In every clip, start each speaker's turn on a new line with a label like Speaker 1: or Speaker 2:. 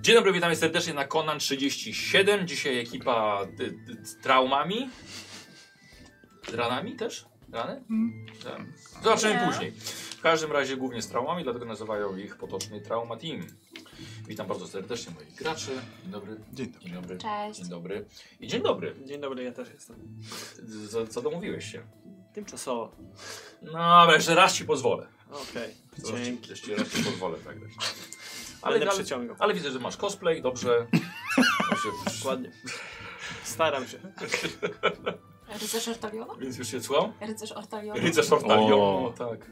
Speaker 1: Dzień dobry, witamy serdecznie na Conan 37. Dzisiaj ekipa y, y, z traumami. Z ranami też? Rany? Tak. Zobaczymy
Speaker 2: Mm. Nie.
Speaker 1: później. W każdym razie głównie z traumami, dlatego nazywają ich potocznie Trauma Team. Witam bardzo serdecznie moich graczy. Dzień dobry.
Speaker 3: Dzień dobry.
Speaker 1: Dzień dobry.
Speaker 2: Cześć.
Speaker 1: Dzień dobry. I dzień dobry.
Speaker 4: Dzień dobry, ja też jestem.
Speaker 1: Co, co domówiłeś się?
Speaker 4: Tymczasowo.
Speaker 1: No, ale jeszcze raz ci pozwolę.
Speaker 4: Okej,
Speaker 1: Jeszcze-
Speaker 4: dzięki.
Speaker 1: Jeszcze raz ci pozwolę tak grać.
Speaker 4: Ale
Speaker 1: Ale,
Speaker 4: nie
Speaker 1: ale,
Speaker 4: przeciągał.
Speaker 1: ale widzę, że masz cosplay, dobrze. To się-
Speaker 4: Dokładnie. Staram się.
Speaker 2: Rycerz Ortaliona?
Speaker 1: Więc już się słucham?
Speaker 2: Rycerz Ortaliona?
Speaker 1: Rycerz Ortalion.
Speaker 3: O.
Speaker 1: O, tak.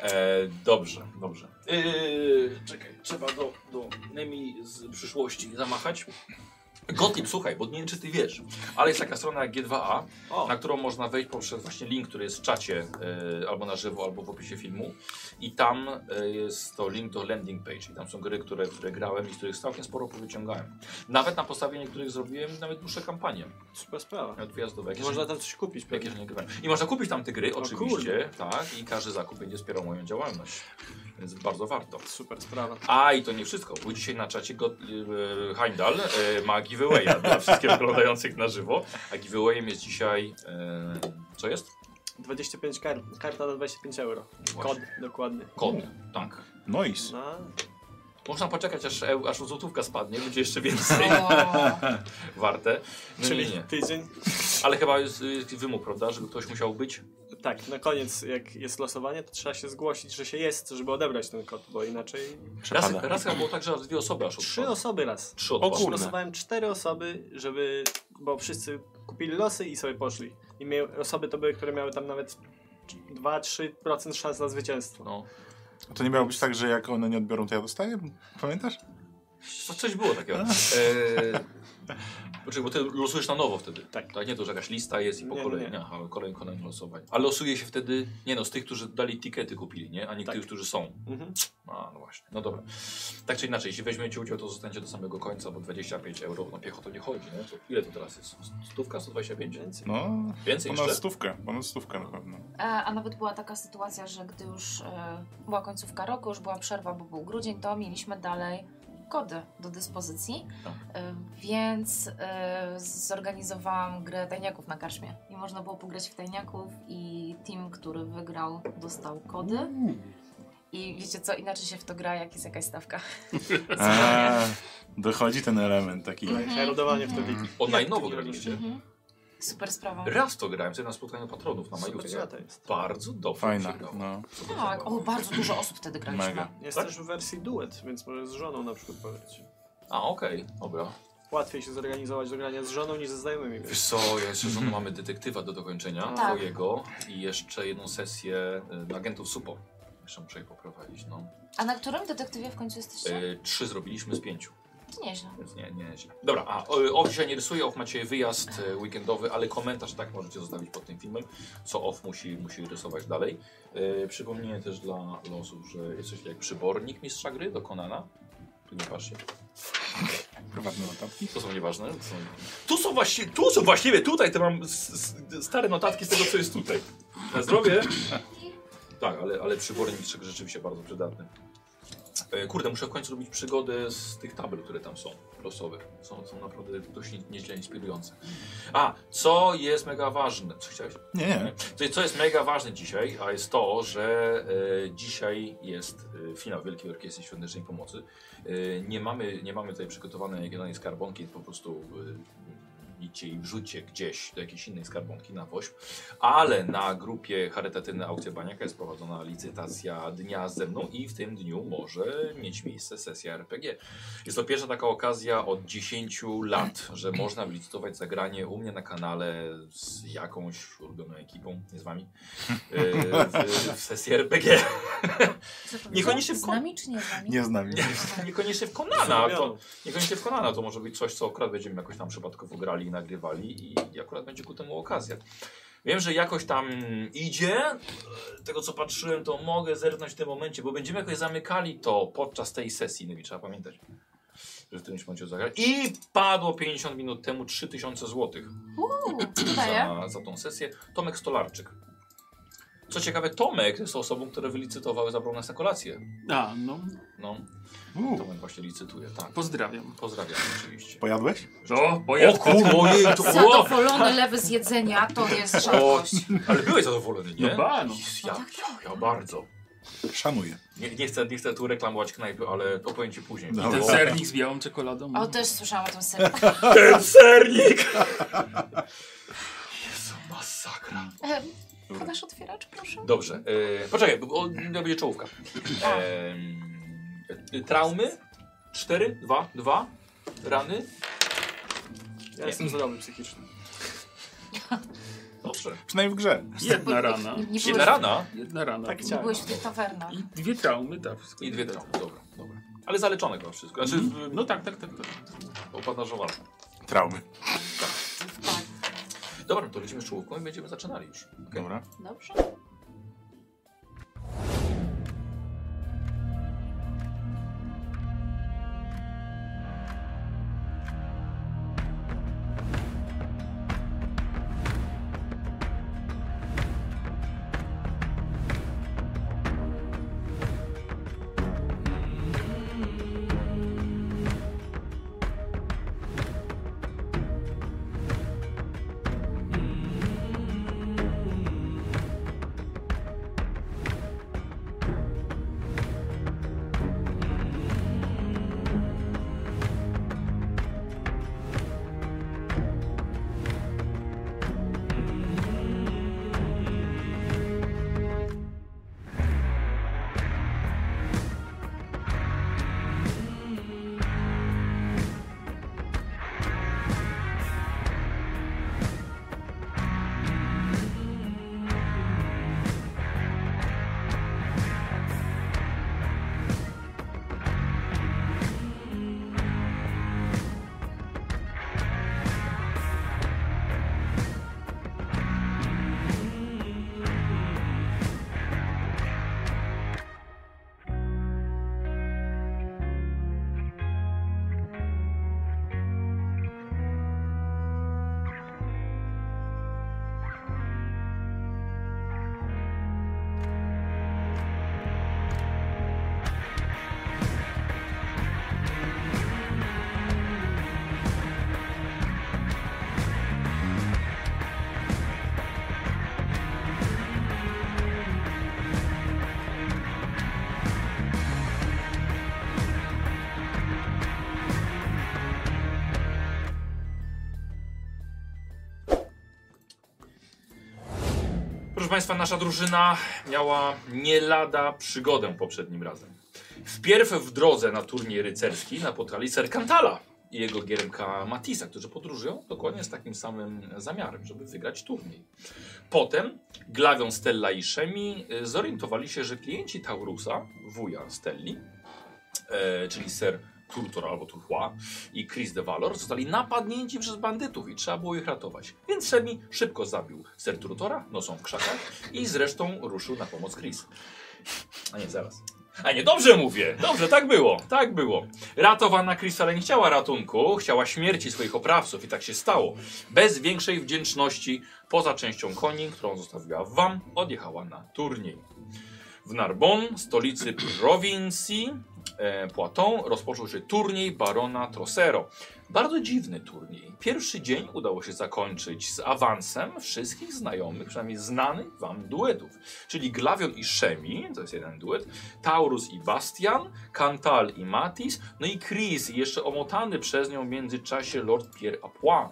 Speaker 1: E, dobrze, dobrze. Yy, czekaj, trzeba do, do Nemi z przyszłości zamachać. Gotlib, słuchaj, bo nie wiem, czy ty wiesz, ale jest taka strona jak G2A,
Speaker 4: O,
Speaker 1: na którą można wejść poprzez właśnie link, który jest w czacie, e, albo na żywo, albo w opisie filmu. I tam e, jest to link do landing page. I tam są gry, które, które grałem i z których całkiem sporo powyciągałem. Nawet na podstawie niektórych zrobiłem nawet dłuższe kampanie
Speaker 4: super sprawa.
Speaker 1: odjazdowe. Jakieś
Speaker 4: Można tam coś kupić
Speaker 1: Jakie
Speaker 4: pewnie.
Speaker 1: że nie grywałem. I można kupić tam te gry,
Speaker 4: O
Speaker 1: oczywiście, tak, i każdy zakup będzie wspierał moją działalność, więc bardzo warto.
Speaker 4: Super sprawa.
Speaker 1: A i to nie wszystko, bo dzisiaj na czacie go, yy, Heimdall yy, ma giveawaya dla wszystkich oglądających na żywo, a giveawayem jest dzisiaj, yy, co jest?
Speaker 4: 25 kart. Karta na 25 euro. Kod,
Speaker 1: Właśnie.
Speaker 4: dokładnie.
Speaker 1: Kod, tak.
Speaker 3: Noise.
Speaker 4: No,
Speaker 1: Można poczekać aż, eu- aż złotówka spadnie, będzie jeszcze więcej
Speaker 2: O,
Speaker 1: warte. No
Speaker 4: czyli
Speaker 1: nie, nie.
Speaker 4: tydzień.
Speaker 1: Ale chyba jest yy, wymóg, prawda, żeby ktoś musiał być?
Speaker 4: Tak, na koniec jak jest losowanie, to trzeba się zgłosić, że się jest, żeby odebrać ten kod, bo inaczej...
Speaker 1: Raz,
Speaker 3: Przepada.
Speaker 1: raz chyba było tak, że aż dwie osoby aż
Speaker 4: Trzy
Speaker 1: odpadły.
Speaker 4: osoby raz.
Speaker 1: Trzy odpadły.
Speaker 3: Kurde.
Speaker 4: Losowałem cztery osoby, żeby... Bo wszyscy kupili losy i sobie poszli. I mia- osoby to były, które miały tam nawet 2-3% szans na zwycięstwo.
Speaker 1: No.
Speaker 3: To nie miało być tak, że jak one nie odbiorą, to ja dostaję? Pamiętasz?
Speaker 1: Co- Coś było takiego. Eee, poczekaj, bo ty losujesz na nowo wtedy.
Speaker 4: Tak.
Speaker 1: nie to, że jakaś lista jest i po
Speaker 4: Nie,
Speaker 1: kolei.
Speaker 4: nie, nie.
Speaker 1: Aha, kolej, kolejne losowanie. A losuje się wtedy, nie no, z tych, którzy dali tikety kupili, nie? A nie
Speaker 4: Tak.
Speaker 1: tych, którzy są.
Speaker 4: Mhm.
Speaker 1: A, no właśnie. No dobra. Tak czy inaczej, jeśli weźmiecie udział, to zostaniecie do samego końca, bo 25 euro na piechotę nie chodzi, nie? To ile to teraz jest? Stówka, 125?
Speaker 4: Więcej.
Speaker 3: No,
Speaker 1: Więcej
Speaker 3: ponad
Speaker 1: jeszcze?
Speaker 3: stówkę, ponad stówkę na pewno.
Speaker 2: e, A nawet była taka sytuacja, że gdy już e, była końcówka roku, już była przerwa, bo był grudzień, to mieliśmy dalej kody do dyspozycji,
Speaker 1: Tak.
Speaker 2: e, więc e, zorganizowałam grę tajniaków na karczmie i można było pograć w tajniaków i team, który wygrał, dostał kody. I wiecie co, inaczej się w to gra, jak jest jakaś stawka.
Speaker 3: Eee, dochodzi ten element taki.
Speaker 4: Tak
Speaker 2: Mhm.
Speaker 4: Herodowanie w to
Speaker 3: Mhm.
Speaker 4: wiki.
Speaker 1: Online
Speaker 4: Jak
Speaker 1: nowo
Speaker 4: to
Speaker 1: graliście.
Speaker 4: robicie?
Speaker 2: Mhm. Super sprawa.
Speaker 1: Raz to grałem sobie na spotkaniu patronów na
Speaker 4: Super
Speaker 1: Majówce.
Speaker 4: świata No, jest.
Speaker 1: Bardzo dobrze
Speaker 3: Fajna,
Speaker 1: się grało.
Speaker 3: no.
Speaker 2: Tak, o, bardzo dużo osób wtedy graliśmy.
Speaker 3: Mega.
Speaker 4: Jest
Speaker 1: Tak?
Speaker 4: też w wersji duet, więc może z żoną na przykład pograć.
Speaker 1: A, okej, dobra.
Speaker 4: Łatwiej się zorganizować do grania z żoną niż ze znajomymi. więc-
Speaker 1: Wiesz co, ja jeszcze żoną mamy detektywa do dokończenia
Speaker 4: Tak.
Speaker 1: twojego i jeszcze jedną sesję y, do agentów SUPO. Jeszcze muszę je poprowadzić, no.
Speaker 2: A na którym detektywie w końcu jesteście?
Speaker 1: Y, trzy zrobiliśmy z pięciu,
Speaker 2: Nieźle.
Speaker 1: więc nie, nie, źle. Dobra, a o, off dzisiaj nie rysuję, off macie wyjazd y, weekendowy, ale komentarz tak możecie zostawić pod tym filmem, co off musi, musi rysować dalej. Y, przypomnienie też dla losów, że jesteście jak przybornik mistrza gry do Konana. Tu nie patrzcie.
Speaker 3: Prywatne notatki.
Speaker 1: To są nieważne. To są... Tu są właśnie, tu są właściwie tutaj, to mam s- s- stare notatki z tego, co jest tutaj. Na zdrowie. Tak, ale, ale przybornik rzeczywiście bardzo przydatny. E, kurde, muszę w końcu robić przygodę z tych tabel, które tam są, losowe. Są, są naprawdę dość nie- nieźle inspirujące. A, co jest mega ważne, co chciałeś?
Speaker 3: Nie, nie.
Speaker 1: To, co jest mega ważne dzisiaj, a jest to, że e, dzisiaj jest e, finał Wielkiej Orkiestry Świątecznej Pomocy. E, nie, mamy, nie mamy tutaj przygotowanej żadnej skarbonki, po prostu e, idźcie i wrzućcie gdzieś do jakiejś innej skarbonki na woźb. Ale na grupie charytatywna Aukcja Baniaka jest prowadzona licytacja dnia ze mną i w tym dniu może mieć miejsce sesja RPG. Jest to pierwsza taka okazja od 10 lat, że można wylicytować zagranie u mnie na kanale z jakąś ulubioną ekipą, nie z wami, e, w, w sesji RPG. Niekoniecznie w
Speaker 2: z
Speaker 1: kon-
Speaker 2: nami czy nie z nami?
Speaker 3: Nie znam.
Speaker 1: Nie, niekoniecznie w Konana, to,
Speaker 4: Zrobiono.
Speaker 1: niekoniecznie w Konana to może być coś, co akurat będziemy jakoś tam przypadkowo grali i nagrywali i, i akurat będzie ku temu okazja. Wiem, że jakoś tam idzie, z tego co patrzyłem to mogę zerknąć w tym momencie, bo będziemy jakoś zamykali to podczas tej sesji, no i trzeba pamiętać, że w którymś momencie zagrać. I padło 50 minut temu 3000 złotych
Speaker 2: Uuu, daję.
Speaker 1: za, za tą sesję. Tomek Stolarczyk. Co ciekawe, Tomek jest osobą, która wylicytowały, zabrał nas na kolację.
Speaker 5: A, no,
Speaker 1: No,
Speaker 3: Uuu,
Speaker 1: Tomek właśnie licytuje, tak.
Speaker 5: pozdrawiam.
Speaker 1: Pozdrawiam oczywiście.
Speaker 3: Pojadłeś?
Speaker 5: O,
Speaker 1: O kurwa, jej, to, o,
Speaker 2: Zadowolony lewy z jedzenia to jest rzadkość.
Speaker 1: ale byłeś zadowolony, nie?
Speaker 5: No ba, no.
Speaker 1: Ja, ja, ja bardzo.
Speaker 3: Szanuję.
Speaker 1: Nie, nie, chcę, nie chcę tu reklamować knajpy, ale opowiem ci później.
Speaker 3: Dobra.
Speaker 5: Ten sernik z białą czekoladą.
Speaker 2: O, też słyszałam o tym sercu.
Speaker 1: Ten sernik! Jezu, masakra.
Speaker 2: E, Podasz otwieracz, proszę?
Speaker 1: Dobrze, e, poczekaj, bo o, to będzie czołówka. E, traumy? 4, 2, 2. Rany?
Speaker 4: Ja jestem zdrowy psychicznie.
Speaker 1: Dobrze.
Speaker 3: Przynajmniej w grze.
Speaker 5: Jedna rana.
Speaker 2: Nie, nie,
Speaker 1: Jedna
Speaker 2: byłeś,
Speaker 1: rana
Speaker 5: Jedna rana.
Speaker 4: Tak
Speaker 5: była.
Speaker 2: nie
Speaker 4: chciałem.
Speaker 2: byłeś w tych tawernach.
Speaker 5: I dwie traumy, tak. wszystko
Speaker 1: i dwie
Speaker 5: tak.
Speaker 1: traumy. Dobra, dobra. Ale zaleczone chyba wszystko. Znaczy,
Speaker 5: Mhm. No tak, tak, tak. tak.
Speaker 1: opanarzowane.
Speaker 3: Traumy.
Speaker 2: Tak,
Speaker 1: Dobra, no to lecimy z czołówką i będziemy zaczynali już. Okej.
Speaker 3: Dobra.
Speaker 2: dobrze.
Speaker 1: Proszę Państwa, nasza drużyna miała nie lada przygodę poprzednim razem. Wpierw w drodze na turniej rycerski napotkali Serkantala i jego giermka Matisa, którzy podróżują dokładnie z takim samym zamiarem, żeby wygrać turniej. Potem Glawią Stella i Szemi y, zorientowali się, że klienci Taurusa, wuja Stelli, e, czyli ser Turtor albo Turhua i Chris de Valor zostali napadnięci przez bandytów i trzeba było ich ratować. Więc Szemi szybko zabił ser Turtora nocą w krzakach i zresztą ruszył na pomoc Chris. A nie, zaraz. A nie, dobrze mówię, dobrze, tak było, tak było. Ratowana Chris ale nie chciała ratunku, chciała śmierci swoich oprawców i tak się stało. Bez większej wdzięczności, poza częścią koni, którą zostawiła wam, odjechała na turniej. W Narbonne, stolicy prowincji, e, Poitou rozpoczął się turniej barona Trocero. Bardzo dziwny turniej. Pierwszy dzień udało się zakończyć z awansem wszystkich znajomych, przynajmniej znanych wam duetów. Czyli Glavion i Szemi, to jest jeden duet, Taurus i Bastian, Cantal i Matis, no i Chris, jeszcze omotany przez nią w międzyczasie Lord Pierre Apois, e,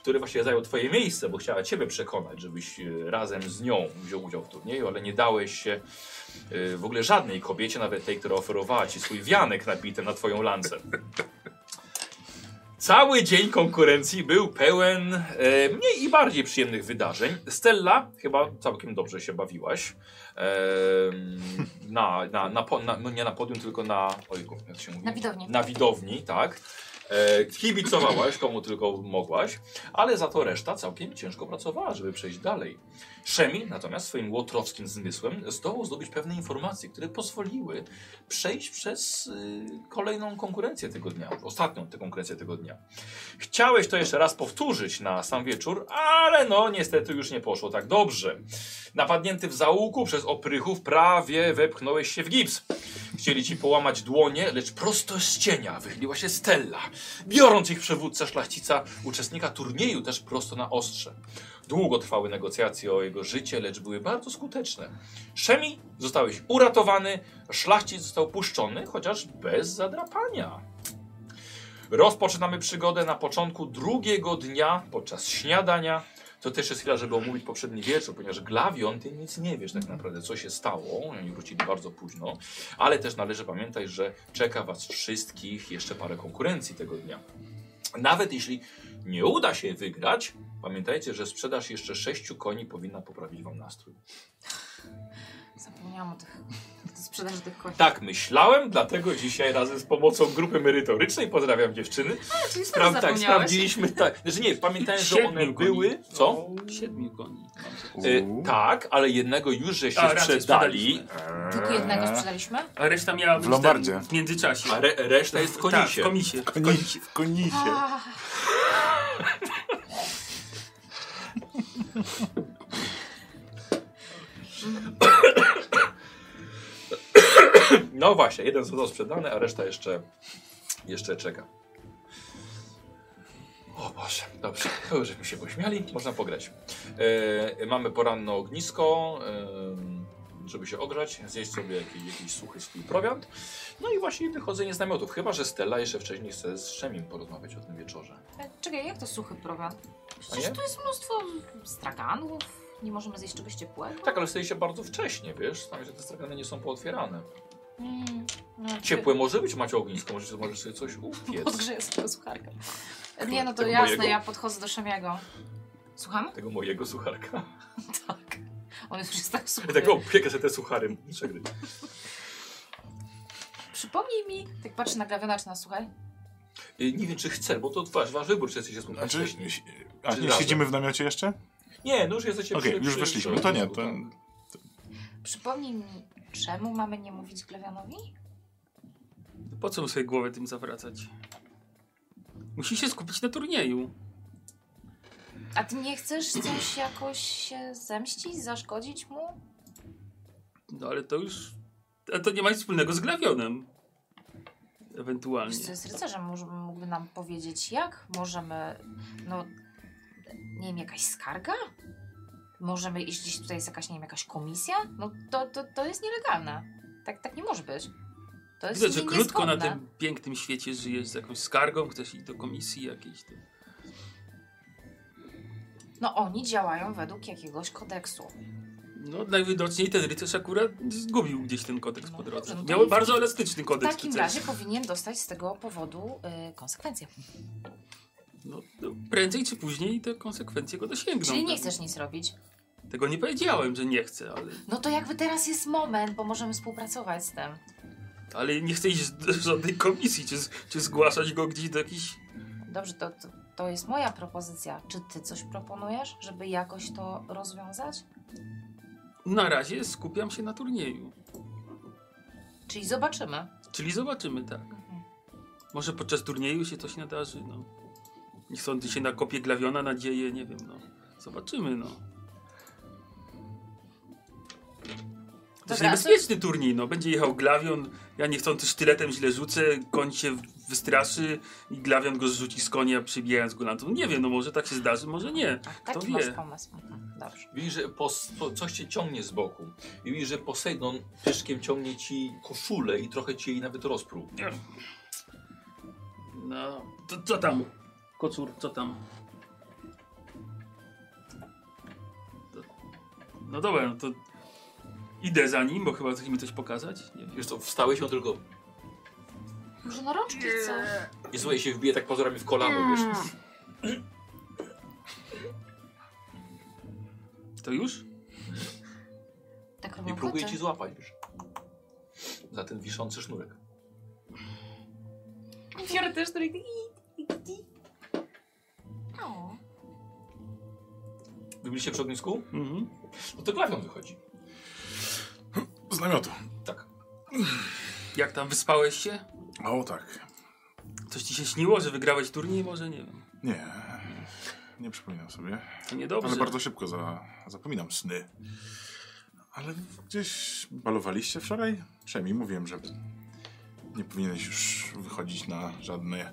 Speaker 1: który właśnie zajął twoje miejsce, bo chciała ciebie przekonać, żebyś e, razem z nią wziął udział w turnieju, ale nie dałeś się y, w ogóle żadnej kobiecie, nawet tej, która oferowała ci swój wianek nabity na twoją lancę. Cały dzień konkurencji był pełen e, mniej i bardziej przyjemnych wydarzeń. Stella, chyba całkiem dobrze się bawiłaś. y, Em, na, na, na, po- na, no nie na podium, tylko na. Ojku, jak się mówi?
Speaker 2: Na widowni.
Speaker 1: Na widowni, tak. E, kibicowałaś komu tylko mogłaś, ale za to reszta całkiem ciężko pracowała, żeby przejść dalej. Szemi natomiast swoim łotrowskim zmysłem zdołał zdobyć pewne informacje, które pozwoliły przejść przez y, kolejną konkurencję tego dnia, ostatnią tę konkurencję tego dnia. Chciałeś to jeszcze raz powtórzyć na sam wieczór, ale no niestety już nie poszło tak dobrze. Napadnięty w załuku przez oprychów prawie wepchnąłeś się w gips. Chcieli ci połamać dłonie, lecz prosto z cienia wychyliła się Stella, biorąc ich przywódcę szlachcica, uczestnika turnieju też prosto na ostrze. Długo trwały negocjacje o jego życie, lecz były bardzo skuteczne. Szemi zostałeś uratowany, szlachcic został puszczony, chociaż bez zadrapania. Rozpoczynamy przygodę na początku drugiego dnia podczas śniadania. To też jest chwila, żeby omówić poprzedni wieczór, ponieważ Glawion, ty nic nie wiesz tak naprawdę, co się stało. Oni wrócili bardzo późno, ale też należy pamiętać, że czeka was wszystkich jeszcze parę konkurencji tego dnia. Nawet jeśli nie uda się wygrać, pamiętajcie, że sprzedaż jeszcze sześciu koni powinna poprawić wam nastrój.
Speaker 2: Zapomniałam o tych o sprzedaży tych kości.
Speaker 1: Tak myślałem, dlatego dzisiaj razem z pomocą grupy merytorycznej pozdrawiam dziewczyny.
Speaker 2: czyli sam
Speaker 1: Spraw, tak,
Speaker 2: zapomniałeś.
Speaker 1: sprawdziliśmy tak. Znaczy nie, pamiętałem, że
Speaker 5: Siedmiu
Speaker 1: one
Speaker 5: koni. No,
Speaker 1: były. Co?
Speaker 5: Siedmiu koni. mam sobie.
Speaker 1: Y, tak, ale jednego już żeście
Speaker 5: A, rację,
Speaker 1: sprzedali.
Speaker 2: Tylko jednego sprzedaliśmy?
Speaker 5: A reszta miała być
Speaker 3: W Lombardzie.
Speaker 5: ten- W międzyczasie.
Speaker 1: A re, reszta jest w
Speaker 5: Tak, w
Speaker 1: konisie.
Speaker 5: komisie. W
Speaker 3: Koni,
Speaker 5: komisie.
Speaker 3: w konisie.
Speaker 1: No właśnie, jeden został sprzedany, a reszta jeszcze, jeszcze czeka. O Boże, dobrze, to już mi się pośmiali, można pograć. E, mamy poranne ognisko, e, żeby się ogrzać, zjeść sobie jakiś, jakiś suchy swój prowiant. No i właśnie wychodzenie z namiotów, chyba że Stella jeszcze wcześniej chce z Szemim porozmawiać o tym wieczorze.
Speaker 2: E, Czekaj, jak to suchy prowiant?
Speaker 1: A
Speaker 2: Przecież
Speaker 1: nie?
Speaker 2: tu jest mnóstwo straganów. Nie możemy zjeść czegoś ciepłego.
Speaker 1: Tak, ale się bardzo wcześnie, wiesz, tam że te stragany nie są pootwierane.
Speaker 2: Mm, no, czy-
Speaker 1: Ciepłe może być, macie ognisko, możesz, możesz sobie coś upiec.
Speaker 2: Podgrzeję sobie sucharkę. Nie no, to
Speaker 1: tego
Speaker 2: jasne,
Speaker 1: mojego?
Speaker 2: ja podchodzę do Szemiego. Słucham?
Speaker 1: Tego mojego sucharka.
Speaker 2: Tak. On już jest tak
Speaker 1: Ja
Speaker 2: super.
Speaker 1: tak, o, piekę sobie te suchary. Przegryć.
Speaker 2: Przypomnij mi, tak patrzę na Glawiona, czy nas słuchaj.
Speaker 1: Y, Nie wiem, czy chcę, bo to wasz, wasz wybór, czy jesteście spotkani
Speaker 3: Znaczy,
Speaker 1: wcześniej.
Speaker 3: a
Speaker 1: Czy
Speaker 3: nie
Speaker 1: razem?
Speaker 3: siedzimy w namiocie jeszcze?
Speaker 1: Nie, no już jesteście
Speaker 3: Okej,
Speaker 1: przy-
Speaker 3: już
Speaker 1: przy-
Speaker 3: wyszliśmy.
Speaker 1: przy
Speaker 3: To nie,
Speaker 1: ognisku,
Speaker 3: to...
Speaker 1: tak.
Speaker 2: Przypomnij mi, czemu mamy nie mówić Glawianowi?
Speaker 5: Po co mu sobie głowę tym zawracać? Musi się skupić na turnieju.
Speaker 2: A ty nie chcesz coś jakoś się zemścić, zaszkodzić mu?
Speaker 5: No ale to już... A to nie ma nic wspólnego z Glawionem. Ewentualnie.
Speaker 2: Wiesz co, jest rycerzem, może mógłby nam powiedzieć jak? Możemy, no, nie wiem, jakaś skarga? Możemy iść gdzieś tutaj, jest jakaś, nie wiem, jakaś komisja? No to, to, to jest nielegalne. Tak, tak nie może być. To jest
Speaker 5: Widać, że
Speaker 2: nie-
Speaker 5: krótko na
Speaker 2: niezgodne.
Speaker 5: tym pięknym świecie żyjesz z jakąś skargą, chcesz iść do komisji jakiejś. To...
Speaker 2: No oni działają według jakiegoś kodeksu.
Speaker 5: No najwidoczniej ten rycerz akurat zgubił gdzieś ten kodeks
Speaker 2: No
Speaker 5: po
Speaker 2: dobrze,
Speaker 5: drodze.
Speaker 2: no to
Speaker 5: Miał
Speaker 2: nie-
Speaker 5: bardzo elastyczny
Speaker 2: W
Speaker 5: kodeks.
Speaker 2: takim
Speaker 5: rycerz.
Speaker 2: razie powinien dostać z tego powodu y, konsekwencje.
Speaker 5: No, no, prędzej czy później te konsekwencje go dosięgną.
Speaker 2: Czyli nie
Speaker 5: Tego-
Speaker 2: chcesz nic robić.
Speaker 5: Tego nie powiedziałem, że nie chcę, ale,
Speaker 2: No to jakby teraz jest moment, bo możemy współpracować z tym.
Speaker 5: ale nie chcę iść do żadnej komisji, czy, z- czy zgłaszać go gdzieś do jakichś...
Speaker 2: Dobrze, to, to, to jest moja propozycja. Czy ty coś proponujesz, żeby jakoś to rozwiązać?
Speaker 5: Na razie skupiam się na turnieju.
Speaker 2: Czyli zobaczymy.
Speaker 5: Czyli zobaczymy, tak.
Speaker 2: Mhm.
Speaker 5: Może podczas turnieju się coś nadarzy, no. Niech sądy się nakopie glawiona nadzieję, nie wiem, no. Zobaczymy, no. To jest
Speaker 2: Dobra, a co-
Speaker 5: niebezpieczny turniej, no. Będzie jechał glawion, ja niechcący sztyletem źle rzucę, koń się wystraszy i glawion go zrzuci z konia, przybijając go lantą. Nie wiem, no może tak się zdarzy, może nie.
Speaker 2: Ach,
Speaker 5: Kto
Speaker 2: Tak, taki
Speaker 5: wie?
Speaker 2: masz pomysł. Mhm, Dobrze.
Speaker 1: Widzisz, że pos, po, coś cię ciągnie z boku. I widzisz, że Posejdon pyszkiem ciągnie ci koszulę i trochę ci jej nawet rozpruł.
Speaker 5: No, to co tam? Kocur, co tam? To- No dobra, no to idę za nim, bo chyba chce mi coś pokazać. Nie wiem.
Speaker 1: Wiesz co, wstałeś on tylko...
Speaker 2: Może na rączki chcesz?
Speaker 1: I słuchaj, się wbije tak pozorami w kolano, wiesz.
Speaker 2: Hmm.
Speaker 5: To już?
Speaker 2: Tak
Speaker 1: I
Speaker 2: robią
Speaker 1: próbuje ci
Speaker 2: koty.
Speaker 1: złapać, wiesz. Za ten wiszący sznurek.
Speaker 2: Biorę też który... i- i- i- O,
Speaker 1: Wy byliście przy ognisku?
Speaker 5: Mhm.
Speaker 1: No to glawion wychodzi.
Speaker 3: Z namiotu.
Speaker 1: Tak.
Speaker 5: Jak tam, wyspałeś się?
Speaker 3: O tak.
Speaker 5: Coś ci się śniło, że wygrałeś turniej? Może nie wiem.
Speaker 3: Nie. Nie przypominam sobie.
Speaker 5: To niedobrze.
Speaker 3: Ale bardzo szybko za, zapominam sny. Ale gdzieś balowaliście wczoraj? Przynajmniej mówiłem, że nie powinieneś już wychodzić na żadne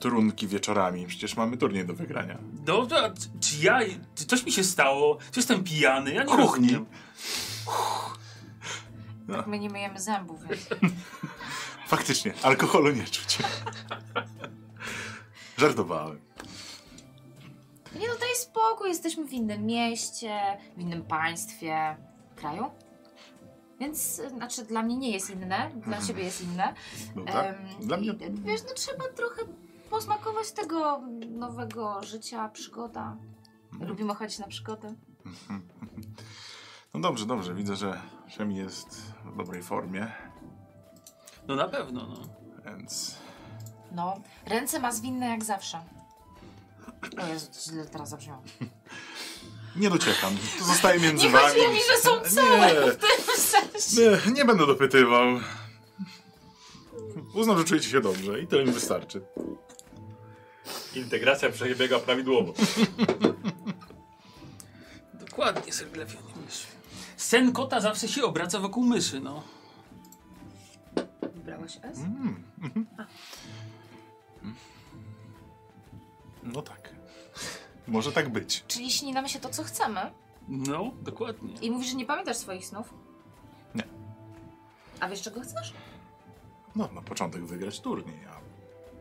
Speaker 3: trunki wieczorami. Przecież mamy turniej do wygrania.
Speaker 5: Dobrze, a czy- czy ja... Czy coś mi się stało? Czy jestem pijany? Ja nie
Speaker 3: Kuchni.
Speaker 5: rozumiem.
Speaker 2: tak my nie myjemy zębów, więc...
Speaker 3: Faktycznie, alkoholu nie czuć. Żartowałem.
Speaker 2: Nie no, daj spokój, jesteśmy w innym mieście, w innym państwie, kraju. Więc, y, znaczy, dla mnie nie jest inne, dla
Speaker 3: Mhm.
Speaker 2: siebie jest inne.
Speaker 3: No tak?
Speaker 2: Em,
Speaker 3: Dla mnie...
Speaker 2: i, Wiesz, no trzeba trochę posmakować tego nowego życia, przygoda.
Speaker 3: Mhm.
Speaker 2: Lubimy chodzić na przygody.
Speaker 3: No dobrze, dobrze. Widzę, że Szemi jest w dobrej formie,
Speaker 5: No na pewno, no.
Speaker 3: więc...
Speaker 2: No, ręce ma zwinne jak zawsze. O Jezu, to źle teraz zabrzmiało.
Speaker 3: Nie dociekam. To zostaje między
Speaker 2: Nie
Speaker 3: wami.
Speaker 2: chodziło mi, że są całe
Speaker 3: Nie.
Speaker 2: w tym sensie.
Speaker 3: Nie, nie będę dopytywał. Uznam, że czujecie się dobrze i tyle mi wystarczy.
Speaker 1: Integracja przebiega prawidłowo.
Speaker 5: Dokładnie, Sir Glewion. Sen kota zawsze się obraca wokół myszy, no.
Speaker 2: Wybrałeś S?
Speaker 3: Mhm. No tak. Może tak być.
Speaker 2: Czyli śni nam się to, co chcemy.
Speaker 5: No, dokładnie.
Speaker 2: I mówisz, że nie pamiętasz swoich snów?
Speaker 3: Nie.
Speaker 2: A wiesz, czego chcesz?
Speaker 3: No, na początek wygrać turniej, a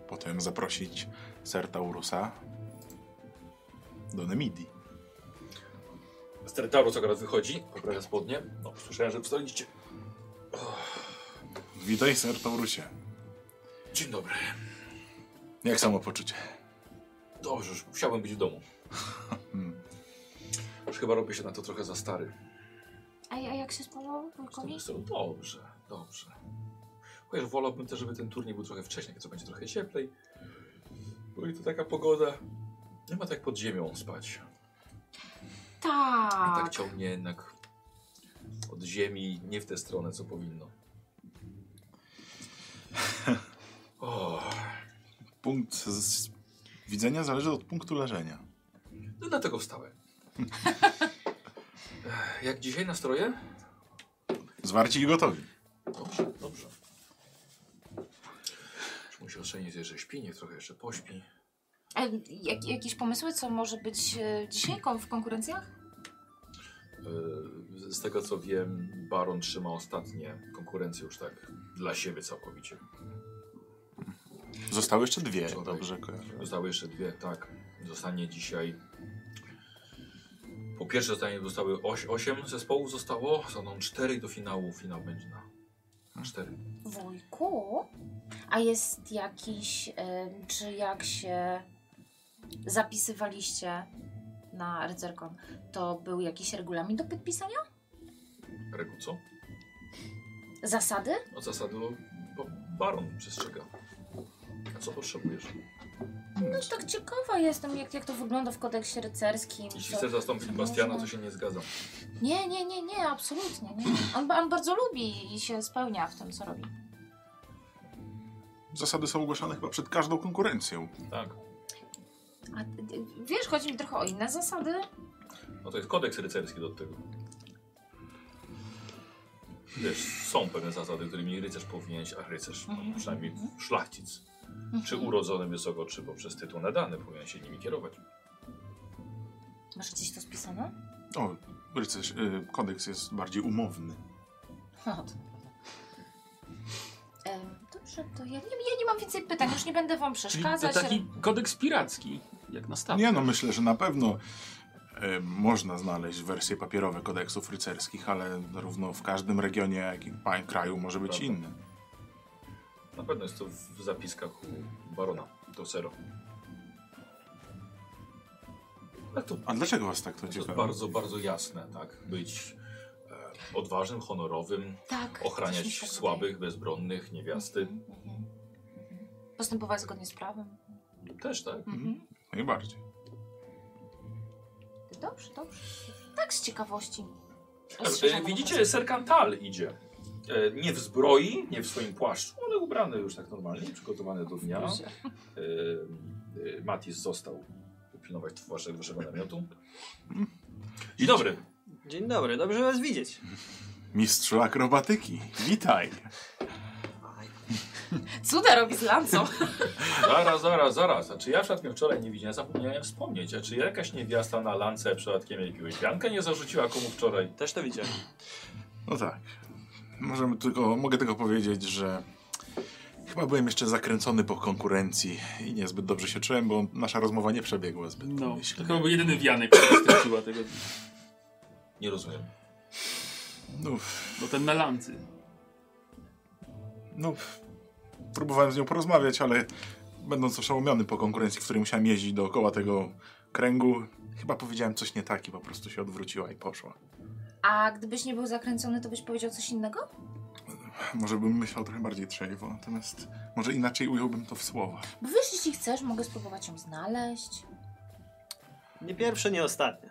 Speaker 3: potem zaprosić Ser Taurusa do Nemidii.
Speaker 1: Z terytorium co akurat wychodzi, poprawia spodnie. No, słyszałem, że wstaliście.
Speaker 3: Witaj, Ser Taurusie.
Speaker 1: Dzień dobry.
Speaker 3: Jak samopoczucie?
Speaker 1: Dobrze, już chciałbym być w domu.
Speaker 3: Hmm.
Speaker 1: Już chyba robię się na to trochę za stary.
Speaker 2: A, a jak się spodobało
Speaker 1: Z tej
Speaker 2: wujkowi?
Speaker 1: strony dobrze, dobrze. Chociaż wolałbym też, żeby ten turniej był trochę wcześniej, to będzie trochę cieplej. Bo i to taka pogoda. Nie ma tak pod ziemią spać. I tak
Speaker 2: Tak.
Speaker 1: ciągnie jednak od ziemi nie w tę stronę, co powinno. O,
Speaker 3: Punkt z widzenia zależy od punktu leżenia.
Speaker 1: no dlatego wstałem. Ech, Jak dzisiaj nastroje?
Speaker 3: Zwarci i gotowi.
Speaker 1: Dobrze, dobrze. Już musi oszczędzić, że śpi, niech trochę jeszcze pośpi. E,
Speaker 2: A E, jak, jakieś pomysły, co może być e, dzisiaj kon- w konkurencjach?
Speaker 1: Yy, Z tego co wiem, Baron trzyma ostatnie konkurencje już tak dla siebie całkowicie.
Speaker 3: Zostały jeszcze dwie.
Speaker 1: Wczoraj.
Speaker 3: Dobrze kojarzę.
Speaker 1: Zostały jeszcze dwie, tak. Zostanie dzisiaj. Po pierwsze zostanie, zostały 8 zespołów zostało, zostaną 4 do finału. Finał będzie na 4.
Speaker 2: Wujku? A jest jakiś, em, czy jak się zapisywaliście na rycerką, to był jakiś regulamin do podpisania?
Speaker 1: Reguł co?
Speaker 2: Zasady?
Speaker 1: Od zasady bo Baron przestrzega. A co potrzebujesz?
Speaker 2: No tak ciekawa jestem, jak, jak to wygląda w kodeksie rycerskim.
Speaker 1: Jeśli
Speaker 2: co-
Speaker 1: chcesz zastąpić
Speaker 2: co
Speaker 1: Bastiana,
Speaker 2: można.
Speaker 1: to się nie zgadzam.
Speaker 2: Nie, nie, nie, nie, absolutnie. Nie. On, on bardzo lubi i się spełnia w tym, co robi.
Speaker 3: Zasady są ogłaszane chyba przed każdą konkurencją.
Speaker 1: Tak.
Speaker 2: A ty- ty- wiesz, chodzi mi trochę o inne zasady.
Speaker 1: No to jest kodeks rycerski do tego. Wiesz, są pewne zasady, którymi rycerz powinien się, a rycerz, no,
Speaker 2: Mhm.
Speaker 1: przynajmniej szlachcic, czy urodzony wysoko, czy poprzez tytuł nadany, powinien się nimi kierować.
Speaker 2: Masz gdzieś to spisane?
Speaker 3: O, rycerz, y, kodeks jest bardziej umowny.
Speaker 2: No, to... Em, Dobrze, to ja nie, ja nie mam więcej pytań, już nie będę wam
Speaker 5: Czyli to
Speaker 2: przeszkadzać.
Speaker 5: taki kodeks piracki, jak na stawce.
Speaker 3: Nie no, myślę, że na pewno e, można znaleźć wersje papierowe kodeksów rycerskich, ale równo w każdym regionie, jak i pa- kraju może być
Speaker 1: Prawda.
Speaker 3: inny.
Speaker 1: Na pewno jest to w zapiskach u barona do Sero. Ale to,
Speaker 3: A dlaczego was tak to
Speaker 1: to jest
Speaker 3: ciekawi?
Speaker 1: bardzo, bardzo jasne, tak? Być e, odważnym, honorowym,
Speaker 2: Tak. coś mi się
Speaker 1: ochraniać
Speaker 2: tak wydaje.
Speaker 1: słabych, bezbronnych, niewiasty.
Speaker 2: Mhm. Postępować zgodnie z prawem.
Speaker 1: Też tak.
Speaker 2: Mhm.
Speaker 3: Najbardziej.
Speaker 2: Dobrze, dobrze. Tak z ciekawości.
Speaker 1: E, Widzicie, Serkantal idzie. E, Nie w zbroi, nie w swoim płaszczu, ale ubrany już tak normalnie, przygotowany do dnia. E, e, Matis został pilnować wasze- waszego namiotu. Dzień dobry.
Speaker 4: Dzień dobry, dobrze was widzieć.
Speaker 3: Mistrzu akrobatyki, witaj.
Speaker 2: Cuda robi z lancą.
Speaker 1: Zaraz, zaraz, zaraz. A czy ja przypadkiem wczoraj nie widziałem? Zapomniałem wspomnieć. A czy jakaś niewiasta na lance przypadkiem jakiegoś pianka nie zarzuciła komu wczoraj?
Speaker 4: Też to widziałem.
Speaker 3: No tak. Możemy tylko, mogę tylko powiedzieć, że chyba byłem jeszcze zakręcony po konkurencji i niezbyt dobrze się czułem, bo nasza rozmowa nie przebiegła zbyt
Speaker 5: No, to
Speaker 3: pomyślnie.
Speaker 5: chyba był jedyny wianek, który straciła tego,
Speaker 1: Nie rozumiem.
Speaker 3: No,
Speaker 5: bo ten na lancy.
Speaker 3: no, próbowałem z nią porozmawiać, ale będąc oszołomiony po konkurencji, w której musiałem jeździć dookoła tego kręgu, chyba powiedziałem coś nie tak i po prostu się odwróciła i poszła.
Speaker 2: A gdybyś nie był zakręcony, to byś powiedział coś innego?
Speaker 3: Może bym myślał trochę bardziej trzeźwo, natomiast może inaczej ująłbym to w słowa.
Speaker 2: Bo wiesz, jeśli chcesz, mogę spróbować ją znaleźć.
Speaker 4: Nie pierwsze, nie ostatnie.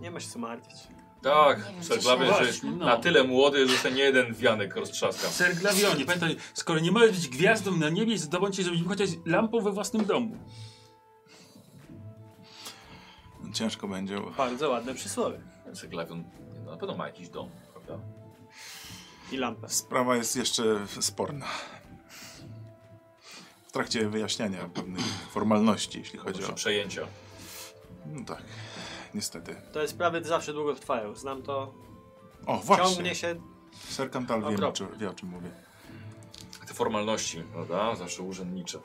Speaker 4: Nie ma się co martwić.
Speaker 1: Tak,
Speaker 2: Nie wiem,
Speaker 1: Serglawy,
Speaker 2: co się- no.
Speaker 1: że na tyle młody, że ten nie jeden wianek roztrzaska.
Speaker 5: Ser Glawionie, pamiętaj, skoro nie możesz być gwiazdą na niebie, zdobądź się, żeby być chociaż lampą we własnym domu.
Speaker 3: Ciężko będzie, bo
Speaker 4: Bardzo ładne przysłowie.
Speaker 1: Serglawion no, na pewno ma jakiś dom, prawda?
Speaker 4: I lampę.
Speaker 3: sprawa jest jeszcze sporna. W trakcie wyjaśniania pewnych formalności, jeśli chodzi
Speaker 1: Chodzi
Speaker 3: o...
Speaker 1: przejęcia.
Speaker 3: No tak, niestety.
Speaker 4: Te sprawy zawsze długo trwają. Znam to.
Speaker 3: O, właśnie!
Speaker 4: Ciągnie się.
Speaker 3: Ser Kantal wie, o
Speaker 4: Okropnie.
Speaker 3: czym- wie, o czym mówię.
Speaker 1: Te formalności, prawda? Zawsze urzędnicze.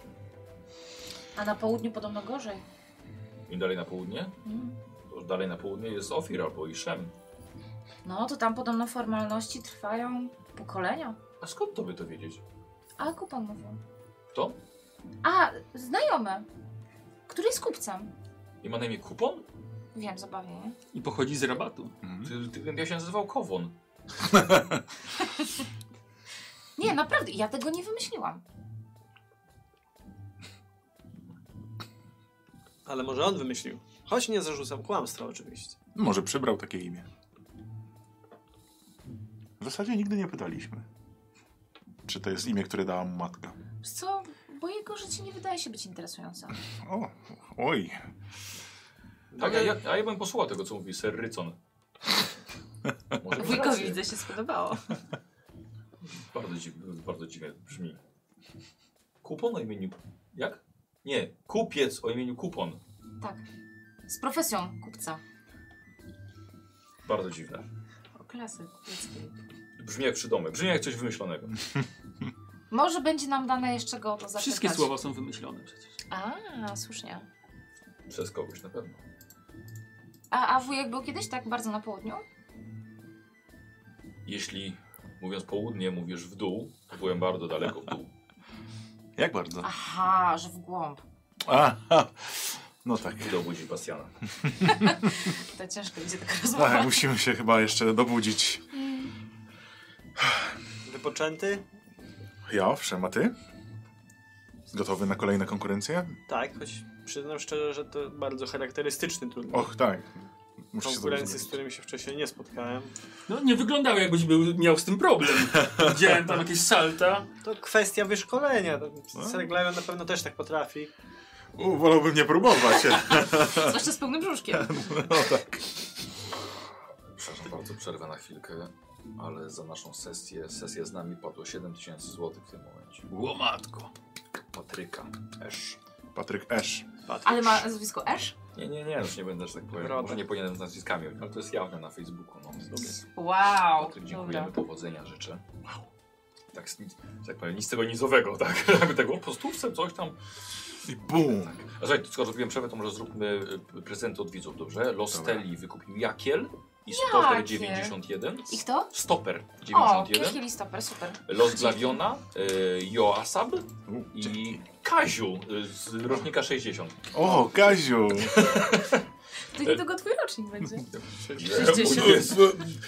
Speaker 2: A na południu podobno gorzej.
Speaker 1: Im dalej na południe,
Speaker 2: Mm.
Speaker 1: to dalej na południe jest Ofir albo Iszem.
Speaker 2: No, to tam podobno formalności trwają pokolenia.
Speaker 1: A skąd to by to wiedzieć?
Speaker 2: A kupon mówił.
Speaker 1: Kto?
Speaker 2: A, znajomy. Który jest kupcem.
Speaker 1: I ma na imię Kupon?
Speaker 2: Wiem, zabawnie, nie?
Speaker 5: I pochodzi z rabatu.
Speaker 3: Mhm.
Speaker 1: Ty, ty, ja się nazywał Kowon.
Speaker 2: Nie, naprawdę, ja tego nie wymyśliłam.
Speaker 4: Ale może on wymyślił. Choć nie zarzucam kłamstwa oczywiście.
Speaker 3: Może przybrał takie imię. W zasadzie nigdy nie pytaliśmy, czy to jest imię, które dała mu matka.
Speaker 2: Wiesz co, bo jego życie nie wydaje się być interesujące.
Speaker 3: O, oj,
Speaker 1: Tak, a ja, a ja bym posłuchał tego, co mówi Ser Rycon. Może mieć
Speaker 2: Wujkowi
Speaker 1: rację.
Speaker 2: widzę, się spodobało.
Speaker 1: Bardzo, dziw, bardzo dziwnie brzmi. Kupon o imieniu... Jak? Nie, kupiec o imieniu Kupon.
Speaker 2: Tak. Z profesją kupca.
Speaker 1: Bardzo dziwne.
Speaker 2: O klasy kupieckiej.
Speaker 1: Brzmi jak przydomek, brzmi jak coś wymyślonego.
Speaker 2: Może będzie nam dane jeszcze go o to zapytać.
Speaker 5: Wszystkie słowa są wymyślone przecież.
Speaker 2: A, słusznie.
Speaker 1: Przez kogoś na pewno.
Speaker 2: A, a wujek był kiedyś tak bardzo na południu?
Speaker 1: Jeśli, mówiąc południe, mówisz w dół, to byłem bardzo daleko w dół.
Speaker 3: jak bardzo.
Speaker 2: Aha, że w głąb.
Speaker 3: Aha. No tak.
Speaker 1: Idę obudzić Bastiana.
Speaker 2: To ciężko będzie taka rozmowa.
Speaker 3: Tak, musimy się chyba jeszcze dobudzić.
Speaker 4: Wypoczęty?
Speaker 3: Ja owszem, a ty? Gotowy na kolejne konkurencje?
Speaker 4: Tak, choć przyznam szczerze, że to bardzo charakterystyczny turniej.
Speaker 3: Och, tak. Muszę się
Speaker 4: Konkurencji,
Speaker 3: dobrze
Speaker 4: z którymi się wcześniej nie spotkałem.
Speaker 5: No nie wyglądało jakbyś był, miał z tym problem. Widziałem tam jakieś salta.
Speaker 4: To kwestia wyszkolenia.
Speaker 3: No.
Speaker 4: Serglawion na pewno też tak potrafi.
Speaker 3: U, wolałbym nie próbować.
Speaker 2: Zwłaszcza z pełnym brzuszkiem.
Speaker 3: No tak.
Speaker 1: Przepraszam bardzo, przerwę na chwilkę, ale za naszą sesję, sesję z nami padło 7000 zł w tym momencie.
Speaker 5: Łomatko.
Speaker 1: Patryka. Esz.
Speaker 3: Patryk Esz.
Speaker 2: Ale ma nazwisko Esz?
Speaker 1: Nie, nie, nie, już nie będę, że tak powiem.
Speaker 4: Roda.
Speaker 1: Może nie powinienem z nazwiskami, ale to jest jawne na Facebooku. No, więc
Speaker 2: Wow.
Speaker 1: Patryk, No dziękujemy,
Speaker 2: Dobra.
Speaker 1: powodzenia życzę. Tak, z nic- że tak powiem, nic z tego nizowego, tak? Jakby tego po stówce coś tam.
Speaker 3: I bum.
Speaker 1: A słuchaj, skoro zrobiłem przerwę, to może zróbmy y, prezent od widzów, dobrze? Losteli wykupił Jakiel i Stoper
Speaker 2: Jakiel.
Speaker 1: 91.
Speaker 2: I kto?
Speaker 1: Stoper
Speaker 2: O,
Speaker 1: 91.
Speaker 2: kilki listoper, super.
Speaker 1: Los Glaviona, y, Joasab
Speaker 3: U, dzie-
Speaker 1: i Kaziu y, z rocznika 60.
Speaker 3: O, Kaziu.
Speaker 2: To
Speaker 1: E.
Speaker 2: niedługo twój rocznik będzie.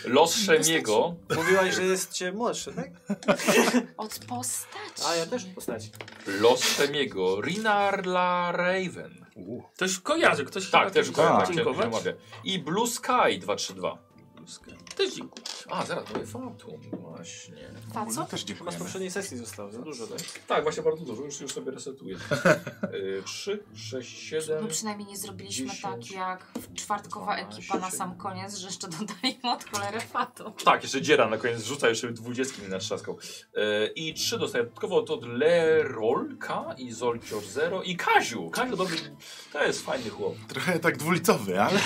Speaker 1: Los Szemiego
Speaker 4: Mówiłaś, że jest cię młodszy, tak?
Speaker 2: Od postaci.
Speaker 4: A ja też postać.
Speaker 1: Los Szemiego, Rinarla Raven.
Speaker 5: Ktoś kojarzy, ktoś chyba
Speaker 1: Tak, też
Speaker 5: kiedyś
Speaker 1: go tak,
Speaker 5: chciał dziękować.
Speaker 1: dziękować. I Blue Sky 232.
Speaker 5: Też dziękuję.
Speaker 1: A, zaraz, to jest Fatum, właśnie.
Speaker 2: Ta
Speaker 3: No
Speaker 2: co?
Speaker 3: też
Speaker 4: Chyba z
Speaker 3: dziękujemy.
Speaker 4: poprzedniej sesji zostało, za dużo, tak?
Speaker 1: Tak, właśnie bardzo dużo, już, już sobie resetuję. Y, 3, 6, 7.
Speaker 2: No przynajmniej nie zrobiliśmy
Speaker 1: Dziesięć,
Speaker 2: tak jak czwartkowa ekipa na sam koniec, że jeszcze dodaliśmy od cholery fatu.
Speaker 1: Tak, jeszcze dziera na koniec rzuca, jeszcze 20 mi natrzaskał. E, I 3 dostaję dodatkowo to od Lerolka i Zolcior Zero i Kaziu. Kaziu, dobry, to jest fajny chłop.
Speaker 3: Trochę tak dwulicowy, ale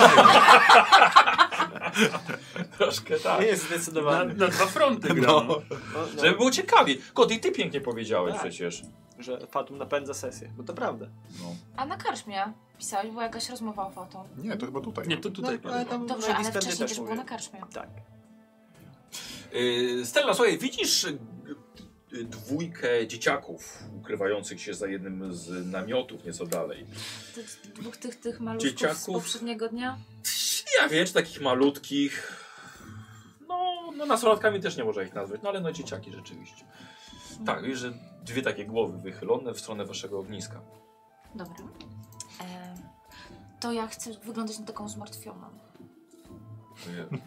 Speaker 1: Troszkę tak.
Speaker 4: Nie jest
Speaker 5: Na,
Speaker 4: zdecydowany.
Speaker 5: na dwa fronty gra.
Speaker 3: no,
Speaker 5: No.
Speaker 4: No, no,
Speaker 1: Żeby było ciekawie. Kot, i ty pięknie powiedziałeś
Speaker 4: Tak.
Speaker 1: przecież.
Speaker 4: Że Fatum napędza sesję, bo to prawda.
Speaker 1: No.
Speaker 2: A na karczmie pisałeś, była jakaś rozmowa o fatu.
Speaker 3: nie, to chyba tutaj.
Speaker 5: Nie, to tutaj.
Speaker 4: no, ale tam
Speaker 2: Dobrze, ale
Speaker 4: magisternie
Speaker 2: wcześniej też było
Speaker 4: mówię.
Speaker 2: na karczmie.
Speaker 4: Tak.
Speaker 1: Yy, Stella, słuchaj, widzisz y, y, dwójkę dzieciaków ukrywających się za jednym z namiotów nieco dalej.
Speaker 2: Tych, dwóch tych, tych maluszków z
Speaker 1: Dzieciaków.
Speaker 2: poprzedniego dnia.
Speaker 1: Ja wiem, czy takich malutkich. No, no nastolatkami też nie można ich nazwać, no ale no dzieciaki rzeczywiście. Tak, wiesz, że dwie takie głowy wychylone w stronę waszego ogniska.
Speaker 2: Dobra. E, to ja chcę wyglądać na taką zmartwioną.
Speaker 1: Nie.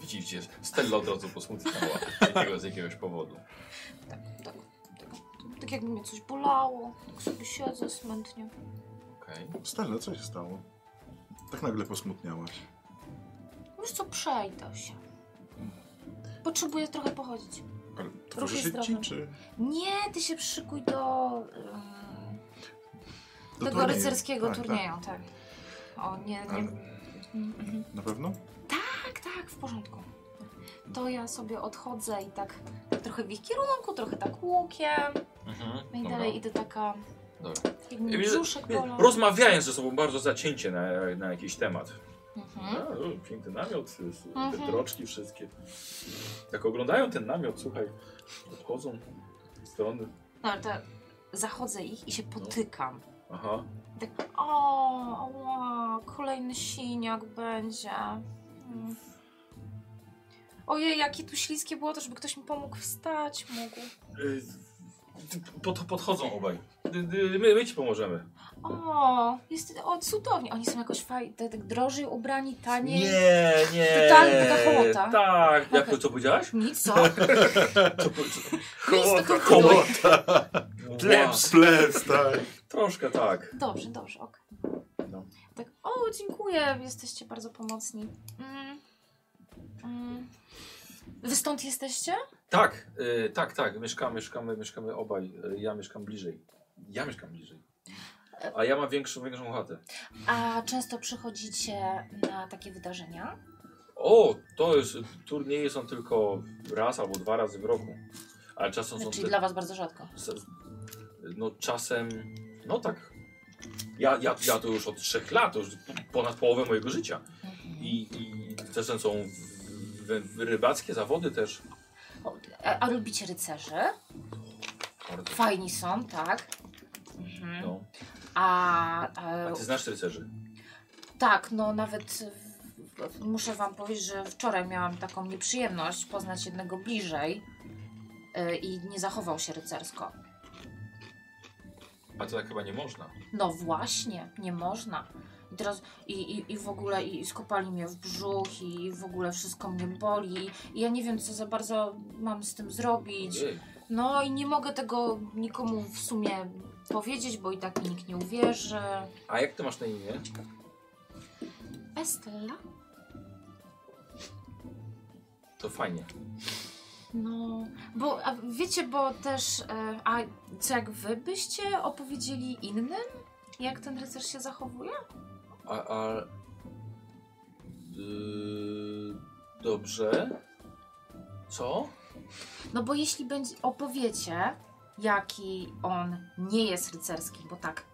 Speaker 1: Widzicie, Stella od razu posmutniała z jakiego- z jakiegoś powodu.
Speaker 2: Tak, tak, tak, tak jakby mnie coś bolało. Tak sobie siedzę smętnie.
Speaker 1: Okej.
Speaker 3: Stella, co się stało? Tak nagle posmutniałaś.
Speaker 2: Wiesz co, przejdę się. Potrzebuję trochę pochodzić.
Speaker 3: Ale towarzyszyć
Speaker 2: zdrowy.
Speaker 3: ci, czy...
Speaker 2: Nie, ty się przyszykuj do... ym,
Speaker 3: do
Speaker 2: tego
Speaker 3: turnieju?
Speaker 2: rycerskiego
Speaker 3: Tak,
Speaker 2: turnieju, tak. O, nie, nie.
Speaker 3: Ale-
Speaker 2: Mhm.
Speaker 3: Tak. Na pewno?
Speaker 2: Tak, tak, w porządku. To ja sobie odchodzę i tak, tak trochę w ich kierunku, trochę tak łukiem.
Speaker 1: Mhm,
Speaker 2: No i
Speaker 1: dobra.
Speaker 2: dalej idę taka,
Speaker 1: Dobra.
Speaker 2: jak mi brzuszek bolał.
Speaker 1: Rozmawiając ze sobą bardzo zacięcie na, na jakiś temat.
Speaker 2: Mhm.
Speaker 1: A, o, piękny namiot, y, te
Speaker 2: Mhm.
Speaker 1: droczki wszystkie. Jak oglądają ten namiot, słuchaj, odchodzą z strony.
Speaker 2: No ale to zachodzę ich i się potykam.
Speaker 1: Aha.
Speaker 2: I Tak, o, ła, kolejny siniak będzie. Mm. Ojej, jakie tu śliskie było to, żeby ktoś mi pomógł wstać mógł.
Speaker 1: Y, Pod, podchodzą obaj. Y, y, My, my ci pomożemy.
Speaker 2: O, jest, o, cudownie. Oni są jakoś fajnie, tak drożej ubrani, taniej.
Speaker 1: Nie, nie.
Speaker 2: Totalnie taka hołota.
Speaker 1: Tak. Jak
Speaker 2: Okej.
Speaker 1: co powiedziałaś?
Speaker 2: Nic, co?
Speaker 3: Hołota,
Speaker 2: hołota.
Speaker 5: Plebs.
Speaker 3: Plebs, tak.
Speaker 1: No Troszkę tak.
Speaker 2: Dobrze, dobrze, okej.
Speaker 1: No.
Speaker 2: Tak, o, dziękuję, jesteście bardzo pomocni. Mm. Mm. Wy stąd jesteście?
Speaker 1: Tak, y, tak, tak. Mieszkamy, mieszkamy, mieszkamy obaj. Y, Ja mieszkam bliżej. Ja mieszkam bliżej. A ja mam większą, większą chatę.
Speaker 2: A często przychodzicie na takie wydarzenia?
Speaker 1: O, to jest, turnieje są tylko raz albo dwa razy w roku. Ale czasem są
Speaker 2: Czyli
Speaker 1: te-
Speaker 2: Znaczy, dla was bardzo rzadko.
Speaker 1: z- No czasem, no tak. Ja, ja, ja to już od trzech lat, to już ponad połowę mojego życia. I, i czasem są w, w, w rybackie zawody też.
Speaker 2: O, A, a lubicie rycerzy?
Speaker 1: Bardzo.
Speaker 2: Fajni są, tak? Mhm.
Speaker 1: No.
Speaker 2: A, a,
Speaker 1: A ty znasz rycerzy?
Speaker 2: tak, no nawet w- w- muszę wam powiedzieć, że wczoraj miałam taką nieprzyjemność poznać jednego bliżej y, i nie zachował się rycersko.
Speaker 1: A to tak chyba nie można.
Speaker 2: No właśnie, nie można. I teraz i, i, i w ogóle i, i skopali mnie w brzuch i w ogóle wszystko mnie boli i ja nie wiem co za bardzo mam z tym zrobić.
Speaker 1: Ojej.
Speaker 2: No i nie mogę tego nikomu w sumie powiedzieć, bo i tak mi nikt nie uwierzy.
Speaker 1: A jak ty masz na imię?
Speaker 2: Estella?
Speaker 1: To fajnie.
Speaker 2: No, bo a wiecie, bo też, e, a co jak wy byście opowiedzieli innym, jak ten rycerz się zachowuje?
Speaker 1: A, a... Yy, dobrze. Co?
Speaker 2: No bo jeśli będzie, opowiecie, jaki on nie jest rycerski, bo tak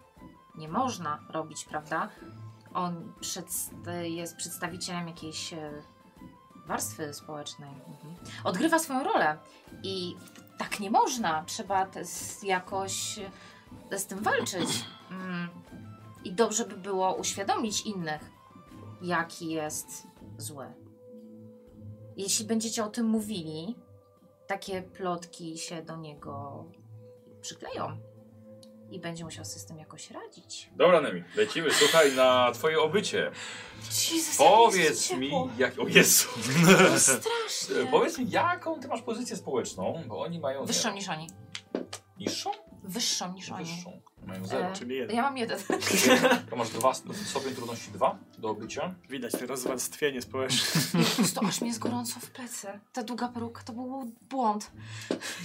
Speaker 2: nie można robić, prawda? On przedst- jest przedstawicielem jakiejś e, warstwy społecznej. Mhm. Odgrywa swoją rolę i tak nie można. Trzeba te- z, jakoś e, z tym walczyć. Mm. I dobrze by było uświadomić innych, jaki jest zły. Jeśli będziecie o tym mówili, takie plotki się do niego przykleją i będzie musiał sobie z tym jakoś radzić.
Speaker 1: Dobra, Nemi, lecimy, słuchaj, na twoje obycie.
Speaker 2: Jezus,
Speaker 1: Powiedz mi, jak... O Jezu!
Speaker 2: No, Strasznie.
Speaker 1: Yy, Powiedz mi, jaką ty masz pozycję społeczną, bo oni mają...
Speaker 2: Wyższą
Speaker 1: zero.
Speaker 2: niż oni.
Speaker 1: Niższą?
Speaker 2: Wyższą niż oni.
Speaker 1: Wyższą. Mają zero.
Speaker 2: E.
Speaker 4: Czyli jeden.
Speaker 2: Ja mam jeden.
Speaker 1: To masz dwa, stopień trudności dwa do obycia.
Speaker 4: Widać to rozwarstwienie społeczne.
Speaker 2: Pusto, aż mi jest gorąco w plecy. Ta długa peruka to był błąd.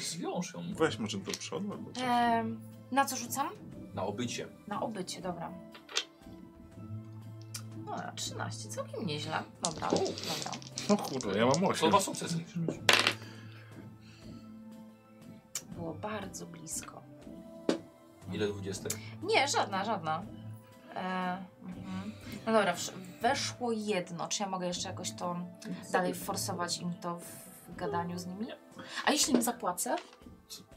Speaker 1: Zwiąż ją
Speaker 3: Weź może do przodu albo coś.
Speaker 2: Em, na co rzucam?
Speaker 1: na obycie.
Speaker 2: Na obycie, dobra. No, na 13, całkiem nieźle. Dobra, dobra.
Speaker 3: No kurde, ja mam
Speaker 1: To
Speaker 3: 8.
Speaker 1: dwa sukcesy musisz mieć.
Speaker 2: Było bardzo blisko.
Speaker 1: Ile dwudziestek?
Speaker 2: Nie, żadna, żadna. E, mhm. No dobra, wsz- weszło jedno. Czy ja mogę jeszcze jakoś to dalej forsować im to w gadaniu z nimi? A jeśli im zapłacę?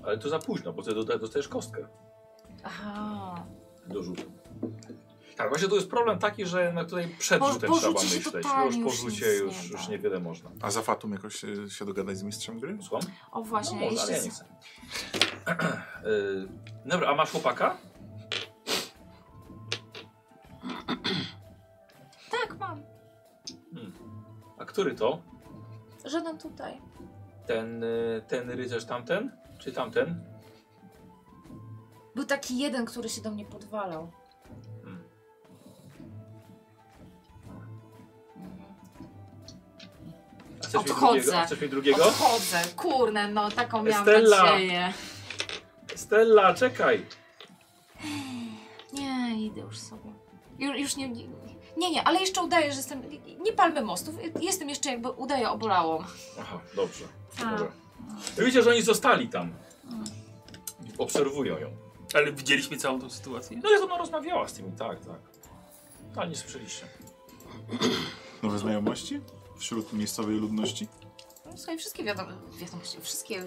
Speaker 1: Ale to za późno, bo ty doda- dostajesz kostkę
Speaker 2: Aha.
Speaker 1: do rzutu. Tak, właśnie tu jest problem taki, że na tutaj przed
Speaker 2: Po-
Speaker 1: rzutem
Speaker 2: po
Speaker 1: trzeba
Speaker 2: rzucie się
Speaker 1: myśleć.
Speaker 2: totalnie
Speaker 1: Już po
Speaker 2: już
Speaker 1: rzucie
Speaker 2: nic
Speaker 1: już,
Speaker 2: nie da.
Speaker 1: już niewiele można.
Speaker 3: A za Fatum jakoś y, się dogadać z mistrzem gry?
Speaker 1: Słucham?
Speaker 2: O właśnie,
Speaker 1: no, może, ale
Speaker 2: jeszcze
Speaker 1: ja nie chcę. Y, Dobra, a masz chłopaka?
Speaker 2: Tak, mam.
Speaker 1: A który to?
Speaker 2: Żaden tutaj.
Speaker 1: Ten, y, ten rycerz tamten? Czy tamten?
Speaker 2: Był taki jeden, który się do mnie podwalał.
Speaker 1: Hmm. A chcesz mieć
Speaker 2: Odchodzę.
Speaker 1: drugiego? A chcesz mieć drugiego?
Speaker 2: Odchodzę, kurne, no taką miałam
Speaker 1: Estella.
Speaker 2: nadzieję.
Speaker 1: Stella, czekaj!
Speaker 2: Nie, idę już sobie. Ju, już nie, nie, nie, nie, ale jeszcze udaję, że jestem, nie palmy mostów, jestem jeszcze jakby, udaję obolałą.
Speaker 1: Aha, dobrze.
Speaker 2: A.
Speaker 1: Dobra. Widzicie, że oni zostali tam. I Obserwują ją.
Speaker 5: Ale widzieliśmy całą tą sytuację.
Speaker 1: No jak ona rozmawiała z tymi, tak, tak. Ale nie słyszeliście.
Speaker 3: Nowe znajomości? Wśród miejscowej ludności?
Speaker 2: No, Słuchaj, wszystkie wiadomo, wiadomości, wszystkie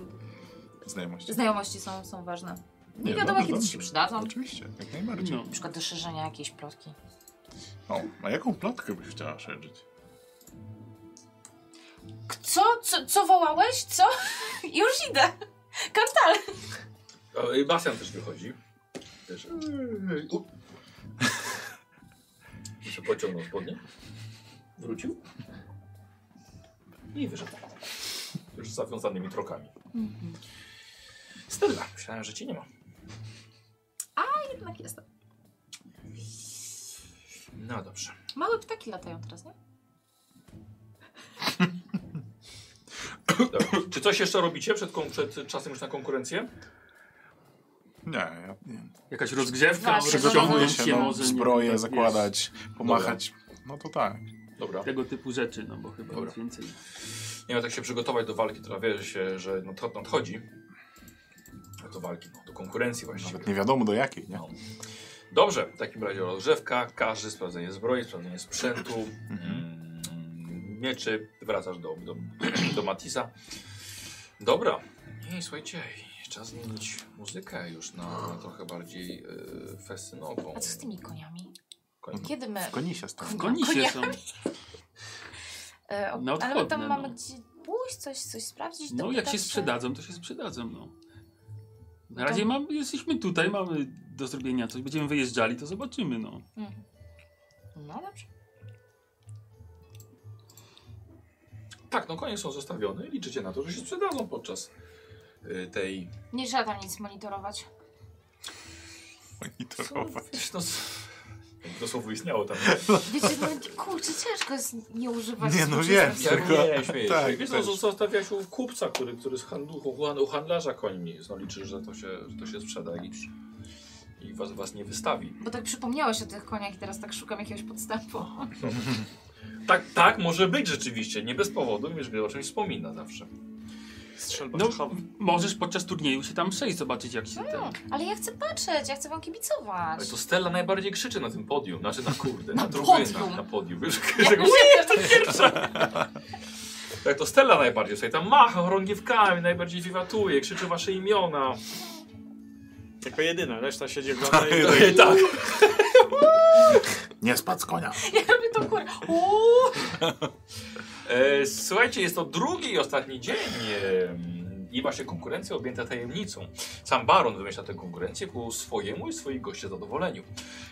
Speaker 3: Znajomości.
Speaker 2: znajomości są, są ważne.
Speaker 3: Nie,
Speaker 2: wiadomo, kiedy
Speaker 3: dobrze,
Speaker 2: ci
Speaker 3: dobrze.
Speaker 2: się przydadzą.
Speaker 3: Oczywiście, jak najbardziej.
Speaker 5: No.
Speaker 2: Na przykład do szerzenia jakiejś plotki.
Speaker 3: O, a jaką plotkę byś chciała szerzyć?
Speaker 2: K- Co? Co, co wołałeś? Co? Już idę. Kantal.
Speaker 1: O, I Bastian też wychodzi. Też. U. Jeszcze pociągnął spodnie. Wrócił. I wyszedł. Już z zawiązanymi trokami. Stella, myślałem, że cię nie ma.
Speaker 2: Jednak jestem.
Speaker 1: No dobrze.
Speaker 2: Małe ptaki latają teraz, nie?
Speaker 1: Dobra. Czy coś jeszcze robicie przed, kon- przed czasem już na konkurencję?
Speaker 3: Nie, ja nie.
Speaker 5: Jakaś rozgrzewka,
Speaker 2: Właśnie,
Speaker 3: Przygotowuję
Speaker 5: rozciągnąć
Speaker 2: Przygotować
Speaker 5: się
Speaker 3: się, no,
Speaker 5: może. nie wiem,
Speaker 3: zbroję
Speaker 5: tak,
Speaker 3: zakładać, pomachać. No to tak.
Speaker 1: Dobra.
Speaker 5: wiesz, Tego typu rzeczy, no bo chyba
Speaker 1: Dobra.
Speaker 5: nic więcej.
Speaker 1: Nie miał tak się przygotować do walki, która wie się, że nadcho- nadchodzi. A do walki, no, do konkurencji właściwie.
Speaker 3: Nawet nie wiadomo do jakiej, nie?
Speaker 1: No. Dobrze, w takim razie rozgrzewka, każdy sprawdzenie zbroi, sprawdzenie sprzętu, mm, mieczy, wracasz do, do, do Matisa. Dobra, No i słuchajcie, czas zmienić muzykę już na, na trochę bardziej y, festynową.
Speaker 2: A co z tymi koniami?
Speaker 1: Koń-
Speaker 2: Kiedy my...
Speaker 3: W koni się
Speaker 2: No,
Speaker 3: stanie.
Speaker 5: Koni się są.
Speaker 2: E, o-
Speaker 5: No,
Speaker 2: ale my tam
Speaker 5: odchodne,
Speaker 2: mamy
Speaker 5: no.
Speaker 2: gdzie pójść, coś, coś sprawdzić.
Speaker 5: No jak
Speaker 2: dopytać
Speaker 5: się sprzedadzą, to się sprzedadzą, no. Na
Speaker 2: To-
Speaker 5: razie mam, jesteśmy tutaj, mamy do zrobienia coś, będziemy wyjeżdżali, to zobaczymy, no.
Speaker 2: Mhm. No dobrze.
Speaker 1: Tak, no konie są zostawione i liczycie na to, że się sprzedadzą podczas y, tej...
Speaker 2: Nie trzeba tam nic monitorować.
Speaker 3: Monitorować.
Speaker 1: Wiesz, no, to słowo istniało tam.
Speaker 2: Wiecie, no, kurczę, ciężko jest nie używać.
Speaker 3: Nie, no
Speaker 2: współczesnych
Speaker 3: wiem.
Speaker 1: Ja
Speaker 2: słów.
Speaker 3: Tylko-
Speaker 1: nie, śmieję
Speaker 3: tak,
Speaker 1: się. Wiesz,
Speaker 3: też.
Speaker 1: no, zostawia się u kupca, który, który z handlu, u handlarza końmi. No, liczy, że to się, że to się sprzeda i, i was, was nie wystawi.
Speaker 2: Bo tak przypomniałeś o tych koniach i teraz tak szukam jakiegoś podstępu.
Speaker 1: Tak, tak, może być rzeczywiście. Nie bez powodu, wiesz, gdy o czymś wspomina zawsze.
Speaker 4: Strzelba
Speaker 5: No,
Speaker 4: czachowa.
Speaker 5: możesz podczas turnieju się tam przejść, zobaczyć jak
Speaker 2: No.
Speaker 5: się ten...
Speaker 2: Ale ja chcę patrzeć, ja chcę wam kibicować.
Speaker 1: Ale to Stella najbardziej krzyczy na tym podium. Znaczy na kurde, na,
Speaker 2: Na
Speaker 1: trybunach,
Speaker 2: podium.
Speaker 1: na podium. Wiesz,
Speaker 2: Ja
Speaker 1: tak,
Speaker 2: już jestem-
Speaker 1: tak, to Stella najbardziej sobie tam macha chorągiewkami, najbardziej wiwatuje, krzyczy wasze imiona.
Speaker 3: tak.
Speaker 4: Jako jedyna, reszta siedzi ogląda i
Speaker 1: Tak.
Speaker 3: Nie spadł z konia.
Speaker 2: Ja robię to kurę. Uuu.
Speaker 1: E, słuchajcie, jest to drugi i ostatni dzień. E, I właśnie konkurencja objęta tajemnicą. Sam baron wymyśla tę konkurencję ku swojemu i swoich goście zadowoleniu.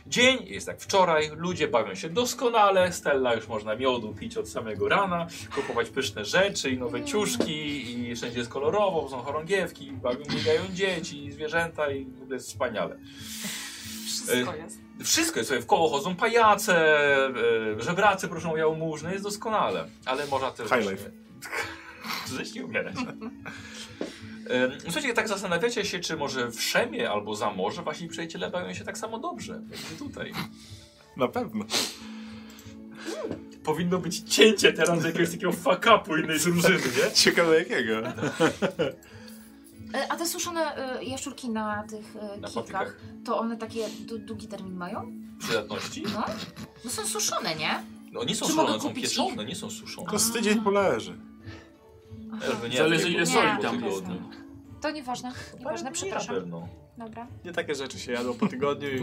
Speaker 1: Dzień jest jak wczoraj, ludzie bawią się doskonale, Stella już można miodu pić od samego rana, kupować pyszne rzeczy i nowe ciuszki i wszędzie jest kolorowo, bo są chorągiewki, bawią, biegają dzieci i zwierzęta i w ogóle jest wspaniale.
Speaker 2: Wszystko jest.
Speaker 1: Wszystko jest sobie w koło, chodzą pajace, e, żebracy proszą o jałmużnę, jest doskonale. Ale można też...
Speaker 3: High life.
Speaker 1: Żyć nie umierać. Em, Słuchajcie, tak zastanawiacie się, czy może w Szemie albo za morze wasi przyjaciele bawią się tak samo dobrze, jak wy tutaj.
Speaker 3: Na pewno.
Speaker 1: Powinno być cięcie teraz jakiegoś takiego fuck-upu innej drużyny, nie?
Speaker 3: Ciekawe jakiego.
Speaker 2: E, A te suszone e, jaszczurki na tych e,
Speaker 1: Na
Speaker 2: kilkach,
Speaker 1: patykach
Speaker 2: to one takie du- długi termin mają?
Speaker 1: przydatności.
Speaker 2: No? No są suszone, nie?
Speaker 1: No, nie są
Speaker 2: Czy
Speaker 1: suszone,
Speaker 2: mogę
Speaker 1: są
Speaker 2: kupić
Speaker 1: pieczone, nie są suszone.
Speaker 3: To z tydzień poleży.
Speaker 2: Aha.
Speaker 1: Elwy nie,
Speaker 5: Zależy,
Speaker 1: tylko
Speaker 5: ile
Speaker 1: po
Speaker 5: soli
Speaker 1: tygodniu.
Speaker 5: tam
Speaker 1: Ale
Speaker 2: jest. To nieważne, nieważne,
Speaker 1: nie,
Speaker 2: przepraszam.
Speaker 1: Na No, pewno.
Speaker 2: Dobra.
Speaker 4: Nie takie rzeczy się jadło po tygodniu i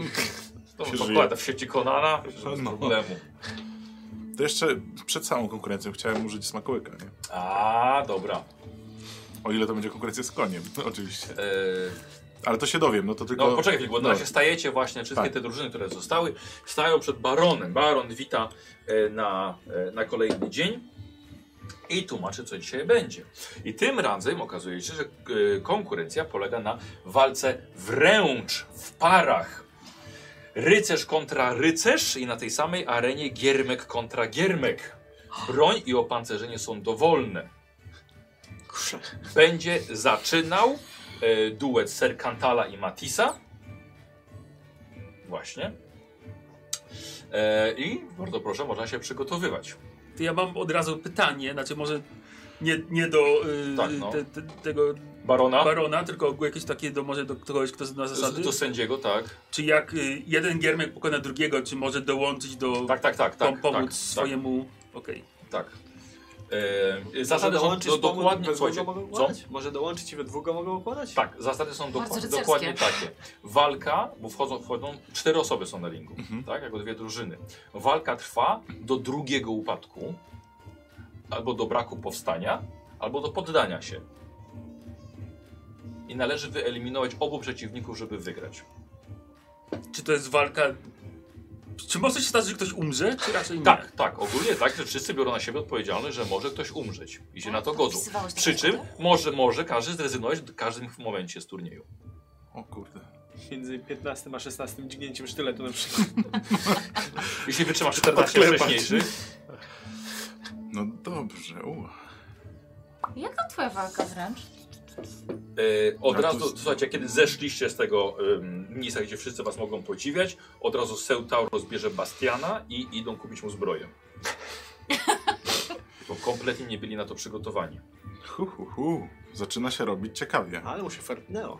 Speaker 1: To
Speaker 3: Się
Speaker 1: pokłada w sieci Konana, bez
Speaker 3: No.
Speaker 1: problemu.
Speaker 3: To jeszcze przed samą konkurencją chciałem użyć smakołyka, nie?
Speaker 1: A, dobra.
Speaker 3: O ile to będzie konkurencja z koniem, oczywiście.
Speaker 1: E,
Speaker 3: Ale to się dowiem, no to tylko...
Speaker 1: No poczekaj chwilę, bo na
Speaker 3: No.
Speaker 1: razie stajecie właśnie, wszystkie
Speaker 3: Tak.
Speaker 1: te drużyny, które zostały, stają przed baronem. Baron wita e, na, e, na kolejny dzień i tłumaczy, co dzisiaj będzie. I tym razem okazuje się, że e, konkurencja polega na walce wręcz w parach. Rycerz kontra rycerz i na tej samej arenie giermek kontra giermek. Broń i opancerzenie są dowolne.
Speaker 4: kurczę,
Speaker 1: Będzie zaczynał e, duet Serkantala i Matisa. Właśnie. E, I bardzo proszę, można się przygotowywać.
Speaker 5: To ja mam od razu pytanie, znaczy może nie, nie do y,
Speaker 1: Tak, no.
Speaker 5: te, te, tego
Speaker 1: Barona?
Speaker 5: barona, tylko jakieś takie do, może do kogoś, kto zna zasady.
Speaker 1: Z, do sędziego, tak.
Speaker 5: Czy jak y, jeden giermek pokona drugiego, czy może dołączyć do...
Speaker 1: Tak, tak, tak. tak,
Speaker 5: pom- pomóc
Speaker 1: tak,
Speaker 5: swojemu... Okej.
Speaker 1: Tak. tak. E, zasady są
Speaker 4: dołączyć,
Speaker 1: do,
Speaker 4: pomóc,
Speaker 1: dokładnie.
Speaker 4: we dwóch
Speaker 1: Słuchajcie,
Speaker 4: go mogą
Speaker 1: co?
Speaker 4: układać? Może dołączyć i we dwóch go mogą układać?
Speaker 1: Tak, zasady są dokładnie,
Speaker 2: rycerskie.
Speaker 1: dokładnie takie. Walka, bo wchodzą, wchodzą cztery osoby są na ringu,
Speaker 3: Mhm.
Speaker 1: tak? Jako dwie drużyny. Walka trwa do drugiego upadku, albo do braku powstania, albo do poddania się. I należy wyeliminować obu przeciwników, żeby wygrać.
Speaker 3: Mhm.
Speaker 5: Czy to jest walka... Czy może się stać, że ktoś umrze, czy raczej nie?
Speaker 1: Tak, tak, ogólnie tak, że wszyscy biorą na siebie odpowiedzialność, że może ktoś umrzeć i się na to godzą.
Speaker 2: Wpisywałeś te
Speaker 1: Przy czym
Speaker 2: zasady?
Speaker 1: może, może każdy zrezygnować w każdym momencie z turnieju.
Speaker 3: O kurde.
Speaker 4: Między 15 a 16 dźgnięciem sztyletu na przykład.
Speaker 1: Jeśli wytrzymasz 14
Speaker 3: Podklepać.
Speaker 1: wcześniejszych,
Speaker 3: No dobrze, u.
Speaker 2: Jak tam twoja walka wręcz?
Speaker 1: E, od
Speaker 3: No to
Speaker 1: razu,
Speaker 3: jest-
Speaker 1: słuchajcie, kiedy zeszliście z tego ym, miejsca, gdzie wszyscy was mogą podziwiać, od razu Seutau rozbierze Bastiana i idą kupić mu zbroję. Bo kompletnie nie byli na to przygotowani.
Speaker 3: Hu, hu, hu. Zaczyna się robić ciekawie.
Speaker 4: Ale no. mu się farpnęło.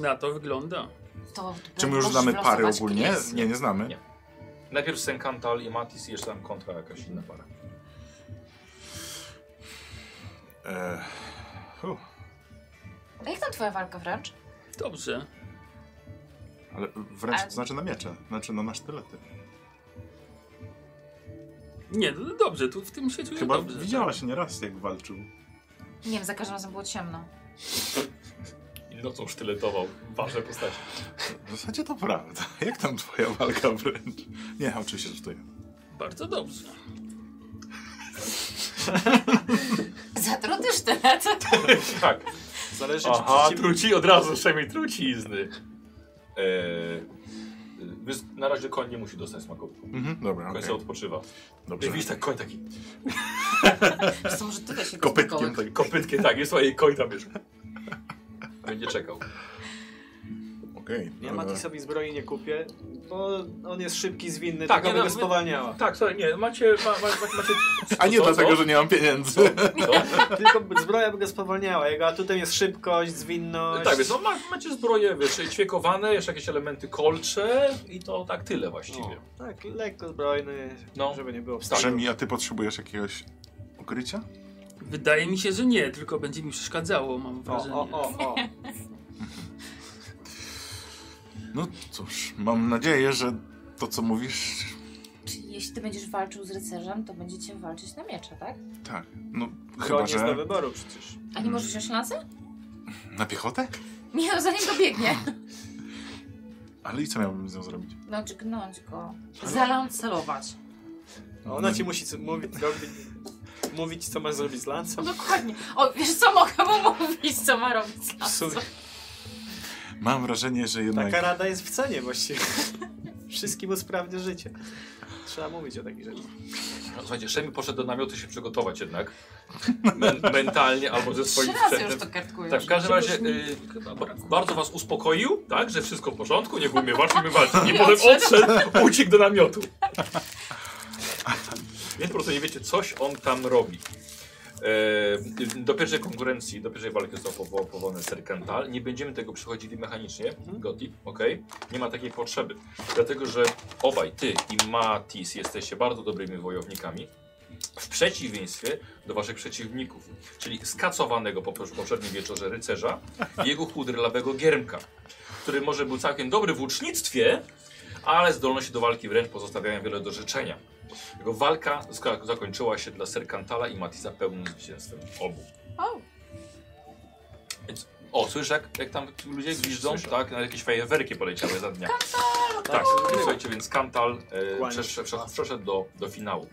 Speaker 5: Na to wygląda.
Speaker 2: To
Speaker 3: Czy my już
Speaker 2: możesz
Speaker 3: znamy pary
Speaker 2: wylosować
Speaker 3: ogólnie?
Speaker 2: quiz.
Speaker 3: Nie, nie znamy.
Speaker 1: Nie. Najpierw Senkantal i Matis i jeszcze tam kontra jakaś inna para.
Speaker 3: E, hu.
Speaker 2: A jak tam twoja walka wręcz?
Speaker 5: Dobrze.
Speaker 3: Ale wręcz
Speaker 2: A-
Speaker 3: to znaczy na miecze, znaczy no na sztylety.
Speaker 5: Nie, no dobrze, tu w tym się
Speaker 2: No
Speaker 5: czuję
Speaker 3: Chyba
Speaker 5: dobrze. tak.
Speaker 3: widziałaś
Speaker 2: tak.
Speaker 3: nieraz jak walczył.
Speaker 2: Nie wiem, za każdym razem było ciemno.
Speaker 1: I nocą sztyletował ważne postacie.
Speaker 3: W zasadzie to prawda. Jak tam twoja walka wręcz? Nie, oczywiście tutaj.
Speaker 5: Bardzo dobrze.
Speaker 2: Zatruty sztylet.
Speaker 1: tak.
Speaker 4: Zależy czy
Speaker 1: Aha,
Speaker 4: przeciw-
Speaker 1: truci od razu, przynajmniej trucizny. E, y, więc na razie koń nie musi dostać smakowiku. Koń
Speaker 3: Mhm, dobra,
Speaker 1: okay.
Speaker 3: okej.
Speaker 1: sobie odpoczywa.
Speaker 3: Dobrze.
Speaker 1: I widzisz tak koń taki
Speaker 2: Wiesz co, może ty się
Speaker 3: Kopytkiem tak.
Speaker 1: Kopytkie, tak, jest jej koń tam już. Będzie czekał.
Speaker 3: Okej.
Speaker 4: Ja
Speaker 3: dobra.
Speaker 4: Matisowi zbroi nie kupię, bo on jest szybki, zwinny,
Speaker 1: Tak,
Speaker 4: tak, tylko
Speaker 1: nie,
Speaker 4: by go
Speaker 1: no, my-
Speaker 4: spowalniała.
Speaker 1: Tak, sorry, nie, macie. Ma, ma, ma, macie
Speaker 3: A nie
Speaker 1: Co,
Speaker 3: dlatego,
Speaker 1: co?
Speaker 3: że nie mam pieniędzy.
Speaker 1: no.
Speaker 4: Tylko by- zbroja by go spowalniała. Jego atutem jest szybkość, zwinność.
Speaker 1: Tak, więc no, ma, macie zbroje, wiesz, ćwiekowane, jeszcze jakieś elementy kolcze i to tak tyle właściwie.
Speaker 4: O, tak, lekko zbrojny,
Speaker 1: No.
Speaker 4: żeby nie było wstydu.
Speaker 3: Przemi, a ty potrzebujesz jakiegoś ukrycia?
Speaker 5: Wydaje mi się, że nie, tylko będzie mi przeszkadzało, mam
Speaker 4: O,
Speaker 5: wrażenie.
Speaker 4: o, o, o.
Speaker 3: No cóż, mam nadzieję, że to co mówisz
Speaker 2: jeśli ty będziesz walczył z rycerzem, to będziecie walczyć na miecze, tak?
Speaker 3: Tak, no
Speaker 4: Chyba,
Speaker 3: chyba,
Speaker 4: jest do
Speaker 3: że
Speaker 4: wyboru przecież.
Speaker 2: A
Speaker 1: Hmm.
Speaker 2: nie możesz wziąć lansy?
Speaker 3: na piechotę?
Speaker 2: Nie, no zanim dobiegnie.
Speaker 3: Ale i co miałbym z nią zrobić?
Speaker 2: No, czy gnąć go. Zalancelować.
Speaker 4: A Ona ci musi co- mówić, robić, mówić, co masz zrobić z
Speaker 2: No
Speaker 4: lancem.
Speaker 2: dokładnie. O, wiesz co, mogę mu mówić, co ma robić z
Speaker 4: W sumie
Speaker 2: lansem.
Speaker 3: Mam wrażenie, że jednak...
Speaker 4: Taka rada jest w cenie właściwie. Wszystkim usprawnia życie. Trzeba mówić o takich rzeczach.
Speaker 1: No, słuchajcie, Szemi poszedł do namiotu się przygotować jednak. Men mentalnie albo ze
Speaker 2: Trzy
Speaker 1: swoim
Speaker 2: razy już
Speaker 1: sprzętem.
Speaker 2: to kartkuję.
Speaker 1: Tak, w każdym razie y, bardzo was uspokoił, tak, że wszystko w porządku, niech umie walczyć, my walczyć. I
Speaker 2: I
Speaker 1: potem
Speaker 2: odszedł.
Speaker 1: odszedł, uciekł do namiotu. Więc po prostu nie wiecie, coś on tam robi. E, do pierwszej konkurencji, do pierwszej walki został powo- powołany Ser Kantal. Nie będziemy tego przechodzili mechanicznie, Gotip, ok? Nie ma takiej potrzeby. Dlatego, że obaj, ty i Matis, jesteście bardzo dobrymi wojownikami. W przeciwieństwie do waszych przeciwników, czyli skacowanego po po- poprzednim wieczorze rycerza i jego chudrylawego giermka, który może był całkiem dobry w łucznictwie, ale zdolności do walki wręcz pozostawiają wiele do życzenia. Jego walka ska- zakończyła się dla Serkantala i Matisa pełnym zwycięstwem obu.
Speaker 2: O,
Speaker 1: O, słyszysz jak, jak tam ludzie gwizdzą? Tak, na jakieś fajerwerki poleciały za dnia. Tak, słuchajcie, więc Kantal e,
Speaker 4: Kłaniam się
Speaker 1: przesz, przesz, przeszedł do, do finału.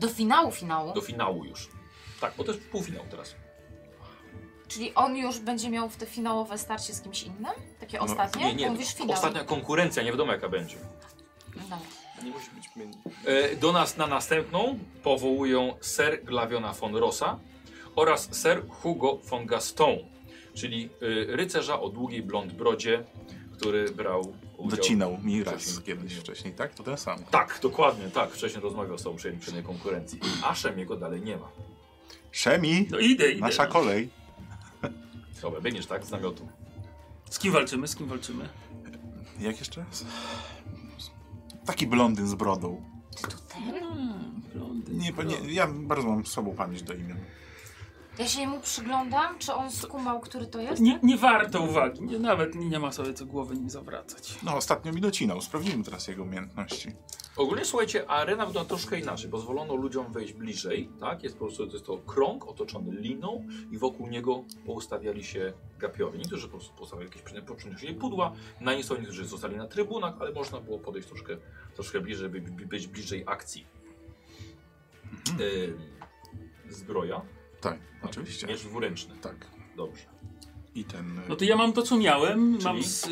Speaker 2: do finału finału.
Speaker 1: Do finału już. Tak, bo to jest półfinał teraz.
Speaker 2: Czyli on już będzie miał w te finałowe starcie z kimś innym? Takie
Speaker 3: No,
Speaker 2: ostatnie?
Speaker 1: Nie, nie,
Speaker 2: Mówisz finał.
Speaker 1: ostatnia konkurencja, nie wiadomo jaka będzie.
Speaker 2: Dobra.
Speaker 4: Nie musi być mnie.
Speaker 1: E, Do nas na następną powołują Sir Glaviona von Rossa oraz Sir Hugo von Gaston, czyli y, rycerza o długiej blond brodzie, który brał udział...
Speaker 3: Docinał mi
Speaker 1: Coś
Speaker 3: raz
Speaker 1: tam.
Speaker 3: kiedyś wcześniej, tak? To ten sam.
Speaker 1: Tak, dokładnie, tak. Wcześniej rozmawiał z tą przy przy tej konkurencji. Aszem jego dalej nie ma.
Speaker 3: Szemi,
Speaker 5: No idę, idę.
Speaker 3: nasza kolej.
Speaker 1: Dobra, biegniesz tak z namiotu.
Speaker 5: Z kim walczymy, z kim walczymy?
Speaker 3: Jak jeszcze raz? Taki blondyn z brodą. Nie, po- nie, ja bardzo mam słabą pamięć do imion.
Speaker 2: Ja się mu przyglądam, czy on skumał, który to jest?
Speaker 5: No, Nie, nie warto uwagi, nie, nawet nie ma sobie co głowy nim zawracać.
Speaker 3: No, ostatnio mi docinał. Sprawdzimy teraz jego umiejętności.
Speaker 1: Ogólnie słuchajcie, arena wygląda troszkę inaczej. Pozwolono ludziom wejść bliżej, tak? Jest po prostu to jest to krąg otoczony liną i wokół niego poustawiali się gapiowie. Niektórzy po prostu postawili jakieś przyniosli- przynieśli pudła, na nie są niektórzy zostali na trybunach, ale można było podejść troszkę, troszkę bliżej, by by być bliżej akcji. Ym, E, zbroja.
Speaker 3: Tak, oczywiście.
Speaker 1: Miecz dwuręczny.
Speaker 3: Tak.
Speaker 1: Dobrze.
Speaker 3: I ten... y,
Speaker 5: No to ja mam to, co miałem. Mam
Speaker 1: Czyli?
Speaker 5: z,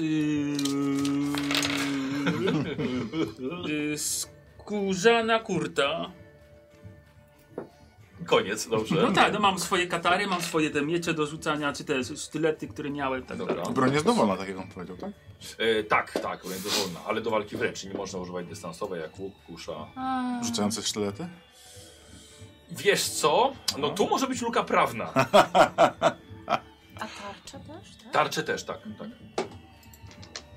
Speaker 5: yy, yy, skórzana kurta.
Speaker 1: Koniec, dobrze.
Speaker 5: No tak, no mam swoje katary, mam swoje te miecze do rzucania, czy te sztylety, które miałem, tak
Speaker 1: Dobra.
Speaker 5: dalej.
Speaker 3: Broń jest dowolna, tak jak on powiedział, tak?
Speaker 1: E, tak, tak, broń dowolna, ale do walki wręcz. Nie można używać dystansowej jak łuk, kusza.
Speaker 2: A,
Speaker 3: Rzucające sztylety?
Speaker 1: Wiesz co? No tu może być luka prawna.
Speaker 2: a tarcza też, tak?
Speaker 1: Tarcze też, tak. tak.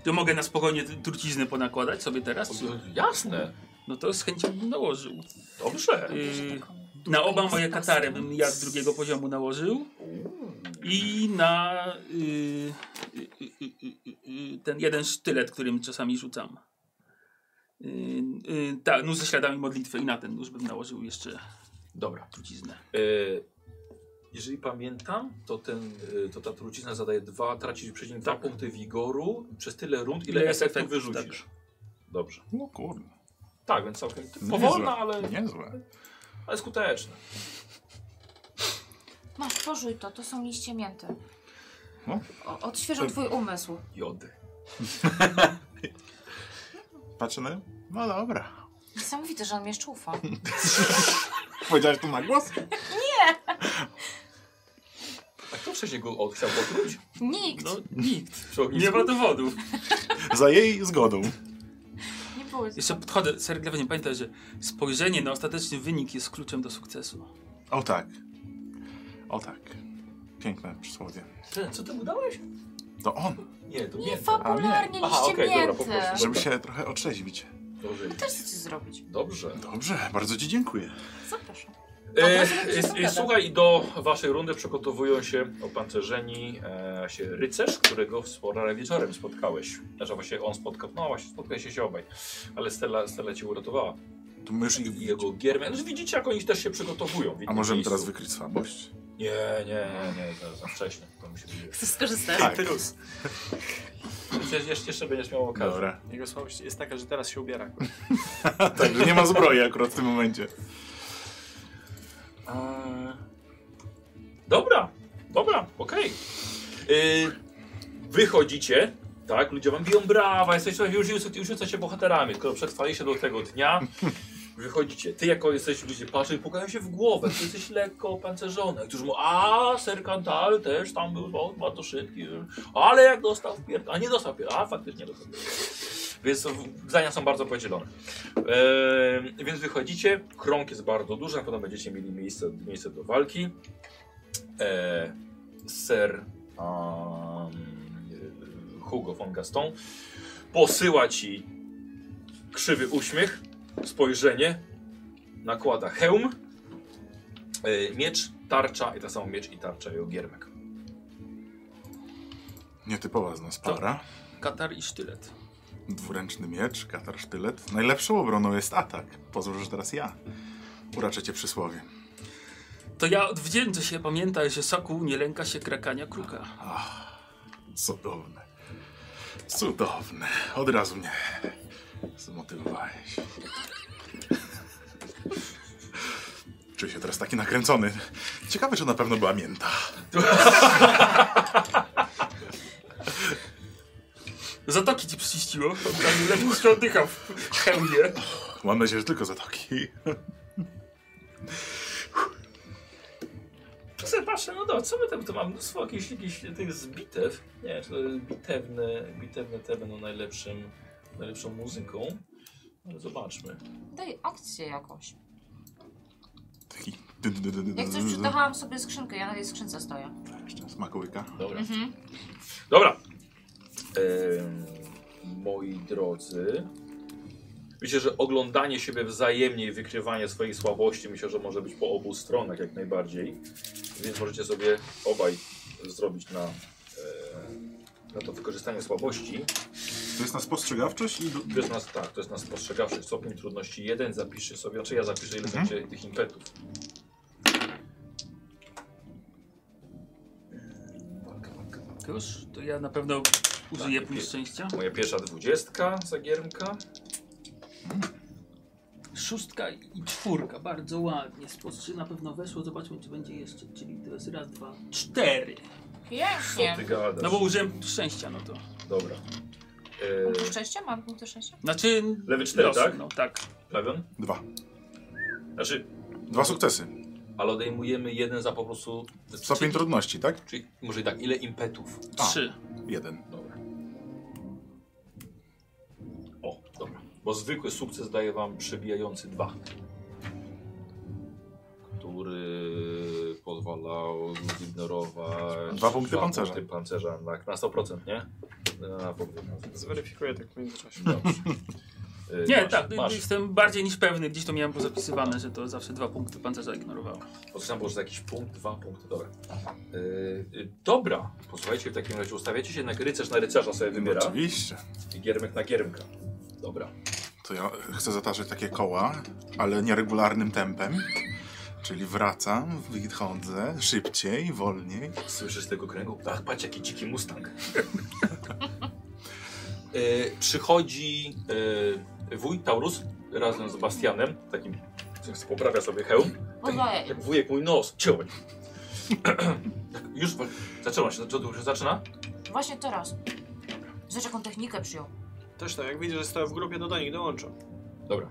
Speaker 5: To mogę na spokojnie t- truciznę ponakładać sobie teraz? Czy...
Speaker 1: Jasne,
Speaker 5: No to z chęcią bym nałożył.
Speaker 1: dobrze.
Speaker 5: Yy, na oba moje katary bym ja z drugiego poziomu nałożył. I na yy, yy, yy, yy, yy, ten jeden sztylet, którym czasami rzucam. Yy, yy, tak, nóż ze śladami modlitwy i na ten nóż bym nałożył jeszcze
Speaker 1: Dobra.
Speaker 5: truciznę.
Speaker 1: E, jeżeli pamiętam, to, ten, e, to ta trucizna zadaje dwa, tracisz przecinek dwa
Speaker 5: Tak.
Speaker 1: punkty wigoru przez tyle rund, ile
Speaker 5: Ile
Speaker 1: efektów
Speaker 5: efektów,
Speaker 1: wyrzucisz.
Speaker 5: tak.
Speaker 1: Dobrze.
Speaker 3: No kurde.
Speaker 1: Tak, więc całkiem
Speaker 3: Niezłe.
Speaker 1: powolna, ale,
Speaker 3: Niezłe.
Speaker 1: ale skuteczna.
Speaker 2: Masz, pożuj to, to są liście mięty.
Speaker 3: No.
Speaker 2: O, odświeżą twój umysł.
Speaker 1: Jody.
Speaker 3: Patrzę na nią. No dobra.
Speaker 2: Niesamowite, że on mi jeszcze ufa.
Speaker 3: Powiedziałeś to na głos?
Speaker 1: A kto wcześniej go od, chciał otruć?
Speaker 2: Nikt!
Speaker 5: No nikt.
Speaker 1: Przy ognisku?
Speaker 5: Nie ma dowodów.
Speaker 3: Za jej zgodą.
Speaker 2: Nie było.
Speaker 5: Jeszcze podchodzę, serdecznie nie pamiętaj, że spojrzenie na ostateczny wynik jest kluczem do sukcesu.
Speaker 3: O tak. O tak. Piękne przysłowie.
Speaker 1: Ty, Co ty mu dałeś?
Speaker 3: To on,
Speaker 1: Nie, to
Speaker 2: Nie,
Speaker 1: nie.
Speaker 2: fabularnie
Speaker 1: Aha,
Speaker 2: liście
Speaker 1: okej, dobra, po
Speaker 2: mięty.
Speaker 1: prostu.
Speaker 3: żeby się trochę otrzeźwić.
Speaker 1: Dobrze.
Speaker 2: Też chcecie zrobić.
Speaker 1: Dobrze.
Speaker 3: Dobrze, bardzo ci dziękuję.
Speaker 2: Zapraszam.
Speaker 1: E,
Speaker 2: Dobra,
Speaker 1: e,
Speaker 2: zobaczymy,
Speaker 1: e,
Speaker 2: co
Speaker 1: słuchaj, do waszej rundy przygotowują się opancerzeni e, się rycerz, którego wczoraj wieczorem spotkałeś. Znaczy właśnie on spotkał, no właśnie spotkaliście się obaj, ale Stella, Stella cię uratowała.
Speaker 3: To my już ich...
Speaker 1: I jego giermen. No, widzicie, jak oni też się przygotowują. w
Speaker 3: A
Speaker 1: innym
Speaker 3: możemy
Speaker 1: miejscu.
Speaker 3: teraz wykryć słabość?
Speaker 1: Nie, nie, nie, nie, to za wcześnie. To musi być.
Speaker 2: Chcesz skorzystać?
Speaker 3: Tak.
Speaker 4: Tytus.
Speaker 1: Przecież jeszcze, jeszcze będziesz miał okazję.
Speaker 3: Dobra.
Speaker 4: Jego słabość jest taka, że teraz się ubiera.
Speaker 3: Także nie ma zbroi akurat w tym momencie.
Speaker 1: Eee, Dobra, dobra, okej. Yy, Wychodzicie, tak, ludzie wam biją brawa, jesteście już, już, już jesteście bohaterami, tylko przetrwaliście do tego dnia. Wychodzicie, ty jako jesteś, ludzie patrzą i pukają się w głowę, ty jesteś lekko opancerzony. Którzy mu, a ser Cantal też tam był bo, bardzo szybki, ale jak dostał pier... a nie dostał pier... a faktycznie dostał pier... Więc w- zdania są bardzo podzielone. Eee, więc wychodzicie, krąg jest bardzo duży, na pewno będziecie mieli miejsce, miejsce do walki. Eee, ser um, Hugo von Gaston posyła ci krzywy uśmiech, spojrzenie, nakłada hełm, eee, miecz, tarcza i tak samo miecz i tarcza i ogiermek.
Speaker 3: Nietypowa z nas para.
Speaker 5: Katar i sztylet.
Speaker 3: Dwuręczny miecz, katar, sztylet. Najlepszą obroną jest atak. Pozwól, że teraz ja uraczę cię przysłowie.
Speaker 5: To ja odwdzięczę się, pamiętaj, że sokół nie lęka się krakania kruka.
Speaker 3: Cudowne. Cudowne. Od razu mnie zmotywowałeś. Czuję się teraz taki nakręcony. Ciekawe, czy na pewno była mięta.
Speaker 5: Zatoki ci przyściło, tam lepiej się oddycha w hełmie.
Speaker 3: Mam nadzieję, że tylko zatoki.
Speaker 1: Czasem patrzę, no dobra, co my tam, tu mam mnóstwo jakichś, jakichś tych zbitew, nie wiem, czy to jest bitewne, bitewne te będą najlepszym, najlepszą muzyką, ale zobaczmy.
Speaker 2: Daj akcję jakąś.
Speaker 3: Taki... dy- dy- dy- dy- dy-
Speaker 2: Jak coś
Speaker 1: Mm.
Speaker 3: dy-
Speaker 2: przytachałam sobie skrzynkę, ja na tej skrzynce stoję.
Speaker 3: Jeszcze smakołyka.
Speaker 1: Dobra.
Speaker 2: Mhm.
Speaker 1: Dobra. Em, moi drodzy. Myślę, że oglądanie siebie wzajemnie i wykrywanie swojej słabości myślę, że może być po obu stronach jak najbardziej. Więc możecie sobie obaj zrobić na, e, na to wykorzystanie słabości.
Speaker 3: To jest na spostrzegawczość i...
Speaker 1: To jest nas, tak, to jest nas spostrzegawczy stopień trudności 1. Zapiszę sobie, znaczy ja zapiszę ile
Speaker 3: Mhm.
Speaker 1: będzie tych impetów.
Speaker 5: Już? To ja na pewno użyję
Speaker 1: Tak,
Speaker 5: punkt
Speaker 1: ok.
Speaker 5: szczęścia.
Speaker 1: Moja pierwsza dwudziestka zagiermka.
Speaker 5: Szóstka i czwórka, bardzo ładnie. Spostrzy na pewno weszło, zobaczmy czy będzie jeszcze. Czyli to jest raz, dwa, cztery.
Speaker 1: Co ty
Speaker 2: Pięknie.
Speaker 1: gadasz?
Speaker 5: No bo użyłem punktu szczęścia, no to.
Speaker 1: Dobra.
Speaker 2: Punktu
Speaker 1: E,
Speaker 2: szczęścia? Mam punkty szczęścia?
Speaker 5: Znaczy...
Speaker 1: Lewy cztery,
Speaker 5: losu,
Speaker 1: tak?
Speaker 5: No tak.
Speaker 1: Lewion?
Speaker 3: Dwa.
Speaker 1: Znaczy,
Speaker 3: Dwa sukcesy.
Speaker 1: ale odejmujemy jeden za po prostu.
Speaker 3: Stopień trudności, tak?
Speaker 1: Czyli może i tak, ile impetów?
Speaker 3: A.
Speaker 5: Trzy.
Speaker 3: Jeden.
Speaker 1: Dobra. O, dobra. Bo zwykły sukces daje wam przebijający dwa. Który pozwalał zignorować.
Speaker 3: Dwa punkty pancerza.
Speaker 1: punkty pancerza tak, na 100%, nie? Na punkty pancerza.
Speaker 4: Zweryfikuję tak w międzyczasie.
Speaker 1: Dobrze. Y,
Speaker 5: Nie,
Speaker 1: masz,
Speaker 5: tak,
Speaker 1: Masz.
Speaker 5: jestem bardziej niż pewny, gdzieś to miałem pozapisywane, że to zawsze dwa punkty pancerza ignorowało.
Speaker 1: Podkreślam, bo już za jakiś punkt, dwa punkty, dobra. Yy, y, dobra, posłuchajcie, w takim razie ustawiacie się na rycerz na rycerza sobie wybiera
Speaker 3: Oczywiście.
Speaker 1: i giermek na giermka. Dobra.
Speaker 3: To ja chcę zataczać takie koła, ale nieregularnym tempem. Czyli wracam, wychodzę szybciej, wolniej.
Speaker 1: Słyszysz z tego kręgu? Ach, patrz, jaki dziki mustang. yy, przychodzi yy, wuj Taurus razem z Bastianem, takim, co poprawia sobie hełm.
Speaker 2: Podwaję.
Speaker 1: Jak wujek mój nos, ciąń. tak, już wa- zaczęło się, to już zaczyna?
Speaker 2: Właśnie teraz. Zobacz jaką technikę przyjął.
Speaker 4: Też to, jak widzę, że stoję w grupie, to do nich dołączam.
Speaker 1: Dobra.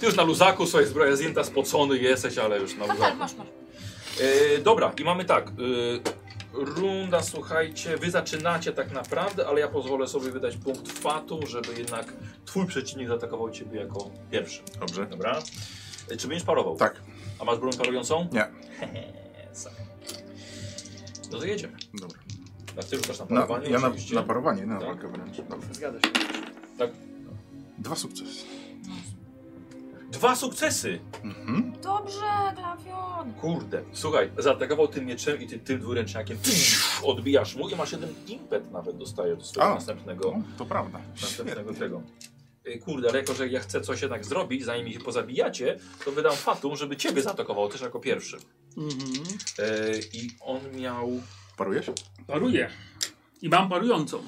Speaker 1: Ty już na luzaku swoje zbroje zdjęta, spocony jesteś, ale już na
Speaker 2: Katar,
Speaker 1: luzaku.
Speaker 2: Tak, masz, masz.
Speaker 1: E, dobra, i mamy tak. E, runda, słuchajcie, wy zaczynacie tak naprawdę, ale ja pozwolę sobie wydać punkt fatu, żeby jednak twój przeciwnik zaatakował ciebie jako pierwszy.
Speaker 3: Dobrze.
Speaker 1: Dobra? E, czy będziesz parował?
Speaker 3: Tak,
Speaker 1: A masz broń parującą?
Speaker 3: Nie.
Speaker 1: Sam. No to jedziemy.
Speaker 3: dobra.
Speaker 1: Na ty rzucasz na
Speaker 3: Na,
Speaker 1: parowanie
Speaker 3: ja na,
Speaker 1: oczywiście.
Speaker 3: na parowanie, nie na
Speaker 1: Tak.
Speaker 3: walkę wręcz. Dobra.
Speaker 4: Zgadza się.
Speaker 3: Dwa sukcesy.
Speaker 1: Dwa sukcesy!
Speaker 3: Mhm.
Speaker 2: Dobrze, Glawion.
Speaker 1: Kurde, słuchaj, zaatakował tym mieczem i ty tym dwuręczniakiem tsz, odbijasz mu i masz jeden impet nawet dostajesz do swojego
Speaker 3: A.
Speaker 1: następnego,
Speaker 3: No, to prawda.
Speaker 1: następnego
Speaker 3: Świetnie.
Speaker 1: tego. Ej, Kurde, ale jako, że ja chcę coś jednak zrobić, zanim mi się pozabijacie, to wydam Fatum, żeby ciebie zaatakował też jako pierwszy.
Speaker 5: Mhm.
Speaker 1: E, I on miał...
Speaker 3: Parujesz?
Speaker 5: Paruję. I mam parującą.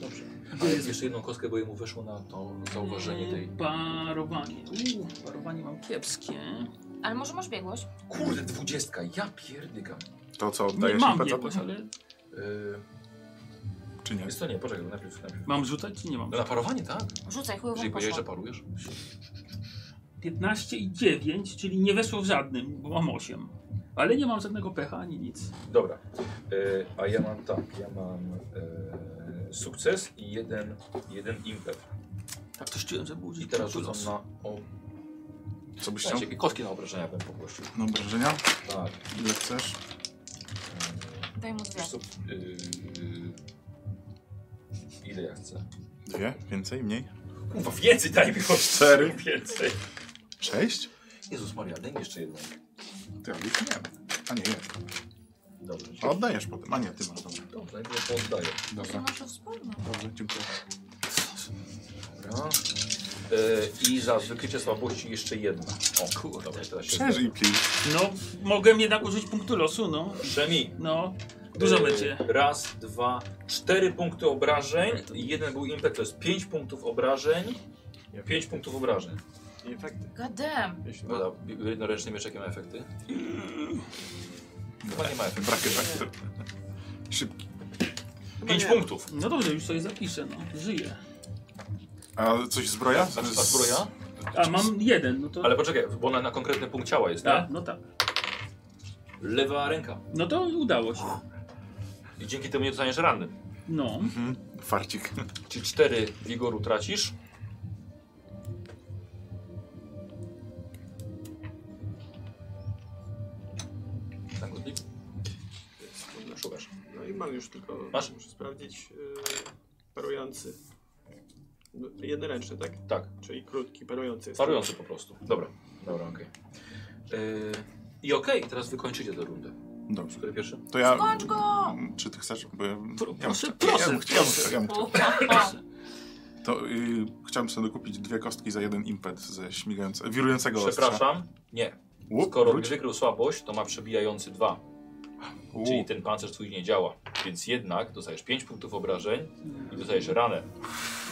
Speaker 1: Dobrze. Ale jeszcze jedną kostkę, bo jemu weszło na to zauważenie tej...
Speaker 5: Parowanie. Uuu, parowanie mam kiepskie.
Speaker 2: Ale może masz biegłość?
Speaker 1: Kurde, dwudziestka, ja pierdykam.
Speaker 3: To, co
Speaker 5: Nie,
Speaker 3: oddajesz
Speaker 5: mam
Speaker 3: im
Speaker 5: biegłość,
Speaker 3: PCP,
Speaker 5: ale
Speaker 1: Yy,
Speaker 3: czy nie?
Speaker 1: jest to nie, poczekaj, najpierw, najpierw.
Speaker 5: mam rzucać czy nie mam?
Speaker 1: No na parowanie, tak?
Speaker 2: Rzucaj, chujową
Speaker 1: Jeżeli powiedziałeś, że
Speaker 2: poszło.
Speaker 1: parujesz?
Speaker 5: 15 i 9, czyli nie weszło w żadnym, bo mam 8. Ale nie mam żadnego pecha ani nic.
Speaker 1: Dobra. E, a ja mam tak, ja mam e, sukces i jeden, jeden impet.
Speaker 5: Tak też czułem, że budzi.
Speaker 1: I teraz rzucam na... O,
Speaker 3: Co byś chciał?
Speaker 1: Słuchajcie, jakie kostki na obrażenia bym poprosił.
Speaker 3: No obrażenia?
Speaker 1: Tak.
Speaker 3: Ile chcesz?
Speaker 1: e,
Speaker 2: Daj mu dwie.
Speaker 1: wiesz co, e, e, ile ja chcę?
Speaker 3: Dwie? Więcej? Mniej?
Speaker 1: Kurwa, więcej daj mi po
Speaker 3: Cztery.
Speaker 1: Więcej.
Speaker 3: Sześć?
Speaker 1: Jezus Maria, daj mi jeszcze jedną.
Speaker 3: Ty, ale już nie. A nie, jest.
Speaker 1: Dobrze.
Speaker 3: A oddajesz potem. A nie, ty masz, dobra.
Speaker 1: Dobrze, najpierw to oddaję.
Speaker 3: Dobra,
Speaker 1: tak.
Speaker 2: Masz to wspólne.
Speaker 3: dobrze, dziękuję.
Speaker 1: Dobra. E, I za wykrycie słabości jeszcze jedna. O, kurde, dobra, teraz się
Speaker 3: Przeżyj, please.
Speaker 5: No, mogę jednak użyć punktu losu, no.
Speaker 1: Przemi.
Speaker 5: No, dużo
Speaker 1: Yy,
Speaker 5: będzie.
Speaker 1: Raz, dwa, cztery punkty obrażeń. i Jeden był impet, to jest pięć punktów obrażeń. Pięć punktów obrażeń. No.
Speaker 4: I efekty.
Speaker 2: Gadem.
Speaker 4: Jeśli
Speaker 1: Dobra, bi- jednoręcznym mieczek ma efekty. Chyba nie ma efektów.
Speaker 3: Brak efektu. Szybki.
Speaker 1: Pięć punktów.
Speaker 5: No dobrze, już sobie zapiszę, no. Żyję.
Speaker 3: A coś zbroja?
Speaker 1: A czy Znaczy, ta zbroja?
Speaker 5: A mam jeden, no to...
Speaker 1: Ale poczekaj, bo ona na konkretny punkt ciała jest,
Speaker 5: tak,
Speaker 1: tak?
Speaker 5: no tak.
Speaker 1: Lewa ręka.
Speaker 5: No to udało się.
Speaker 1: I dzięki temu nie dostaniesz ranny.
Speaker 5: No.
Speaker 3: Mhm. Farcik.
Speaker 1: Czyli cztery wigoru tracisz. Tak, Gottlieb? Szukasz.
Speaker 4: No i mam już tylko.
Speaker 1: Masz?
Speaker 4: Muszę sprawdzić. Yy, parujący. No, Jednoręczny, tak?
Speaker 1: Tak.
Speaker 4: Czyli krótki, parujący jest.
Speaker 1: Parujący po prostu. Dobra, dobra, okej. Yy, I okej, teraz wykończycie tę rundę.
Speaker 3: Dobrze.
Speaker 1: Który pierwszy?
Speaker 3: To ja... no,
Speaker 2: Skończ go!
Speaker 3: Czy ty chcesz? Bo ja, ja
Speaker 5: proszę,
Speaker 3: bym chciał-
Speaker 5: proszę,
Speaker 3: ja bym chciał- ja bym chciał- ja bym chciał.
Speaker 2: O, o,
Speaker 3: To y, chciałem sobie dokupić dwie kostki za jeden impet ze śmigającego, wirującego ostrza.
Speaker 1: Przepraszam. Nie.
Speaker 3: Łup,
Speaker 1: Skoro
Speaker 3: wróć.
Speaker 1: wykrył słabość, to ma przebijający dwa.
Speaker 3: U,
Speaker 1: Czyli ten pancerz twój nie działa. Więc jednak dostajesz 5 punktów obrażeń i dostajesz ranę.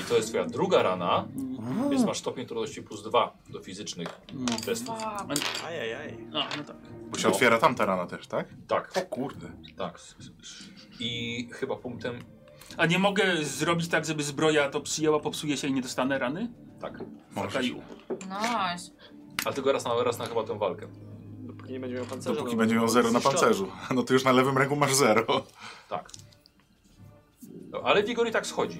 Speaker 1: I to jest twoja druga rana, więc masz stopień trudności plus 2 do fizycznych testów.
Speaker 2: fuck.
Speaker 4: Ajajaj.
Speaker 5: A, no tak.
Speaker 3: Bo się otwiera tamta rana też, tak?
Speaker 1: Tak,
Speaker 3: O kurde.
Speaker 1: tak. I chyba punktem...
Speaker 5: A nie mogę zrobić tak, żeby zbroja to przyjęła, popsuje się i nie dostanę rany?
Speaker 1: Tak.
Speaker 3: Możesz.
Speaker 5: Zakaju.
Speaker 2: No, Nice.
Speaker 1: Ale tylko raz na, raz na chyba tę walkę.
Speaker 4: Dopóki nie będzie miał pancerza.
Speaker 3: Dopóki
Speaker 4: no,
Speaker 3: będzie miał
Speaker 4: no,
Speaker 3: zero na
Speaker 4: zniszczony.
Speaker 3: pancerzu. No ty już na lewym ręku masz zero.
Speaker 1: Tak. No, ale wigor i tak schodzi.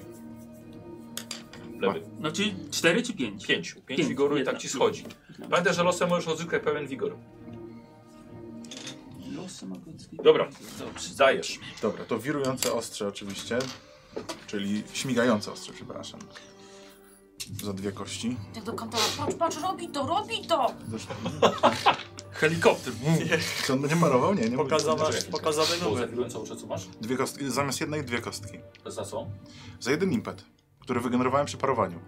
Speaker 1: Lewy.
Speaker 5: No czy 4 czy 5?
Speaker 1: Pięć. Pięć
Speaker 5: Pięć,
Speaker 1: wigoru i
Speaker 5: jedna.
Speaker 1: tak ci schodzi. Pamiętaj, że losem możesz odzyskać pełen wigor.
Speaker 5: Losy mogę odskryć.
Speaker 1: Dobra.
Speaker 5: Dobrze.
Speaker 1: Dajesz.
Speaker 3: Dobra, to wirujące ostrze oczywiście. Czyli śmigające ostrze, przepraszam. Za dwie kości.
Speaker 2: Jak do kantora. Patrz, patrz, robi to, robi to!
Speaker 3: Zresztą,
Speaker 5: Helikopter.
Speaker 3: czy on będzie marował? Nie, nie mówię.
Speaker 4: Pokazowa,
Speaker 1: Czekaj.
Speaker 4: pokazowy
Speaker 1: Bo za
Speaker 4: numer.
Speaker 1: chwilę co, co masz?
Speaker 3: Dwie kostki, zamiast jednej dwie kostki.
Speaker 1: Za co?
Speaker 3: Za jeden impet, który wygenerowałem przy parowaniu.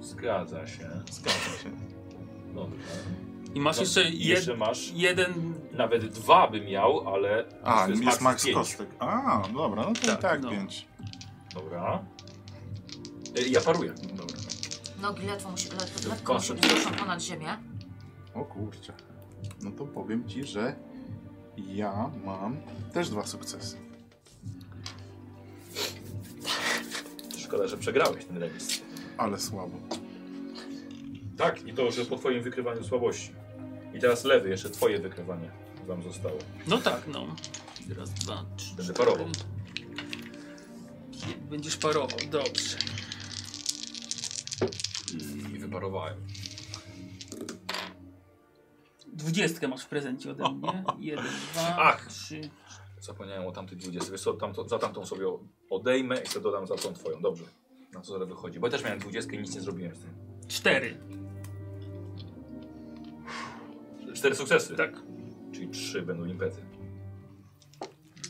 Speaker 1: Zgadza się.
Speaker 3: Zgadza się.
Speaker 1: Dobrze.
Speaker 5: I masz
Speaker 1: No,
Speaker 5: jeszcze,
Speaker 1: i
Speaker 5: jed,
Speaker 1: jeszcze masz.
Speaker 5: jeden...
Speaker 1: Nawet dwa by miał, ale.
Speaker 3: A,
Speaker 1: to
Speaker 3: jest, max
Speaker 1: pięć.
Speaker 3: kostek. A, dobra, no to
Speaker 5: Tak,
Speaker 3: i tak
Speaker 5: no.
Speaker 3: pięć.
Speaker 1: Dobra. Y, Ja paruję.
Speaker 3: Dobra.
Speaker 2: Nogi ledwo musi, ledwo, lekko
Speaker 1: Kosy.
Speaker 2: musi wzruszą ponad ziemię.
Speaker 3: O kurczę. No to powiem ci, że ja mam też dwa sukcesy.
Speaker 1: Szkoda, że przegrałeś ten remis.
Speaker 3: Ale słabo.
Speaker 1: Tak, i to, że po twoim wykrywaniu słabości. I teraz lewy, jeszcze twoje wykrywanie wam zostało.
Speaker 5: No tak, no. Raz, dwa, trzy,
Speaker 1: Będę
Speaker 5: cztery.
Speaker 1: parował.
Speaker 5: Pię- Będziesz parował, dobrze.
Speaker 1: I wyparowałem.
Speaker 5: Dwudziestkę masz w prezencie ode mnie. Jeden, dwa,
Speaker 1: Ach.
Speaker 5: trzy.
Speaker 1: Zapomniałem o tamtych 20. Wiesz co, tamto, za tamtą sobie odejmę i sobie dodam za tą twoją. Dobrze. Na co zaraz wychodzi. Bo ja też miałem 20 i nic nie zrobiłem z tym.
Speaker 5: Cztery.
Speaker 1: Cztery sukcesy.
Speaker 5: Tak.
Speaker 1: Czyli trzy będą impety.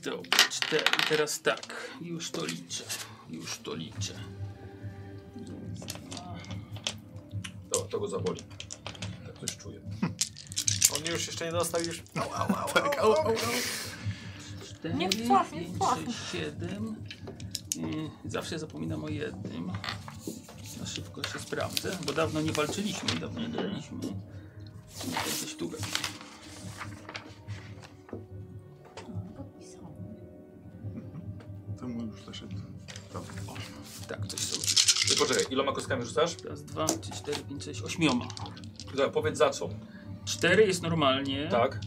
Speaker 5: Dobra, cztery. Teraz tak. Już to liczę. Już to liczę.
Speaker 1: od tego zaboli. Tak coś czuję.
Speaker 4: On już jeszcze nie dostał, już... Au, au, au,
Speaker 3: Tak, au, au, au.
Speaker 5: Cztery,
Speaker 2: Nie wpław, nie
Speaker 5: pięć,
Speaker 2: wpław.
Speaker 5: sześć, siedem. Mm, Zawsze zapominam o jednym. Na szybko się sprawdzę, bo dawno nie walczyliśmy, dawno nie graliśmy. Gdzieś tu będzie.
Speaker 3: To mu już zaszedł. Dobra.
Speaker 5: Tak, coś sobie.
Speaker 1: Ty Poczekaj, iloma kostkami rzucasz?
Speaker 5: Raz, dwa, trzy, cztery, pięć, sześć, ośmioma.
Speaker 1: Za- Powiedz za co.
Speaker 5: Cztery jest normalnie.
Speaker 1: Tak?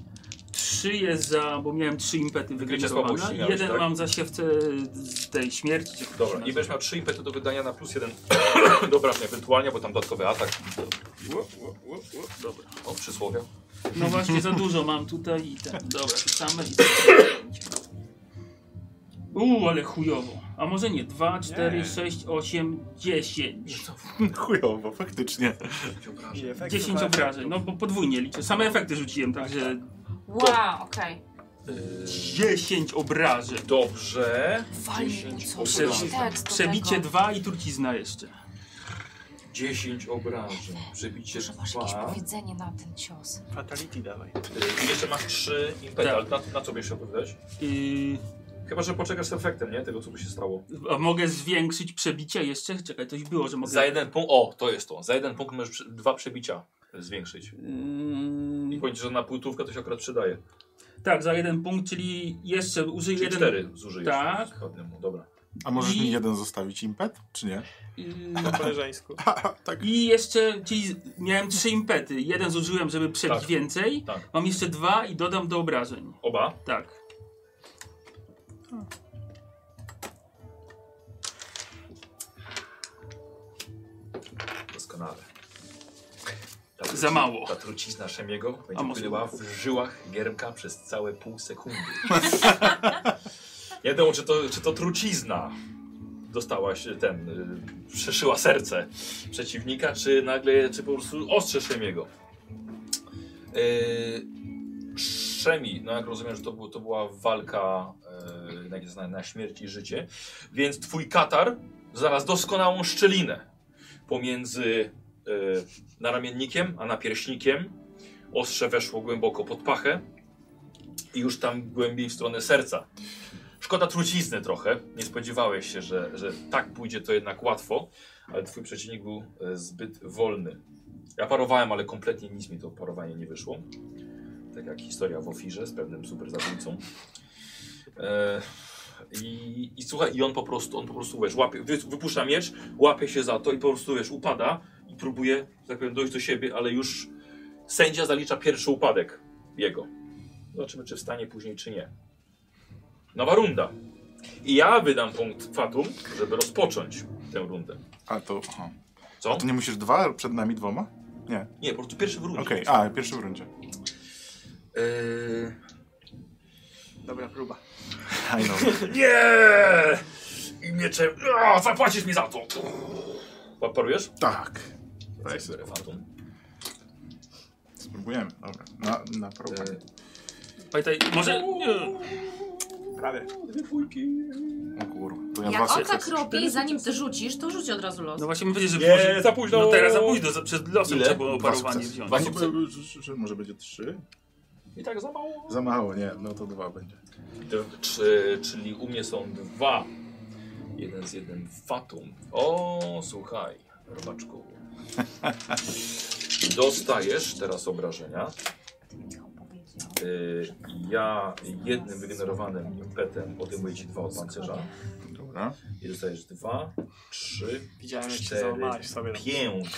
Speaker 5: Trzy jest za, bo miałem trzy impety
Speaker 1: Wykrycie
Speaker 5: wygenerowane.
Speaker 1: słabości miałeś,
Speaker 5: Jeden
Speaker 1: tak?
Speaker 5: mam za siewce z tej śmierci. czy jak to się
Speaker 1: Dobra, i
Speaker 5: nazywa.
Speaker 1: będziesz miał 3 impety do wydania na plus 1 do obrażeń ewentualnie, bo tam dodatkowy atak.
Speaker 5: Dobra.
Speaker 1: O, przysłowia.
Speaker 5: No właśnie, za dużo mam tutaj i ten. Dobra, te same i Uuu, ale chujowo. A może nie? 2, 4,
Speaker 3: Nie.
Speaker 5: 6, 8, 10.
Speaker 3: Chujowo, faktycznie.
Speaker 4: I efekty
Speaker 5: 10
Speaker 4: walki.
Speaker 5: obrażeń, no bo podwójnie liczę. Same efekty rzuciłem, także
Speaker 2: Wow, okej.
Speaker 1: Yy,
Speaker 5: 10 obrażeń.
Speaker 1: dobrze.
Speaker 2: Walnij mu
Speaker 1: 10
Speaker 2: coś.
Speaker 1: obrażeń.
Speaker 2: Tekst do
Speaker 5: Przebicie
Speaker 2: tego.
Speaker 5: 2 i trucizna jeszcze.
Speaker 1: 10 obrażeń. Przebicie
Speaker 2: Że masz jakieś
Speaker 1: 2.
Speaker 2: powiedzenie na ten cios.
Speaker 4: Fatality dawaj.
Speaker 1: Yy, jeszcze masz 3 impety,
Speaker 5: Tak.
Speaker 1: ale na, na co będziesz odpowiadać?
Speaker 5: Yy,
Speaker 1: Chyba, że poczekasz z efektem, nie? Tego, co by się stało.
Speaker 5: a mogę zwiększyć przebicie jeszcze? Czekaj, coś było, że mogę... Yy,
Speaker 1: Za jeden punkt, o, to jest to. Za jeden punkt możesz przy- dwa przebicia zwiększyć. I
Speaker 5: Yy,
Speaker 1: powiem ci, że na półtówkę to się akurat przydaje.
Speaker 5: tak, za jeden punkt, czyli jeszcze użyj
Speaker 1: Czyli
Speaker 5: jeden...
Speaker 1: cztery zużyjesz.
Speaker 5: Tak.
Speaker 1: Składnemu. Dobra.
Speaker 3: A możesz
Speaker 5: I-
Speaker 3: mi jeden zostawić impet, czy nie?
Speaker 5: Yy,
Speaker 4: Po koleżeńsku.
Speaker 3: Haha, tak.
Speaker 5: I jeszcze, czyli miałem trzy impety. Jeden zużyłem, żeby przebić
Speaker 1: Tak.
Speaker 5: więcej.
Speaker 1: Tak.
Speaker 5: Mam jeszcze dwa i dodam do obrażeń.
Speaker 1: Oba.
Speaker 5: Tak.
Speaker 1: Doskonale. Ta
Speaker 5: Za mało.
Speaker 1: Ta trucizna Szemiego
Speaker 5: A
Speaker 1: będzie
Speaker 5: może-
Speaker 1: płynęła w żyłach Giermka przez całe pół sekundy. Nie wiadomo, czy to, czy to trucizna dostałaś ten, y, przeszyła serce przeciwnika, czy nagle, czy po prostu ostrze Szemiego. Y, Szemi, no jak rozumiem, że to, był, to była walka y, jak jest na, na śmierć i życie, więc twój katar zaraz doskonałą szczelinę pomiędzy y, naramiennikiem, a napierśnikiem. Ostrze weszło głęboko pod pachę i już tam głębiej w stronę serca. Szkoda trucizny trochę. Nie spodziewałeś się, że, że tak pójdzie to jednak łatwo, ale twój przeciwnik był e, zbyt wolny. Ja parowałem, ale kompletnie nic mi to parowanie nie wyszło. Tak jak historia w ofirze z pewnym super zabójcą. E, i, I słuchaj, i on po prostu, on po prostu wiesz, łapie, wy, wypuszcza miecz, łapie się za to i po prostu wiesz, upada i próbuje, że tak powiem, dojść do siebie, ale już sędzia zalicza pierwszy upadek jego. Zobaczymy, czy wstanie później, czy nie. Nowa runda. I ja wydam punkt Fatum, żeby rozpocząć tę rundę.
Speaker 3: A to. Aha.
Speaker 1: Co?
Speaker 3: To nie musisz dwa przed nami dwoma? Nie.
Speaker 1: Nie, po prostu pierwszy w rundzie.
Speaker 3: Okej, a pierwszy w rundzie.
Speaker 1: Yy...
Speaker 4: Dobra próba.
Speaker 3: I know.
Speaker 1: Nie! I mieczem... O, zapłacisz mi za to! Pa- Parujesz?
Speaker 3: tak.
Speaker 1: Daj sobie Fatum.
Speaker 3: Spróbujemy. Dobra. Na, na próbę.
Speaker 1: Yy,
Speaker 5: Pamiętaj, może... Nie.
Speaker 4: Prawie.
Speaker 3: O kurwa. To ja dwa
Speaker 2: Jak on tak
Speaker 3: sukcesy.
Speaker 2: robi, zanim ty rzucisz, to rzuć od razu los.
Speaker 5: No właśnie mówię, że...
Speaker 1: Nie,
Speaker 5: może-
Speaker 1: za późno.
Speaker 5: No teraz za późno, za, przed losem
Speaker 1: Ile?
Speaker 5: trzeba było
Speaker 3: Dwa
Speaker 5: parowanie
Speaker 3: sukcesy.
Speaker 5: wziąć.
Speaker 1: Dwa
Speaker 3: Nie,
Speaker 1: sukcesy.
Speaker 3: No bo- że- że Może będzie trzy?
Speaker 1: I tak za mało.
Speaker 3: Za mało, nie. No to dwa będzie.
Speaker 1: D- Czy, czyli u mnie są dwa. Jeden z jednym fatum. O, słuchaj, robaczku. Dostajesz teraz obrażenia. Y, ja jednym wygenerowanym impetem odejmuję ci dwa od pancerza.
Speaker 3: Dobra.
Speaker 1: I dostajesz dwa, trzy,
Speaker 4: Widziałem, jak się
Speaker 1: Cztery.
Speaker 4: załamałeś sobie. na-
Speaker 1: pięć.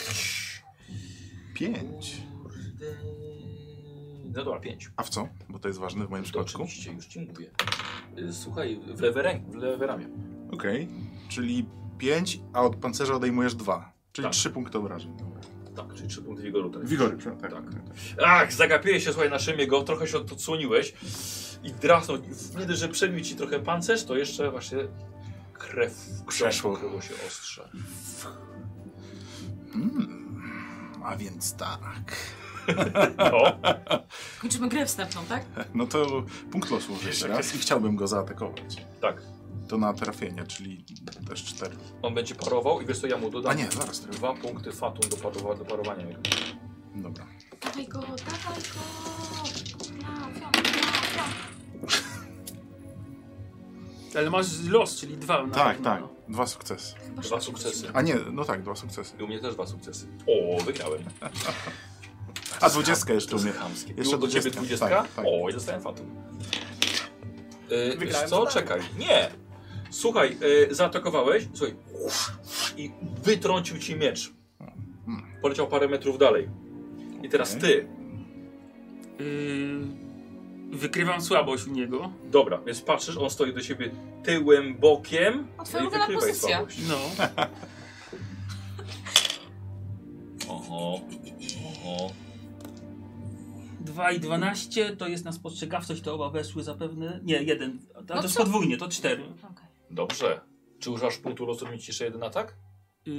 Speaker 3: Pięć.
Speaker 1: Kurde. No dobra, pięć.
Speaker 3: A w co? Bo to jest ważne w moim przypadku.
Speaker 1: Oczywiście, już ci mówię. Y, Słuchaj, w lewe, ręk, w lewe ramię.
Speaker 3: Okej. Czyli pięć, a od pancerza odejmujesz dwa. Czyli
Speaker 1: Tak.
Speaker 3: trzy punkty obrażeń. Dobra.
Speaker 1: Tak, czyli trzy punkty wigoru. teraz.
Speaker 3: Wigory, przepraszam.
Speaker 1: Tak.
Speaker 3: Tak. tak.
Speaker 1: Ach, zagapiłeś się słuchaj na szymie go, trochę się od- odsłoniłeś i drasnął. I Nie dość, że przebił ci trochę pancerz, to jeszcze właśnie krew
Speaker 3: Przeszło.
Speaker 1: Kryło się ostrze.
Speaker 3: Mm. A więc tak.
Speaker 1: O,
Speaker 2: Kończymy grę wstępną, tak?
Speaker 3: No to punkt losu użyję teraz i chciałbym go zaatakować.
Speaker 1: tak.
Speaker 3: to na trafienie, czyli też cztery.
Speaker 1: On będzie parował i wiesz co, ja mu dodam
Speaker 3: A nie, no. zaraz trochę.
Speaker 1: dwa punkty fatum do, parowa, do parowania.
Speaker 3: Dobra.
Speaker 2: Dawaj go, dawaj go! Miau, miau, miau, miau.
Speaker 5: Ale masz los, czyli dwa na
Speaker 3: Tak,
Speaker 5: pewno,
Speaker 3: tak.
Speaker 5: no.
Speaker 3: Dwa sukcesy.
Speaker 2: Chyba
Speaker 1: Dwa
Speaker 2: szybciej
Speaker 1: sukcesy.
Speaker 3: A nie, no tak, dwa sukcesy.
Speaker 1: I u mnie też dwa sukcesy. O, wygrałem.
Speaker 3: A dwudziestka jeszcze
Speaker 1: To
Speaker 3: u mnie.
Speaker 1: jest chamskie.
Speaker 3: Jeszcze
Speaker 1: Jeszcze do ciebie
Speaker 3: dwudziestka?
Speaker 1: dwudziestka?
Speaker 3: Tak, tak.
Speaker 1: O, i dostałem fatum. Yy, wiesz
Speaker 4: Wygrałem
Speaker 1: co?
Speaker 4: zadanie.
Speaker 1: Czekaj. Nie! Słuchaj, yy, zaatakowałeś, słuchaj, i wytrącił ci miecz. Poleciał parę metrów dalej. I teraz
Speaker 3: Okej.
Speaker 1: ty.
Speaker 5: Yy, wykrywam słabość u niego.
Speaker 1: Dobra, więc patrzysz, on stoi do siebie tyłem, bokiem.
Speaker 2: A twoja
Speaker 1: i
Speaker 2: ulubiona
Speaker 1: wykrywaj
Speaker 2: pozycja.
Speaker 1: słabość.
Speaker 5: No.
Speaker 1: Oho, oho.
Speaker 5: Dwa i 12 to jest na spostrzegawczość, to oba weszły zapewne. Nie, jeden. A to
Speaker 2: No
Speaker 5: jest
Speaker 2: co?
Speaker 5: podwójnie, to cztery.
Speaker 2: Okej.
Speaker 1: Dobrze. Czy używasz punktu losu, żeby mieć jeszcze jeden atak
Speaker 5: Yy,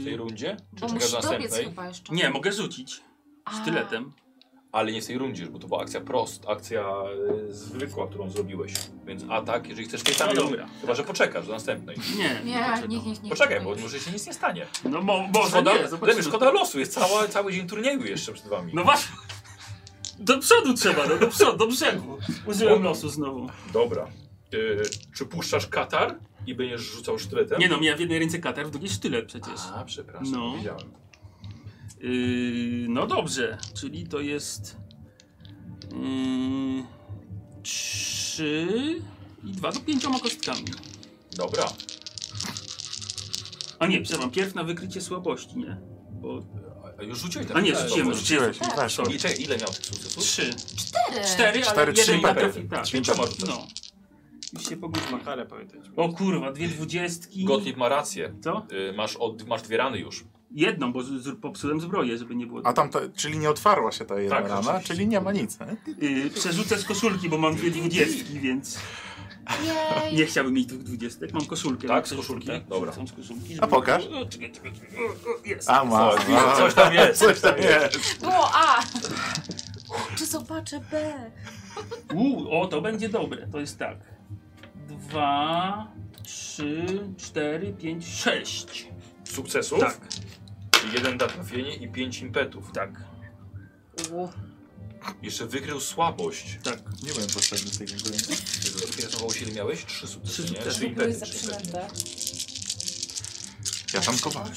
Speaker 1: w tej rundzie? Czy
Speaker 2: Bo musisz
Speaker 1: czekasz
Speaker 2: dobiec
Speaker 1: następnej?
Speaker 2: chyba jeszcze.
Speaker 5: nie, mogę rzucić
Speaker 2: A,
Speaker 5: sztyletem.
Speaker 1: Ale nie w tej rundzie, bo to była akcja prost, akcja y, zwykła, którą zrobiłeś. Więc atak, jeżeli chcesz tej samej
Speaker 5: No
Speaker 1: rundy.
Speaker 5: dobra.
Speaker 1: Chyba, że poczekasz do następnej.
Speaker 5: Nie.
Speaker 2: Nie,
Speaker 5: poczekam.
Speaker 2: nie, nie, nie.
Speaker 1: Poczekaj, bo może się nic nie stanie.
Speaker 5: No mo, może
Speaker 1: Szkoda,
Speaker 5: nie, zobaczymy.
Speaker 1: nie, szkoda losu, jest cała, cały dzień turnieju jeszcze przed wami.
Speaker 5: No właśnie. Do przodu trzeba, no do przodu, do brzegu. Użyłem losu znowu.
Speaker 1: Dobra. Y, czy puszczasz katar i będziesz rzucał sztyletem?
Speaker 5: Nie no, miałem w jednej ręce katar, w drugiej sztylet przecież.
Speaker 1: A, przepraszam,
Speaker 5: No.
Speaker 1: no. widziałem.
Speaker 5: Yy, no dobrze, czyli to jest. Yy, trzy i dwa do pięcioma kostkami.
Speaker 1: Dobra.
Speaker 5: A nie, przepraszam, pierw na wykrycie słabości, nie? Bo
Speaker 1: A już rzuciłeś tak?
Speaker 5: A nie, rzuciłem,
Speaker 1: Dobrze.
Speaker 5: rzuciłem.
Speaker 3: Rzuciłeś, weszło.
Speaker 1: I czekaj, ile miał tych sukcesów?
Speaker 5: Trzy.
Speaker 2: Cztery.
Speaker 5: Cztery,
Speaker 3: Cztery,
Speaker 5: ale
Speaker 3: trzy
Speaker 5: jeden
Speaker 3: i
Speaker 5: nie
Speaker 3: pewnie.
Speaker 5: trafi. Tak.
Speaker 1: Pięcioma rzucasz.
Speaker 5: No. Już się pogubiłem.
Speaker 4: Makarę pamiętać.
Speaker 5: O kurwa, dwie dwudziestki.
Speaker 1: Gotlib ma rację.
Speaker 5: Co?
Speaker 1: Y, masz, od, masz dwie rany już.
Speaker 5: Jedną, bo z, z, popsułem zbroję, żeby nie było.
Speaker 3: A tam, ta, czyli nie otwarła się ta jedna
Speaker 1: Tak,
Speaker 3: rana,
Speaker 1: rzeczywiście.
Speaker 3: czyli nie ma nic. nie?
Speaker 5: Yy, przerzucę z koszulki, bo mam dwie dwudziestki, więc
Speaker 2: Jej.
Speaker 5: nie chciałbym mieć dwóch dwudziestek. Mam koszulkę.
Speaker 1: Tak,
Speaker 5: mam
Speaker 1: z koszulki?
Speaker 5: przerzucę.
Speaker 1: Dobra.
Speaker 5: Są z koszulki.
Speaker 3: A
Speaker 5: żeby-
Speaker 3: pokaż.
Speaker 5: O, czekaj, czekaj, czekaj. O, o, Jest.
Speaker 3: A ma.
Speaker 1: O, widzę, coś tam jest.
Speaker 3: Coś tam jest.
Speaker 2: Było A. Czy zobaczę B?
Speaker 5: U, o, to będzie dobre. To jest tak. Dwa, trzy, cztery, pięć, sześć.
Speaker 1: Sukcesów?
Speaker 5: Tak,
Speaker 1: Jeden da trafienie i pięć impetów.
Speaker 5: tak,
Speaker 2: U.
Speaker 1: Jeszcze wykrył słabość.
Speaker 5: tak.
Speaker 3: Nie byłem potrzebny tej dziękuję.
Speaker 1: Interesowało się, ile miałeś? Trzy sukcesy,
Speaker 5: Trzy
Speaker 1: nie?
Speaker 5: sukcesy.
Speaker 1: Trzy
Speaker 2: Były
Speaker 1: impety. Trzy impety.
Speaker 2: zaczynęte.
Speaker 3: Ja tankowałem.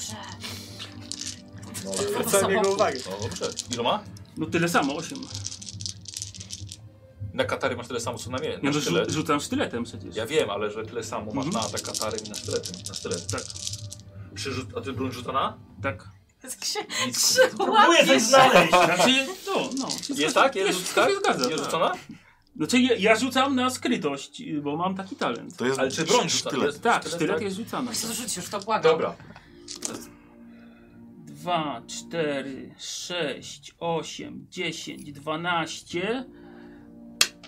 Speaker 2: Dobrze.
Speaker 1: No,
Speaker 4: Zwracam jego uwagę.
Speaker 1: no dobrze. Iloma?
Speaker 5: No tyle samo, osiem.
Speaker 1: Na katary masz tyle samo, co na mnie.
Speaker 5: Ja
Speaker 1: Na
Speaker 5: no,
Speaker 1: sztylet.
Speaker 5: rzu- rzucam sztyletem przecież.
Speaker 1: Ja wiem, ale że tyle samo masz
Speaker 5: Mhm.
Speaker 1: na atak katary i na sztylet. Na sztylet.
Speaker 5: Tak,
Speaker 1: Przyrzut, a ty broń rzucona?
Speaker 5: tak.
Speaker 2: Tak się
Speaker 1: Nic.
Speaker 5: Próbuję
Speaker 2: Łapisz.
Speaker 5: coś znaleźć. Znaczy, no, no. Wszystko
Speaker 1: Jest
Speaker 5: się-
Speaker 1: tak? Jest
Speaker 5: wszystko
Speaker 1: rzucona?
Speaker 5: się zgadza.
Speaker 1: Jest
Speaker 5: tak.
Speaker 1: rzucona?
Speaker 5: Znaczy, ja, ja rzucam na skrytość, y, bo mam taki talent.
Speaker 3: To jest
Speaker 1: Ale czy broń rzuca? To
Speaker 3: sztylet.
Speaker 1: jest
Speaker 5: Tak,
Speaker 1: sztylet,
Speaker 5: sztylet
Speaker 1: tak?
Speaker 5: jest rzucany.
Speaker 2: Zrzuć już to, błagam.
Speaker 1: Dobra.
Speaker 5: Dwa, cztery, sześć, osiem, dziesięć, dwanaście.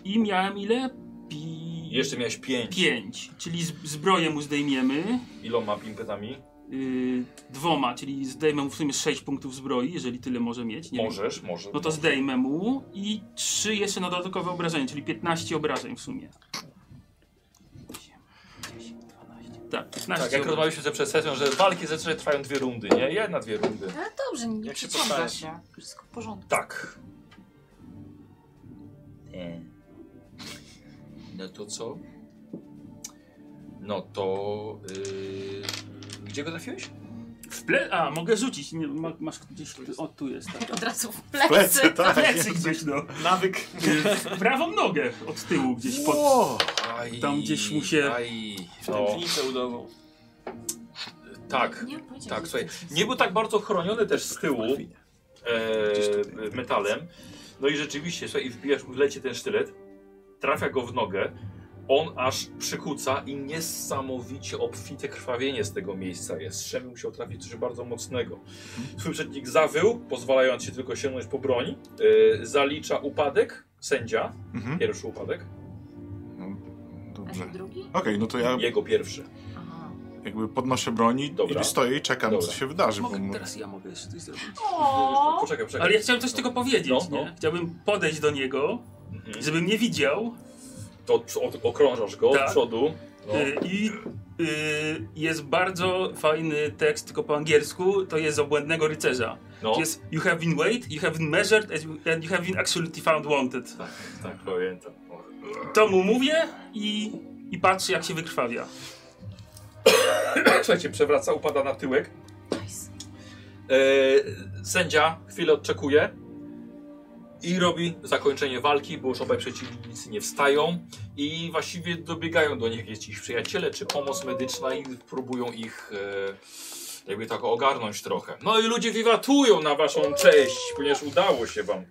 Speaker 5: I miałem ile? Pi...
Speaker 1: Jeszcze miałeś pięć.
Speaker 5: pięć. Czyli z- zbroję mu zdejmiemy.
Speaker 1: Iloma impetami?
Speaker 5: y, dwoma, czyli zdejmę mu w sumie 6 punktów zbroi, jeżeli tyle może mieć. Nie Wiem.
Speaker 1: Możesz, możesz. Tak,
Speaker 5: No to zdejmę mu i 3 jeszcze na dodatkowe obrażenia, czyli 15 obrażeń w sumie. 8, 10, 12. Tak, 15.
Speaker 1: Tak, jak
Speaker 5: obrażeń.
Speaker 1: rozmawialiśmy sobie przed sesją, że walki zazwyczaj trwają dwie rundy, nie? Jedna, dwie rundy.
Speaker 2: Ale No dobrze, nie, nie
Speaker 4: Jak się
Speaker 2: przyciąga
Speaker 4: postawisz?
Speaker 2: się. Wszystko w porządku.
Speaker 1: Tak. E, No to co? No to... Yy, gdzie go trafiłeś?
Speaker 5: w ple... A, mogę rzucić. Nie, ma, masz gdzieś. O, tu jest. Tak.
Speaker 2: Od razu w plecy.
Speaker 3: Plecy, tak.
Speaker 5: Plecy gdzieś, no.
Speaker 4: Nawyk.
Speaker 5: Y, W prawą nogę od tyłu gdzieś pod.
Speaker 3: Wow.
Speaker 1: Aj,
Speaker 5: Tam gdzieś mu się-
Speaker 1: Aj,
Speaker 4: W
Speaker 1: no,
Speaker 4: tętnicę udową.
Speaker 1: tak,
Speaker 2: Nie, powiedziałeś,
Speaker 1: tak,
Speaker 2: że
Speaker 1: słuchaj.
Speaker 2: coś
Speaker 1: Nie był tak bardzo chroniony też z tyłu e, metalem. No i rzeczywiście, słuchaj, i wbijasz, leci ten sztylet, trafia go w nogę, on aż przykuca i niesamowicie obfite krwawienie z tego miejsca jest. Szemi musiał trafić coś bardzo mocnego.
Speaker 5: Mhm.
Speaker 1: Twój przednik zawył, pozwalając się tylko sięgnąć po broń. E, zalicza upadek, sędzia,
Speaker 3: Mhm.
Speaker 1: pierwszy upadek,
Speaker 3: No,
Speaker 2: A
Speaker 3: Dobrze.
Speaker 2: ten
Speaker 3: Okej,
Speaker 2: drugi?
Speaker 3: no to
Speaker 5: Tak.
Speaker 3: ja
Speaker 1: jego pierwszy.
Speaker 2: Aha.
Speaker 3: jakby podnoszę broń i-
Speaker 1: Dobra.
Speaker 3: i stoję i czekam, co
Speaker 1: Dobra.
Speaker 3: się wydarzy. Bo...
Speaker 5: Mogę, teraz ja mogę jeszcze coś zrobić.
Speaker 2: O,
Speaker 1: Poczekaj, poczekaj.
Speaker 5: Ale ja chciałem coś tylko powiedzieć.
Speaker 1: No, no.
Speaker 5: Nie? Chciałbym podejść do niego,
Speaker 1: Mhm.
Speaker 5: żeby mnie widział.
Speaker 1: To okrążasz go
Speaker 5: Tak.
Speaker 1: od przodu. No,
Speaker 5: Y, I y, jest bardzo fajny tekst, tylko po angielsku, to jest z Obłędnego Rycerza.
Speaker 1: No,
Speaker 5: Jest You have been weighed, you have been measured and you- and you have been actually found wanted.
Speaker 1: tak pamiętam.
Speaker 5: To mu mówię i, i patrzę jak się wykrwawia.
Speaker 1: Słuchajcie, przewraca, upada na tyłek.
Speaker 2: Nice.
Speaker 1: E, sędzia chwilę odczekuje i robi zakończenie walki, bo już obaj przeciwnicy nie wstają i właściwie dobiegają do nich jakiś przyjaciele czy pomoc medyczna i próbują ich e, jakby tak ogarnąć trochę. No i ludzie wiwatują na waszą cześć, ponieważ udało się wam.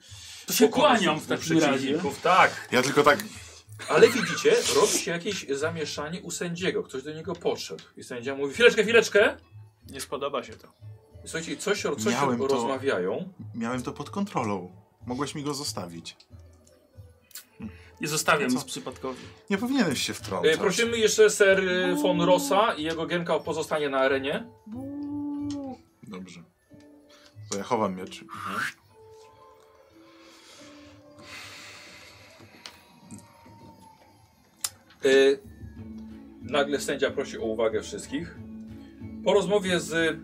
Speaker 5: To się
Speaker 1: pokonać
Speaker 5: kłaniam w
Speaker 1: tych
Speaker 5: takim razie.
Speaker 1: przeciwników, Tak,
Speaker 3: Ja tylko tak.
Speaker 1: ale widzicie, robi się jakieś zamieszanie u sędziego. Ktoś do niego podszedł. I sędzia mówi, chwileczkę, chwileczkę.
Speaker 4: Nie spodoba się to.
Speaker 1: Słuchajcie, coś, o- coś
Speaker 3: Miałem to.
Speaker 1: rozmawiają.
Speaker 3: Miałem to pod kontrolą. Mogłeś mi go zostawić.
Speaker 5: I zostawiam
Speaker 3: Co?
Speaker 5: z przypadkowi.
Speaker 3: Nie powinieneś się
Speaker 1: E,
Speaker 3: wtrącać.
Speaker 1: prosimy jeszcze ser e, von Rossa i jego genka pozostanie na arenie.
Speaker 3: Dobrze. To ja chowam miecz.
Speaker 1: E, nagle sędzia prosi o uwagę wszystkich. Po rozmowie z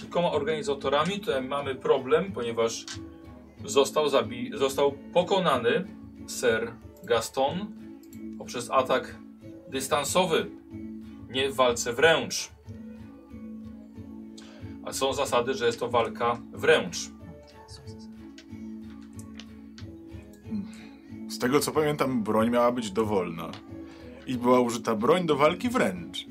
Speaker 1: kilkoma organizatorami to mamy problem, ponieważ został, zabi został pokonany ser Gaston poprzez atak dystansowy, nie w walce wręcz. A są zasady, że jest to walka wręcz.
Speaker 3: Z tego co pamiętam, broń miała być dowolna. I była użyta broń do walki wręcz.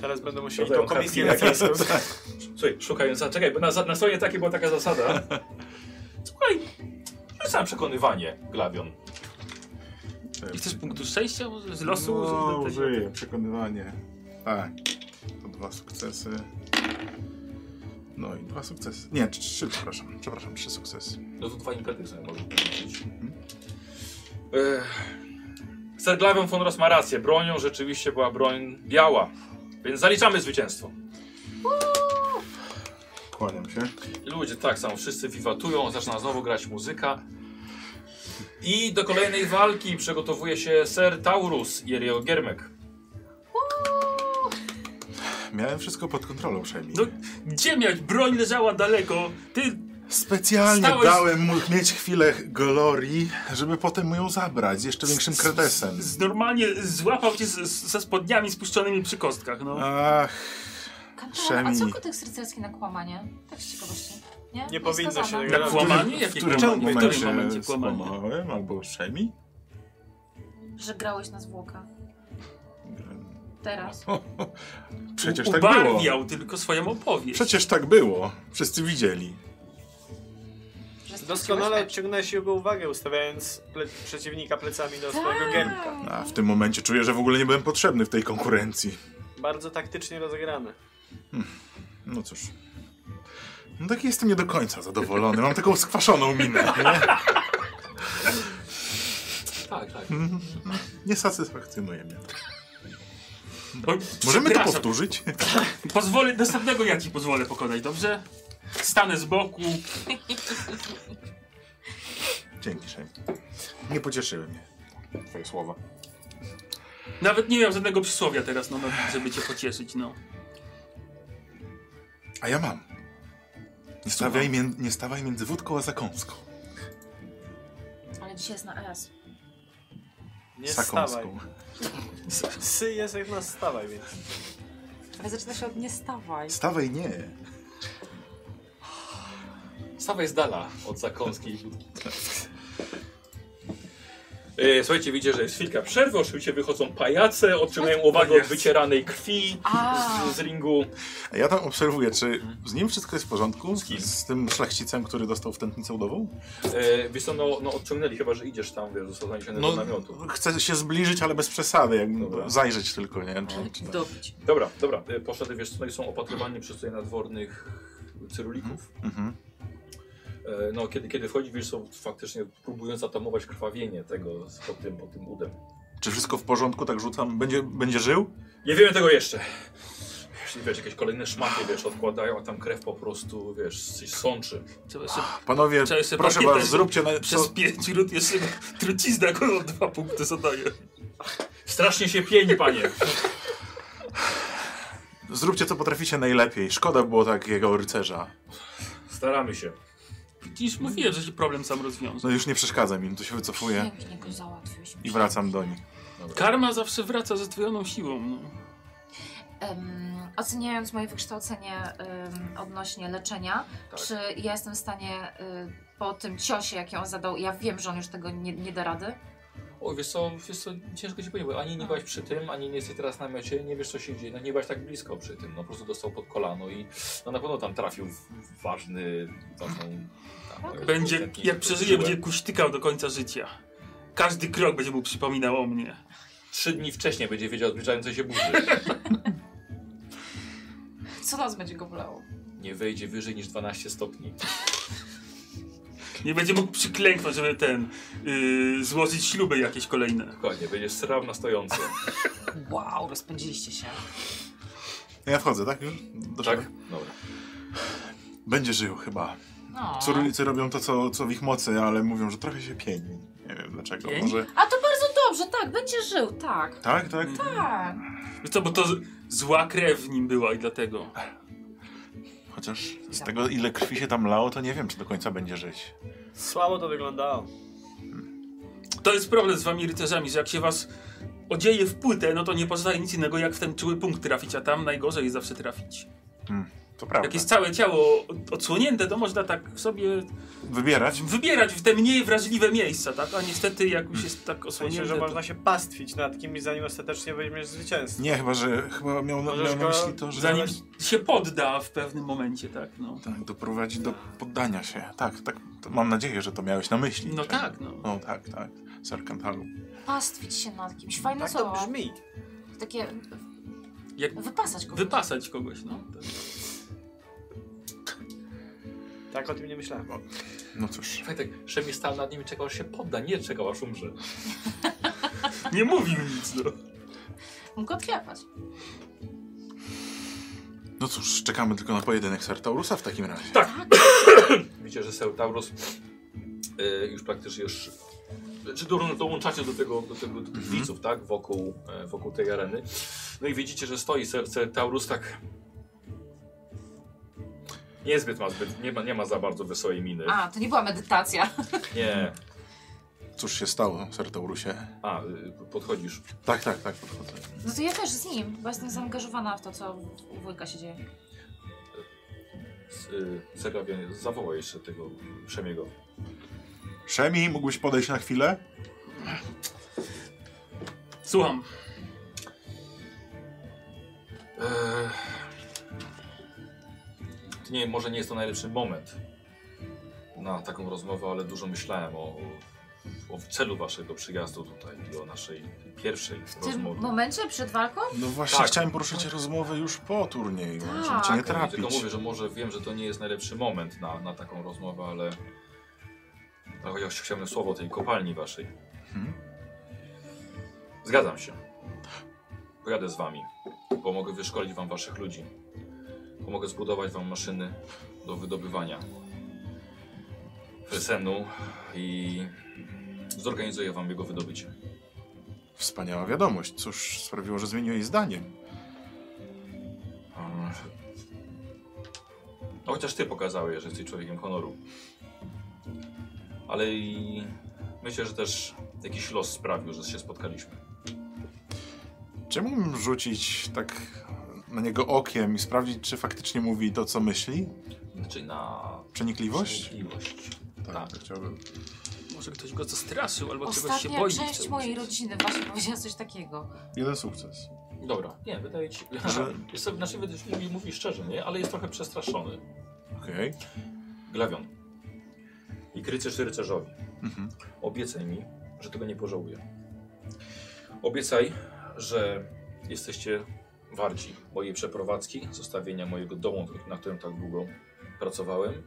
Speaker 4: Teraz będą musieli
Speaker 1: Dodają
Speaker 4: tą komisję
Speaker 1: kartki jakieś.
Speaker 4: rosyjską.
Speaker 1: Słuchaj, szukając, a czekaj, bo na, na stronie takiej była taka zasada. Słuchaj, sam przekonywanie, Glawion.
Speaker 5: I chcesz punktu szczęścia? może Z losu? tak
Speaker 3: No,
Speaker 5: Z- z-
Speaker 3: użyję. Przekonywanie. Tak. To dwa sukcesy. No i dwa sukcesy. Nie, trzy, trzy, przepraszam. Przepraszam, trzy sukcesy.
Speaker 1: No to dwa impety sobie można powiedzieć. Ech. Ser Glawion von Ross ma rację. Bronią rzeczywiście była broń biała. Więc zaliczamy zwycięstwo.
Speaker 3: Kłaniam się.
Speaker 1: I ludzie tak samo, wszyscy wiwatują, zaczyna znowu grać muzyka. I do kolejnej walki przygotowuje się Ser Taurus i jego Giermek.
Speaker 3: Miałem wszystko pod kontrolą, Szemi.
Speaker 5: No, gdzie miałeś? Broń leżała daleko. Ty
Speaker 3: Specjalnie
Speaker 5: Stałeś-
Speaker 3: dałem mu mieć chwilę glorii, żeby potem mu ją zabrać z jeszcze większym kretesem.
Speaker 5: z, normalnie złapał cię z, z, ze spodniami spuszczonymi przy kostkach, no.
Speaker 3: Ach,
Speaker 2: Kapitan, a co
Speaker 3: Szemi.
Speaker 2: kodeks rycerski na kłamanie? Tak z ciekawości. Nie,
Speaker 4: Nie powinno się
Speaker 2: skazane.
Speaker 4: tego
Speaker 5: Na
Speaker 4: robić.
Speaker 5: kłamanie?
Speaker 3: w
Speaker 5: Jakie
Speaker 3: którym
Speaker 5: kłamanie? W którym
Speaker 3: momencie
Speaker 5: momencie kłamanie?
Speaker 3: skłamałem? Albo Szemi?
Speaker 2: Że grałeś na zwłokach. Teraz.
Speaker 3: Przecież
Speaker 5: U-
Speaker 3: tak
Speaker 5: Ubarwiał
Speaker 3: było.
Speaker 5: tylko swoją opowieść.
Speaker 3: Przecież tak było. Wszyscy widzieli.
Speaker 2: Że
Speaker 4: Doskonale
Speaker 2: straciłeś-
Speaker 4: odciągnąłeś jego uwagę, ustawiając ple przeciwnika plecami do swojego giermka.
Speaker 3: A w tym momencie czuję, że w ogóle nie byłem potrzebny w tej konkurencji.
Speaker 4: Bardzo taktycznie rozegrany.
Speaker 3: No cóż. No tak jestem nie do końca zadowolony. Mam taką skwaszoną minę. Nie?
Speaker 1: Tak, tak.
Speaker 3: Nie satysfakcjonuje mnie.
Speaker 5: Oj,
Speaker 3: Możemy to
Speaker 5: no. przepraszam.
Speaker 3: powtórzyć?
Speaker 5: Pozwolę, następnego ja ci pozwolę pokonać, dobrze? Stanę z boku.
Speaker 3: Dzięki, Szemi. Nie pocieszyły mnie twoje słowa.
Speaker 5: Nawet nie miałem żadnego przysłowia teraz, no, nawet, żeby cię pocieszyć, no.
Speaker 3: A ja mam. Nie stawiaj, mię- nie stawaj między wódką a zakąską.
Speaker 2: Ale dzisiaj jest na S.
Speaker 4: Nie stawaj.
Speaker 3: Sakąską.
Speaker 4: Sy jest jak nas stawaj, więc.
Speaker 2: Ale zaczyna się od nie stawaj.
Speaker 3: Stawaj nie.
Speaker 1: Stawaj z dala od zakąski. E, Słuchajcie, widzicie, że jest chwilka przerwy, oczywiście wychodzą pajace, odciągają uwagę od wycieranej krwi
Speaker 2: A.
Speaker 1: z, z ringu.
Speaker 3: A ja tam obserwuję, czy z nim wszystko jest w porządku? Z, z tym szlachcicem, który dostał wtętnicę udową?
Speaker 1: E, wiesz co, no, no odciągnęli, chyba że idziesz tam, wiesz, został zaniesiony do namiotu.
Speaker 3: chcę No, się zbliżyć, ale bez przesady, jakby
Speaker 1: Dobra.
Speaker 3: zajrzeć tylko, nie? Czy, czy tak.
Speaker 2: Dobić.
Speaker 1: Dobra, dobra, e, poszedł, wiesz, tutaj są opatrywani przez tutaj nadwornych cyrulików.
Speaker 3: Mhm.
Speaker 1: E, no, kiedy, kiedy wchodzi, wiesz, są faktycznie próbując zatamować krwawienie tego z- pod tym, pod tym udem.
Speaker 3: czy wszystko w porządku, tak rzucam? Będzie, będzie żył?
Speaker 1: Nie wiemy tego jeszcze. Czyli wiesz, jakieś kolejne szmaty, wiesz, odkładają, a tam krew po prostu, wiesz, coś sączy.
Speaker 5: Trzeba jeszcze
Speaker 3: Panowie,
Speaker 5: Trzeba jeszcze
Speaker 3: proszę
Speaker 5: pakiet
Speaker 3: was,
Speaker 5: też-
Speaker 3: zróbcie na...
Speaker 5: przez pięć minut jeszcze trucizna, którą dwa punkty zadaje.
Speaker 1: Strasznie się pieni, panie.
Speaker 3: Zróbcie co potraficie najlepiej. Szkoda było takiego rycerza.
Speaker 1: Staramy się.
Speaker 5: Widzisz, mówiłem, że się problem sam rozwiąże.
Speaker 3: No już nie przeszkadzam im, to się wycofuję
Speaker 2: Pięknie go załatwiłeś.
Speaker 3: i wracam do nich.
Speaker 5: Karma zawsze wraca ze zdwojoną siłą. No.
Speaker 2: Em, oceniając moje wykształcenie em, odnośnie leczenia,
Speaker 1: Tak.
Speaker 2: czy ja jestem w stanie y, po tym ciosie, jaki on zadał, ja wiem, że on już tego nie, nie da rady.
Speaker 1: O, wiesz co, wiesz co, ciężko ci powiedzieć, bo ani nie byłaś przy tym, ani nie jesteś teraz na miocie, nie wiesz co się dzieje, no nie byłaś tak blisko przy tym, no po prostu dostał pod kolano i no na pewno tam trafił w ważny, ważną...
Speaker 5: Tak.
Speaker 1: Tam, e,
Speaker 5: Będzie,
Speaker 1: ewidentnie
Speaker 5: jak przeżyje,
Speaker 1: siłę.
Speaker 5: będzie kuśtykał do końca życia. Każdy krok będzie mu przypominał o mnie.
Speaker 1: Trzy dni wcześniej będzie wiedział o zbliżającej się burzy.
Speaker 2: Co nas będzie go bolało?
Speaker 1: Nie wejdzie wyżej niż 12 stopni.
Speaker 5: Nie będzie mógł przyklęknąć, żeby ten yy, złożyć śluby jakieś kolejne.
Speaker 1: Dokładnie, będzie srał na stojąco.
Speaker 2: Wow, rozpędziliście się.
Speaker 3: Ja wchodzę, tak? Już? Doszedłem?
Speaker 1: Tak? Dobra.
Speaker 3: Będzie żył chyba.
Speaker 2: No.
Speaker 3: Córnicy robią to, co, co w ich mocy, ale mówią, że trochę się pieni. Nie wiem dlaczego.
Speaker 5: Pieni?
Speaker 3: Może...
Speaker 2: A to bardzo dobrze, tak, będzie żył, tak.
Speaker 3: Tak, tak?
Speaker 2: Tak.
Speaker 5: Wiesz co, bo to z- zła krew w nim była i dlatego.
Speaker 3: Chociaż z tego, ile krwi się tam lało, to nie wiem, czy do końca będzie żyć.
Speaker 4: Słabo to wyglądało.
Speaker 5: To jest problem z wami rycerzami, że jak się was odzieje w płytę, no to nie pozostaje nic innego jak w ten czuły punkt trafić, a tam najgorzej jest zawsze trafić.
Speaker 3: Hmm, To prawda.
Speaker 5: Jak jest całe ciało od- odsłonięte, to można tak sobie
Speaker 3: Wybierać?
Speaker 5: wybierać w te mniej wrażliwe miejsca, tak? A niestety jak już jest tak
Speaker 4: W sensie,
Speaker 5: osłonięte,
Speaker 4: że
Speaker 5: to...
Speaker 4: można się pastwić nad kimś, zanim ostatecznie weźmiesz zwycięstwo.
Speaker 3: Nie, chyba, że chyba miał, na-
Speaker 4: Możesz
Speaker 3: miał na
Speaker 4: go-
Speaker 3: myśli to, że
Speaker 5: zanim się podda w pewnym momencie, tak? No,
Speaker 3: tak, doprowadzi do poddania się. Tak, tak. To mam nadzieję, że to miałeś na myśli.
Speaker 5: no
Speaker 3: Czy-
Speaker 5: tak, no.
Speaker 3: No tak, tak. Sarkantalu.
Speaker 2: Pastwić się nad kimś. Fajne
Speaker 4: Tak to
Speaker 2: słowo.
Speaker 4: brzmi.
Speaker 2: Takie.
Speaker 5: Jak
Speaker 2: Wypasać go.
Speaker 5: wypasać kogoś, no.
Speaker 4: Tak o tym nie myślałem.
Speaker 3: No cóż.
Speaker 1: Fajtek, Szemi stał nad nim i czekał, aż się podda. Nie, czekał, aż umrze.
Speaker 5: Nie mówił nic, no.
Speaker 2: Mógł go odklepać.
Speaker 3: No cóż, czekamy tylko na pojedynek Sartaurusa w takim razie.
Speaker 1: Tak. Widzicie, że Seutaurus y, już praktycznie już... Czy do- dołączacie do tego, do tego do tych widzów, tak? Wokół, e, wokół tej areny. No i widzicie, że stoi Se- Seutaurus tak... Niezbyt ma zbyt, nie ma, nie ma za bardzo wesołej miny.
Speaker 2: A, to nie była medytacja.
Speaker 1: Nie.
Speaker 3: Cóż się stało, Sartaurusie?
Speaker 1: A, y, podchodzisz.
Speaker 3: Tak, tak, tak, podchodzę.
Speaker 2: No to ja też z nim, bo jestem zaangażowana w to, co u- u wujka się dzieje.
Speaker 1: Y, Segawianie, zawołaj jeszcze tego Przemiego.
Speaker 3: Szemi, mógłbyś podejść na chwilę?
Speaker 5: Słucham.
Speaker 1: Eee, Nie, może nie jest to najlepszy moment na taką rozmowę, ale dużo myślałem o, o celu waszego przyjazdu tutaj i o naszej pierwszej
Speaker 2: W tym
Speaker 1: rozmowie.
Speaker 2: momencie przed walką?
Speaker 3: No właśnie,
Speaker 1: Tak.
Speaker 3: chciałem poruszyć rozmowę już po turnieju,
Speaker 2: Tak.
Speaker 3: żeby cię nie
Speaker 1: Ja Tylko
Speaker 3: trapić.
Speaker 1: mówię, że może wiem, że to nie jest najlepszy moment na, na taką rozmowę, ale. ale Chociaż chciałem słowo tej kopalni waszej.
Speaker 3: Mhm.
Speaker 1: Zgadzam się. Pojadę z wami. Pomogę wyszkolić wam waszych ludzi. Pomogę zbudować wam maszyny do wydobywania fresenu i zorganizuję wam jego wydobycie.
Speaker 3: Wspaniała wiadomość. Cóż sprawiło, że zmieniłeś zdanie.
Speaker 1: Mm. No chociaż ty pokazałeś, że jesteś człowiekiem honoru. Ale i myślę, że też jakiś los sprawił, że się spotkaliśmy.
Speaker 3: Czy mógłbym rzucić tak na niego okiem i sprawdzić, czy faktycznie mówi to, co myśli?
Speaker 1: Znaczy na
Speaker 3: Przenikliwość?
Speaker 1: przenikliwość.
Speaker 3: Tak, to chciałbym.
Speaker 5: Może ktoś go zastraszył albo czegoś się
Speaker 2: Ostatnia
Speaker 5: boi. w
Speaker 2: część
Speaker 5: tym
Speaker 2: mojej
Speaker 5: uczestniczyć.
Speaker 2: rodziny właśnie powiedziała coś takiego.
Speaker 3: Jeden sukces.
Speaker 1: Dobra, nie, wydaje ci
Speaker 3: Że-
Speaker 1: Jest sobie, znaczy wydaje mi- mówi szczerze, nie? Ale jest trochę przestraszony.
Speaker 3: Okej.
Speaker 1: Glawion. I krycerz rycerzowi.
Speaker 3: Mhm.
Speaker 1: Obiecaj mi, że tego nie pożałuję. Obiecaj, że jesteście warci mojej przeprowadzki, zostawienia mojego domu, na którym tak długo pracowałem.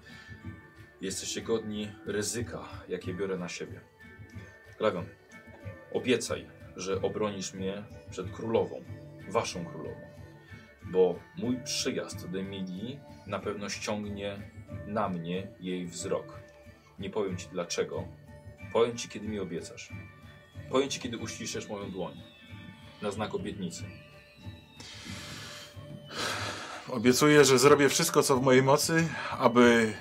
Speaker 1: Jesteście godni ryzyka, jakie biorę na siebie. Glawion, obiecaj, że obronisz mnie przed królową, waszą królową. bo mój przyjazd do Emilii na pewno ściągnie na mnie jej wzrok. Nie powiem ci dlaczego. Powiem ci, kiedy mi obiecasz. Powiem ci, kiedy uściszesz moją dłoń. Na znak obietnicy.
Speaker 3: Obiecuję, że zrobię wszystko, co w mojej mocy, aby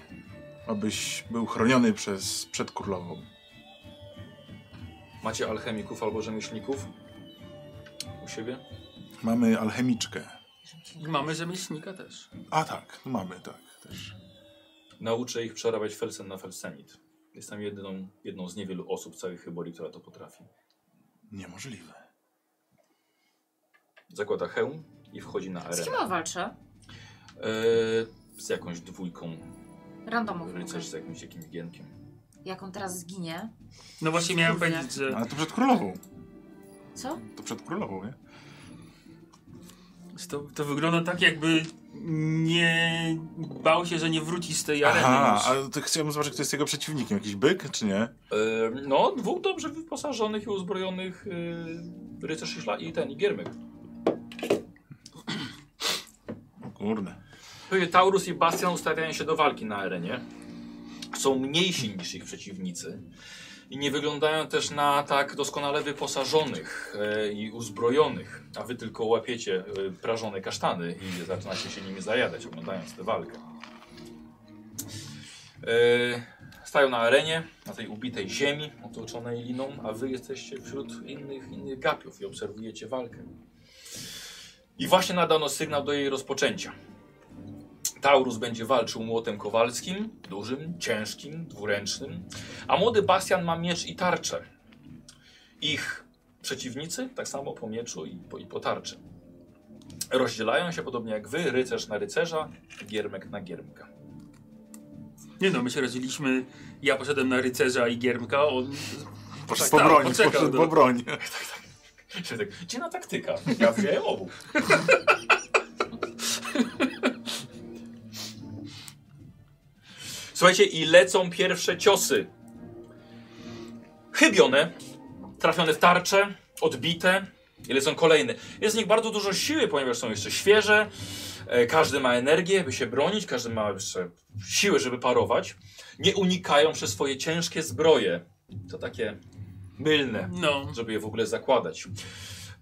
Speaker 3: abyś był chroniony przez przed królową.
Speaker 1: Macie alchemików albo rzemieślników? U siebie?
Speaker 3: Mamy alchemiczkę.
Speaker 5: I mamy rzemieślnika też.
Speaker 3: A tak, mamy tak też.
Speaker 1: Nauczę ich przerabiać felsen na felsenit. Jestem jedną, jedną z niewielu osób w całej chyborii, która to potrafi.
Speaker 3: Niemożliwe.
Speaker 1: Zakłada hełm i wchodzi na
Speaker 2: Z kim
Speaker 1: arenę.
Speaker 2: on walczy?
Speaker 1: Eee, z jakąś dwójką
Speaker 2: Randomowo.
Speaker 1: rycerz z jakimś jakimś gienkiem.
Speaker 2: Jak on teraz zginie?
Speaker 5: No właśnie miałem
Speaker 2: Kurde.
Speaker 5: powiedzieć, że
Speaker 3: Ale to przed królową.
Speaker 2: Co?
Speaker 3: To przed królową, nie?
Speaker 5: to, to wygląda tak, jakby nie bał się, że nie wróci z tej areny.
Speaker 3: Aha,
Speaker 5: już.
Speaker 3: ale to chciałem zobaczyć, kto jest jego przeciwnikiem. Jakiś byk, czy nie?
Speaker 1: Eee, no, dwóch dobrze wyposażonych i uzbrojonych yy, rycerz i, szla- i ten, i giermek.
Speaker 3: O kurde.
Speaker 1: Taurus i Bastian ustawiają się do walki na arenie. Są mniejsi niż ich przeciwnicy. I nie wyglądają też na tak doskonale wyposażonych e, i uzbrojonych. A wy tylko łapiecie e, prażone kasztany i zaczynacie się nimi zajadać, oglądając tę walkę. E, stają na arenie, na tej ubitej ziemi, otoczonej liną, a wy jesteście wśród innych, innych gapiów i obserwujecie walkę. I właśnie nadano sygnał do jej rozpoczęcia. Taurus będzie walczył młotem kowalskim, dużym, ciężkim, dwuręcznym, a młody Bastian ma miecz i tarczę. Ich przeciwnicy tak samo po mieczu i po, i po tarczy. Rozdzielają się podobnie jak wy, rycerz na rycerza, giermek na giermka.
Speaker 5: Nie no, my się rozdzieliliśmy. Ja poszedłem na rycerza i giermka, on
Speaker 3: Poszedł
Speaker 5: Tak,
Speaker 3: po
Speaker 5: tak,
Speaker 3: broń,
Speaker 5: poczekał,
Speaker 3: poszedł
Speaker 5: no.
Speaker 3: po broń.
Speaker 1: Czyli tak, dzienna taktyka. Ja wziąłem obu. Słuchajcie, i lecą pierwsze ciosy. Chybione, trafione w tarcze, odbite, i lecą kolejne. Jest w nich bardzo dużo siły, ponieważ są jeszcze świeże. E, Każdy ma energię, by się bronić, każdy ma jeszcze siły, żeby parować. Nie unikają przez swoje ciężkie zbroje. To takie mylne
Speaker 5: no,
Speaker 1: żeby je w ogóle zakładać.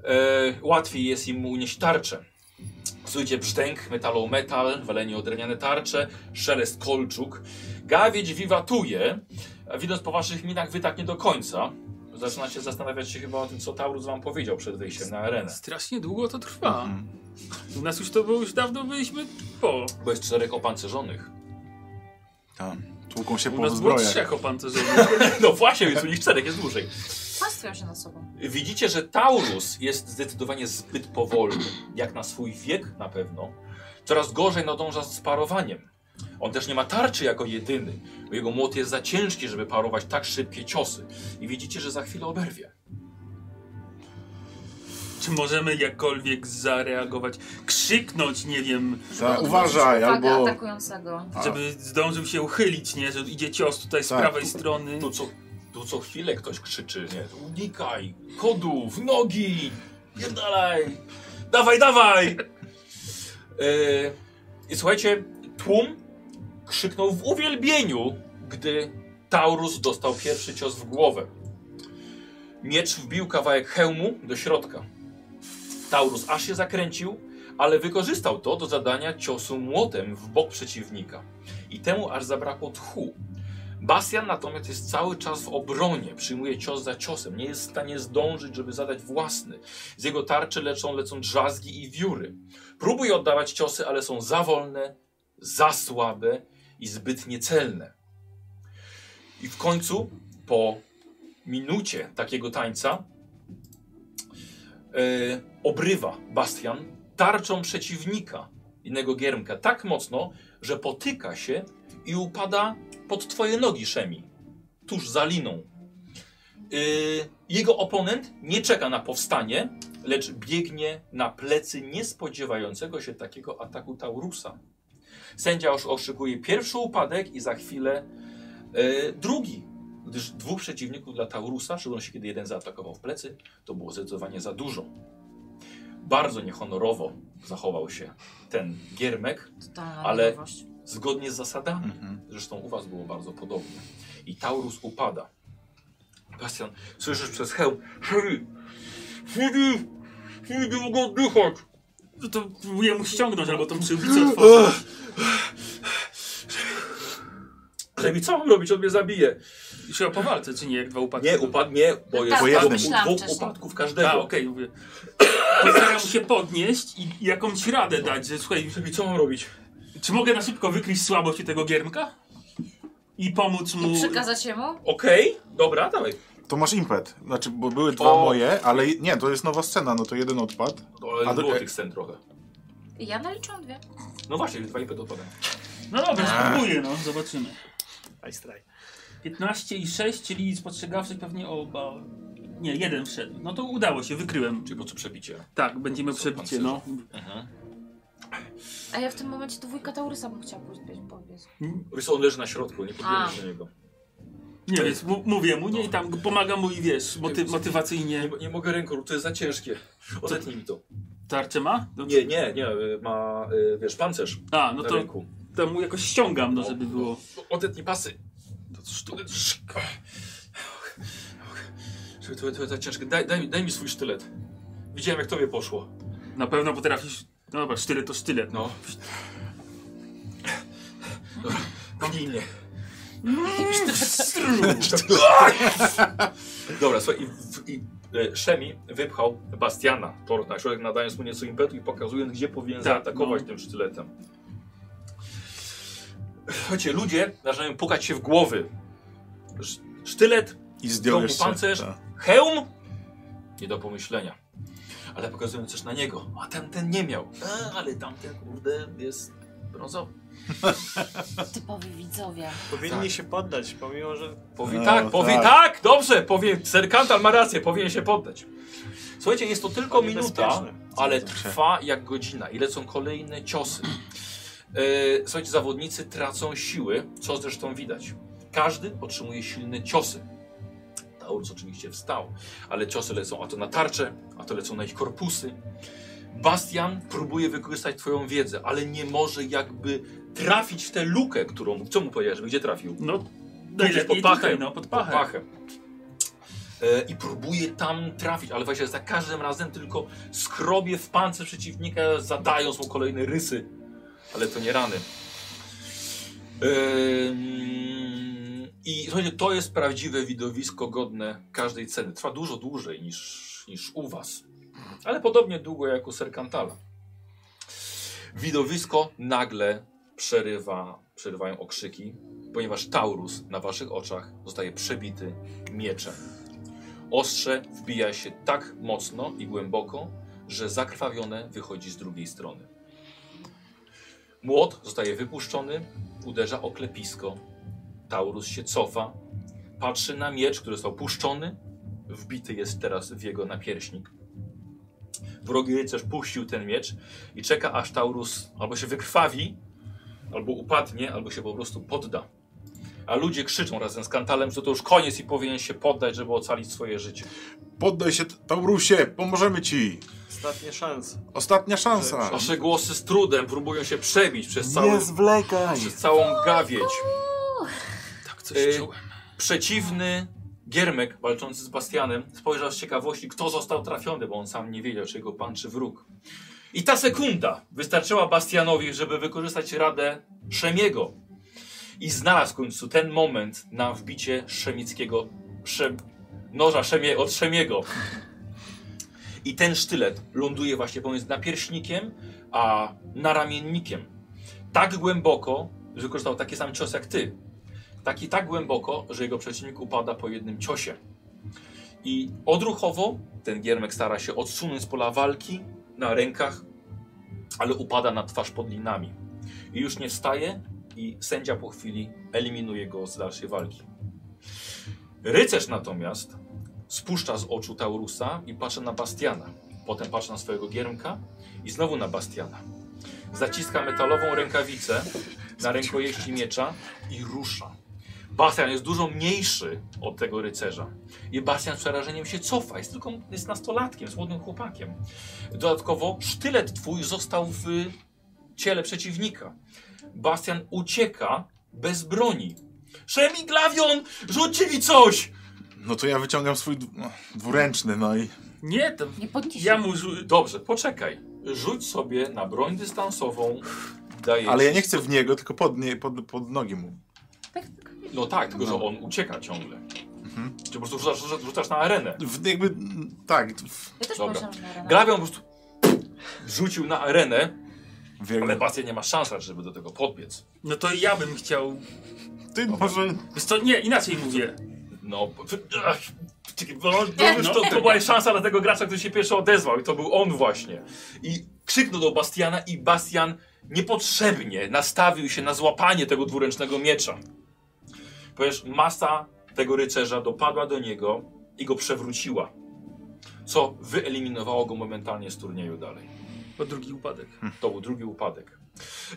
Speaker 1: E, łatwiej jest im unieść tarczę. Słyszycie brzdęk, metal o metal, walenie o drewniane tarcze, szelest kolczuk. Gawieć wiwatuje, a widząc po waszych minach wy tak nie do końca. Zaczynacie zastanawiać się chyba o tym, co Taurus wam powiedział przed wejściem na arenę.
Speaker 5: strasznie długo to trwa.
Speaker 3: Mhm.
Speaker 5: U nas już to było, już dawno byliśmy po.
Speaker 1: Bo jest czterech opancerzonych.
Speaker 3: Tam. Tłuką się
Speaker 5: U
Speaker 3: po
Speaker 5: nas było
Speaker 3: zbrojach.
Speaker 5: trzech opancerzonych.
Speaker 1: No właśnie, więc u nich czterech jest dłużej.
Speaker 2: Pastwią się nad sobą.
Speaker 1: Widzicie, że Taurus jest zdecydowanie zbyt powolny, jak na swój wiek na pewno. Coraz gorzej nadąża z parowaniem. On też nie ma tarczy jako jedyny, bo jego młot jest za ciężki, żeby parować tak szybkie ciosy. I widzicie, że za chwilę oberwie.
Speaker 5: Czy możemy jakkolwiek zareagować, krzyknąć, nie wiem,
Speaker 3: Tak,
Speaker 2: Odwrócić
Speaker 3: uważaj,
Speaker 2: uwagę
Speaker 3: albo...
Speaker 2: atakującego.
Speaker 3: A.
Speaker 5: żeby zdążył się uchylić, nie, że idzie cios tutaj z
Speaker 3: Tak.
Speaker 5: prawej strony.
Speaker 1: Tu co, tu co chwilę ktoś krzyczy, nie? tu Unikaj! Kodów! Nogi! Pierdalaj! Dawaj, dawaj! Yy, I słuchajcie, tłum krzyknął w uwielbieniu, gdy Taurus dostał pierwszy cios w głowę. Miecz wbił kawałek hełmu do środka. Taurus aż się zakręcił, ale wykorzystał to do zadania ciosu młotem w bok przeciwnika. I temu aż zabrakło tchu. Bastian natomiast jest cały czas w obronie, przyjmuje cios za ciosem, nie jest w stanie zdążyć, żeby zadać własny. Z jego tarczy lecą, lecą drzazgi i wióry. Próbuje oddawać ciosy, ale są za wolne, za słabe i zbyt niecelne. I w końcu, po minucie takiego tańca, e, obrywa Bastian tarczą przeciwnika, innego giermka, tak mocno, że potyka się i upada pod twoje nogi, Szemi. Tuż za liną. Yy, jego oponent nie czeka na powstanie, lecz biegnie na plecy niespodziewającego się takiego ataku Taurusa. Sędzia już oszykuje pierwszy upadek i za chwilę yy, drugi. Gdyż dwóch przeciwników dla Taurusa, szczególnie kiedy jeden zaatakował w plecy, to było zdecydowanie za dużo. Bardzo niehonorowo zachował się ten giermek,
Speaker 2: Totalna
Speaker 1: Ale-
Speaker 2: Ale...
Speaker 1: zgodnie z zasadami.
Speaker 3: Mhm.
Speaker 1: Zresztą u was było bardzo podobnie. I Taurus upada. Bastian, słyszysz przez hełm Harry, Harry, Harry, nie mogę oddychać.
Speaker 5: No to próbuję mu ściągnąć albo tą przyłbicę otworzyć.
Speaker 1: Lewi, co mam robić? On mnie zabije.
Speaker 5: Się o powalce, czy nie, jak dwa upadki.
Speaker 1: Nie, upadnie, bo jest
Speaker 2: tak,
Speaker 3: jednym.
Speaker 1: dwóch,
Speaker 2: myślałam
Speaker 1: dwóch
Speaker 2: wcześniej.
Speaker 1: upadków
Speaker 5: A,
Speaker 1: każdego.
Speaker 5: okej, mówię. Postaram się podnieść i jakąś radę dać, że słuchaj,
Speaker 1: Lewi, co mam robić?
Speaker 5: czy mogę na szybko wykryć słabość u tego giermka? I pomóc mu...
Speaker 2: I przekazać jemu?
Speaker 1: Okej, dobra, dawaj.
Speaker 3: To masz impet. Znaczy, bo były dwa
Speaker 1: O.
Speaker 3: moje, ale je- nie, to jest nowa scena, no to jeden odpad.
Speaker 1: Ale
Speaker 3: A do-
Speaker 1: było tych scen trochę.
Speaker 2: Ja naliczyłam dwie.
Speaker 1: No właśnie, dwa impety odpadają.
Speaker 5: No dobra,
Speaker 1: Tak.
Speaker 5: spróbuję, no, zobaczymy.
Speaker 4: Aj, straj.
Speaker 5: 15 i 6, czyli spostrzegawczy pewnie oba... Nie, jeden wszedł. No to udało się, wykryłem.
Speaker 1: Czyli po co przebicie?
Speaker 5: Tak, będziemy
Speaker 1: Co
Speaker 5: przebicie,
Speaker 1: pan
Speaker 5: no.
Speaker 2: A ja w tym momencie to wujka Taurysa bym chciała pójść powiedz.
Speaker 1: Rys, on leży na środku, nie
Speaker 2: A.
Speaker 1: podbierzesz do niego.
Speaker 5: Nie, więc mu- mówię mu, nie, i tam pomagam mu i wiesz, moty
Speaker 1: Nie,
Speaker 5: motywacyjnie.
Speaker 1: nie mogę ręką, to jest za ciężkie. Odetnij mi to.
Speaker 5: Tarczę ma? No,
Speaker 1: Nie, nie, nie, y, ma, y, wiesz, pancerz
Speaker 5: A, no
Speaker 1: na
Speaker 5: to
Speaker 1: ręku.
Speaker 5: tam mu jakoś ściągam, no, żeby było...
Speaker 1: Odetnij pasy. To sztylet. szyk. Żeby To, to, to ciężkie. Daj, daj, mi- daj mi swój sztylet. Widziałem, jak tobie poszło.
Speaker 5: Na pewno potrafisz... No dobra, sztylet to sztylet, no.
Speaker 1: No. Dobra, Gnij mnie. Dobra, słuchaj, i, w- i e, Szemi wypchał Bastiana tor na środek, nadając mu nieco impetu i pokazując, gdzie powinien
Speaker 5: Tak,
Speaker 1: zaatakować
Speaker 5: no.
Speaker 1: tym sztyletem. Słuchajcie, ludzie zaczynają pukać się w głowy. Sz- Sztylet,
Speaker 3: I zdjąłeś
Speaker 1: To był pancerz?
Speaker 3: Tak.
Speaker 1: hełm? Nie do pomyślenia. Ale pokazują coś na niego. A tamten nie miał. E, ale tamten, kurde, jest brązowy.
Speaker 2: Typowi widzowie.
Speaker 4: Powinni się poddać, pomimo, że
Speaker 1: Powi
Speaker 3: No,
Speaker 1: tak, powi
Speaker 3: tak.
Speaker 1: tak. dobrze, powie, Serkantal ma rację, powinien się poddać. Słuchajcie, jest to tylko
Speaker 4: To
Speaker 1: minuta,
Speaker 4: niebezpieczne.
Speaker 1: ale
Speaker 3: to
Speaker 1: trwa jak godzina i lecą kolejne ciosy. E, słuchajcie, zawodnicy tracą siły, co zresztą widać. Każdy otrzymuje silne ciosy. Taurus oczywiście wstał, ale ciosy lecą a to na tarcze, a to lecą na ich korpusy. Bastian próbuje wykorzystać twoją wiedzę, ale nie może jakby trafić w tę lukę, którą... Co mu powiedziałeś, żeby gdzie trafił?
Speaker 5: No,
Speaker 1: Gdzieś
Speaker 5: najlepiej
Speaker 1: pod pachę.
Speaker 5: tutaj, no, pod pachę.
Speaker 1: pachę. E, I próbuje tam trafić, ale właśnie za każdym razem tylko skrobie w pancerz przeciwnika, zadając mu kolejne rysy. Ale to nie rany. Em, I słuchajcie, to jest prawdziwe widowisko godne każdej ceny. Trwa dużo dłużej niż, niż u was, ale podobnie długo jak u Serkantala. Widowisko nagle przerywa, przerywają okrzyki, ponieważ Taurus na waszych oczach zostaje przebity mieczem. Ostrze wbija się tak mocno i głęboko, że zakrwawione wychodzi z drugiej strony. Młot zostaje wypuszczony, uderza o klepisko. Taurus się cofa, patrzy na miecz, który został puszczony, wbity jest teraz w jego napierśnik. Wrogi rycerz puścił ten miecz i czeka aż Taurus albo się wykrwawi, albo upadnie, albo się po prostu podda. A ludzie krzyczą razem z Kantalem, że to już koniec i powinien się poddać, żeby ocalić swoje życie.
Speaker 3: Poddaj się, Taurusie, pomożemy ci.
Speaker 4: ostatnie szanse.
Speaker 3: Ostatnia szansa.
Speaker 1: Wasze głosy z trudem próbują się przebić przez, cały,
Speaker 3: zwlekaj.
Speaker 1: przez całą gawieć.
Speaker 5: Tak coś
Speaker 1: Y,
Speaker 5: czułem.
Speaker 1: Przeciwny Giermek walczący z Bastianem spojrzał z ciekawości, kto został trafiony, bo on sam nie wiedział, czy jego pan, czy wróg. I ta sekunda wystarczyła Bastianowi, żeby wykorzystać radę Szemiego. I znalazł w końcu ten moment na wbicie szemickiego szem... noża szemie... od Szemiego. I ten sztylet ląduje właśnie pomiędzy napierśnikiem a naramiennikiem. Tak głęboko, że wykorzystał taki sam cios jak ty. Taki tak głęboko, że jego przeciwnik upada po jednym ciosie. I odruchowo ten giermek stara się odsunąć z pola walki na rękach, ale upada na twarz pod linami. I już nie wstaje i sędzia po chwili eliminuje go z dalszej walki. Rycerz natomiast spuszcza z oczu Taurusa i patrzy na Bastiana. Potem patrzy na swojego giermka i znowu na Bastiana. Zaciska metalową rękawicę na rękojeści miecza i rusza. Bastian jest dużo mniejszy od tego rycerza. I Bastian z przerażeniem się cofa. Jest tylko jest nastolatkiem, słodnym chłopakiem. Dodatkowo sztylet twój został w ciele przeciwnika. Bastian ucieka bez broni. Szemiglawion, rzućcie mi coś!
Speaker 3: No to ja wyciągam swój d- no, dwuręczny, no i
Speaker 5: Nie, to
Speaker 2: Nie podnieś.
Speaker 5: ja mu żu-
Speaker 1: Dobrze, poczekaj. Rzuć sobie na broń dystansową. Daję
Speaker 3: Ale ja
Speaker 1: ci-
Speaker 3: nie chcę w niego, tylko pod, nie, pod, pod nogi mu.
Speaker 2: Tak, tak.
Speaker 1: No tak, tylko że on ucieka ciągle.
Speaker 3: Mhm.
Speaker 1: Czy po prostu rzucasz, rzucasz- rzucasz na arenę.
Speaker 3: W, jakby, m, tak, w,
Speaker 2: Ja też
Speaker 1: Dobra.
Speaker 2: pomyślałam, że na Renata.
Speaker 1: Glawion po prostu rzucił na arenę,
Speaker 3: w
Speaker 1: ale
Speaker 3: jakby,
Speaker 1: Bastian nie ma szans, raczej, żeby do tego podbiec.
Speaker 5: No to ja bym chciał.
Speaker 3: Ty może...
Speaker 5: Wiesz co, nie, inaczej mówię.
Speaker 1: No, p- ach, czekaj, no, no, już to, to była szansa dla tego gracza, który się pierwszy odezwał i to był on właśnie. I krzyknął do Bastiana i Bastian niepotrzebnie nastawił się na złapanie tego dwuręcznego miecza. Ponieważ masa tego rycerza dopadła do niego i go przewróciła, co wyeliminowało go momentalnie z turnieju dalej.
Speaker 5: Po drugi upadek.
Speaker 1: To był drugi upadek.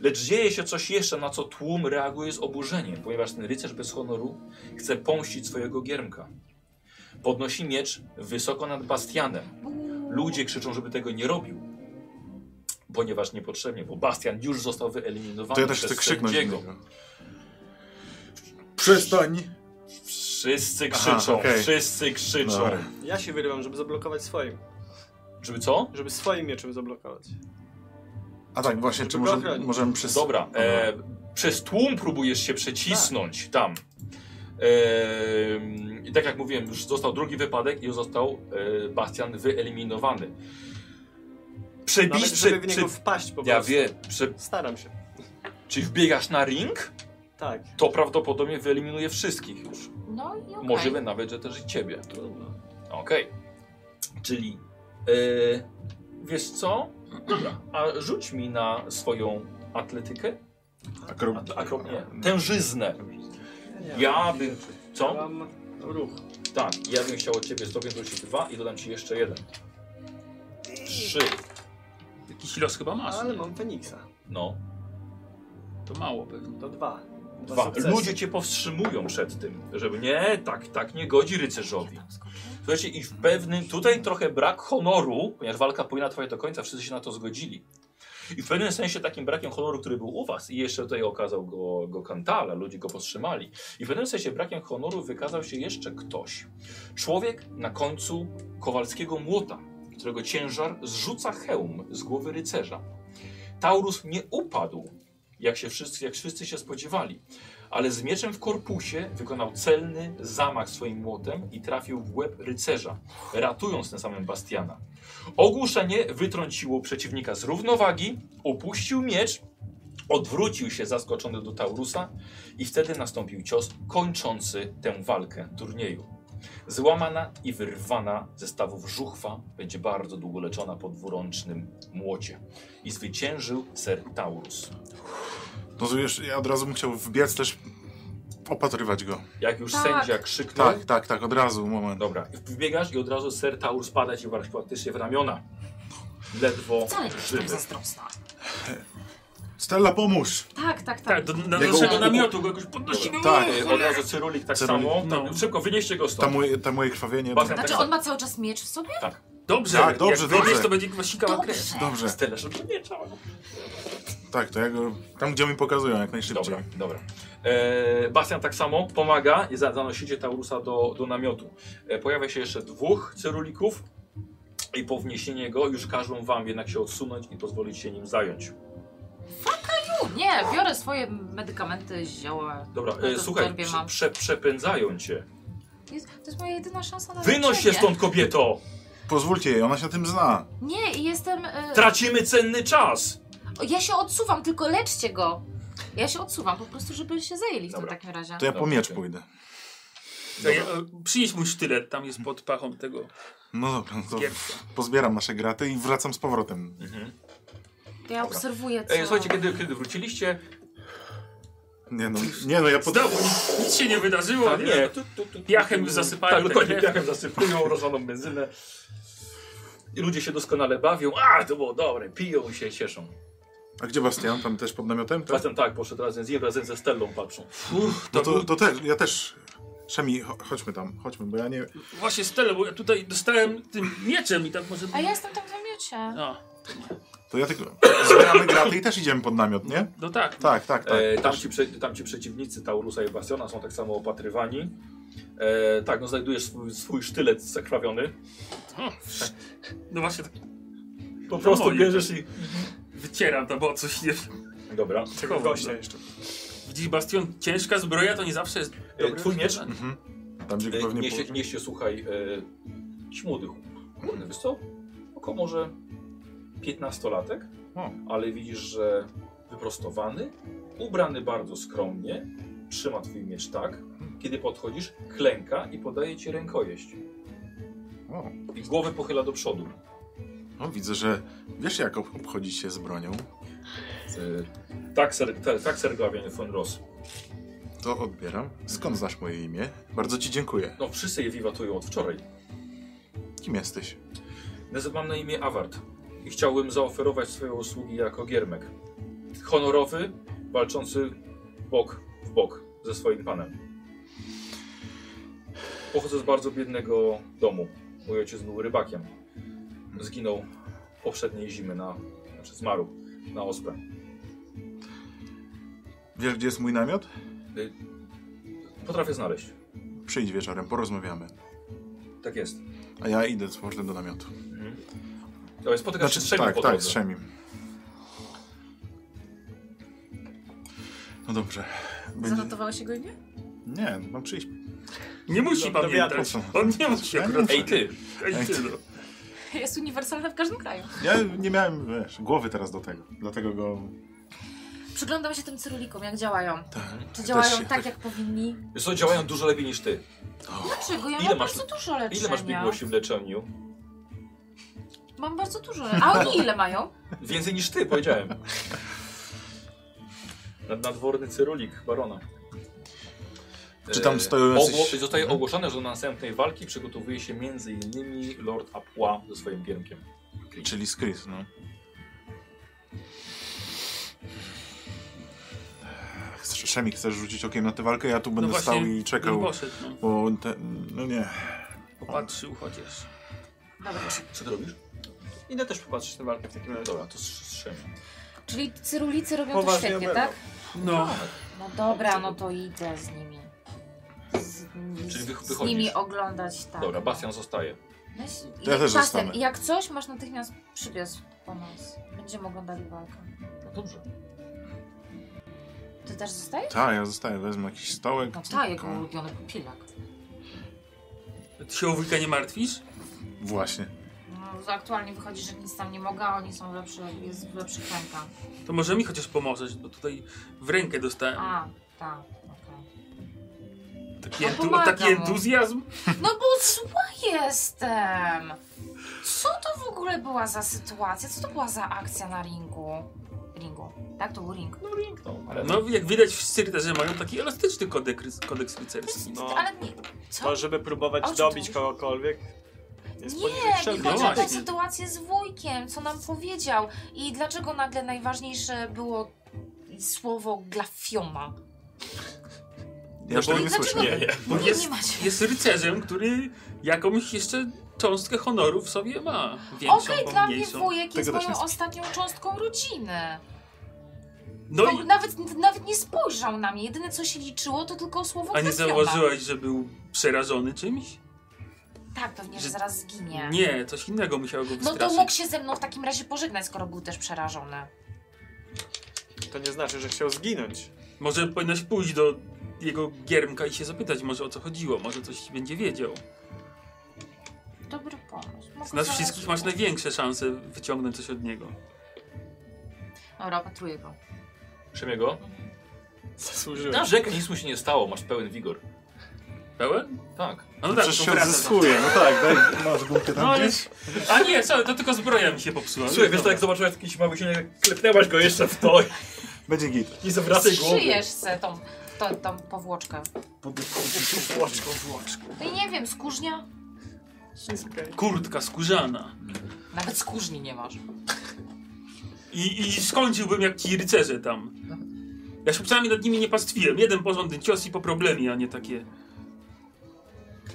Speaker 1: Lecz dzieje się coś jeszcze, na co tłum reaguje z oburzeniem, ponieważ ten rycerz bez honoru chce pomścić swojego giermka. Podnosi miecz wysoko nad Bastianem. Ludzie krzyczą, żeby tego nie robił, ponieważ niepotrzebnie, bo Bastian już został wyeliminowany
Speaker 3: To ja też
Speaker 1: przez
Speaker 3: chcę krzyknąć do
Speaker 1: sędziego.
Speaker 3: niego. Przestań!
Speaker 1: Wszyscy
Speaker 3: Aha,
Speaker 1: krzyczą,
Speaker 3: okej.
Speaker 1: wszyscy krzyczą.
Speaker 3: Dobra.
Speaker 4: Ja się wyrywam, żeby zablokować swoim.
Speaker 1: Żeby co?
Speaker 4: Żeby swoim mieczem zablokować.
Speaker 3: A tak, właśnie, czy
Speaker 4: Żeby go
Speaker 3: może,
Speaker 4: ochronić.
Speaker 3: możemy przez...
Speaker 1: Dobra, e, przez tłum próbujesz się przecisnąć
Speaker 4: Tak.
Speaker 1: tam. Em, I tak jak mówiłem, już został drugi wypadek i został e, Bastian wyeliminowany.
Speaker 4: Nawet
Speaker 1: Przebić, prze,
Speaker 4: żeby w
Speaker 1: prze,
Speaker 4: niego wpaść po prostu.
Speaker 1: ja wiem, prze,
Speaker 4: Staram się.
Speaker 1: czy wbiegasz na ring,
Speaker 4: Tak.
Speaker 1: to prawdopodobnie wyeliminuje wszystkich już.
Speaker 2: No i okej.
Speaker 1: Możliwe nawet, że też i ciebie.
Speaker 4: Trudno.
Speaker 1: Okej. Czyli e, wiesz co? Dobra, a rzuć mi na swoją atletykę,
Speaker 3: Akro...
Speaker 1: at, akro, nie, tężyznę. Ja bym,
Speaker 4: Ja
Speaker 1: co?
Speaker 4: mam ruch.
Speaker 1: Tak, ja bym chciał od ciebie stopień dodać dwa i dodam ci jeszcze jeden. Trzy.
Speaker 5: Jakiś los chyba masz.
Speaker 4: Ale
Speaker 5: Ale
Speaker 4: mam Feniksa.
Speaker 1: No,
Speaker 5: To mało pewnie.
Speaker 4: To dwa. Dwa
Speaker 1: dwa.
Speaker 4: sukcesy.
Speaker 1: Ludzie cię powstrzymują przed tym, żeby nie, tak, tak nie godzi rycerzowi. Słuchajcie, i w pewnym, tutaj trochę brak honoru, ponieważ walka powinna trwać do końca, wszyscy się na to zgodzili. I w pewnym sensie takim brakiem honoru, który był u was i jeszcze tutaj okazał go, go Kantala, ludzie go powstrzymali. I w pewnym sensie brakiem honoru wykazał się jeszcze ktoś. Człowiek na końcu kowalskiego młota, którego ciężar zrzuca hełm z głowy rycerza. Taurus nie upadł, jak, się wszyscy, jak wszyscy się spodziewali, ale z mieczem w korpusie wykonał celny zamach swoim młotem i trafił w łeb rycerza, ratując tym samym Bastiana. Ogłuszenie wytrąciło przeciwnika z równowagi, upuścił miecz, odwrócił się zaskoczony do Taurusa i wtedy nastąpił cios kończący tę walkę turnieju. Złamana i wyrwana ze stawów żuchwa będzie bardzo długo leczona po dwurącznym młocie. I zwyciężył ser Taurus.
Speaker 3: No to już, ja od razu bym chciał wbiec też, opatrywać go.
Speaker 1: Jak już
Speaker 2: Tak.
Speaker 1: sędzia krzyknął,
Speaker 3: Tak, tak, tak, od razu, moment.
Speaker 1: Dobra, wbiegasz i od razu ser Taurus pada ci wrak- praktycznie w ramiona. Ledwo
Speaker 2: Wcale nie jestem
Speaker 1: żywy.
Speaker 2: tak zazdrosna.
Speaker 3: Stella, pomóż!
Speaker 2: Tak, tak, tak.
Speaker 5: Tak, do, na
Speaker 3: Jego-
Speaker 5: naszego namiotu go jakoś
Speaker 2: No
Speaker 5: podnosimy.
Speaker 3: Tak,
Speaker 1: E, Od razu Cyrulik tak
Speaker 3: Cyrulik.
Speaker 1: samo.
Speaker 5: No.
Speaker 1: Tak, Szybko wynieście go
Speaker 3: tam
Speaker 1: stąd.
Speaker 3: moje, tam moje krwawienie...
Speaker 1: Basen-
Speaker 2: Znaczy
Speaker 5: tak,
Speaker 2: on ma cały czas miecz w sobie?
Speaker 5: Dobrze,
Speaker 3: Tak, dobrze,
Speaker 5: jak
Speaker 3: dobrze.
Speaker 5: Wiesz, to będzie kwasikała
Speaker 2: Dobrze.
Speaker 5: krew.
Speaker 3: Dobrze,
Speaker 1: Stele, żeby nie trzeba.
Speaker 3: tak, to ja go... Tam, gdzie mi pokazują, jak najszybciej.
Speaker 1: Dobra, dobra. E, Bastian tak samo pomaga i za- zanosicie Taurusa do, do namiotu. E, pojawia się jeszcze dwóch Cyrulików i po wniesieniu go już każą wam jednak się odsunąć i pozwolić się nim zająć.
Speaker 2: U, nie, biorę swoje medykamenty, zioła.
Speaker 1: Dobra,
Speaker 2: No to
Speaker 1: e,
Speaker 2: w
Speaker 1: słuchaj,
Speaker 2: torbie
Speaker 1: prze,
Speaker 2: mam.
Speaker 1: prze, przepędzają cię.
Speaker 2: Jest, to jest moja jedyna szansa na
Speaker 1: Wynoś się
Speaker 2: leczenie.
Speaker 1: stąd, kobieto!
Speaker 3: Pozwólcie jej, ona się tym zna.
Speaker 2: Nie, i jestem... Y...
Speaker 1: Tracimy cenny czas!
Speaker 2: o, Ja się odsuwam, tylko leczcie go. Ja się odsuwam, po prostu, żeby się zajęli w
Speaker 1: Dobra.
Speaker 2: tym takim razie.
Speaker 3: To ja po
Speaker 1: Dobra,
Speaker 3: miecz
Speaker 1: okej.
Speaker 3: pójdę.
Speaker 5: Daj, e, Przynieś mój sztylet, tam jest pod pachą tego
Speaker 3: No dobra, no to
Speaker 5: gierka.
Speaker 3: pozbieram nasze graty i wracam z powrotem.
Speaker 2: To ja obserwuję, co...
Speaker 1: Ej, słuchajcie, kiedy, kiedy wróciliście,
Speaker 3: Nie no, nie no ja pod... Tak,
Speaker 5: Znowu nic, nic się nie wydarzyło.
Speaker 1: tam,
Speaker 5: nie?
Speaker 1: nie, tak, no, tu, tu, tu,
Speaker 5: Piachem
Speaker 1: tu,
Speaker 5: zasypają
Speaker 1: Tak,
Speaker 5: te
Speaker 1: dokładnie,
Speaker 5: piechy.
Speaker 1: piachem zasypują rozlaną benzynę. I ludzie się doskonale bawią, a to było dobre, piją się, cieszą.
Speaker 3: A gdzie Bastian? Tam też pod namiotem? Tak?
Speaker 1: Zatem tak, poszedł razem z nim, razem ze Stellą patrzą.
Speaker 5: Uff, to,
Speaker 3: No to,
Speaker 5: był-
Speaker 3: to też, ja też. Szemi, cho- chodźmy tam, chodźmy, bo ja nie...
Speaker 5: Właśnie Stella, bo ja tutaj dostałem tym mieczem i tak może...
Speaker 2: A ja jestem tam w
Speaker 1: No.
Speaker 2: namiocie.
Speaker 5: A,
Speaker 3: To ja tylko... Zbieramy graty i też idziemy pod namiot, nie?
Speaker 5: no tak.
Speaker 3: Tak, tak, tak.
Speaker 1: E, tamci, prze, tamci przeciwnicy Taurusa i Bastiona są tak samo opatrywani. E, tak, no znajdujesz swój, swój sztylet zakrwawiony.
Speaker 5: O, No właśnie tak
Speaker 1: Po
Speaker 5: prostu
Speaker 1: prostu bierzesz i...
Speaker 5: wycieram to, bo coś nie...
Speaker 1: Dobra. E,
Speaker 4: Tego
Speaker 5: no.
Speaker 4: gościa jeszcze.
Speaker 5: Widzisz, Bastion, ciężka zbroja to nie zawsze jest... dobre
Speaker 1: twój miecz?
Speaker 5: rozwiązanie.
Speaker 3: Mhm. Tam gdzie
Speaker 1: E,
Speaker 3: pewnie...
Speaker 1: niesie,
Speaker 3: po-
Speaker 1: niesie, słuchaj, e, młody chłop. Kurde, wiesz co? Około może 15-latek,
Speaker 3: O.
Speaker 1: ale widzisz, że wyprostowany, ubrany bardzo skromnie, trzyma twój miecz tak, kiedy podchodzisz, klęka i podaje ci rękojeść.
Speaker 3: O,
Speaker 1: I głowę pochyla do przodu.
Speaker 3: no, widzę, że wiesz jak ob- obchodzić się z bronią.
Speaker 1: E, tak, ser, te, tak sergawiany von Ross.
Speaker 3: To odbieram. Skąd znasz moje imię? Bardzo ci dziękuję.
Speaker 1: No wszyscy je wiwatują od wczoraj.
Speaker 3: Kim jesteś?
Speaker 1: Nazywam na imię Awart i chciałbym zaoferować swoje usługi jako giermek. Honorowy, walczący bok w bok ze swoim panem. Pochodzę z bardzo biednego domu. Mój ojciec był rybakiem. Zginął poprzedniej zimy na... znaczy zmarł na ospę.
Speaker 3: Wiesz gdzie jest mój namiot?
Speaker 1: Potrafię znaleźć.
Speaker 3: Przyjdź wieczorem, porozmawiamy.
Speaker 1: Tak jest.
Speaker 3: A ja idę z powrotem do namiotu.
Speaker 1: Mhm. Ale spotykasz się z trzema
Speaker 3: tak,
Speaker 1: po
Speaker 3: tak,
Speaker 1: drodze.
Speaker 3: z Szemim. No dobrze. Będzie...
Speaker 2: Zanotowałeś jego imię?
Speaker 3: Nie, mam przyjść.
Speaker 5: Nie
Speaker 3: No
Speaker 5: musi
Speaker 4: Do- do
Speaker 5: pamiętać.
Speaker 3: wiatru.
Speaker 5: On nie musi
Speaker 3: Ja nie
Speaker 5: akurat.
Speaker 1: Ej ty!
Speaker 5: Ej, ty, no.
Speaker 2: Jest uniwersalna w każdym kraju.
Speaker 3: Ja nie miałem wiesz, głowy teraz do tego. Dlatego go.
Speaker 2: Przyglądam się tym cyrulikom, jak działają.
Speaker 3: Tak,
Speaker 2: Czy
Speaker 3: też
Speaker 2: działają
Speaker 3: się-
Speaker 2: tak, jak powinni?
Speaker 1: Wiesz co, działają dużo lepiej niż ty.
Speaker 2: Dlaczego? Ja
Speaker 1: Ile
Speaker 2: mam
Speaker 1: masz-
Speaker 2: bardzo dużo leczenia.
Speaker 1: Ile masz biegłości w leczeniu?
Speaker 2: Mam bardzo dużo leczenia. A oni ile mają?
Speaker 1: Więcej niż ty, powiedziałem. Nad- Nadworny cyrulik barona.
Speaker 3: Czy tam Mhm.
Speaker 1: E,
Speaker 3: stoją jacyś-
Speaker 1: ogło- Zostaje ogłoszone, że do następnej walki przygotowuje się m.in. Lord Apua ze swoim giermkiem.
Speaker 3: Czyli Skris, no. Ech, Szemik, chcesz rzucić okiem na tę walkę? Ja tu
Speaker 5: No
Speaker 3: będę stał i
Speaker 5: bym
Speaker 3: czekał.
Speaker 5: Poszedł, no.
Speaker 3: Bo te, no nie.
Speaker 5: Popatrzył chociaż.
Speaker 2: Dobra.
Speaker 1: Co ty robisz?
Speaker 4: Idę też popatrzeć na walkę w takim razie.
Speaker 1: Dobra, to strzem.
Speaker 2: Czyli cyrulicy robią
Speaker 4: Poważnie
Speaker 2: to świetnie,
Speaker 4: będą.
Speaker 2: tak?
Speaker 5: No,
Speaker 2: No dobra, no to idę z nimi. Z,
Speaker 1: Czyli wy-
Speaker 2: z
Speaker 1: wychodzisz.
Speaker 2: nimi oglądać, tak.
Speaker 1: Dobra, Bastian zostaje.
Speaker 2: Weź,
Speaker 3: To ja też
Speaker 2: czasem,
Speaker 3: zostanę.
Speaker 2: Jak coś, masz natychmiast przybiec po nas. Będziemy oglądali walkę.
Speaker 1: No dobrze.
Speaker 2: Ty też zostajesz?
Speaker 3: Ta, ja zostaję, wezmę jakiś stołek.
Speaker 2: No tak, jego
Speaker 3: tylko-
Speaker 2: ulubiony pilak.
Speaker 3: tak.
Speaker 5: ty się o wujka nie martwisz?
Speaker 3: Właśnie.
Speaker 2: No, aktualnie wychodzi, że nic tam nie mogę, a oni są lepszy, jest lepszy klęka.
Speaker 5: To może mi chociaż pomożesz, bo tutaj w rękę dostałem.
Speaker 2: A, tak, okej.
Speaker 5: Taki,
Speaker 2: no
Speaker 5: entu-
Speaker 2: pomaga
Speaker 5: taki
Speaker 2: mu.
Speaker 5: entuzjazm.
Speaker 2: No bo zła jestem! Co to w ogóle była za sytuacja? Co to była za akcja na ringu? Ringu, tak? To był ring.
Speaker 1: No ringną, ale no.
Speaker 5: No, jak widać wszyscy że mają taki elastyczny kodeks, kodeks rycerski.
Speaker 4: No.
Speaker 2: Ale nie, co?
Speaker 4: To, żeby próbować
Speaker 2: O czym
Speaker 4: dobić
Speaker 2: tu?
Speaker 4: kogokolwiek. Jest poniżej
Speaker 2: Nie, nie
Speaker 4: wszelkiego.
Speaker 5: No
Speaker 2: chodzi o tą
Speaker 5: właśnie.
Speaker 2: sytuację z wujkiem, co nam powiedział i dlaczego nagle najważniejsze było słowo glafioma.
Speaker 3: Ja
Speaker 5: No
Speaker 3: już
Speaker 5: bo-
Speaker 3: tego nie
Speaker 2: Dlaczego?
Speaker 3: słyszę.
Speaker 1: Nie, nie.
Speaker 5: Bo
Speaker 2: Nie
Speaker 5: jest,
Speaker 2: macie.
Speaker 5: jest rycerzem, który jakąś jeszcze cząstkę honoru w sobie ma. Większą,
Speaker 2: Okej,
Speaker 5: bo
Speaker 2: dla mnie
Speaker 5: mniejszą.
Speaker 2: wujek jest
Speaker 3: Tego też
Speaker 2: moją
Speaker 3: nie-
Speaker 2: ostatnią cząstką rodziny.
Speaker 5: No
Speaker 2: On
Speaker 5: i,
Speaker 2: nawet, nawet nie spojrzał na mnie. Jedyne co się liczyło to tylko słowo
Speaker 5: a nie
Speaker 2: glafioma.
Speaker 5: zauważyłaś, że był przerażony czymś?
Speaker 2: Tak, pewnie, że
Speaker 5: że-
Speaker 2: zaraz zginie.
Speaker 5: Nie, coś innego musiało go
Speaker 2: No to
Speaker 5: wystraszyć.
Speaker 2: mógł się ze mną w takim razie pożegnać, skoro był też przerażony.
Speaker 4: To nie znaczy, że chciał zginąć.
Speaker 5: Może powinnaś pójść do jego giermka i się zapytać może o co chodziło, może coś będzie wiedział.
Speaker 2: Dobry pomysł. Mogę
Speaker 5: Z nas
Speaker 2: zaraz-
Speaker 5: wszystkich masz największe szanse wyciągnąć coś od niego.
Speaker 2: Dobra, opatruję go.
Speaker 1: Przemiego.
Speaker 4: Zasłużyłem.
Speaker 1: Narzekaj, nic mu się nie stało, masz pełen wigor.
Speaker 5: Pełen?
Speaker 1: Tak.
Speaker 5: A No tak,
Speaker 3: Przecież
Speaker 5: to
Speaker 3: się
Speaker 5: wraca.
Speaker 3: odzyskuje. No tak, daj, masz gumkę tam
Speaker 5: No ale...
Speaker 3: gdzieś.
Speaker 5: A nie, co, to tylko zbroja mi się popsuła.
Speaker 1: Słuchaj, wiesz, tak jak zobaczyłeś jakiś mały silnik, klepnęłaś go jeszcze w to
Speaker 3: Będzie git.
Speaker 1: i zawracaj głowę.
Speaker 2: Szyjesz se tą, tą, tą powłoczkę.
Speaker 4: Płaczką.
Speaker 2: No i nie wiem, skórznia?
Speaker 5: Kurtka skórzana.
Speaker 2: Nawet skórzni nie masz.
Speaker 5: I, I skończyłbym jak ci rycerze tam. Ja się przynajmniej nad nimi nie pastwiłem. Jeden porządny cios i po problemie, a nie takie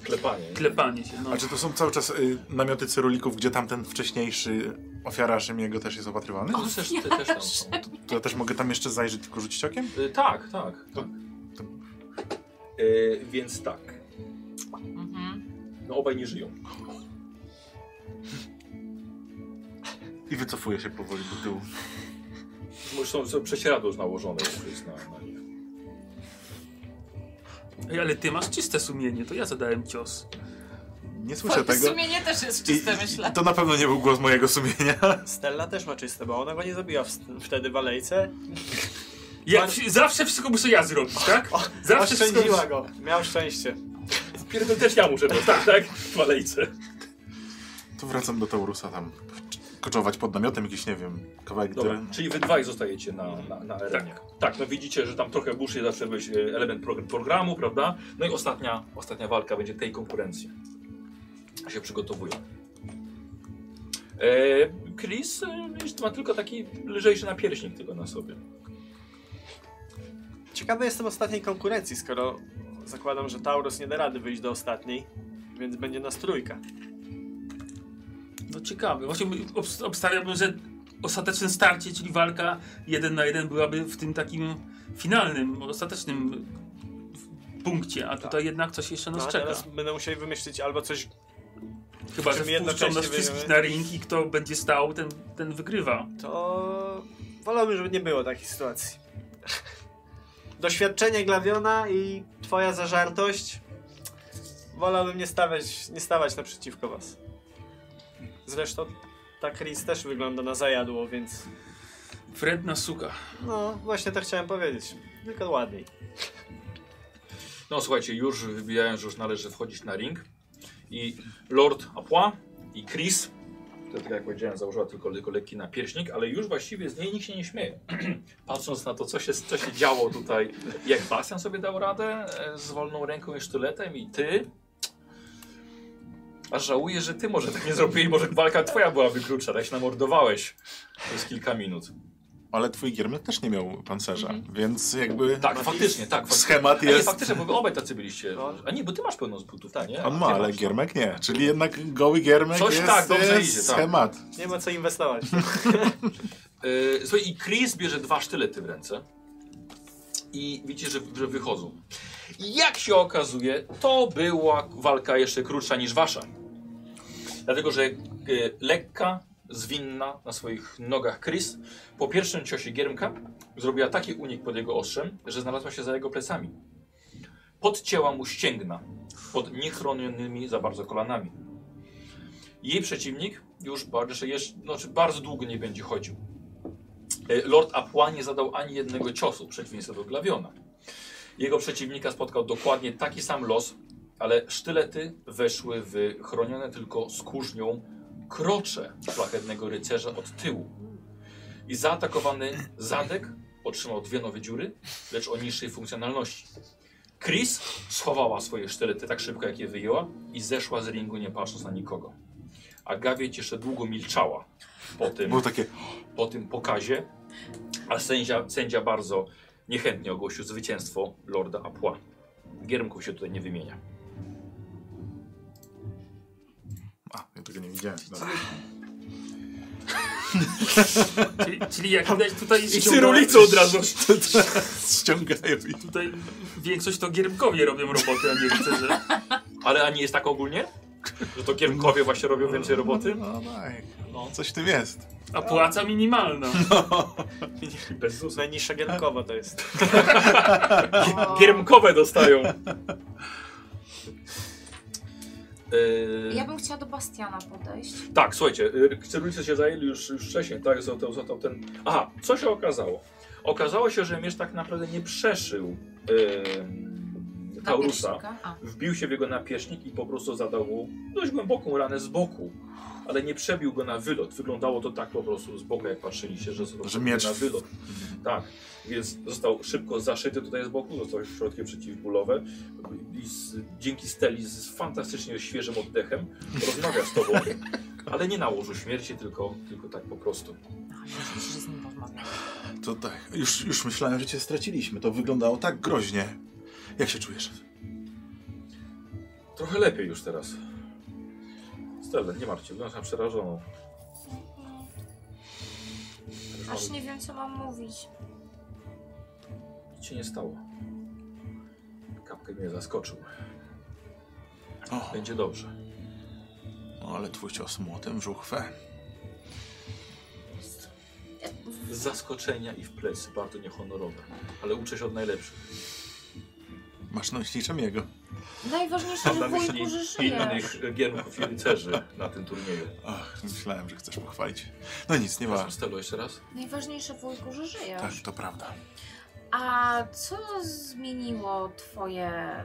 Speaker 1: Klepanie. nie?
Speaker 5: klepanie się. No.
Speaker 3: A czy to są cały czas y, namioty cyrulików, gdzie tamten wcześniejszy ofiara Rzymiego też jest opatrywany?
Speaker 1: No, też, te, też tam są.
Speaker 3: To ja też mogę tam jeszcze zajrzeć, tylko rzucić okiem?
Speaker 1: Y, tak, tak. tak. Y, więc tak.
Speaker 2: Mhm.
Speaker 1: No obaj nie żyją.
Speaker 3: I wycofuję się powoli do tyłu.
Speaker 1: Może są, są prześcieradło już nałożone już jest na, na nich.
Speaker 5: Ej, ale ty masz czyste sumienie, to ja zadałem cios.
Speaker 3: Nie słyszę
Speaker 2: Twoje
Speaker 3: tego.
Speaker 2: sumienie też jest czyste,
Speaker 3: I- i-
Speaker 2: myślę.
Speaker 3: To na pewno nie był głos mojego sumienia.
Speaker 4: Stella też ma czyste, bo ona go nie zabiła w, wtedy w alejce.
Speaker 5: Ja,
Speaker 4: Pan-
Speaker 5: wsi- Zawsze wszystko muszę ja zrobić, tak? Zawsze
Speaker 4: Oszczędziła go. Miał szczęście.
Speaker 1: Pierdol też ja muszę dostać, tak? W alejce.
Speaker 3: To wracam do Taurusa tam. Koczować pod namiotem jakiś, nie wiem, kawałek
Speaker 1: Dobra,
Speaker 3: dyrenu.
Speaker 1: czyli wy dwaj zostajecie na, na, na arenie. Tak. tak, no widzicie, że tam trochę burzy zawsze być e, element prog- programu, prawda? No i ostatnia, ostatnia walka będzie tej konkurencji. Się przygotowują. E, Chris e, wiesz, ma tylko taki lżejszy napierśnik tylko na sobie.
Speaker 4: Ciekawy jestem ostatniej konkurencji, skoro zakładam, że Taurus nie da rady wyjść do ostatniej, więc będzie nas trójka.
Speaker 5: No ciekawe. Właśnie obs- obstawiałbym, że ostateczne starcie, czyli walka jeden na jeden byłaby w tym takim finalnym, ostatecznym punkcie, a tutaj jednak coś jeszcze nas
Speaker 4: No, a
Speaker 5: czeka.
Speaker 4: teraz będą musieli wymyślić albo coś
Speaker 5: Chyba, że
Speaker 4: Czym
Speaker 5: wpuszczą nas
Speaker 4: jednocześnie
Speaker 5: wszystkich
Speaker 4: wyjdziemy.
Speaker 5: na ring i kto będzie stał, ten, ten wygrywa.
Speaker 4: To wolałbym, żeby nie było takiej sytuacji. Doświadczenie glawiona i twoja zażartość. Wolałbym nie stawać, nie stawać naprzeciwko was. Zresztą ta Chris też wygląda na zajadło, więc
Speaker 5: Fredna suka.
Speaker 4: no właśnie to chciałem powiedzieć. Tylko ładniej.
Speaker 1: No słuchajcie, już wybijają, że już należy wchodzić na ring. I Lord Apois i Chris, to tak jak powiedziałem, założyła tylko, tylko lekki napierśnik, ale już właściwie z niej nikt się nie śmieje. Patrząc na to, co się, co się działo tutaj, jak Bastian sobie dał radę e, z wolną ręką i sztyletem i ty... Aż żałuję, że ty może tak nie zrobiłeś, może walka twoja byłaby krótsza, tak się namordowałeś przez kilka minut.
Speaker 3: Ale twój giermek też nie miał pancerza,
Speaker 2: Mhm.
Speaker 3: więc jakby
Speaker 1: Tak, faktycznie, tak. Faktycznie.
Speaker 3: schemat
Speaker 1: A nie,
Speaker 3: jest...
Speaker 1: faktycznie, bo wy obaj tacy byliście.
Speaker 4: No.
Speaker 1: A nie, bo ty masz pełno z butów, tak, nie?
Speaker 3: On
Speaker 1: A
Speaker 3: ma,
Speaker 1: ty
Speaker 3: ale
Speaker 1: masz.
Speaker 3: giermek nie. Czyli jednak goły giermek
Speaker 1: Coś
Speaker 3: jest,
Speaker 1: tak, dobrze
Speaker 3: jest
Speaker 1: idzie, tak.
Speaker 3: schemat.
Speaker 4: Nie ma co inwestować.
Speaker 1: Yy, słuchaj, i Chris bierze dwa sztylety w ręce. I widzicie, że, że wychodzą. I Jak się okazuje, to była walka jeszcze krótsza niż wasza. Dlatego, że e, lekka, zwinna na swoich nogach Chris po pierwszym ciosie Giermka zrobiła taki unik pod jego ostrzem, że znalazła się za jego plecami. Podcięła mu ścięgna pod niechronionymi za bardzo kolanami. Jej przeciwnik już bardzo, jeszcze, znaczy bardzo długo nie będzie chodził. E, Lord Apła nie zadał ani jednego ciosu, w przeciwieństwie do Glawiona. Jego przeciwnika spotkał dokładnie taki sam los, ale sztylety weszły w chronione tylko skórznią krocze szlachetnego rycerza od tyłu. I zaatakowany zadek otrzymał dwie nowe dziury, lecz o niższej funkcjonalności. Chris schowała swoje sztylety tak szybko, jak je wyjęła i zeszła z ringu, nie patrząc na nikogo. A Gawieć jeszcze długo milczała po tym
Speaker 3: Było takie...
Speaker 1: po tym pokazie, a sędzia, sędzia bardzo niechętnie ogłosił zwycięstwo Lorda Apła. Giermków się tutaj nie wymienia.
Speaker 3: A, ja tego nie widziałem. Dobra.
Speaker 5: Czyli, czyli jak widać tutaj... I
Speaker 1: cyrulicą od razu.
Speaker 3: Ściągają i...
Speaker 5: Tutaj większość to giermkowie robią roboty, a nie rycerze.
Speaker 1: Ale a nie jest tak ogólnie? Że to Giermkowie właśnie robią więcej roboty?
Speaker 3: No tak,
Speaker 1: No,
Speaker 3: coś w tym jest.
Speaker 5: A płaca minimalna.
Speaker 1: bez ZUS.
Speaker 4: Najniższa gierkowa to jest.
Speaker 1: Giermkowe dostają. Yy,
Speaker 2: Ja bym chciała do Bastiana podejść.
Speaker 1: Tak, słuchajcie, y, cyrulicy się zajęli już, już wcześniej, tak? Został, został ten. Aha, co się okazało? Okazało się, że Mierz tak naprawdę nie przeszył yy,
Speaker 2: Na
Speaker 1: Taurusa.
Speaker 2: pierśnika. A.
Speaker 1: Wbił się w jego napierzchnik i po prostu zadał mu dość głęboką ranę z boku, ale nie przebił go na wylot. Wyglądało to tak po prostu z boku, jak patrzyliście, że, został
Speaker 3: Że miecz
Speaker 1: na wylot. Tak, więc został szybko zaszyty tutaj z boku, został środki przeciwbólowe i z, dzięki Steli z fantastycznie świeżym oddechem rozmawia z tobą, ale nie na łożu śmierci, tylko, tylko tak po prostu.
Speaker 2: No, Myślę, że z nim porozmawiam.
Speaker 3: To tak, już, już myślałem, że cię straciliśmy. To wyglądało tak groźnie. Jak się czujesz?
Speaker 1: Trochę lepiej już teraz. Stelen, nie martw się, wyglądasz na przerażoną.
Speaker 2: Aż nie wiem, co mam mówić.
Speaker 1: Nic się nie stało. Kapkę mnie zaskoczył.
Speaker 3: O,
Speaker 1: Będzie dobrze.
Speaker 3: o, ale twój cios młotem w żuchwę.
Speaker 1: Z zaskoczenia i w plecy, bardzo niehonorowe. Ale uczę się od najlepszych.
Speaker 3: Masz nocniczem jego.
Speaker 2: Najważniejsze,
Speaker 1: Mam
Speaker 2: że
Speaker 1: na myśli
Speaker 2: wujku, że żyje.
Speaker 1: innych giermków i rycerzy na tym turnieju.
Speaker 3: Ach, myślałem, że chcesz pochwalić. No nic, nie
Speaker 1: Przepraszam,
Speaker 3: ważne.
Speaker 1: Stelo, jeszcze raz?
Speaker 2: Najważniejsze, wujku, że żyje.
Speaker 3: Tak, to prawda.
Speaker 2: A co zmieniło twoje,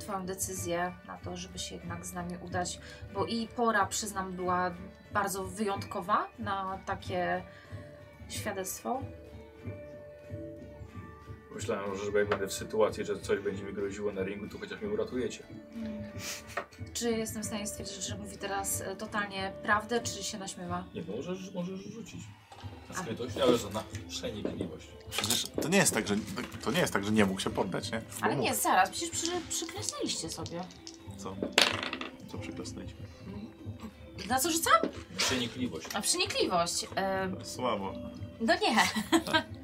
Speaker 2: twoją decyzję na to, żeby się jednak z nami udać? Bo i pora, przyznam, była bardzo wyjątkowa na takie świadectwo.
Speaker 1: Myślałem, że jak będę w sytuacji, że coś będzie mi groziło na ringu, to chociaż mnie uratujecie.
Speaker 2: Mm. Czy jestem w stanie stwierdzić, że mówi teraz e, totalnie prawdę, czy się naśmiewa?
Speaker 1: Nie, no, możesz, możesz rzucić. Na skrytość, ale że na przenikliwość.
Speaker 3: Przecież to nie jest tak, że, to nie, jest tak, że nie mógł się poddać, nie? Bo
Speaker 2: Ale
Speaker 3: mógł.
Speaker 2: nie, zaraz, przecież przy, przykreśliliście sobie.
Speaker 3: Co? Co przyklasnęliśmy?
Speaker 2: Na co rzucam?
Speaker 1: Przenikliwość.
Speaker 2: A przenikliwość. E,
Speaker 3: Słabo.
Speaker 2: no nie.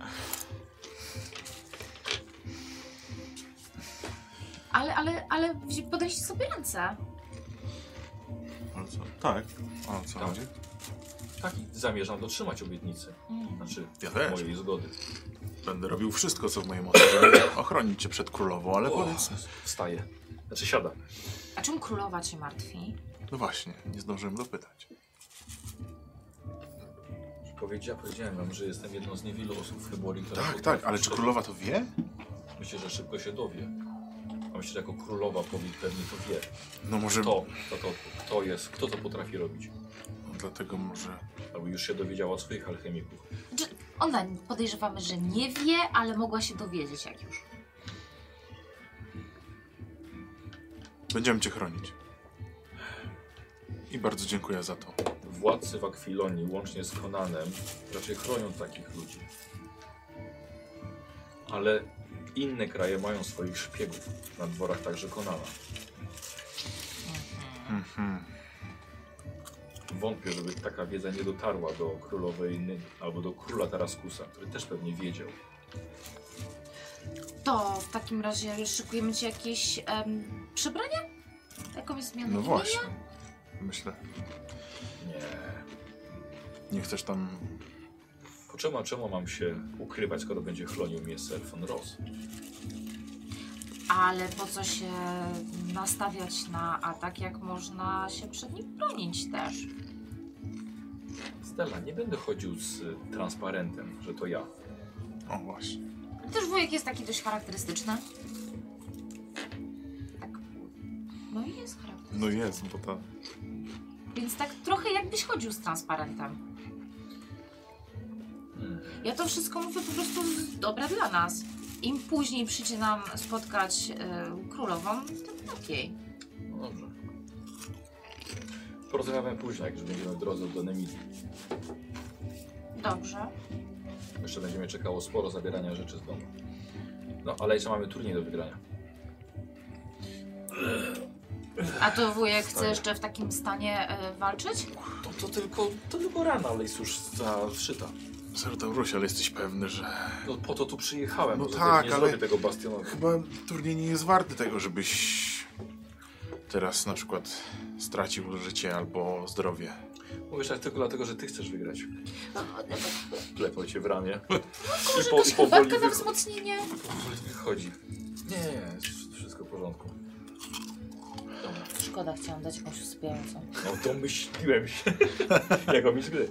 Speaker 2: ale, ale, ale wzi- podaliście sobie ręce.
Speaker 3: Ale co? Tak. O co
Speaker 1: Tak.
Speaker 3: chodzi?
Speaker 1: Tak, i zamierzam dotrzymać obietnicy. Znaczy,
Speaker 3: Ja też.
Speaker 1: mojej zgody.
Speaker 3: Będę robił wszystko, co w mojej mocy, żeby ochronić cię przed królową, ale
Speaker 1: O,
Speaker 3: powiedz...
Speaker 1: Wstaję. Znaczy, siada.
Speaker 2: A czym królowa cię martwi?
Speaker 3: No właśnie, nie zdążyłem dopytać.
Speaker 1: Powiedzia, powiedziałem wam, że jestem jedną z niewielu osób w Hyborii, która...
Speaker 3: Tak,
Speaker 1: potrafi-
Speaker 3: tak, ale czy królowa to wie?
Speaker 1: Myślę, że szybko się dowie. A myślę, że jako królowa powie, pewnie to wie.
Speaker 3: No może...
Speaker 1: Kto, kto to, kto jest, kto to potrafi robić.
Speaker 3: Dlatego może...
Speaker 1: Albo już się dowiedziała od swoich alchemików.
Speaker 2: Znaczy, Ona podejrzewamy, że nie wie, ale mogła się dowiedzieć jak już.
Speaker 3: Będziemy cię chronić. I bardzo dziękuję za to. No
Speaker 1: Władcy w Akwilonii, łącznie z Konanem, raczej chronią takich ludzi. Ale inne kraje mają swoich szpiegów na dworach także Konana.
Speaker 3: Mhm.
Speaker 1: Wątpię, żeby taka wiedza nie dotarła do królowej Ny albo do króla Taraskusa, który też pewnie wiedział.
Speaker 2: To w takim razie szykujemy ci jakieś em, przebranie? Jakąś zmianę
Speaker 3: No
Speaker 2: imienia?
Speaker 3: właśnie. Myślę.
Speaker 1: Nie.
Speaker 3: Nie chcesz tam...
Speaker 1: Po czemu, a czemu mam się ukrywać, skoro będzie chronił mnie Sir von Ross?
Speaker 2: Ale po co się nastawiać na atak, jak można się przed nim bronić też?
Speaker 1: Stella, nie będę chodził z y, transparentem, że to ja.
Speaker 3: O właśnie.
Speaker 2: Też wujek jest taki dość charakterystyczny. Tak. No i jest charakterystyczny.
Speaker 3: No jest, bo ta... No
Speaker 2: Więc tak trochę jakbyś chodził z transparentem. Ja to wszystko mówię po prostu z- dobre dla nas. Im później przyjdzie nam spotkać y, królową, tym lepiej.
Speaker 1: No dobrze. Porozmawiamy później, jak już będziemy w drodze do Nemizy.
Speaker 2: Dobrze.
Speaker 1: Jeszcze będziemy czekało sporo zabierania rzeczy z domu. No, ale jeszcze mamy turniej do wygrania.
Speaker 2: A to wujek chce
Speaker 1: Stoję.
Speaker 2: jeszcze w takim stanie y, walczyć?
Speaker 1: To, No to, tylko, to tylko rana, ale jest już zaszyta.
Speaker 3: Sertaurusie, ale jesteś pewny, że...
Speaker 1: No po to tu przyjechałem,
Speaker 3: No
Speaker 1: bo
Speaker 3: tak,
Speaker 1: nie
Speaker 3: ale-
Speaker 1: zrobię tego bastionu.
Speaker 3: Chyba turniej nie jest warty tego, żebyś teraz na przykład stracił życie albo zdrowie.
Speaker 1: Mówisz tak tylko dlatego, że ty chcesz wygrać.
Speaker 2: No,
Speaker 1: Klepał cię w ramię.
Speaker 2: Może
Speaker 1: po-
Speaker 2: jakaś
Speaker 1: powoli
Speaker 2: herbatka na
Speaker 1: wycho-
Speaker 2: wzmocnienie?
Speaker 1: powoli wychodzi. Nie, nie, nie, jest wszystko w porządku. Dobra.
Speaker 2: Szkoda, chciałam dać jakąś usypiającą.
Speaker 1: No domyśliłem się. Jako mi z gry.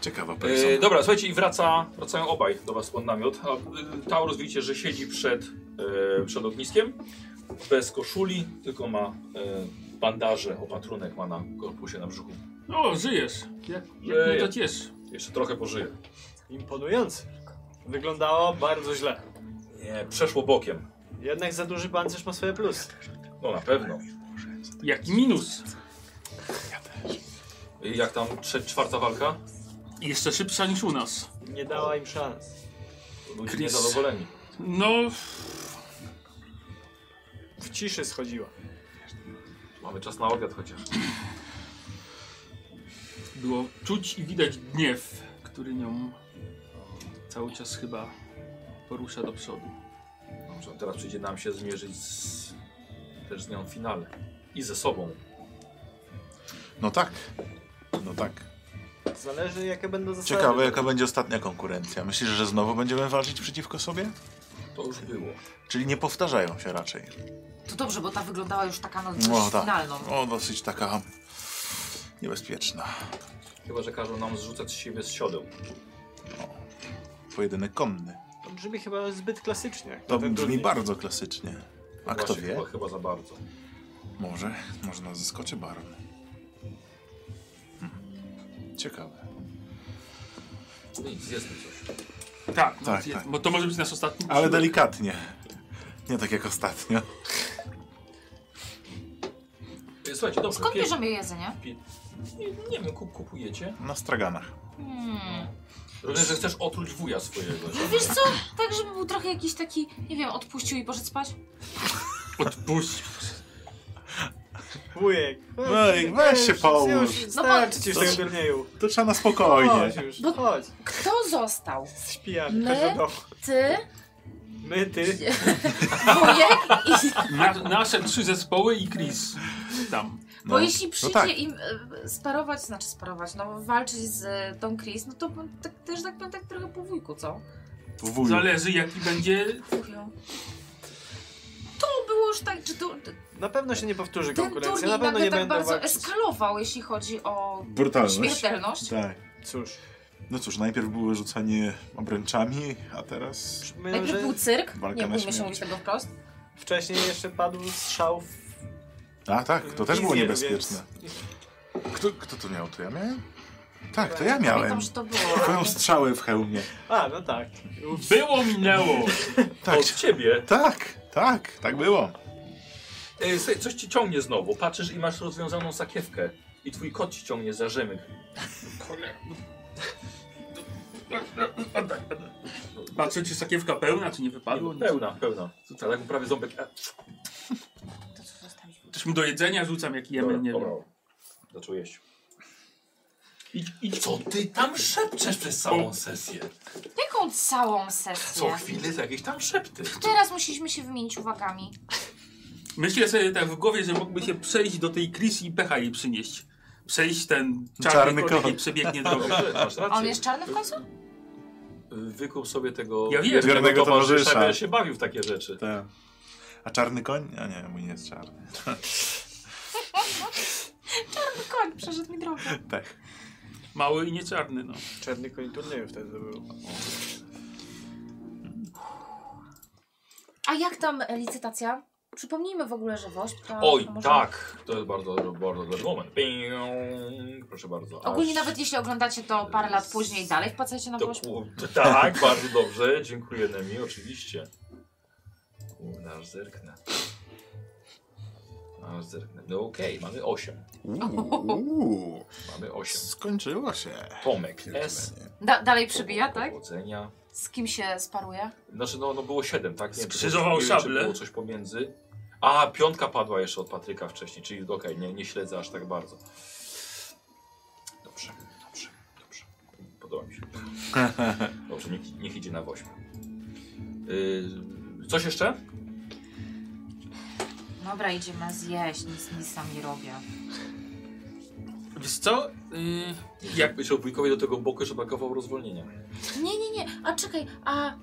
Speaker 3: Ciekawa persona.
Speaker 1: E, dobra, słuchajcie, i wraca, wracają obaj do was pod namiot. A, y, Taurus widzicie, że siedzi przed, e, przed ogniskiem, bez koszuli, tylko ma e, bandaże, opatrunek ma na korpusie, na brzuchu.
Speaker 5: O, żyjesz. Jak, jak
Speaker 1: Żyję.
Speaker 5: mnie to ciesz.
Speaker 1: Jeszcze trochę pożyje.
Speaker 4: Imponujący. Wyglądało bardzo źle.
Speaker 1: Nie, przeszło bokiem.
Speaker 4: Jednak za duży pancerz ma swoje plusy.
Speaker 1: No na pewno.
Speaker 5: Jaki minus?
Speaker 1: I Jak tam trze- czwarta walka?
Speaker 5: Jeszcze szybsza niż u nas.
Speaker 4: Nie dała im szans.
Speaker 1: Ludzie
Speaker 5: Chris.
Speaker 1: niezadowoleni.
Speaker 5: No,
Speaker 4: W ciszy schodziła.
Speaker 1: Mamy czas na obiad chociaż.
Speaker 5: było czuć i widać gniew, który nią e, cały czas chyba porusza do przodu.
Speaker 1: Dobrze, teraz przyjdzie nam się zmierzyć z, też z nią w finale. I ze sobą.
Speaker 3: No tak. No tak.
Speaker 4: Zależy jakie będą zasady.
Speaker 3: Ciekawe, jaka będzie ostatnia konkurencja. Myślisz, że znowu będziemy walczyć przeciwko sobie?
Speaker 1: To już było.
Speaker 3: Czyli nie powtarzają się raczej.
Speaker 2: To dobrze, bo ta wyglądała już taka no, dość
Speaker 3: No tak.
Speaker 2: finalną.
Speaker 3: O, dosyć taka niebezpieczna.
Speaker 1: Chyba, że każą nam zrzucać z siebie z siodeł.
Speaker 3: Pojedynek konny.
Speaker 4: To brzmi chyba zbyt klasycznie.
Speaker 3: To
Speaker 4: Ten
Speaker 3: brzmi
Speaker 4: turniej.
Speaker 3: bardzo klasycznie. A kto
Speaker 1: Właśnie,
Speaker 3: wie?
Speaker 1: Chyba, chyba za bardzo.
Speaker 3: Może, może nas zaskoczy Baron. Hmm. Ciekawe.
Speaker 1: No nic, jest tu coś.
Speaker 5: Tak, no,
Speaker 3: Tak,
Speaker 5: jest,
Speaker 3: tak.
Speaker 5: bo to może być nasz ostatni.
Speaker 3: Ale
Speaker 5: posiłek.
Speaker 3: delikatnie. Nie tak jak ostatnio.
Speaker 1: E, Słuchajcie, dobrze.
Speaker 2: Skąd
Speaker 1: pie-
Speaker 2: bierzemy jedzenie?
Speaker 1: pie- Nie, nie wiem, kup, kupujecie.
Speaker 3: Na straganach.
Speaker 2: Hmm.
Speaker 1: Rozumiem, że chcesz otruć wuja swojego.
Speaker 2: Wiesz co, tak żeby był trochę jakiś taki, nie wiem, odpuścił i poszedł spać?
Speaker 5: Odpuść.
Speaker 4: Wujek.
Speaker 3: Wujek, No weź się
Speaker 4: Już,
Speaker 3: połóż.
Speaker 4: Już,
Speaker 2: No bo-
Speaker 4: starczy ci już
Speaker 3: To-
Speaker 4: tego turnieju.
Speaker 3: To trzeba na
Speaker 4: Chodź
Speaker 3: spokojnie.
Speaker 4: już,
Speaker 2: No-
Speaker 4: chodź.
Speaker 2: Kto został?
Speaker 4: Jesteś pijany, chodź
Speaker 2: My?
Speaker 4: do domu.
Speaker 2: Ty,
Speaker 4: My, ty.
Speaker 2: wujek i...
Speaker 5: Na, nasze trzy zespoły i Chris. Tam.
Speaker 2: Bo jeśli
Speaker 3: no
Speaker 2: przyjdzie
Speaker 3: tak.
Speaker 2: im e, sparować, znaczy sparować, no walczyć z e, tą Chris, no to bym tak, też tak powiem, tak trochę po wujku, co?
Speaker 3: Wuj.
Speaker 5: Zależy jaki będzie.
Speaker 2: Wujo. To było już tak, czy to,
Speaker 4: Na pewno się nie powtórzy
Speaker 2: ten
Speaker 4: konkurencja, na
Speaker 2: turniej
Speaker 4: pewno
Speaker 2: nagle
Speaker 4: nie
Speaker 2: tak
Speaker 4: będą
Speaker 2: bardzo
Speaker 4: walczyć.
Speaker 2: eskalował, jeśli chodzi o
Speaker 3: Brutalność.
Speaker 2: śmiertelność.
Speaker 3: Tak.
Speaker 4: Cóż,
Speaker 3: No cóż, najpierw było rzucanie obręczami, a teraz...
Speaker 4: przypominam,
Speaker 2: Najpierw
Speaker 4: że
Speaker 2: był cyrk,
Speaker 3: Walka
Speaker 2: nie
Speaker 3: na
Speaker 2: bójmy się
Speaker 3: śmierć.
Speaker 2: mówić tego wprost.
Speaker 4: wcześniej jeszcze padł strzał w
Speaker 3: A tak, to też było
Speaker 4: wizję,
Speaker 3: niebezpieczne.
Speaker 4: więc-
Speaker 3: Kto, kto to miał? To ja miałem? Tak, to ja miałem.
Speaker 2: Pamiętam, No że to było.
Speaker 3: Twoją strzałę w hełmie.
Speaker 4: A, no tak.
Speaker 5: Było, minęło.
Speaker 3: Tak,
Speaker 1: Od ciebie.
Speaker 3: tak, tak, tak było.
Speaker 1: E, słuchaj, coś ci ciągnie znowu. Patrzysz i masz rozwiązaną sakiewkę. I twój kot ci ciągnie za rzemyk.
Speaker 5: Patrzę, czy sakiewka pełna, czy nie wypadło. nic.
Speaker 1: Pełna, pełna. Tak, jakby prawie ząbek. E,
Speaker 2: To co zostawić?
Speaker 5: Też mi do jedzenia rzucam, jak jemy,
Speaker 1: Dobra,
Speaker 5: nie
Speaker 1: dobra.
Speaker 5: wiem.
Speaker 1: Zaczął jeść. I, I co ty tam szepczesz przez całą sesję?
Speaker 2: Jaką całą sesję?
Speaker 1: Co chwilę to jakieś tam szepty.
Speaker 2: Teraz musieliśmy się wymienić uwagami.
Speaker 5: Myślę sobie tak w głowie, że mógłby się przejść do tej Chris i pecha jej przynieść. Przejść ten
Speaker 3: Czarny
Speaker 5: czarny,
Speaker 3: kot.
Speaker 5: kot i przebiegnie drogą.
Speaker 1: Dobrze, masz
Speaker 2: A on
Speaker 1: rację. E,
Speaker 2: jest czarny w końcu?
Speaker 1: Wykup sobie tego
Speaker 5: Ja wiem.
Speaker 1: wiernego
Speaker 3: Wiernego towarzysza.
Speaker 1: towarzysza. Ja się bawił w takie rzeczy.
Speaker 3: Tak. A czarny koń? A nie, mój nie jest czarny.
Speaker 2: Koń, przeszedł mi drogę.
Speaker 3: Tak.
Speaker 5: Mały i nie czarny, no.
Speaker 4: Czarny koń turnieju wtedy był.
Speaker 2: A jak tam e, licytacja? Przypomnijmy w ogóle, że woźb to...
Speaker 1: Oj,
Speaker 2: to może-
Speaker 1: tak! To jest bardzo, bardzo dobry moment. Ping. Proszę bardzo. Aż-
Speaker 2: Ogólnie nawet jeśli oglądacie to parę lat później dalej, wpłacajcie na
Speaker 1: To
Speaker 2: woźb.
Speaker 1: ku- Tak, bardzo dobrze. Dziękuję Nemi, oczywiście. Kurde, aż zerknę. Aż zerknę. No okej, mamy 8.
Speaker 3: Uuu,
Speaker 1: Mamy 8.
Speaker 3: skończyło się.
Speaker 1: Tomek S.
Speaker 2: Da dalej przebija, tak?
Speaker 1: Powodzenia.
Speaker 2: Z kim się sparuje?
Speaker 1: Znaczy, no, no było 7, tak? Nie wiem, czy
Speaker 5: Skrzyżował
Speaker 1: było- nie wiem, czy
Speaker 5: szable.
Speaker 1: było coś pomiędzy. A, piątka padła jeszcze od Patryka wcześniej, czyli okej, nie, nie śledzę aż tak bardzo. Dobrze, dobrze, dobrze. Podoba mi się. Dobrze, niech, niech idzie na 8. coś jeszcze?
Speaker 2: Dobra, idziemy zjeść, nic, nic sam nie robię.
Speaker 5: Wiesz co? Yy, jak...
Speaker 1: Jak myślał wujkowi do tego boku, że brakowało rozwolnienia.
Speaker 2: Nie, nie, nie, a czekaj, a... Y,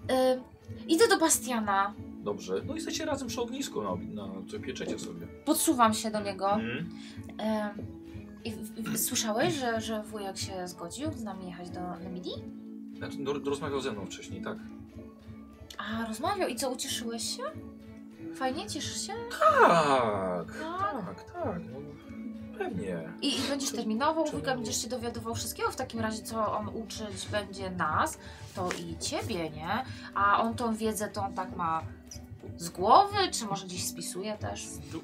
Speaker 2: idę do Bastiana,
Speaker 1: Dobrze, no i jesteście razem przy ognisku, na, na co pieczecie sobie.
Speaker 2: podsuwam się do niego.
Speaker 5: Mhm.
Speaker 1: Mm.
Speaker 2: E, i, w- w- słyszałeś, że, że wujek się zgodził z nami jechać do Namidii?
Speaker 1: Znaczy, no, rozmawiał ze mną wcześniej, tak?
Speaker 2: A, rozmawiał i co, ucieszyłeś się? Fajnie, cieszysz się?
Speaker 1: Tak,
Speaker 2: Tak.
Speaker 1: tak, tak, no, pewnie.
Speaker 2: I, I będziesz terminował,
Speaker 1: Czemu?
Speaker 2: wujka będziesz się dowiadywał wszystkiego, w takim razie co on uczyć będzie nas, to i ciebie, nie? A on tą wiedzę to on tak ma z głowy, czy może gdzieś spisuje też?
Speaker 1: No,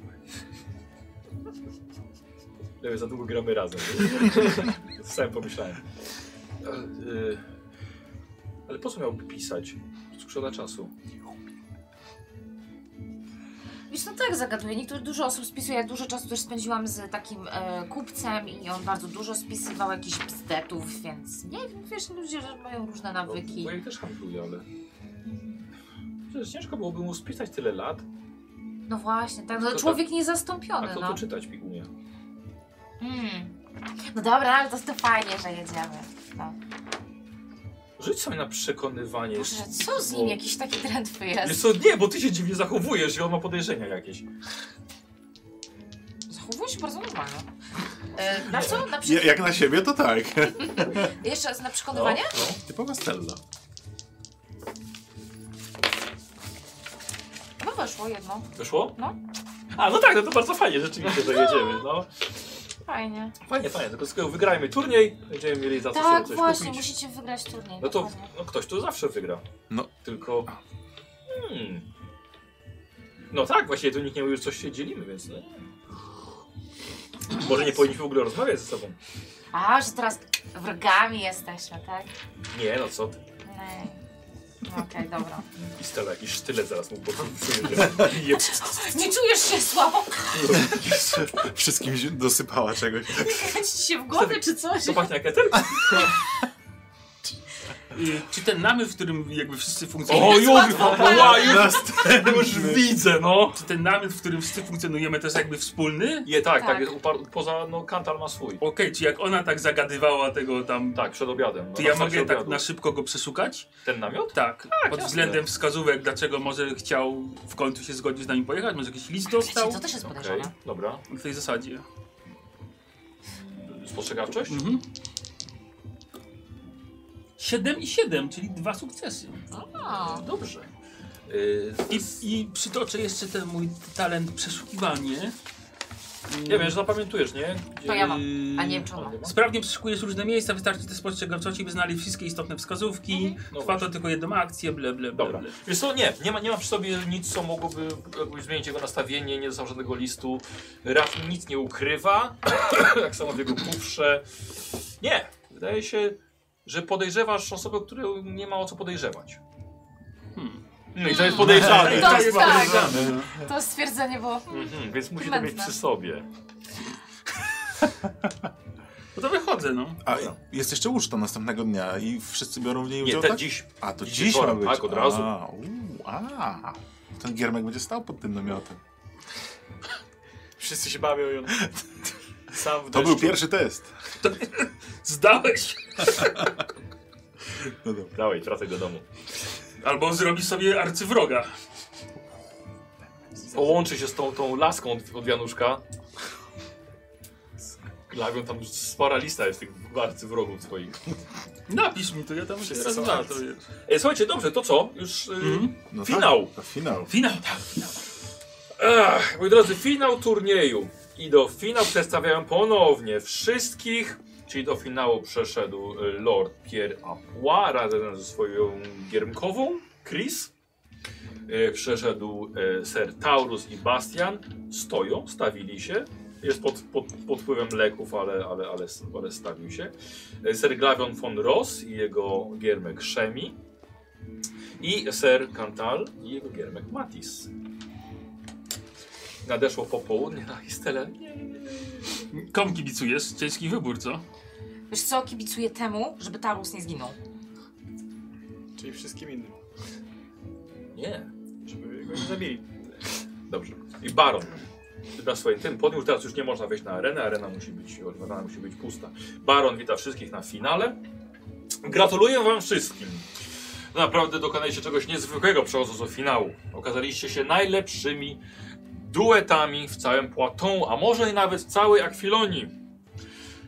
Speaker 1: Ja wiem, za długo gramy razem. Sam pomyślałem. Ale, y, ale po co miałby pisać? Skrzeda czasu.
Speaker 2: Wiesz, no tak zagaduję. Niektórych dużo osób spisuje. Ja dużo czasu też spędziłam z takim e, kupcem i on bardzo dużo spisywał jakichś pstetów, więc nie wiem, wiesz, ludzie mają różne
Speaker 1: No,
Speaker 2: nawyki.
Speaker 1: Bo ja też handluję, ale... Przecież ciężko byłoby mu spisać tyle lat,
Speaker 2: No właśnie, tak.
Speaker 1: Kto
Speaker 2: No,
Speaker 1: to-
Speaker 2: człowiek
Speaker 1: a
Speaker 2: niezastąpiony,
Speaker 1: kto
Speaker 2: no.
Speaker 1: to czytać pigunie?
Speaker 2: Mm. No dobra, ale to, to fajnie, że jedziemy. No.
Speaker 1: Rzuć sobie na przekonywanie.
Speaker 2: Boże, co z nim? Jakiś taki trend
Speaker 1: Wiesz
Speaker 2: jest.
Speaker 1: co, nie, bo ty się dziwnie zachowujesz i on ma podejrzenia jakieś.
Speaker 2: Zachowuje się bardzo normalnie. E, na co? Na
Speaker 3: Ja,
Speaker 2: przy...
Speaker 3: jak na siebie, to tak.
Speaker 2: Jeszcze raz na przekonywanie?
Speaker 3: Typowa Stella.
Speaker 2: No weszło jedno.
Speaker 1: Wyszło?
Speaker 2: No.
Speaker 1: A, no tak, no to bardzo fajnie rzeczywiście, że jedziemy, no.
Speaker 2: Fajnie.
Speaker 1: Fajnie, fajnie, tylko tylko wygrajmy turniej, będziemy mieli za co sobie
Speaker 2: Tak,
Speaker 1: coś
Speaker 2: właśnie,
Speaker 1: kupić.
Speaker 2: musicie wygrać turniej.
Speaker 1: No to
Speaker 2: dokładnie.
Speaker 1: no ktoś tu zawsze wygra.
Speaker 3: No.
Speaker 1: Tylko... Hmm. No tak, właśnie tu nikt nie mówił, że coś się dzielimy, więc... No. Może nie powinniśmy w ogóle rozmawiać ze sobą.
Speaker 2: A, że teraz wrogami jesteśmy, tak?
Speaker 1: Nie, no co ty.
Speaker 2: Nie. No Okej, dobra.
Speaker 1: Pistola, jakiś sztylet zaraz mu podpisuje. Je...
Speaker 2: Nie czujesz się słabo?
Speaker 3: Wszystkim się dosypała czegoś.
Speaker 2: Kręci ci się w głowie czy coś?
Speaker 1: To pachnie jak eter?
Speaker 5: Y, czy ten namysł, w którym jakby wszyscy
Speaker 1: O,
Speaker 5: funkcjonujemy...
Speaker 1: już, o, już, już widzę, no.
Speaker 5: Czy ten namysł, w którym wszyscy funkcjonujemy, to jest jakby wspólny?
Speaker 1: Je, tak, tak,
Speaker 2: Tak.
Speaker 1: jest upar- poza, no Kantal ma swój.
Speaker 5: Okej, czy jak ona tak zagadywała tego tam...
Speaker 1: Tak, przed obiadem. No,
Speaker 5: To
Speaker 1: na
Speaker 5: ja
Speaker 1: wstacie
Speaker 5: mogę tak
Speaker 1: obiadu.
Speaker 5: na szybko go przeszukać?
Speaker 1: Ten namiot?
Speaker 5: Tak, pod
Speaker 1: jasne.
Speaker 5: względem wskazówek, dlaczego może chciał w końcu się zgodzić z nami pojechać, może jakiś list dostał?
Speaker 2: Wiecie, to też jest
Speaker 1: Okej,
Speaker 2: podejrzane.
Speaker 1: dobra.
Speaker 5: W tej zasadzie.
Speaker 1: Spostrzegawczość?
Speaker 5: Mhm. 7 i 7, czyli dwa sukcesy.
Speaker 2: A,
Speaker 1: Dobrze. Yy,
Speaker 5: I, I przytoczę jeszcze ten mój talent przeszukiwanie.
Speaker 1: ja wiem, że zapamiętujesz, nie? Gdzie...
Speaker 2: To ja mam. a nie wiem czy
Speaker 1: On
Speaker 2: on ma.
Speaker 1: nie ma?
Speaker 5: Yy, Sprawnie przeszukujesz różne miejsca, wystarczy te spostrzegawczości, by znali wszystkie istotne
Speaker 2: Mhm.
Speaker 5: wskazówki.
Speaker 1: No
Speaker 5: Trwa to
Speaker 1: właśnie.
Speaker 5: tylko jedną akcję, ble, ble, ble.
Speaker 1: Dobra.
Speaker 5: ble.
Speaker 1: Wiesz co, nie, nie ma, nie ma przy sobie nic, co mogłoby jakby zmienić jego nastawienie, nie dostał żadnego listu. Raf nic nie ukrywa, tak samo w jego kufrze. Nie, wydaje się, że podejrzewasz osobę, której nie ma o co podejrzewać.
Speaker 5: Hmm.
Speaker 1: No i to jest podejrzane.
Speaker 2: I to jest tak.
Speaker 5: podejrzane, no.
Speaker 2: to stwierdzenie było... hmm,
Speaker 1: Mhm, więc musi to mieć
Speaker 2: Mętne.
Speaker 1: przy sobie.
Speaker 5: No to wychodzę, no.
Speaker 3: A jest jeszcze uczta następnego dnia i wszyscy biorą w niej udział,
Speaker 1: Nie, ten
Speaker 3: tak?
Speaker 1: dziś.
Speaker 3: A, to
Speaker 1: dziś
Speaker 3: dziś,
Speaker 1: wieczorem,
Speaker 3: ma być.
Speaker 1: tak, od razu.
Speaker 3: A, uu, a, ten giermek będzie stał pod tym namiotem.
Speaker 4: Wszyscy się bawią i on sam w
Speaker 3: To
Speaker 4: deszczu.
Speaker 3: był pierwszy test.
Speaker 5: Zdałeś!
Speaker 3: No dobra.
Speaker 1: Dawaj, wracaj do domu.
Speaker 5: Albo zrobisz sobie arcywroga.
Speaker 1: Połączy się z tą, tą laską od, od Januszka. Glawią tam spora lista jest tych bardzo wrogów twoich.
Speaker 5: Napisz mi to, ja tam się
Speaker 4: Wszyscy
Speaker 5: raz
Speaker 4: są
Speaker 5: dwa,
Speaker 4: arcy.
Speaker 5: to jest.
Speaker 1: E, słuchajcie, dobrze, to co? Już. Y,
Speaker 3: No tak,
Speaker 1: Finał.
Speaker 3: to finał.
Speaker 5: Finał, tak.
Speaker 1: Ach, moi drodzy, finał turnieju. I do finału przedstawiają ponownie wszystkich. Czyli do finału przeszedł y, Lord Pierre Apois razem ze swoją giermkową, Chris. Y, Przeszedł y, Sir Taurus i Bastian. Stoją, stawili się. Jest pod, pod, pod wpływem leków, ale, ale, ale, ale stawił się. Y, Sir Glavion von Ross i jego giermek Szemi. I Sir Cantal i jego giermek Matis. Nadeszło popołudnie na Istele.
Speaker 5: Komu kibicujesz? Ciężki wybór, co?
Speaker 2: Wiesz co, kibicuję temu, żeby Tarus nie zginął.
Speaker 4: Czyli wszystkim innym.
Speaker 1: Nie.
Speaker 4: Żeby go nie zabili.
Speaker 1: Dobrze. I Baron. Na swoim tym podniósł, teraz już nie można wejść na arenę, arena musi być, arena musi być pusta. Baron wita wszystkich na finale. Gratuluję wam wszystkim. Naprawdę dokonaliście czegoś niezwykłego przechodząc do finału. Okazaliście się najlepszymi duetami w całym Poitou, a może i nawet w całej Akwilonii.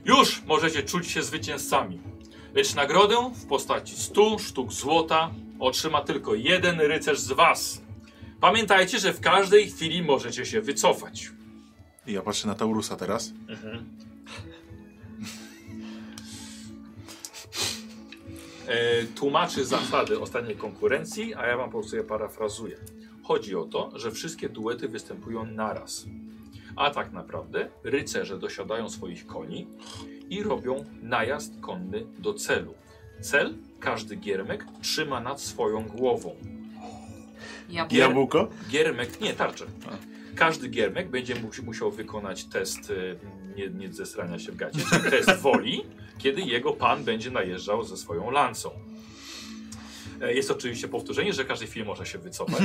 Speaker 1: Już możecie czuć się zwycięzcami. Lecz nagrodę w postaci 100 sztuk złota otrzyma tylko jeden rycerz z was. Pamiętajcie, że w każdej chwili możecie się wycofać.
Speaker 3: I ja patrzę na Taurusa teraz.
Speaker 1: E, tłumaczy zasady ostatniej konkurencji, a ja wam po prostu je parafrazuję. Chodzi o to, że wszystkie duety występują naraz. A tak naprawdę rycerze dosiadają swoich koni i robią najazd konny do celu. Cel każdy giermek trzyma nad swoją głową.
Speaker 2: Jabłko.
Speaker 3: Jabłko?
Speaker 1: Giermek, nie, tarczę. Każdy giermek będzie musi- musiał wykonać test y, nie, nie zesrania się w gacie, czyli test woli, kiedy jego pan będzie najeżdżał ze swoją lancą. E, Jest oczywiście powtórzenie, że każdy film może się wycofać.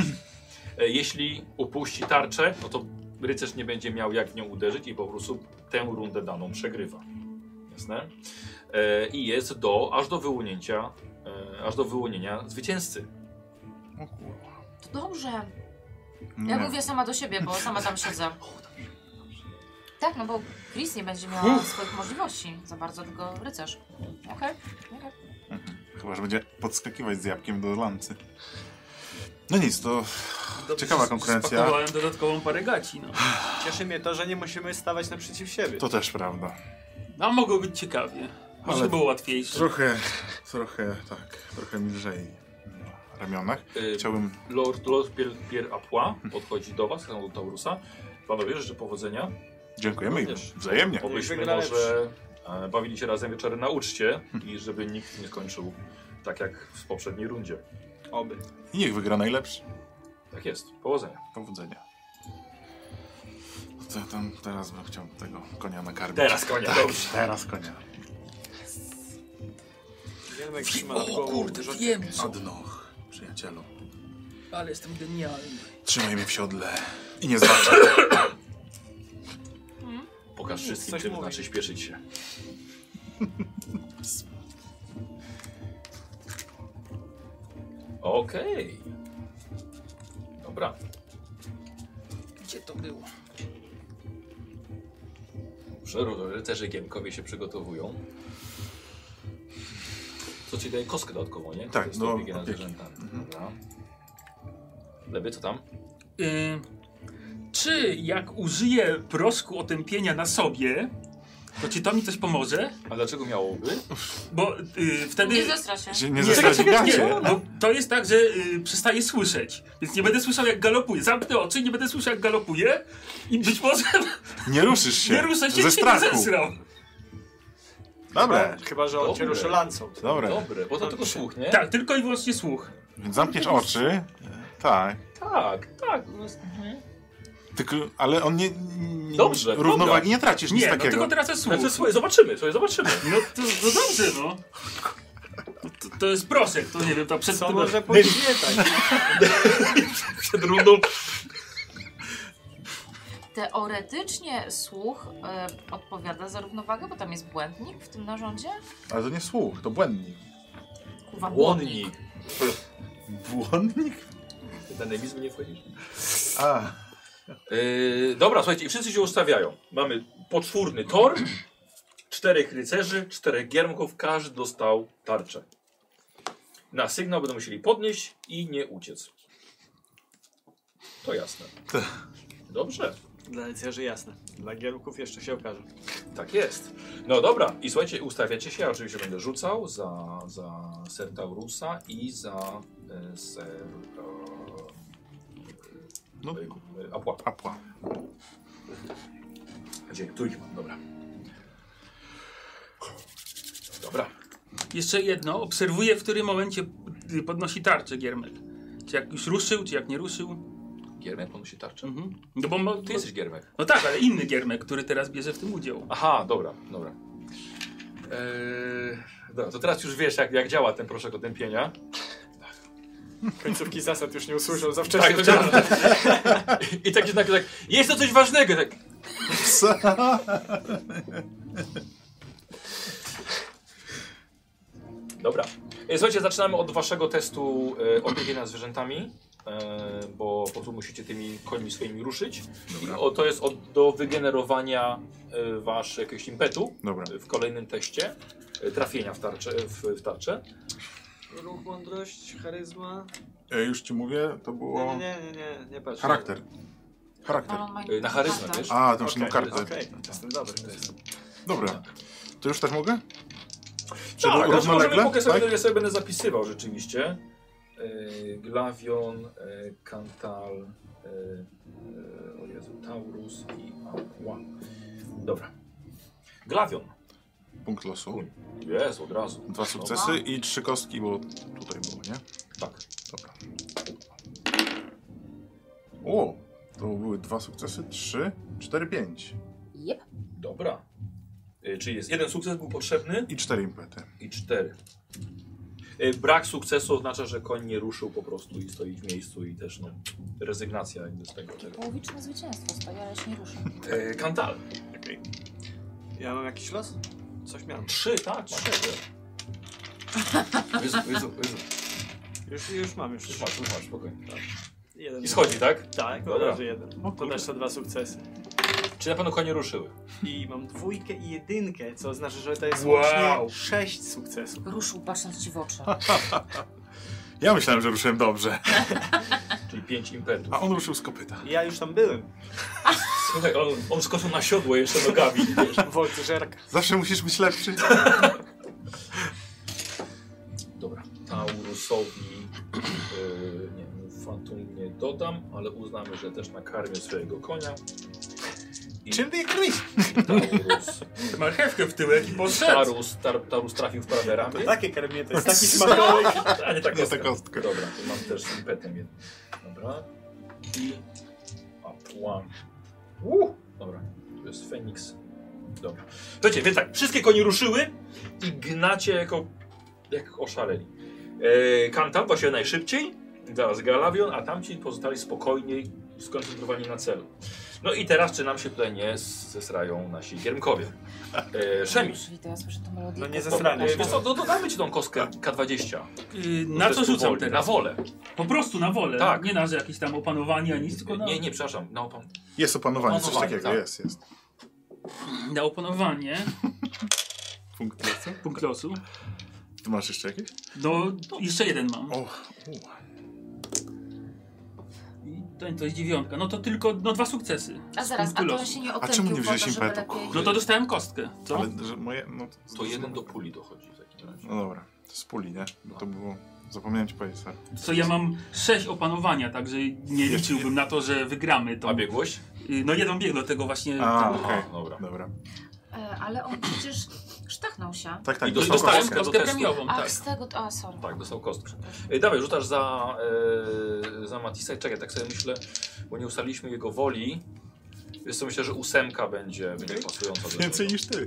Speaker 1: E, Jeśli upuści tarczę, no to rycerz nie będzie miał jak w nią uderzyć i po prostu tę rundę daną przegrywa. Jasne? E, I jest do, aż do wyłonięcia, e, aż do wyłonienia zwycięzcy.
Speaker 3: O kurwa.
Speaker 2: To dobrze. Ja
Speaker 3: Nie.
Speaker 2: mówię sama do siebie, bo sama tam siedzę. Tak, no bo Chris nie będzie miała swoich możliwości za bardzo, tylko rycerz. Okej, okej.
Speaker 3: Chyba, że będzie podskakiwać z jabłkiem do lancy. No nic, to
Speaker 5: Dobrze,
Speaker 3: Ciekawa
Speaker 5: że- że
Speaker 3: konkurencja.
Speaker 5: Spakowałem dodatkową parę gaci, no.
Speaker 4: Cieszy mnie to, że nie musimy stawać naprzeciw siebie.
Speaker 3: to też prawda.
Speaker 5: A mogło być ciekawie. Może
Speaker 3: Ale-
Speaker 5: to było łatwiejsze.
Speaker 3: Trochę, trochę, tak, trochę mi lżej na ramionach.
Speaker 1: E,
Speaker 3: Chciałbym
Speaker 1: Lord, Lord Pier, Pier Apua podchodzi do was, do Taurusa. Panowie, życzę powodzenia.
Speaker 3: Dziękujemy i
Speaker 1: Również.
Speaker 3: wzajemnie.
Speaker 1: Obyśmy
Speaker 4: wygrałem.
Speaker 1: może e, bawili się razem wieczorem na uczcie i żeby nikt nie skończył tak jak w poprzedniej rundzie.
Speaker 4: Oby.
Speaker 3: I niech wygra najlepszy.
Speaker 1: Tak jest, powodzenia.
Speaker 3: Powodzenia. No To ja tam teraz bym chciał tego konia nakarmić.
Speaker 1: Teraz konia,
Speaker 3: tak,
Speaker 1: dobrze.
Speaker 3: Teraz konia.
Speaker 4: Giermek trzyma nad głową. dużo-
Speaker 5: wiem
Speaker 3: Od nóg, przyjacielu.
Speaker 5: ale jestem genialny.
Speaker 3: Trzymaj mnie w siodle. I nie zbaczaj.
Speaker 1: Pokaż wszystkim,
Speaker 4: coś
Speaker 1: czym
Speaker 4: mówi.
Speaker 1: znaczy śpieszyć się. Okej. Dobra.
Speaker 5: Gdzie to było?
Speaker 1: Dobrze, ry- rycerze Giemkowie się przygotowują. Co ci daje kostkę dodatkowo, nie?
Speaker 3: Tak,
Speaker 1: To jest
Speaker 3: do
Speaker 1: opieki nad
Speaker 3: opieki.
Speaker 1: zwierzętami.
Speaker 3: Mhm.
Speaker 1: Dobra. Lewy, co tam?
Speaker 5: Y, czy jak użyję proszku otępienia na sobie, to czy to mi coś pomoże?
Speaker 1: A dlaczego miałoby?
Speaker 5: Bo y, wtedy...
Speaker 2: Nie zestra się.
Speaker 3: Się nie
Speaker 5: czekaj,
Speaker 3: zastrasz w
Speaker 5: czekaj,
Speaker 3: gacie.
Speaker 5: nie, bo to jest tak, że y, przestaję słyszeć, więc nie będę słyszał jak galopuje. Zamknę oczy, nie będę słyszał jak galopuje i być może
Speaker 3: Nie ruszysz się.
Speaker 5: nie ruszę się,
Speaker 3: Ze
Speaker 5: się nie
Speaker 3: strachu.
Speaker 5: zesrał.
Speaker 3: Dobra,
Speaker 4: Chyba, że on cię
Speaker 1: Dobre.
Speaker 4: ruszy lancą.
Speaker 3: dobra.
Speaker 1: Dobre, bo to tylko słuch, nie?
Speaker 5: Tak, tylko i wyłącznie słuch.
Speaker 3: Więc zamkniesz oczy. Tak.
Speaker 1: tak. tak.
Speaker 3: Tylko, ale on nie... nie
Speaker 1: Dobrze,
Speaker 3: Równowagi
Speaker 1: dobra.
Speaker 3: nie tracisz, nic
Speaker 5: Nie, no,
Speaker 3: takiego.
Speaker 5: tylko tracę słuch.
Speaker 1: Znaczy, słuchaj, zobaczymy, słuchaj, zobaczymy.
Speaker 5: No to, to dobrze, no. To, to jest proszek, to nie wiem, to przed
Speaker 4: Co
Speaker 5: tym...
Speaker 4: może podświetlać?
Speaker 1: Przed rundą.
Speaker 2: Teoretycznie słuch e, odpowiada za równowagę, bo tam jest błędnik w tym narządzie.
Speaker 3: Ale to nie słuch, to błędnik.
Speaker 2: Kurwa,
Speaker 1: Łonnik.
Speaker 3: Błądnik?
Speaker 1: Ty na nemizm nie wchodzisz?
Speaker 3: A,
Speaker 1: Yy, dobra, słuchajcie, i wszyscy się ustawiają. Mamy poczwórny tor, czterech rycerzy, czterech giermków, każdy dostał tarczę. Na sygnał będą musieli podnieść i nie uciec. To jasne. Dobrze,
Speaker 4: Dla rycerzy jasne. Dla giermków jeszcze się okaże.
Speaker 1: tak jest. No dobra, i słuchajcie, ustawiacie się, ja oczywiście będę rzucał za, za Sertaurusa i za e, Ser...
Speaker 3: No.
Speaker 1: E, e, Apła.
Speaker 3: apła.
Speaker 1: Gdzie? Tu ich mam, dobra. Dobra.
Speaker 5: Jeszcze jedno, obserwuję w którym momencie y, podnosi tarczę Giermek. Czy jak już ruszył, czy jak nie ruszył.
Speaker 1: Giermek podnosi tarczę?
Speaker 5: Mhm. No bo mo-
Speaker 1: Ty jesteś Giermek.
Speaker 5: No tak, ale inny Giermek, który teraz bierze w tym udział.
Speaker 1: Aha, dobra, dobra. Eee, dobra, to teraz już wiesz, jak, jak działa ten proszek otępienia.
Speaker 4: Końcówki zasad już nie usłyszał za wcześnie.
Speaker 1: Tak, to działa. I tak jednak tak, jest to coś ważnego. Tak. Dobra. E, Słuchajcie, zaczynamy od waszego testu e, opieki nad zwierzętami, e, bo po prostu musicie tymi końmi swoimi ruszyć.
Speaker 3: No.
Speaker 1: I o, to jest od, do wygenerowania e, wasz jakiegoś impetu.
Speaker 3: Dobra.
Speaker 1: w kolejnym teście e, trafienia w tarczę. W, w tarczę.
Speaker 4: Ruch, mądrość, charyzma.
Speaker 3: E, już ci mówię, to było...
Speaker 4: Nie, nie, nie, nie, nie patrz.
Speaker 3: Charakter. Charakter.
Speaker 2: Ale on ma
Speaker 1: E, Na charyzmę,
Speaker 2: Tak.
Speaker 1: wiesz?
Speaker 3: A, to już
Speaker 4: Okej,
Speaker 3: okay, kartę.
Speaker 4: Okej, jestem dobry. To jest.
Speaker 3: Dobra. To już też mogę? Czy
Speaker 1: Tak, znaczy możemy,
Speaker 3: równolegle?
Speaker 1: mogę sobie,
Speaker 3: Tak?
Speaker 1: ja sobie będę zapisywał rzeczywiście. E, Glavion, e, Kantal, e, e, o Jezu, Taurus i Aqua. Dobra. Glavion.
Speaker 3: Punkt losu.
Speaker 1: Jest, od razu.
Speaker 3: Dwa sukcesy i trzy kostki, bo tutaj było, nie?
Speaker 1: Tak.
Speaker 3: Dobra. O! To były dwa sukcesy, trzy, cztery, pięć.
Speaker 2: Jep.
Speaker 1: Dobra. Y, Czyli jest jeden sukces był potrzebny
Speaker 3: I cztery impety.
Speaker 1: i cztery. Y, Brak sukcesu oznacza, że koń nie ruszył po prostu i stoi w miejscu i też no, rezygnacja jakby z tego. tego.
Speaker 2: Połowiczne zwycięstwo, stoi, ale się nie ruszy.
Speaker 1: E, Kantal.
Speaker 4: Okej. Ja mam jakiś los? Coś miałem.
Speaker 1: Trzy, tak, trzy. Jezu, Jezu, Jezu.
Speaker 4: Już, już mam, już.
Speaker 1: Już masz, już masz, spokojnie. Tak.
Speaker 4: Jeden.
Speaker 1: I schodzi, tak?
Speaker 4: Tak,
Speaker 1: Dobra.
Speaker 4: dobra, że jeden. To
Speaker 3: kurde.
Speaker 4: też to dwa sukcesy.
Speaker 1: Czy na pewno konie ruszyły?
Speaker 4: I mam dwójkę i jedynkę, co oznacza, że to jest
Speaker 1: Wow.
Speaker 4: łącznie sześć sukcesów.
Speaker 2: Ruszył patrząc ci w oczy.
Speaker 3: Ja myślałem, że ruszyłem dobrze.
Speaker 1: Czyli pięć impetów.
Speaker 3: A on ruszył z kopyta.
Speaker 4: Ja już tam byłem.
Speaker 1: Słuchaj, on, on skoczył na siodło jeszcze nogami, wiesz.
Speaker 4: Woltyżerka.
Speaker 3: Zawsze musisz być lepszy.
Speaker 1: Tak Dobra, Taurusowi yy, nie, mu Fatum nie dodam, ale uznamy, że też nakarmię swojego konia.
Speaker 3: Czym ty kryś?
Speaker 1: Taurus,
Speaker 5: Marchewkę w tyłek i poszedł.
Speaker 1: Tarus, tar, Tarus trafił w prawe
Speaker 4: To tak?
Speaker 1: ramię,
Speaker 4: takie karmienie, to jest taki smakołyk.
Speaker 1: a nie tak
Speaker 3: Nie
Speaker 1: kostka.
Speaker 3: tę kostkę.
Speaker 1: Dobra, to mam też z impetem jeden. Dobra. I Apłan. Uh! Dobra, to jest Feniks. Dobra. Słuchajcie, więc tak, wszystkie konie ruszyły i gnacie jako, jak oszaleli. E, Kantam właśnie najszybciej, zaraz Galavion, a tamci pozostali spokojnie i skoncentrowani na celu. No i teraz, czy nam się tutaj nie zesrają nasi kiermkowie? E, Szemis.
Speaker 2: Czyli to ja słyszę tą melodię.
Speaker 4: No nie zesrany.
Speaker 1: E, Wiesz co, do- dodamy ci tą kostkę K20.
Speaker 5: Yy,
Speaker 1: Bo
Speaker 5: na
Speaker 1: to
Speaker 5: co
Speaker 1: jest
Speaker 5: rzucam
Speaker 1: woli,
Speaker 5: teraz?
Speaker 1: Na wolę.
Speaker 5: Po prostu na wolę.
Speaker 1: Tak.
Speaker 5: Nie na że jakieś tam opanowanie, ani nic, tylko na,
Speaker 1: Nie, nie, przepraszam. Na opan...
Speaker 3: Jest opanowanie, coś
Speaker 1: Opanowanie,
Speaker 3: takiego.
Speaker 1: tak.
Speaker 3: Jest, jest.
Speaker 5: na opanowanie.
Speaker 3: Punkt losu.
Speaker 5: Punkt losu.
Speaker 3: Ty masz jeszcze jakieś?
Speaker 5: No, jeszcze jeden mam.
Speaker 3: O, u.
Speaker 5: I to, to jest dziewiątka. No to tylko no, dwa sukcesy.
Speaker 2: A zaraz, a
Speaker 5: Punktu
Speaker 2: to
Speaker 5: losu.
Speaker 2: się nie
Speaker 3: A
Speaker 2: otępił,
Speaker 3: czemu nie wziąłeś
Speaker 2: po to, żeby
Speaker 3: impetu?
Speaker 2: lepiej-
Speaker 5: No to dostałem kostkę. Co?
Speaker 3: Ale że moje... No,
Speaker 1: To jeden do puli No. dochodzi w takim razie.
Speaker 3: No dobra, to z puli, nie? Bo to było... Zapomniałem ci powiedzieć, sorry.
Speaker 5: Co ja mam sześć opanowania, także nie liczyłbym na to, że wygramy to.
Speaker 1: A biegłość?
Speaker 5: No jeden bieg do tego właśnie.
Speaker 3: A,
Speaker 5: tego-
Speaker 3: okej.
Speaker 1: Aha, dobra.
Speaker 3: Dobra.
Speaker 2: E, Ale on przecież sztachnął się.
Speaker 3: Tak, tak,
Speaker 1: I
Speaker 3: dostał
Speaker 1: dostałem
Speaker 3: kostkę.
Speaker 1: do
Speaker 5: kostkę
Speaker 1: testu.
Speaker 5: premiową,
Speaker 2: Ach,
Speaker 5: tak.
Speaker 2: z tego, to- a sorry.
Speaker 1: Tak, dostał kostkę. E, dawaj, rzucasz za, e, za Matisa i czekaj, tak sobie myślę, bo nie ustaliliśmy jego woli. Więc myślę, że ósemka będzie, będzie pasująca do
Speaker 3: Więcej
Speaker 1: tego.
Speaker 3: niż ty.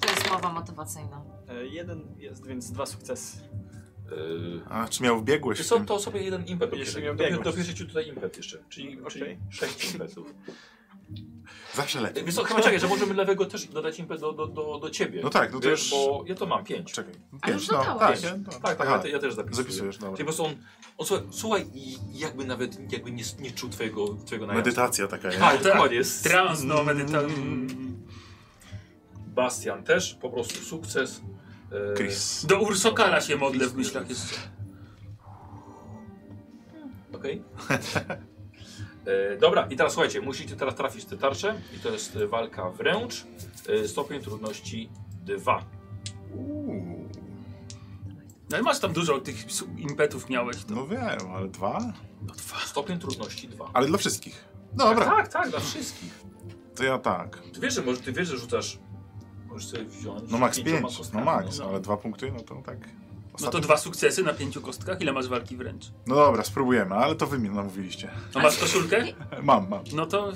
Speaker 2: To jest mowa motywacyjna.
Speaker 4: E, Jeden jest, więc dwa sukcesy.
Speaker 1: E,
Speaker 3: A, czy miał biegłość?
Speaker 1: wiesz
Speaker 3: w
Speaker 1: co,
Speaker 3: tym?
Speaker 1: to sobie jeden impet
Speaker 4: Jeszcze
Speaker 1: dopiero-
Speaker 4: miał
Speaker 1: dopiero-
Speaker 4: biegłość.
Speaker 1: Dopiero ci tutaj impet jeszcze, czyli, czyli
Speaker 4: Okej.
Speaker 1: sześć impetów.
Speaker 3: Zawsze
Speaker 1: E,
Speaker 3: lepiej.
Speaker 1: Wiesz co, chyba czekaj, że możemy lewego też dodać impet do, do, do, do ciebie.
Speaker 3: No tak, no to
Speaker 1: wiesz,
Speaker 3: już...
Speaker 1: bo ja to mam pięć.
Speaker 3: Czekaj.
Speaker 2: Ale już
Speaker 3: Pięć, no,
Speaker 2: dodałeś.
Speaker 3: tak, nie?
Speaker 1: Tak, tak, ja,
Speaker 3: Aha,
Speaker 1: te, ja też zapisuję.
Speaker 3: Zapisujesz,
Speaker 1: Czyli
Speaker 3: dobra.
Speaker 1: po prostu on, on słuchaj, słuchaj i jakby nawet jakby nie, nie czuł twojego, twojego najazdu.
Speaker 3: Medytacja taka, nie?
Speaker 1: Tak, dokładnie. Jest.
Speaker 5: Trans, no, medyta...
Speaker 1: Bastian też, po prostu sukces. E,
Speaker 3: Chris.
Speaker 5: Do Ursokala się modlę w myślach jeszcze.
Speaker 1: Okej. E, Dobra, i teraz słuchajcie, musicie teraz trafić te tarcze i to jest e, walka wręcz. E, Stopień trudności 2.
Speaker 3: Uuu.
Speaker 5: No i masz tam dużo tych su- impetów miałeś. To.
Speaker 3: No wiem, ale dwa?
Speaker 5: No, dwa.
Speaker 1: Stopień trudności 2.
Speaker 3: Ale dla wszystkich. Dobra,
Speaker 1: Tak, tak, dla wszystkich.
Speaker 3: to ja tak.
Speaker 1: Ty wiesz, że, może, ty wiesz, że rzucasz. Możesz sobie wziąć.
Speaker 3: No max
Speaker 1: pięcioma
Speaker 3: pięć, no
Speaker 1: kostkami,
Speaker 3: max,
Speaker 5: no.
Speaker 3: ale dwa punkty, no to tak.
Speaker 5: no to
Speaker 3: Ostatni-
Speaker 5: dwa sukcesy na pięciu kostkach. Ile masz walki wręcz?
Speaker 3: No dobra, spróbujemy, ale to wy mi namówiliście.
Speaker 5: No masz koszulkę?
Speaker 3: Mam, mam.
Speaker 5: No to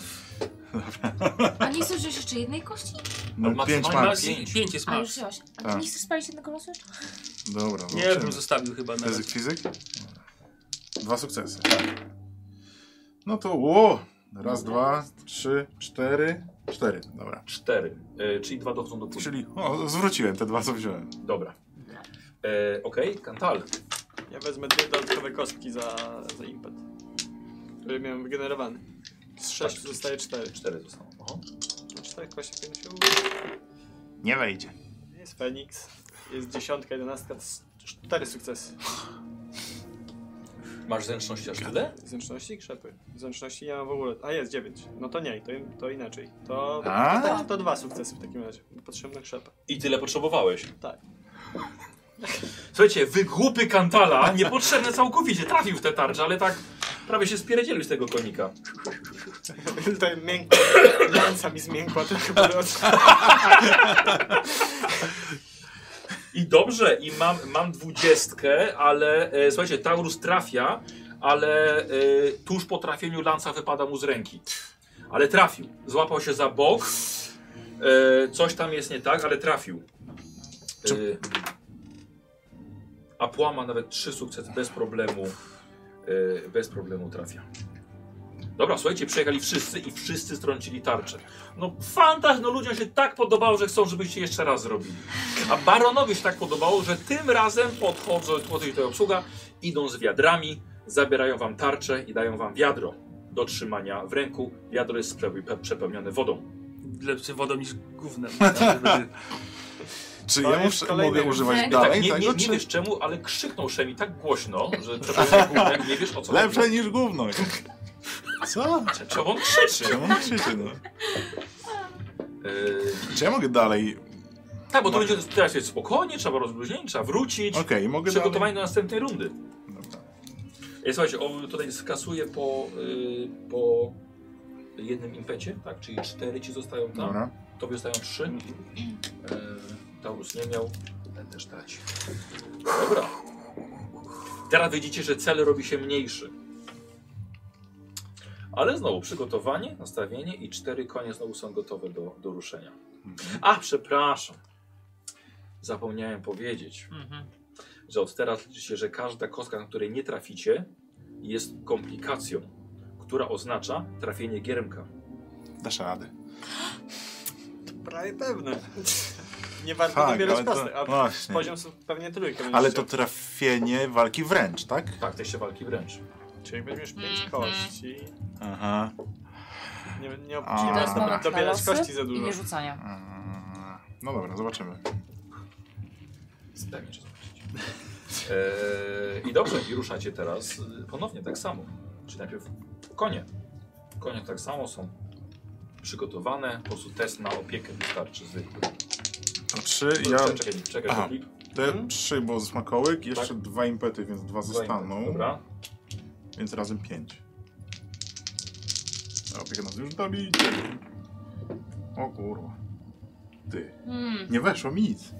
Speaker 2: A nie chcesz wziąć jeszcze jednej kości?
Speaker 3: No
Speaker 1: Ale
Speaker 3: pięć
Speaker 1: maksymalnie
Speaker 3: mam.
Speaker 5: masz
Speaker 1: pięć.
Speaker 5: pięć jest
Speaker 2: A już
Speaker 5: masz.
Speaker 2: wziąłeś. A ty
Speaker 3: Tak.
Speaker 2: nie chcesz spalić jednego losu jeszcze?
Speaker 3: Dobra,
Speaker 5: Nie, bym
Speaker 3: zobaczymy.
Speaker 5: zostawił chyba na
Speaker 3: Fizyk, fizyk? Dwa sukcesy. tak. No to ło! Raz, dwa, trzy, cztery, cztery. Dobra.
Speaker 1: 4. E, czyli dwa dochodzą do puli.
Speaker 3: Czyli o, zwróciłem te dwa, co wziąłem.
Speaker 1: Dobra. E, Okej, Kantal.
Speaker 4: Ja wezmę dwie dodatkowe kostki za, za impet, który miałem wygenerowany. Z sześć
Speaker 1: Tak.
Speaker 4: zostaje cztery.
Speaker 1: 4 zostało. Aha.
Speaker 4: No Cztery kości pięć sił.
Speaker 3: Nie wejdzie.
Speaker 4: Jest Feniks, jest dziesiątka, jedenastka, to s- cztery sukcesy.
Speaker 1: Masz zręczności aż tyle?
Speaker 4: Zręczności i krzepy. Zręczności nie mam w ogóle. A jest dziewięć. No to nie, to, in- to inaczej. To,
Speaker 3: A?
Speaker 4: to, to dwa sukcesy w takim razie. Potrzebna krzepę.
Speaker 1: I tyle potrzebowałeś.
Speaker 4: Tak.
Speaker 1: Słuchajcie, wygłupy kantala, niepotrzebne całkowicie, trafił w te tarcze, ale tak Prawie się spierdzielił z tego konika.
Speaker 4: To miękko. Lanca mi zmiękła trochę po drodze.
Speaker 1: I dobrze, i mam, mam dwudziestkę, ale e, słuchajcie, Taurus trafia, ale e, tuż po trafieniu lanca wypada mu z ręki. Ale trafił. Złapał się za bok. E, coś tam jest nie tak, ale trafił. E, a płama nawet trzy sukcesy bez problemu. E, bez problemu trafia. Dobra, słuchajcie, przyjechali wszyscy i wszyscy strącili tarczę. No fantaz, no ludziom się tak podobało, że chcą, żebyście jeszcze raz zrobili. A baronowi się tak podobało, że tym razem podchodzą, podchodzi tutaj obsługa, idą z wiadrami, zabierają wam tarczę i dają wam wiadro do trzymania w ręku. Wiadro jest przepe- przepełnione wodą.
Speaker 5: Lepszy wodą niż gównem.
Speaker 3: Tak, Czy
Speaker 4: To
Speaker 3: ja
Speaker 4: jest
Speaker 3: muszę,
Speaker 4: kolejny
Speaker 3: mogę
Speaker 4: już.
Speaker 3: używać
Speaker 2: Tak,
Speaker 1: Tak,
Speaker 3: dalej
Speaker 1: nie, nie,
Speaker 3: tego,
Speaker 1: nie
Speaker 3: czy
Speaker 1: wiesz czemu, ale krzyknął Szemi tak głośno, że przepełnione gównem, nie wiesz o co
Speaker 3: lepsze
Speaker 1: chodzi.
Speaker 3: niż gówno? Co?
Speaker 1: Czemu on krzyczy?
Speaker 3: Czemu on krzyczy, no?
Speaker 1: Yy,
Speaker 3: Czy ja mogę dalej...
Speaker 1: tak, bo to będzie teraz jest spokojnie, trzeba rozluźnić, trzeba wrócić.
Speaker 3: Okej, mogę
Speaker 1: Przygotowanie
Speaker 3: dalej...
Speaker 1: do następnej rundy.
Speaker 3: Dobra.
Speaker 1: E, Słuchajcie, on tutaj skasuje po, y, po jednym impecie, tak? Czyli cztery ci zostają tam,
Speaker 3: Dobra.
Speaker 1: tobie zostają trzy. E, Taurus nie miał, ten też dać. Dobra. Teraz widzicie, że cel robi się mniejszy. Ale znowu przygotowanie, nastawienie i cztery konie znowu są gotowe do, do ruszenia. A, przepraszam. Zapomniałem powiedzieć że od teraz liczy się, że każda kostka, na której nie traficie, jest komplikacją, która oznacza trafienie giermka.
Speaker 3: Dasz radę.
Speaker 4: Prawie pewne. Nie warto
Speaker 3: Tak,
Speaker 4: dobierać
Speaker 3: ale to-
Speaker 4: prostych, a
Speaker 3: właśnie.
Speaker 4: poziom są pewnie trójkę.
Speaker 3: Ale
Speaker 4: będziesz
Speaker 3: to trafienie walki wręcz, tak?
Speaker 1: Tak, tej się walki wręcz.
Speaker 4: chciał. Czyli weźmiesz pięć
Speaker 2: Mhm.
Speaker 4: kości.
Speaker 3: Aha.
Speaker 4: Nie, nie
Speaker 3: A,
Speaker 2: Czyli to jest
Speaker 3: dobra.
Speaker 2: moment na losy
Speaker 4: dobierać kości za
Speaker 2: i
Speaker 4: dużo.
Speaker 2: nie rzucania.
Speaker 3: Mm, No dobra, zobaczymy.
Speaker 1: Daj mi czas zobaczyć. Eee, I dobrze, i ruszacie teraz y, ponownie tak samo. Czyli najpierw konie. Konie tak samo są przygotowane, po prostu test na opiekę wystarczy zwykły.
Speaker 3: To trzy, ja...
Speaker 1: Czekaj, czekaj, czekaj.
Speaker 3: Aha.
Speaker 1: chwilę.
Speaker 3: Te trzy, bo smakołyk, jeszcze dwa impety, więc Tak. dwa zostaną.
Speaker 1: Dobra.
Speaker 3: Więc razem pięć. A opieka nas już dobi. O kurwa. Ty.
Speaker 2: Hmm.
Speaker 3: Nie weszło mi nic.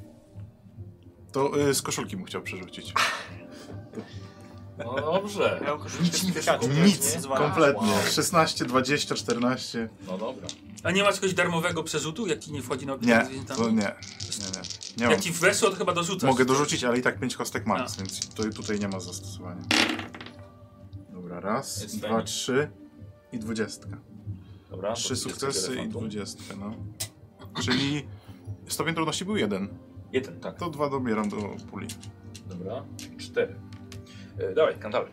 Speaker 3: To y, z koszulki mu chciał przerzucić.
Speaker 1: No dobrze.
Speaker 4: Ja mam koszulkę
Speaker 1: Nic nie
Speaker 4: z pikaczem,
Speaker 1: wiesz,
Speaker 4: nie?
Speaker 3: Nic,
Speaker 4: Zwala.
Speaker 3: kompletnie.
Speaker 1: Wow.
Speaker 3: 16, 20, 14.
Speaker 1: No dobra.
Speaker 5: A nie masz czegoś darmowego przerzutu, jaki nie wchodzi na opiekę
Speaker 3: Nie,
Speaker 5: nad zwierzętami?
Speaker 3: to nie. Nie, nie. nie
Speaker 5: Jak
Speaker 3: mam.
Speaker 5: ci weszło, to chyba dorzucasz.
Speaker 3: Mogę dorzucić, ale i tak 5 kostek max, więc to, tutaj nie ma zastosowania. Dobra, raz,
Speaker 1: Jest
Speaker 3: dwa,
Speaker 1: fajnie.
Speaker 3: trzy i dwudziestka.
Speaker 1: dobra to
Speaker 3: Trzy
Speaker 1: jest
Speaker 3: sukcesy i
Speaker 1: elefantu.
Speaker 3: dwudziestkę, no. Czyli stopień trudności był jeden.
Speaker 1: Jeden, tak.
Speaker 3: To dwa dobieram do puli.
Speaker 1: Dobra. Cztery. E, dawaj, kantarek.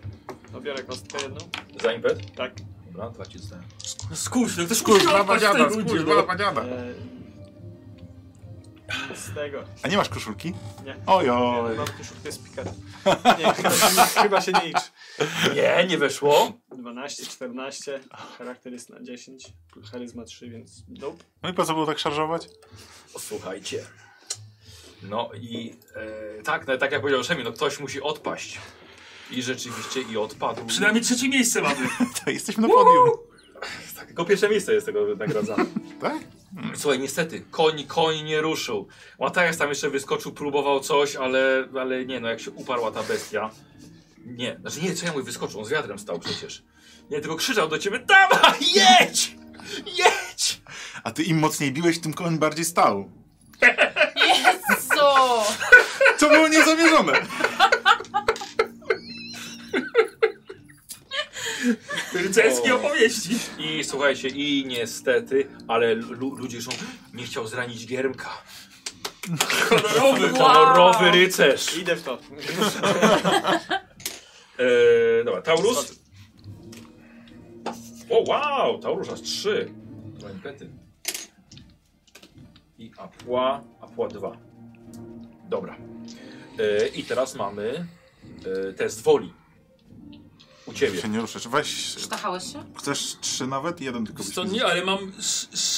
Speaker 4: Dobiorę kostkę jedną.
Speaker 1: Za impet?
Speaker 4: Tak.
Speaker 1: Dobra, dwa ci zostają.
Speaker 5: No Skuś, no ktoś musi
Speaker 3: Kurwa,
Speaker 5: odpaść
Speaker 3: badziada,
Speaker 5: tego,
Speaker 3: kurwa,
Speaker 5: no.
Speaker 3: badziada.
Speaker 4: Eee, nic z tego.
Speaker 3: A nie masz koszulki?
Speaker 4: Nie.
Speaker 3: Ojoj.
Speaker 4: Nie, mam koszulkę z pikaczem. Nie, chyba się- chyba się nie liczy.
Speaker 1: Nie, nie weszło.
Speaker 4: 12, 14, charakter jest na 10, charyzma 3, więc nope.
Speaker 3: No i po co było tak szarżować?
Speaker 1: Słuchajcie. No i e, tak, no, tak jak powiedział Szemi, no ktoś musi odpaść. I rzeczywiście i odpadł.
Speaker 5: Przynajmniej trzecie miejsce mamy.
Speaker 3: To jesteśmy na podium.
Speaker 1: tak, tylko pierwsze miejsce jest tego nagradzane.
Speaker 3: Tak?
Speaker 1: Słuchaj, niestety, koń, koń nie ruszył. Łatajas tam jeszcze wyskoczył, próbował coś, ale, ale nie no, jak się uparła ta bestia. Nie, znaczy nie, co ja mówię, wyskoczył, on z wiadrem stał przecież. Nie, tylko krzyczał do ciebie, dawaj, jedź! Jedź!
Speaker 3: A ty im mocniej biłeś, tym koń bardziej stał.
Speaker 2: Co?
Speaker 3: To było niezamierzone.
Speaker 5: Rycerskie
Speaker 1: O.
Speaker 5: opowieści.
Speaker 1: I słuchajcie, i niestety, ale lu ludzie są, nie chciał zranić Giermka.
Speaker 5: Kolorowy.
Speaker 1: Honorowy rycerz.
Speaker 4: Idę w to.
Speaker 1: Eee, dobra, Taurus. O, wow, Taurus aż 3. Dwa impety. I Apła, Apła 2. Dobra. Eee, I teraz mamy eee, test woli. U ciebie.
Speaker 3: Się nie ruszysz. Weź,
Speaker 2: Sztachałeś się?
Speaker 3: chcesz trzy nawet? Jeden tylko byś
Speaker 5: To
Speaker 3: mi-
Speaker 5: nie, ale mam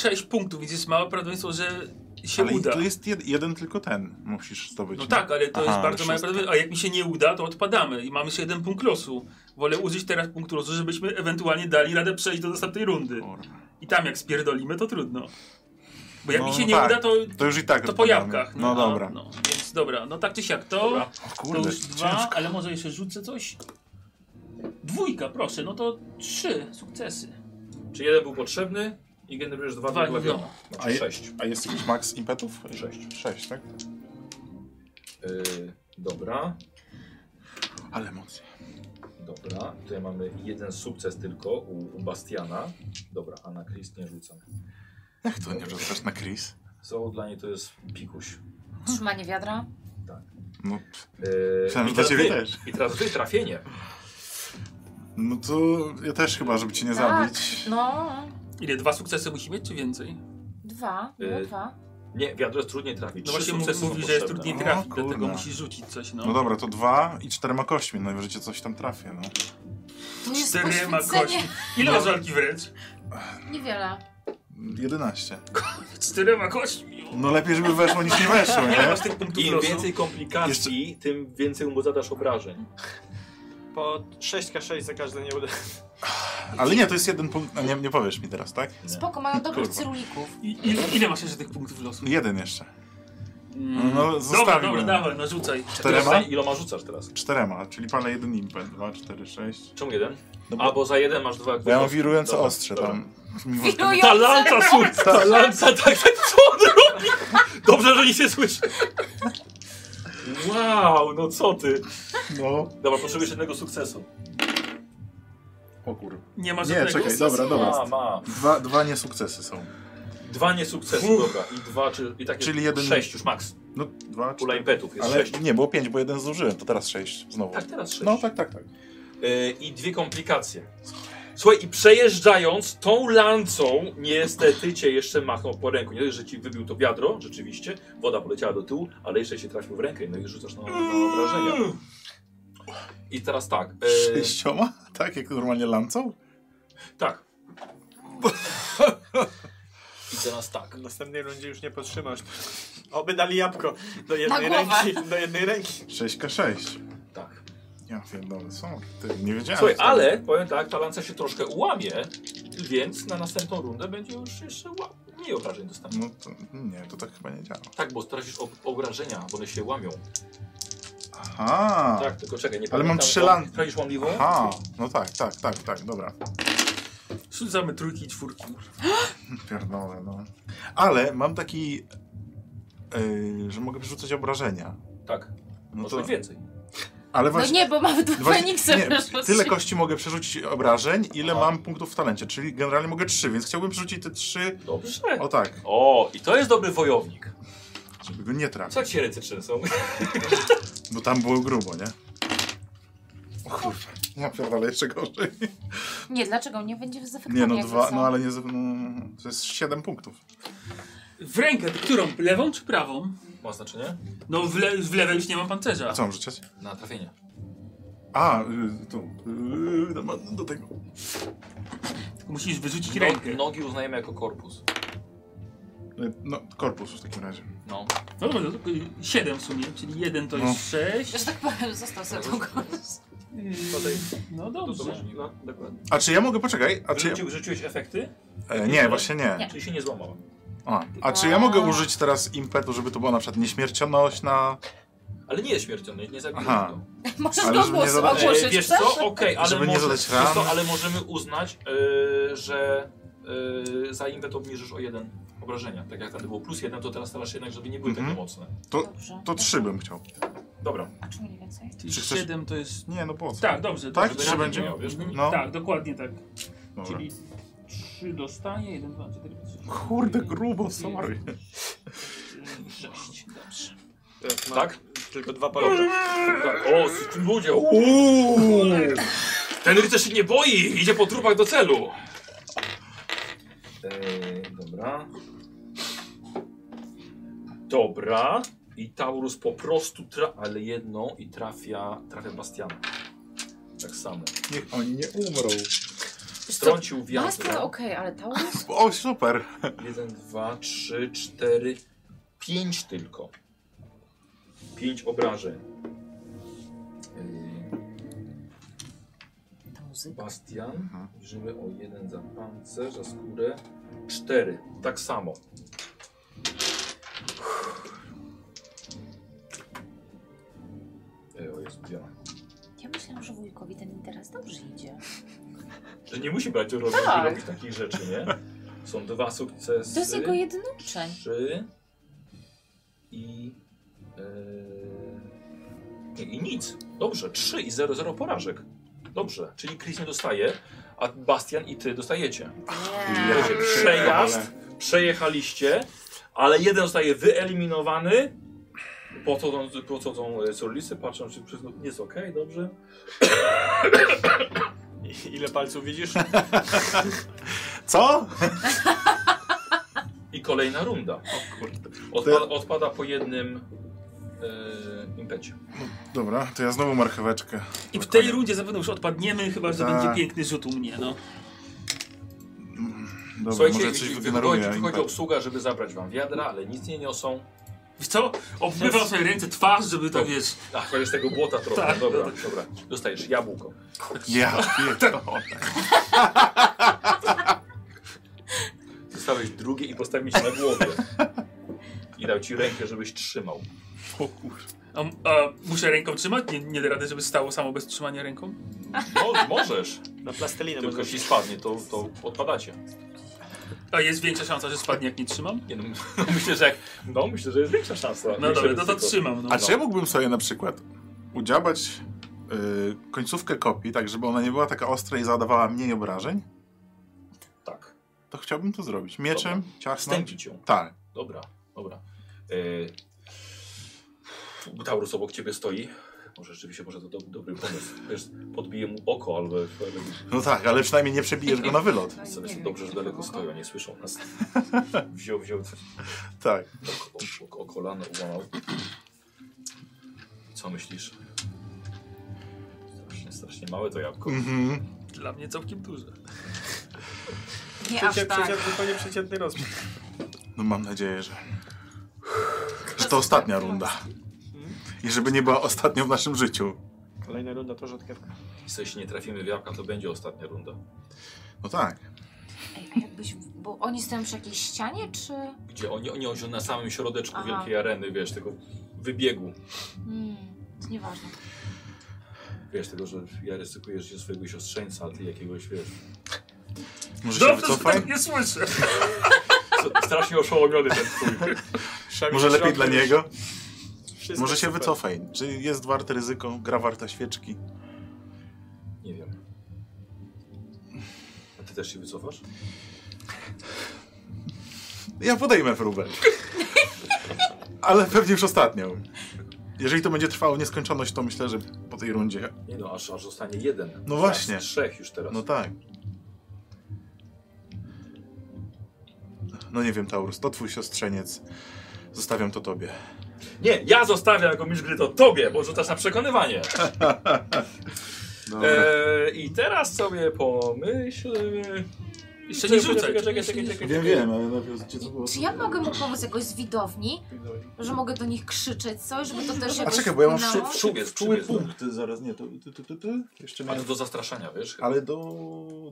Speaker 5: 6 punktów, więc jest małe prawdopodobieństwo, że się
Speaker 3: Ale
Speaker 5: uda.
Speaker 3: to jest jed, jeden tylko ten. Musisz zdobyć.
Speaker 5: No tak, ale to
Speaker 3: Aha, tak.
Speaker 5: jest bardzo
Speaker 3: szóstka.
Speaker 5: małe prawdopodobieństwo. A jak mi się nie uda, to odpadamy i mamy jeszcze jeden punkt losu. Wolę użyć teraz punktu losu, żebyśmy ewentualnie dali radę przejść do następnej rundy.
Speaker 3: Kurwa.
Speaker 5: I tam jak spierdolimy, to trudno. Bo jak
Speaker 3: No,
Speaker 5: mi się
Speaker 3: no
Speaker 5: nie
Speaker 3: tak.
Speaker 5: uda, to,
Speaker 3: To już i tak.
Speaker 5: to po
Speaker 3: odpadamy.
Speaker 5: jabłkach.
Speaker 3: No,
Speaker 5: a,
Speaker 3: dobra.
Speaker 5: No, więc dobra, no tak czy siak to,
Speaker 1: Dobra.
Speaker 3: O
Speaker 5: to
Speaker 3: kurde,
Speaker 5: już dwa,
Speaker 3: ciężko.
Speaker 5: ale może jeszcze rzucę coś. Dwójka, proszę, no to trzy sukcesy.
Speaker 1: Czy jeden był potrzebny i generujesz dwa,
Speaker 5: Dwa
Speaker 1: dwa dla
Speaker 5: no.
Speaker 3: A,
Speaker 1: Znaczy
Speaker 3: je,
Speaker 1: sześć.
Speaker 3: a jest jakiś max impetów?
Speaker 1: Sześć.
Speaker 3: Sześć, tak?
Speaker 1: Yy, dobra,
Speaker 3: Ale emocje.
Speaker 1: dobra. Tutaj mamy jeden sukces tylko u, u Bastiana. Dobra, a na Chris nie rzucam.
Speaker 3: Jak to nie rzucasz na Chris?
Speaker 1: Co dla niej to jest pikuś.
Speaker 2: Trzymanie wiadra.
Speaker 3: No,
Speaker 1: Yy,
Speaker 3: Myślałem,
Speaker 1: i
Speaker 3: że dla
Speaker 1: teraz
Speaker 3: ciebie
Speaker 1: wy-
Speaker 3: też.
Speaker 1: I teraz wy trafienie.
Speaker 3: no to ja też chyba, żeby cię nie
Speaker 2: tak,
Speaker 3: zabić.
Speaker 2: no.
Speaker 5: Ile, dwa sukcesy musi mieć, czy więcej?
Speaker 2: Dwa, no
Speaker 1: Y,
Speaker 2: dwa.
Speaker 1: Nie, wiadro jest trudniej trafić. Trzy
Speaker 5: No właśnie mówi,
Speaker 1: sukcesy są
Speaker 5: mówi że jest
Speaker 1: potrzebne.
Speaker 5: trudniej
Speaker 3: O,
Speaker 5: trafić,
Speaker 3: kurna.
Speaker 5: dlatego musisz rzucić coś, no.
Speaker 3: No dobra, to dwa i czterema kośćmi. Najwyżej cię coś tam trafię, no.
Speaker 2: To jest
Speaker 5: Czterema
Speaker 2: poświęcenie.
Speaker 5: kośćmi. Ile masz walki wręcz?
Speaker 2: Niewiele.
Speaker 3: 11.
Speaker 5: Czterema kośćmi.
Speaker 3: No lepiej, żeby weszło niż nie weszło,
Speaker 5: Ile
Speaker 3: nie?
Speaker 5: masz tych punktów
Speaker 1: Im
Speaker 5: losu?
Speaker 1: więcej komplikacji, tym więcej mu zadasz obrażeń.
Speaker 4: Po 6k6 za każde nie uda.
Speaker 3: Ale nie, to jest jeden punkt. a Nie, nie powiesz mi teraz, tak?
Speaker 2: Spoko, mają dobrych
Speaker 3: Kurwa.
Speaker 2: cyrulików.
Speaker 5: I, ile, ile masz jeszcze tych punktów losu?
Speaker 3: Jeden jeszcze.
Speaker 5: Mm.
Speaker 3: No,
Speaker 5: dobra,
Speaker 3: zostawił.
Speaker 5: dobra, dawaj, no rzucaj.
Speaker 3: Czterema?
Speaker 1: Teraz za- Iloma rzucasz teraz?
Speaker 3: Czterema, czyli palę jeden impet. Dwa, cztery, sześć.
Speaker 1: Czemu jeden?
Speaker 3: No bo-
Speaker 1: A, bo za jeden masz dwa.
Speaker 3: Bo ja mam
Speaker 1: dwa-
Speaker 3: wirujące
Speaker 1: dobra,
Speaker 3: ostrze
Speaker 1: dobra.
Speaker 3: tam. Mimo, że
Speaker 2: Wirują!
Speaker 5: Ta lanca, sud, ta lanca, tak, tak, co on robi? Dobrze, że nic nie słyszy.
Speaker 1: Wow, no co ty?
Speaker 3: no.
Speaker 1: Dobra, potrzebujesz jednego sukcesu.
Speaker 3: O kur...
Speaker 5: Nie ma
Speaker 3: Nie,
Speaker 5: żadnego.
Speaker 3: czekaj, dobra,
Speaker 1: Ma,
Speaker 3: dobra.
Speaker 1: ma.
Speaker 3: Dwa, dwa niesukcesy są.
Speaker 1: Dwa niesukcesy,
Speaker 3: Fuh.
Speaker 1: dobra. I dwa, czy, i tak jest
Speaker 3: Czyli jeden-
Speaker 1: sześć już max.
Speaker 3: No,
Speaker 1: Pula
Speaker 3: dwa, cztery.
Speaker 1: impetów jest
Speaker 3: Ale
Speaker 1: sześć.
Speaker 3: nie, było pięć, bo jeden zużyłem, to teraz sześć znowu.
Speaker 1: Tak, teraz sześć.
Speaker 3: No, tak, tak, tak.
Speaker 1: Y, I dwie komplikacje. Słuchaj, i przejeżdżając tą lancą, niestety cię jeszcze machnął po ręku. Nie dość, że ci wybił to wiadro, rzeczywiście, woda poleciała do tyłu, ale jeszcze się trafił w rękę, no i rzucasz na, na obrażenia. I teraz tak. y,
Speaker 3: Sześcioma? Tak, jak normalnie lancą?
Speaker 1: tak. I teraz tak.
Speaker 4: W następnej rundzie już nie podtrzymasz. Oby dali jabłko do jednej
Speaker 2: Na głowę.
Speaker 4: ręki. Do jednej ręki.
Speaker 3: 6k6.
Speaker 1: Tak.
Speaker 3: Ja pierdolę, są. Ty, nie wiedziałem.
Speaker 1: Słuchaj,
Speaker 3: że to-
Speaker 1: ale powiem tak, ta lanca się troszkę ułamie, więc na następną rundę będzie już jeszcze ła- mniej obrażeń dostanie.
Speaker 3: No to, nie, to tak chyba nie działa.
Speaker 1: Tak, bo stracisz ob obrażenia, bo one się łamią.
Speaker 3: Aha.
Speaker 1: Tak, tylko czekaj, nie
Speaker 3: Ale mam
Speaker 1: pamiętam,
Speaker 3: trzy
Speaker 1: bo-
Speaker 3: lan-
Speaker 1: Tracisz łamliwą?
Speaker 3: Aha, no tak, tak, tak, tak, dobra.
Speaker 5: Rzucamy trójki i czwórki.
Speaker 3: Pierdolę, no. Ale mam taki, yy, że mogę wyrzucać obrażenia.
Speaker 1: Tak,
Speaker 3: No
Speaker 1: może
Speaker 3: to,
Speaker 1: być więcej.
Speaker 3: ale
Speaker 2: No
Speaker 3: właśnie,
Speaker 2: nie, bo mamy tu
Speaker 3: właśnie-
Speaker 2: Feniksa
Speaker 3: nie,
Speaker 2: proszę.
Speaker 3: tyle kości mogę przerzucić obrażeń, ile
Speaker 1: Aha.
Speaker 3: mam punktów w talencie, czyli generalnie mogę trzy, więc chciałbym przerzucić te trzy,
Speaker 1: Dobrze.
Speaker 3: o tak,
Speaker 1: O, i to jest dobry wojownik.
Speaker 3: żeby go nie trafić,
Speaker 1: Co jak się ręce trzęsą?
Speaker 3: bo tam było grubo, nie? O kurwa, ja pierdolę, jeszcze gorzej.
Speaker 2: Nie, dlaczego? Nie będzie z efektami,
Speaker 3: Nie no,
Speaker 2: jak
Speaker 3: dwa,
Speaker 2: są.
Speaker 3: no ale nie, z- no, to jest siedem punktów.
Speaker 5: W rękę, którą? Lewą czy prawą?
Speaker 1: Ma znaczenie?
Speaker 5: No w, le w lewej już nie mam pancerza.
Speaker 3: A co mam rzucać?
Speaker 1: Na trafienie.
Speaker 3: A, y, tu, y, do, do tego.
Speaker 5: Tylko Musisz wyrzucić
Speaker 1: No,
Speaker 5: rękę. No,
Speaker 1: nogi uznajemy jako korpus.
Speaker 3: Y, No, korpus w takim razie.
Speaker 1: No.
Speaker 5: no dobra, to, y, siedem w sumie, czyli jeden to
Speaker 3: No.
Speaker 5: jest sześć.
Speaker 2: Ja, Że tak powiem, został sobie długo.
Speaker 1: Tutaj.
Speaker 5: No
Speaker 1: To co
Speaker 5: dobrze.
Speaker 1: masz? No, Dokładnie.
Speaker 3: A czy ja mogę, poczekaj, a czy ja,
Speaker 1: Wrzucił, wrzuciłeś efekty,
Speaker 3: e, nie, właśnie nie.
Speaker 2: Nie.
Speaker 1: czyli się nie złamał.
Speaker 3: A, a czy ja mogę
Speaker 2: A.
Speaker 3: użyć teraz impetu, żeby to była na przykład nieśmiercionność na...
Speaker 1: Ale nie jest śmiercionny, nie zabijesz
Speaker 3: Aha.
Speaker 1: go.
Speaker 2: Możesz
Speaker 3: Ale
Speaker 2: go
Speaker 3: żeby nie
Speaker 2: głos
Speaker 3: zadać-
Speaker 1: E,
Speaker 2: ogłosić,
Speaker 1: wiesz
Speaker 2: chcesz?
Speaker 1: co, okej, ale,
Speaker 3: Żeby nie
Speaker 1: może-
Speaker 3: zadać
Speaker 1: wiesz co,
Speaker 3: ran.
Speaker 1: ale możemy uznać, e, że e, za impet obniżysz o jeden obrażenia. Tak jak wtedy było plus jeden, to teraz starasz się jednak, żeby nie były
Speaker 3: Mhm.
Speaker 1: takie mocne.
Speaker 2: Dobrze.
Speaker 3: To trzy bym chciał.
Speaker 1: Dobra,
Speaker 2: A czy mniej więcej?
Speaker 5: Czyli
Speaker 3: Czy chcesz-
Speaker 5: siedem to jest...
Speaker 3: Nie, no po co?
Speaker 5: Tak, dobrze.
Speaker 3: Tak?
Speaker 1: żeby
Speaker 5: dobrze.
Speaker 3: Trzy
Speaker 1: rany
Speaker 3: będzie?
Speaker 1: nie miał, wiesz?
Speaker 5: Mhm.
Speaker 3: No.
Speaker 5: Tak, dokładnie tak.
Speaker 3: Dobra.
Speaker 5: Czyli 3 dostanie, 1, 2, 4, 5, 6.
Speaker 3: Kurde, Tak grubo, sorry.
Speaker 5: 6, dobrze.
Speaker 4: Tak? ma
Speaker 1: Tak?
Speaker 4: Tylko dwa paloty.
Speaker 1: Tak. O, z tym ludzie, Ten rycerz się nie boi, idzie po trupach do celu. dobra. Dobra. I Taurus po prostu tra... ale jedną i trafia, trafia Bastiana. Tak samo.
Speaker 3: Niech oni nie umrą.
Speaker 1: Strącił
Speaker 2: Master,
Speaker 1: wiatr.
Speaker 2: okej, ale Taurus?
Speaker 3: O, super.
Speaker 1: 1, 2, 3, 4, Pięć tylko. Pięć obrażeń. Yy,
Speaker 2: Ta muzyka.
Speaker 1: Bastian,
Speaker 3: Mhm.
Speaker 1: bierzemy o jeden za pancerz, za skórę. Cztery, tak samo. Ej, o Jezu, ja.
Speaker 2: Ja myślałam, że wujkowi ten teraz dobrze idzie.
Speaker 1: Że nie musi brać robić
Speaker 2: Tak.
Speaker 1: robić takich rzeczy, nie? Są dwa sukcesy.
Speaker 2: To jest jego jedyny uczeń.
Speaker 1: Trzy. I... Yy, nie, I nic. Dobrze, trzy i zero, zero porażek. Dobrze, czyli Chris nie dostaje, a Bastian i ty dostajecie.
Speaker 2: Nie.
Speaker 1: Wiecie, przejazd, przejechaliście, ale jeden zostaje wyeliminowany. Po co są, po co są e, surlisy? Patrzą, czy wszystko jest ok, dobrze.
Speaker 4: I- Ile palców widzisz?
Speaker 3: Co?
Speaker 1: I kolejna runda. Odpada, odpada po jednym e, impecie.
Speaker 3: Dobra, to ja znowu marcheweczkę.
Speaker 5: I w
Speaker 3: na
Speaker 5: tej
Speaker 3: koniec.
Speaker 5: rundzie zapewne już odpadniemy, chyba że
Speaker 3: Tak.
Speaker 5: będzie piękny rzut u mnie. No.
Speaker 3: Dobra,
Speaker 1: Słuchajcie,
Speaker 3: może coś
Speaker 1: wy-
Speaker 3: wygeneruje.
Speaker 1: wychodzi, wychodzi
Speaker 3: impet.
Speaker 1: obsługa, żeby zabrać wam wiadra, ale nic nie niosą.
Speaker 5: Wiesz co? Obmywam sobie ręce, twarz, żeby to
Speaker 1: Tak.
Speaker 5: wiesz.
Speaker 1: Ach, to jest tego błota trochę.
Speaker 5: Tak,
Speaker 1: dobra,
Speaker 5: no
Speaker 1: dobra. Dostajesz jabłko.
Speaker 3: Ja pierdolę.
Speaker 1: Dostałeś drugie i postawiłeś na głowie. I dał ci rękę, żebyś trzymał.
Speaker 5: O kur... A, a muszę ręką trzymać? Nie, nie da rady, żeby stało samo bez trzymania ręką?
Speaker 1: Mo- możesz,
Speaker 4: Na plastelinę
Speaker 1: tylko
Speaker 4: może.
Speaker 1: jeśli spadnie, to, to odpadacie.
Speaker 5: A jest większa szansa, że spadnie jak nie trzymam?
Speaker 1: Nie, no, no, myślę, że jak, no myślę, że jest większa szansa.
Speaker 5: No
Speaker 1: Większe
Speaker 5: dobra, no to
Speaker 1: ryzyko.
Speaker 5: trzymam. No.
Speaker 3: A czy ja mógłbym sobie na przykład udziałać y, końcówkę kopii, tak żeby ona nie była taka ostra i zadawała mniej obrażeń?
Speaker 1: Tak.
Speaker 3: To chciałbym to zrobić. Mieczem, ciasnąć.
Speaker 1: Stępić ją.
Speaker 3: Tak.
Speaker 1: Dobra, dobra. Yy, Taurus obok ciebie stoi. Może rzeczywiście może to do, dobry pomysł. Wiesz, podbije mu oko, albo
Speaker 3: No tak, ale przynajmniej nie przebijesz go na wylot.
Speaker 2: No i
Speaker 1: sobie
Speaker 2: nie
Speaker 1: są
Speaker 2: wiem,
Speaker 1: dobrze, że
Speaker 2: jak
Speaker 1: daleko
Speaker 2: to
Speaker 1: stoją, nie słyszą nas. Wziął, wziął
Speaker 3: Tak.
Speaker 1: o, o, o kolano, ułamał. Co myślisz? Strasznie, strasznie małe to jabłko.
Speaker 3: Mhm.
Speaker 5: Dla mnie całkiem duże.
Speaker 2: Nie aż
Speaker 4: Przecie,
Speaker 2: tak.
Speaker 4: przeciętny, to nie przeciętny rozmiar.
Speaker 3: No mam nadzieję, że... że to ostatnia runda. I żeby nie była ostatnią w naszym życiu.
Speaker 4: Kolejna runda to rzodkiewka.
Speaker 1: Jeśli nie trafimy w jabłka, to będzie ostatnia runda.
Speaker 3: No tak.
Speaker 2: Ej, a jakbyś, bo oni stoją przy jakiejś ścianie, czy...
Speaker 1: Gdzie oni, oni, oni na samym środeczku
Speaker 2: Aha.
Speaker 1: wielkiej areny, wiesz, tego wybiegu.
Speaker 2: Hmm, to nieważne.
Speaker 1: Wiesz, tego, że ja ryzykuję życie swojego siostrzeńca, a ty jakiegoś, wiesz...
Speaker 3: Może się
Speaker 5: Dobrze, że
Speaker 3: wycofaj?
Speaker 5: tak nie słyszę.
Speaker 1: s- Strasznie oszołomiony ten twój.
Speaker 4: Tak
Speaker 3: Może lepiej dla niego?
Speaker 4: Wszystko
Speaker 3: Może się
Speaker 4: super.
Speaker 3: wycofaj. Czy jest warte ryzyko? Gra warta świeczki?
Speaker 1: Nie wiem. A ty też się wycofasz?
Speaker 3: Ja podejmę próbę. Ale pewnie już ostatnią. Jeżeli to będzie trwało w nieskończoność, to myślę, że po tej rundzie.
Speaker 1: Nie no, aż, aż zostanie jeden.
Speaker 3: No właśnie.
Speaker 1: Z trzech już teraz.
Speaker 3: No tak. No nie wiem, Taurus, to twój siostrzeniec. Zostawiam to tobie.
Speaker 1: Nie, ja zostawiam jako mistrz gry to tobie, bo rzucasz na przekonywanie.
Speaker 3: Dobra.
Speaker 1: Eee, I teraz sobie pomyślmy...
Speaker 5: Jeszcze nie
Speaker 1: Czekaj,
Speaker 5: rzucaj.
Speaker 1: czekaj, czekaj, czekaj, czekaj.
Speaker 3: Wiem, wiem, ale najpierw gdzie to było?
Speaker 2: I, czy ja mogę mu pomóc jakoś z widowni? Że mogę do nich krzyczeć coś, żeby to też
Speaker 3: A
Speaker 2: jakoś
Speaker 3: czekaj, bo ja mam
Speaker 2: wpłynęło?
Speaker 1: szu- Przybiec,
Speaker 3: czuły
Speaker 1: przybiec, dobra.
Speaker 3: punkty zaraz, nie, to ty, ty, ty, ty. jeszcze
Speaker 1: A
Speaker 3: miałem,
Speaker 1: to do zastraszania, wiesz?
Speaker 3: ale do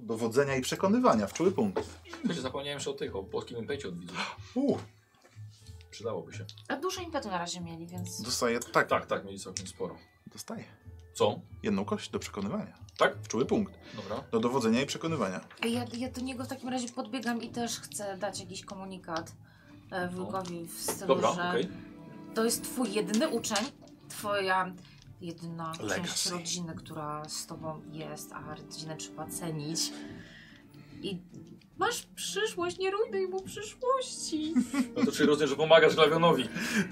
Speaker 3: dowodzenia i przekonywania, w czuły punkt.
Speaker 1: Będzie zapomniałem jeszcze o tych, o polskim impecie od widzów.
Speaker 3: Uuu,
Speaker 1: Przydałoby się.
Speaker 2: A dużo impetu na razie mieli, więc...
Speaker 3: dostaję, tak,
Speaker 1: Tak, tak, mieli całkiem sporo.
Speaker 3: dostaję.
Speaker 1: Co?
Speaker 3: Jedną kość do przekonywania,
Speaker 1: Tak?
Speaker 3: w czuły punkt,
Speaker 1: Dobra.
Speaker 3: do dowodzenia i przekonywania.
Speaker 2: Ej, Ja, ja do niego w takim razie podbiegam i też chcę dać jakiś komunikat e, wujkowi w stylu,
Speaker 1: No. Dobra,
Speaker 2: że
Speaker 1: okej.
Speaker 2: to jest twój jedyny uczeń, twoja jedyna część
Speaker 3: Legacy.
Speaker 2: rodziny, która z tobą jest, a rodzinę trzeba cenić. I masz przyszłość, nie rujnuj mu przyszłości.
Speaker 1: No to czyli rozumiem, że pomagasz Glawionowi.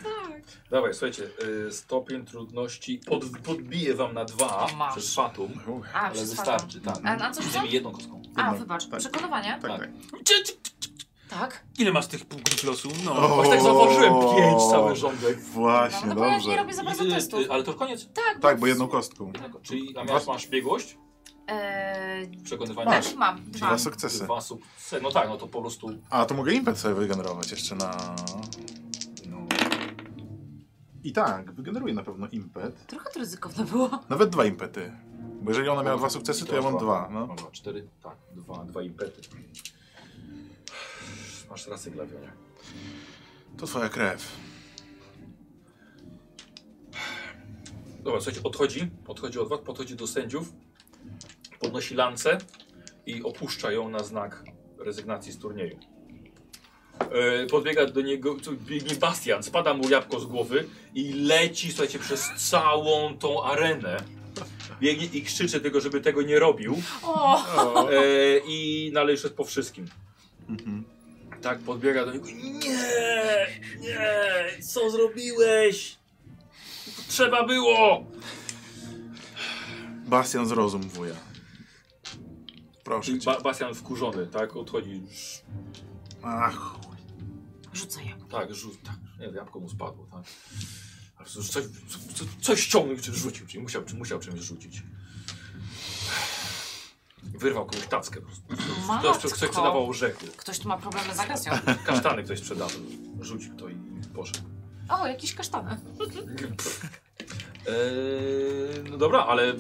Speaker 2: Tak.
Speaker 1: Dawaj, słuchajcie, y, stopień trudności pod, podbiję wam na dwa
Speaker 2: O, masz.
Speaker 1: przez fatum,
Speaker 3: Uch.
Speaker 2: A,
Speaker 1: ale
Speaker 2: przez
Speaker 1: wystarczy, tak.
Speaker 2: A na co
Speaker 1: Będziemy
Speaker 2: rzucam?
Speaker 1: jedną kostką.
Speaker 2: A,
Speaker 3: Jedno-
Speaker 2: wybacz,
Speaker 3: tak.
Speaker 2: przekonywanie?
Speaker 3: Tak,
Speaker 1: Tak.
Speaker 3: tak.
Speaker 5: Cie- cie-
Speaker 2: Tak.
Speaker 5: Ile masz tych punktów losu? No.
Speaker 3: O.
Speaker 1: Właśnie tak zauważyłem, pięć cały rządek.
Speaker 3: Właśnie,
Speaker 2: no bo ja nie
Speaker 3: dobrze.
Speaker 2: robię za bardzo testów.
Speaker 1: ale to koniec.
Speaker 2: Tak,
Speaker 3: Tak, bo jedną kostką.
Speaker 1: Jednego. Czyli a masz, masz biegłość,
Speaker 2: Eee,
Speaker 1: przekonywanie,
Speaker 3: Masz.
Speaker 2: tak, mam,
Speaker 3: Dwa
Speaker 2: dwa.
Speaker 3: sukcesy.
Speaker 1: dwa sukcesy. No tak, no to po prostu
Speaker 3: A, to mogę impet sobie wygenerować jeszcze na...
Speaker 1: no,
Speaker 3: I tak, wygeneruje na pewno impet.
Speaker 2: Trochę to ryzykowne było.
Speaker 3: Nawet dwa impety. Bo jeżeli ona miała dwa sukcesy, to ja mam dwa. No.
Speaker 1: Mam dwa, cztery, tak, dwa, dwa impety. Masz rację, Glawionie.
Speaker 3: To twoja krew.
Speaker 1: Dobra, słuchajcie, odchodzi, odchodzi od was, podchodzi do sędziów, podnosi lancę i opuszcza ją na znak rezygnacji z turnieju. E, Podbiega do niego, tu biegnie Bastian, spada mu jabłko z głowy i leci, słuchajcie, przez całą tą arenę. Biegnie i krzyczy tylko, żeby tego nie robił.
Speaker 2: O!
Speaker 1: E, I należy po wszystkim.
Speaker 3: Mhm.
Speaker 1: Tak, podbiega do niego. Nie! Nie! Co zrobiłeś? Trzeba było!
Speaker 3: Bastian zrozum wuja. Proszę
Speaker 1: Czyli
Speaker 3: cię.
Speaker 1: ba Bastian wkurzony, tak? Odchodzi. Sz-
Speaker 3: Ach,
Speaker 2: Rzucaj jabłko.
Speaker 1: Tak, rzuć. Tak. Nie, jabłko mu spadło, tak. Ale cóż, coś, co, coś ściągnął i czy rzucił, czyli musiał, czy musiał czymś rzucić. Wyrwał komuś tackę po prostu. Ktoś,
Speaker 2: Matko.
Speaker 1: ktoś sprzedawał orzechy.
Speaker 2: Ktoś tu ma problemy z agresją.
Speaker 1: Kasztany ktoś sprzedawał. Rzucił to i poszedł.
Speaker 2: O, jakieś kasztany.
Speaker 1: Eee, no dobra, ale y,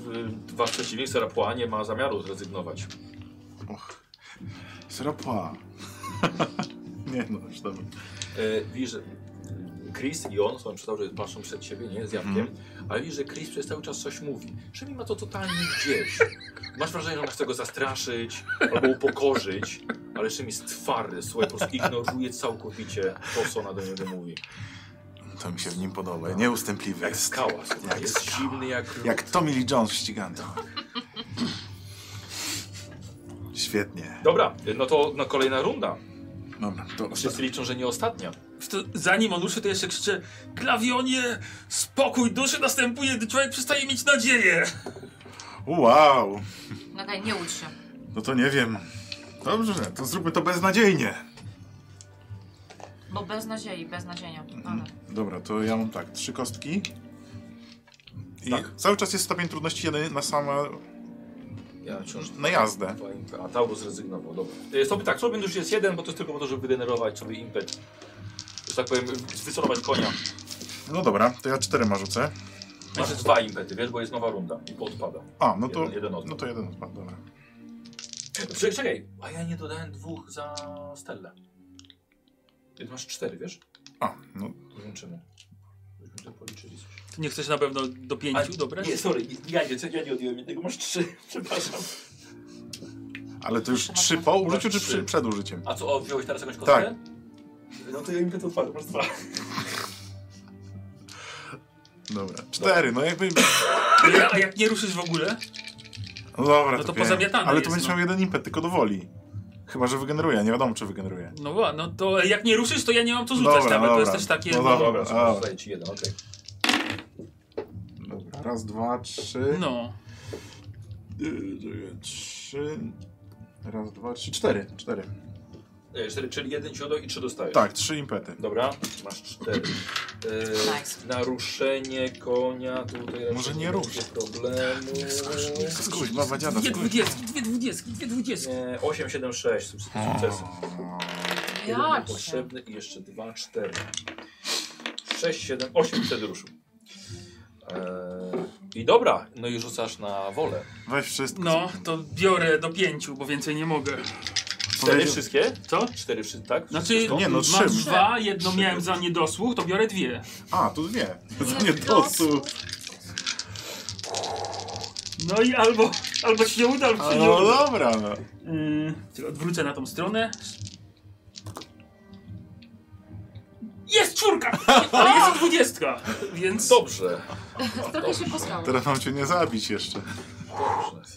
Speaker 1: wasz przeciwnik Serapła nie ma zamiaru zrezygnować.
Speaker 3: och. Srapła. nie no, już dobra.
Speaker 1: E, widzisz, że Chris i on są przestał, że patrzą przed siebie, nie? Z jabłkiem. Ale widzisz, że Chris przez cały czas coś mówi. Szemi ma to totalnie gdzieś. Masz wrażenie, że ona chce go zastraszyć albo upokorzyć, ale Szemi jest twardy, słuchaj, po prostu ignoruje całkowicie to, co ona do niego mówi.
Speaker 3: To mi się w nim podoba. Nieustępliwy
Speaker 1: Jak
Speaker 3: jest.
Speaker 1: skała, słuchaj.
Speaker 3: Jak
Speaker 1: Jest
Speaker 3: skała.
Speaker 1: zimny jak lód.
Speaker 3: Jak Tommy Lee Jones ścigany. Świetnie.
Speaker 1: Dobra, no to no, kolejna runda.
Speaker 3: Dobra, to osta-
Speaker 1: Wszyscy liczą, że nie ostatnia.
Speaker 5: To zanim on ruszy, to jeszcze krzyczę Klawionie, spokój duszy następuje, gdy człowiek przestaje mieć nadzieję.
Speaker 3: Wow,
Speaker 2: Nagaj, nie łudź się.
Speaker 3: no to nie wiem. Dobrze, to zróbmy to beznadziejnie.
Speaker 2: Bo bez nadziei, bez nadzienia.
Speaker 3: Mm, Dobra, to ja mam tak, trzy kostki. I
Speaker 1: Tak.
Speaker 3: cały czas jest stopień trudności jeden na sama,
Speaker 1: Ja wciąż
Speaker 3: na jazdę.
Speaker 1: A Taurus zrezygnował, dobra. E, Sobie tak, sobie już jest jeden, bo to jest tylko po to, żeby wygenerować sobie impet. Że tak powiem, wysorować konia.
Speaker 3: No dobra, to ja czterema rzucę.
Speaker 1: Masz dwa impety, wiesz, bo jest nowa runda i odpada.
Speaker 3: A, no to
Speaker 1: Jeden- jeden odpad.
Speaker 3: no to jeden odpad, dobra.
Speaker 1: Czekaj, czekaj, a ja nie dodałem dwóch za Stellę. Ty masz cztery, wiesz?
Speaker 3: A, no
Speaker 1: To Włączymy. Byśmy to policzyli coś.
Speaker 5: Ty nie chcesz na pewno do pięciu, dobra?
Speaker 1: Nie, sorry, ja nie, ja nie odjąłem jednego, masz trzy, przepraszam.
Speaker 3: ale to już
Speaker 2: Trzeba
Speaker 3: trzy
Speaker 2: tak.
Speaker 3: po użyciu czy
Speaker 1: Trzy.
Speaker 3: przy, przed użyciem?
Speaker 1: A co, o, wziąłeś teraz jakąś kostkę?
Speaker 3: Tak.
Speaker 1: No to ja impet odpadł, masz dwa.
Speaker 3: Dobra, cztery, no jakby...
Speaker 5: A jak nie ruszysz w ogóle?
Speaker 3: No dobra,
Speaker 5: No to
Speaker 3: pięknie.
Speaker 5: pozamiatane
Speaker 3: Ale
Speaker 5: jest,
Speaker 3: to będziesz
Speaker 5: no.
Speaker 3: miał jeden impet, tylko do woli. Chyba, że wygeneruje, nie wiadomo czy wygeneruje.
Speaker 5: No wa- no to jak nie ruszysz, to ja nie mam co rzucać
Speaker 3: Dobra,
Speaker 5: nawet, to jest
Speaker 3: dobra.
Speaker 5: też takie...
Speaker 3: No
Speaker 5: No,
Speaker 3: dobra.
Speaker 1: Dobra,
Speaker 3: A.
Speaker 1: słuchaj, ci jeden, okej.
Speaker 3: Dobra, raz, dwa, trzy...
Speaker 5: no.
Speaker 3: Yy, czekaj, Trzy... Raz, dwa, trzy, cztery, cztery.
Speaker 1: E, Cztery, czyli jeden ci oddał i trzy dostajesz.
Speaker 3: Tak, trzy impety.
Speaker 1: Dobra, masz cztery. Yy,
Speaker 2: Nice.
Speaker 1: Naruszenie konia, tutaj raczej
Speaker 3: Może nie rusz.
Speaker 1: będzie problemu.
Speaker 3: Skuś, baba dziada,
Speaker 5: Dwie
Speaker 3: skuś.
Speaker 5: dwudziestki, dwie dwudziestki, dwie dwudziestki.
Speaker 1: Nie, 8, 7, 6 sukcesy. Jeden był
Speaker 2: Jak się?
Speaker 1: potrzebny i jeszcze 2, 4. 6, 7, 8 wtedy ruszył. Eee, I dobra, no i rzucasz na wolę.
Speaker 3: Weź wszystko.
Speaker 5: No, to biorę do pięciu, bo więcej nie mogę.
Speaker 1: Cztery wszystkie?
Speaker 5: Co?
Speaker 1: Cztery wszystkie, tak?
Speaker 5: Znaczy,
Speaker 3: Nie, no,
Speaker 5: masz
Speaker 3: trzy.
Speaker 5: dwa, jedno
Speaker 3: Trzy.
Speaker 5: miałem za niedosłuch, to biorę dwie.
Speaker 3: A, tu dwie. Za
Speaker 2: Nie,
Speaker 3: niedosłuch.
Speaker 5: No i albo, albo ci się uda,
Speaker 3: A,
Speaker 5: albo ci się nie
Speaker 3: No
Speaker 5: uda.
Speaker 3: dobra, no.
Speaker 5: Yy, czyli odwrócę na tą stronę. Jest czwórka! Ale jest dwudziestka! Więc
Speaker 1: Dobrze.
Speaker 2: Trochę się poskało.
Speaker 3: Teraz mam cię nie zabić jeszcze.
Speaker 1: Dobrze.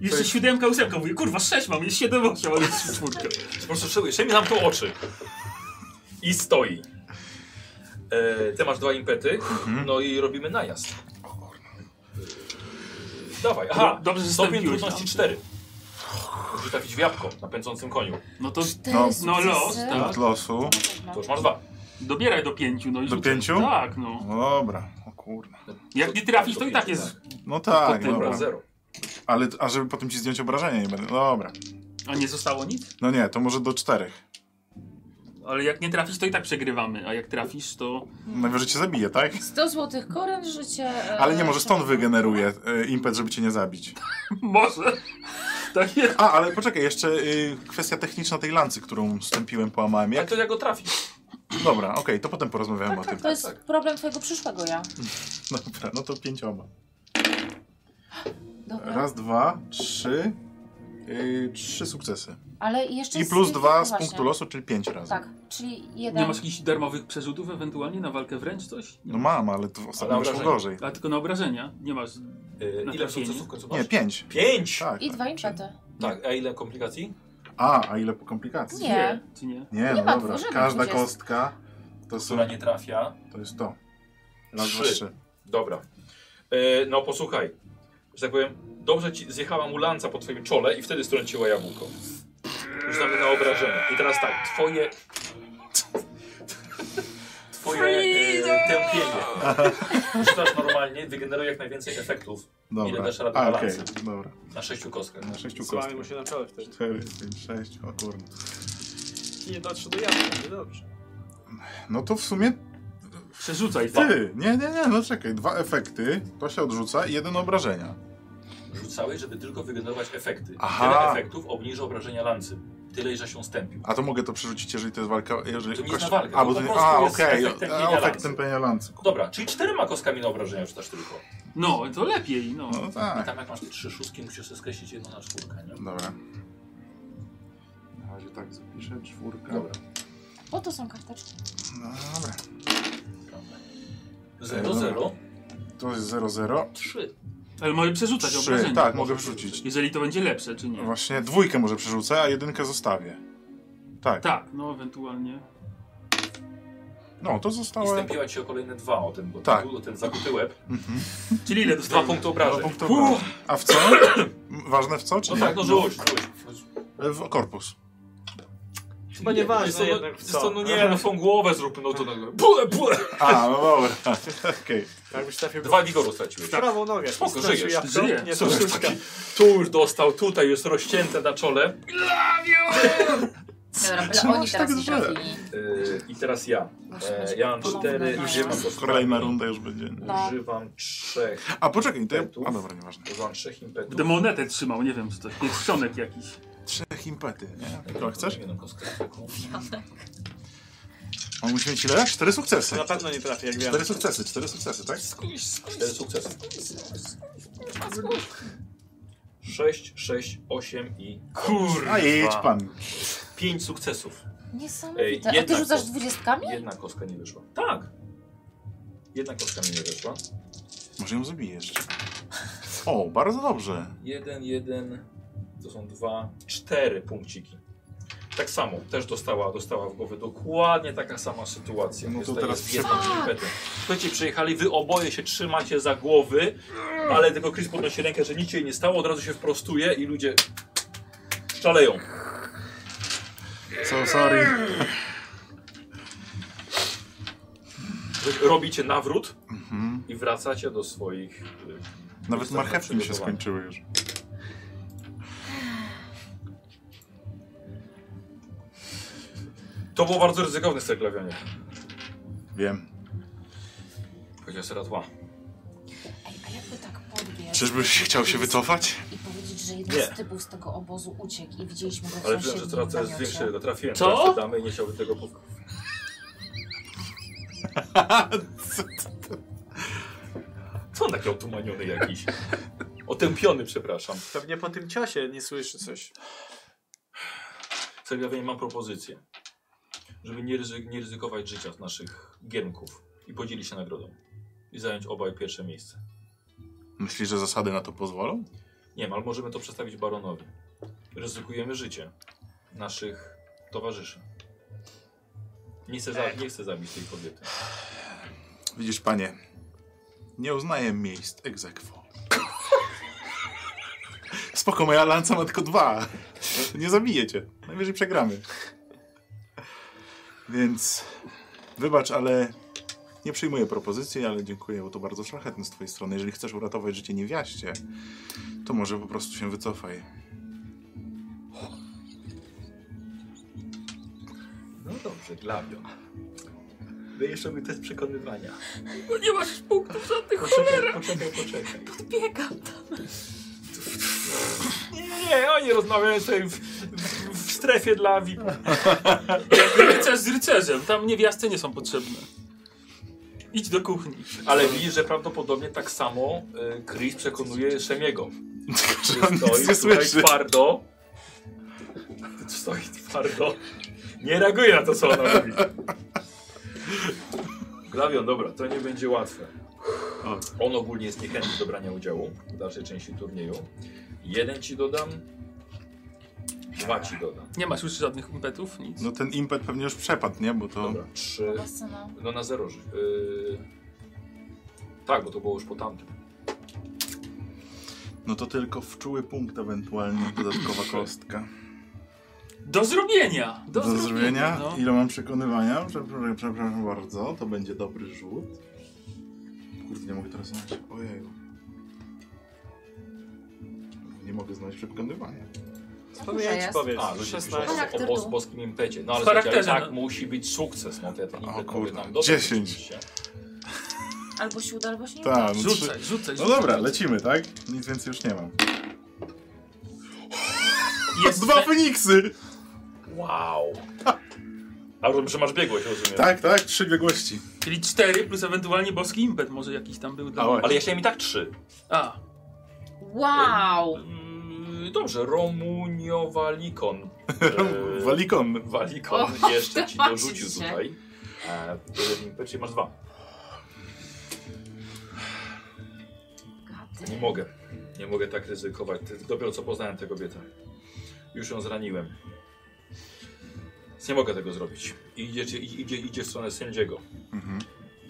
Speaker 5: jeszcze siódemka, ósemka. Mówię, kurwa, sześć mam, jest siedem, osiem, ale jest czwórka.
Speaker 1: Po prostu szedłeś, mi tam to oczy. I stoi. E, ty masz dwa impety, no i robimy najazd. E, dawaj, aha,
Speaker 5: No, dobrze, że
Speaker 1: stopień
Speaker 5: wstąpiłeś
Speaker 1: trudności
Speaker 5: tam.
Speaker 1: 4. Musisz trafić w jabłko na pędzącym koniu.
Speaker 5: No to
Speaker 3: No.
Speaker 5: No, los, tak.
Speaker 3: Od losu.
Speaker 5: No.
Speaker 1: To już masz dwa.
Speaker 5: dobieraj do pięciu. No i
Speaker 3: Do
Speaker 5: rzucaj.
Speaker 3: pięciu?
Speaker 5: Tak, no.
Speaker 3: No dobra, o kurna.
Speaker 5: Jak nie trafisz, to i tak jest.
Speaker 3: No tak,
Speaker 5: Potem
Speaker 1: Dobra,
Speaker 3: dobra.
Speaker 1: zero.
Speaker 3: Ale, a żeby potem ci zdjąć obrażenia nie będę. No Dobra.
Speaker 5: A nie zostało nic?
Speaker 3: No nie, to może do czterech.
Speaker 5: Ale jak nie trafisz, to i tak przegrywamy, a jak trafisz, to...
Speaker 3: Najwyżej cię zabije, tak?
Speaker 2: 100 złotych koren życie. e,
Speaker 3: Ale nie, może stąd wygeneruje e, impet, żeby cię nie zabić.
Speaker 5: Może! Tak jest.
Speaker 3: A, ale poczekaj, jeszcze y, kwestia techniczna tej lancy, którą stąpiłem, połamałem.
Speaker 1: Jak
Speaker 3: Jak?
Speaker 1: to jak go trafi?
Speaker 3: Dobra, okej, to potem porozmawiamy o tym.
Speaker 2: Tak, To jest problem twojego przyszłego ja.
Speaker 3: Dobra, no to pięcioma.
Speaker 2: Dobra.
Speaker 3: Raz, dwa, trzy. y, trzy sukcesy.
Speaker 2: Ale i jeszcze
Speaker 3: I
Speaker 2: z
Speaker 3: plus
Speaker 2: tych-
Speaker 3: dwa z
Speaker 2: właśnie.
Speaker 3: punktu losu, czyli pięć razy.
Speaker 2: Tak, czyli jeden.
Speaker 5: Nie masz jakichś darmowych przerzutów ewentualnie na walkę wręcz coś? Nie
Speaker 3: No
Speaker 5: ma.
Speaker 3: mam, ale to ostatnio
Speaker 1: Ale
Speaker 3: wyszło
Speaker 1: obrażenia.
Speaker 3: gorzej.
Speaker 5: A tylko na obrażenia? Nie masz.
Speaker 1: Yy,
Speaker 5: Na
Speaker 1: ile
Speaker 5: trafienie?
Speaker 1: sukcesów w końcu masz?
Speaker 3: Nie, pięć.
Speaker 1: Pięć!
Speaker 3: Tak,
Speaker 2: I
Speaker 3: tak.
Speaker 2: dwa impety.
Speaker 1: Tak, a ile komplikacji?
Speaker 3: A, a ile po komplikacji?
Speaker 2: Nie.
Speaker 5: Dwie, Czy nie?
Speaker 3: Nie,
Speaker 2: Nie
Speaker 3: no
Speaker 2: ma,
Speaker 3: dobra.
Speaker 2: tworzymy
Speaker 3: Każda
Speaker 2: dwudziestkę.
Speaker 3: kostka to, są,
Speaker 1: Która nie trafia.
Speaker 3: to jest to. Raz,
Speaker 1: Trzy.
Speaker 3: dwa, trzy.
Speaker 1: Dobra. E, no posłuchaj, że tak powiem, dobrze ci zjechała mu lanca po twoim czole i wtedy strąciła jabłko. Już nawet na obrażenie. I teraz tak, twoje... Twoje e, tępienie. Rzucasz normalnie, wygeneruje jak najwięcej efektów
Speaker 3: Dobra.
Speaker 1: Ile dasz rady
Speaker 3: A,
Speaker 1: na
Speaker 3: okej,
Speaker 1: lancy?
Speaker 3: dobra.
Speaker 1: na sześciu kostkach.
Speaker 3: Na sześciu
Speaker 4: Słamy
Speaker 3: kostkach.
Speaker 4: mu się na czole wtedy.
Speaker 3: Cztery, pięć, sześć, o kurde.
Speaker 4: Nie dotrze do jabłka, nie dobrze.
Speaker 3: No to w sumie
Speaker 5: Przerzucaj to.
Speaker 3: ty. Nie, nie, nie, no czekaj. Dwa efekty, to się odrzuca i jeden obrażenia.
Speaker 1: Rzucałeś, żeby tylko wygenerować efekty.
Speaker 3: Aha.
Speaker 1: Tyle efektów obniża obrażenia lancy. Tyle, że się stępił.
Speaker 3: A to mogę to przerzucić, jeżeli to jest walka... Jeżeli
Speaker 1: To nie
Speaker 3: kość-
Speaker 1: jest na walkę,
Speaker 3: A,
Speaker 1: to po
Speaker 3: bo to nie...
Speaker 1: prostu
Speaker 3: A,
Speaker 1: jest
Speaker 3: okej.
Speaker 1: efekt tępienia
Speaker 3: Okay. Efekt
Speaker 1: lancy.
Speaker 3: tępienia lancy. kurde.
Speaker 1: Dobra, czyli czterema kostkami na obrażenia rzucasz tylko.
Speaker 5: No, to lepiej, no.
Speaker 3: No
Speaker 1: I
Speaker 3: tak.
Speaker 1: tam jak masz te trzy szóstki, musisz sobie skreślić jedną na czwórkę, nie?
Speaker 3: Dobra. Na razie tak zapiszę, czwórka.
Speaker 1: Dobra.
Speaker 2: Po to są karteczki.
Speaker 3: No, dobra.
Speaker 1: Zero,
Speaker 3: Dobra.
Speaker 1: zero,
Speaker 3: To jest 0-0.
Speaker 1: trzy.
Speaker 5: Ale mogę przerzucać
Speaker 3: Trzy,
Speaker 5: obrażenia.
Speaker 3: tak, mogę przerzucić.
Speaker 5: Jeżeli to będzie lepsze, czy nie.
Speaker 3: Właśnie dwójkę może przerzucę, a jedynkę zostawię. Tak.
Speaker 5: Tak, no ewentualnie.
Speaker 3: No, to
Speaker 1: I
Speaker 3: zostało...
Speaker 1: stępiła ci o kolejne dwa o tym, bo
Speaker 3: Tak.
Speaker 1: tak. ten zakuty łeb.
Speaker 5: Czyli ile
Speaker 1: Dwa
Speaker 5: dostałem?
Speaker 1: punkty
Speaker 3: Dwa
Speaker 1: obrażeń.
Speaker 3: punkty
Speaker 5: Uff.
Speaker 3: obrażeń. A w co? Ważne w co, czy
Speaker 1: No
Speaker 3: nie?
Speaker 1: tak, no rzuć, rzuć.
Speaker 3: W korpus.
Speaker 4: Chyba nieważne
Speaker 1: no,
Speaker 4: jednak w
Speaker 1: wiesz
Speaker 4: co.
Speaker 1: co, no nie, no tą głowę zrób, no to... no- Bule, bule.
Speaker 3: A, no dobra. Okej.
Speaker 4: Jakbyś trafił
Speaker 1: Dwa wigoru straciłeś.
Speaker 4: prawą nogę.
Speaker 1: Spoko,
Speaker 4: Skoczył
Speaker 1: żyjesz,
Speaker 4: jabłko,
Speaker 5: żyję.
Speaker 4: Nie,
Speaker 1: Co
Speaker 4: to
Speaker 1: jest
Speaker 4: sztuczka.
Speaker 1: Tu już dostał, tutaj jest rozcięte na czole.
Speaker 2: Dobra,
Speaker 3: Czemu
Speaker 2: ale oni
Speaker 3: aż
Speaker 2: teraz
Speaker 3: tak
Speaker 2: nie
Speaker 3: źle?
Speaker 2: trafili.
Speaker 1: Yy, I teraz ja. E, ja mam
Speaker 2: Ponowne
Speaker 1: cztery,
Speaker 2: dwa.
Speaker 1: używam
Speaker 3: Kolejna runda już będzie.
Speaker 2: No.
Speaker 1: Używam trzech,
Speaker 3: A poczekaj, to ja...
Speaker 1: Petów.
Speaker 3: A dobra, nieważne.
Speaker 1: używam trzech impetów.
Speaker 5: Będę monetę trzymał, nie wiem, czy to pierścionek jakiś.
Speaker 3: Trzech impety, nie? Tylko chcesz?
Speaker 1: Jedną kostkę zwykłą.
Speaker 3: On musi mieć ile? Cztery sukcesy.
Speaker 4: Na pewno nie trafi, jak wiem.
Speaker 3: Cztery sukcesy, cztery sukcesy, tak?
Speaker 1: Cztery sukcesy. Sześć, sześć, osiem i
Speaker 5: Kur...
Speaker 3: A jedź pan.
Speaker 1: pięć sukcesów. Ej,
Speaker 2: Niesamowite. A ty
Speaker 1: jednak
Speaker 2: rzucasz
Speaker 1: to-
Speaker 2: dwudziestkami?
Speaker 1: Jedna kostka nie wyszła. Tak. Jedna kostka mi nie wyszła.
Speaker 3: Może ją zabijesz. O, bardzo dobrze.
Speaker 1: Jeden, jeden, to są dwa, cztery punkciki. Tak samo, też dostała, dostała w głowę dokładnie taka sama sytuacja.
Speaker 3: No to
Speaker 1: Jest-
Speaker 3: teraz
Speaker 1: jest jedną
Speaker 2: przepraszam.
Speaker 1: impetem. Słuchajcie, przyjechali, wy oboje się trzymacie za głowy, ale tylko Chris podnosi rękę, że nic się jej nie stało, od razu się wprostuje i ludzie szaleją.
Speaker 3: So sorry.
Speaker 1: Robicie nawrót
Speaker 3: Mhm.
Speaker 1: i wracacie do swoich... y,
Speaker 3: Nawet
Speaker 1: Jestem
Speaker 3: marchewki mi się
Speaker 1: przygotowany.
Speaker 3: skończyły już.
Speaker 1: To było bardzo ryzykowne serglawianie.
Speaker 3: Wiem.
Speaker 1: Powiedział Seratła.
Speaker 2: Ej, a jakby tak podbiegł
Speaker 3: Czyżbyś się chciał się wycofać?
Speaker 2: i powiedzieć, że jeden
Speaker 1: Nie.
Speaker 2: z typów z tego obozu uciekł i widzieliśmy go w
Speaker 1: Ale wiem, że
Speaker 2: sąsiednim
Speaker 1: teraz jest
Speaker 2: namiocie.
Speaker 1: większy, to trafiłem.
Speaker 5: Co?
Speaker 1: Teraz damy i nie chciałbym tego powtórzyć. Co on taki otumaniony jakiś? Otępiony, przepraszam.
Speaker 4: Pewnie po tym ciosie nie słyszy coś.
Speaker 1: Sergawianie, mam propozycję. Żeby nie, ryzy nie ryzykować życia z naszych giermków i podzielić się nagrodą. I zająć obaj pierwsze miejsce.
Speaker 3: Myślisz, że zasady na to pozwolą?
Speaker 1: Nie wiem, ale możemy to przestawić baronowi. Ryzykujemy życie naszych towarzyszy. Nie chcę, za nie chcę zabić tej kobiety.
Speaker 3: Widzisz, panie, nie uznaję miejsc ex aequo. Spoko, moja lanca ma tylko dwa. Nie zabiję cię. Najwyżej przegramy. Więc wybacz, ale nie przyjmuję propozycji, ale dziękuję, bo to bardzo szlachetne z twojej strony. Jeżeli chcesz uratować życie niewiaście, to może po prostu się wycofaj.
Speaker 1: No Dobrze, Glawion. Wy jeszcze mój test przekonywania.
Speaker 6: No nie masz punktów żadnych,
Speaker 1: Poczekaj, poczekaj, poczekaj.
Speaker 6: biegam tam.
Speaker 1: Nie, nie, nie, oni rozmawiają sobie w, w, w strefie dla VIP.
Speaker 5: Rycerz z rycerzem, tam niewiasty nie są potrzebne. Idź do kuchni.
Speaker 1: Ale widzisz, że prawdopodobnie tak samo y, Chris przekonuje Szemiego.
Speaker 3: Że on
Speaker 1: Stoi
Speaker 3: nic nie
Speaker 1: tutaj
Speaker 3: słyszy.
Speaker 1: twardo. Stoi twardo. Nie reaguje na to, co ona mówi. Glawion, dobra, to nie będzie łatwe. On ogólnie jest niechętny do brania udziału w dalszej części turnieju. Jeden ci dodam, dwa ci dodam.
Speaker 5: Nie masz już żadnych impetów, nic.
Speaker 3: No ten impet pewnie już przepadł, nie? Bo to...
Speaker 1: Dobra, trzy.
Speaker 2: Basena.
Speaker 1: No na zero. ży- Yy... Tak, bo to było już po tamtym.
Speaker 3: No to tylko wczuły punkt ewentualnie, dodatkowa kostka.
Speaker 5: Do zrobienia!
Speaker 3: Do, zrobienia.
Speaker 5: no.
Speaker 3: Ile mam przekonywania? Przepraszam, przepraszam bardzo. To będzie dobry rzut. Kurde, nie mogę teraz znaleźć. Ojeju. Nie mogę znaleźć przekonywania.
Speaker 2: Dużo
Speaker 4: Powiedz,
Speaker 2: jest.
Speaker 4: powiedz.
Speaker 1: A, ludzie piszą o, o,
Speaker 4: 16.
Speaker 1: bos- boskim impecie. No ale
Speaker 5: Z
Speaker 1: słuchajcie, ale
Speaker 5: charakterem.
Speaker 1: tak musi być sukces. No, te, te,
Speaker 3: O
Speaker 1: impety
Speaker 3: kurde,
Speaker 1: mogę tam dodać
Speaker 3: 10.
Speaker 1: oczywiście.
Speaker 2: Albo siód, albo się nie uda.
Speaker 3: Tak, no, trzy...
Speaker 5: Rzucaj, rzucaj,
Speaker 3: no
Speaker 5: rzucaj.
Speaker 3: dobra, lecimy, tak? Nic więcej już nie mam.
Speaker 5: Jest
Speaker 3: Dwa Feniksy!
Speaker 1: Wow. A rozumiem, że masz biegłość, rozumiem.
Speaker 3: Tak, tak, trzy biegłości.
Speaker 5: Czyli cztery plus ewentualnie boski impet może jakiś tam był.
Speaker 3: A, oj.
Speaker 1: Ale ja chciałem i tak trzy.
Speaker 5: A,
Speaker 2: Wow!
Speaker 1: Mm, Dobrze, Romunio Walikon. E,
Speaker 3: Walikon.
Speaker 1: Walikon
Speaker 2: O,
Speaker 1: jeszcze ci
Speaker 2: zobaczcie.
Speaker 1: dorzucił tutaj. E, w jednym impecie masz dwa.
Speaker 2: Gady.
Speaker 1: Nie mogę. Nie mogę tak ryzykować. Ty- Dopiero co poznałem tę kobietę. Już ją zraniłem. Więc Nie mogę tego zrobić. I Idzie, i- idzie, idzie w stronę sędziego.
Speaker 3: Mhm.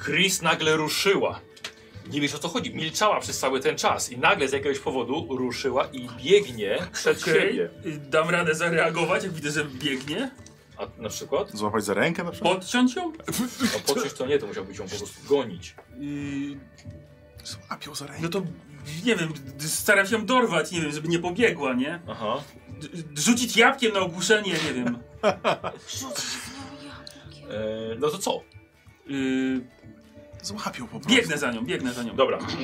Speaker 1: Chris nagle ruszyła. Nie wiesz o co chodzi. Milczała przez cały ten czas i nagle z jakiegoś powodu ruszyła i biegnie przed
Speaker 5: okej.
Speaker 1: siebie.
Speaker 5: Y, Dam radę zareagować, jak widzę, że biegnie.
Speaker 1: A na przykład?
Speaker 3: Złapać za rękę na przykład?
Speaker 5: Podciąć ją?
Speaker 1: No poczuć to nie, to musiałbyś ją po prostu gonić.
Speaker 5: Y,
Speaker 3: Złapią za rękę.
Speaker 5: No to nie wiem, d- staram się ją dorwać, nie wiem, żeby nie pobiegła, nie?
Speaker 1: Aha.
Speaker 5: D- d- Rzucić jabłkiem na ogłuszenie, nie wiem.
Speaker 2: Rzucić w nią jabłkiem.
Speaker 1: E, no to co?
Speaker 5: Y,
Speaker 3: Złapią po prostu.
Speaker 5: Biegnę za nią, biegnę za nią.
Speaker 1: Dobra. Mhm.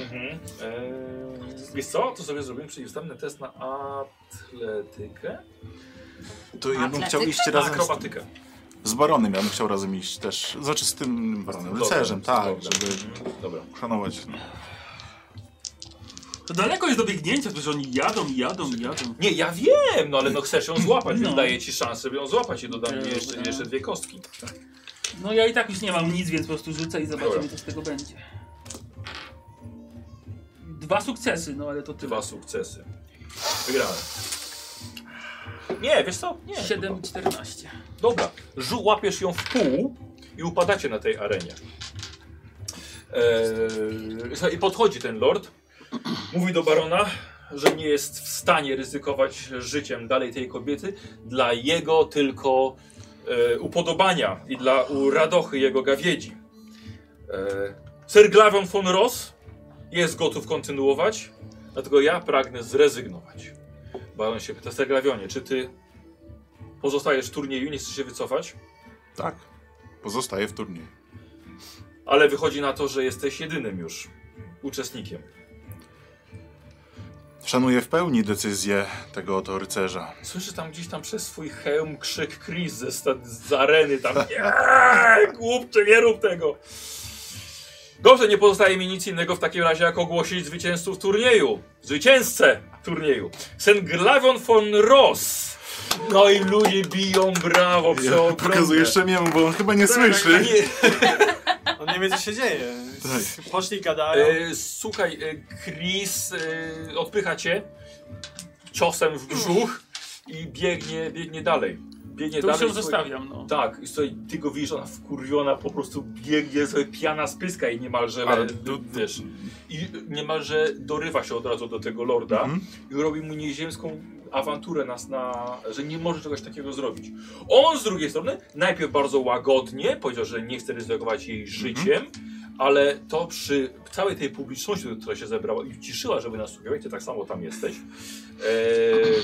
Speaker 1: E, wiesz co? To sobie zrobimy przeciwstawny test na atletykę.
Speaker 3: To ja bym
Speaker 2: Atletyka?
Speaker 3: chciał iść
Speaker 1: Na
Speaker 3: razem z
Speaker 1: Tak, akrobatykę.
Speaker 3: Z baronem ja bym chciał razem iść też. Znaczy z tym baronem, rycerzem, tak,
Speaker 1: Dobra.
Speaker 3: żeby
Speaker 1: Mhm, Dobra.
Speaker 3: uszanować. No.
Speaker 5: To daleko jest do biegnięcia, to że oni jadą, i jadą, i jadą.
Speaker 1: Nie, ja wiem, no ale no chcesz ją złapać, więc
Speaker 5: No.
Speaker 1: daję ci szansę, żeby ją złapać i dodam
Speaker 5: Dobra.
Speaker 1: jeszcze, jeszcze dwie kostki.
Speaker 5: No ja i tak już nie mam nic, więc po prostu rzucę i zobaczymy,
Speaker 1: Dobra.
Speaker 5: co z tego będzie. Dwa sukcesy, no ale to tyle.
Speaker 1: Dwa sukcesy. Wygrałem. Nie, wiesz co? Nie.
Speaker 5: 7 i 14.
Speaker 1: Dobra, Żu łapiesz ją w pół i upadacie na tej arenie. Eee, słuchaj, I podchodzi ten lord, mówi do barona, że nie jest w stanie ryzykować życiem dalej tej kobiety dla jego tylko e, upodobania i dla u- radochy jego gawiedzi. Eee, Sir Glavion von Ross jest gotów kontynuować, dlatego ja pragnę zrezygnować. Baron się pyta, Sir Glavionie, czy ty pozostajesz w turnieju, nie chcesz się wycofać,
Speaker 3: Tak. Pozostaje w turnieju.
Speaker 1: ale wychodzi na to, że jesteś jedynym już uczestnikiem.
Speaker 3: Szanuję w pełni decyzję tego oto rycerza.
Speaker 1: Słyszy tam gdzieś tam przez swój hełm krzyk Chris ze sta- z areny tam. Nie, głupcze, nie rób tego. Dobrze, nie pozostaje mi nic innego w takim razie, jak ogłosić zwycięzców turnieju. Zwycięzcę turnieju. Senglavion von Ross. No i ludzie biją brawo przy
Speaker 3: Ja pokazuję Szemiemu, bo on chyba
Speaker 1: Tak,
Speaker 3: nie słyszy.
Speaker 4: On nie wie, co się dzieje.
Speaker 3: Tak.
Speaker 4: Poszli gadają.
Speaker 1: E, słuchaj, e, Chris e, odpycha cię ciosem w brzuch i biegnie, biegnie dalej. Biegnie
Speaker 5: To już
Speaker 1: dalej. słuchaj-
Speaker 5: ją zostawiam, no.
Speaker 1: Tak, i słuchaj, ty go widzisz, ona wkurwiona po prostu biegnie, sobie piana spyska i niemalże,
Speaker 3: Ale
Speaker 1: le,
Speaker 3: to-
Speaker 1: wiesz, i niemalże dorywa się od razu do tego lorda
Speaker 3: Mhm.
Speaker 1: i robi mu nieziemską awanturę nas na, że nie może czegoś takiego zrobić. On z drugiej strony najpierw bardzo łagodnie powiedział, że nie chce ryzykować jej
Speaker 3: Mhm.
Speaker 1: życiem, ale to przy całej tej publiczności, która się zebrała i ciszyła, żeby nas słuchać, ty tak samo tam jesteś,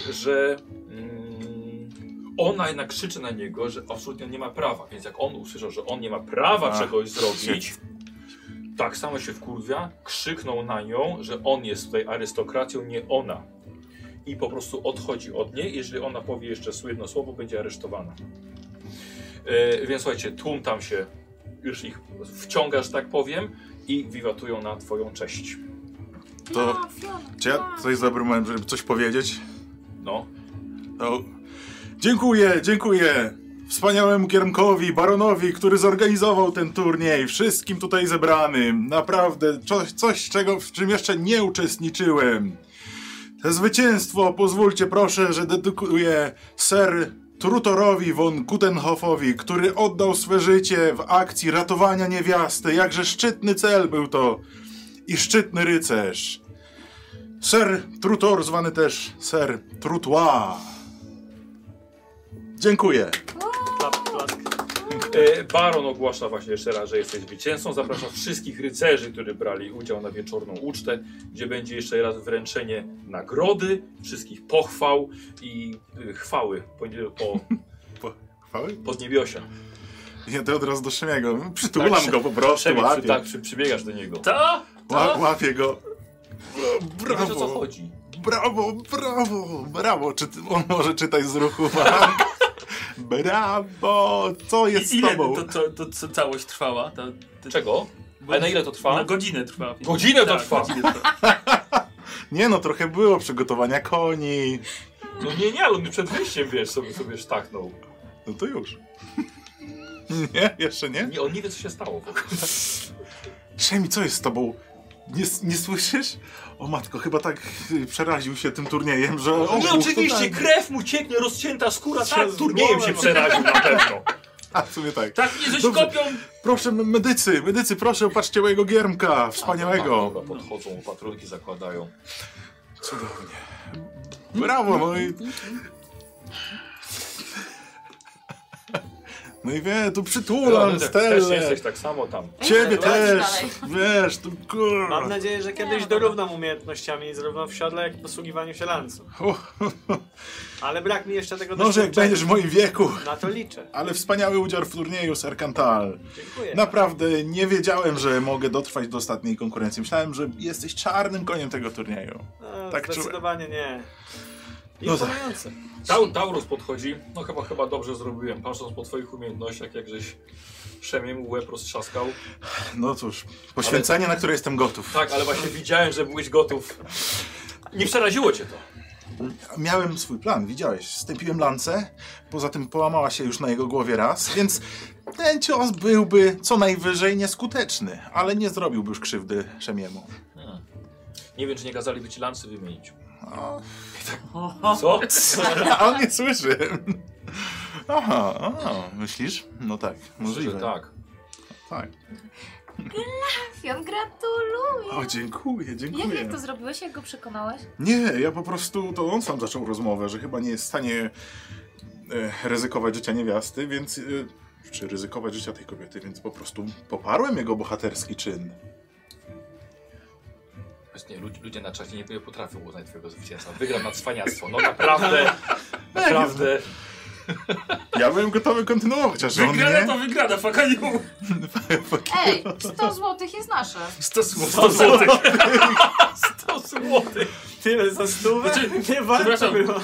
Speaker 1: e, że mm, Ona jednak krzyczy na niego, że absolutnie nie ma prawa, więc jak on usłyszał, że on nie ma prawa
Speaker 3: A,
Speaker 1: czegoś zrobić, tak samo się wkurwia, krzyknął na nią, że on jest tutaj arystokracją, nie ona. I po prostu odchodzi od niej, jeżeli ona powie jeszcze jedno słowo, będzie aresztowana. E, więc słuchajcie, tłum tam się, już ich wciągasz, tak powiem, i wiwatują na twoją cześć.
Speaker 3: To-
Speaker 6: Ja, Fiona,
Speaker 3: Czy ja to jest dobry moment, żeby coś powiedzieć?
Speaker 1: No,
Speaker 3: To... Dziękuję, dziękuję wspaniałemu kierunkowi, baronowi, który zorganizował ten turniej, wszystkim tutaj zebranym. Naprawdę, coś, coś czego, w czym jeszcze nie uczestniczyłem. To zwycięstwo, pozwólcie proszę, że dedykuję ser Trutorowi von Gutenhofowi, który oddał swe życie w akcji ratowania niewiasty. Jakże szczytny cel był to i szczytny rycerz. Ser Trutor, zwany też Ser Trutoir. Dziękuję.
Speaker 4: Klap, klask.
Speaker 1: E, Baron ogłasza właśnie jeszcze raz, że jesteś zwycięzcą. Zaprasza wszystkich rycerzy, którzy brali udział na wieczorną ucztę, gdzie będzie jeszcze raz wręczenie nagrody, wszystkich pochwał i y, chwały po, po
Speaker 3: Chwały?
Speaker 1: podniebiosia.
Speaker 3: Ja to od razu do Szemiego. Przytulam
Speaker 1: Tak,
Speaker 3: go po prostu,
Speaker 1: Przemyk, przy,
Speaker 3: łapię,
Speaker 1: tak, przy, przybiegasz do niego. Tak,
Speaker 3: ła, łapię go. O,
Speaker 1: wiesz o co
Speaker 3: Brawo,
Speaker 1: chodzi.
Speaker 3: brawo, brawo, brawo. Czy ty, on może czytać z ruchu walk? Brawo, co jest
Speaker 5: I,
Speaker 3: z
Speaker 5: ile
Speaker 3: tobą?
Speaker 5: to, to, to, co całość trwała? Ta, ta,
Speaker 1: Czego?
Speaker 5: bo-
Speaker 1: Ale na ile to
Speaker 5: Na
Speaker 1: trwa?
Speaker 5: godzinę trwa. więc-
Speaker 1: Godzinę to
Speaker 5: tak,
Speaker 1: trwa.
Speaker 5: Godzinę trwa.
Speaker 3: Nie no, trochę było przygotowania koni.
Speaker 1: No nie, nie, ale on przed wyjściem, wiesz, sobie, sobie sztaknął.
Speaker 3: No to już. Nie, jeszcze nie?
Speaker 1: Nie, on nie wie, co się stało. w ogóle.
Speaker 3: Szemi, co jest z tobą? Nie, nie słyszysz? O matko, chyba tak y, przeraził się tym turniejem, że...
Speaker 1: No nie,
Speaker 3: obuch
Speaker 1: oczywiście,
Speaker 3: totalnie.
Speaker 1: krew mu cieknie, rozcięta skóra,
Speaker 4: Się
Speaker 1: tak, turniejem
Speaker 4: złamał.
Speaker 1: się przeraził na pewno.
Speaker 3: A, w sumie tak.
Speaker 5: Tak, nie żeś
Speaker 3: Dobrze.
Speaker 5: kopią.
Speaker 3: Proszę, m- medycy, medycy, proszę, opatrzcie mojego giermka, wspaniałego.
Speaker 1: Dobra, podchodzą, opatrunki zakładają.
Speaker 3: Cudownie. Brawo, no i... No i wie, tu przytulam
Speaker 1: Też- Też
Speaker 3: Stellę.
Speaker 1: jesteś tak samo tam.
Speaker 3: Ciebie
Speaker 2: Ej,
Speaker 3: też,
Speaker 2: dalej.
Speaker 3: wiesz, tu
Speaker 4: Mam
Speaker 3: kurwa.
Speaker 4: nadzieję, że kiedyś dorównam umiejętnościami zarówno w siodle, jak i posługiwaniu się lancą. Ale brak mi jeszcze tego
Speaker 3: Może No, jak
Speaker 4: doświadczenia.
Speaker 3: będziesz w moim wieku.
Speaker 4: Na to liczę.
Speaker 3: Ale wspaniały udział w turnieju, Sir Cantal.
Speaker 4: Dziękuję.
Speaker 3: Naprawdę nie wiedziałem, że mogę dotrwać do ostatniej konkurencji. Myślałem, że jesteś czarnym koniem tego turnieju.
Speaker 4: No,
Speaker 3: tak czułem.
Speaker 4: zdecydowanie nie.
Speaker 3: No tak.
Speaker 4: Imponujące.
Speaker 1: Tau, Taurus podchodzi. No chyba, chyba dobrze zrobiłem. Patrząc po twoich umiejętnościach, jak żeś Szemiemu łeb roztrzaskał.
Speaker 3: No cóż, poświęcenie, na które jestem gotów.
Speaker 1: Tak, ale właśnie widziałem, że byłeś gotów. Nie przeraziło cię to.
Speaker 3: Miałem swój plan, widziałeś. Stępiłem lancę, poza tym połamała się już na jego głowie raz, więc ten cios byłby co najwyżej nieskuteczny, ale nie zrobiłby już krzywdy Szemiemu.
Speaker 1: Nie wiem, czy nie kazaliby ci lancy wymienić.
Speaker 3: O,
Speaker 1: Co?
Speaker 3: a on nie słyszy. Aha, aha, myślisz? No tak,
Speaker 1: Może
Speaker 3: możliwe.
Speaker 1: tak.
Speaker 3: tak.
Speaker 2: Fion, gratuluję.
Speaker 3: O, dziękuję, dziękuję.
Speaker 2: Jak, jak to zrobiłeś? Jak go przekonałeś?
Speaker 3: Nie, ja po prostu to on sam zaczął rozmowę, że chyba nie jest w stanie e, ryzykować życia niewiasty, więc. E, czy ryzykować życia tej kobiety, więc po prostu poparłem jego bohaterski czyn.
Speaker 1: Właśnie ludzie, ludzie na czasie nie potrafią uznać twojego zwycięstwa. Wygram na cwaniactwo. No naprawdę, naprawdę.
Speaker 3: Ja byłem gotowy kontynuować, chociaż on
Speaker 5: Wygrana
Speaker 3: nie.
Speaker 5: to wygrana, faka nie mów.
Speaker 2: Ej, 100 złotych jest nasze.
Speaker 5: 100 złotych. 100 złotych.
Speaker 1: 100 złotych.
Speaker 4: Tyle za stówę?
Speaker 5: Znaczy,
Speaker 4: nie warto
Speaker 5: przepraszam.
Speaker 4: było.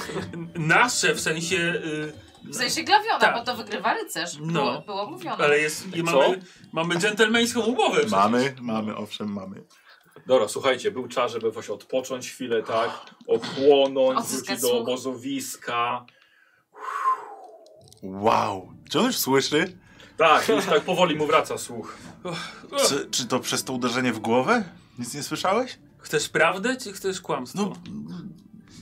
Speaker 5: Nasze, w sensie... Y,
Speaker 2: W sensie glawiona,
Speaker 5: Tak.
Speaker 2: bo to wygrywa rycerz.
Speaker 5: No.
Speaker 2: Było, było mówione.
Speaker 5: ale jest, i
Speaker 1: Co?
Speaker 5: mamy, mamy dżentelmeńską umowę.
Speaker 3: Mamy, mamy, owszem, mamy.
Speaker 1: Dobra, słuchajcie, był czas, żeby właśnie odpocząć chwilę, tak? Ochłonąć,
Speaker 2: Odzyskać
Speaker 1: wrócić do
Speaker 2: słuch.
Speaker 1: obozowiska.
Speaker 3: Wow! Czy on już słyszy?
Speaker 1: Tak, już tak powoli mu wraca słuch.
Speaker 3: Czy, czy to przez to uderzenie w głowę? Nic nie słyszałeś?
Speaker 5: Chcesz prawdę, czy chcesz kłamstwo?
Speaker 3: No. m,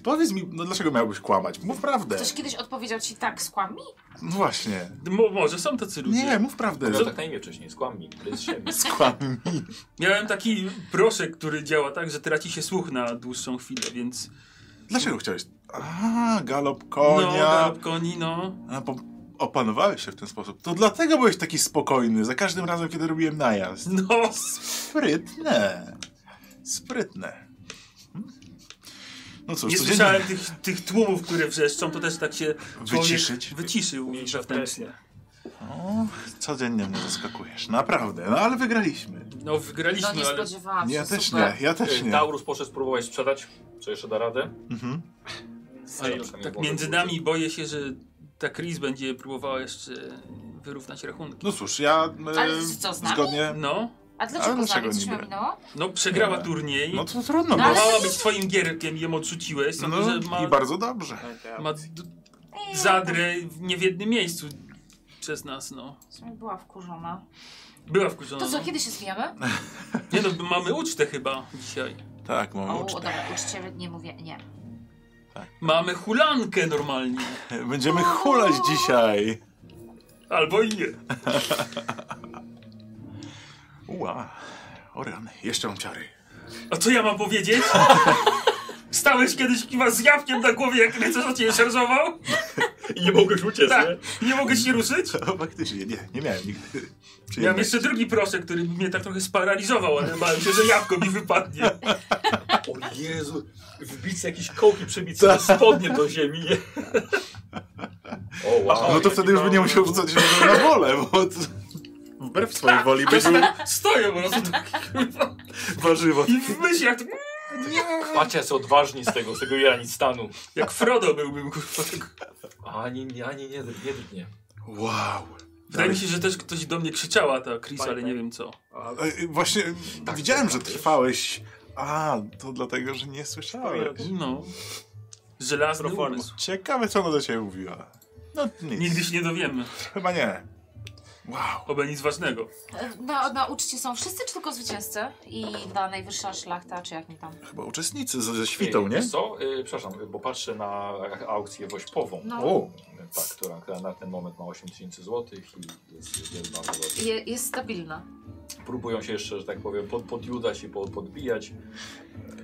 Speaker 3: Powiedz mi, no dlaczego miałbyś kłamać? Mów prawdę.
Speaker 2: Ktoś kiedyś odpowiedział ci tak, skłami?
Speaker 3: No właśnie.
Speaker 5: Mo- może są tacy ludzie.
Speaker 3: Nie, mów prawdę.
Speaker 1: Miał tak na imię wcześniej, skłam mi, to jest siebie.
Speaker 3: Skłamij.
Speaker 5: Miałem taki proszek, który działa tak, że traci się słuch na dłuższą chwilę, więc...
Speaker 3: Dlaczego chciałeś? A, galop
Speaker 5: No,
Speaker 3: konia.
Speaker 5: galop koni, no.
Speaker 3: A, po, opanowałeś się w ten sposób. To dlatego byłeś taki spokojny za każdym razem, kiedy robiłem najazd.
Speaker 5: No,
Speaker 3: Sprytne. Sprytne. Hmm? No cóż,
Speaker 5: Nie
Speaker 3: codziennie
Speaker 5: słyszałem tych, tych tłumów, które wrzeszczą, to też tak się człowiek
Speaker 3: wyciszyć.
Speaker 5: wyciszył
Speaker 4: Mniejsza
Speaker 5: wewnętrznie.
Speaker 3: O, codziennie mnie zaskakujesz, naprawdę. No ale wygraliśmy.
Speaker 5: No
Speaker 2: No
Speaker 5: wygraliśmy,
Speaker 2: nie
Speaker 5: ale
Speaker 2: spodziewałam się.
Speaker 3: Ja też
Speaker 2: super.
Speaker 3: nie, ja też nie.
Speaker 1: Taurus poszedł spróbować sprzedać, co jeszcze da radę.
Speaker 3: Mhm.
Speaker 1: Ale
Speaker 5: tak między nami boję się, że ta Chris będzie próbowała jeszcze wyrównać rachunki.
Speaker 3: No cóż, ja
Speaker 2: Ale co, z nami?
Speaker 3: zgodnie...
Speaker 5: No,
Speaker 2: A
Speaker 3: Ale
Speaker 2: dlaczego z
Speaker 3: dlaczego
Speaker 2: nami? Coś
Speaker 3: nie
Speaker 2: mi
Speaker 3: brać?
Speaker 2: minęło?
Speaker 5: no przegrała
Speaker 3: Nie.
Speaker 5: turniej.
Speaker 3: No to
Speaker 2: No,
Speaker 3: trudno, bo...
Speaker 2: ale-
Speaker 5: Próbowała być twoim gierkiem, ją odrzuciłeś. Sądzę,
Speaker 3: No
Speaker 5: że ma,
Speaker 3: i bardzo dobrze.
Speaker 5: ma d- zadrę w- nie w jednym miejscu przez nas, no.
Speaker 2: W sumie była wkurzona.
Speaker 5: Była wkurzona.
Speaker 2: To co,
Speaker 5: no.
Speaker 2: kiedy się zwijamy?
Speaker 5: Nie no, mamy ucztę chyba dzisiaj.
Speaker 3: Tak, mamy
Speaker 2: O,
Speaker 3: ucztę.
Speaker 2: dobra, uczcie, nie mówię, nie.
Speaker 5: Mamy hulankę normalnie.
Speaker 3: Będziemy hulać dzisiaj.
Speaker 5: Albo i nie.
Speaker 3: Ua, o rany, jeszcze mam ciary.
Speaker 5: A co ja mam powiedzieć? Stałeś kiedyś kiwa z jabłkiem na głowie, jak mnie coś o ciebie szarżował?
Speaker 1: I nie mogłeś uciec,
Speaker 5: Tak.
Speaker 1: nie?
Speaker 5: Nie mogę się ruszyć?
Speaker 3: Faktycznie, nie, nie miałem nigdy.
Speaker 5: Miałem
Speaker 3: przyjemności.
Speaker 5: jeszcze drugi proszek, który mnie tak trochę sparaliżował, ale bałem się, że jabłko mi wypadnie.
Speaker 1: O Jezu, wbić jakieś kołki, przebić sobie spodnie do ziemi. nie? O, wow.
Speaker 3: No to wtedy już by nie musiał rzucać się na wolę, bo to- wbrew swojej woli by był
Speaker 5: Stoję po prostu tak, kurwa,
Speaker 3: warzywo.
Speaker 5: i w myślach, tak,
Speaker 1: Patrzcie, są odważni z tego, z tego Irani stanu.
Speaker 5: jak Frodo byłbym, kurwa. tak.
Speaker 1: Ani, ani nie, nie, nie.
Speaker 3: Wow.
Speaker 5: Wydaje mi się, że też ktoś do mnie krzyczała ta Chris, ale nie wiem co.
Speaker 3: E, Właśnie
Speaker 5: Tak,
Speaker 3: widziałem, że trwałeś. A, to dlatego, że nie słyszałem.
Speaker 5: No. Żelazny
Speaker 4: Proforma.
Speaker 5: umysł.
Speaker 3: Ciekawe, co ona do ciebie mówiła. No nic,
Speaker 5: Nigdy się nie dowiemy.
Speaker 3: chyba nie. Wow.
Speaker 5: Oby nic ważnego.
Speaker 2: Na, na uczcie są wszyscy czy tylko zwycięzcy? I ta najwyższa szlachta, czy jak mi tam.
Speaker 3: Chyba uczestnicy ze, ze świtą,
Speaker 1: Ej,
Speaker 3: nie?
Speaker 1: wiesz co? Y, przepraszam, bo patrzę na aukcję wośpową.
Speaker 2: No.
Speaker 3: O,
Speaker 1: Tak, która, która na ten moment ma 8 tysięcy złotych i jest wielba złotych.
Speaker 2: Je, jest stabilna.
Speaker 1: Próbują się jeszcze, że tak powiem, pod, podjudać i pod, podbijać.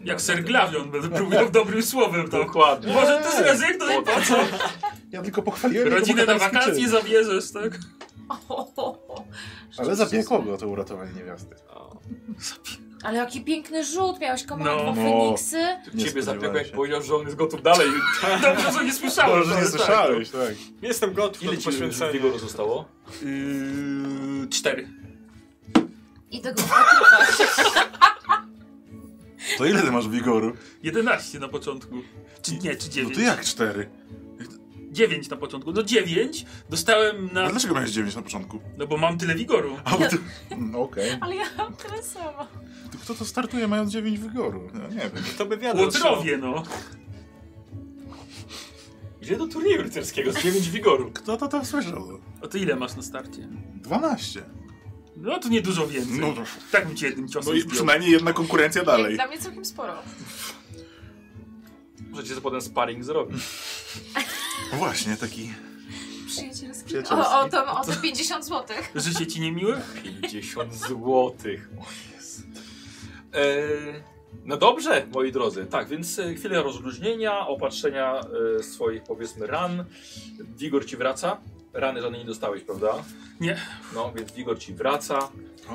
Speaker 5: Jak ser Glawion, będę próbował dobrym słowem
Speaker 1: tak.
Speaker 5: to.
Speaker 1: Dokładnie. tak.
Speaker 5: Może to zrezygnuj, po co?
Speaker 3: ja tylko pochwaliłem jego
Speaker 5: Rodzinę na
Speaker 3: bohaterski
Speaker 5: wakacje
Speaker 3: czyn.
Speaker 5: zabierzesz, tak?
Speaker 2: O, o, o, o.
Speaker 3: Ale zabiegło go to uratowanie niewiasty.
Speaker 2: Ale jaki piękny rzut, miałeś komando
Speaker 5: No.
Speaker 2: no. Feniksy.
Speaker 3: Nie
Speaker 1: Ciebie zabiegł,
Speaker 3: spodziewałem
Speaker 1: jak
Speaker 3: się.
Speaker 1: powiedział, że on jest gotów dalej.
Speaker 5: Dobrze, że nie słyszałem.
Speaker 3: Dobrze, że nie
Speaker 5: ale tak.
Speaker 3: słyszałeś, tak.
Speaker 4: Jestem gotów
Speaker 1: Ile
Speaker 4: do
Speaker 1: ci
Speaker 4: poświęcenia.
Speaker 1: wigoru zostało?
Speaker 5: Yy, cztery.
Speaker 2: I tego wykrywać.
Speaker 3: To ile ty masz wigoru?
Speaker 5: 11 na początku. Czy nie, czy
Speaker 3: No
Speaker 5: 9?
Speaker 3: to jak cztery?
Speaker 5: 9 na początku. No 9 dostałem
Speaker 3: A
Speaker 5: na.
Speaker 3: dlaczego miałeś dziewięć na początku?
Speaker 5: No bo mam tyle wigoru.
Speaker 3: A bo ty... Mm, Okej.
Speaker 2: Ale ja mam tyle samo.
Speaker 3: To Kto to startuje mając dziewięć wigoru? No, nie wiem.
Speaker 4: To by wiadomo.
Speaker 5: Łotrowie, no.
Speaker 1: Gdzie do turnieju rycerskiego? Z 9 wigoru.
Speaker 3: Kto to tam słyszał?
Speaker 5: A to ile masz na starcie?
Speaker 3: 12.
Speaker 5: No to niedużo więcej.
Speaker 3: No to-
Speaker 5: Tak bym cię jednym ciosem
Speaker 3: No i
Speaker 5: zdjął.
Speaker 3: przynajmniej jedna konkurencja
Speaker 2: Jak
Speaker 3: dalej.
Speaker 2: dla mnie całkiem sporo.
Speaker 1: Możecie sobie potem sparring zrobić.
Speaker 3: No właśnie, taki...
Speaker 2: Przyjacielski.
Speaker 3: Przyjacielski.
Speaker 2: O, o, to, o te 50 zł.
Speaker 5: Życie ci niemiłe?
Speaker 1: 50 złotych. O Jezu. Eee, no dobrze, moi drodzy. Tak, więc e, chwilę rozluźnienia, opatrzenia e, swoich, powiedzmy, ran. Wigor ci wraca. Rany żadnej nie dostałeś, prawda?
Speaker 5: Nie.
Speaker 1: No, więc wigor ci wraca.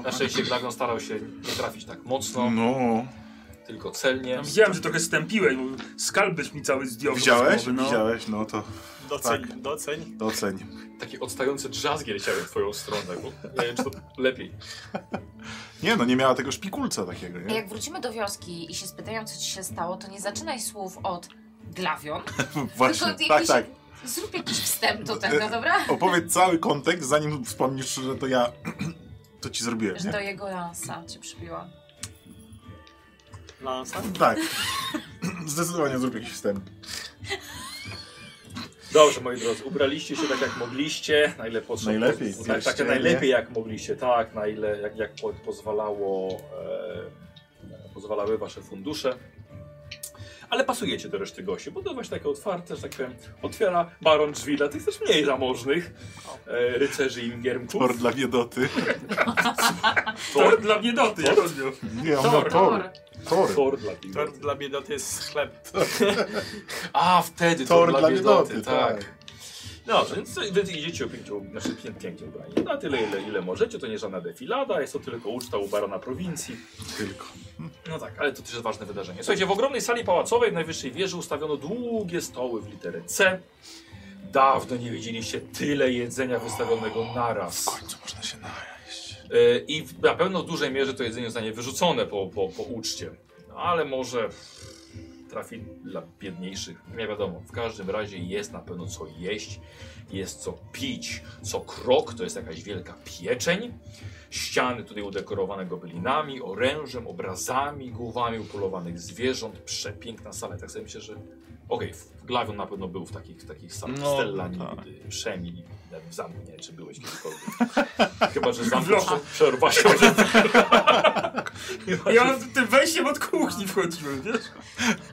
Speaker 1: Na szczęście Glagon starał się nie trafić tak mocno,
Speaker 3: No,
Speaker 1: tylko celnie.
Speaker 5: Ja widziałem, że trochę stępiłeś, bo skalbyś mi cały zdjął.
Speaker 3: widziałeś?
Speaker 5: z głowy, No.
Speaker 3: Widziałeś, no to
Speaker 4: Doceń,
Speaker 3: Tak.
Speaker 4: doceń.
Speaker 3: doceń.
Speaker 1: Takie odstające drzazgi leciały w twoją stronę, bo nie wiem, czy to lepiej.
Speaker 3: Nie no, nie miała tego szpikulca takiego, nie?
Speaker 2: Jak wrócimy do wioski i się spytają, co ci się stało, to nie zaczynaj słów od glawion,
Speaker 3: Właśnie,
Speaker 2: tylko
Speaker 3: tak,
Speaker 2: jakiś,
Speaker 3: tak.
Speaker 2: zrób jakiś wstęp do tego, dobra?
Speaker 3: Opowiedz cały kontekst, zanim wspomnisz, że to ja to ci zrobiłem,
Speaker 2: Że do
Speaker 3: nie?
Speaker 2: jego lansa cię przybiła.
Speaker 4: Lansa.
Speaker 3: Tak. Zdecydowanie zrób jakiś wstęp.
Speaker 1: Dobrze, moi drodzy, ubraliście się tak jak mogliście, na ile potrzeb,
Speaker 3: Najlepiej,
Speaker 1: tak, tak,
Speaker 3: pierścienie.
Speaker 1: najlepiej jak mogliście, tak, na ile jak, jak po, pozwalało, e, pozwalały wasze fundusze. Ale pasujecie do reszty gości, bo to właśnie takie otwarte, że tak powiem, otwiera baron drzwi dla tych też mniej zamożnych e, rycerzy i giermków.
Speaker 3: Tor dla biedoty.
Speaker 5: Tor dla biedoty, ja rozumiem.
Speaker 3: Nie, on
Speaker 5: Tor.
Speaker 3: ma tor. Tor.
Speaker 1: Tor dla
Speaker 4: Tort
Speaker 1: biedoty.
Speaker 4: dla biedoty jest chleb.
Speaker 1: A, wtedy
Speaker 3: Tor dla biedoty, tak.
Speaker 1: Dobrze, więc co- wy idziecie o pięciu, znaczy pię- pięknie ubrani. Na tyle, ile, ile możecie, to nie żadna defilada, jest to tylko uczta u barona prowincji.
Speaker 3: Tylko.
Speaker 1: No tak, ale to też jest ważne wydarzenie. Słuchajcie, w ogromnej sali pałacowej w najwyższej wieży ustawiono długie stoły w literę C. Dawno nie widzieliście tyle jedzenia wystawionego naraz.
Speaker 3: W końcu można się najeść.
Speaker 1: E, I w- na pewno w dużej mierze to jedzenie zostanie wyrzucone po, po, po uczcie. No, ale może trafi dla biedniejszych. Nie wiadomo. W każdym razie jest na pewno co jeść, jest co pić. Co krok to jest jakaś wielka pieczeń. Ściany tutaj udekorowane gobelinami, orężem, obrazami, głowami upolowanych zwierząt. Przepiękna sala. Tak sobie myślę, że okej, w Glawion na pewno był w takich, takich salach.
Speaker 3: No,
Speaker 1: Stella
Speaker 3: tak.
Speaker 1: nigdy, Przemi, w zamku, nie wiem, czy byłeś kiedykolwiek. Chyba, że zamku prze- przerwa się. Że... Chyba,
Speaker 5: Ja
Speaker 1: że-
Speaker 5: mam tym wejściem od kuchni wchodziłem, wiesz?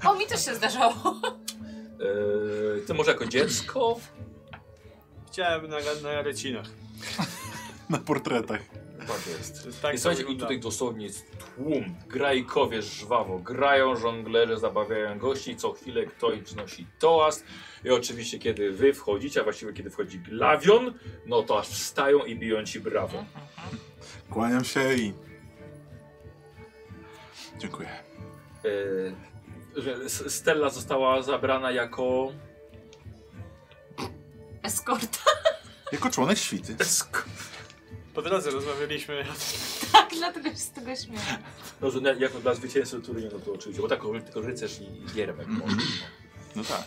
Speaker 2: O, mi też się zdarzało.
Speaker 1: Eee, ty może jako dziecko?
Speaker 4: Chciałem na, na rycinach.
Speaker 3: Na portretach.
Speaker 1: Tak jest.
Speaker 4: Tak
Speaker 1: I słuchajcie, i tutaj dosłownie jest tłum. Grajkowie żwawo grają, żonglerzy zabawiają gości, co chwilę ktoś wznosi toast. I oczywiście kiedy wy wchodzicie, a właściwie kiedy wchodzi glawion, no to aż wstają i biją ci brawo.
Speaker 3: Kłaniam się i... Dziękuję.
Speaker 1: Eee, że S- Stella została zabrana jako...
Speaker 2: Eskorta,
Speaker 3: Jako członek świty.
Speaker 4: Po drodze rozmawialiśmy.
Speaker 2: tak, dlatego się z tego śmieję.
Speaker 1: No, że na- jako dla zwycięzcy turnieju, no to oczywiście, bo tak ry- tylko rycerz i giermek
Speaker 5: Mhm.
Speaker 1: może.
Speaker 3: No tak.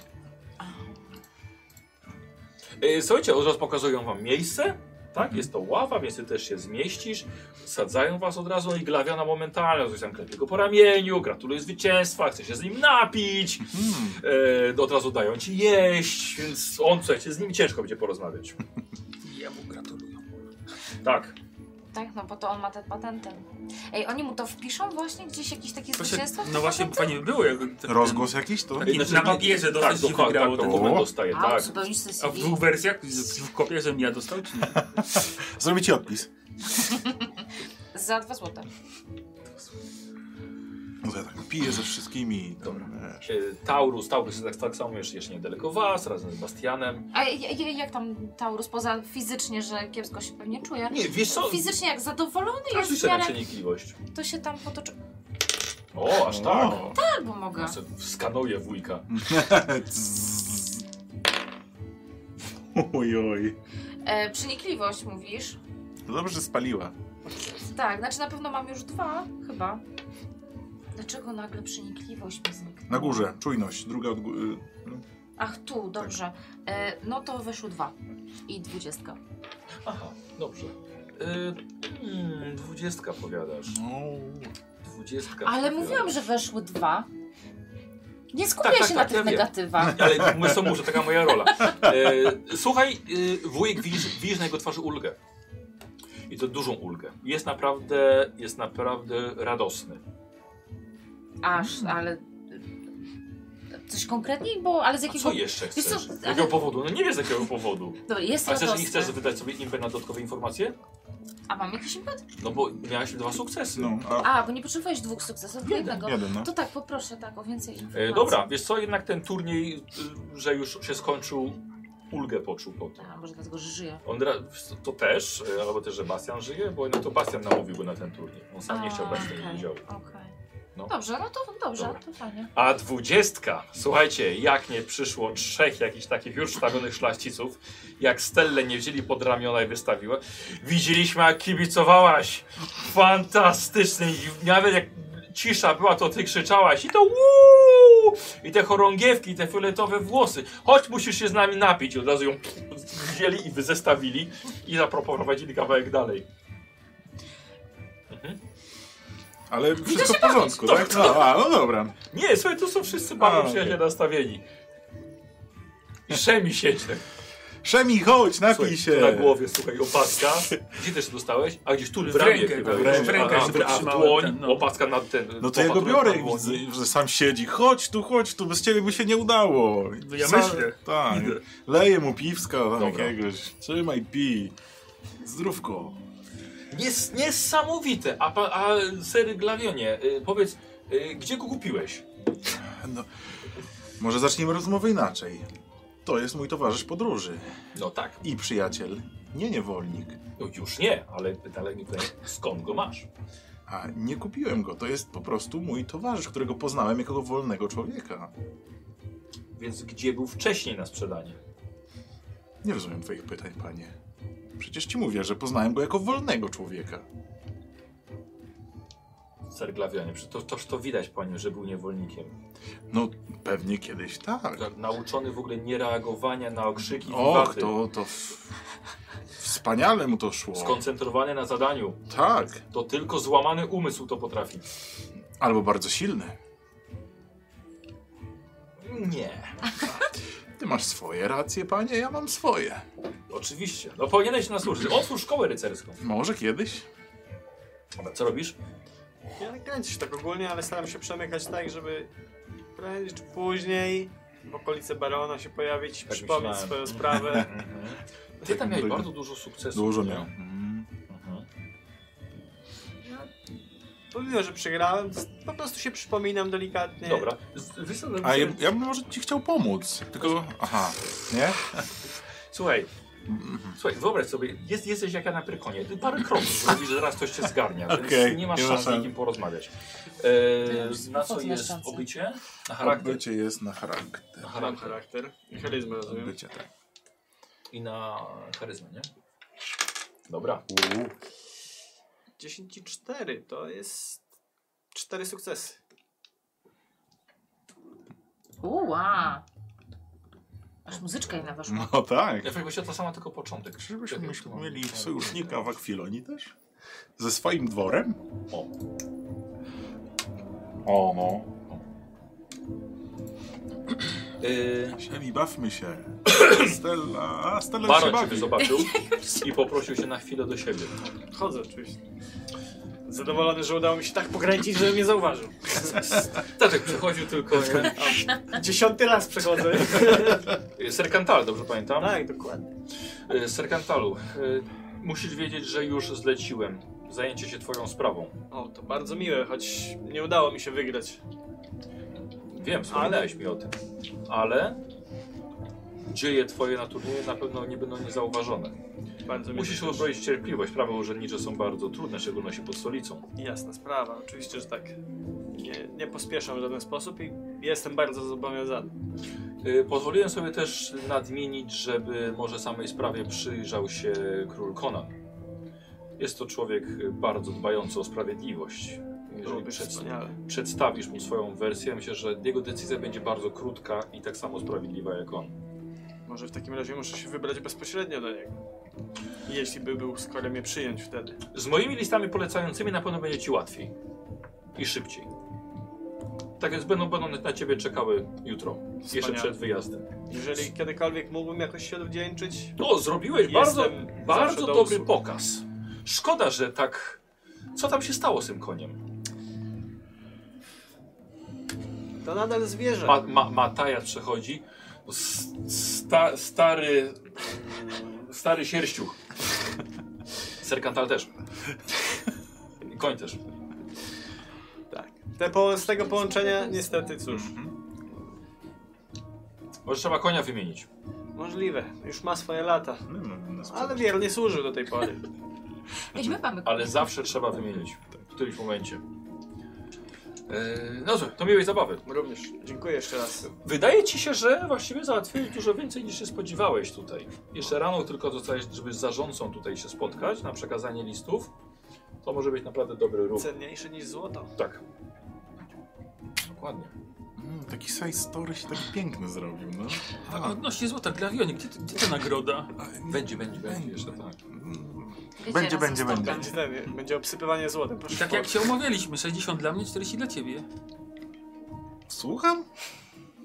Speaker 1: E, Słuchajcie, od razu pokazują wam miejsce,
Speaker 5: Mhm.
Speaker 1: tak? Jest to ława, więc ty też się zmieścisz. Sadzają was od razu i glawiona momentalnie, coś tam klepie go po ramieniu, gratuluje zwycięstwa, chce się z nim napić,
Speaker 5: Mhm.
Speaker 3: Hmm.
Speaker 1: e, od razu dają ci jeść, więc on, słuchajcie, z nim ciężko będzie porozmawiać. Ja mu gratuluję. Tak.
Speaker 2: Tak, no bo to on ma te patenty. Ej, oni mu to wpiszą właśnie gdzieś, jakieś takie
Speaker 5: Właśnie,
Speaker 2: zwycięstwo?
Speaker 5: no właśnie, fajnie by było. Jak ten-
Speaker 3: Rozgłos jakiś to?
Speaker 5: I na papierze dosyć
Speaker 1: tak,
Speaker 5: się
Speaker 1: dokładnie,
Speaker 5: wygrało
Speaker 1: tak,
Speaker 5: ten
Speaker 1: dokument
Speaker 3: O.
Speaker 1: dostaje,
Speaker 2: A,
Speaker 1: tak.
Speaker 2: uzupełnisz sobie
Speaker 5: A w
Speaker 2: CV?
Speaker 5: dwóch wersjach? W kopie, żebym ja dostał, czy nie?
Speaker 3: Zrobię ci odpis.
Speaker 2: Za dwa złote.
Speaker 3: No to ja tak piję ze wszystkimi. Dobra. Wiesz.
Speaker 1: E, Taurus, Taurus jest tak, tak samo jeszcze, jeszcze niedaleko was, razem z Bastianem.
Speaker 2: A j- j- jak tam Taurus, poza fizycznie, że kiepsko się pewnie czuje?
Speaker 1: Nie, wiesz co?
Speaker 2: Fizycznie jak zadowolony jest
Speaker 1: Rzuć
Speaker 2: w
Speaker 1: sobie na
Speaker 2: miarę,
Speaker 1: przenikliwość.
Speaker 2: to się tam potoczy.
Speaker 1: O, aż tak.
Speaker 3: O.
Speaker 2: Tak, bo mogę.
Speaker 1: Ja se Skanuję wujka.
Speaker 3: Zzz. Oj, oj.
Speaker 2: E, przenikliwość mówisz?
Speaker 3: No dobrze, że spaliła.
Speaker 2: Tak, znaczy na pewno mam już dwa, chyba. Dlaczego nagle przenikliwość mi zniknęła?
Speaker 3: Na górze, czujność. Druga od gó- y, no.
Speaker 2: Ach,
Speaker 1: Tak.
Speaker 2: tu, dobrze. E, no to weszło dwa. I dwudziestka.
Speaker 1: Aha, dobrze. Yy, mm, dwudziestka powiadasz.
Speaker 3: no,
Speaker 1: Dwudziestka.
Speaker 2: Ale
Speaker 1: powiadasz.
Speaker 2: mówiłam, że weszły dwa. Nie skupiaj
Speaker 1: Tak, tak, tak,
Speaker 2: się na
Speaker 1: ja
Speaker 2: tych
Speaker 1: wiem.
Speaker 2: negatywach.
Speaker 1: Ale my są muszę, taka moja rola. E, słuchaj, e, wujek widzisz, widzisz na jego twarzy ulgę. I to dużą ulgę. Jest naprawdę, jest naprawdę radosny.
Speaker 2: Aż, ale... Coś konkretniej było, ale z
Speaker 1: A
Speaker 2: jakiego...
Speaker 1: co jeszcze
Speaker 2: Wiesz co,
Speaker 1: chcesz? Z
Speaker 2: ale,
Speaker 1: jakiego powodu? No nie wiesz z jakiego powodu.
Speaker 2: dobra, jest
Speaker 1: A chcesz,
Speaker 2: radosny.
Speaker 1: nie chcesz wydać sobie impę na dodatkowe informacje?
Speaker 2: A mam jakiś impet?
Speaker 1: No bo miałeś dwa sukcesy.
Speaker 3: No, a
Speaker 2: A, bo nie potrzebowałeś dwóch sukcesów, do jednego.
Speaker 3: jeden, no.
Speaker 2: To tak, poproszę tak o więcej informacji.
Speaker 1: E, dobra, wiesz co, jednak ten turniej, y, że już się skończył, ulgę poczuł po tym.
Speaker 2: A, może dlatego, że żyję.
Speaker 1: On ra- to też, y, albo też, że Bastian żyje, bo no to Bastian namówiłby na ten turniej. On sam nie
Speaker 2: A,
Speaker 1: chciał brać w tym
Speaker 2: okej,
Speaker 1: udziału.
Speaker 2: okej.
Speaker 1: No.
Speaker 2: Dobrze, no to dobrze,
Speaker 1: Dobra.
Speaker 2: to fajnie.
Speaker 1: A dwudziestka, słuchajcie, jak nie przyszło trzech jakichś takich już sztawionych szlachciców, jak Stelle nie wzięli pod ramiona i wystawiły. Widzieliśmy, jak kibicowałaś. Fantastyczny. I Nawet jak cisza była, to ty krzyczałaś i to uuu! I te chorągiewki, i te fioletowe włosy. Chodź, musisz się z nami napić. I Od razu ją wzięli i zestawili i zaproponowali kawałek dalej. Mhm.
Speaker 3: Ale wszystko w porządku, tak? No, a, no dobra.
Speaker 1: Nie, słuchaj, tu są wszyscy bardzo
Speaker 3: A,
Speaker 1: przyjaźnie
Speaker 3: okej.
Speaker 1: nastawieni. I Szemi siedzi tak.
Speaker 3: Szemi, chodź,
Speaker 1: Słuchaj,
Speaker 3: napij
Speaker 1: tu
Speaker 3: się.
Speaker 1: Na głowie, słuchaj, opaska. Gdzie też dostałeś? A gdzieś tu w
Speaker 5: W
Speaker 1: ramię
Speaker 5: rękę,
Speaker 1: chyba.
Speaker 5: w
Speaker 3: rękę, w
Speaker 1: A,
Speaker 5: rękę
Speaker 1: a,
Speaker 5: sobie
Speaker 1: a w
Speaker 5: trzymałem
Speaker 1: dłoń,
Speaker 5: ten, no.
Speaker 1: opaska nad ten.
Speaker 3: No to jego
Speaker 1: opatruje
Speaker 3: biorę,
Speaker 1: na dłoń.
Speaker 3: widzę, że sam siedzi. Chodź tu, chodź tu, bez ciebie by się nie udało.
Speaker 5: No ja
Speaker 3: Sa-
Speaker 5: myślę.
Speaker 3: Tak.
Speaker 5: Idę.
Speaker 3: Leję mu piwska tam
Speaker 1: Dobra.
Speaker 3: jakiegoś. Trzymaj, pij. Zdrówko.
Speaker 1: Nies, niesamowite. A, pa- a sery Glawionie, y, powiedz, y, gdzie go kupiłeś?
Speaker 3: No. Może zaczniemy rozmowę inaczej. To jest mój towarzysz podróży
Speaker 1: No tak.
Speaker 3: i przyjaciel, nie niewolnik.
Speaker 1: No już nie, ale dalej nie pytanie, skąd go masz?
Speaker 3: A nie kupiłem go, to jest po prostu mój towarzysz, którego poznałem jako wolnego człowieka.
Speaker 1: Więc gdzie był wcześniej na sprzedanie?
Speaker 3: Nie rozumiem twoich pytań, panie. Przecież ci mówię, że poznałem go jako wolnego człowieka.
Speaker 1: Serglawianie. Przecież to, toż to widać po nim, że był niewolnikiem.
Speaker 3: No, pewnie kiedyś tak.
Speaker 1: Tak, Nauczony w ogóle nie reagowania na okrzyki
Speaker 3: Och,
Speaker 1: wiwaty.
Speaker 3: to, to w- wspaniale mu to szło.
Speaker 1: Skoncentrowany na zadaniu.
Speaker 3: Tak,
Speaker 1: To tylko złamany umysł to potrafi.
Speaker 3: albo bardzo silny.
Speaker 1: Nie.
Speaker 3: Ty masz swoje racje, panie, ja mam swoje.
Speaker 1: Oczywiście. No powinieneś nas służyć. Otwórz szkołę rycerską.
Speaker 3: Może kiedyś?
Speaker 1: Dobra, co robisz?
Speaker 4: Ja nie kręcę się tak ogólnie, ale staram się przemykać tak, żeby prędzej czy później w okolicy barona się pojawić,
Speaker 1: Tak
Speaker 4: przypomnieć
Speaker 1: myślałem.
Speaker 4: swoją sprawę.
Speaker 1: Mhm. Ty tam miałeś
Speaker 3: Dużo-
Speaker 1: bardzo dużo sukcesów.
Speaker 3: Dużo
Speaker 1: nie?
Speaker 3: miał. Mm.
Speaker 1: Mhm.
Speaker 4: Pomimo, że przegrałem, to po prostu się przypominam delikatnie.
Speaker 1: Dobra. Z- wiesz co,
Speaker 3: A ja, ja bym może ci chciał pomóc, tylko... Aha, nie?
Speaker 1: Słuchaj.
Speaker 3: Mhm.
Speaker 1: Słuchaj, wyobraź sobie, jest, jesteś jak ja na prykonie. Ty parę kroków robisz, że raz ktoś cię zgarnia,
Speaker 3: Okej,
Speaker 1: więc nie masz
Speaker 3: nie ma
Speaker 1: szans z
Speaker 3: szans.
Speaker 1: nikim porozmawiać.
Speaker 2: już
Speaker 1: E, na co
Speaker 2: wchodzę na
Speaker 1: jest
Speaker 2: szansę.
Speaker 1: obycie?
Speaker 3: Tak
Speaker 1: Na charakter.
Speaker 3: Charakter. jest na charakter.
Speaker 1: Na
Speaker 4: Mam
Speaker 1: charakter.
Speaker 4: charakter. i Charyzmę rozumiem.
Speaker 3: Bycie, tak.
Speaker 1: I na charyzmę, nie? Dobra.
Speaker 4: 10 i 4 to jest 4 sukcesy.
Speaker 2: Uła! Aż muzyczka inna weszła.
Speaker 3: No tak.
Speaker 1: Ja właściwie to sama tylko początek.
Speaker 3: Czyżbyśmy
Speaker 1: Czekaj,
Speaker 3: myśmy
Speaker 1: tu mam-
Speaker 3: mieli
Speaker 1: mam-
Speaker 3: sojusznika w Akwilonii też? Ze swoim dworem?
Speaker 1: O.
Speaker 3: O no.
Speaker 1: Y,
Speaker 3: Siemi, bawmy się. Stella, a Stella No się
Speaker 1: Baron ciebie
Speaker 3: bawi.
Speaker 1: zobaczył i poprosił się na chwilę do siebie.
Speaker 4: Chodzę oczywiście. Zadowolony, że udało mi się tak pokręcić, że mnie zauważył.
Speaker 1: Tak, jak przychodził tylko nie?
Speaker 4: Dziesiąty raz przechodzę.
Speaker 1: Y, Serkantal, dobrze pamiętam?
Speaker 4: tak, dokładnie.
Speaker 1: Y, Serkantalu, y, musisz wiedzieć, że już zleciłem zajęcie się twoją sprawą.
Speaker 4: O, to bardzo miłe, choć nie udało mi się wygrać.
Speaker 1: Wiem, wspominałeś mi o tym, ale dzieje twoje na turnieju na pewno nie będą niezauważone.
Speaker 4: Bardzo miłe.
Speaker 1: Musisz uzbroić cierpliwość. Prawa urzędnicze są bardzo trudne, w szczególności pod stolicą.
Speaker 4: Jasna sprawa, oczywiście, że tak. Nie, nie pospieszam w żaden sposób i jestem bardzo zobowiązany.
Speaker 1: Y, Pozwoliłem sobie też nadmienić, żeby może samej sprawie przyjrzał się król Conan. Jest to człowiek bardzo dbający o sprawiedliwość. Jeżeli
Speaker 4: Byłoby
Speaker 1: przed,
Speaker 4: wspaniale.
Speaker 1: przedstawisz mu swoją wersję, myślę, że jego decyzja będzie bardzo krótka i tak samo sprawiedliwa jak on.
Speaker 4: Może w takim razie muszę się wybrać bezpośrednio do niego. Jeśli by był skoro mnie przyjąć wtedy.
Speaker 1: Z moimi listami polecającymi na pewno będzie ci łatwiej i szybciej. Tak więc będą, będą na ciebie czekały jutro, jeszcze
Speaker 4: Wspaniale.
Speaker 1: przed wyjazdem.
Speaker 4: Jeżeli kiedykolwiek mógłbym jakoś się odwdzięczyć,
Speaker 1: No, zrobiłeś bardzo,
Speaker 4: Jestem zawsze
Speaker 1: bardzo
Speaker 4: do
Speaker 1: dobry
Speaker 4: usług.
Speaker 1: pokaz. Szkoda, że tak. Co tam się stało z tym koniem?
Speaker 4: to nadal zwierzę.
Speaker 1: Ma, ma, Mataja przechodzi. S, sta, stary. Stary sierściuch. Serkantal też. Koń też.
Speaker 4: Tak. Te po, z tego połączenia niestety cóż.
Speaker 5: Mhm.
Speaker 1: Może trzeba konia wymienić.
Speaker 4: Możliwe. Już ma swoje lata.
Speaker 3: No, no, no, no,
Speaker 4: Ale wiernie służył do tej pory.
Speaker 2: Idźmy mamy
Speaker 1: Ale zawsze trzeba wymienić. W którymś momencie. Yy, No cóż, to miłej zabawy.
Speaker 4: Również. Dziękuję jeszcze raz.
Speaker 1: Wydaje ci się, że właściwie załatwiłeś dużo więcej niż się spodziewałeś tutaj. Jeszcze rano tylko dostałeś, żeby z zarządcą tutaj się spotkać na przekazanie listów. To może być naprawdę dobry ruch.
Speaker 4: Cenniejsze niż złoto.
Speaker 1: Tak. Dokładnie.
Speaker 3: Mm, taki side story się tak piękny zrobił, no.
Speaker 5: Tak, odnośnie złota, Glawionie, gdzie, gdzie ta nagroda?
Speaker 1: Będzie, będzie, będzie jeszcze tak.
Speaker 3: Mm,
Speaker 2: Wiecie,
Speaker 3: Będzie,
Speaker 2: razem
Speaker 3: będzie,
Speaker 2: z tortem.
Speaker 3: będzie.
Speaker 4: Będzie, ten, będzie obsypywanie złotem.
Speaker 5: I
Speaker 4: Proszę
Speaker 5: tak jak się umawialiśmy, 60 dla mnie, 40 dla ciebie.
Speaker 3: Słucham?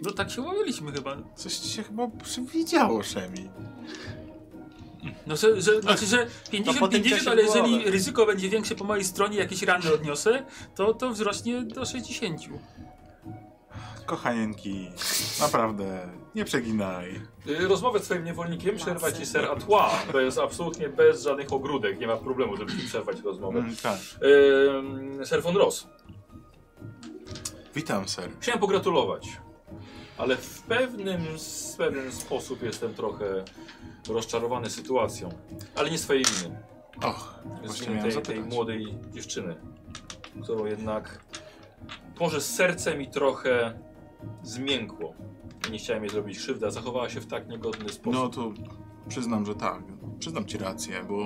Speaker 5: No tak się umawialiśmy chyba.
Speaker 3: Coś ci się chyba przywidziało, Szemi.
Speaker 5: No, że, że,
Speaker 1: Tak.
Speaker 5: znaczy, że
Speaker 4: No, po
Speaker 5: 50,
Speaker 4: tym
Speaker 5: 50
Speaker 4: czasie
Speaker 5: ale
Speaker 4: głowy.
Speaker 5: jeżeli ryzyko będzie większe po mojej stronie, jakieś rany odniosę, to, to wzrośnie do 60.
Speaker 3: Kochanienki, naprawdę, nie przeginaj.
Speaker 1: Y, Rozmowę z twoim niewolnikiem przerwa ci ser Atła. To jest absolutnie bez żadnych ogródek. Nie ma problemu, żeby ci przerwać rozmowę.
Speaker 3: Mm, tak.
Speaker 1: Yy, ser von Ross.
Speaker 3: Witam, ser.
Speaker 1: Chciałem pogratulować. ale w pewnym, z pewien sposób jestem trochę rozczarowany sytuacją. Ale nie swojej winy.
Speaker 3: Och,
Speaker 1: Jest
Speaker 3: właśnie
Speaker 1: winy
Speaker 3: miałem
Speaker 1: tej, tej
Speaker 3: zapytać.
Speaker 1: młodej dziewczyny, którą jednak może serce mi trochę zmiękło. Nie chciałem jej zrobić krzywdy, a zachowała się w tak niegodny sposób.
Speaker 3: No to przyznam, że tak. Przyznam ci rację, bo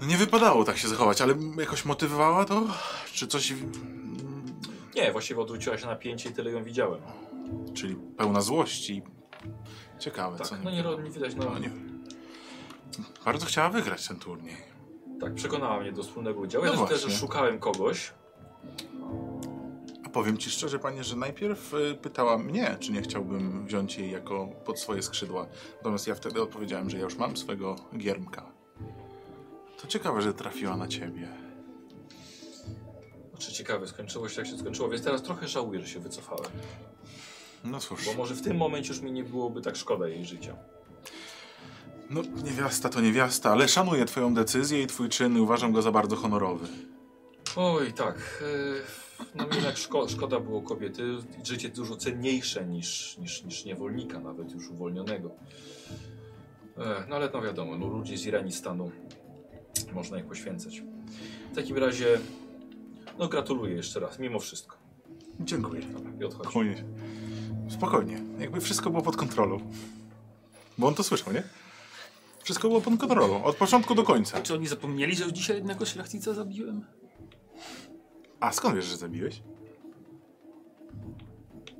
Speaker 3: no nie wypadało tak się zachować, ale jakoś motywowała to? Czy coś... mm,
Speaker 1: Nie, właściwie odwróciła się napięcie i tyle ją widziałem.
Speaker 3: Czyli pełna złości. Ciekawe,
Speaker 1: Tak,
Speaker 3: co
Speaker 1: no nie, ro- nie widać, no,
Speaker 3: No nie. Bardzo chciała wygrać ten turniej.
Speaker 1: Tak, przekonała mnie do wspólnego udziału. Ja
Speaker 3: No
Speaker 1: też, też
Speaker 3: właśnie.
Speaker 1: szukałem kogoś.
Speaker 3: A powiem ci szczerze, panie, że najpierw y, pytała mnie, czy nie chciałbym wziąć jej jako pod swoje skrzydła. Natomiast ja wtedy odpowiedziałem, że ja już mam swego giermka. To ciekawe, że trafiła na ciebie.
Speaker 1: Znaczy ciekawe, skończyło się jak się skończyło, więc teraz trochę żałuję, że się wycofałem.
Speaker 3: No cóż,
Speaker 1: Bo może w tym momencie już mi nie byłoby tak szkoda jej życia.
Speaker 3: no niewiasta to niewiasta, ale szanuję twoją decyzję i twój czyn i uważam go za bardzo honorowy.
Speaker 1: Oj, tak. e, No mi jednak szko szkoda było kobiety. Życie dużo cenniejsze niż, niż, niż niewolnika, nawet już uwolnionego. E, No ale no wiadomo, no, ludzie z Iranistanu można ich poświęcać. W takim razie, no gratuluję jeszcze raz, mimo wszystko.
Speaker 3: Dziękuję.
Speaker 1: I odchodzi.
Speaker 3: Spokojnie. Spokojnie. Jakby wszystko było pod kontrolą. Bo on to słyszał, nie? Wszystko było pod kontrolą. Od początku do końca.
Speaker 5: Czy oni zapomnieli, że już dzisiaj jednego szlachcica zabiłem?
Speaker 3: A skąd wiesz, że zabiłeś?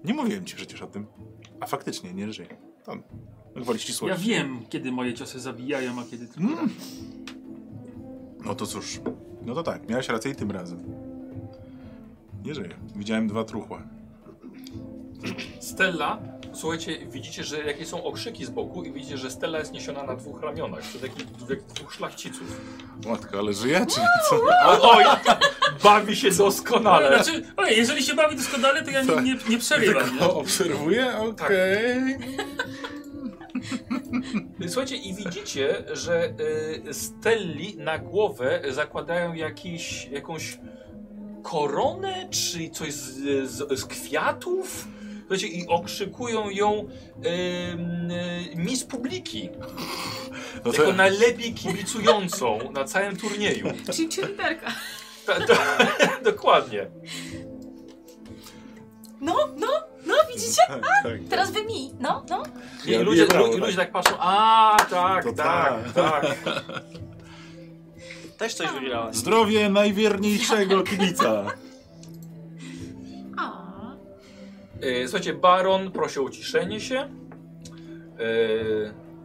Speaker 3: Nie mówiłem ci przecież o tym. A faktycznie, nie żyje. To gwoli
Speaker 5: Ja
Speaker 3: ścisłości.
Speaker 5: wiem, kiedy moje ciosy zabijają, a kiedy tylko
Speaker 3: Mm.
Speaker 5: mm.
Speaker 3: No to cóż. No to tak, miałeś rację i tym razem. Nie żyje. Widziałem dwa truchła.
Speaker 1: Stella, słuchajcie, widzicie, że jakie są okrzyki z boku i widzicie, że Stella jest niesiona na dwóch ramionach przez jakichś dwóch, dwóch szlachciców.
Speaker 3: Matka, ale żyje czy co?
Speaker 1: Oj, bawi się doskonale.
Speaker 5: Znaczy, oj, jeżeli się bawi doskonale, to ja nie, nie, nie przerywam. Nie?
Speaker 3: Tylko No, obserwuję? Okej.
Speaker 1: Słuchajcie, i widzicie, że y, Stelli na głowę zakładają jakiś, jakąś koronę, czy coś z, z, z kwiatów. Słuchajcie, i okrzykują ją ym, y, Miss Publiki,
Speaker 3: No
Speaker 1: jako
Speaker 3: to,
Speaker 1: najlepiej kibicującą na całym turnieju.
Speaker 6: Czyli cheerleaderka.
Speaker 1: Ta, do, dokładnie.
Speaker 2: No, no, no, widzicie?
Speaker 3: tak, tak.
Speaker 2: Teraz wy mi, no, no.
Speaker 1: I
Speaker 3: Ja
Speaker 1: ludzie,
Speaker 3: wiedziałem,
Speaker 1: lu,
Speaker 3: tak.
Speaker 1: ludzie tak patrzą, a tak,
Speaker 3: To
Speaker 1: tak, tak.
Speaker 4: Też coś wygrałaś.
Speaker 3: Zdrowie najwierniejszego kibica.
Speaker 6: A.
Speaker 1: E, Słuchajcie, baron prosi o uciszenie się e,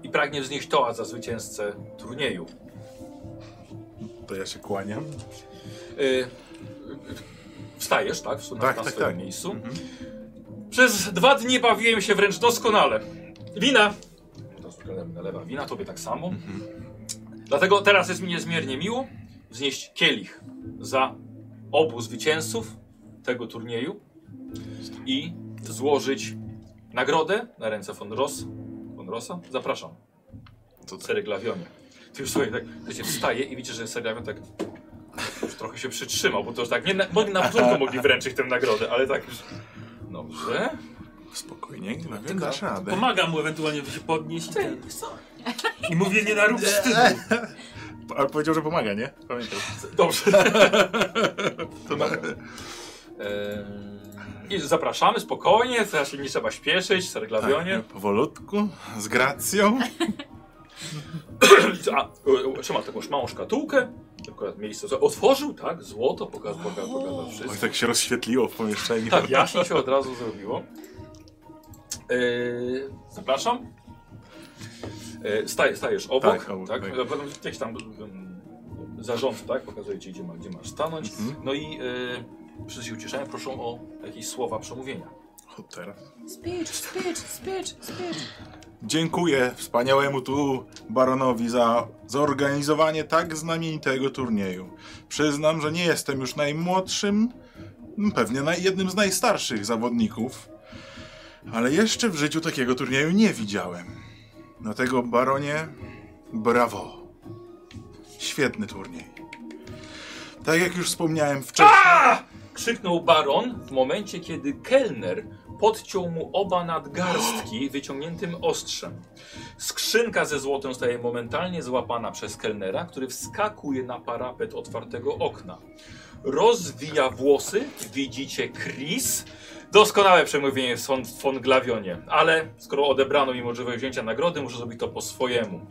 Speaker 1: i pragnie wznieść toa za zwycięzcę turnieju.
Speaker 3: To ja się
Speaker 1: E,
Speaker 3: kłaniam.
Speaker 1: e, Wstajesz, tak? Wsu- Na,
Speaker 3: Tak,
Speaker 1: na
Speaker 3: tak,
Speaker 1: swoim
Speaker 3: tak.
Speaker 1: miejscu. Przez dwa dni bawiłem się wręcz doskonale. Wina! To z- nalewa wina, tobie tak samo.
Speaker 3: Mhm.
Speaker 1: Dlatego teraz jest mi niezmiernie miło wznieść kielich za obu zwycięzców tego turnieju i złożyć nagrodę na ręce von Ross. Von Rossa? Zapraszam.
Speaker 3: To co?
Speaker 1: Sereglawionie. Ty już słuchaj, tak wiecie, wstaje i widzicie, że Sereglawion tak już trochę się przytrzymał, bo to już tak, nie, na, mogli- na początku mogli wręczyć tę nagrodę, ale tak już... Dobrze.
Speaker 3: Spokojnie, Glawion, dasz radę.
Speaker 5: Pomagam mu ewentualnie żeby się podnieść. i ten. I mówię, nie narób wstydu.
Speaker 3: Ale powiedział, że pomaga, nie? Pamiętam.
Speaker 1: Dobrze.
Speaker 3: To nawet.
Speaker 1: Ehm, I zapraszamy spokojnie, teraz się nie trzeba śpieszyć, Sereglawionie.
Speaker 3: Tak, powolutku, z gracją.
Speaker 5: Tak,
Speaker 1: A, e, e, trzyma taką małą szkatułkę, akurat miejsce, co- otworzył, tak, złoto, pokazał, pokazał, pokazał wszystko.
Speaker 3: Oj, tak się rozświetliło w pomieszczeniu.
Speaker 1: Tak, jaśnie się od razu zrobiło. Yy, zapraszam. Yy, staj, stajesz obok,
Speaker 3: Tak,
Speaker 1: tak?
Speaker 3: obok, tak.
Speaker 1: Potem Gdzieś tam um, zarząd, tak? Pokazuje ci, gdzie, ma, gdzie masz stanąć.
Speaker 3: Mhm.
Speaker 1: No i yy, wszyscy ucieszają, proszą o jakieś słowa przemówienia.
Speaker 3: O, teraz.
Speaker 2: Speech, speech, speech, speech.
Speaker 3: Dziękuję wspaniałemu tu baronowi za zorganizowanie tak znamienitego turnieju. Przyznam, że nie jestem już najmłodszym, m, pewnie naj, jednym z najstarszych zawodników, ale jeszcze w życiu takiego turnieju nie widziałem. Dlatego, baronie, brawo. Świetny turniej. Tak jak już wspomniałem wcześniej.
Speaker 1: Krzyknął baron w momencie, kiedy kelner podciął mu oba nadgarstki wyciągniętym ostrzem. Skrzynka ze złotem staje momentalnie złapana przez kelnera, który wskakuje na parapet otwartego okna. Rozwija włosy, widzicie Chris. Doskonałe przemówienie w Son- w von Glawionie, ale skoro odebrano mi możliwość wzięcia nagrody, muszę zrobić to po swojemu.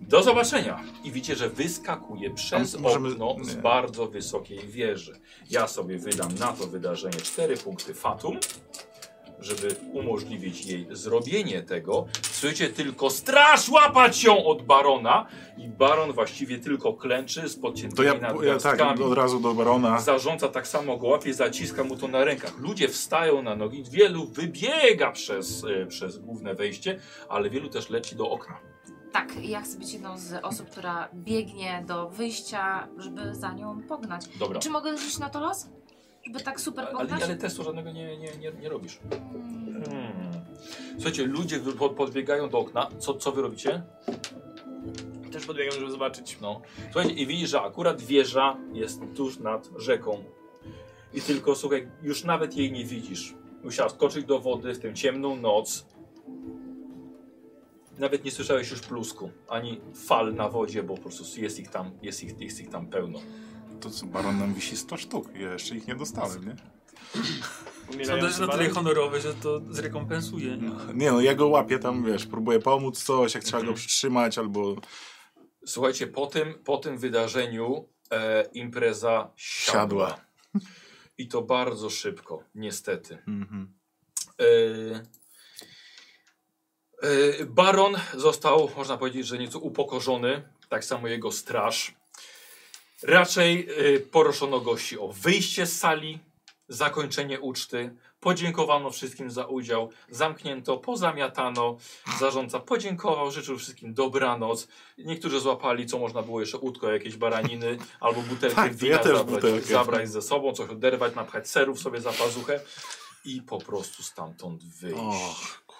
Speaker 1: Do zobaczenia. I widzicie, że wyskakuje przez
Speaker 3: A możemy-
Speaker 1: okno z
Speaker 3: nie.
Speaker 1: bardzo wysokiej wieży. Ja sobie wydam na to wydarzenie 4 punkty fatum, żeby umożliwić jej zrobienie tego. Słyszycie tylko straż łapać ją od barona i baron właściwie tylko klęczy z
Speaker 3: To
Speaker 1: podciętymi
Speaker 3: ja, ja tak,
Speaker 1: nadgarstkami.
Speaker 3: od razu do barona.
Speaker 1: Zarządza tak samo go łapie, zaciska mu to na rękach. Ludzie wstają na nogi, wielu wybiega przez, e, przez główne wejście, ale wielu też leci do okna.
Speaker 2: Tak, ja chcę być jedną z osób, która biegnie do wyjścia, żeby za nią pognać.
Speaker 1: Dobra.
Speaker 2: Czy mogę rzucić na to los? Żeby tak super
Speaker 1: No. Ale,
Speaker 2: pognać?
Speaker 1: ale testu żadnego nie, nie, nie, nie robisz.
Speaker 2: Mm,
Speaker 1: Hmm. Słuchajcie, ludzie wy- pod- podbiegają do okna. Co, co wy robicie?
Speaker 4: Też podbiegam, żeby zobaczyć.
Speaker 1: No. Słuchajcie, i widzisz, że akurat wieża jest tuż nad rzeką. I tylko, słuchaj, już nawet jej nie widzisz. Musiała skoczyć do wody w tę ciemną noc. Nawet nie słyszałeś już plusku, ani fal na wodzie, bo po prostu jest ich tam, jest ich, jest ich tam pełno.
Speaker 3: To co, baron nam wisi 100 sztuk. Ja jeszcze ich nie dostałem, nie?
Speaker 5: Są
Speaker 4: Umierający
Speaker 5: też na tyle
Speaker 4: baran.
Speaker 5: honorowe, że to zrekompensuje.
Speaker 3: Nie no, Mhm. ja go łapię tam, wiesz, próbuję pomóc coś, jak trzeba go przytrzymać, albo
Speaker 1: Słuchajcie, po tym, po tym wydarzeniu e, impreza siadła.
Speaker 3: siadła.
Speaker 1: I to bardzo szybko, niestety.
Speaker 3: Mhm.
Speaker 1: E, e, Baron został, można powiedzieć, że nieco upokorzony, tak samo jego straż. Raczej e, poroszono gości o wyjście z sali, zakończenie uczty, podziękowano wszystkim za udział, zamknięto, pozamiatano, zarządca podziękował, życzył wszystkim dobranoc. Niektórzy złapali, co można było jeszcze utko, jakieś baraniny albo butelkę
Speaker 3: Tak, to ja
Speaker 1: wina
Speaker 3: też
Speaker 1: zabrać,
Speaker 3: butelkę.
Speaker 1: zabrać ze sobą, coś oderwać, napchać serów sobie za pazuchę i po prostu stamtąd wyjść.
Speaker 3: Och, kur-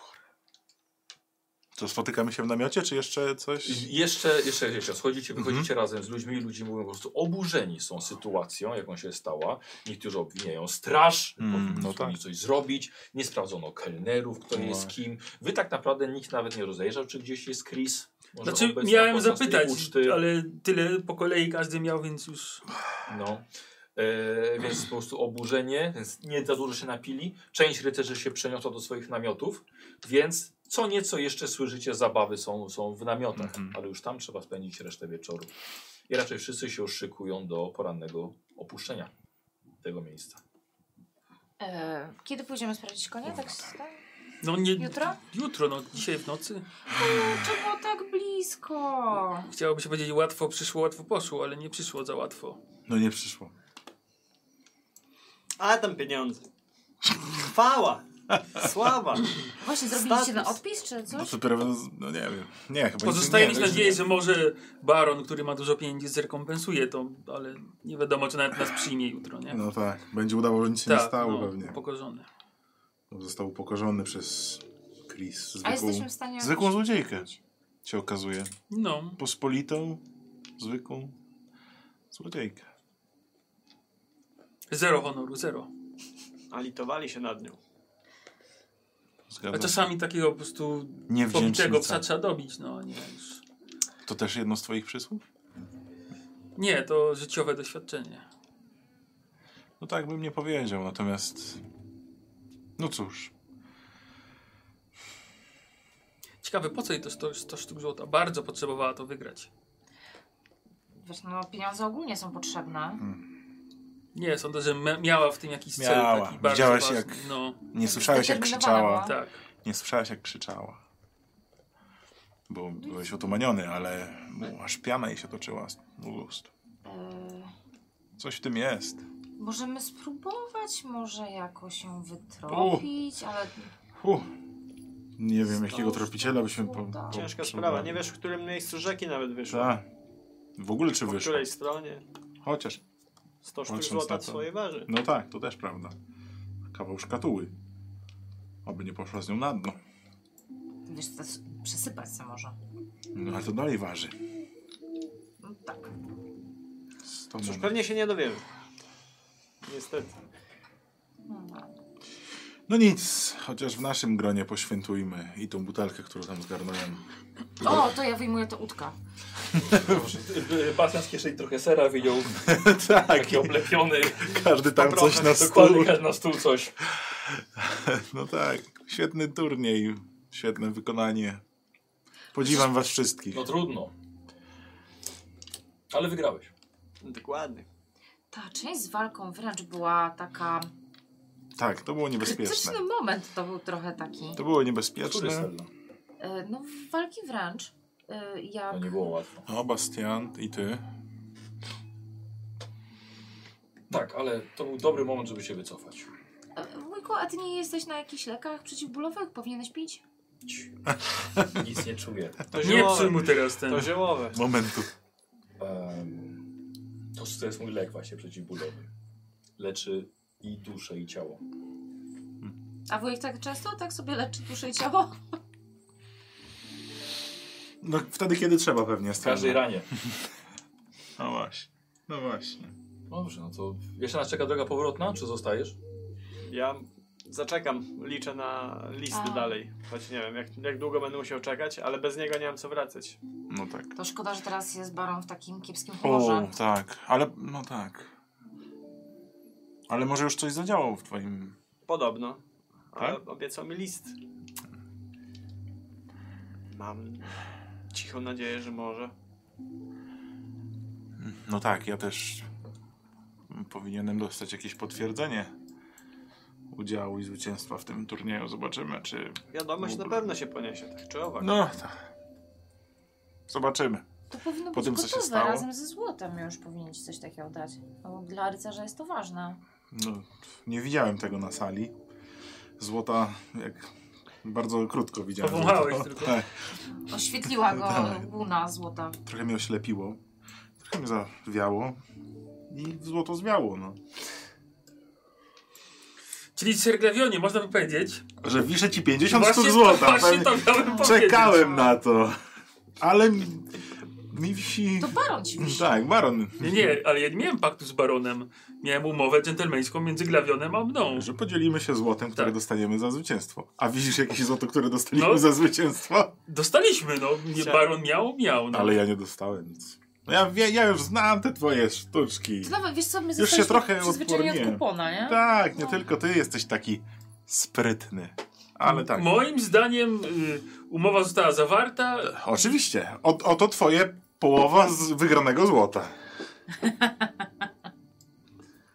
Speaker 3: To spotykamy się w namiocie, czy jeszcze coś?
Speaker 1: I Jeszcze, jeszcze, jeszcze schodzicie,
Speaker 5: Mhm.
Speaker 1: wychodzicie razem z ludźmi i ludzie mówią po prostu oburzeni są sytuacją, jaką się stała. Niektórzy obwiniają straż,
Speaker 3: Mm,
Speaker 1: powinni
Speaker 3: no
Speaker 1: no
Speaker 3: tak.
Speaker 1: coś zrobić, nie sprawdzono kelnerów, kto
Speaker 3: No
Speaker 1: jest kim. Wy tak naprawdę nikt nawet nie rozejrzał, czy gdzieś jest Chris. Może
Speaker 5: Znaczy,
Speaker 1: obecna
Speaker 5: miałem
Speaker 1: podczas tej
Speaker 5: zapytać,
Speaker 1: uczty.
Speaker 5: ale tyle po kolei każdy miał, więc już.
Speaker 1: No. E, więc po prostu oburzenie, więc nie za dużo się napili. Część rycerzy się przeniosła do swoich namiotów, więc co nieco jeszcze słyszycie, zabawy są, są w namiotach,
Speaker 3: Mhm.
Speaker 1: ale już tam trzeba spędzić resztę wieczoru. I raczej wszyscy się już szykują do porannego opuszczenia tego miejsca.
Speaker 2: e, kiedy pójdziemy sprawdzić konia? Tak, tak?
Speaker 5: No nie.
Speaker 2: Jutro?
Speaker 5: Jutro, no dzisiaj w nocy.
Speaker 2: Kurczę, było tak blisko.
Speaker 5: Chciałoby się powiedzieć, łatwo przyszło, łatwo poszło, ale nie przyszło za łatwo.
Speaker 3: No nie przyszło.
Speaker 4: A tam pieniądze. Chwała! Sława!
Speaker 2: Właśnie, zrobiliście na
Speaker 4: Status.
Speaker 2: odpis czy
Speaker 3: No
Speaker 2: coś?
Speaker 3: to dopiero, no nie wiem. Nie, chyba
Speaker 5: Pozostaje
Speaker 3: nic,
Speaker 5: mieć
Speaker 3: nie,
Speaker 5: nadzieję, że może baron, który ma dużo pieniędzy, zrekompensuje to, ale nie wiadomo, czy nawet nas przyjmie jutro, nie?
Speaker 3: No tak, będzie udało, że nic się nie stało
Speaker 5: no.
Speaker 3: pewnie.
Speaker 5: Upokorzony.
Speaker 3: Został upokorzony przez Chris.
Speaker 2: A
Speaker 3: Zwykłą,
Speaker 2: jesteśmy w stanie...
Speaker 3: zwykłą złodziejkę się okazuje.
Speaker 5: No,
Speaker 3: Pospolitą, zwykłą złodziejkę.
Speaker 5: zero honoru, zero.
Speaker 4: A litowali się nad nią.
Speaker 5: A
Speaker 3: Zgadzam się.
Speaker 5: czasami takiego po prostu pobitego psa
Speaker 3: Niewdzięcznica.
Speaker 5: trzeba dobić, no nie już.
Speaker 3: To też jedno z twoich przysłów?
Speaker 5: Nie, to życiowe doświadczenie.
Speaker 3: No tak bym nie powiedział, natomiast... No cóż.
Speaker 5: Ciekawe, po co jej to 100, 100 sztuk złota? Bardzo potrzebowała to wygrać.
Speaker 2: Wiesz, no pieniądze ogólnie są potrzebne.
Speaker 5: Nie, sądzę, że mia- miała w tym jakiś cel
Speaker 3: Miała.
Speaker 5: taki bardzo
Speaker 3: Widziałeś,
Speaker 5: ważny.
Speaker 3: jak-
Speaker 5: No,
Speaker 3: Nie słyszałeś jak
Speaker 2: Zdeterminowana
Speaker 3: krzyczała.
Speaker 2: była.
Speaker 5: tak.
Speaker 3: Nie słyszałeś jak krzyczała. Bo byłeś otumaniony, ale mu aż piana jej się toczyła z ust.
Speaker 2: E,
Speaker 3: Coś w tym jest.
Speaker 2: Możemy spróbować może jakoś ją wytropić, ale
Speaker 3: Huh. Nie wiem
Speaker 2: Sto
Speaker 3: jakiego
Speaker 2: sztuk
Speaker 3: tropiciela byśmy po, po,
Speaker 2: uda.
Speaker 4: Ciężka
Speaker 3: po-
Speaker 4: sprawa. Nie wiesz, w którym miejscu rzeki nawet wyszła.
Speaker 3: Ta. W ogóle czy
Speaker 4: Po
Speaker 3: Tak, wyszło?
Speaker 4: której stronie.
Speaker 3: Chociaż.
Speaker 4: 100 sztuk
Speaker 3: Patrząc
Speaker 4: złota
Speaker 3: na
Speaker 4: w
Speaker 3: to.
Speaker 4: swojej waży.
Speaker 3: No tak, to też prawda. Kawał szkatuły. Aby nie poszła z nią na dno.
Speaker 2: wiesz, to s- przesypać się może.
Speaker 3: No ale to dalej waży.
Speaker 2: No, tak.
Speaker 3: Sto
Speaker 4: Cóż,
Speaker 3: mon.
Speaker 4: pewnie się nie dowiemy. Niestety.
Speaker 2: No, no.
Speaker 3: No nic, chociaż w naszym gronie poświętujmy i tą butelkę, którą tam zgarnąłem.
Speaker 2: O, to ja wyjmuję to utka.
Speaker 1: Bastian z kieszeni trochę sera wyjął,
Speaker 3: tak,
Speaker 1: taki oblepiony,
Speaker 3: każdy tam coś na stół.
Speaker 1: dokładnie na stół coś.
Speaker 3: No tak, świetny turniej, świetne wykonanie. Podziwiam was wszystkich.
Speaker 1: No trudno. Ale wygrałeś.
Speaker 4: Dokładnie.
Speaker 2: Ta część z walką wręcz była taka...
Speaker 3: Tak, to było niebezpieczne.
Speaker 2: Krytyczny moment to był trochę taki.
Speaker 3: To
Speaker 1: Który
Speaker 3: było
Speaker 1: jest
Speaker 3: niebezpieczne.
Speaker 1: ten?
Speaker 2: E, No, walki wręcz. e, Jak...
Speaker 1: To No nie było łatwo.
Speaker 3: O, No, Bastian i ty.
Speaker 1: Tak, ale to był dobry moment, żeby się wycofać.
Speaker 2: E, Wujku, a ty nie jesteś na jakichś lekach przeciwbólowych? Powinieneś pić?
Speaker 1: Nic nie czuję.
Speaker 4: To
Speaker 5: Nie
Speaker 4: ziołowe.
Speaker 5: psuj mu teraz ten.
Speaker 4: to ziołowe.
Speaker 3: Momentu.
Speaker 1: Em, to, to jest mój lek właśnie przeciwbólowy. Leczy i duszę, i ciało.
Speaker 2: A wujek tak często tak sobie leczy duszę i ciało?
Speaker 3: No wtedy, kiedy trzeba pewnie.
Speaker 1: W każdej ranie.
Speaker 3: No właśnie. No właśnie.
Speaker 1: Dobrze, no to jeszcze nas czeka droga powrotna, czy zostajesz?
Speaker 4: Ja zaczekam, liczę na listy
Speaker 2: A.
Speaker 4: dalej. Choć nie wiem, jak, jak długo będę musiał czekać, ale bez niego nie mam co wracać.
Speaker 3: No tak.
Speaker 2: To szkoda, że teraz jest baron w takim kiepskim humorze.
Speaker 3: O, tak. Ale, no tak. Ale może już coś zadziałało w twoim...
Speaker 4: Podobno. Ale
Speaker 3: Tak?
Speaker 4: obiecał mi list. Mam cichą nadzieję, że może.
Speaker 3: No tak, ja też powinienem dostać jakieś potwierdzenie udziału i zwycięstwa w tym turnieju. Zobaczymy, czy...
Speaker 4: Wiadomość na pewno się poniesie, tak czy owak.
Speaker 3: No, tak. Zobaczymy.
Speaker 2: To powinno
Speaker 3: Po
Speaker 2: być
Speaker 3: tym, co się
Speaker 2: gotowe
Speaker 3: stało?
Speaker 2: razem ze złotem już powinien ci coś takiego dać. Bo dla rycerza jest to ważne.
Speaker 3: No, nie widziałem tego na sali. Złota, jak... Bardzo krótko widziałem.
Speaker 5: Powąchałeś
Speaker 3: złoto.
Speaker 5: tylko.
Speaker 3: Tak.
Speaker 2: Oświetliła go
Speaker 3: Tak.
Speaker 2: łuna złota.
Speaker 3: trochę mnie oślepiło, trochę mnie zawiało i złoto zwiało, no.
Speaker 5: Czyli Serglawionie, można by powiedzieć.
Speaker 3: Że wiszę ci 50
Speaker 5: Właśnie
Speaker 3: sztuk
Speaker 5: to-
Speaker 3: złota.
Speaker 5: Właśnie
Speaker 3: Pewnie
Speaker 5: to miałem powiedzieć. no.
Speaker 3: czekałem na to. Ale mi, mi wisi...
Speaker 2: To baron ci wisi.
Speaker 3: Tak, baron.
Speaker 5: Nie, nie, ale ja nie miałem paktu z baronem. Miałem umowę dżentelmeńską między Glawionem a mną.
Speaker 3: Że podzielimy się złotem, które
Speaker 5: Tak.
Speaker 3: dostaniemy za zwycięstwo. A widzisz jakieś złoto, które dostaliśmy
Speaker 5: No.
Speaker 3: za zwycięstwo?
Speaker 5: Dostaliśmy, no. Nie, baron miał, miał. No.
Speaker 3: Ale ja nie dostałem nic. No ja, wie- ja już znam te twoje sztuczki.
Speaker 2: To nawet, wiesz co, my
Speaker 3: się
Speaker 2: zostaliśmy
Speaker 3: trochę
Speaker 2: przyzwyczajeni od
Speaker 3: odporniłem.
Speaker 2: kupona, nie?
Speaker 3: Tak, nie
Speaker 2: No.
Speaker 3: tylko ty jesteś taki sprytny. Ale tak.
Speaker 5: Moim zdaniem y, umowa została zawarta.
Speaker 3: Oczywiście. O, oto twoje połowa z wygranego złota.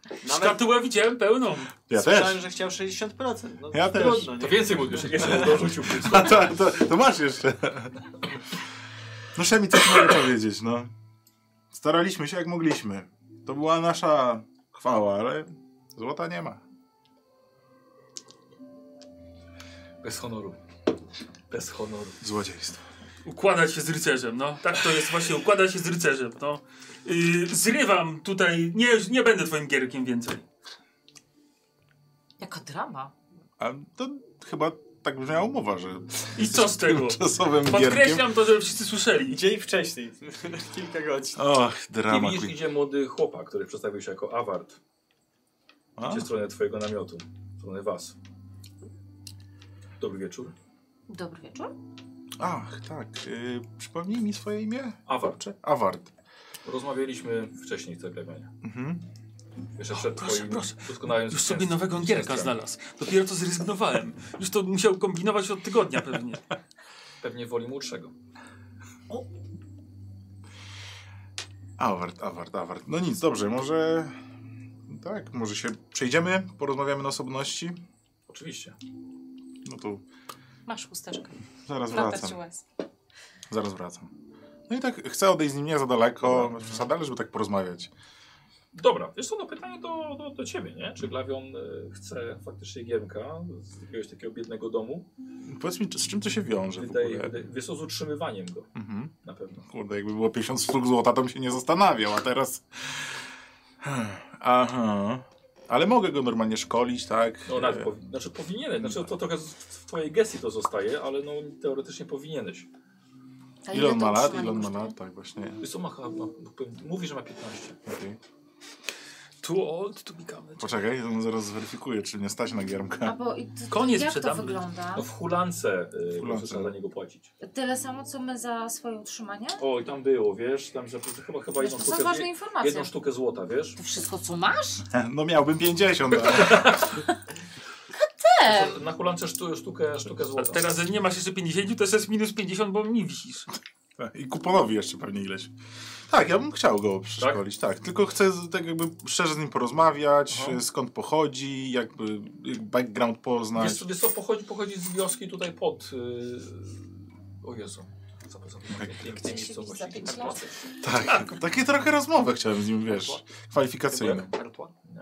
Speaker 4: Nawet
Speaker 5: Szkatułę widziałem pełną.
Speaker 3: Ja
Speaker 4: słyszałem,
Speaker 3: też.
Speaker 4: że chciał 60%. No,
Speaker 3: Ja też.
Speaker 4: trudno, nie?
Speaker 1: To więcej mógłbyś, jeszcze dorzucił.
Speaker 3: A to, to, to masz jeszcze. No Szemi, coś mogę powiedzieć, no. Staraliśmy się jak mogliśmy. To była nasza chwała, ale złota nie ma.
Speaker 1: Bez honoru. Bez honoru.
Speaker 3: Złodziejstwo.
Speaker 5: Układać się z rycerzem, no. Tak to jest właśnie, układać się z rycerzem, no. Y, zrywam tutaj, nie, nie będę twoim gierkiem więcej.
Speaker 2: Jaka drama.
Speaker 3: A to chyba tak brzmiała umowa, że
Speaker 5: I co z tego?
Speaker 3: czasowym gierkiem.
Speaker 5: Podkreślam to, żeby wszyscy słyszeli.
Speaker 4: Dzień wcześniej, kilka godzin.
Speaker 3: Och,
Speaker 1: I
Speaker 3: drama.
Speaker 1: widzisz,
Speaker 3: queen.
Speaker 1: idzie młody chłopak, który przedstawił się jako awart.
Speaker 3: A?
Speaker 1: Idzie w stronę twojego namiotu. W stronę was. Dobry wieczór.
Speaker 2: Dobry wieczór.
Speaker 3: Ach, tak. Yy, przypomnij mi swoje imię?
Speaker 1: Awart.
Speaker 3: Czy Award.
Speaker 1: Rozmawialiśmy wcześniej w zagraniu.
Speaker 3: Mhm.
Speaker 1: Jeszcze
Speaker 5: O,
Speaker 1: przed
Speaker 5: proszę,
Speaker 1: twoim
Speaker 5: proszę.
Speaker 1: doskonałym
Speaker 5: Już
Speaker 1: zwycięstwem.
Speaker 5: sobie nowego gierka znalazł. Dopiero to zrezygnowałem. Już to musiał kombinować od tygodnia pewnie.
Speaker 1: Pewnie woli młodszego.
Speaker 3: Award, award, award. No nic, dobrze, może. Tak, może się przejdziemy, porozmawiamy na osobności.
Speaker 1: Oczywiście.
Speaker 3: No to
Speaker 2: Masz chusteczkę.
Speaker 3: zaraz
Speaker 2: Wraca ci
Speaker 3: wracam.
Speaker 2: łez.
Speaker 3: Zaraz wracam. No i tak chcę odejść z nim nie za daleko, bez przesady, ale żeby tak porozmawiać.
Speaker 1: Dobra, wiesz co, no pytanie do, do, do ciebie, nie? Czy Glawion e, chce faktycznie Giemka z jakiegoś takiego biednego domu?
Speaker 3: Powiedz mi, czy- z czym to się wiąże w
Speaker 1: Wydaje,
Speaker 3: ogóle?
Speaker 1: wydaje, wiesz co, z utrzymywaniem go
Speaker 3: Mhm.
Speaker 1: na pewno.
Speaker 3: Kurde, jakby było 50 sztuk złota, to bym się nie zastanawiał, a teraz... Aha. Ale mogę go normalnie szkolić, tak?
Speaker 1: No, nawet powi- znaczy powinieneś, znaczy to trochę z- w twojej gestii to zostaje, ale no teoretycznie powinieneś.
Speaker 2: A
Speaker 3: Ile on
Speaker 2: to
Speaker 3: ma lat? Tak,
Speaker 2: utrzymanie
Speaker 3: Ile on ma
Speaker 2: kosztuje?
Speaker 3: lat? Tak, właśnie.
Speaker 1: Wiesz co, ma, ma, mówi, że ma 15.
Speaker 3: Okej.
Speaker 5: Too old to become a child.
Speaker 3: Poczekaj, on zaraz zweryfikuje, czy nie stać na
Speaker 2: A
Speaker 3: Giermka.
Speaker 2: bo i to,
Speaker 5: Koniec
Speaker 2: jak to
Speaker 5: przydamy.
Speaker 2: wygląda?
Speaker 1: No w hulance y, po prostu
Speaker 3: hulance. no.
Speaker 1: trzeba za niego płacić.
Speaker 2: Tyle samo, co my za swoje utrzymanie?
Speaker 1: Oj, tam było, wiesz, tam za, chyba, chyba
Speaker 2: Wiesz,
Speaker 1: jedną,
Speaker 2: to są
Speaker 1: sztukę,
Speaker 2: ważne informacje.
Speaker 1: jedną sztukę złota, wiesz?
Speaker 2: To wszystko, co masz?
Speaker 3: No miałbym 50, ale
Speaker 2: Te!
Speaker 1: Na hulance sztu, sztukę, sztukę
Speaker 5: A
Speaker 1: złota.
Speaker 5: teraz, jak nie masz jeszcze 50, to jest minus 50, bo mi wisisz.
Speaker 3: Tak, i kuponowi jeszcze pewnie ileś. Tak, ja bym chciał go przeszkolić, tak? Tylko chcę z- tak jakby szczerze z nim porozmawiać, e,
Speaker 1: Aha.
Speaker 3: skąd pochodzi, jakby jak background poznać.
Speaker 1: Wiesz, co- wiesz co, pochodzi, pochodzi z wioski tutaj pod... Yy... O Jezu. Zapomniałem. Piękne
Speaker 2: Chcesz
Speaker 1: miejscowości.
Speaker 2: jakiś za pięć lat?
Speaker 3: Tak, takie trochę rozmowę chciałem z nim, wiesz, kwalifikacyjne.
Speaker 1: Kartła? Nie.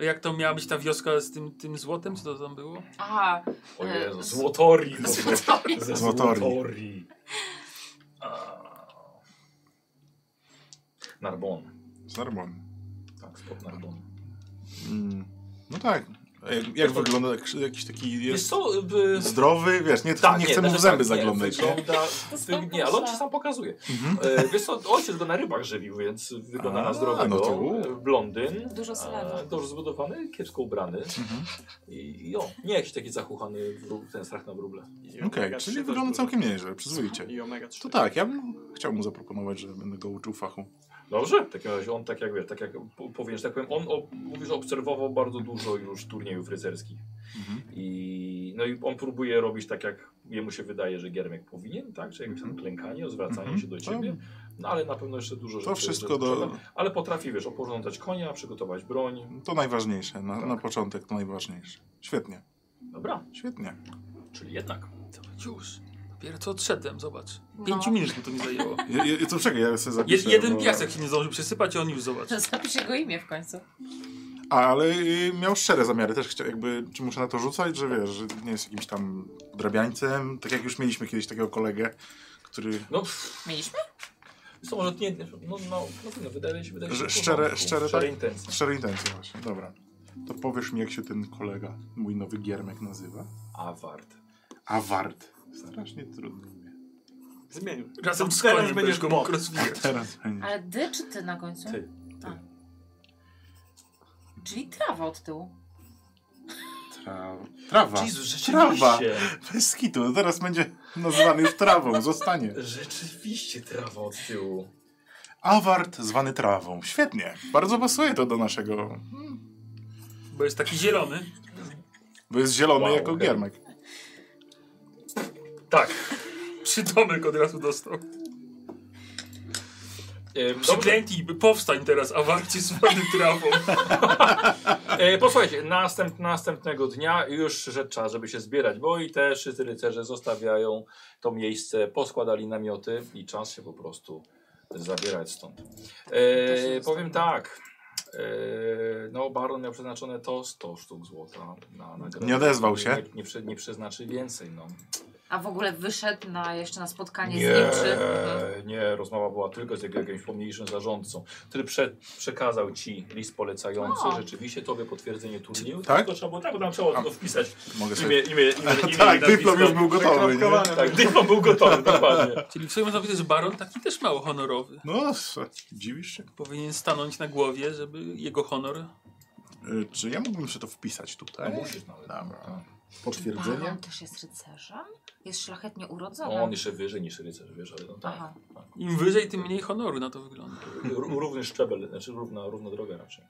Speaker 5: A Jak to miała być ta wioska z tym, tym złotem, co to tam było?
Speaker 2: Aha,
Speaker 1: O
Speaker 2: E,
Speaker 1: Jezu,
Speaker 2: z-
Speaker 1: złotori.
Speaker 2: złotori.
Speaker 1: Ze
Speaker 3: Złotori.
Speaker 1: złotori. A. Narbon.
Speaker 3: Zarmon.
Speaker 1: Tak, spod Narbon.
Speaker 3: Mm. No tak. A Jak, jak wygląda jak, jakiś taki
Speaker 1: Wiesz
Speaker 3: jest
Speaker 1: co, y,
Speaker 3: zdrowy, wiesz, nie, nie chcę mu w
Speaker 1: znaczy
Speaker 3: zęby
Speaker 1: tak,
Speaker 3: zaglądać. Mhm.
Speaker 1: Nie, wygląda, wy,
Speaker 2: spoko,
Speaker 1: nie, ale on
Speaker 2: że-
Speaker 1: ci sam pokazuje. E, wiesz co, ojciec go na rybach żywił, więc wygląda
Speaker 3: A,
Speaker 1: na zdrowego.
Speaker 3: no to u.
Speaker 1: E, Blondyn.
Speaker 2: Dużo sylwetów.
Speaker 1: e, Dobrze zbudowany, kiepsko ubrany.
Speaker 3: Mhm.
Speaker 1: I, I on, nie jakiś taki zachuchany wró- ten strach na wróble.
Speaker 4: I
Speaker 3: Okej,
Speaker 4: omega trzy
Speaker 3: czyli
Speaker 4: też
Speaker 3: wygląda
Speaker 4: był.
Speaker 3: całkiem nieźle, przyzwoicie.
Speaker 4: I omega 3.
Speaker 3: To tak, ja bym chciał mu zaproponować, że będę go uczył fachu.
Speaker 1: Dobrze, w takim razie on tak jak wie, tak jak po- powiem, że tak powiem, on o, mówisz, obserwował bardzo dużo już turniejów rycerskich.
Speaker 3: Mhm.
Speaker 1: I, no i on próbuje robić tak, jak jemu się wydaje, że Giermek powinien, tak? Czyli jakieś tam klękanie, zwracanie
Speaker 3: Mhm.
Speaker 1: się do
Speaker 3: To-
Speaker 1: ciebie. No ale na pewno jeszcze dużo rzeczy.
Speaker 3: To wszystko
Speaker 1: rzeczy
Speaker 3: do,
Speaker 1: przed- Ale potrafi, wiesz, oporządzać konia, przygotować broń.
Speaker 3: to najważniejsze, na,
Speaker 5: Tak.
Speaker 3: na początek to najważniejsze. Świetnie,
Speaker 1: Dobra,
Speaker 3: świetnie.
Speaker 1: czyli jednak.
Speaker 5: To być już. Dopiero co odszedłem, zobacz.
Speaker 2: No.
Speaker 5: Pięciu minut mu to mi zajęło.
Speaker 3: Je, je, to czekaj, ja sobie
Speaker 5: Je,
Speaker 3: zapiszę.
Speaker 5: jeden
Speaker 3: bo-
Speaker 5: piasek się nie zdążył przesypać, a on już zobacz.
Speaker 2: Zapisz jego imię w końcu.
Speaker 3: Ale y, miał szczere zamiary, też chciał, jakby, czy muszę na to rzucać, że wiesz, że nie jest jakimś tam drabiańcem, tak jak już mieliśmy kiedyś takiego kolegę, który...
Speaker 1: No, pff,
Speaker 2: Mieliśmy?
Speaker 1: są może nie, no, no, no, no wydaje się, wydaje się
Speaker 3: Że
Speaker 1: w
Speaker 3: szczere-
Speaker 1: porządku.
Speaker 3: szczere,
Speaker 1: szczere
Speaker 3: tak?
Speaker 1: intencje.
Speaker 3: Szczere intencje właśnie, dobra. To powiesz mi, jak się ten kolega, mój nowy giermek nazywa?
Speaker 1: Award.
Speaker 3: Awart. Strasznie trudno mnie.
Speaker 4: Zmienił.
Speaker 5: Razem
Speaker 4: To
Speaker 5: z
Speaker 4: teraz będziesz
Speaker 5: koniem będziesz go
Speaker 4: bok.
Speaker 5: mógł rozwijać.
Speaker 3: Teraz będzie.
Speaker 2: Ale dy czy ty na końcu?
Speaker 1: Ty.
Speaker 2: A. Czyli trawa od tyłu.
Speaker 3: Trawa. Trawa.
Speaker 1: Jezus,
Speaker 3: Trawa.
Speaker 1: rzeczywiście.
Speaker 3: Bez kitu, no teraz będzie nazywany już trawą, zostanie.
Speaker 1: Rzeczywiście trawa od tyłu.
Speaker 3: Awart zwany trawą. Świetnie. Bardzo pasuje to do naszego.
Speaker 5: Bo jest taki zielony.
Speaker 3: Bo jest zielony
Speaker 1: Wow,
Speaker 3: jako
Speaker 1: okej.
Speaker 3: giermek.
Speaker 1: Tak.
Speaker 5: Przydomek od razu dostał.
Speaker 1: E, dobrze.
Speaker 5: Przyklęknij, by powstań teraz, a warcie zwany trawą.
Speaker 1: E, posłuchajcie, następ, następnego dnia już rzecz czas, żeby się zbierać, bo i te wszyscy rycerze zostawiają to miejsce, poskładali namioty i czas się po prostu zabierać stąd. E, powiem tak. E, no, baron miał przeznaczone to 100 sztuk złota na nagrodę.
Speaker 3: Nie odezwał się?
Speaker 1: Nie, nie, przy- nie przeznaczy więcej. No.
Speaker 2: A w ogóle wyszedł na, jeszcze na spotkanie z nim, czy... Mhm.
Speaker 1: nie, rozmowa była tylko z jego jakimś pomniejszym zarządcą, który prze, przekazał ci list polecający
Speaker 2: O.
Speaker 1: rzeczywiście tobie potwierdzenie turnieju.
Speaker 3: Tak?
Speaker 1: Tylko trzeba było, tak, bo tam trzeba
Speaker 3: A.
Speaker 1: było wpisać
Speaker 3: Mogę
Speaker 1: imię,
Speaker 3: sobie.
Speaker 1: imię, imię, imię i
Speaker 3: Tak,
Speaker 1: nazwisko.
Speaker 3: dyplom już był gotowy. Nie?
Speaker 4: Wykropkowane.
Speaker 1: Tak, dyplom był gotowy, dokładnie.
Speaker 5: Czyli w sumie można powiedzieć, że baron taki też mało honorowy.
Speaker 3: No, s- dziwisz się.
Speaker 5: Powinien stanąć na głowie, żeby jego honor...
Speaker 3: Y, Czy ja mógłbym sobie to wpisać
Speaker 1: No
Speaker 3: tutaj?
Speaker 1: musisz nawet.
Speaker 3: Dobra.
Speaker 2: Czy
Speaker 3: Potwierdzenie?
Speaker 2: Baron też jest rycerzem? Jest szlachetnie
Speaker 1: No, on
Speaker 2: urodzony.
Speaker 1: jeszcze wyżej niż rycerz, wiesz, ale no tak.
Speaker 2: Aha.
Speaker 1: tak.
Speaker 5: Im wyżej, tym mniej honoru na to wygląda.
Speaker 1: Ró- Równy szczebel, znaczy równa, równa droga raczej.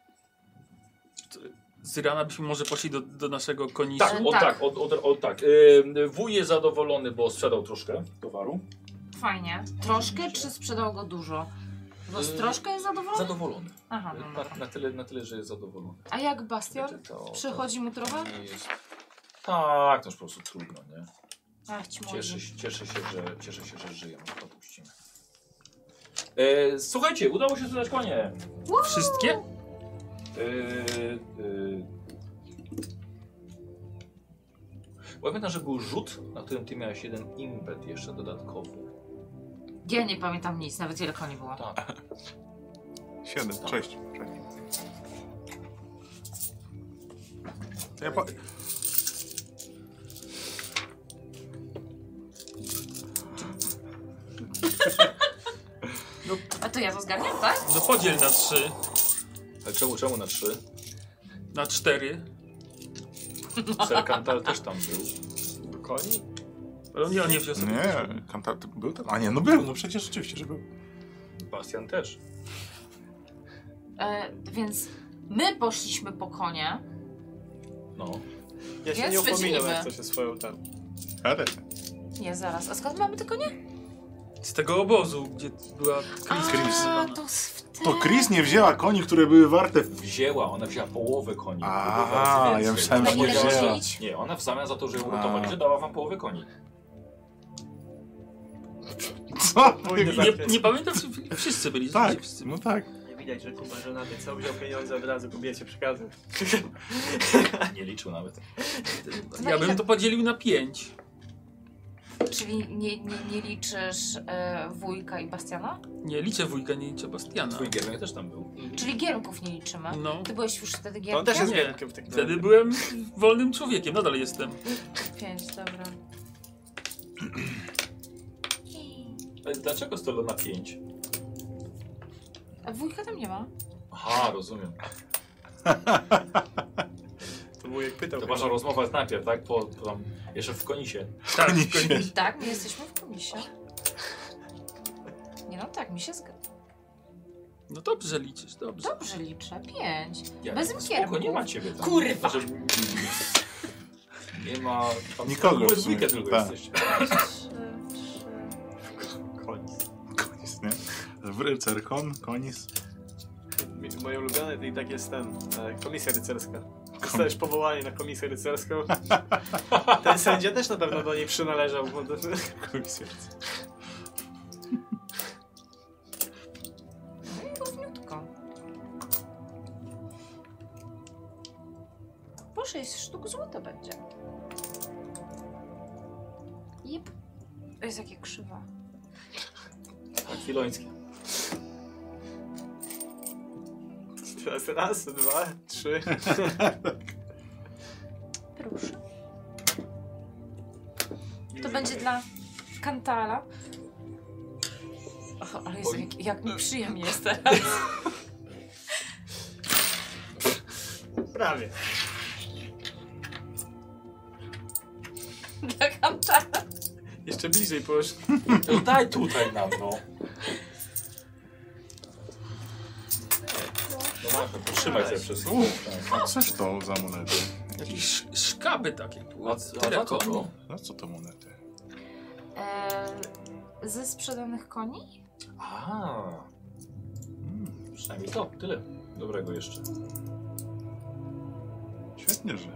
Speaker 5: Z rana byśmy może poszli do, do naszego konisza.
Speaker 1: Tak, o,
Speaker 2: Tak.
Speaker 1: tak, o, o, o, tak. Yy, wuj jest zadowolony, bo sprzedał troszkę towaru.
Speaker 2: Fajnie. Troszkę czy sprzedał go dużo? Bo z
Speaker 1: Yy,
Speaker 2: troszkę jest zadowolony?
Speaker 1: Zadowolony.
Speaker 2: Aha, no, no.
Speaker 1: Na, na, tyle, na tyle, że jest zadowolony.
Speaker 2: A jak Bastian?
Speaker 1: Znaczy, to-
Speaker 2: Przychodzi mu trochę?
Speaker 1: Nie jest. Tak, to już po prostu trudno, nie?
Speaker 2: Ach, ci młodzi.
Speaker 1: Cieszę się, cieszę się, że, cieszę się, że żyję. może to Opuścimy. E, słuchajcie, udało się sprzedać konie.
Speaker 5: Wszystkie?
Speaker 1: E, e, bo pamiętam, że był rzut, na którym ty miałeś jeden impet jeszcze dodatkowy.
Speaker 2: Ja nie pamiętam nic, nawet ile koni było.
Speaker 1: Tak.
Speaker 3: Siedem, sześć. To Ja po...
Speaker 2: A to ja to zgarniam, tak? tak?
Speaker 5: No podziel na trzy.
Speaker 1: Ale czemu, czemu na trzy?
Speaker 5: Na cztery.
Speaker 1: Serkantal też tam był.
Speaker 4: Do koni?
Speaker 5: Ale on nie, on nie wziął sobie.
Speaker 3: Nie, kantat był tam. A nie, no był, no przecież rzeczywiście, że był.
Speaker 1: Bastian też.
Speaker 2: E, więc my poszliśmy po konie.
Speaker 1: No.
Speaker 4: Ja się
Speaker 2: Jest
Speaker 4: nie upominam,
Speaker 2: szczęśliwy.
Speaker 4: jak coś się swoją ten.
Speaker 3: Ale
Speaker 2: Nie, zaraz. A skąd mamy te konie?
Speaker 5: Z tego obozu, gdzie była
Speaker 2: A,
Speaker 3: Chris.
Speaker 2: to z wtedy.
Speaker 3: to Chris nie wzięła koni, które były warte. w-
Speaker 1: Wzięła, ona wzięła połowę koni.
Speaker 3: A,
Speaker 1: Było bardzo więcej.
Speaker 3: ja myślałem,
Speaker 2: A
Speaker 3: że nie
Speaker 2: ile
Speaker 3: wzięła.
Speaker 2: musielić?
Speaker 1: Nie, ona w zamian za to, że ją
Speaker 3: A.
Speaker 1: uratowaliście, dała wam połowę koni.
Speaker 3: Co?
Speaker 4: Pójdę za-
Speaker 5: Nie, nie pamiętam, czy wszyscy byli.
Speaker 3: Tak,
Speaker 5: Wszyscy.
Speaker 3: no tak.
Speaker 4: Nie widać, że Kuba żonaty co wziął pieniądze od razu kobiecie przekazał.
Speaker 1: Nie liczył nawet.
Speaker 2: na
Speaker 5: Ja bym
Speaker 2: ile?
Speaker 5: to podzielił na pięć.
Speaker 2: Czyli nie, nie, nie liczysz e, wujka i Bastiana?
Speaker 5: Nie liczę wujka, nie liczę Bastiana.
Speaker 1: Twój Giermek też tam był.
Speaker 2: Czyli giermków nie liczymy.
Speaker 5: No.
Speaker 2: Ty byłeś już wtedy
Speaker 4: To on
Speaker 2: giermkiem?
Speaker 4: też jest
Speaker 5: Nie.
Speaker 4: wielkim w takim
Speaker 5: Wtedy byłem wolnym człowiekiem, nadal jestem.
Speaker 2: Pięć, dobra.
Speaker 1: Ale E, dlaczego stolo na pięć?
Speaker 2: A wujka tam nie ma.
Speaker 1: Aha, rozumiem.
Speaker 4: To był jak pytał.
Speaker 1: To wasza rozmowa jest najpierw, tak? Po, po tam, jeszcze w konisie.
Speaker 5: Tak,
Speaker 3: Oni
Speaker 5: tylko
Speaker 3: się-
Speaker 2: Tak, my jesteśmy w komisie. Nie no tak, mi się zgadza.
Speaker 5: No dobrze liczysz, dobrze.
Speaker 2: Dobrze liczę. Pięć.
Speaker 1: Ja,
Speaker 2: Bez
Speaker 1: Spoko,
Speaker 2: giermków.
Speaker 1: nie ma ciebie tam.
Speaker 2: Kurwa!
Speaker 1: Znaczy, nie ma... Tam,
Speaker 3: Nikogo
Speaker 1: Były
Speaker 3: w sumie,
Speaker 1: dwójkę tylko
Speaker 3: tak.
Speaker 1: jesteście.
Speaker 2: Trzy, trzy.
Speaker 3: Konis, nie? Rycer, kon, konis.
Speaker 4: Moje ulubione to i tak jest ten, e, komisja rycerska.
Speaker 3: Kom...
Speaker 4: Zostajesz powołany na komisję rycerską. Ten sędzia też na pewno do niej przynależał. Bo to...
Speaker 3: Komisja.
Speaker 2: No i równiutko. Po sześć sztuk złota będzie. Jep. To jest jakie krzywa.
Speaker 1: Chwilońskie.
Speaker 4: Teraz raz, dwa, trzy.
Speaker 2: Proszę. To będzie dla Kantala. Och, ale jest,
Speaker 1: Oj.
Speaker 2: jak, jak mi przyjemnie jest teraz.
Speaker 4: Prawie.
Speaker 2: Dla Kantala.
Speaker 4: Jeszcze bliżej poszli.
Speaker 1: No daj tutaj nam, no. No masz, to trzymaj sobie przez chwilę.
Speaker 3: A Coś to za monety.
Speaker 5: Jakieś sz- szkaby takie.
Speaker 1: A, a za
Speaker 5: Tyle
Speaker 1: co
Speaker 5: koni.
Speaker 1: to?
Speaker 3: Za No co to monety?
Speaker 2: E, ze sprzedanych koni?
Speaker 1: A,
Speaker 3: Mm,
Speaker 1: przynajmniej to, tyle. Dobrego jeszcze.
Speaker 3: świetnie, że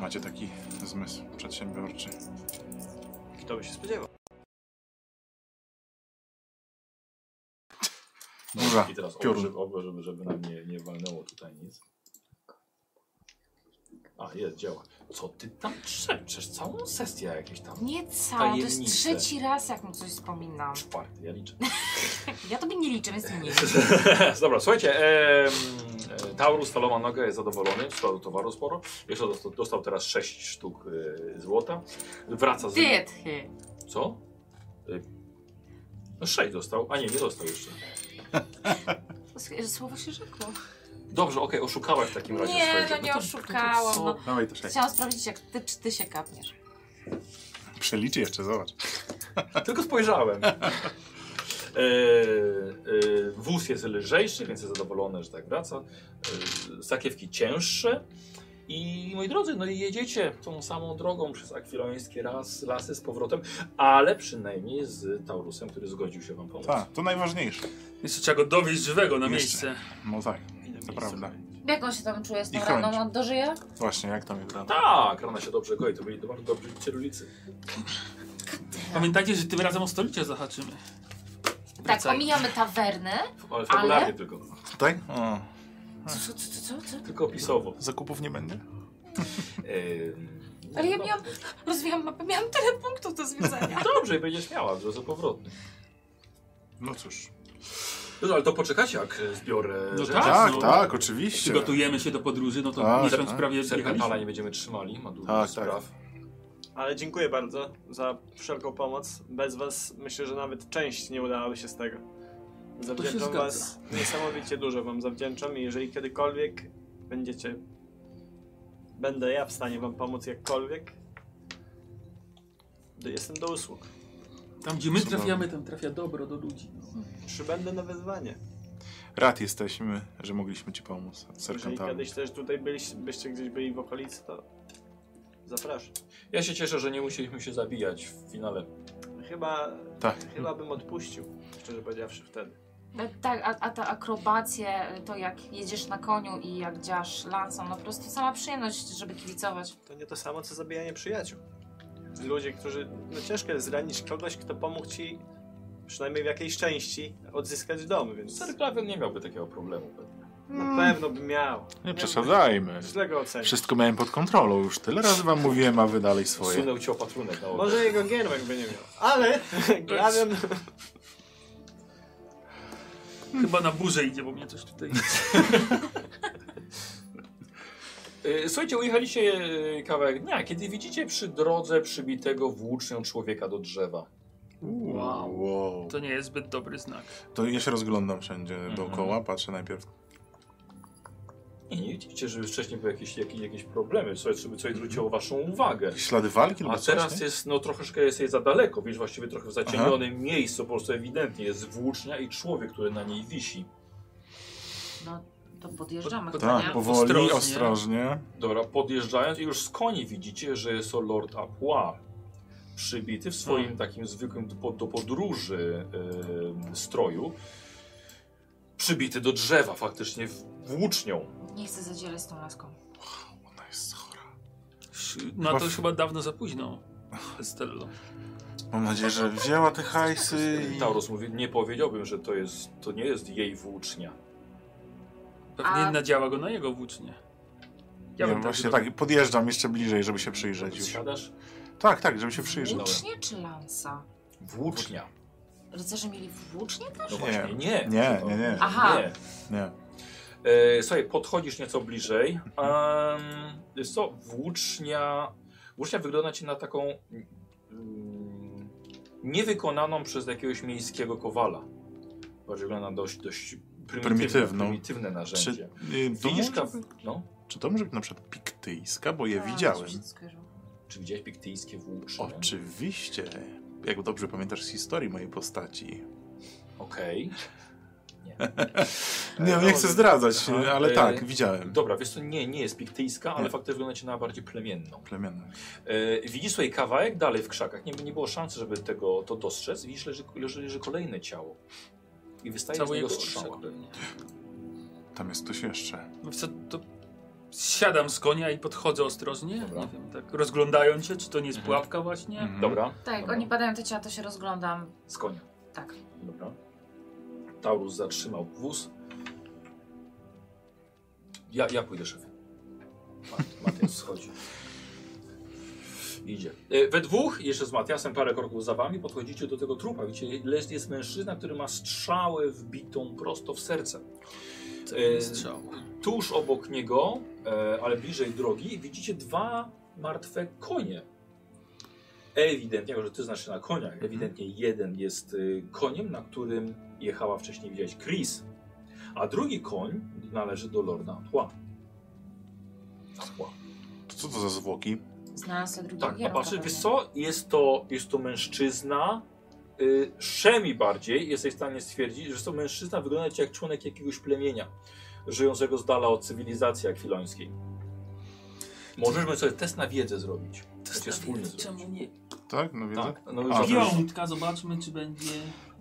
Speaker 3: macie taki zmysł przedsiębiorczy.
Speaker 4: Kto by się spodziewał?
Speaker 1: No,
Speaker 3: Dobra,
Speaker 1: I teraz oby,
Speaker 3: piorun.
Speaker 1: żeby, oby, żeby, żeby nam nie, nie walnęło tutaj nic. A, jest, działa. Co ty tam trzepczesz? Całą sesję jakieś tam.
Speaker 2: Nie całą, to jest
Speaker 1: Tajemnice.
Speaker 2: trzeci raz jak mu coś wspominam.
Speaker 1: Czwarty, ja liczę.
Speaker 2: Ja tobie nie liczę, więc ty nie
Speaker 1: Dobra, słuchajcie. em, e, Taurus, stalowa noga jest zadowolony, sporo towaru sporo. Jeszcze dostał, dostał teraz 6 sztuk e, złota. Wraca z
Speaker 2: Dytchy.
Speaker 1: Co? Y, No 6 dostał, a nie, nie dostał jeszcze.
Speaker 2: S- Słowo się rzekło.
Speaker 1: Dobrze, okej, oszukałaś w takim razie
Speaker 2: Nie,
Speaker 1: swojego.
Speaker 2: no nie
Speaker 1: to-
Speaker 2: oszukałam. No.
Speaker 3: Dawaj to czekaj.
Speaker 2: Chciałam sprawdzić, jak ty, czy ty się kapniesz.
Speaker 3: Przeliczy jeszcze, zobacz.
Speaker 1: Tylko spojrzałem. e, e, wóz jest lżejszy, więc jest zadowolony, że tak wraca. E, sakiewki cięższe. I moi drodzy, no i jedziecie tą samą drogą przez akwilońskie raz, lasy z powrotem, ale przynajmniej z Taurusem, który zgodził się wam pomóc.
Speaker 3: Tak, to najważniejsze.
Speaker 5: Jeszcze trzeba go dowieźć żywego na
Speaker 3: Jeszcze.
Speaker 5: miejsce.
Speaker 3: No tak, to prawda.
Speaker 2: Jak on się tam czuje z tą
Speaker 3: I chroń.
Speaker 2: raną? On dożyje? Tak,
Speaker 3: Właśnie, jak tam jest rada?
Speaker 1: Tak, rana się dobrze goi, to byli bardzo dobrzy cyrulicy.
Speaker 5: Pamiętajcie, że tym razem o stolicie zahaczymy.
Speaker 2: Tak,
Speaker 5: Wracaj.
Speaker 2: omijamy tawerny.
Speaker 1: Ale fabularnie
Speaker 2: Ale?
Speaker 1: tylko. no.
Speaker 3: Tutaj? O,
Speaker 2: Co, co, co, co, co?
Speaker 1: Tylko pisowo.
Speaker 3: zakupów nie będzie?
Speaker 1: Ym,
Speaker 2: Ale ja
Speaker 1: no,
Speaker 2: miałam, rozwijam mapę, miałam tyle punktów do zwiedzania.
Speaker 1: Dobrze, i będziesz miała, że powrotny.
Speaker 3: No cóż.
Speaker 1: No ale to poczekacie, jak e, zbiorę
Speaker 5: No
Speaker 1: rzeczy.
Speaker 5: Tak,
Speaker 3: Tak,
Speaker 5: no.
Speaker 3: tak, oczywiście.
Speaker 5: Przygotujemy się do podróży, no to
Speaker 3: Tak,
Speaker 5: miesiąc
Speaker 3: tak.
Speaker 5: prawie
Speaker 1: Serkantala
Speaker 5: jechaliśmy.
Speaker 1: nie będziemy trzymali, ma dużo
Speaker 3: Tak,
Speaker 1: spraw.
Speaker 4: Ale dziękuję bardzo za wszelką pomoc. Bez was myślę, że nawet część nie udałaby się z tego. Zawdzięczam
Speaker 5: zgadza.
Speaker 4: was, niesamowicie dużo wam zawdzięczam i jeżeli kiedykolwiek będziecie, będę ja w stanie wam pomóc jakkolwiek, to jestem do usług.
Speaker 5: Tam gdzie my
Speaker 3: Cudownie.
Speaker 5: trafiamy, tam trafia dobro do ludzi. No.
Speaker 4: Przybędę na wezwanie.
Speaker 3: Rad jesteśmy, że mogliśmy ci pomóc.
Speaker 4: Jeżeli
Speaker 3: Serkantami.
Speaker 4: kiedyś też tutaj byliście, byście gdzieś byli w okolicy, to zapraszam.
Speaker 1: Ja się cieszę, że nie musieliśmy się zabijać w finale.
Speaker 4: Chyba,
Speaker 3: Tak.
Speaker 4: chyba bym odpuścił, szczerze powiedziawszy wtedy.
Speaker 2: E, Tak, a, a te akrobacje, e, to jak jedziesz na koniu i jak działasz lansą, no po prostu sama przyjemność, żeby kibicować.
Speaker 4: To nie to samo, co zabijanie przyjaciół. Ludzie, którzy... No ciężko jest zranić kogoś, kto pomógł ci przynajmniej w jakiejś części odzyskać dom, więc...
Speaker 1: Sir Klawion nie miałby takiego problemu. pewnie.
Speaker 4: Na pewno by miał.
Speaker 3: Nie przesadzajmy.
Speaker 4: Źle go ocenić.
Speaker 3: Wszystko miałem pod kontrolą już. Tyle razy wam mówiłem, a wy dalej swoje.
Speaker 1: Sunął ci opatrunek na oczy.
Speaker 4: Może jego giermek by nie miał. Ale Glawion...
Speaker 5: Chyba na burzę idzie, bo mnie coś tutaj...
Speaker 1: Y, Słuchajcie, ujechaliście y, kawałek dnia, kiedy widzicie przy drodze przybitego włócznią człowieka do drzewa.
Speaker 5: Wow.
Speaker 3: wow.
Speaker 5: To nie jest zbyt dobry znak.
Speaker 3: To ja się rozglądam wszędzie dookoła, patrzę najpierw.
Speaker 1: I nie widzicie, żeby wcześniej były jakieś, jakieś, jakieś problemy, coś, żeby coś zwróciło waszą uwagę.
Speaker 3: Ślady walki
Speaker 1: A
Speaker 3: albo coś?
Speaker 1: teraz
Speaker 3: nie?
Speaker 1: jest, no troszeczkę jest jej za daleko, widzisz właściwie trochę w zaciemnionym miejscu, po prostu ewidentnie jest włócznia i człowiek, który na niej wisi.
Speaker 2: No to podjeżdżamy,
Speaker 5: Pod-
Speaker 2: chyba,
Speaker 3: Tak,
Speaker 2: nie?
Speaker 3: powoli, ostrożnie.
Speaker 5: Ostrożnie.
Speaker 1: Dobra, podjeżdżając i już z koni widzicie, że jest to Lord Apua. Przybity w swoim
Speaker 3: Hmm.
Speaker 1: takim zwykłym do, do podróży em, stroju. Przybity do drzewa faktycznie w- włócznią.
Speaker 2: Nie chcę zadzierać z tą laską.
Speaker 3: Ona jest chora.
Speaker 5: No to już chyba dawno za późno. Stello.
Speaker 3: Mam nadzieję, że wzięła te hajsy i...
Speaker 1: Taurus mówi, nie powiedziałbym, że to jest, to nie jest jej włócznia.
Speaker 5: Pewnie
Speaker 2: A-
Speaker 5: nadziała go na jego włócznie.
Speaker 3: Ja
Speaker 5: bym
Speaker 3: wiem,
Speaker 5: tak
Speaker 3: właśnie
Speaker 5: zrobił.
Speaker 3: tak, podjeżdżam jeszcze bliżej, żeby się przyjrzeć już.
Speaker 1: Siadasz?
Speaker 3: Tak, tak, żeby się przyjrzeć.
Speaker 2: Włócznie czy lansa?
Speaker 1: Włócznia.
Speaker 2: Rycerze mieli włócznie też?
Speaker 1: No właśnie, nie.
Speaker 3: Nie, nie, nie.
Speaker 2: Aha.
Speaker 1: Nie.
Speaker 3: Nie.
Speaker 1: E, słuchaj, podchodzisz nieco bliżej. Um, wiesz co, włócznia, włócznia wygląda ci na taką mm, niewykonaną przez jakiegoś miejskiego kowala. Bo wygląda na dość, dość prymitywne,
Speaker 3: Prymitywną.
Speaker 1: prymitywne narzędzie.
Speaker 3: Czy, y, to
Speaker 1: Widzisz
Speaker 3: może,
Speaker 1: kaw... No,
Speaker 3: czy to może być na przykład piktyjska, bo je
Speaker 2: A,
Speaker 3: widziałem.
Speaker 2: się skojarzyło.
Speaker 1: no, czy widziałeś piktyjskie włócznie?
Speaker 3: Oczywiście. Jak dobrze pamiętasz z historii mojej postaci.
Speaker 1: Okej. E,
Speaker 3: Nie, nie chcę zdradzać,
Speaker 1: No, Aha.
Speaker 3: ale
Speaker 1: E,
Speaker 3: tak, widziałem.
Speaker 1: Dobra, wiesz co, nie, nie jest piktyjska, ale
Speaker 3: Nie.
Speaker 1: faktycznie wygląda ci na bardziej plemienną.
Speaker 3: Plemienny.
Speaker 1: E, widzisz sobie kawałek dalej w krzakach. Nie, nie było szansy, żeby tego to dostrzec. Widzisz, leży, leży, leży kolejne ciało. I wystaje z
Speaker 5: Cały
Speaker 1: niego
Speaker 5: jego
Speaker 1: strzała.
Speaker 5: orsza pewnie.
Speaker 3: Tam jest ktoś jeszcze.
Speaker 5: No co, to siadam z konia i podchodzę ostrożnie.
Speaker 1: Dobra.
Speaker 5: Nie wiem, tak rozglądając się, czy to nie jest
Speaker 1: Mhm.
Speaker 5: pułapka właśnie.
Speaker 3: Mhm.
Speaker 1: Dobra.
Speaker 2: Tak,
Speaker 5: No.
Speaker 1: Dobra.
Speaker 2: oni badają te ciała, to się rozglądam.
Speaker 1: Z konia.
Speaker 2: Tak.
Speaker 1: Dobra. Taurus zatrzymał wóz. Ja, ja pójdę szefie. Mat- Matias schodzi. Idzie. E, We dwóch, jeszcze z Matiasem, parę kroków za wami, podchodzicie do tego trupa. Widzicie, jest, jest mężczyzna, który ma strzałę wbitą prosto w serce.
Speaker 5: Co
Speaker 1: E,
Speaker 5: strzał.
Speaker 1: Tuż obok niego, e, ale bliżej drogi, widzicie dwa martwe konie. Ewidentnie, jako że ty znasz się na koniach, ewidentnie jeden jest y, koniem, na którym jechała wcześniej, widziałeś, Chris, a drugi koń należy do Lorda Tła. Tła.
Speaker 3: To co to za zwłoki?
Speaker 2: Znalazł sobie drugi
Speaker 1: Tak,
Speaker 2: ogierka
Speaker 5: no
Speaker 1: popatrz,
Speaker 2: pewnie.
Speaker 1: wiesz co, jest to, jest to mężczyzna, y, szemi bardziej, jesteś w stanie stwierdzić, że to mężczyzna wygląda ci jak członek jakiegoś plemienia, żyjącego z dala od cywilizacji akwilońskiej. Możemy sobie test na wiedzę zrobić. Test wspólny zrobić.
Speaker 5: Czemu nie?
Speaker 3: Tak? No wiedzę?
Speaker 1: Tak, no już
Speaker 3: A,
Speaker 1: zrobisz.
Speaker 5: Piątka, zobaczmy czy będzie...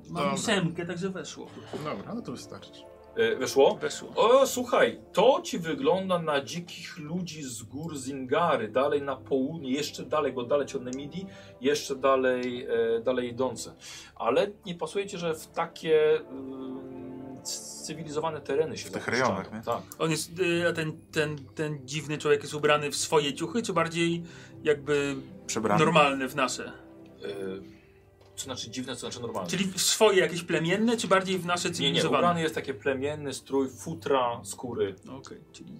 Speaker 3: Dobra.
Speaker 5: Mam ósemkę, także weszło.
Speaker 3: Dobra, no to wystarczy.
Speaker 1: Y, Wyszło?
Speaker 5: Weszło.
Speaker 1: O, słuchaj, to ci wygląda na dzikich ludzi z gór Zingary, dalej na południe, jeszcze dalej, bo dalej od Nemidii, jeszcze dalej, e, dalej idące. Ale nie pasuje ci, że w takie mm, c- cywilizowane tereny się
Speaker 3: W tych
Speaker 1: zapuszczają.
Speaker 3: rejonach, nie?
Speaker 1: Tak.
Speaker 5: On jest, y, a ten, ten, ten dziwny człowiek jest ubrany w swoje ciuchy, czy bardziej jakby
Speaker 3: Przebrany.
Speaker 5: normalny w nasze?
Speaker 1: E, co znaczy dziwne, co znaczy normalne.
Speaker 5: Czyli w swoje jakieś plemienne, czy bardziej w nasze
Speaker 1: nie, nie,
Speaker 5: cywilizowane?
Speaker 1: ubrany jest taki plemienny strój, futra, skóry.
Speaker 5: Okej, czyli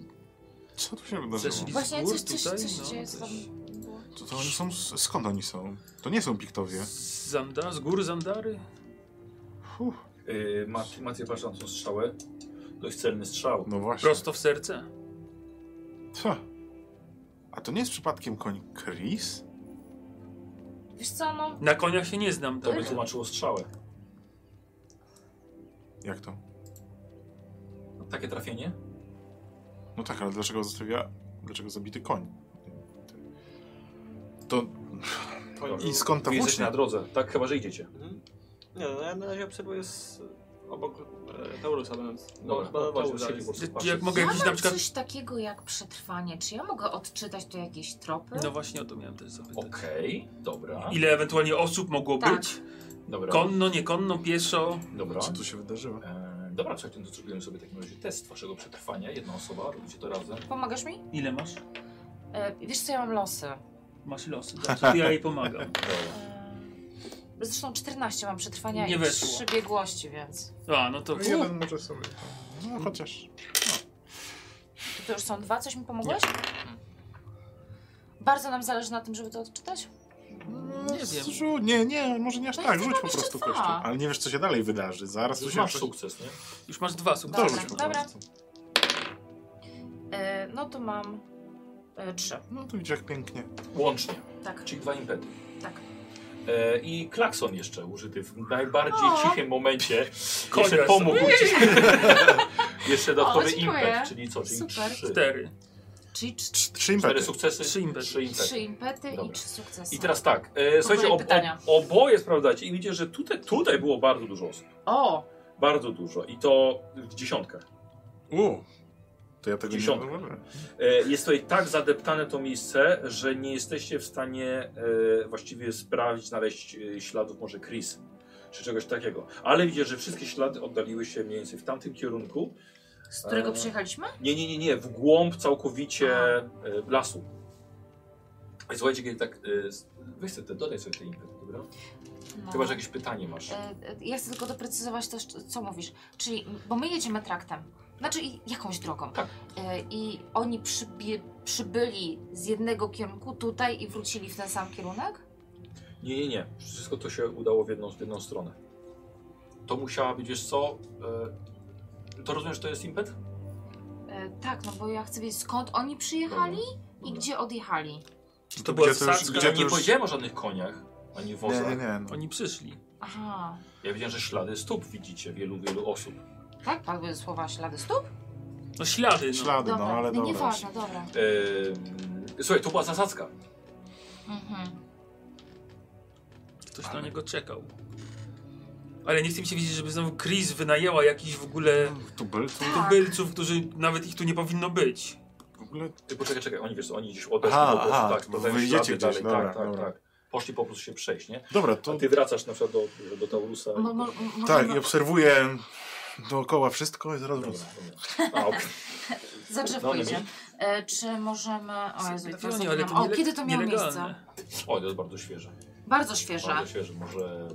Speaker 3: Co tu się
Speaker 5: zeszli
Speaker 3: wydarzyło?
Speaker 2: Właśnie
Speaker 5: z gór
Speaker 2: coś, coś,
Speaker 5: tutaj,
Speaker 2: coś się
Speaker 5: no,
Speaker 2: dzieje, co tam
Speaker 5: coś.
Speaker 2: było.
Speaker 3: To, to oni są... z- Skąd oni są? To nie są piktowie.
Speaker 5: Z Zanda, z gór Zandary?
Speaker 3: Fuh.
Speaker 1: Yy, Mat- Maciej patrz na tą strzałę. Dość celny strzał.
Speaker 3: No właśnie.
Speaker 5: Prosto w serce.
Speaker 3: Co? A to nie jest przypadkiem koń Chris?
Speaker 2: Wiesz co, no,
Speaker 5: Na koniach się nie znam,
Speaker 1: To
Speaker 5: tak?
Speaker 1: by tłumaczyło strzałę.
Speaker 3: Jak to?
Speaker 1: Takie trafienie?
Speaker 3: No tak, ale dlaczego zostawiła... Dlaczego zabity koń? To... I skąd ta
Speaker 1: Wy jesteście
Speaker 3: włócznia?
Speaker 1: na drodze. Tak, chyba, że idziecie.
Speaker 4: Mhm. Nie, no ja na razie obserwuję z, obok e, Taurusa będąc.
Speaker 1: Dobra,
Speaker 4: Bo- bo-
Speaker 1: chodź,
Speaker 4: Taurus
Speaker 1: bo
Speaker 4: dalej.
Speaker 1: siebie po
Speaker 5: Czy,
Speaker 1: prostu
Speaker 5: czy jak
Speaker 1: patrzę.
Speaker 5: mogę
Speaker 2: ja
Speaker 5: jakiś
Speaker 2: mam
Speaker 5: na przykład...
Speaker 2: coś takiego jak przetrwanie. Czy ja mogę odczytać tu jakieś tropy?
Speaker 5: No właśnie o to miałem też zapytać.
Speaker 1: Okej, dobra.
Speaker 5: Ile ewentualnie osób mogło
Speaker 2: Tak.
Speaker 5: być?
Speaker 1: Dobra.
Speaker 5: Konno, niekonno, pieszo.
Speaker 1: Dobra.
Speaker 3: Co tu się wydarzyło?
Speaker 1: E, dobra, słuchajcie, no to zrobimy sobie w takim razie test waszego przetrwania. Jedna osoba, robicie to razem.
Speaker 2: Pomagasz mi?
Speaker 5: Ile masz?
Speaker 2: E, wiesz co, ja mam losy.
Speaker 5: Masz losy, dobrze, to ja jej pomagam.
Speaker 1: Dobra.
Speaker 2: E, zresztą 14 mam przetrwania
Speaker 5: Nie
Speaker 2: i
Speaker 5: weszło.
Speaker 2: trzy biegłości, więc
Speaker 5: A, no to...
Speaker 3: Jeden może sobie... No chociaż...
Speaker 2: to, to już są dwa. Coś mi pomogłeś? Bardzo nam zależy na tym, żeby to odczytać.
Speaker 5: Nie wiem.
Speaker 3: Rzu- nie, nie, może nie aż
Speaker 2: No i
Speaker 3: tak,
Speaker 2: co
Speaker 3: rzuć
Speaker 2: tam
Speaker 3: po
Speaker 2: jeszcze
Speaker 3: prostu
Speaker 2: dwa?
Speaker 3: kością. Ale nie wiesz, co się dalej wydarzy. Zaraz tu
Speaker 1: Już
Speaker 3: się...
Speaker 1: masz
Speaker 3: coś-
Speaker 1: sukces, nie?
Speaker 5: Już masz dwa sukcesy.
Speaker 2: Dobra,
Speaker 3: Dorzuć po
Speaker 2: dobra.
Speaker 3: prostu.
Speaker 2: E, no to mam e, trzy.
Speaker 3: No to widzisz, jak pięknie.
Speaker 1: Łącznie.
Speaker 2: Tak,
Speaker 1: Czyli dwa impety.
Speaker 2: tak.
Speaker 1: E, I klakson jeszcze użyty w najbardziej
Speaker 2: O.
Speaker 1: cichym momencie.
Speaker 5: Konia
Speaker 1: Jeszcze
Speaker 5: sobie.
Speaker 1: pomógł. ci. jeszcze dodatkowy
Speaker 2: O, dziękuję.
Speaker 1: impet, czyli co? Czyli
Speaker 2: Super.
Speaker 1: trzy.
Speaker 5: Cztery.
Speaker 2: Czyli cz-
Speaker 3: Trz- Trzy
Speaker 1: Cztery
Speaker 3: impety.
Speaker 1: sukcesy,
Speaker 5: Trzy impety.
Speaker 1: trzy impety.
Speaker 2: trzy impety i
Speaker 1: tak. Dobra.
Speaker 2: trzy sukcesy.
Speaker 1: I teraz tak, e, słuchajcie, ob, ob,
Speaker 2: pytania.
Speaker 1: oboje sprawdzacie i widzicie, że tutaj, tutaj było bardzo dużo osób.
Speaker 2: O!
Speaker 1: Bardzo dużo i to w dziesiątkach.
Speaker 3: U, to ja tego
Speaker 1: Dziesiątka.
Speaker 3: nie zauważyłem.
Speaker 1: E, jest tutaj tak zadeptane to miejsce, że nie jesteście w stanie e, właściwie sprawdzić, znaleźć e, śladów może Chris czy czegoś takiego. Ale widzicie, że wszystkie ślady oddaliły się mniej więcej w tamtym kierunku.
Speaker 2: Z którego
Speaker 1: E,
Speaker 2: przyjechaliśmy?
Speaker 1: Nie, nie, nie, nie, w głąb całkowicie e, lasu. Ej, Słuchajcie, kiedy tak. E, s- weź sobie, te- dodaj sobie te impety, dobra?
Speaker 2: No.
Speaker 1: Chyba, że jakieś pytanie masz.
Speaker 2: E, e, Ja chcę tylko doprecyzować to, c- co mówisz. Czyli, bo my jedziemy traktem. Znaczy i- jakąś drogą.
Speaker 1: Tak.
Speaker 2: E, I oni przybie, przybyli z jednego kierunku tutaj i wrócili w ten sam kierunek?
Speaker 1: Nie, nie, nie. Wszystko to się udało w jedną, w jedną stronę. To musiała być, wiesz co? E, to rozumiesz, to jest impet?
Speaker 2: E, tak, no bo ja chcę wiedzieć skąd oni przyjechali i
Speaker 1: Dobra.
Speaker 2: gdzie odjechali.
Speaker 5: Czy to była
Speaker 3: gdzie to już-
Speaker 5: wsadzka?
Speaker 3: gdzie
Speaker 1: Ja
Speaker 3: to
Speaker 1: nie
Speaker 3: już-
Speaker 1: powiedziałem o żadnych koniach, ani
Speaker 3: Nie,
Speaker 1: wozach.
Speaker 3: nie, nie. No.
Speaker 5: Oni przyszli.
Speaker 2: Aha.
Speaker 1: Ja wiedziałem, że ślady stóp widzicie wielu, wielu osób.
Speaker 2: Tak padły słowa ślady stóp?
Speaker 5: No ślady, no.
Speaker 3: Ślady, no ale
Speaker 2: no,
Speaker 3: dobra.
Speaker 2: nieważne, dobra.
Speaker 1: E, słuchaj, to była zasadzka.
Speaker 2: Mhm.
Speaker 5: Ktoś na niego czekał. Ale nie chce mi się wiedzieć, żeby znowu Chris wynajęła jakichś w ogóle
Speaker 3: Tu był, tu
Speaker 2: Tak.
Speaker 5: tubylców, którzy nawet ich tu nie powinno być.
Speaker 3: w ogóle...
Speaker 1: Ty poczekaj, czekaj, oni wiesz, co, oni gdzieś odeszli
Speaker 3: Aha,
Speaker 1: po prostu,
Speaker 3: aha,
Speaker 1: tak,
Speaker 3: to
Speaker 1: dodają
Speaker 3: wyjdziecie
Speaker 1: ślady
Speaker 3: gdzieś, dobra,
Speaker 1: tak, tak,
Speaker 3: dobra.
Speaker 1: tak. Poszli po prostu się przejść, nie?
Speaker 3: Dobra,
Speaker 1: A
Speaker 3: to...
Speaker 1: ty wracasz na przykład do, do Taurusa. i-
Speaker 2: Mo, mo, mo,
Speaker 3: Tak,
Speaker 2: mo-
Speaker 3: i obserwuję dookoła wszystko i zaraz
Speaker 2: no.
Speaker 1: Dobra,
Speaker 3: wrócę.
Speaker 1: dobra. A, okej.
Speaker 2: Za drzewko
Speaker 1: Dobra.
Speaker 2: idzie. E, czy możemy... O, Jezu,
Speaker 5: Tak,
Speaker 2: to
Speaker 5: oni, ale
Speaker 2: zaczynam. o
Speaker 5: niele-
Speaker 2: kiedy to miało
Speaker 5: nielegalne.
Speaker 2: miejsce?
Speaker 1: O, to jest bardzo świeże.
Speaker 2: Bardzo świeże.
Speaker 1: Bardzo świeże, może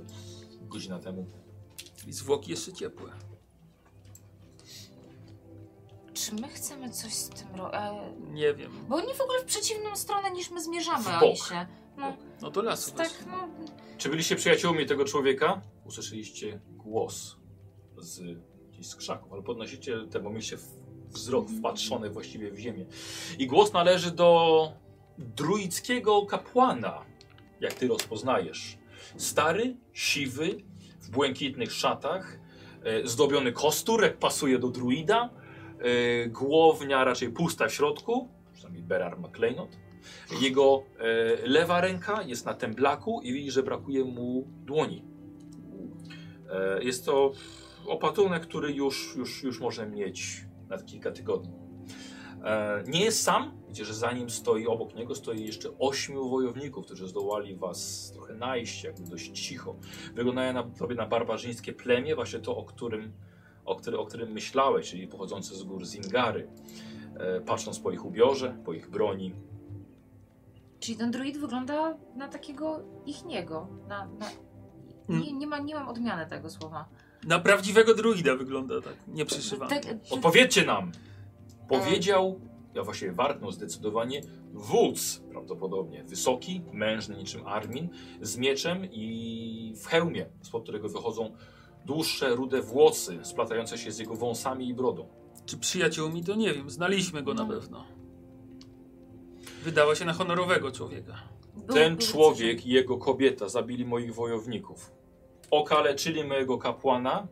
Speaker 1: godzina temu.
Speaker 5: I zwłoki jeszcze ciepłe.
Speaker 2: Czy my chcemy coś z tym robić? E,
Speaker 5: Nie wiem.
Speaker 2: bo oni w ogóle w przeciwną stronę niż my zmierzamy,
Speaker 1: W
Speaker 2: oni
Speaker 1: bok.
Speaker 2: się. No,
Speaker 5: No to lasu.
Speaker 2: tak,
Speaker 5: weź.
Speaker 2: no.
Speaker 1: Czy byliście przyjaciółmi tego człowieka? Usłyszeliście głos z gdzieś z krzaków, ale podnosicie ten bo mieliście w- wzrok wpatrzony właściwie w ziemię. I głos należy do druickiego kapłana, jak ty rozpoznajesz. Stary, siwy, w błękitnych szatach, e, zdobiony kostur, jak pasuje do druida, e, głownia raczej pusta w środku, przynajmniej Berar ma klejnot. Jego e, lewa ręka jest na temblaku i widzi, że brakuje mu dłoni. E, jest to opatrunek, który już, już, już może mieć na kilka tygodni. E, nie jest sam, widzicie, że za nim stoi, obok niego stoi jeszcze ośmiu wojowników, którzy zdołali was trochę najść, jakby dość cicho. Wyglądają na, sobie na barbarzyńskie plemię, właśnie to, o którym, o, który, o którym myślałeś, czyli pochodzące z gór Zingary. E, patrząc po ich ubiorze, po ich broni,
Speaker 2: Czyli ten druid wygląda na takiego ichniego. Na, na... Nie, nie, ma, nie mam odmiany tego słowa.
Speaker 5: Na prawdziwego druida wygląda tak, nie przyszywany.
Speaker 2: Tak,
Speaker 1: Odpowiedzcie nam! Powiedział, ja właśnie warknął zdecydowanie, wódz prawdopodobnie, wysoki, mężny niczym Armin, z mieczem i w hełmie, spod którego wychodzą Dłuższe, rude włosy splatające się z jego wąsami i brodą.
Speaker 2: Tak.
Speaker 5: Czy przyjaciółmi, to nie wiem. Znaliśmy
Speaker 2: No.
Speaker 5: go na pewno. Wydała się na honorowego człowieka.
Speaker 2: Był-
Speaker 1: Ten
Speaker 2: był
Speaker 1: człowiek i jego kobieta zabili moich wojowników. Okaleczyli mojego kapłana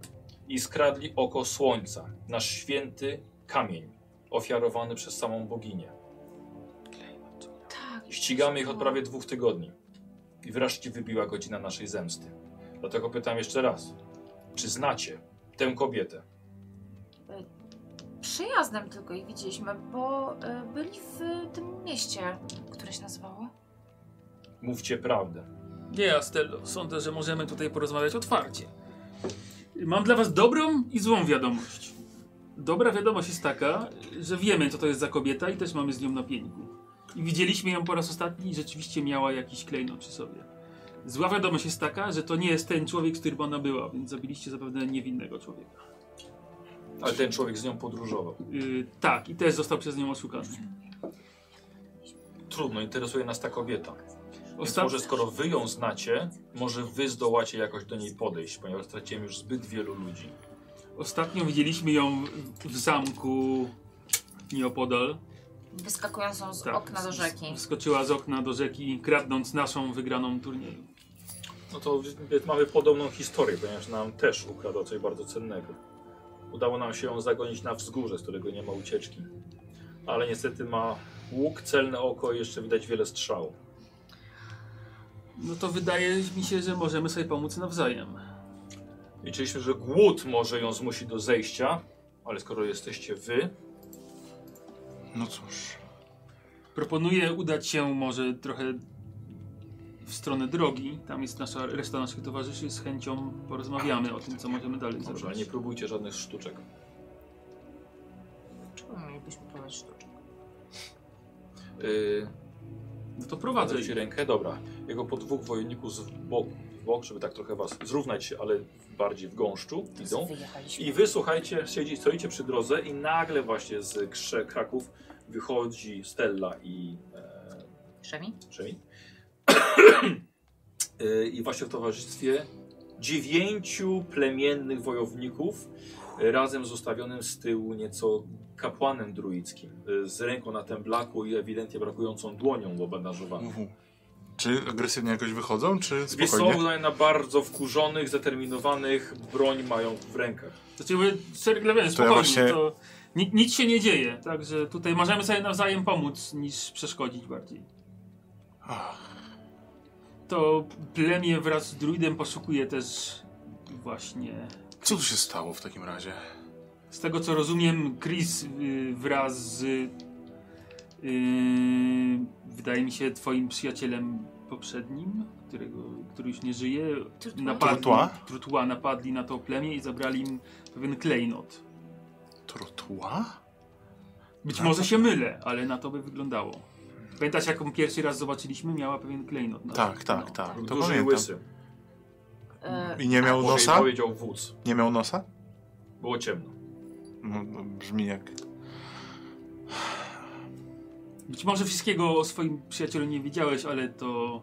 Speaker 1: i skradli oko słońca, nasz święty kamień, ofiarowany przez samą boginię.
Speaker 2: coś- Tak,
Speaker 1: Ścigamy ich od prawie dwóch tygodni. I wreszcie wybiła godzina naszej zemsty. Dlatego pytam jeszcze raz. Czy znacie tę kobietę?
Speaker 2: Przejazdem tylko ich widzieliśmy, bo y, byli w tym mieście, które się nazywało.
Speaker 1: Mówcie prawdę.
Speaker 5: Nie, Astello, sądzę, że możemy tutaj porozmawiać otwarcie. Mam dla was dobrą i złą wiadomość. Dobra wiadomość jest taka, że wiemy, co to jest za kobieta i też mamy z nią na pieniku. I widzieliśmy ją po raz ostatni i rzeczywiście miała jakiś klejnot przy sobie. Zła wiadomość jest taka, że to nie jest ten człowiek, z którym ona była, więc zabiliście zapewne niewinnego człowieka.
Speaker 1: Ale ten człowiek z nią podróżował.
Speaker 5: Yy, tak, i też został przez nią oszukany.
Speaker 1: Trudno, interesuje nas ta kobieta. Więc
Speaker 5: Osta-
Speaker 1: może skoro wy ją znacie, może wy zdołacie jakoś do niej podejść, ponieważ straciłem już zbyt wielu ludzi.
Speaker 5: Ostatnio widzieliśmy ją w- w zamku nieopodal.
Speaker 2: Wyskakującą z
Speaker 5: Tak,
Speaker 2: okna do
Speaker 5: s-
Speaker 2: rzeki.
Speaker 5: Wskoczyła z okna do rzeki, kradnąc naszą wygraną turnieju.
Speaker 1: No to więc mamy podobną historię, ponieważ nam też ukradła coś bardzo cennego. Udało nam się ją zagonić na wzgórze, z którego nie ma ucieczki. Ale niestety ma łuk, celne oko i jeszcze widać wiele strzał.
Speaker 5: No to wydaje mi się, że możemy sobie pomóc nawzajem.
Speaker 1: Liczyliśmy, że głód może ją zmusi do zejścia, ale skoro jesteście wy,
Speaker 3: No cóż,
Speaker 5: Proponuję udać się może trochę w stronę drogi. Tam jest nasza reszta naszych towarzyszy. Z chęcią porozmawiamy o tym, co możemy dalej
Speaker 1: dobrze, ale
Speaker 5: zrobić.
Speaker 1: nie próbujcie żadnych sztuczek.
Speaker 2: Czemu mielibyśmy próbować sztuczek?
Speaker 1: Yy,
Speaker 5: No to prowadzę.
Speaker 1: Prowadzę ci rękę, dobra. Jego po dwóch wojowników z boku, w bok, żeby tak trochę was zrównać się, ale bardziej w gąszczu idą.
Speaker 2: Wyjechaliśmy.
Speaker 1: I wy słuchajcie, siedzi, stoicie przy drodze i nagle właśnie z krze- Kraków wychodzi Stella i e,
Speaker 2: Szemi?
Speaker 1: Przemi. E, I właśnie w towarzystwie dziewięciu plemiennych wojowników e, razem z ustawionym z tyłu nieco kapłanem druickim e, z ręką na temblaku i ewidentnie brakującą dłonią obandażowaną.
Speaker 3: uhu. czy agresywnie jakoś wychodzą, czy
Speaker 1: Wiesz co,
Speaker 3: spokojnie?
Speaker 1: wyglądają na bardzo wkurzonych, zdeterminowanych, broń mają w rękach.
Speaker 5: Znaczy, mówię, Sir Glewen, spokojnie.
Speaker 3: właśnie-
Speaker 5: To ni nic się nie dzieje. Także tutaj możemy sobie nawzajem pomóc, niż przeszkodzić bardziej.
Speaker 3: Ach,
Speaker 5: To plemię wraz z druidem poszukuje też właśnie
Speaker 3: Co tu się stało w takim razie?
Speaker 5: Z tego co rozumiem, Chris y, wraz z. Y, wydaje mi się, twoim przyjacielem poprzednim, którego, który już nie żyje,
Speaker 2: Trutła.
Speaker 5: napadli,
Speaker 3: Trutła?
Speaker 5: Trutła napadli na to plemię i zabrali im pewien klejnot.
Speaker 3: Trotuła?
Speaker 5: Być
Speaker 3: Na
Speaker 5: może
Speaker 3: to-
Speaker 5: się mylę, ale na to by wyglądało. Pamiętasz, jaką pierwszy raz zobaczyliśmy? Miała pewien klejnot. Na
Speaker 3: Tak, tak,
Speaker 5: no.
Speaker 3: tak. To
Speaker 1: Duży i
Speaker 3: pamiętam.
Speaker 1: łysy.
Speaker 2: E,
Speaker 3: I nie miał
Speaker 1: Może jej
Speaker 3: nosa?
Speaker 1: powiedział wódz.
Speaker 3: Nie miał nosa?
Speaker 1: Było ciemno.
Speaker 3: No, no, brzmi jak...
Speaker 5: Być może wszystkiego o swoim przyjacielu nie wiedziałeś, ale to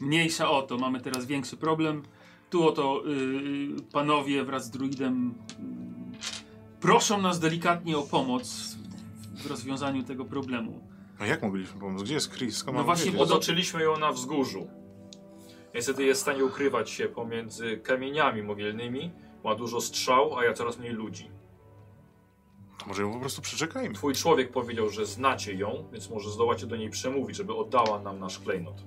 Speaker 5: mniejsza o to. Mamy teraz większy problem. Tu oto yy, panowie wraz z druidem yy, proszą nas delikatnie o pomoc w rozwiązaniu tego problemu.
Speaker 3: No jak mogliśmy pomóc? Gdzie jest Chris? Skąd
Speaker 5: No
Speaker 3: mam
Speaker 5: właśnie,
Speaker 3: wiedzieć?
Speaker 5: podoba-
Speaker 1: Otoczyliśmy ją na wzgórzu. Niestety jest w stanie ukrywać się pomiędzy kamieniami mogielnymi. Ma dużo strzał, a ja coraz mniej ludzi.
Speaker 3: To może ją po prostu przeczekajmy.
Speaker 1: Twój człowiek powiedział, że znacie ją, więc może zdołacie do niej przemówić, żeby oddała nam nasz klejnot.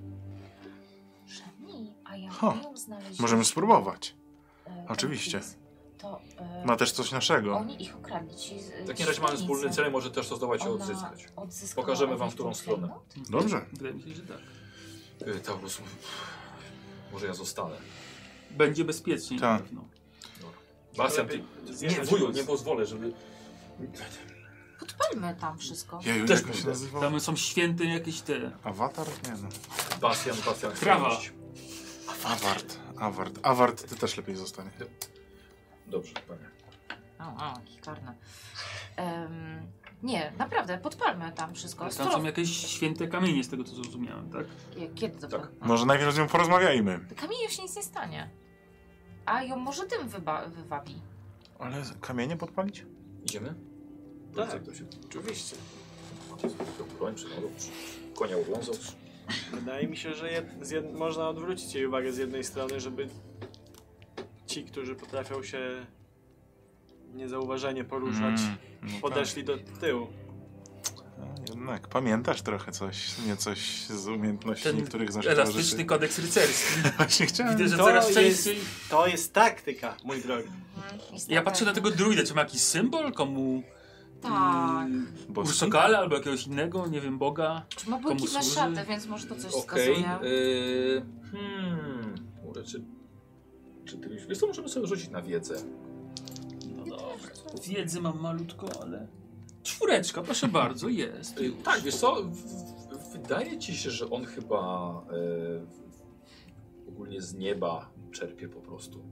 Speaker 2: Szemi, a ja
Speaker 3: Ha.
Speaker 2: ją znaleźliśmy.
Speaker 3: Możemy spróbować.
Speaker 2: e, ten
Speaker 3: oczywiście.
Speaker 2: Chris, To e,
Speaker 3: Ma też coś naszego.
Speaker 2: oni ich ukradli. Ci, z-
Speaker 1: W
Speaker 2: ci
Speaker 1: takim razie mamy
Speaker 2: szkolnicy.
Speaker 1: wspólny cel, może też to zdołacie
Speaker 2: Ona
Speaker 1: odzyskać.
Speaker 2: odzyskała
Speaker 1: Pokażemy
Speaker 2: od
Speaker 1: wam,
Speaker 2: nich
Speaker 1: w którą
Speaker 2: ten
Speaker 1: stronę.
Speaker 2: klejnot?
Speaker 3: Dobrze.
Speaker 5: Wydaje mi się, że tak.
Speaker 1: Yy, Taurus, może ja zostanę.
Speaker 5: Będzie bezpieczniej na
Speaker 3: Tak.
Speaker 5: pewno.
Speaker 1: Bastian, ty... Nie, wuju, nie pozwolę, żeby...
Speaker 2: Podpalmy tam wszystko.
Speaker 3: Jeju,
Speaker 1: Też
Speaker 3: jak on się
Speaker 1: będę.
Speaker 3: nazywał?
Speaker 5: Tam są święte jakieś te...
Speaker 3: Awatar? Nie no.
Speaker 1: Bastian, Bastian,
Speaker 5: Krawa.
Speaker 1: chciałeś?
Speaker 3: Awart. Awart. Awart, ty też lepiej zostanie.
Speaker 1: Dobrze, panie.
Speaker 2: O, o, jaki karny. Em, nie, naprawdę, podpalmy tam wszystko.
Speaker 5: Tam są jakieś święte kamienie, z tego co zrozumiałem, tak?
Speaker 2: Kiedy to
Speaker 1: Tak.
Speaker 2: było?
Speaker 3: Może najpierw z nią porozmawiajmy.
Speaker 2: Kamieniu się nic nie stanie. a ją może dym wyba- wywabi.
Speaker 3: Ale kamienie podpalić?
Speaker 1: Idziemy?
Speaker 4: Tak.
Speaker 1: Jak to się-
Speaker 4: Oczywiście.
Speaker 1: To broń, przynajmniej konia oglądzą.
Speaker 4: Wydaje mi się, że jed, z jed, można odwrócić jej uwagę z jednej strony, żeby ci, którzy potrafią się niezauważenie poruszać,
Speaker 3: Mm, no
Speaker 4: podeszli do tyłu.
Speaker 3: Tak. A, jednak, pamiętasz trochę coś, nie coś z umiejętności
Speaker 5: Ten
Speaker 3: niektórych z naszych
Speaker 5: Elastyczny kodeks rycerski.
Speaker 3: towarzyszy. Właśnie chciałem.
Speaker 5: Widzę, że
Speaker 4: To
Speaker 5: coraz
Speaker 4: jest-
Speaker 5: częściej...
Speaker 4: To jest taktyka, mój drogi.
Speaker 5: Ja patrzę na tego druida, czy ma jakiś symbol komu...
Speaker 2: Tak.
Speaker 5: mm,
Speaker 3: Boski?
Speaker 5: Urszokala albo jakiegoś innego, nie wiem, boga.
Speaker 2: Ma błękitne
Speaker 5: służy?
Speaker 2: szaty, więc może to coś
Speaker 1: Okej.
Speaker 2: wskazuje.
Speaker 1: y, Hmm. Kurde, czy... Czy ty już... Wiesz co, możemy sobie rzucić na wiedzę.
Speaker 5: No dobra. Wiedzy mam malutko, ale... Czwóreczka, proszę bardzo, jest.
Speaker 1: Y, Tak, wiesz co, w, w, wydaje ci się, że on chyba e, w- ogólnie z nieba czerpie po prostu.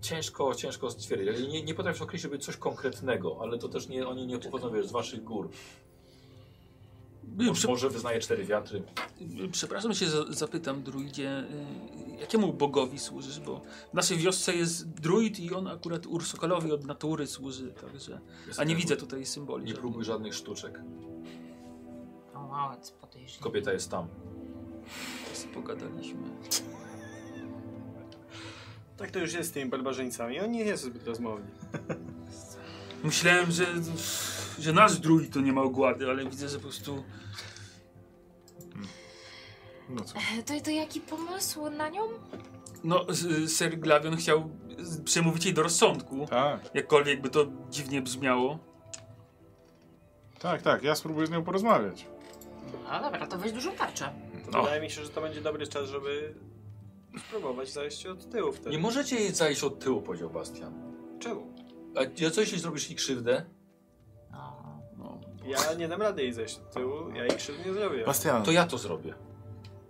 Speaker 1: Ciężko, ciężko stwierdzić. Nie, nie potrafisz określić żeby coś konkretnego, ale to też nie, oni nie pochodzą wiesz, z waszych gór.
Speaker 5: Byłem No, przy-
Speaker 1: Może wyznaje cztery wiatry.
Speaker 5: Y, Przepraszam się, za- zapytam druidzie, y, jakiemu bogowi służysz, bo w naszej wiosce jest druid i on akurat Ursokalowi od natury służy, także... A nie widzę tutaj symboli.
Speaker 1: Nie
Speaker 5: żadnych.
Speaker 1: próbuj żadnych sztuczek.
Speaker 2: O, wow, jest podejrzliwe.
Speaker 1: Kobieta jest tam.
Speaker 5: Pogadaliśmy.
Speaker 4: Tak to już jest z tymi barbarzyńcami. Oni nie są zbyt rozmowni.
Speaker 5: Myślałem, że, że nasz druid to nie ma ogłady, ale widzę, że po prostu
Speaker 3: No cóż.
Speaker 2: E, To, to jaki pomysł na nią?
Speaker 5: no, s- Sir Glavion chciał s- przemówić jej do rozsądku,
Speaker 3: Tak,
Speaker 5: jakkolwiek by to dziwnie brzmiało.
Speaker 3: tak, tak. Ja spróbuję z nią porozmawiać.
Speaker 2: No dobra, to weź dużą tarczę.
Speaker 4: To
Speaker 5: No.
Speaker 4: Wydaje mi się, że to będzie dobry czas, żeby spróbować zajść od tyłu wtedy.
Speaker 1: Nie możecie jej zajść od tyłu, powiedział Bastian.
Speaker 4: Czemu?
Speaker 1: A co jeśli zrobisz jej krzywdę?
Speaker 5: No.
Speaker 4: Ja nie dam rady jej zejść od tyłu, ja jej krzywdy nie zrobię.
Speaker 3: Bastian,
Speaker 1: To ja to zrobię.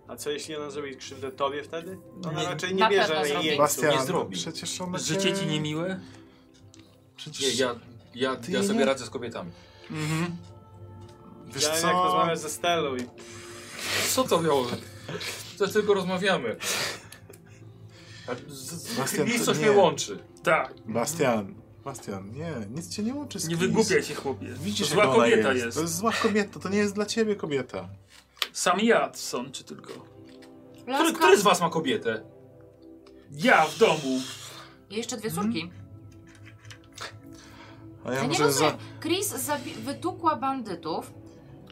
Speaker 4: A co jeśli ona zrobi krzywdę tobie wtedy? Ona
Speaker 1: Nie-
Speaker 4: raczej
Speaker 2: na
Speaker 4: nie
Speaker 2: pewno
Speaker 4: bierze
Speaker 2: zrobi.
Speaker 4: jej
Speaker 3: Bastian,
Speaker 1: nie
Speaker 3: no
Speaker 1: zrobi.
Speaker 3: przecież ona
Speaker 5: Życie ci niemiłe?
Speaker 3: Przecież...
Speaker 1: Nie, ja, ja,
Speaker 3: Ty
Speaker 1: ja
Speaker 3: nie-
Speaker 1: sobie radzę z kobietami.
Speaker 5: Mhm.
Speaker 3: Wiesz
Speaker 4: Widziałem
Speaker 3: co?
Speaker 4: jak rozmawiasz ze Stellą i
Speaker 1: Co to miało? To tylko rozmawiamy.
Speaker 3: Bastian,
Speaker 1: Nic
Speaker 3: to
Speaker 1: coś
Speaker 3: nie.
Speaker 1: mnie łączy.
Speaker 5: Tak,
Speaker 3: Bastian, Bastian, nie, nic cię nie łączy z
Speaker 5: nie
Speaker 3: kimś.
Speaker 5: wygłupiaj się chłopie.
Speaker 3: Widzisz,
Speaker 5: to zła
Speaker 3: jak ona
Speaker 5: kobieta
Speaker 3: jest.
Speaker 5: jest.
Speaker 3: To jest zła kobieta, to nie jest dla ciebie kobieta.
Speaker 5: Sam ja sączy tylko.
Speaker 1: Który,
Speaker 2: Laska,
Speaker 1: który z was ma kobietę?
Speaker 5: Ja w domu.
Speaker 2: I jeszcze dwie
Speaker 1: Hmm?
Speaker 2: córki.
Speaker 3: A ja
Speaker 2: Ja nie
Speaker 3: może
Speaker 2: rozumiem.
Speaker 3: za...
Speaker 2: Chris zabi- wytukła bandytów,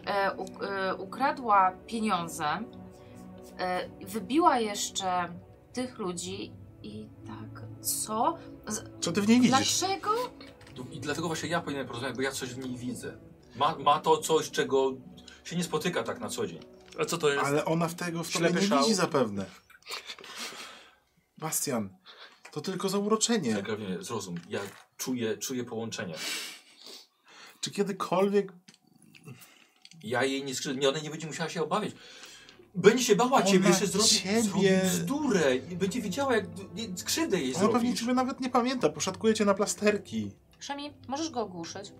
Speaker 2: e, u- e, ukradła pieniądze, e, wybiła jeszcze tych ludzi i tak, co?
Speaker 3: Co ty w niej widzisz?
Speaker 2: Dlaczego?
Speaker 1: I dlatego właśnie ja powinienem porozmawiać, bo ja coś w niej widzę. Ma, ma to coś, czego się nie spotyka tak na co dzień.
Speaker 5: A co to jest?
Speaker 3: Ale ona w tego w tobie
Speaker 4: Ślepy
Speaker 3: nie
Speaker 4: szał.
Speaker 3: widzi zapewne. Bastian, to tylko zauroczenie.
Speaker 1: Tak, nie, zrozum. Ja czuję, czuję połączenie.
Speaker 3: Czy kiedykolwiek
Speaker 1: Ja jej nie skrzywdzę. Nie, ona nie będzie musiała się obawiać. Będzie się bała ciebie,
Speaker 3: Ona
Speaker 1: że zrobi,
Speaker 3: ciebie-
Speaker 1: zrobi bzdurę i będzie widziała, jak nie, skrzywdę jej
Speaker 3: ona pewnie
Speaker 1: zrobisz.
Speaker 3: ciebie nawet nie pamięta, poszatkuje cię na plasterki.
Speaker 2: Szemi, możesz go ogłuszyć?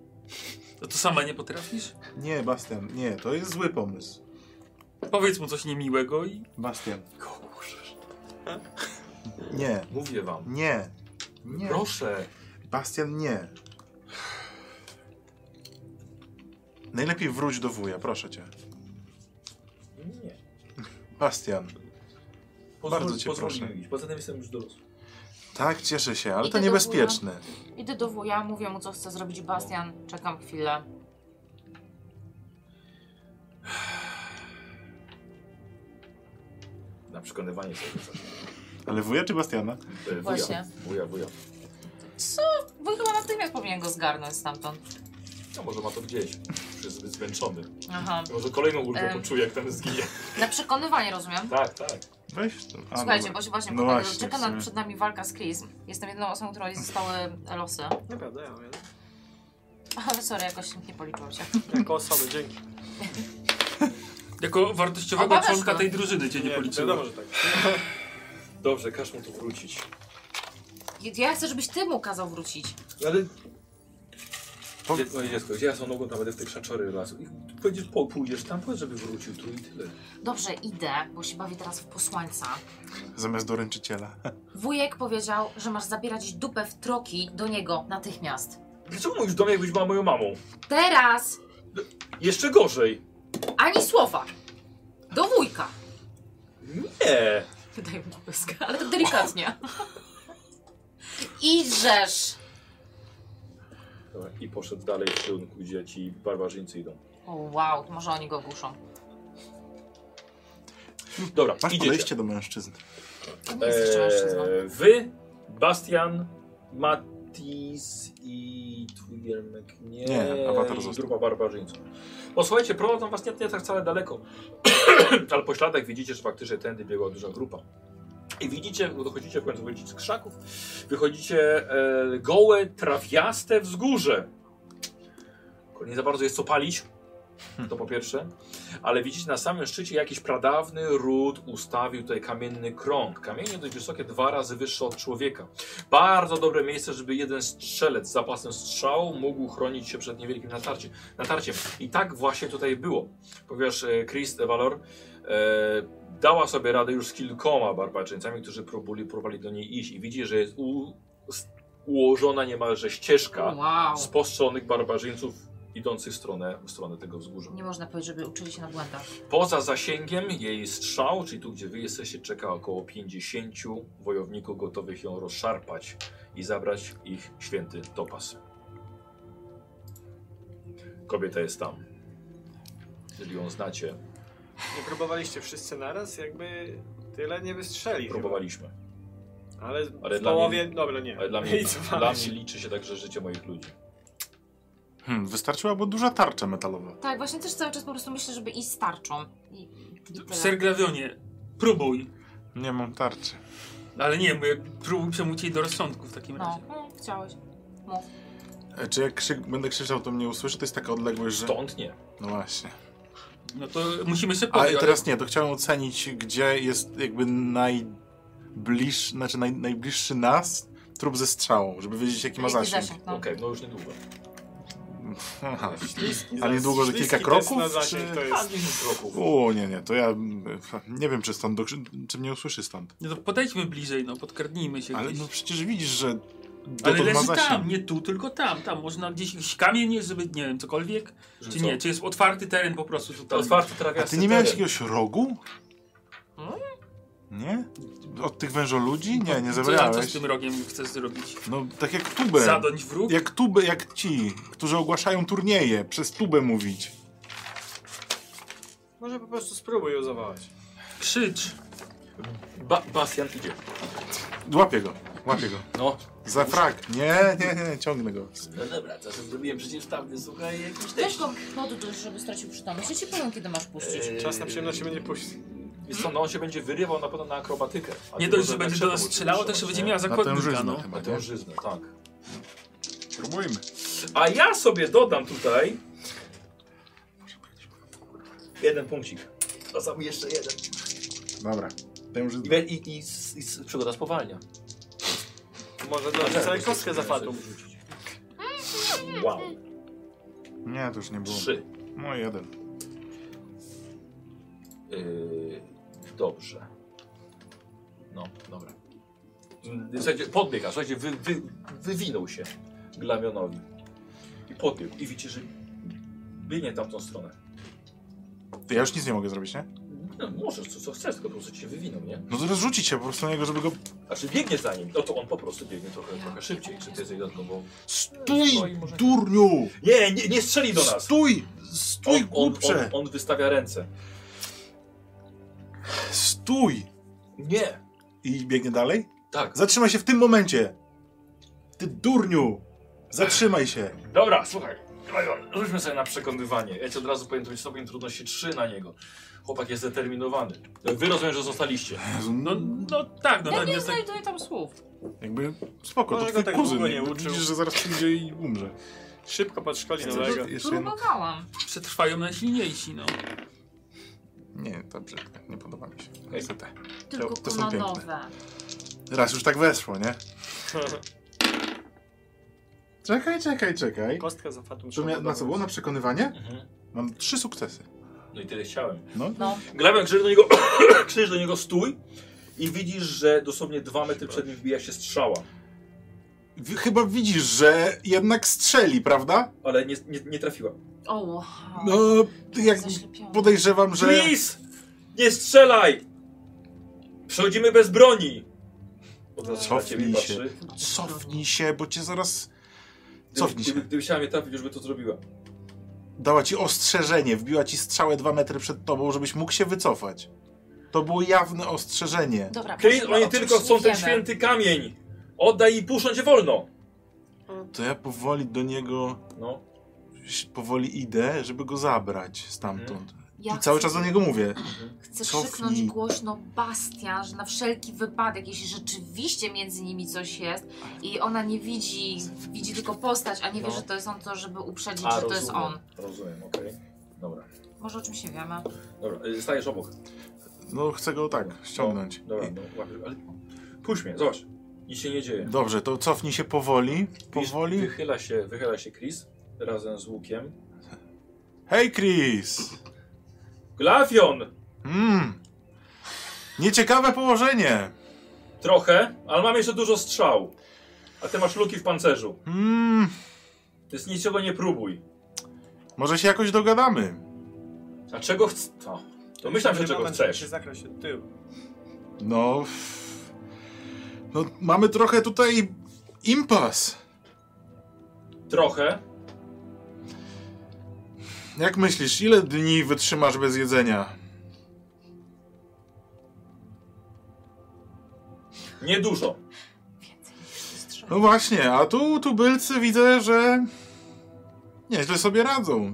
Speaker 5: To, to sama nie potrafisz?
Speaker 3: Nie, Bastian, nie, to jest zły pomysł.
Speaker 5: Powiedz mu coś niemiłego i
Speaker 3: Bastian,
Speaker 1: Kurczę,
Speaker 3: nie,
Speaker 1: Mówię wam.
Speaker 3: nie, nie.
Speaker 1: Proszę.
Speaker 3: Bastian, nie. Najlepiej wróć do wuja, proszę cię.
Speaker 1: Nie.
Speaker 3: Bastian,
Speaker 1: Pozwól,
Speaker 3: Bardzo cię
Speaker 1: pozwól mi
Speaker 3: proszę.
Speaker 1: iść. Poza tym jestem już dorosły.
Speaker 3: tak, cieszę się, ale
Speaker 2: Idę
Speaker 3: to
Speaker 2: do
Speaker 3: niebezpieczne.
Speaker 2: Idę do wuja, mówię mu, co chce zrobić Bastian, czekam chwilę.
Speaker 1: Na przekonywanie sobie.
Speaker 3: Ale wuja czy Bastiana?
Speaker 1: E, Wuja,
Speaker 2: Właśnie.
Speaker 1: Wuja, wuja.
Speaker 2: Wuj chyba natychmiast powinien go zgarnąć stamtąd.
Speaker 1: No może ma to gdzieś. Już jest zbyt zmęczony.
Speaker 2: Aha. E.
Speaker 1: Może kolejną ulgę
Speaker 2: Em.
Speaker 1: poczuje, jak ten zginie.
Speaker 2: Na przekonywanie, rozumiem?
Speaker 1: Tak, tak.
Speaker 3: Weź to. A,
Speaker 2: Słuchajcie,
Speaker 3: dobra.
Speaker 2: bo się właśnie,
Speaker 3: No
Speaker 2: no
Speaker 3: właśnie,
Speaker 2: czeka
Speaker 3: w sumie.
Speaker 2: nad, przed nami walka z Chris. Jestem jedną osobą, której zostały losy.
Speaker 4: Naprawdę, ja mówię.
Speaker 2: Ale sorry, jakoś nie policzyłam się.
Speaker 4: Jako osoby, dzięki.
Speaker 5: jako wartościowego
Speaker 2: Obawiasz
Speaker 5: członka
Speaker 2: go.
Speaker 5: tej drużyny cię nie policzyłem.
Speaker 4: Wiadomo, że tak.
Speaker 1: Dobrze, każ mu tu wrócić.
Speaker 2: Ja chcę, żebyś ty mu kazał wrócić.
Speaker 1: Ale Gdzie, moje dziecko, gdzie ja są nogą tam będę w tej szaczory lasu? I Pójdziesz, po, pójdziesz tam, powiedz, żeby wrócił tu i tyle.
Speaker 2: Dobrze, idę, bo się bawię teraz w posłańca.
Speaker 3: Zamiast doręczyciela.
Speaker 2: Wujek powiedział, że masz zabierać dupę w troki do niego natychmiast.
Speaker 1: Dlaczego mówisz do mnie, jakbyś była moją mamą?
Speaker 2: Teraz
Speaker 1: Jeszcze gorzej.
Speaker 2: ani słowa. Do wujka.
Speaker 1: Nie.
Speaker 2: Wydaje mi łyskę, ale tak delikatnie. Idziesz.
Speaker 1: Dobra, I poszedł dalej w kierunku, gdzie ci barbarzyńcy idą.
Speaker 2: O, wow, może oni go ogłuszą.
Speaker 1: Dobra,
Speaker 3: Masz
Speaker 1: idziecie.
Speaker 3: podejście do mężczyzn.
Speaker 2: To nie jest jeszcze mężczyzna.
Speaker 1: Eee, wy, Bastian, Matis i twój Jermek. Nie,
Speaker 3: Nie, awatar
Speaker 1: i
Speaker 3: został.
Speaker 1: Grupa barbarzyńców. Posłuchajcie, prowadzą was nie, nie tak wcale daleko. Ale po śladach widzicie, że faktycznie tędy biegła duża grupa. I widzicie, bo dochodzicie w końcu wychodzicie z krzaków, wychodzicie e, gołe, trawiaste wzgórze. Nie za bardzo jest co palić, to po pierwsze. Ale widzicie, na samym szczycie jakiś pradawny ród ustawił tutaj kamienny krąg. Kamienie dość wysokie, dwa razy wyższe od człowieka. Bardzo dobre miejsce, żeby jeden strzelec z zapasem strzału mógł chronić się przed niewielkim natarciem. natarciem. I tak właśnie tutaj było. Ponieważ e, Chris de Valor e, dała sobie radę już z kilkoma barbarzyńcami, którzy próbowali, próbowali do niej iść. I widzi, że jest u, s- ułożona niemalże ścieżka
Speaker 2: Wow.
Speaker 1: z postrzelonych barbarzyńców idących w stronę, w stronę tego wzgórza.
Speaker 2: Nie można powiedzieć, żeby uczyli się na błędach.
Speaker 1: Poza zasięgiem jej strzał, czyli tu gdzie wy jesteście, czeka około 50 wojowników gotowych ją rozszarpać i zabrać ich święty topas. Kobieta jest tam. Jeżeli ją znacie,
Speaker 4: Nie próbowaliście wszyscy naraz? Jakby tyle nie wystrzeli.
Speaker 1: próbowaliśmy.
Speaker 4: chyba. Ale,
Speaker 1: Ale
Speaker 4: w
Speaker 1: dla
Speaker 4: połowie... Dobra, nie.
Speaker 1: Ale dla mnie,
Speaker 4: I co
Speaker 1: dla
Speaker 4: mamy?
Speaker 1: mnie liczy się także życie moich ludzi.
Speaker 3: Hmm, wystarczyłaby duża tarcza metalowa.
Speaker 2: Tak, właśnie też cały czas po prostu myślę, żeby iść z tarczą. I, i
Speaker 5: No,
Speaker 2: tyle.
Speaker 5: Serglawionie, próbuj.
Speaker 3: Nie mam tarczy.
Speaker 5: Ale nie, bo jak próbuj przemówić jej do rozsądku w takim
Speaker 2: No,
Speaker 5: razie.
Speaker 2: mm, chciałeś. Mów.
Speaker 3: E, Czy jak krzyk, będę krzyczał, to mnie usłyszy? To jest taka odległość, że...
Speaker 1: Stąd nie.
Speaker 3: No właśnie.
Speaker 5: No to musimy szybko.
Speaker 3: A i teraz nie, to chciałem ocenić, gdzie jest jakby najbliższy, znaczy naj, najbliższy nas trup ze strzałą, żeby wiedzieć jaki ma
Speaker 2: Jaki
Speaker 3: zasięg.
Speaker 2: zasięg,
Speaker 1: Okej,
Speaker 2: no.
Speaker 1: no już niedługo.
Speaker 3: Aha.
Speaker 4: Śliski
Speaker 3: A
Speaker 4: za-
Speaker 3: niedługo, że
Speaker 4: śliski
Speaker 3: kilka
Speaker 4: test
Speaker 3: kroków,
Speaker 4: na zasięg
Speaker 3: czy-
Speaker 4: to
Speaker 1: A,
Speaker 4: jest.
Speaker 1: 10 kroków.
Speaker 3: O nie, nie, to ja mm, nie wiem czy stąd, do, czy mnie usłyszy stąd.
Speaker 5: No to podejdźmy bliżej, no, podkradnijmy się
Speaker 3: Ale
Speaker 5: gdzieś.
Speaker 3: no przecież widzisz, że
Speaker 5: Ale
Speaker 3: dotąd ma
Speaker 5: leży tam,
Speaker 3: zasięg.
Speaker 5: nie tu, tylko tam, tam. Można gdzieś jakiś kamień jest, żeby, nie wiem, cokolwiek.
Speaker 1: Że
Speaker 5: Czy
Speaker 1: co?
Speaker 5: nie, czy jest otwarty teren po prostu
Speaker 1: To
Speaker 5: tutaj.
Speaker 1: otwarty
Speaker 3: A
Speaker 1: trawiasty
Speaker 3: ty nie miałeś
Speaker 1: teren.
Speaker 3: jakiegoś rogu?
Speaker 5: Hmm?
Speaker 3: Nie? Od tych wężoludzi? Nie, nie
Speaker 5: No Co, co z
Speaker 3: zabrałeś.
Speaker 5: tym rogiem chcesz zrobić?
Speaker 3: No tak jak tubę.
Speaker 5: Zadąć wróg?
Speaker 3: Jak tubę, jak ci, którzy ogłaszają turnieje, przez tubę mówić.
Speaker 4: Może po prostu spróbuj ją zawołać.
Speaker 5: Krzycz.
Speaker 1: Ba Bastian idzie.
Speaker 3: Łapię go, łapię go.
Speaker 1: No.
Speaker 3: Za frak. Nie, nie, nie, ciągnę go.
Speaker 7: No dobra, to co zrobiłem przecież tam, słuchaj, jakiś
Speaker 2: Weź
Speaker 7: też.
Speaker 2: go poddusz, żeby stracił przytomność. Ja ci powiem, kiedy masz puścić.
Speaker 4: Czas na
Speaker 7: Eee,
Speaker 4: przyjemność się będzie puścić.
Speaker 1: Jest to, no on się będzie wyrywał na pewno na akrobatykę. A
Speaker 5: Nie
Speaker 1: ty
Speaker 5: dość,
Speaker 1: go
Speaker 5: że będzie do nas
Speaker 1: krzepą
Speaker 5: strzelało, to
Speaker 1: utrzymać,
Speaker 5: jeszcze będzie
Speaker 1: nie?
Speaker 5: miała zakładnika,
Speaker 3: tężyznę
Speaker 5: no.
Speaker 3: chyba.
Speaker 1: Na tężyznę, tak.
Speaker 3: Próbujmy.
Speaker 1: A ja sobie dodam tutaj jeden punkcik.
Speaker 7: To sam jeszcze jeden.
Speaker 3: Dobra.
Speaker 1: I,
Speaker 3: Tężyzna.
Speaker 1: we- i, i, s- i s- przygoda spowalnia. Tak,
Speaker 4: Może
Speaker 5: Tak,
Speaker 4: dla sobie kostkę za fatum.
Speaker 1: Wow.
Speaker 3: Nie, to już nie było.
Speaker 1: Trzy.
Speaker 3: No jeden.
Speaker 1: Yy, dobrze. No, dobra. Mm, Słuchajcie, podbiega, słuchajcie, wy, wy, wywinął się Glamionowi. I podbiegł. I widzicie, że biegnie w tamtą stronę.
Speaker 3: Ty, ja już nic nie mogę zrobić, nie?
Speaker 1: No, możesz, co, co chcesz, tylko po prostu ci się wywinął, nie?
Speaker 3: No to rozrzucić się po prostu na niego, żeby go...
Speaker 1: Znaczy biegnie za nim, no to on po prostu biegnie trochę, trochę szybciej, czy ty jesteś dodatkowo...
Speaker 3: Stój, durniu!
Speaker 1: Nie, nie, nie strzeli do nas!
Speaker 3: Stój!
Speaker 1: On,
Speaker 3: Stój,
Speaker 1: on, on,
Speaker 3: głupcze!
Speaker 1: on wystawia ręce.
Speaker 3: Stój!
Speaker 1: Nie!
Speaker 3: I biegnie dalej?
Speaker 1: Tak.
Speaker 3: Zatrzymaj się w tym momencie! Ty durniu! Zatrzymaj się!
Speaker 1: Dobra, słuchaj, Klajon, rzućmy sobie na przekonywanie. Ja ci od razu powiem, to jest stopień trudności 3 na niego. Chłopak jest zdeterminowany. Wy rozumiem, że zostaliście.
Speaker 3: Jezu,
Speaker 5: No,
Speaker 3: no,
Speaker 5: no tak, no tak,
Speaker 2: Ja nie
Speaker 5: jest tak.
Speaker 2: znajduję tam słów.
Speaker 3: jakby spoko, to
Speaker 4: Może
Speaker 3: twój
Speaker 4: go tak
Speaker 3: kuzyn.
Speaker 4: długo nie
Speaker 3: jakby
Speaker 4: uczył.
Speaker 3: Widzisz, że zaraz przyjdzie i umrze.
Speaker 4: Szybko podszkoli
Speaker 3: Chcesz?
Speaker 4: nowego.
Speaker 3: Jeszcze jedno?
Speaker 2: Próbowałam.
Speaker 5: Przetrwają najsilniejsi, no.
Speaker 3: Nie, to brzydko. Nie podoba mi się. Niestety.
Speaker 2: Tylko
Speaker 3: to są piękne.
Speaker 2: kolanowe.
Speaker 3: Raz już tak weszło, nie? Czekaj, czekaj, czekaj.
Speaker 4: Kostka za fatum.
Speaker 3: To mia- na co było? Na przekonywanie?
Speaker 1: Mhm.
Speaker 3: Mam trzy sukcesy.
Speaker 1: No i tyle chciałem.
Speaker 3: No.
Speaker 2: No,
Speaker 1: Glawian krzyczy do niego, krzyczy do niego stój i widzisz, że dosłownie dwa metry przed nim wbija się strzała.
Speaker 3: Wy- Chyba widzisz, że jednak strzeli, prawda?
Speaker 1: Ale nie, nie, nie trafiła.
Speaker 2: o, wow.
Speaker 3: No, jak
Speaker 2: Zaślepiony.
Speaker 3: podejrzewam, że...
Speaker 1: Please! Nie strzelaj! Przechodzimy bez broni! Od razu na ciebie
Speaker 3: Cofnij się.
Speaker 1: patrzy.
Speaker 3: Cofnij się, bo cię zaraz...
Speaker 1: Gdyby-
Speaker 3: Cofnij
Speaker 1: Gdyby,
Speaker 3: się.
Speaker 1: gdyby chciała mnie trafić, już by to zrobiła.
Speaker 3: Dała ci ostrzeżenie, wbiła ci strzałę dwa metry przed tobą, żebyś mógł się wycofać. To było jawne ostrzeżenie.
Speaker 2: Dobra,
Speaker 1: Chris,
Speaker 2: proszę,
Speaker 1: oni
Speaker 2: o czymś
Speaker 1: tylko chcą
Speaker 2: nie
Speaker 1: ten
Speaker 2: wiemy.
Speaker 1: święty kamień! Oddaj i puszczą cię wolno!
Speaker 3: To ja powoli do niego...
Speaker 1: No,
Speaker 3: Powoli idę, żeby go zabrać stamtąd.
Speaker 2: Ja
Speaker 3: I cały czas do niego mówię.
Speaker 2: Chcę
Speaker 3: Cofnij.
Speaker 2: krzyknąć głośno Bastian, że na wszelki wypadek, jeśli rzeczywiście między nimi coś jest i ona nie widzi, widzi tylko postać, a nie wie,
Speaker 1: No.
Speaker 2: że to jest on, to żeby uprzedzić,
Speaker 1: A,
Speaker 2: że to jest
Speaker 1: rozumiem.
Speaker 2: on.
Speaker 1: rozumiem, okej. Dobra,
Speaker 2: Może o czym się wiemy.
Speaker 1: dobra, y, stajesz obok.
Speaker 3: No, chcę go tak ściągnąć.
Speaker 1: No, dobra, no, łapiesz, ale puść mnie, zobacz. Nic się nie dzieje.
Speaker 3: Dobrze, to cofnij się powoli. Powoli.
Speaker 1: Wiesz, Wychyla się, wychyla się Chris razem z łukiem.
Speaker 3: Hej, Chris!
Speaker 1: Glafion!
Speaker 3: Mm. Nieciekawe położenie.
Speaker 1: Trochę, ale mam jeszcze dużo strzał. A ty masz luki w pancerzu.
Speaker 3: Mm.
Speaker 1: Więc niczego nie próbuj.
Speaker 3: Może się jakoś dogadamy.
Speaker 1: A czego chcesz? To domyślam się, czego chcesz.
Speaker 4: Zakra się tył.
Speaker 3: No. f- No, mamy trochę tutaj impas.
Speaker 1: Trochę.
Speaker 3: Jak myślisz, ile dni wytrzymasz bez jedzenia?
Speaker 1: Niedużo.
Speaker 2: Więcej niż strzał.
Speaker 3: No właśnie, a tu tubylcy widzę, że nieźle sobie radzą.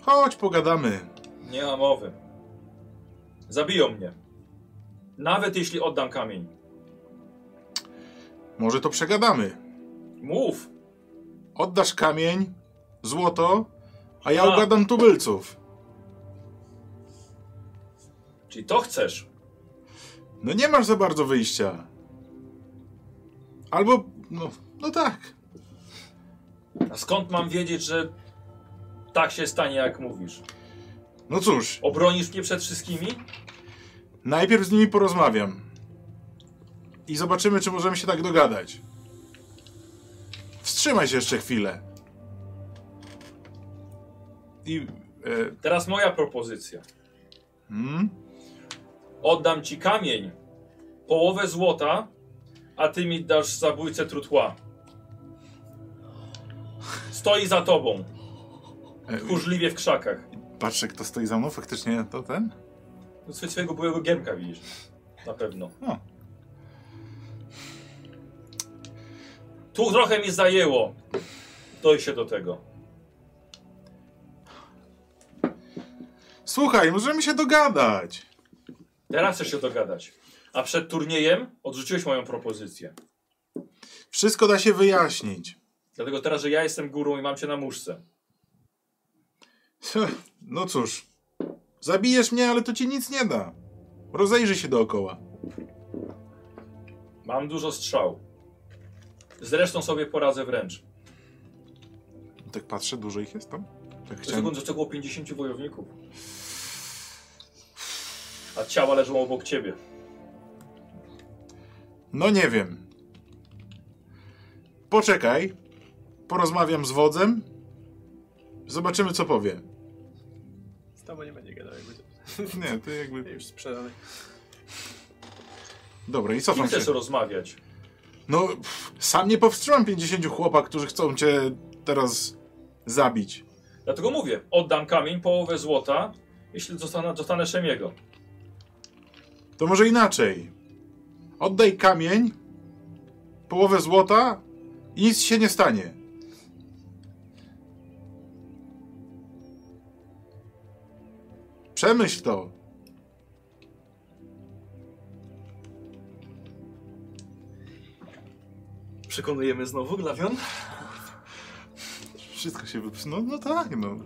Speaker 3: Chodź, pogadamy.
Speaker 1: Nie ma mowy. Zabiją mnie. Nawet jeśli oddam kamień.
Speaker 3: Może to przegadamy.
Speaker 1: Mów.
Speaker 3: Oddasz kamień, złoto, a ja
Speaker 1: A.
Speaker 3: ugadam tubylców.
Speaker 1: Czyli to chcesz.
Speaker 3: No nie masz za bardzo wyjścia. Albo, no, no tak.
Speaker 1: A skąd mam wiedzieć, że tak się stanie, jak mówisz?
Speaker 3: No cóż,
Speaker 1: Obronisz mnie przed wszystkimi?
Speaker 3: najpierw z nimi porozmawiam. I zobaczymy, czy możemy się tak dogadać. Wstrzymaj się jeszcze chwilę. I, e,
Speaker 1: Teraz moja propozycja.
Speaker 3: hmm?
Speaker 1: Oddam ci kamień, połowę złota, a ty mi dasz zabójcę trutła. Stoi za tobą,
Speaker 3: e,
Speaker 1: tchórzliwie w krzakach.
Speaker 3: patrzę, kto stoi za mną, faktycznie to ten?
Speaker 1: No swe- swojego byłego giermka widzisz. Na pewno.
Speaker 3: O.
Speaker 1: Tu trochę mi zajęło dojść się do tego.
Speaker 3: Słuchaj, możemy się dogadać.
Speaker 1: Teraz chcesz się dogadać. A przed turniejem odrzuciłeś moją propozycję.
Speaker 3: Wszystko da się wyjaśnić.
Speaker 1: Dlatego teraz, że ja jestem górą i mam cię na muszce.
Speaker 3: No cóż, zabijesz mnie, ale to ci nic nie da. Rozejrzyj się dookoła.
Speaker 1: Mam dużo strzał. Zresztą sobie poradzę wręcz.
Speaker 3: Tak patrzę, dużo ich jest tam. Tak
Speaker 1: Chciałem...
Speaker 3: chciałem...
Speaker 1: Sekundę, to było 50 wojowników. A ciała leżą obok ciebie.
Speaker 3: No nie wiem. Poczekaj. Porozmawiam z wodzem. Zobaczymy, co powie.
Speaker 4: Z tobą nie będzie gadał, jak będzie.
Speaker 3: Nie, to jakby...
Speaker 4: Już sprzedany.
Speaker 3: Dobra, i
Speaker 1: Z kim
Speaker 3: cofam się.
Speaker 1: chcesz rozmawiać?
Speaker 3: No, pff, sam nie powstrzymam 50 chłopa, którzy chcą cię teraz zabić.
Speaker 1: Dlatego mówię, oddam kamień, połowę złota, jeśli dostanę, dostanę Szemiego.
Speaker 3: To może inaczej. Oddaj kamień, połowę złota i nic się nie stanie. Przemyśl to.
Speaker 7: Przekonujemy znowu Glawion?
Speaker 3: Wszystko się wypsuje. No, no tak, no.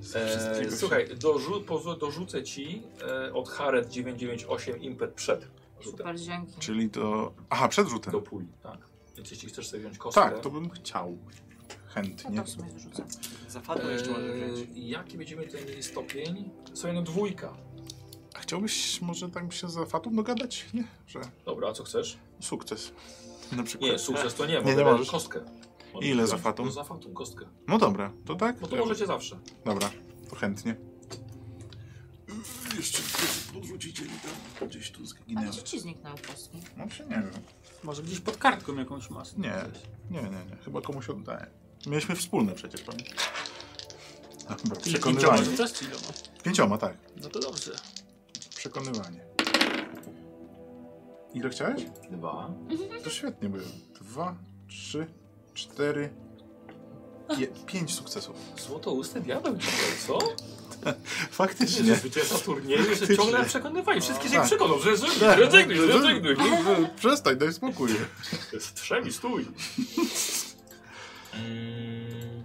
Speaker 3: Z wszystkiego
Speaker 1: Eee,
Speaker 3: się-
Speaker 1: słuchaj, dorzu, pozu, dorzucę ci e, od Haret 998 impet przed. rzutem.
Speaker 2: Super, dzięki.
Speaker 3: Czyli to... Aha, przed rzutem.
Speaker 1: Do puli, tak. Więc jeśli chcesz sobie wziąć kostkę... e,
Speaker 3: Tak, to bym chciał.
Speaker 2: No
Speaker 3: Chętnie.
Speaker 2: to w sumie wyrzucę.
Speaker 4: Za fadło jeszcze można wziąć.
Speaker 1: Eee, Jaki będziemy tutaj mieli stopień? Słuchaj, no dwójka.
Speaker 3: A chciałbyś może tak się za Fatum dogadać? Nie? Że
Speaker 1: Dobra, a co chcesz?
Speaker 3: sukces. Na przykład.
Speaker 1: Nie, sukces to nie, bo
Speaker 3: nie
Speaker 1: nie
Speaker 3: możesz.
Speaker 1: kostkę. Możesz
Speaker 3: Ile za
Speaker 1: wziąć.
Speaker 3: fatum?
Speaker 1: No za fatum, kostkę.
Speaker 3: No dobra, to tak?
Speaker 1: No to możecie zawsze.
Speaker 3: Dobra, to chętnie.
Speaker 7: Yy, Jeszcze podrzucicie mi tam gdzieś tu
Speaker 2: A
Speaker 7: zginęło.
Speaker 2: gdzie ci zniknęły kostki?
Speaker 3: No się nie wiem.
Speaker 5: Może gdzieś pod kartką jakąś masz.
Speaker 3: Nie. Nie, nie, nie. Chyba komuś oddaję. Mieliśmy wspólne przecież, pamiętam. Dobra,
Speaker 5: Ile pięcioma
Speaker 3: przekonywanie.
Speaker 5: rzucasz? czy iloma?
Speaker 3: Pięcioma, tak.
Speaker 5: No to dobrze.
Speaker 3: Przekonywanie. Ile chciałeś?
Speaker 1: Dwa.
Speaker 3: To świetnie było. Dwa, trzy, cztery, je, pięć sukcesów.
Speaker 1: Złoto ustę diabeł dzisiaj, co?
Speaker 3: Faktycznie.
Speaker 1: Zwycięża turnieju, że
Speaker 3: Faktycznie.
Speaker 1: ciągle przekonywali. Wszystkie się
Speaker 3: Tak.
Speaker 1: przekonał, że
Speaker 3: Tak.
Speaker 1: zrezygnuj, zrezygnuj.
Speaker 3: Przestań, daj spokój.
Speaker 1: Strzemi, stój. Mm.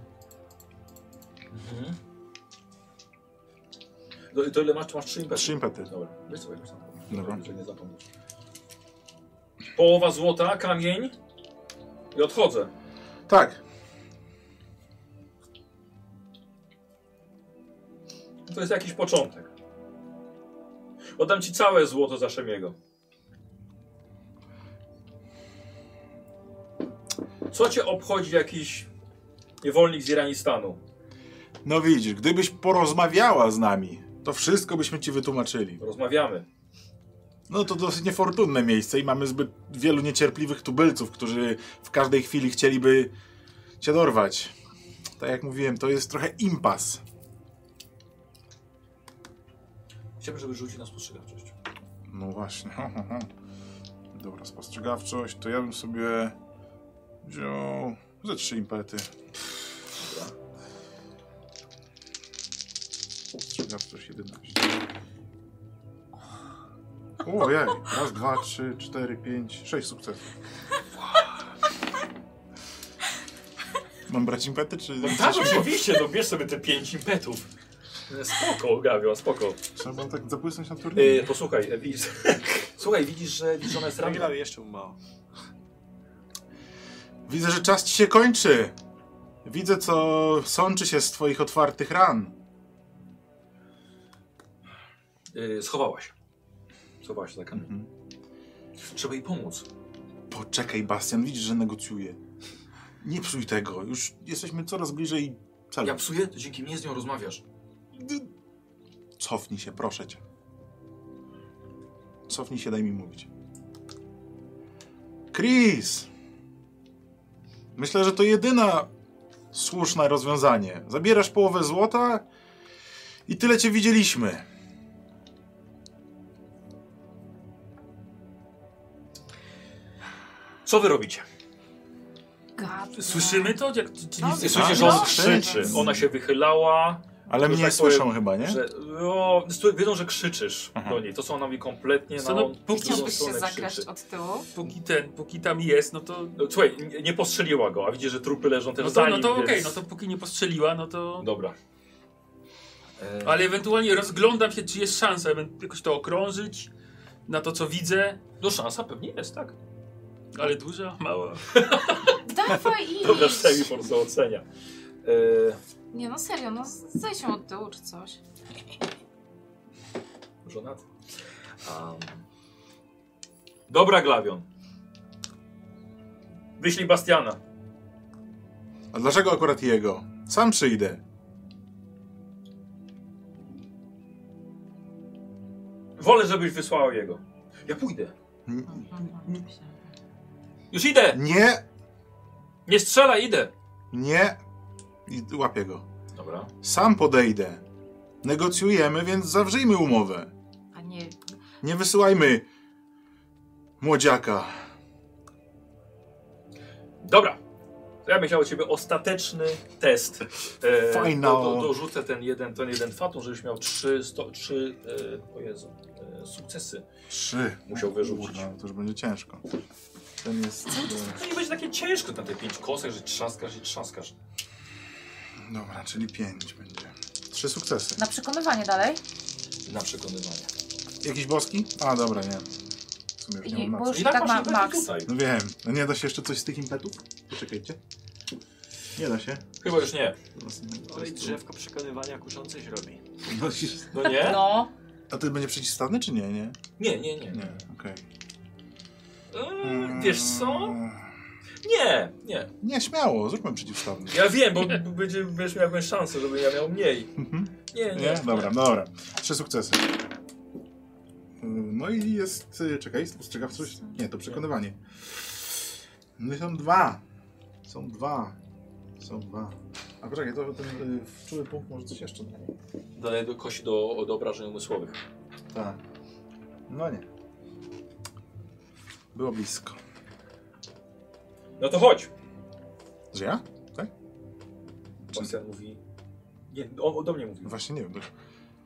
Speaker 1: Mhm. No To, to ile masz? Czy masz trzy impety?
Speaker 3: Trzy impety.
Speaker 1: Dobra, wiesz co, jakoś tam.
Speaker 3: Dobra.
Speaker 1: Żeby nie zapomnieć. Połowa złota, kamień i odchodzę.
Speaker 3: Tak,
Speaker 1: To jest jakiś początek. Oddam ci całe złoto za Szemiego. Co cię obchodzi jakiś niewolnik z Iranistanu?
Speaker 3: No widzisz, gdybyś porozmawiała z nami, to wszystko byśmy ci wytłumaczyli.
Speaker 1: Rozmawiamy.
Speaker 3: No to dosyć niefortunne miejsce i mamy zbyt wielu niecierpliwych tubylców, którzy w każdej chwili chcieliby cię dorwać. Tak jak mówiłem, to jest trochę impas.
Speaker 1: Chciałbym, żeby rzucił na spostrzegawczość.
Speaker 3: No właśnie. ho, ho, ho. Dobra, spostrzegawczość, to ja bym sobie wziął ze trzy impety. Spostrzegawczość 11. Ojej, raz, dwa, trzy, cztery, pięć, sześć sukcesów. Mam brać impety, czy...
Speaker 1: Tak, oczywiście, no bierz sobie te pięć impetów. Spoko, Gawio, spoko.
Speaker 3: Trzeba było tak zapłysnąć na turnieju.
Speaker 1: E, posłuchaj, e, widzisz, słuchaj, widzisz, że widzisz, że ona jest ranna.
Speaker 4: Regulały jeszcze mu mało.
Speaker 3: Widzę, że czas ci się kończy. Widzę, co sączy się z twoich otwartych ran.
Speaker 1: E, schowałaś. Schowałaś się za kamień.
Speaker 3: Mhm.
Speaker 1: Trzeba jej pomóc.
Speaker 3: Poczekaj, Bastian, widzisz, że negocjuję. Nie psuj tego, już jesteśmy coraz bliżej celu.
Speaker 1: Ja psuję, to dzięki mnie z nią rozmawiasz.
Speaker 3: Cofnij się, proszę cię. Cofnij się, daj mi mówić. Chris! Myślę, że to jedyna słuszne rozwiązanie. Zabierasz połowę złota i tyle cię widzieliśmy.
Speaker 1: Co wy robicie?
Speaker 2: Gadne.
Speaker 5: Słyszymy to? Jak, czy, czy
Speaker 2: No,
Speaker 5: nic nie
Speaker 2: tak.
Speaker 1: Słyszycie, że
Speaker 3: no,
Speaker 1: on
Speaker 3: no,
Speaker 1: krzyczy.
Speaker 3: no.
Speaker 1: Ona się wychylała,
Speaker 3: Ale
Speaker 1: To
Speaker 3: mnie
Speaker 1: tak
Speaker 3: słyszą
Speaker 1: powiem,
Speaker 3: chyba, nie?
Speaker 1: że no, stu- wiedzą, że krzyczysz
Speaker 3: Aha.
Speaker 1: do niej. To są ona mówi kompletnie na
Speaker 5: Co, no,
Speaker 1: na
Speaker 5: póki-
Speaker 1: drugą
Speaker 2: Chciałbyś się
Speaker 1: stronę
Speaker 2: zakraść
Speaker 1: krzyczy.
Speaker 2: od tyłu?
Speaker 5: Póki ten, póki tam jest, no to...
Speaker 1: No, Słuchaj, nie, nie postrzeliła go, a widzisz, że trupy leżą też
Speaker 5: No
Speaker 1: za
Speaker 5: to, no
Speaker 1: nim,
Speaker 5: to okej,
Speaker 1: więc...
Speaker 5: no to póki nie postrzeliła, no to...
Speaker 1: Dobra. E,
Speaker 5: Ale ewentualnie rozglądam się, czy jest szansa ewen- jakoś to okrążyć, na to co widzę,
Speaker 1: No szansa pewnie jest, tak?
Speaker 5: ale duża, mała.
Speaker 2: Dawaj iść!
Speaker 1: Dobra, Szemi po prostu ocenia. E,
Speaker 2: Nie no serio, no z- zejdź się od tyłu czy coś.
Speaker 1: żonaty. Um. Dobra, Glawion. Wyślij Bastiana.
Speaker 3: A dlaczego akurat jego? Sam przyjdę.
Speaker 1: Wolę, żebyś wysłał jego. Ja pójdę.
Speaker 2: mhm,
Speaker 1: Już idę!
Speaker 3: Nie,
Speaker 1: Nie strzela, idę!
Speaker 3: nie. I łapię go.
Speaker 1: Dobra.
Speaker 3: Sam podejdę. Negocjujemy, więc zawrzyjmy umowę.
Speaker 2: A nie,
Speaker 3: Nie wysyłajmy młodziaka.
Speaker 1: Dobra. To ja bym chciał od ciebie ostateczny test. E,
Speaker 3: Final.
Speaker 1: do- do- Dorzucę ten jeden, ten jeden fatum, żebyś miał trzy, sto, trzy e, o Jezu, e, sukcesy.
Speaker 3: Trzy.
Speaker 1: Musiał wyrzucić.
Speaker 3: Kurwa, No, to już będzie ciężko. Ten jest...
Speaker 1: To nie będzie takie ciężko na te pięć kosek, że trzaskasz i trzaskasz.
Speaker 3: e, Dobra, czyli pięć będzie. Trzy sukcesy.
Speaker 2: na przekonywanie dalej.
Speaker 1: Na przekonywanie.
Speaker 3: Jakiś boski? A, dobra, nie. w sumie już nie
Speaker 2: I,
Speaker 3: mam
Speaker 2: bo
Speaker 3: na co.
Speaker 2: już i tak ma
Speaker 1: właśnie będzie
Speaker 2: max.
Speaker 1: Tutaj.
Speaker 3: No wiem. No nie da się jeszcze coś z tych impetów? Poczekajcie. Nie da się.
Speaker 1: Chyba już nie.
Speaker 3: Następnego
Speaker 4: Oj,
Speaker 3: testu.
Speaker 4: No drzewko przekonywania kuszących robi.
Speaker 3: Nosisz.
Speaker 1: No nie?
Speaker 2: No,
Speaker 3: A to będzie przeciwstawny czy nie? Nie.
Speaker 1: Nie, nie, nie.
Speaker 3: Nie, okej. Mm.
Speaker 1: Eee, wiesz co? Nie, nie.
Speaker 3: Nie, śmiało, zróbmy przeciwstawny.
Speaker 1: Ja wiem, bo będzie, będziesz miał jakąś szansę, żeby ja miał mniej.
Speaker 3: Mhm.
Speaker 1: Nie, nie.
Speaker 3: Nie? Dobra, no dobra. Trzy sukcesy. Yy, No i jest. yy, Czekaj, spostrzegawczość? Nie, to przekonywanie. No i są dwa. Są dwa. Są dwa. A poczekaj, to ten yy, czuły punkt może coś jeszcze daje.
Speaker 1: Daję do kości do, do obrażeń umysłowych.
Speaker 3: Tak. No nie. Było blisko.
Speaker 1: No to chodź.
Speaker 3: Że ja?
Speaker 1: Bastian mówi. Nie, on do mnie mówi.
Speaker 3: No Właśnie nie wiem.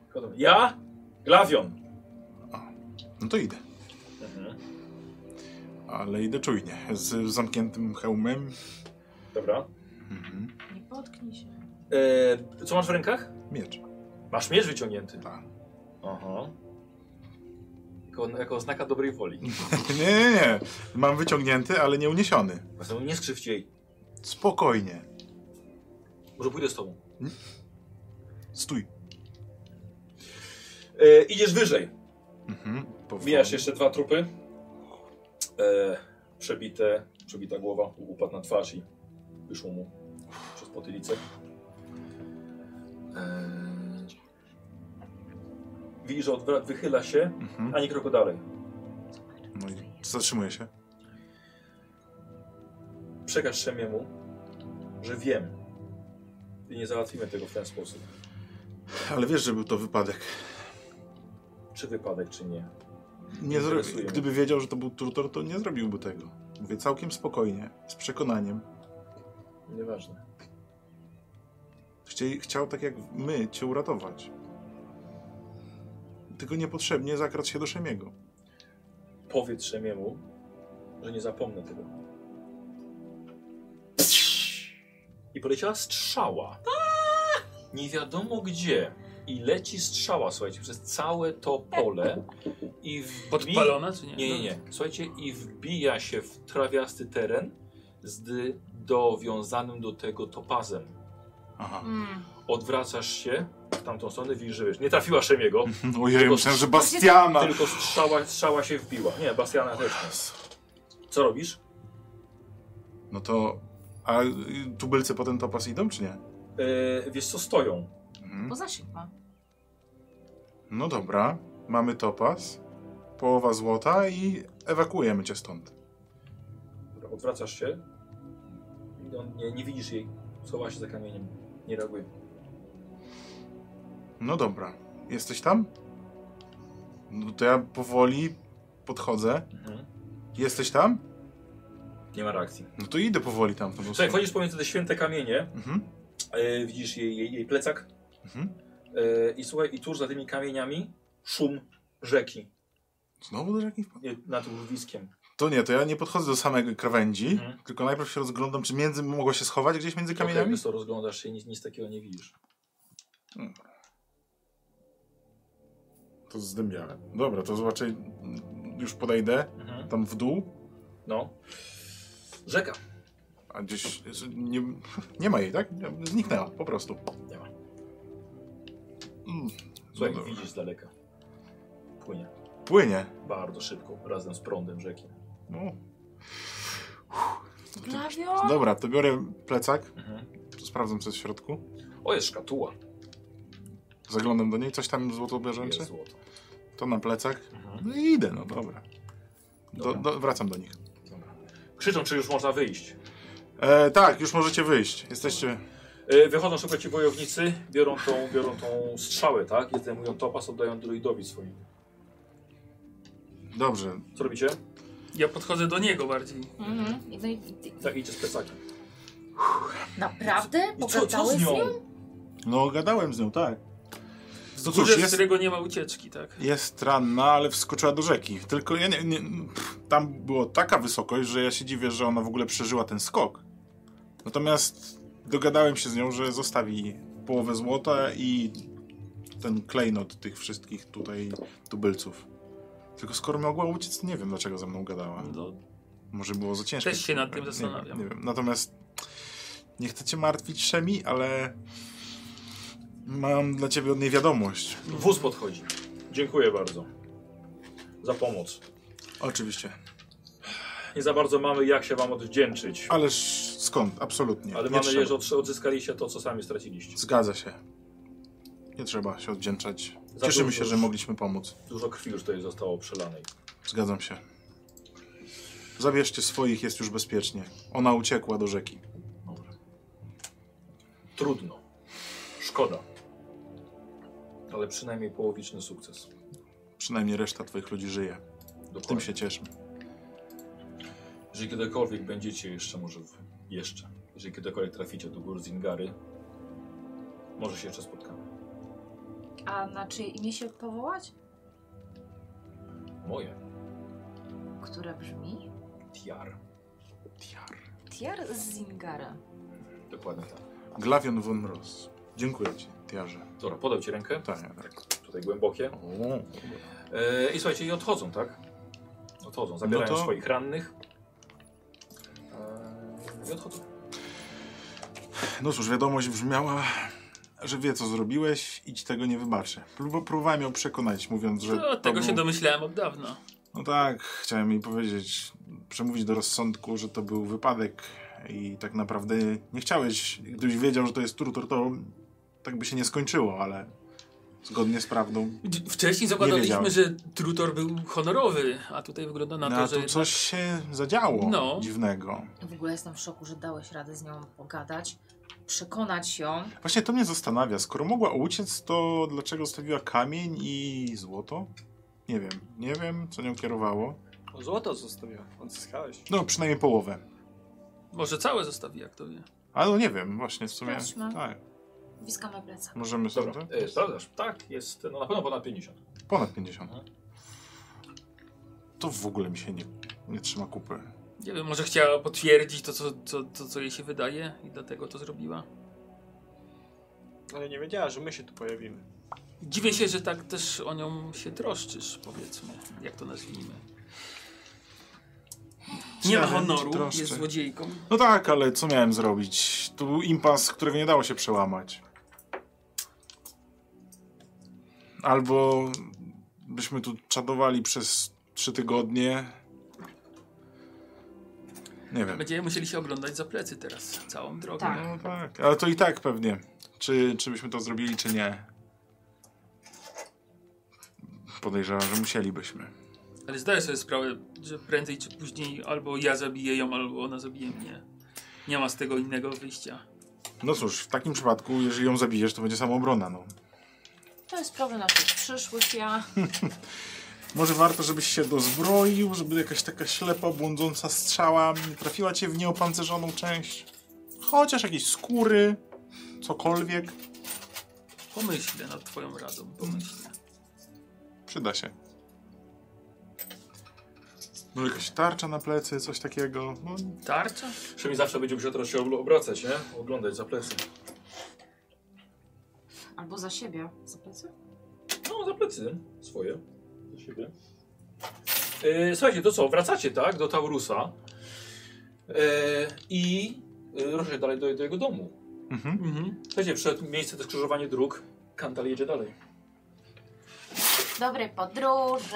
Speaker 1: Tylko do mnie. Ja? Glawion.
Speaker 3: No to idę. Ale idę czujnie. Z zamkniętym hełmem.
Speaker 1: Dobra.
Speaker 3: Mhm.
Speaker 2: nie potknij się.
Speaker 1: E, co masz w rękach?
Speaker 3: Miecz.
Speaker 1: Masz miecz wyciągnięty.
Speaker 3: Tak.
Speaker 1: Aha. Jako, jako oznaka dobrej woli.
Speaker 3: Nie, nie, nie. Mam wyciągnięty, ale nie uniesiony.
Speaker 1: Zatem nie skrzywdź jej.
Speaker 3: Spokojnie.
Speaker 1: Może pójdę z tobą.
Speaker 3: Stój.
Speaker 1: E, idziesz wyżej.
Speaker 3: Mhm. Powoli.
Speaker 1: Mijasz jeszcze dwa trupy. E, przebite, przebita głowa, upadł na twarz i wyszło mu przez potylicę. E, widzisz, że odwra- wychyla się,
Speaker 3: Mhm.
Speaker 1: ani kroku dalej.
Speaker 3: No i zatrzymuje się.
Speaker 1: Przekaż Szemiemu, że wiem. I nie załatwimy tego w ten sposób.
Speaker 3: Ale wiesz, że był to wypadek.
Speaker 1: Czy wypadek, czy nie.
Speaker 3: Nie zro...
Speaker 1: Interesuje mnie.
Speaker 3: Gdyby wiedział, że to był trutor, to nie zrobiłby tego. Mówię całkiem spokojnie, z przekonaniem.
Speaker 1: Nieważne.
Speaker 3: Chcie... Chciał tak jak my cię uratować. Tylko niepotrzebnie zakradł się do Szemiego.
Speaker 1: Powiedz Szemiemu, że nie zapomnę tego. I poleciała strzała. Nie wiadomo gdzie. I leci strzała, słuchajcie, przez całe to pole. I wbi-
Speaker 5: Podpalona czy nie?
Speaker 1: Nie, nie, nie. Słuchajcie, i wbija się w trawiasty teren z d- dowiązanym do tego topazem.
Speaker 3: Aha.
Speaker 2: Mm.
Speaker 1: Odwracasz się w tamtą stronę, widzisz, że wiesz, nie trafiła Szemiego,
Speaker 3: Ojej,
Speaker 1: Hmm. Tylko-
Speaker 3: myślałem, że Bastiana!
Speaker 1: tylko strzała, strzała się wbiła. Nie, Bastiana też nie. Co robisz?
Speaker 3: No to... A y, tubylcy potem topas idą, czy nie?
Speaker 1: Yy, wiesz co, stoją.
Speaker 3: Mhm.
Speaker 2: Bo zasięg ma.
Speaker 3: No dobra, mamy topas, połowa złota i ewakuujemy cię stąd.
Speaker 1: Dobra, Odwracasz się. I On, nie, nie widzisz jej. Schowa się za kamieniem. Nie reaguje.
Speaker 3: No dobra, jesteś tam? No to ja powoli podchodzę.
Speaker 1: Mhm.
Speaker 3: Jesteś tam?
Speaker 1: Nie ma reakcji.
Speaker 3: No to idę powoli tam. w tą
Speaker 1: Słuchaj,
Speaker 3: stronę.
Speaker 1: wchodzisz pomiędzy te święte kamienie.
Speaker 3: Mhm.
Speaker 1: E, widzisz jej, jej, jej plecak.
Speaker 3: Mhm.
Speaker 1: E, I słuchaj, i tuż za tymi kamieniami szum rzeki.
Speaker 3: Znowu do rzeki wpadł?
Speaker 1: Nie, nad urwiskiem.
Speaker 3: To nie, to ja nie podchodzę do samej krawędzi,
Speaker 1: Mhm.
Speaker 3: tylko najpierw się rozglądam, czy między mogło się schować gdzieś między kamieniami?
Speaker 1: Okay, rozglądasz się i nic, nic takiego nie widzisz.
Speaker 3: To zdębiałem. Dobra, to zobaczę, już podejdę
Speaker 1: Mhm.
Speaker 3: tam w dół,
Speaker 1: No. Rzeka.
Speaker 3: a gdzieś nie, nie ma jej, tak? Zniknęła po prostu.
Speaker 1: Nie ma.
Speaker 3: Mm.
Speaker 1: Słuchaj,
Speaker 3: No dobra.
Speaker 1: widzisz z daleka. Płynie.
Speaker 3: Płynie.
Speaker 1: Bardzo szybko, razem z prądem rzeki.
Speaker 3: No.
Speaker 2: Glawion!
Speaker 1: no.
Speaker 3: Dobra, to biorę plecak,
Speaker 1: Mhm.
Speaker 3: sprawdzam co jest w środku.
Speaker 1: O, jest szkatuła.
Speaker 3: Zaglądam do niej, coś tam złoto
Speaker 1: Jest
Speaker 3: bierzęczy,
Speaker 1: złoto.
Speaker 3: to na plecak.
Speaker 1: Mhm.
Speaker 3: No i idę, no dobra. Do,
Speaker 1: Dobra.
Speaker 3: do, wracam do nich.
Speaker 1: Dobra. Krzyczą, czy już można wyjść.
Speaker 3: E, tak, już możecie wyjść. Jesteście.
Speaker 1: E, Wychodzą szybko ci wojownicy, biorą tą, biorą tą strzałę, tak? I zdejmują topas, oddają druidowi swoim.
Speaker 3: Dobrze.
Speaker 1: Co robicie?
Speaker 5: Ja podchodzę do niego bardziej.
Speaker 2: Mhm. I, no i, i,
Speaker 1: Tak, idzie z plecakiem.
Speaker 2: naprawdę?
Speaker 1: I co, co
Speaker 2: Pogadałeś
Speaker 1: z nią?
Speaker 3: No, gadałem z nią, tak. No
Speaker 5: Z
Speaker 3: cóż,
Speaker 5: górze, z
Speaker 3: jest-
Speaker 5: którego nie ma ucieczki, tak?
Speaker 3: Jest ranna, ale wskoczyła do rzeki. Tylko ja nie, nie, pff, tam było taka wysokość, że ja się dziwię, że ona w ogóle przeżyła ten skok. Natomiast dogadałem się z nią, że zostawi połowę złota i ten klejnot tych wszystkich tutaj tubylców. Tylko skoro mogła uciec, to nie wiem dlaczego ze mną gadała.
Speaker 5: No,
Speaker 3: Może było za ciężko.
Speaker 5: Też się nad tym
Speaker 3: Nie wiem,
Speaker 5: zastanawiam.
Speaker 3: Nie, wiem. Natomiast nie chcę cię martwić, Szemi, ale mam dla ciebie od niej wiadomość.
Speaker 1: Wóz podchodzi. Dziękuję bardzo za pomoc.
Speaker 3: Oczywiście.
Speaker 1: Nie za bardzo mamy jak się wam odwdzięczyć,
Speaker 3: Ależ skąd? Absolutnie.
Speaker 1: ale
Speaker 3: Nie
Speaker 1: mam nadzieję, że
Speaker 3: trzeba.
Speaker 1: odsz- odzyskaliście to, co sami straciliście.
Speaker 3: Zgadza się. Nie trzeba się odwdzięczać.
Speaker 1: Za
Speaker 3: Cieszymy
Speaker 1: dużo
Speaker 3: się, że
Speaker 1: już.
Speaker 3: mogliśmy pomóc.
Speaker 1: Dużo krwi już tutaj zostało przelanej.
Speaker 3: Zgadzam się. Zabierzcie swoich, jest już bezpiecznie. Ona uciekła do rzeki.
Speaker 1: Dobra. Trudno. Szkoda. Ale przynajmniej połowiczny sukces.
Speaker 3: Przynajmniej reszta twoich ludzi żyje. Tym
Speaker 1: Dokładnie.
Speaker 3: się cieszymy.
Speaker 1: Jeżeli kiedykolwiek będziecie jeszcze, może w... jeszcze, jeżeli kiedykolwiek traficie do gór Zingary, może się jeszcze spotkamy.
Speaker 2: A na czyje imię się powołać?
Speaker 1: Moje.
Speaker 2: Które brzmi?
Speaker 1: Tiar.
Speaker 2: Tier z Zingara.
Speaker 1: Dokładnie tak.
Speaker 3: Glavion von Ross. Dziękuję ci, Tiarze.
Speaker 1: Dobra, podał ci rękę,
Speaker 3: Tak, tak.
Speaker 1: tutaj głębokie.
Speaker 3: O.
Speaker 1: E, I słuchajcie, i odchodzą, tak? Odchodzą, zabierają
Speaker 3: No to-
Speaker 1: swoich rannych. E, I odchodzą.
Speaker 3: No cóż, wiadomość brzmiała, że wie co zrobiłeś i ci tego nie wybaczy. Prób- próbowałem ją przekonać, mówiąc, że.
Speaker 1: No,
Speaker 5: to,
Speaker 3: to
Speaker 5: No, tego się
Speaker 3: był-
Speaker 5: domyślałem od dawna.
Speaker 3: No tak, chciałem jej powiedzieć, przemówić do rozsądku, że to był wypadek i tak naprawdę nie chciałeś. Gdybyś wiedział, że to jest tortur, to tak by się nie skończyło, ale zgodnie z prawdą.
Speaker 5: D- Wcześniej zakładaliśmy,
Speaker 3: wiedziałem.
Speaker 5: że Trutor był honorowy, a tutaj wygląda na
Speaker 3: No,
Speaker 5: to,
Speaker 3: a
Speaker 5: że...
Speaker 3: tu coś się zadziało
Speaker 5: No.
Speaker 3: dziwnego.
Speaker 2: W ogóle jestem w szoku, że dałeś radę z nią pogadać, przekonać ją.
Speaker 3: Właśnie to mnie zastanawia. Skoro mogła uciec, to dlaczego zostawiła kamień i złoto? Nie wiem, nie wiem, co nią kierowało.
Speaker 4: O, złoto zostawiła, odzyskałeś.
Speaker 3: No, przynajmniej połowę.
Speaker 5: Może całe zostawi, jak to wie.
Speaker 3: Ale no nie wiem, właśnie w sumie.
Speaker 2: Sprawdźmy.
Speaker 3: Tak,
Speaker 2: Wiskamy plecak.
Speaker 3: możemy sobie.
Speaker 1: Dobra, e, sprawdzasz? Tak, jest no, na pewno ponad 50.
Speaker 3: Ponad 50.
Speaker 1: Mhm.
Speaker 3: To w ogóle mi się nie, nie trzyma kupy.
Speaker 5: Nie wiem, może chciała potwierdzić to, co, co, to, co jej się wydaje i dlatego to zrobiła.
Speaker 4: Ale nie wiedziała, że my się tu pojawimy.
Speaker 5: Dziwię się, że tak też o nią się troszczysz, powiedzmy, jak to nazwijmy. Nie ma
Speaker 3: Ja
Speaker 5: honoru,
Speaker 3: troszczę.
Speaker 5: jest złodziejką.
Speaker 3: No tak, ale co miałem zrobić? Tu był impas, którego nie dało się przełamać. Albo byśmy tu czadowali przez trzy tygodnie. Nie wiem.
Speaker 5: Będziemy musieli się oglądać za plecy teraz, całą drogę.
Speaker 2: Tak.
Speaker 3: No tak, ale to i tak pewnie. Czy, czy byśmy to zrobili, czy nie? Podejrzewam, że musielibyśmy.
Speaker 5: Ale zdaję sobie sprawę, że prędzej czy później albo ja zabiję ją, albo ona zabije mnie. Nie ma z tego innego wyjścia.
Speaker 3: No cóż, w takim przypadku, jeżeli ją zabijesz, to będzie samoobrona, no.
Speaker 2: To jest problem naszych przyszłych ja.
Speaker 3: Może warto, żebyś się dozbroił, żeby jakaś taka ślepa, błądząca strzała nie trafiła cię w nieopancerzoną część. Chociaż jakieś skóry, cokolwiek.
Speaker 5: Pomyślę nad twoją radą, pomyślę.
Speaker 3: Przyda się. Może jakaś tarcza na plecy, coś takiego. No,
Speaker 5: Tarcza?
Speaker 1: Przynajmniej zawsze będzie musiał teraz się oblo- obracać, nie? Oglądać za plecy.
Speaker 2: Albo za siebie. Za plecy?
Speaker 1: No, za plecy swoje. Za siebie. E, słuchajcie, to co? Wracacie, tak? Do Taurusa. E, I e, ruszacie dalej do, do jego domu.
Speaker 3: mhm.
Speaker 5: Mhm.
Speaker 1: Słuchajcie, przed miejsce to skrzyżowanie dróg. Kantal jedzie dalej.
Speaker 2: Dobrej podróży.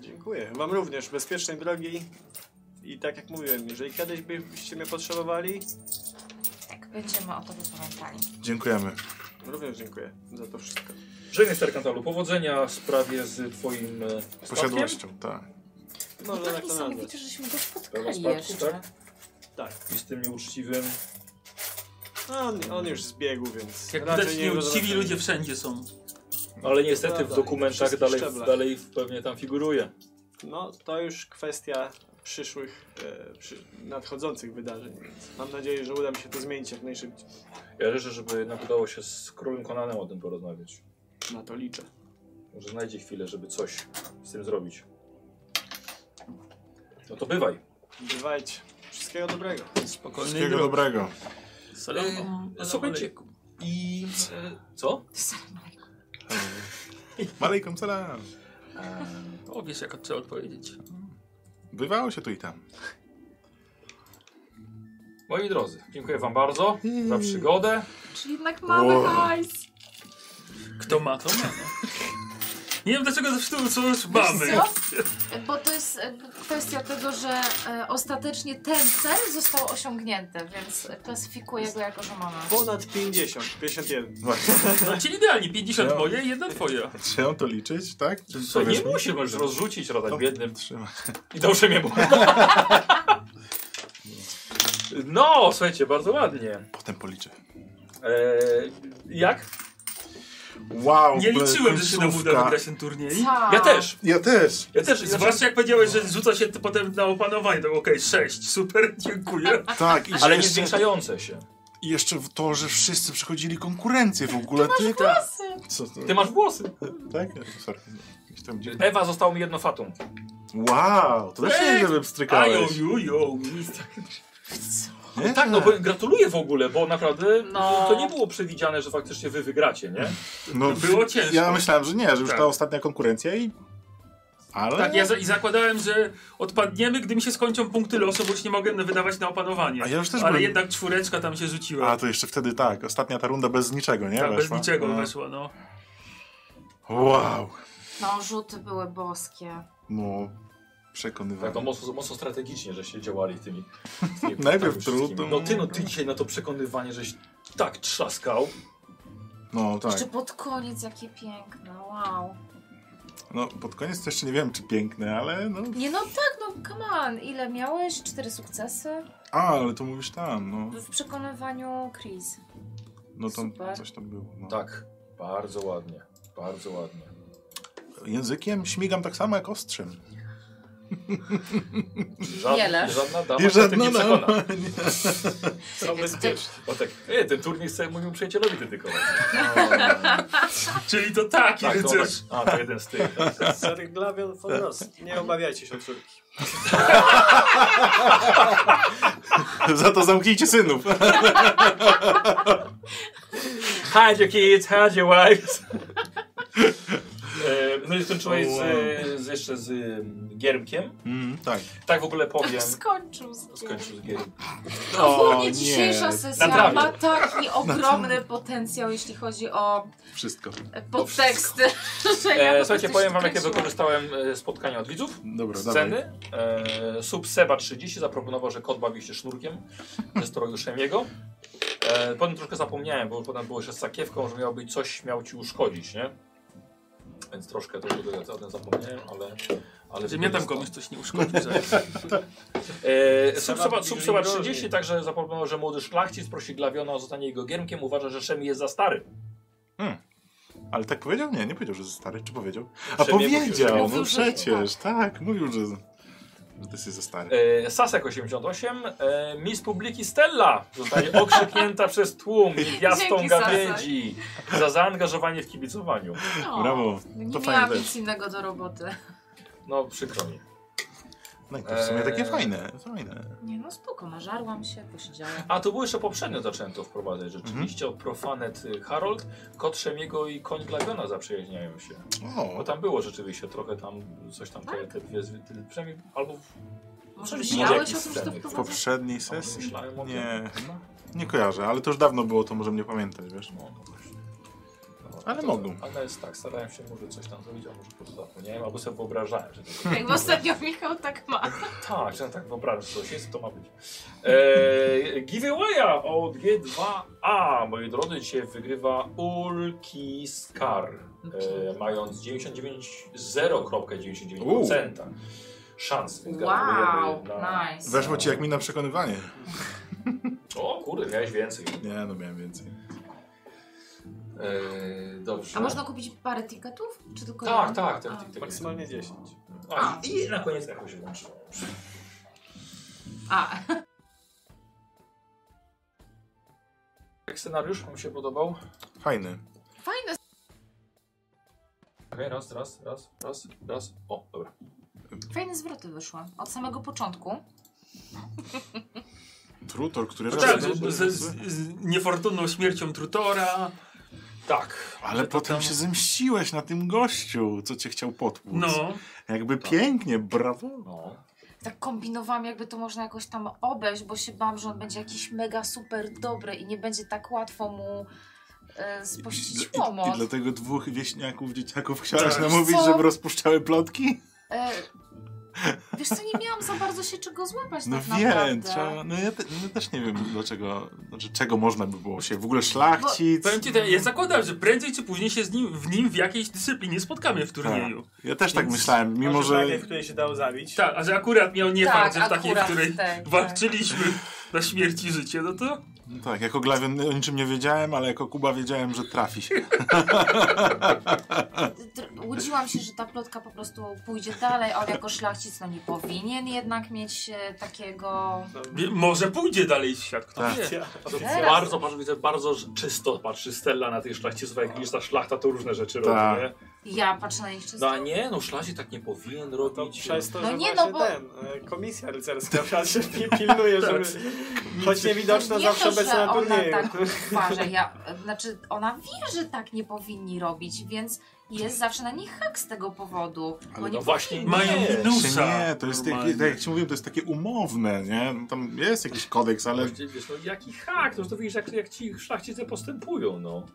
Speaker 4: Dziękuję. Wam również bezpiecznej drogi. I tak jak mówiłem, jeżeli kiedyś byście mnie potrzebowali,
Speaker 2: Tak, będziemy o tobie pamiętali.
Speaker 3: Dziękujemy.
Speaker 4: również dziękuję za to wszystko.
Speaker 1: Żegnaj Star Kantalu. Powodzenia w sprawie z twoim e, statkiem.
Speaker 3: Posiadłością, tak.
Speaker 2: No
Speaker 4: Można
Speaker 2: to
Speaker 4: tak to nazwać.
Speaker 2: niesamowite, żeśmy go
Speaker 1: Pełno
Speaker 2: spotkali
Speaker 1: spadków,
Speaker 2: jeszcze.
Speaker 1: tak?
Speaker 4: Tak.
Speaker 1: I z tym nieuczciwym.
Speaker 4: No, On, on już zbiegł, więc
Speaker 5: Jak
Speaker 4: raczej
Speaker 5: widać,
Speaker 4: nie go
Speaker 5: nieuczciwi
Speaker 4: zobaczymy.
Speaker 5: ludzie wszędzie są.
Speaker 1: Ale niestety w
Speaker 4: Prawda, na
Speaker 1: dokumentach
Speaker 4: wszystkich
Speaker 1: dalej,
Speaker 4: szczeblach.
Speaker 1: dalej pewnie tam figuruje.
Speaker 4: No, to już kwestia przyszłych, e, przy, nadchodzących wydarzeń. Więc mam nadzieję, że uda mi się to zmienić jak najszybciej.
Speaker 1: Ja życzę, żeby nam udało się z królem Konanem o tym porozmawiać.
Speaker 4: Na to liczę.
Speaker 1: Może znajdzie chwilę, żeby coś z tym zrobić. No to bywaj.
Speaker 4: Bywajcie. Wszystkiego dobrego.
Speaker 5: Spokojnie.
Speaker 3: Wszystkiego dobrego.
Speaker 1: No Słuchajcie. I... e, Co?
Speaker 2: Salam alejkum.
Speaker 3: Malejkom salam.
Speaker 5: O, wiesz, jak trzeba odpowiedzieć.
Speaker 3: Bywało się tu i tam.
Speaker 1: Moi drodzy, dziękuję wam bardzo za przygodę.
Speaker 2: Czyli jednak mamy
Speaker 3: Wow.
Speaker 2: hajs.
Speaker 5: Kto ma, to ma. no. Nie wiem, dlaczego zawsze to co już mamy.
Speaker 2: Wiesz co? Bo to jest e, kwestia tego, że e, ostatecznie ten cel został osiągnięty, więc klasyfikuję go jako, że mamy.
Speaker 4: Ponad 50, 51.
Speaker 3: Właśnie.
Speaker 5: No, czyli idealnie, 50
Speaker 3: Ja-
Speaker 5: moje i jedna twoja.
Speaker 3: Trzeba to liczyć, tak? Czy
Speaker 1: Co, nie
Speaker 3: powiesz mi? No,
Speaker 1: musi możesz rozrzucić rodem
Speaker 3: To-
Speaker 1: biednym.
Speaker 3: Trzyma.
Speaker 1: I dobrze mnie było. No, słuchajcie, bardzo ładnie.
Speaker 3: Potem policzę.
Speaker 1: Eee, jak?
Speaker 3: Wow,
Speaker 5: Nie liczyłem, że się nam
Speaker 3: końcówka.
Speaker 5: uda wygrać ten turniej.
Speaker 2: Ta.
Speaker 1: Ja też.
Speaker 3: Ja też.
Speaker 1: Ja też.
Speaker 5: Zwłaszcza jak powiedziałeś, że rzuca się ty potem na opanowanie, to okej, sześć, 6, super, dziękuję.
Speaker 3: Tak, i
Speaker 1: Ale nie
Speaker 3: jeszcze,
Speaker 1: zwiększające się.
Speaker 3: i jeszcze w to, że wszyscy przechodzili konkurencję w ogóle. Ty, tak. Co to?
Speaker 1: Ty masz włosy.
Speaker 3: Tak? Sorry. Jakiś tam dziwny-
Speaker 1: Ewa, zostało mi jedno fatum.
Speaker 3: Wow, to też
Speaker 5: Ej,
Speaker 3: nie żebym
Speaker 5: Ajo,
Speaker 3: strykałeś.
Speaker 5: ju, jo, mistrz.
Speaker 3: Nie?
Speaker 1: Tak, no bo gratuluję w ogóle, bo naprawdę
Speaker 2: No.
Speaker 1: to nie było przewidziane, że faktycznie wy wygracie, nie?
Speaker 3: No,
Speaker 5: Było ciężko.
Speaker 3: Ja myślałem, że nie, że już
Speaker 5: Tak.
Speaker 3: ta ostatnia konkurencja i... Ale...
Speaker 5: Tak, ja za, i zakładałem, że odpadniemy, gdy mi się skończą punkty losu, bo już nie mogłem wydawać na opanowanie.
Speaker 3: A ja już też
Speaker 5: Ale
Speaker 3: byłem-
Speaker 5: jednak czwóreczka tam się rzuciła.
Speaker 3: A, to jeszcze wtedy tak, ostatnia ta runda bez niczego, nie?
Speaker 5: tak, bez
Speaker 3: Weszła.
Speaker 5: niczego
Speaker 3: No.
Speaker 5: weszła, no.
Speaker 3: Wow.
Speaker 2: No, rzuty były boskie.
Speaker 1: Tak,
Speaker 3: No,
Speaker 1: no
Speaker 3: przekonywałem.
Speaker 1: mocno, mocno strategicznie, że się działali tymi. tymi
Speaker 3: Najpierw
Speaker 1: punktami wszystkimi.
Speaker 3: trudno.
Speaker 1: No ty, no ty dzisiaj na to przekonywanie, żeś tak trzaskał.
Speaker 3: No tak.
Speaker 2: Jeszcze pod koniec, jakie piękne, wow.
Speaker 3: No, pod koniec to jeszcze nie wiem, czy piękne, ale no...
Speaker 2: Nie no tak, no come on, ile miałeś? Cztery sukcesy?
Speaker 3: A, ale to mówisz tam, no.
Speaker 2: W przekonywaniu Chris.
Speaker 3: No tam
Speaker 2: Super.
Speaker 3: coś tam było. No.
Speaker 1: Tak, bardzo ładnie, bardzo ładnie.
Speaker 3: Językiem śmigam tak samo jak ostrzem.
Speaker 1: Żad,
Speaker 2: Wiele.
Speaker 1: Żadna dama
Speaker 3: I
Speaker 1: się o tym nie
Speaker 3: żadna
Speaker 1: przekona.
Speaker 3: dama.
Speaker 4: Są bezpieczne.
Speaker 1: Bo tak, e, ten turniej chce mojemu przyjacielowi dedykować.
Speaker 5: Czyli to taki
Speaker 1: Tak, to,
Speaker 5: rycerz.
Speaker 1: a, to jeden z tych. tak.
Speaker 4: Zaryglawion Fonros. Nie obawiajcie się córki.
Speaker 3: Za to zamknijcie synów.
Speaker 1: Hide your kids, hide your wives. E, No i skończyłeś z, z, jeszcze z mm, Giermkiem.
Speaker 3: Mm, tak.
Speaker 1: Tak w ogóle powiem.
Speaker 2: Skończył z
Speaker 1: Skończył z Giermkiem.
Speaker 2: Ogólnie dzisiejsza sesja
Speaker 1: Na trawie.
Speaker 2: ma taki ogromny potencjał, jeśli chodzi o
Speaker 3: Wszystko.
Speaker 2: e, podteksty. że ja po
Speaker 1: E,
Speaker 2: prostu
Speaker 1: słuchajcie,
Speaker 2: się
Speaker 1: powiem wam, jakie
Speaker 2: wkręciłam.
Speaker 1: wykorzystałem e, spotkania od widzów.
Speaker 3: Dobra, dawaj.
Speaker 1: Sceny. E, sub Seba 30 zaproponował, że kot bawi się sznurkiem ze strojuszem jego. E, potem troszkę zapomniałem, bo potem było jeszcze z sakiewką, że miał być coś miał ci uszkodzić, nie? Więc troszkę to to- o tym zapomniałem, ale... ale
Speaker 5: Że mnie tam komuś coś nie uszkodził. zaraz.
Speaker 1: E,
Speaker 4: Seba
Speaker 1: Subseba,
Speaker 4: bliżej
Speaker 1: subseba
Speaker 4: drogi.
Speaker 1: 30 także zaproponował, że młody szlachcic prosi Glawiona o zostanie jego giermkiem. Uważa, że Szemi jest za stary.
Speaker 3: Ale tak powiedział? Nie, nie powiedział, że jest stary. Czy powiedział? A
Speaker 1: Przemię-
Speaker 3: powiedział,
Speaker 2: mówił,
Speaker 3: no
Speaker 2: że-
Speaker 3: przecież. Tak, mówił, że, że ty jesteś za stary.
Speaker 1: E, Sasek 88. E, Miss Publiki Stella zostanie okrzyknięta przez tłum i gwiazdą
Speaker 2: Dzięki, Sasek.
Speaker 1: gawędzi za zaangażowanie w kibicowaniu.
Speaker 2: No,
Speaker 3: Brawo.
Speaker 2: Nie
Speaker 3: To
Speaker 2: miałam
Speaker 3: fajne
Speaker 2: nic
Speaker 3: też.
Speaker 2: innego do roboty.
Speaker 1: No przykro mi.
Speaker 3: No i to w sumie takie
Speaker 1: Eee.
Speaker 3: fajne, fajne.
Speaker 2: Nie no spoko, nażarłam się, posiedziałam.
Speaker 1: A to było jeszcze poprzednio zaczęto wprowadzać. Rzeczywiście profanet y, Harold, kot Szemiego i koń Glawiona zaprzyjaźniają się. Bo
Speaker 3: O,
Speaker 1: tam było rzeczywiście trochę tam coś tam
Speaker 2: Tak?
Speaker 1: te, te dwie, zwy- te, przynajmniej albo w- Może
Speaker 2: Może myślałeś
Speaker 1: No, jakiś
Speaker 2: o tym, że to
Speaker 1: sceny.
Speaker 3: w
Speaker 2: wprowadzasz?
Speaker 3: poprzedniej
Speaker 1: albo
Speaker 3: sesji?
Speaker 1: myślałem o tym.
Speaker 3: Nie,
Speaker 1: No.
Speaker 3: nie kojarzę, ale to już dawno było, to może nie pamiętać, wiesz?
Speaker 1: No, no właśnie. No,
Speaker 3: Ale
Speaker 1: to-
Speaker 3: mogą.
Speaker 1: Ale jest tak, starałem się może coś tam zrobić, a może po prostu zapomniałem, albo sobie wyobrażałem, że to
Speaker 2: Jak ostatnio Michał tak ma.
Speaker 1: Tak, że tak wyobrażam, że coś jest, to ma być. Eee, giveawaya od G2A, moi drodzy, dzisiaj wygrywa Ulki Scar, eee, mając 99, 0,99% szans. Więc
Speaker 2: Wow,
Speaker 1: gratulujemy na...
Speaker 2: nice.
Speaker 3: Weszło ci jak mi na przekonywanie.
Speaker 1: O kurde, miałeś więcej.
Speaker 3: Nie, no miałem więcej.
Speaker 1: Eee, dobrze.
Speaker 2: A można kupić parę ticketów? Czy tylko
Speaker 1: Tak,
Speaker 2: jeden?
Speaker 1: tak, tak.
Speaker 2: A.
Speaker 1: tak, tak.
Speaker 4: Maksymalnie 10.
Speaker 1: A, i, I na koniec jakoś włączyło.
Speaker 2: A,
Speaker 1: Jak scenariusz wam się podobał?
Speaker 3: Fajny.
Speaker 2: fajne.
Speaker 1: Okej, raz, raz, raz, raz, raz. O, dobra.
Speaker 2: Fajne zwroty wyszły od samego początku.
Speaker 3: Trutor, który
Speaker 5: No
Speaker 3: raz
Speaker 5: tak,
Speaker 3: był-
Speaker 5: z, z, z niefortunną śmiercią Trutora,
Speaker 1: Tak.
Speaker 3: Ale
Speaker 1: że to
Speaker 3: potem
Speaker 1: tam-
Speaker 3: się zemściłeś na tym gościu, co cię chciał potłuc.
Speaker 5: No,
Speaker 3: Jakby pięknie, brawo.
Speaker 1: No.
Speaker 2: Tak kombinowałam, jakby to można jakoś tam obejść, bo się bałam, że on będzie jakiś mega super dobry i nie będzie tak łatwo mu e,
Speaker 3: I,
Speaker 2: spuścić
Speaker 3: i, I
Speaker 2: pomoc.
Speaker 3: dlatego dwóch wieśniaków, dzieciaków chciałeś
Speaker 4: Tak.
Speaker 3: namówić,
Speaker 2: Co?
Speaker 3: żeby rozpuszczały plotki?
Speaker 2: E, wiesz co, nie miałam za bardzo się czego złapać
Speaker 3: No
Speaker 2: tak
Speaker 3: wiem,
Speaker 2: naprawdę.
Speaker 3: trzeba, no ja, te, no też nie wiem dlaczego, znaczy czego można by było się w ogóle szlachcic.
Speaker 5: powiem ci, tak, ten, ja zakładam, że prędzej czy później się z nim, w nim w jakiejś dyscyplinie spotkamy w turnieju.
Speaker 3: Ja też tak
Speaker 5: Więc
Speaker 3: myślałem, mimo
Speaker 4: Może
Speaker 3: że
Speaker 4: takiej, w której się dało zabić.
Speaker 5: Tak, a że akurat miał nie
Speaker 2: Tak,
Speaker 5: fakt, że w takiej, w
Speaker 2: akurat
Speaker 5: której
Speaker 2: w tej, tak.
Speaker 5: walczyliśmy na śmierć i życie, no to...
Speaker 3: no tak, jako Glawion o niczym nie wiedziałem, ale jako Kuba wiedziałem, że trafi się.
Speaker 2: Dr- Łudziłam się, że ta plotka po prostu pójdzie dalej, a on jako szlachcic no nie powinien jednak mieć e, takiego...
Speaker 4: No,
Speaker 5: Wie- Może pójdzie dalej w świat, kto
Speaker 3: Tak.
Speaker 5: wie.
Speaker 4: Ja-
Speaker 2: Teraz.
Speaker 8: Bardzo, bardzo, widzę, bardzo czysto patrzy Stella na tych szlachciców, jak widzisz, ta szlachta to różne rzeczy
Speaker 3: Tak.
Speaker 8: robi, nie?
Speaker 2: Ja patrzę na nich czysto.
Speaker 1: No a nie, no szlasie tak nie powinien
Speaker 4: To
Speaker 1: robić.
Speaker 4: przez to,
Speaker 2: No
Speaker 4: że
Speaker 2: nie, no
Speaker 4: właśnie
Speaker 2: bo-
Speaker 4: ten, e, komisja rycerska wraz się pi- pilnuje, żeby
Speaker 3: Tak.
Speaker 4: choć niewidoczna
Speaker 2: nie
Speaker 4: zawsze
Speaker 2: to,
Speaker 4: obecna
Speaker 2: że
Speaker 4: na
Speaker 2: ona
Speaker 4: turnieju.
Speaker 2: tak uważa, ja, znaczy ona wie, że tak nie powinni robić, więc jest zawsze na nich hak z tego powodu.
Speaker 1: Ale
Speaker 2: bo
Speaker 1: no
Speaker 2: nie
Speaker 1: właśnie
Speaker 2: powinni.
Speaker 5: Mają
Speaker 1: Nie,
Speaker 3: Czy
Speaker 5: minusa.
Speaker 3: nie, to jest, takie-
Speaker 5: normalnie.
Speaker 3: tak jak ci mówiłem, to jest takie umowne, nie? No Tam jest jakiś kodeks, ale
Speaker 1: Właściwie, Wiesz, no jaki hak, no to widzisz jak, jak ci szlachcice postępują, no.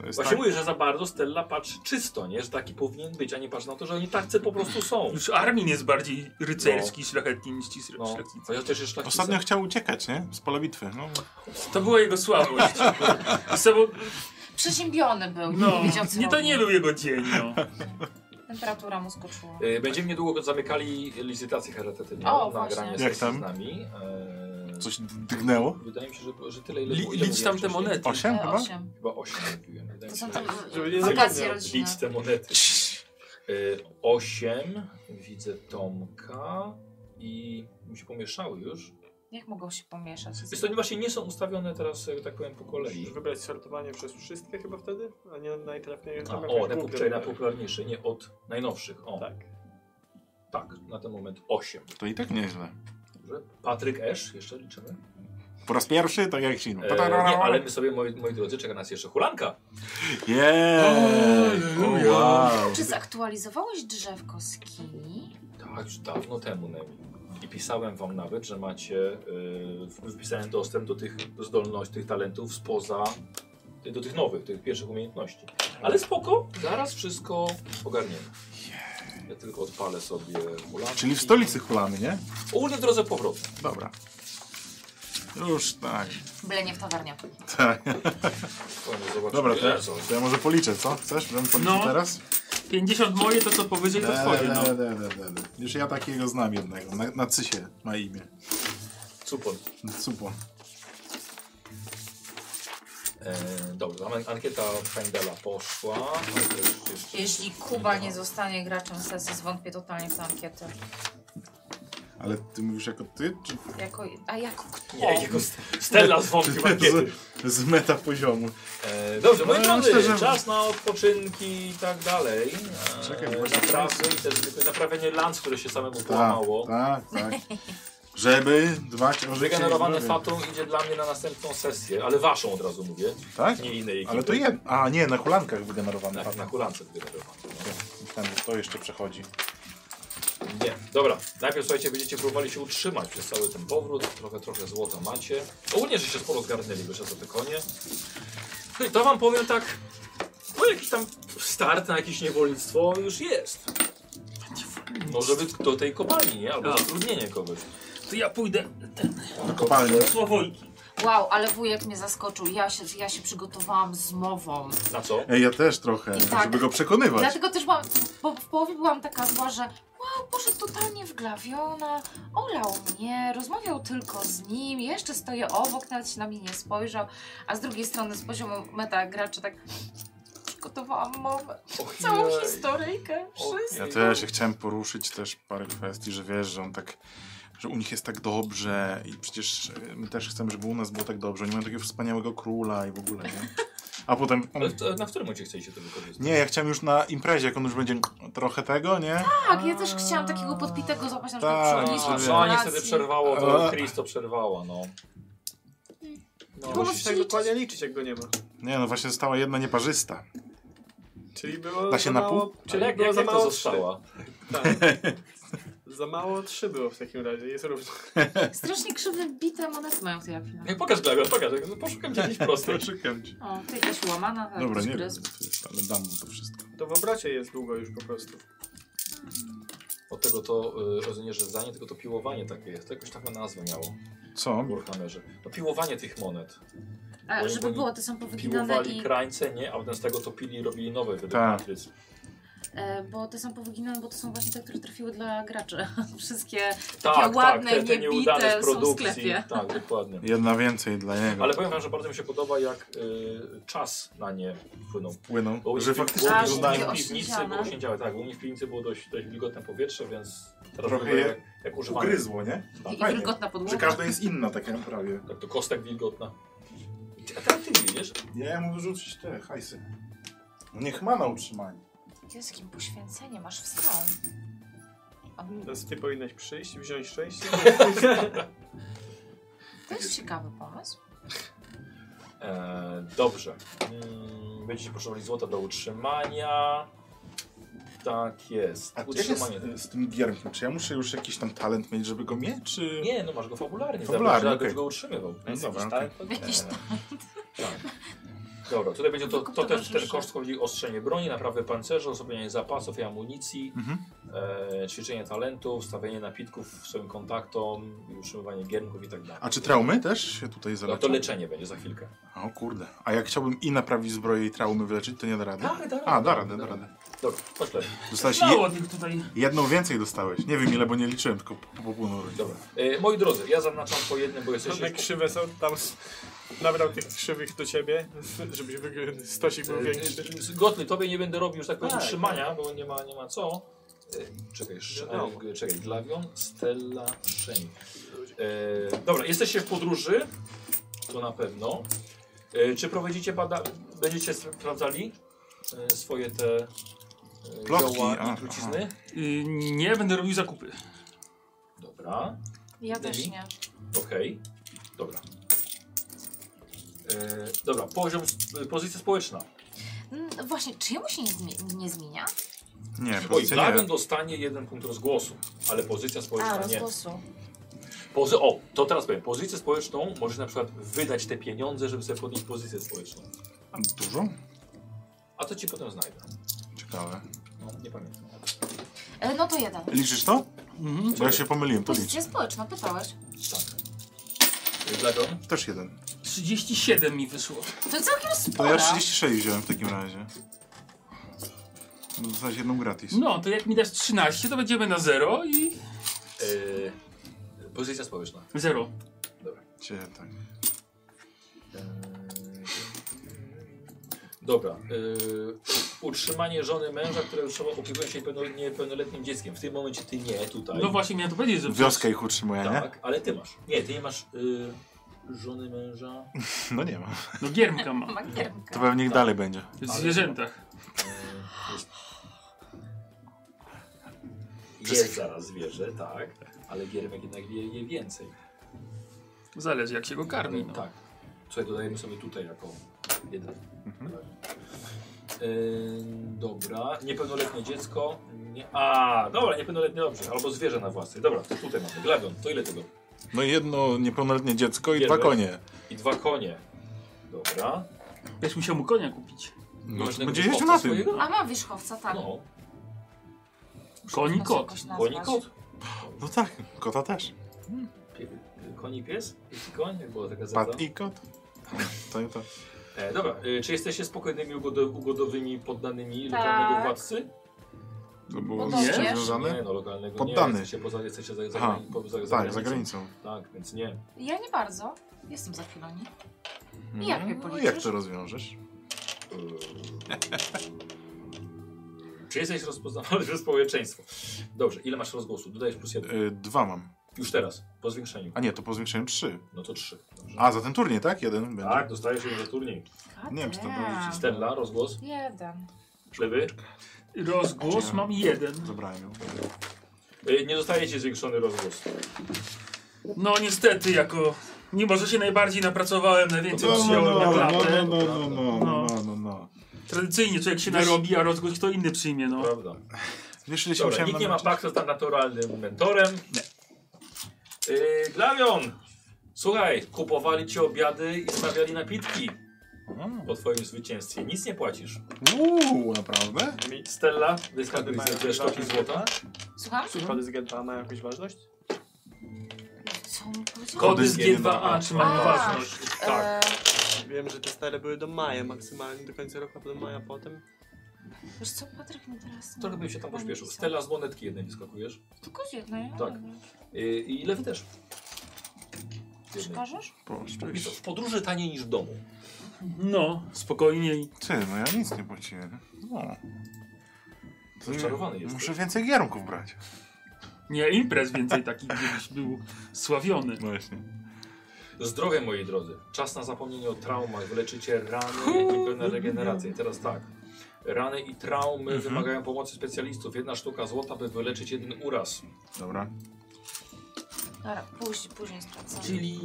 Speaker 3: to jest
Speaker 1: Właśnie
Speaker 3: tak.
Speaker 1: mówię, że za bardzo Stella patrzy czysto, nie? Że taki powinien być, a nie patrzy na to, że oni tacy po prostu są.
Speaker 5: Już Armin jest bardziej rycerski, szlachetny niż ci
Speaker 1: No,
Speaker 5: szlachcicy.
Speaker 1: chociaż też jest szlachcice.
Speaker 3: Ostatnio chciał uciekać, nie? Z pola bitwy. No.
Speaker 5: To była jego słabość. I Sobą,
Speaker 2: Przeziębiony był,
Speaker 5: no,
Speaker 2: nie wiedział co
Speaker 5: nie, to
Speaker 2: robi.
Speaker 5: nie był jego dzień, no.
Speaker 2: Temperatura mu skoczyła.
Speaker 1: Y, Będziemy niedługo zamykali licytację charytatywną
Speaker 2: O,
Speaker 1: na
Speaker 2: właśnie.
Speaker 1: granie
Speaker 3: Jak
Speaker 1: sesji
Speaker 3: tam?
Speaker 1: z nami. E,
Speaker 3: Coś dygnęło?
Speaker 1: Wydaje mi się, że, że tyle ile
Speaker 5: Li,
Speaker 1: było- ile
Speaker 5: licz
Speaker 1: mówiłem
Speaker 5: tam te
Speaker 1: wcześniej.
Speaker 5: monety.
Speaker 3: Osiem
Speaker 2: E,
Speaker 3: chyba?
Speaker 2: osiem.
Speaker 1: Chyba 8 mówiłem. wydaje
Speaker 2: To
Speaker 1: mi
Speaker 2: są
Speaker 1: się,
Speaker 2: tam
Speaker 1: że-
Speaker 4: Żeby nie
Speaker 2: wakacje
Speaker 4: zagadniał.
Speaker 2: rodzinne.
Speaker 1: Licz te monety. Y, 8, widzę Tomka i mi się pomieszały już.
Speaker 2: Jak mogą się pomieszać?
Speaker 1: Więc to oni właśnie nie są ustawione teraz, e, tak powiem, po kolei.
Speaker 4: Musisz wybrać sortowanie przez wszystkie chyba wtedy, a nie najtrafniej.
Speaker 1: A,
Speaker 4: tam
Speaker 1: No, o,
Speaker 4: jakąś
Speaker 1: najpop-
Speaker 4: główkę
Speaker 1: czyli
Speaker 4: wybrać.
Speaker 1: najpopularniejsze, nie od najnowszych. O, tak,
Speaker 4: Tak.
Speaker 1: na ten moment 8.
Speaker 3: To i tak nieźle.
Speaker 1: Dobrze. Patryk Esz, jeszcze liczymy.
Speaker 3: Po raz pierwszy, tak jak ci.
Speaker 1: E, nie, ale my sobie, moi, moi drodzy, czeka nas jeszcze hulanka.
Speaker 3: Yeah.
Speaker 5: Aleluja.
Speaker 3: wow.
Speaker 2: Czy zaktualizowałeś drzewko z kini?
Speaker 1: Tak, już dawno temu, Nemi. I pisałem wam nawet, że macie, yy, wpisałem dostęp do tych zdolności, tych talentów spoza, do tych nowych, tych pierwszych umiejętności. Ale spoko, zaraz wszystko ogarniemy. Ja tylko odpalę sobie hulanki.
Speaker 3: Czyli w stolicy hulamy, nie?
Speaker 1: Ogólnie w drodze powrotnej.
Speaker 3: Dobra. Już tak.
Speaker 2: Byle nie w tawernie.
Speaker 3: tak.
Speaker 1: Fajnie, zobaczymy.
Speaker 3: Dobra, to ja,
Speaker 1: Co?
Speaker 3: to ja może policzę, co? Chcesz, żebym policzył
Speaker 5: No.
Speaker 3: teraz?
Speaker 5: 50 moje, to co powyżej, to twoje, no.
Speaker 3: De, de, de, de, de. Już ja takiego znam jednego. Na, na Cysie ma imię.
Speaker 1: Supon.
Speaker 3: Supo.
Speaker 1: E, dobra, an- ankieta Fendela poszła. Ale to już- już-
Speaker 2: Jeśli Kuba nie zostanie graczem sesji, zwątpię totalnie w tę ankietę.
Speaker 3: Ale ty mówisz jako ty, czy
Speaker 2: Jako, a jako kto?
Speaker 1: Nie, jego st- Stella z wątkiem ankiety.
Speaker 3: z, z meta poziomu?
Speaker 1: E, dobrze, moi
Speaker 3: No,
Speaker 1: drodzy,
Speaker 3: myślę, że-
Speaker 1: czas na odpoczynki i tak dalej. E,
Speaker 3: Czekaj, bo właśnie-
Speaker 1: naprawy i te, te naprawienie lanc, które się samemu
Speaker 3: Tak,
Speaker 1: połamało.
Speaker 3: tak, tak. Żeby dbać o życie. i
Speaker 1: Wygenerowane
Speaker 3: zdrowie.
Speaker 1: fatum idzie dla mnie na następną sesję, ale waszą od razu mówię,
Speaker 3: Tak?
Speaker 1: nie innej ekipy.
Speaker 3: Ale to jedno. A nie, na hulankach wygenerowane
Speaker 1: Tak, na
Speaker 3: fatum.
Speaker 1: hulance wygenerowane.
Speaker 3: Myślałem, że to jeszcze przechodzi.
Speaker 1: Nie, dobra. Najpierw słuchajcie, będziecie próbowali się utrzymać przez cały ten powrót. Trochę, trochę złota macie. Ogólnie, że się sporo zgarnęli, wyszedł za te konie. No i to wam powiem tak, no jakiś tam start na jakieś niewolnictwo już jest. Może być do tej kopalni, nie? Albo
Speaker 5: Tak.
Speaker 1: zatrudnienie kogoś.
Speaker 5: To ja pójdę ten,
Speaker 3: Do kopalni.
Speaker 5: do Wojki.
Speaker 2: Wow, ale wujek mnie zaskoczył. Ja się, ja się przygotowałam z mową.
Speaker 1: Na co?
Speaker 3: Ej, ja też trochę,
Speaker 2: I tak.
Speaker 3: żeby go przekonywać.
Speaker 2: Dlatego też byłam, bo w połowie byłam taka zła, że wow, poszedł totalnie wglawiona, olał mnie, rozmawiał tylko z nim, jeszcze stoję obok, nawet się na mnie nie spojrzał, a z drugiej strony z poziomu meta graczy tak przygotowałam mowę, całą
Speaker 1: Ojej.
Speaker 2: historyjkę, wszystko.
Speaker 3: Ja też ja chciałem poruszyć też parę kwestii, że wiesz, że on tak, że u nich jest tak dobrze i przecież e, my też chcemy, żeby u nas było tak dobrze. Oni mają takiego wspaniałego króla i w ogóle, nie? A potem on...
Speaker 1: Ale to, na którym momencie chcieliście to wykorzystać?
Speaker 3: Nie, ja chciałem już na imprezie, jak on już będzie trochę tego, nie?
Speaker 2: Tak, ja też chciałam takiego podpitego złapać na przykład
Speaker 3: Tak,
Speaker 2: przy
Speaker 1: A,
Speaker 2: ognisku
Speaker 3: sobie-
Speaker 2: w
Speaker 1: co niestety
Speaker 2: kolacji.
Speaker 1: przerwało, to
Speaker 3: A.
Speaker 1: Chris to przerwała, no.
Speaker 4: Nie
Speaker 1: No,
Speaker 2: Bo-
Speaker 4: No, musisz tak dokładnie liczyć, jak go nie ma.
Speaker 3: Nie, no właśnie została jedna nieparzysta.
Speaker 4: Czyli było
Speaker 3: Da się
Speaker 4: za
Speaker 3: na
Speaker 4: mało...
Speaker 3: pół?
Speaker 4: Czyli
Speaker 1: jak,
Speaker 4: było
Speaker 1: jak,
Speaker 4: za
Speaker 1: jak
Speaker 4: mało
Speaker 1: to
Speaker 4: trzy.
Speaker 1: została?
Speaker 4: Tak. Za mało trzy było w takim razie, jest równo.
Speaker 2: Strasznie krzywe bite monety mają w tej chwili.
Speaker 8: Nie, pokaż Glawior, pokaż. Poszukam gdzieś prostej.
Speaker 3: Szukam ci.
Speaker 2: O, tutaj jakaś łamana, tak,
Speaker 3: Dobra, nie wiem,
Speaker 2: gryz.
Speaker 3: co to jest, ale dam mu to wszystko.
Speaker 4: To w obrocie jest długo już po prostu.
Speaker 1: Od tego to y, rozumiem, że zdanie, tylko to piłowanie takie jest. To jakoś taką nazwę miało
Speaker 3: Co?
Speaker 1: w Warhammerze. To piłowanie tych monet.
Speaker 2: A,
Speaker 1: Oni-
Speaker 2: E, żeby
Speaker 1: oni
Speaker 2: było, to są powyginane
Speaker 1: Piłowali
Speaker 2: i...
Speaker 1: krańce, nie? A potem z tego topili i robili nowe według
Speaker 3: Tak.
Speaker 1: matryc.
Speaker 2: E, bo to są powyginane, bo to są właśnie te, które trafiły dla graczy. Wszystkie
Speaker 1: Tak,
Speaker 2: takie ładne,
Speaker 1: te, te nieudane
Speaker 2: niebite
Speaker 1: z
Speaker 2: są w
Speaker 1: produkcji.
Speaker 2: sklepie.
Speaker 1: Tak, dokładnie.
Speaker 3: Jedna więcej dla niego.
Speaker 1: Ale powiem wam, że bardzo mi się podoba, jak y, czas na nie wpłynął.
Speaker 3: Płyną.
Speaker 1: Bo u mnie
Speaker 3: Że
Speaker 1: w pi-
Speaker 3: faktycznie
Speaker 2: A,
Speaker 1: u mnie
Speaker 3: wyglądają.
Speaker 2: że
Speaker 1: w piwnicy
Speaker 2: oświeciane.
Speaker 1: było siedziałe, tak. U mnie w piwnicy było dość, dość wilgotne powietrze, więc teraz
Speaker 3: Trochę
Speaker 1: wygląda
Speaker 3: je
Speaker 1: jak, jak używane.
Speaker 3: Ugryzło, nie? No,
Speaker 2: I
Speaker 3: Fajnie.
Speaker 2: wilgotna
Speaker 3: Że
Speaker 2: podłoga.
Speaker 3: każda jest inna, tak jak prawie.
Speaker 1: Tak, to kostek wilgotna. Ty- A teraz ty widzisz?
Speaker 3: Nie, ja mu wyrzucić te hajsy. No Niech ma na utrzymanie.
Speaker 2: Jezu, jakim poświęceniem masz w skałę. On
Speaker 4: Teraz ty powinnaś przyjść, wziąć szczęście.
Speaker 2: To jest ciekawy pomysł.
Speaker 1: Eee, dobrze. Mm, będziecie potrzebowali złota do utrzymania. Tak jest.
Speaker 3: A ty się
Speaker 1: Utrzymanie.
Speaker 3: z, z tym giermkiem, czy ja muszę już jakiś tam talent mieć, żeby go mieć, czy...
Speaker 1: Nie, no masz go fabularnie.
Speaker 3: Fabularnie,
Speaker 1: Fabularnie, tak,
Speaker 3: okej.
Speaker 1: go utrzymywał.
Speaker 3: No
Speaker 1: Jest
Speaker 3: dobra,
Speaker 1: jakiś
Speaker 3: okej.
Speaker 1: talent?
Speaker 2: Jakiś tam.
Speaker 1: Dobra, tutaj będzie to,
Speaker 2: Tylko
Speaker 1: to też ten
Speaker 2: towarzysze.
Speaker 1: koszt chodzi o ostrzenie broni, naprawę pancerzy, osłabianie zapasów i amunicji,
Speaker 3: Mhm.
Speaker 1: e, ćwiczenie talentów, stawianie napitków swoim kontaktom, i utrzymywanie giermków i tak dalej.
Speaker 3: A czy traumy też się tutaj
Speaker 1: No
Speaker 3: zaleczą?
Speaker 1: to leczenie będzie za chwilkę.
Speaker 3: O kurde. A jak chciałbym i naprawić zbroję i traumy wyleczyć, to nie da rady?
Speaker 1: Tak, da radę.
Speaker 3: A, da radę, da radę.
Speaker 1: Dobra, chodź lepiej.
Speaker 3: Dostałeś je,
Speaker 5: Mało tych tutaj.
Speaker 3: jedną więcej dostałeś. Nie wiem ile, bo nie liczyłem, tylko po, po północy.
Speaker 1: Dobra. E, moi drodzy, ja zaznaczam po jednym, bo jesteście
Speaker 4: One
Speaker 1: już...
Speaker 4: krzywe są, tam s- nabrał tych krzywych do ciebie, żebyś wygrył, stosik był większy.
Speaker 1: E, e, Gotly, tobie nie będę robił, że tak powiem,
Speaker 4: Tak,
Speaker 1: utrzymania, bo nie ma, nie ma co. E, Czekaj, sz- e, czekaj, Glavion, Stella, Shane. E, dobra, jesteście w podróży, to na pewno. E, czy prowadzicie bada... będziecie sp- sprawdzali e, swoje te e,
Speaker 3: Plotki,
Speaker 1: zioła
Speaker 3: a,
Speaker 1: i trucizny?
Speaker 5: Y, nie, będę robił zakupy.
Speaker 1: Dobra,
Speaker 2: Ja też
Speaker 1: Deli?
Speaker 2: nie.
Speaker 1: okej, dobra. E, dobra, poziom, e, pozycja społeczna.
Speaker 2: Mm, Właśnie, czy jemu się nie, zmi- nie zmienia?
Speaker 3: Nie,
Speaker 1: Oj, tak?
Speaker 3: powiedzcie nie.
Speaker 1: Glavion dostanie jeden punkt rozgłosu, ale pozycja społeczna
Speaker 2: A,
Speaker 1: nie.
Speaker 2: rozgłosu.
Speaker 1: Pozy o, to teraz powiem. Pozycję społeczną możesz na przykład wydać te pieniądze, żeby sobie podnieść pozycję społeczną.
Speaker 3: Dużo?
Speaker 1: A to ci potem znajdę.
Speaker 3: Ciekawe.
Speaker 1: No, nie pamiętam.
Speaker 2: E, No to jeden.
Speaker 3: Liczysz to?
Speaker 5: Mhm.
Speaker 3: Bo ja się pomyliłem, to licz.
Speaker 2: Pozycja społeczna, pytałeś.
Speaker 1: Tak. Glagon?
Speaker 3: Też jeden.
Speaker 5: 37 mi wyszło.
Speaker 2: To całkiem
Speaker 3: To
Speaker 2: sporo.
Speaker 3: ja 36 wziąłem w takim razie. Dostałeś jedną gratis.
Speaker 5: No, to jak mi dasz 13, to będziemy na 0 i...
Speaker 1: Yy, pozycja społeczna.
Speaker 5: 0.
Speaker 3: Cie, tak.
Speaker 1: Yy, dobra. Yy, utrzymanie żony męża, które utrzyma, opiekuje się niepełno- niepełnoletnim dzieckiem. W tym momencie ty nie, tutaj.
Speaker 3: Tak.
Speaker 5: No właśnie miałem to powiedzieć, że...
Speaker 3: Wioskę ich utrzymuje, nie?
Speaker 1: tak, ale ty masz. Nie, ty nie masz yy, żony męża.
Speaker 3: No nie ma.
Speaker 5: No Giermka ma.
Speaker 2: Ma
Speaker 3: To
Speaker 2: giermka.
Speaker 3: pewnie dalej będzie.
Speaker 5: W zwierzętach.
Speaker 1: E, jest- Jest zaraz zwierzę, tak, ale giermek jednak je, je więcej.
Speaker 5: Zależy jak się go karmi. No.
Speaker 1: Tak. Słuchaj, dodajemy sobie tutaj jako jeden.
Speaker 3: Mhm.
Speaker 1: E, dobra, niepełnoletnie dziecko. Nie, a, dobra, niepełnoletnie dobrze, albo zwierzę na własnej. Dobra, to tutaj mamy. Glawion, to ile tego?
Speaker 3: No i jedno niepełnoletnie dziecko i
Speaker 1: Jeden.
Speaker 3: dwa konie.
Speaker 1: I dwa konie. Dobra.
Speaker 5: Będziesz musiał mu konia kupić.
Speaker 3: No,
Speaker 1: Masz
Speaker 3: to
Speaker 1: tego
Speaker 3: będzie jeździł
Speaker 1: chłopca
Speaker 3: na tym.
Speaker 1: swojego?
Speaker 2: A ma wierzchowca, tak.
Speaker 1: No,
Speaker 5: Koń i
Speaker 2: Można się
Speaker 5: kot.
Speaker 2: jakoś nazwać.
Speaker 1: koni kot.
Speaker 3: No tak, kota też.
Speaker 1: Pie- Koni pies? I koń? Jak Była taka zasada?
Speaker 3: Pat i kot. To, to.
Speaker 1: E, dobra, e, czy jesteście spokojnymi, ugodo ugodowymi poddanymi lokalnego władcy?
Speaker 3: to było
Speaker 2: Podobnie.
Speaker 3: z czymś
Speaker 1: Nie,
Speaker 3: związane?
Speaker 1: no lokalnego
Speaker 3: Poddany.
Speaker 1: nie, jesteście poza, jesteście za, za,
Speaker 3: Aha,
Speaker 1: grani- po- za, za
Speaker 3: Tak,
Speaker 1: granicą.
Speaker 3: za granicą.
Speaker 1: Tak, więc nie.
Speaker 2: Ja nie bardzo. Jestem za chwiloni.
Speaker 1: Mhm.
Speaker 2: I jak mnie
Speaker 3: No,
Speaker 2: policzysz?
Speaker 3: jak to rozwiążesz?
Speaker 1: Eee, czy jesteś rozpoznawany przez społeczeństwo? Dobrze, ile masz rozgłosu? Dodajesz plus jeden.
Speaker 3: Y, dwa mam.
Speaker 1: Już teraz, po zwiększeniu.
Speaker 3: A nie, to po zwiększeniu trzy.
Speaker 1: No to trzy. Dobrze.
Speaker 3: A, za ten turniej, tak? Jeden będzie.
Speaker 1: tak, dostajesz jeden za turniej.
Speaker 3: Nie wiem, czy to było
Speaker 2: Goddamn.
Speaker 3: liczyć.
Speaker 1: Stella, rozgłos.
Speaker 2: Jeden.
Speaker 1: Lewy.
Speaker 3: Tak.
Speaker 5: Rozgłos mam jeden.
Speaker 3: Zabrałem ją.
Speaker 1: E, nie dostajecie zwiększony rozgłos.
Speaker 5: No niestety, jako Mimo, że się najbardziej napracowałem, najwięcej
Speaker 3: No, no,
Speaker 5: przyjąłem
Speaker 3: no,
Speaker 5: na
Speaker 3: no,
Speaker 5: klatę.
Speaker 3: no, no, no, no, no, no, no.
Speaker 5: Tradycyjnie człowiek się narobi, a rozgłoś kto inny przyjmie, no.
Speaker 1: Prawda.
Speaker 3: Wiesz, ile się
Speaker 1: Dobra,
Speaker 3: musiałem
Speaker 1: nikt nie ma
Speaker 3: namęczyć?
Speaker 1: paktu z naturalnym mentorem. Yy, Glawion! Słuchaj, kupowali ci obiady i stawiali napitki po twoim zwycięstwie. Nic nie płacisz.
Speaker 3: Uuu, naprawdę?
Speaker 1: Stella, dyskadryzja sztuki złota.
Speaker 2: Słucham?
Speaker 4: Przykłady z Genta mają jakąś ważność?
Speaker 2: Co on powiedział?
Speaker 5: Kody z G2A trzymają
Speaker 2: A.
Speaker 5: ważność. Tak.
Speaker 2: E,
Speaker 4: Wiem, że te stare były do maja maksymalnie, do końca roku, a potem maja potem.
Speaker 2: wiesz co, Patryk mi teraz... no,
Speaker 1: Trochę bym się tam pośpieszył. Stella z monetki jednej wyskakujesz.
Speaker 2: Tylko z jednej.
Speaker 1: Tak. Yy, I lewy też. Jednej.
Speaker 2: Przekażesz?
Speaker 1: Wiesz co,
Speaker 3: Poszczęść.
Speaker 1: W podróży taniej niż w domu.
Speaker 5: No, spokojnie i
Speaker 3: Ty, no ja nic nie płaciłem. No.
Speaker 1: Rozczarowany
Speaker 3: Nie,
Speaker 1: jesteś.
Speaker 3: Muszę więcej gierunków brać.
Speaker 5: nie imprez więcej takich, gdzieś był sławiony.
Speaker 3: No Właśnie.
Speaker 1: Zdrowie, moi drodzy. Czas na zapomnienie o traumach. Wyleczycie rany i pełne regenerację. Teraz tak. Rany i traumy
Speaker 2: Mhm.
Speaker 1: wymagają pomocy specjalistów. Jedna sztuka złota, by wyleczyć jeden uraz.
Speaker 3: Dobra.
Speaker 2: Dobra, później, później sprawdzam.
Speaker 5: Czyli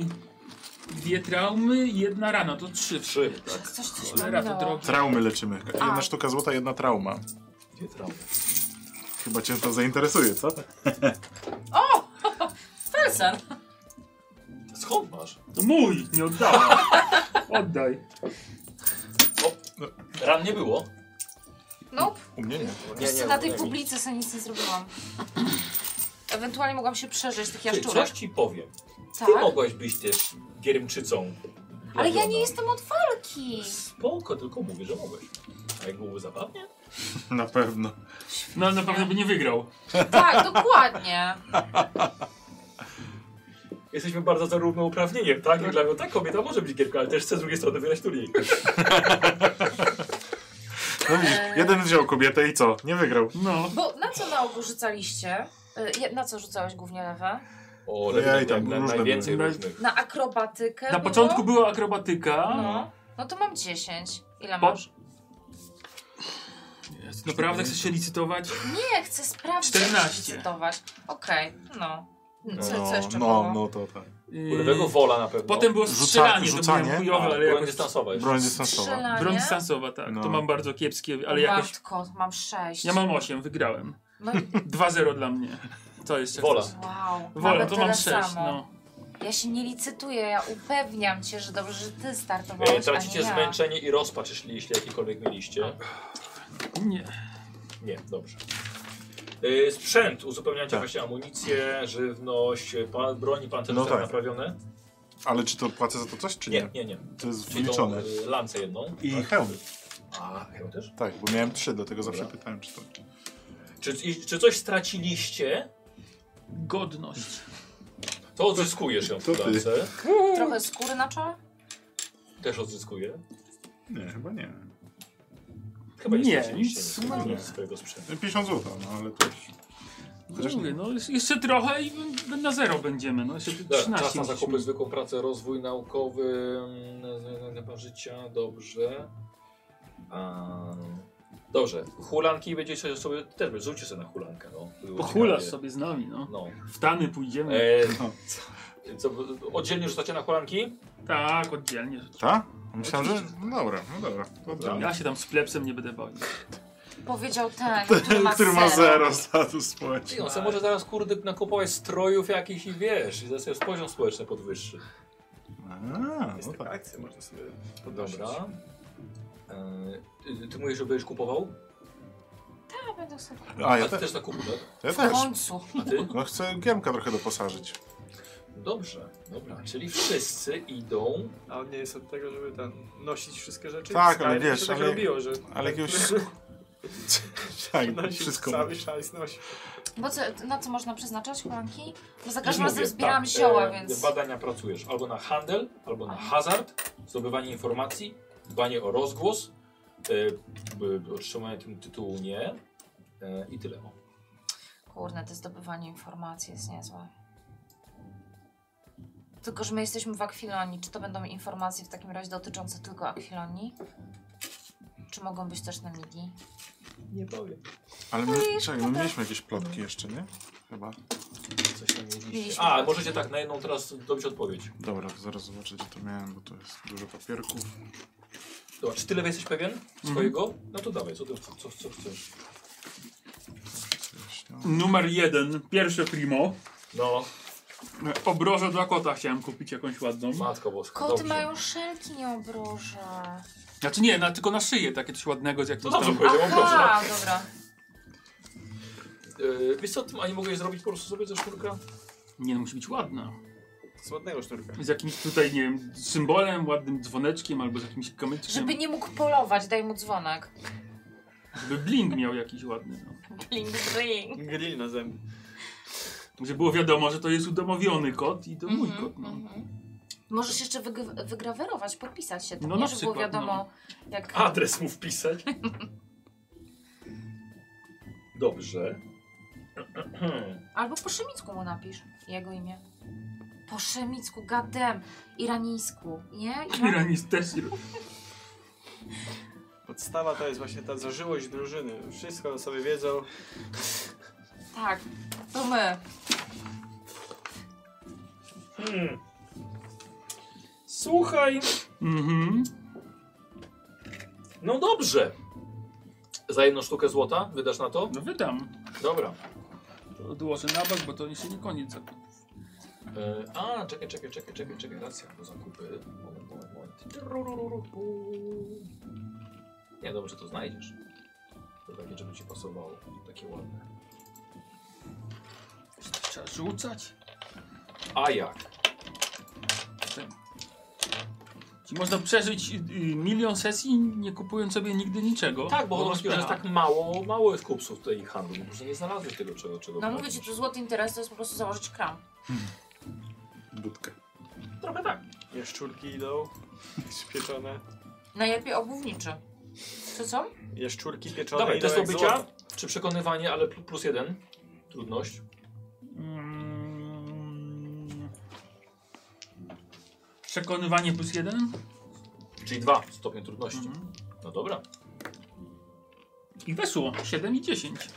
Speaker 5: dwie traumy i jedna rana, to trzy.
Speaker 1: Trzy.
Speaker 2: Tak, coś, coś
Speaker 5: Cholera, to
Speaker 2: mam minęło.
Speaker 5: drogi.
Speaker 3: Traumy leczymy. Jedna
Speaker 2: A.
Speaker 3: sztuka złota, jedna trauma.
Speaker 1: Dwie traumy.
Speaker 3: Chyba cię to zainteresuje, co?
Speaker 2: Felsen!
Speaker 1: Skąd masz?
Speaker 5: To mój, nie oddałem. Oddaj.
Speaker 1: Ran nie było.
Speaker 2: Nope.
Speaker 3: U mnie nie.
Speaker 2: Wiesz co, na tej publicy sobie nic nie zrobiłam. Ewentualnie mogłam się przeżyć tych
Speaker 1: Ty,
Speaker 2: jaszczurek.
Speaker 1: coś ci powiem.
Speaker 2: Tak.
Speaker 1: Ty mogłaś być też gierymczycą.
Speaker 2: Ale ja
Speaker 1: Gladiona.
Speaker 2: nie jestem od walki.
Speaker 1: Spoko, tylko mówię, że mogłeś. A jak byłoby zabawnie?
Speaker 3: Na pewno.
Speaker 5: No na pewno by nie wygrał.
Speaker 2: Tak, dokładnie.
Speaker 1: Jesteśmy bardzo za równouprawnieniem, tak? Jak dla mnie, tak, kobieta może być gierką, ale też chce z drugiej strony wygrać turniej.
Speaker 3: No widzisz,
Speaker 2: Eee.
Speaker 3: jeden wziął kobietę i co? Nie wygrał.
Speaker 5: No.
Speaker 2: Bo na co na ogół rzucaliście? Y, je- Na co rzucałeś głównie lewe?
Speaker 1: O,
Speaker 3: No ja i tak,
Speaker 1: na-
Speaker 3: różne
Speaker 1: najwięcej
Speaker 5: były.
Speaker 1: różnych.
Speaker 2: Na akrobatykę
Speaker 5: Na
Speaker 2: było?
Speaker 5: początku była akrobatyka.
Speaker 2: No. no to mam 10. Ile
Speaker 5: Po-
Speaker 2: masz?
Speaker 5: Naprawdę chcesz się licytować?
Speaker 2: Nie, chcę sprawdzić.
Speaker 5: 14.
Speaker 2: Zdecydować. Okej, no. Co,
Speaker 3: No,
Speaker 2: co jeszcze było?
Speaker 3: no, no to tak.
Speaker 5: Yy,
Speaker 1: U lewego wola na pewno.
Speaker 5: Potem było
Speaker 3: Rzuca-
Speaker 5: strzelanie,
Speaker 3: rzucanie?
Speaker 5: to było chujowe, ale
Speaker 1: Broń
Speaker 5: jakoś...
Speaker 1: dystansowa jeszcze.
Speaker 3: Broń dystansowa.
Speaker 2: Strzelanie?
Speaker 5: Broń dystansowa, tak.
Speaker 3: No.
Speaker 5: To mam bardzo kiepskie, ale jakoś...
Speaker 2: Matko, mam 6.
Speaker 5: Ja mam 8, wygrałem.
Speaker 2: No i
Speaker 5: 2-0 dla mnie. To jest
Speaker 1: Wola. E,
Speaker 2: wow.
Speaker 5: Wola,
Speaker 2: Nawet
Speaker 5: to
Speaker 2: tyle
Speaker 5: mam 6,
Speaker 2: samo.
Speaker 5: no.
Speaker 2: Ja się nie licytuję, ja upewniam cię, że dobrze, że ty
Speaker 1: E,
Speaker 2: startowałeś,
Speaker 1: tracicie
Speaker 2: a nie ja.
Speaker 1: zmęczenie i rozpacz, jeśli, jeśli jakiekolwiek mieliście.
Speaker 3: No.
Speaker 5: Nie.
Speaker 1: Nie, dobrze. E, sprzęt, uzupełniacie
Speaker 3: Tak.
Speaker 1: właśnie amunicję, żywność, pa, broń, pancerze
Speaker 3: No
Speaker 1: tak.
Speaker 3: tak.
Speaker 1: naprawione?
Speaker 3: Ale czy to płacę za to coś, czy nie?
Speaker 1: Nie, nie, nie.
Speaker 3: To jest
Speaker 1: Czyli tą
Speaker 3: wliczone.
Speaker 1: y, lancę jedną.
Speaker 3: I hełm.
Speaker 1: A, hełm też?
Speaker 3: Tak, bo miałem trzy, dlatego zawsze
Speaker 1: Dobra.
Speaker 3: pytałem, czy to...
Speaker 1: Czy, i- czy coś straciliście,
Speaker 5: Godność.
Speaker 1: to odzyskujesz ją w
Speaker 3: To ty.
Speaker 1: lance.
Speaker 2: Trochę skóry na czole?
Speaker 1: Też odzyskuję.
Speaker 3: Nie, chyba nie.
Speaker 1: Chyba nie,
Speaker 5: Nie,
Speaker 1: straciliście
Speaker 5: nic
Speaker 1: nic
Speaker 5: nie.
Speaker 1: z swojego sprzętu.
Speaker 3: 50 zł, no ale to już...
Speaker 5: No,
Speaker 3: Chociaż
Speaker 5: mówię,
Speaker 3: nie.
Speaker 5: no jeszcze- jeszcze trochę i b- na zero będziemy. No, jeszcze
Speaker 1: Dobra,
Speaker 5: 13
Speaker 1: Tak, czas na zakupy,
Speaker 5: musimy.
Speaker 1: zwykłą pracę, rozwój naukowy, mm, chyba życia, dobrze. A, dobrze, hulanki będziecie sobie, też rzućcie sobie na hulankę. No. Było
Speaker 5: Pochulasz
Speaker 1: ciekawie.
Speaker 5: sobie z nami, no.
Speaker 1: No.
Speaker 5: W tany pójdziemy.
Speaker 1: E,
Speaker 3: No.
Speaker 1: co, oddzielnie rzucacie na hulanki?
Speaker 5: Tak, oddzielnie.
Speaker 3: Ta? Myślałem, że... No dobra, no dobra. To
Speaker 1: Dobra.
Speaker 3: dobra.
Speaker 5: Ja się tam z plepsem nie będę bawił.
Speaker 2: Powiedział ten, który ma,
Speaker 3: Który ma zero status społeczny.
Speaker 1: Ty, on sobie może zaraz kurde nakupować strojów jakichś i wiesz, i zaraz sobie poziom społeczny podwyższy.
Speaker 3: A, no
Speaker 4: Jest taka
Speaker 3: tak.
Speaker 4: akcja, można sobie podnosić.
Speaker 1: Dobra. E, ty- ty mówisz, że będziesz kupował?
Speaker 2: Ja będę sobie...
Speaker 3: A,
Speaker 1: A
Speaker 3: ja
Speaker 1: ty
Speaker 3: też.
Speaker 1: też zakupu, tak?
Speaker 3: Ja
Speaker 2: W
Speaker 3: też.
Speaker 2: końcu.
Speaker 1: A ty?
Speaker 3: No chcę Giemka trochę doposażyć.
Speaker 1: Dobrze, dobra. Czyli wszyscy idą
Speaker 4: A on nie jest od tego, żeby tam nosić wszystkie rzeczy?
Speaker 3: Tak,
Speaker 4: W
Speaker 3: ale
Speaker 4: Skyrim
Speaker 3: wiesz,
Speaker 4: się tak
Speaker 3: ale-
Speaker 4: robiło, że...
Speaker 3: Ale jakiegoś...
Speaker 1: No,
Speaker 3: tak,
Speaker 4: Nosił
Speaker 3: wszystko.
Speaker 4: cały szajs nosił.
Speaker 2: Bo co, na co można przeznaczać hulanki? Bo za
Speaker 1: Już
Speaker 2: każdym razem
Speaker 1: mówię,
Speaker 2: zbieram
Speaker 1: tak,
Speaker 2: zioła,
Speaker 1: e,
Speaker 2: więc...
Speaker 1: Badania pracujesz albo na handel, albo na
Speaker 2: Aha.
Speaker 1: hazard, zdobywanie informacji, dbanie o rozgłos, e, b- otrzymanie tym tytułu nie e, i tyle. O.
Speaker 2: Kurne, to zdobywanie informacji jest niezłe. Tylko, że my jesteśmy w Akwilonii. Czy to będą informacje w takim razie dotyczące tylko Akwilonii? Czy mogą być też namigi?
Speaker 4: Nie powiem.
Speaker 3: Ale
Speaker 2: i
Speaker 3: my, czekaj, my
Speaker 2: szkoda.
Speaker 3: mieliśmy jakieś plotki jeszcze, nie? Chyba.
Speaker 1: Coś tam mieliście.
Speaker 2: Mieliśmy
Speaker 1: A,
Speaker 2: właśnie.
Speaker 1: możecie tak, na jedną teraz dobić odpowiedź.
Speaker 3: Dobra, to zaraz zobaczę, gdzie to miałem, bo to jest dużo papierków.
Speaker 1: Dobra, czy tyle jesteś pewien swojego? No to dawaj, co, ty- co, co, co chcesz?
Speaker 3: Coś, no.
Speaker 5: Numer jeden, pierwsze primo.
Speaker 1: No,
Speaker 5: E, Obrożę dla kota chciałem kupić jakąś ładną.
Speaker 1: matko boska,
Speaker 2: Koty
Speaker 1: dobrze.
Speaker 2: mają szelki, nie obroże.
Speaker 5: Znaczy nie, na, tylko na szyję takie coś ładnego z
Speaker 1: No To
Speaker 5: jakimś
Speaker 1: dobrze
Speaker 5: tam...
Speaker 1: powiedziałem, proszę.
Speaker 2: A, dobra.
Speaker 1: Yy, wiesz co, ty, a nie mogłeś zrobić po prostu sobie ze sznurka?
Speaker 5: Nie, no, musi być ładna.
Speaker 4: Z ładnego szturka.
Speaker 5: Z jakimś tutaj, nie wiem, symbolem, ładnym dzwoneczkiem albo z jakimś kamyczkiem.
Speaker 2: Żeby nie mógł polować, daj mu dzwonek.
Speaker 5: Żeby bling miał jakiś ładny. No.
Speaker 2: Bling, bling.
Speaker 4: Grill na zęby.
Speaker 5: Żeby było wiadomo, że to jest udomowiony kot i to mój
Speaker 2: Mhm,
Speaker 5: kot. No.
Speaker 2: mhm. Możesz jeszcze wyg- wygrawerować, podpisać się tam,
Speaker 5: No
Speaker 2: nie,
Speaker 5: na
Speaker 2: żeby było
Speaker 5: przykład,
Speaker 2: wiadomo, jak...
Speaker 8: Adres mu wpisać.
Speaker 1: Dobrze.
Speaker 2: Albo po szemicku mu napisz jego imię. Po szemicku, gadem, iranijsku, nie? Iran...
Speaker 5: Iranis też.
Speaker 4: Podstawa to jest właśnie ta zażyłość drużyny. Wszystko sobie wiedzą.
Speaker 2: Tak, to my.
Speaker 8: Słuchaj,
Speaker 5: Mhm.
Speaker 1: No dobrze. Za jedną sztukę złota wydasz na to?
Speaker 5: No wydam.
Speaker 1: Dobra.
Speaker 5: To Odłożę na bok, bo to jeszcze nie koniec zakupów.
Speaker 1: E, a, czekaj, czekaj, czekaj, czekaj, czekaj, racja, bo zakupy. Moment, moment, moment. Trurururu. Nie, dobrze, to znajdziesz. To takie, żeby ci pasowało, takie ładne.
Speaker 5: Trzeba rzucać.
Speaker 1: A jak?
Speaker 5: Czy można przeżyć y, y, milion sesji nie kupując sobie nigdy niczego?
Speaker 1: Tak,
Speaker 2: No
Speaker 1: bo,
Speaker 5: masz
Speaker 1: bo jest
Speaker 5: pecha.
Speaker 1: tak mało, mało jest kupców tutaj i handlu, bo może nie znalazłeś tego, czego, czego
Speaker 2: No mówię
Speaker 1: pragniesz.
Speaker 2: ci, że złoty interes to jest po prostu założyć kram.
Speaker 3: Budkę.
Speaker 1: Trochę tak.
Speaker 4: Jaszczurki idą. Pieczone.
Speaker 2: Najlepiej obuwniczy. Co co?
Speaker 4: Jaszczurki pieczone
Speaker 1: Dobra,
Speaker 4: idą
Speaker 1: test
Speaker 4: jak
Speaker 1: obycia,
Speaker 4: złoto.
Speaker 1: czy przekonywanie, ale pl- plus jeden. Trudność.
Speaker 5: Mm. Przekonywanie plus jeden?
Speaker 1: Czyli dwa stopnie trudności.
Speaker 5: Mhm.
Speaker 1: No dobra.
Speaker 5: I weszło. 7 i 10.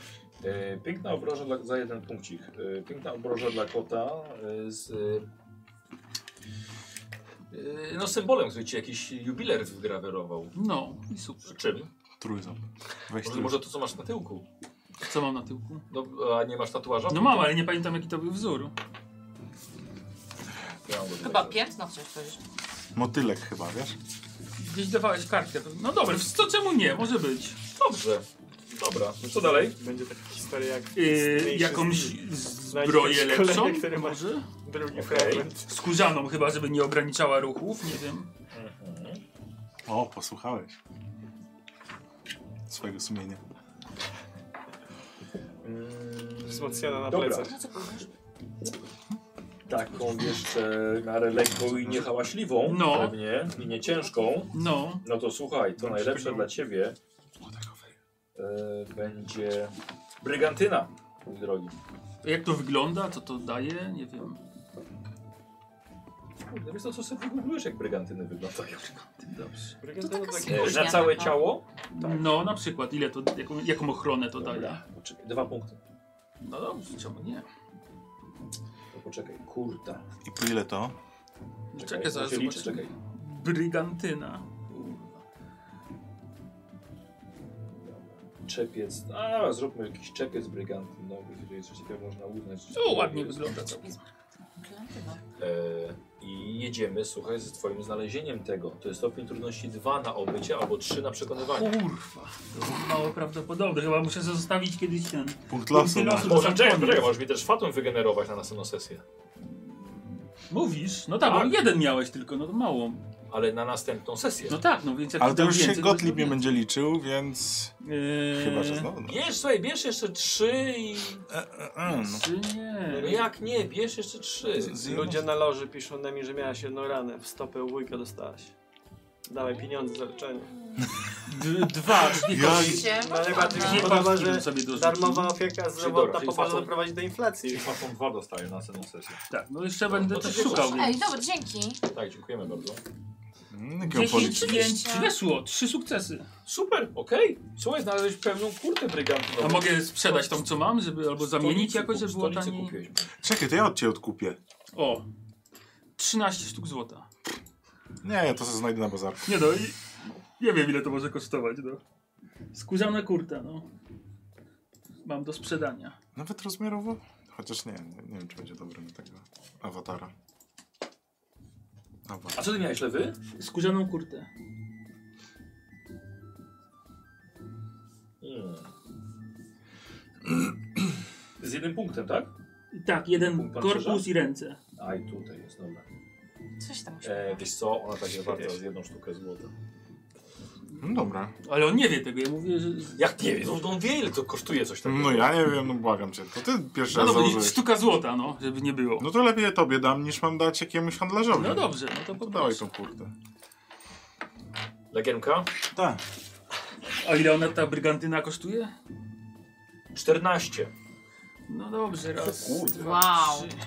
Speaker 1: E, piękna obroża dla, za jeden punkcik. E, piękna obroża dla kota e, z... E, e, no z symbolem, który ci jakiś jubiler wygrawerował.
Speaker 5: No i super.
Speaker 1: Z czym?
Speaker 3: Trójząb. Weź
Speaker 1: Może, może to, co masz na tyłku.
Speaker 5: Co mam na tyłku?
Speaker 1: No, a nie masz tatuaża?
Speaker 5: No mam, ale nie pamiętam jaki to był wzór.
Speaker 1: Ja mam go tutaj
Speaker 2: Chyba
Speaker 1: teraz.
Speaker 2: piętno chcesz powiedzieć.
Speaker 3: Motylek chyba, wiesz?
Speaker 5: Gdzieś dawałeś kartkę. No dobra, to czemu nie? Może być.
Speaker 1: Dobrze. Dobra, co dalej?
Speaker 4: Będzie taka historia jak
Speaker 5: Yy,
Speaker 4: mniejszy
Speaker 5: jakąś
Speaker 4: z-
Speaker 5: zbroję
Speaker 4: Znajdź jakieś
Speaker 5: lepszą?
Speaker 4: kolejne, które masz.
Speaker 5: Może?
Speaker 4: drugi
Speaker 1: Okej.
Speaker 4: fragment.
Speaker 5: Skórzaną chyba, żeby nie ograniczała ruchów, nie wiem.
Speaker 3: O, posłuchałeś. Swojego sumienia.
Speaker 1: Mm.
Speaker 4: Wzmocniona na
Speaker 8: Dobra.
Speaker 4: plecach.
Speaker 2: No co powiesz?
Speaker 8: taką jeszcze na lekką i niehałaśliwą
Speaker 5: No.
Speaker 8: pewnie i nie ciężką.
Speaker 5: No.
Speaker 8: No to słuchaj, to najlepsze dla ciebie e, będzie brygantyna, mój drogi.
Speaker 5: Jak to wygląda? Co to daje? Nie wiem.
Speaker 1: Kurde, wiesz to co sobie wygooglujesz, jak brygantyny wyglądają.
Speaker 5: Dobrze.
Speaker 2: To taka
Speaker 1: E,
Speaker 2: smuźnia
Speaker 1: Na całe
Speaker 2: taka.
Speaker 1: ciało?
Speaker 5: No na przykład, ile to, jaką, jaką ochronę to daje?
Speaker 1: Dobra, poczekaj, dwa punkty.
Speaker 5: No dobrze, czemu nie?
Speaker 1: To poczekaj, kurta.
Speaker 3: I po ile to?
Speaker 5: Czekaj,
Speaker 1: to
Speaker 5: zaraz
Speaker 1: się liczy,
Speaker 5: zobaczymy.
Speaker 1: czekaj.
Speaker 5: Brygantyna.
Speaker 1: Czepiec. A, zróbmy jakiś czepiec brygantynowy, który jest coś takiego można uznać.
Speaker 5: O, No, ładnie wygląda to.
Speaker 2: Atlantyda.
Speaker 1: E, I jedziemy, słuchaj, z twoim znalezieniem tego. To jest stopień trudności 2 na obycie albo 3 na przekonywanie.
Speaker 5: Kurwa, to jest mało prawdopodobne. Chyba muszę zostawić kiedyś ten.
Speaker 3: Punkt losu.
Speaker 5: Punkt
Speaker 3: no.
Speaker 5: losu.
Speaker 1: Może czekaj, poczekaj, możesz mi też fatum wygenerować na następną sesję.
Speaker 5: Mówisz? No tak,
Speaker 1: Tak.
Speaker 5: bo jeden miałeś tylko, no to mało.
Speaker 1: Ale na następną sesję.
Speaker 5: No tak, no więc jak
Speaker 3: Ale to
Speaker 5: ci dam
Speaker 3: już się
Speaker 5: więcej, to
Speaker 3: Gottlieb nie
Speaker 5: zrobię.
Speaker 3: będzie liczył, więc...
Speaker 5: Eee,
Speaker 3: Chyba, że znowu. No.
Speaker 1: Bierz, słuchaj, bierz jeszcze 3 i...
Speaker 3: E, e, e, no.
Speaker 5: Czy
Speaker 1: No
Speaker 5: nie?
Speaker 1: jak nie, bierz jeszcze 3.
Speaker 3: Z-
Speaker 4: Ludzie na loży piszą na mi, że miałaś jedną ranę. W stopę u wujka dostałaś. Dawaj pieniądze za leczenie.
Speaker 1: No,
Speaker 5: D- dwa, dwie
Speaker 3: Ja-
Speaker 5: kości.
Speaker 2: Się,
Speaker 4: No ale
Speaker 1: tak.
Speaker 4: bardziej
Speaker 5: Nie
Speaker 4: się
Speaker 5: pan
Speaker 4: podoba,
Speaker 5: z którym
Speaker 4: że
Speaker 5: sobie dorzucił.
Speaker 4: darmowa opieka zdrowotna
Speaker 1: czyli
Speaker 4: pomaga
Speaker 1: fatum-
Speaker 4: doprowadzić do inflacji.
Speaker 1: Fatum 2 dostaję na następną sesję.
Speaker 5: Tak, no jeszcze
Speaker 1: Dobra,
Speaker 5: będę
Speaker 1: to
Speaker 5: też
Speaker 1: dziękuję.
Speaker 5: szukał.
Speaker 2: Ej,
Speaker 5: więc-
Speaker 2: dobra, dzięki.
Speaker 1: Tak, dziękujemy bardzo.
Speaker 3: Mm, Geopolityczny.
Speaker 5: 10 pięć weszło, trzy sukcesy.
Speaker 1: Super, okej. Słuchaj, znaleźć pełną kurtę brygantynową.
Speaker 5: A mogę sprzedać tą, co mam, żeby albo zamienić
Speaker 1: Stolicy
Speaker 5: jakoś,
Speaker 1: kup-
Speaker 5: żeby było
Speaker 1: stolicy
Speaker 5: taniej.
Speaker 1: kupiłeś.
Speaker 3: Czekaj, to ja od ciebie odkupię.
Speaker 5: O, 13 sztuk złota.
Speaker 3: Nie, ja to sobie znajdę na bazarku.
Speaker 5: Nie no, i nie wiem ile to może kosztować, no. Skórzana kurta, no. Mam do sprzedania.
Speaker 3: Nawet rozmiarowo? Chociaż nie, nie, nie wiem, czy będzie dobry na tego awatara.
Speaker 1: A
Speaker 3: Awatar.
Speaker 1: co ty miałeś, lewy?
Speaker 5: Skórzaną kurtę.
Speaker 1: Hmm. Z jednym punktem, tak?
Speaker 5: I Tak, jeden
Speaker 1: Pan
Speaker 5: korpus
Speaker 1: krzyża?
Speaker 5: i ręce.
Speaker 1: A i tutaj jest, dobra.
Speaker 2: Coś tam musi
Speaker 1: E, wiesz co, ona tak jest warta z jedną sztukę złota.
Speaker 3: No dobra.
Speaker 5: Ale on nie wie tego, ja mówię, że...
Speaker 1: Jak nie wiem, on, on wie ile to kosztuje coś takiego.
Speaker 3: No ja nie wiem, no błagam cię. To ty pierwszy
Speaker 5: No
Speaker 3: raz
Speaker 5: dobra,
Speaker 3: założyłeś.
Speaker 5: sztuka złota, no, żeby nie było.
Speaker 3: No to lepiej tobie dam, niż mam dać jakiemuś handlarzowi.
Speaker 5: No dobrze, no to
Speaker 3: To dawaj
Speaker 5: poproszę.
Speaker 3: tą kurtę.
Speaker 1: Legiermka?
Speaker 3: Tak.
Speaker 5: A ile ona, ta brygantyna kosztuje?
Speaker 1: 14.
Speaker 5: No dobrze, raz,
Speaker 2: być.
Speaker 5: dwa,
Speaker 2: Wow.
Speaker 5: trzy.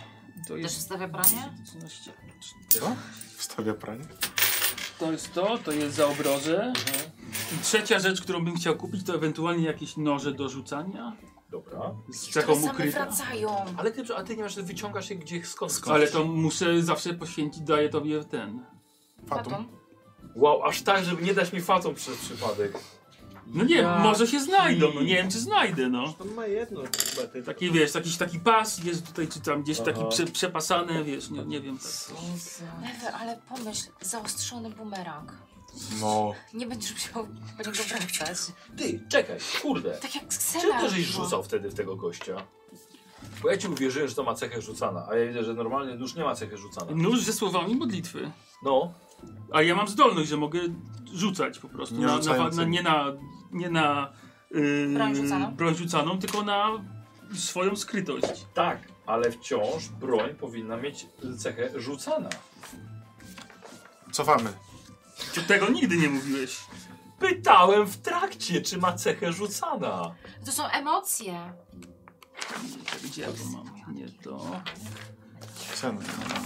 Speaker 5: To
Speaker 2: Też
Speaker 5: jest...
Speaker 2: wstawia pranie?
Speaker 5: 13.
Speaker 3: Co? Wstawia pranie?
Speaker 5: To jest to, to jest za obroże. I trzecia rzecz, którą bym chciał kupić, to ewentualnie jakieś noże do rzucania.
Speaker 1: Dobra.
Speaker 5: Z
Speaker 2: Które
Speaker 5: cechą
Speaker 2: same
Speaker 5: ukryta.
Speaker 2: wracają.
Speaker 1: Ale ty, a ty nie masz, że wyciągasz je gdzie, skąd?
Speaker 5: Ale to muszę zawsze poświęcić, daję tobie ten.
Speaker 3: Fatum.
Speaker 2: Fatum?
Speaker 1: Wow, aż tak, żeby nie dać mi fatą przez przypadek.
Speaker 5: No nie,
Speaker 4: Ja
Speaker 5: może się znajdą, no nie wiem czy znajdę, no.
Speaker 4: On ma jedno chyba ty.
Speaker 1: tak-
Speaker 5: Taki wiesz, jakiś taki pas jest tutaj, czy tam gdzieś taki
Speaker 1: Aha.
Speaker 5: prze, przepasany, wiesz, nie, nie wiem. Tak.
Speaker 2: Ewy, ale pomyśl, zaostrzony bumerang.
Speaker 3: No.
Speaker 2: Nie będziesz musiał po niego wracać.
Speaker 1: Ty, czekaj, kurde.
Speaker 2: Tak no. jak
Speaker 1: Czym
Speaker 2: Ksena.
Speaker 1: to żeś
Speaker 2: robiła.
Speaker 1: rzucał wtedy w tego gościa? Bo ja ci uwierzyłem, że to ma cechę rzucana, a ja widzę, że normalnie nóż nie ma cechy rzucana.
Speaker 5: Nóż ze słowami modlitwy.
Speaker 1: No,
Speaker 5: A ja mam zdolność, że mogę rzucać po prostu.
Speaker 3: Nie
Speaker 5: na, na,
Speaker 3: rzucającym.
Speaker 5: na, nie na, nie na yy,
Speaker 2: Broń rzucaną?
Speaker 5: broń rzucaną, tylko na swoją skrytość.
Speaker 1: tak, ale wciąż broń powinna mieć cechę rzucana.
Speaker 3: Cofamy.
Speaker 5: To Tego nigdy nie mówiłeś.
Speaker 1: Pytałem w trakcie, czy ma cechę rzucana.
Speaker 2: To są emocje.
Speaker 5: Gdzie ja to mam? Nie to.
Speaker 3: Ksena.
Speaker 2: Co ja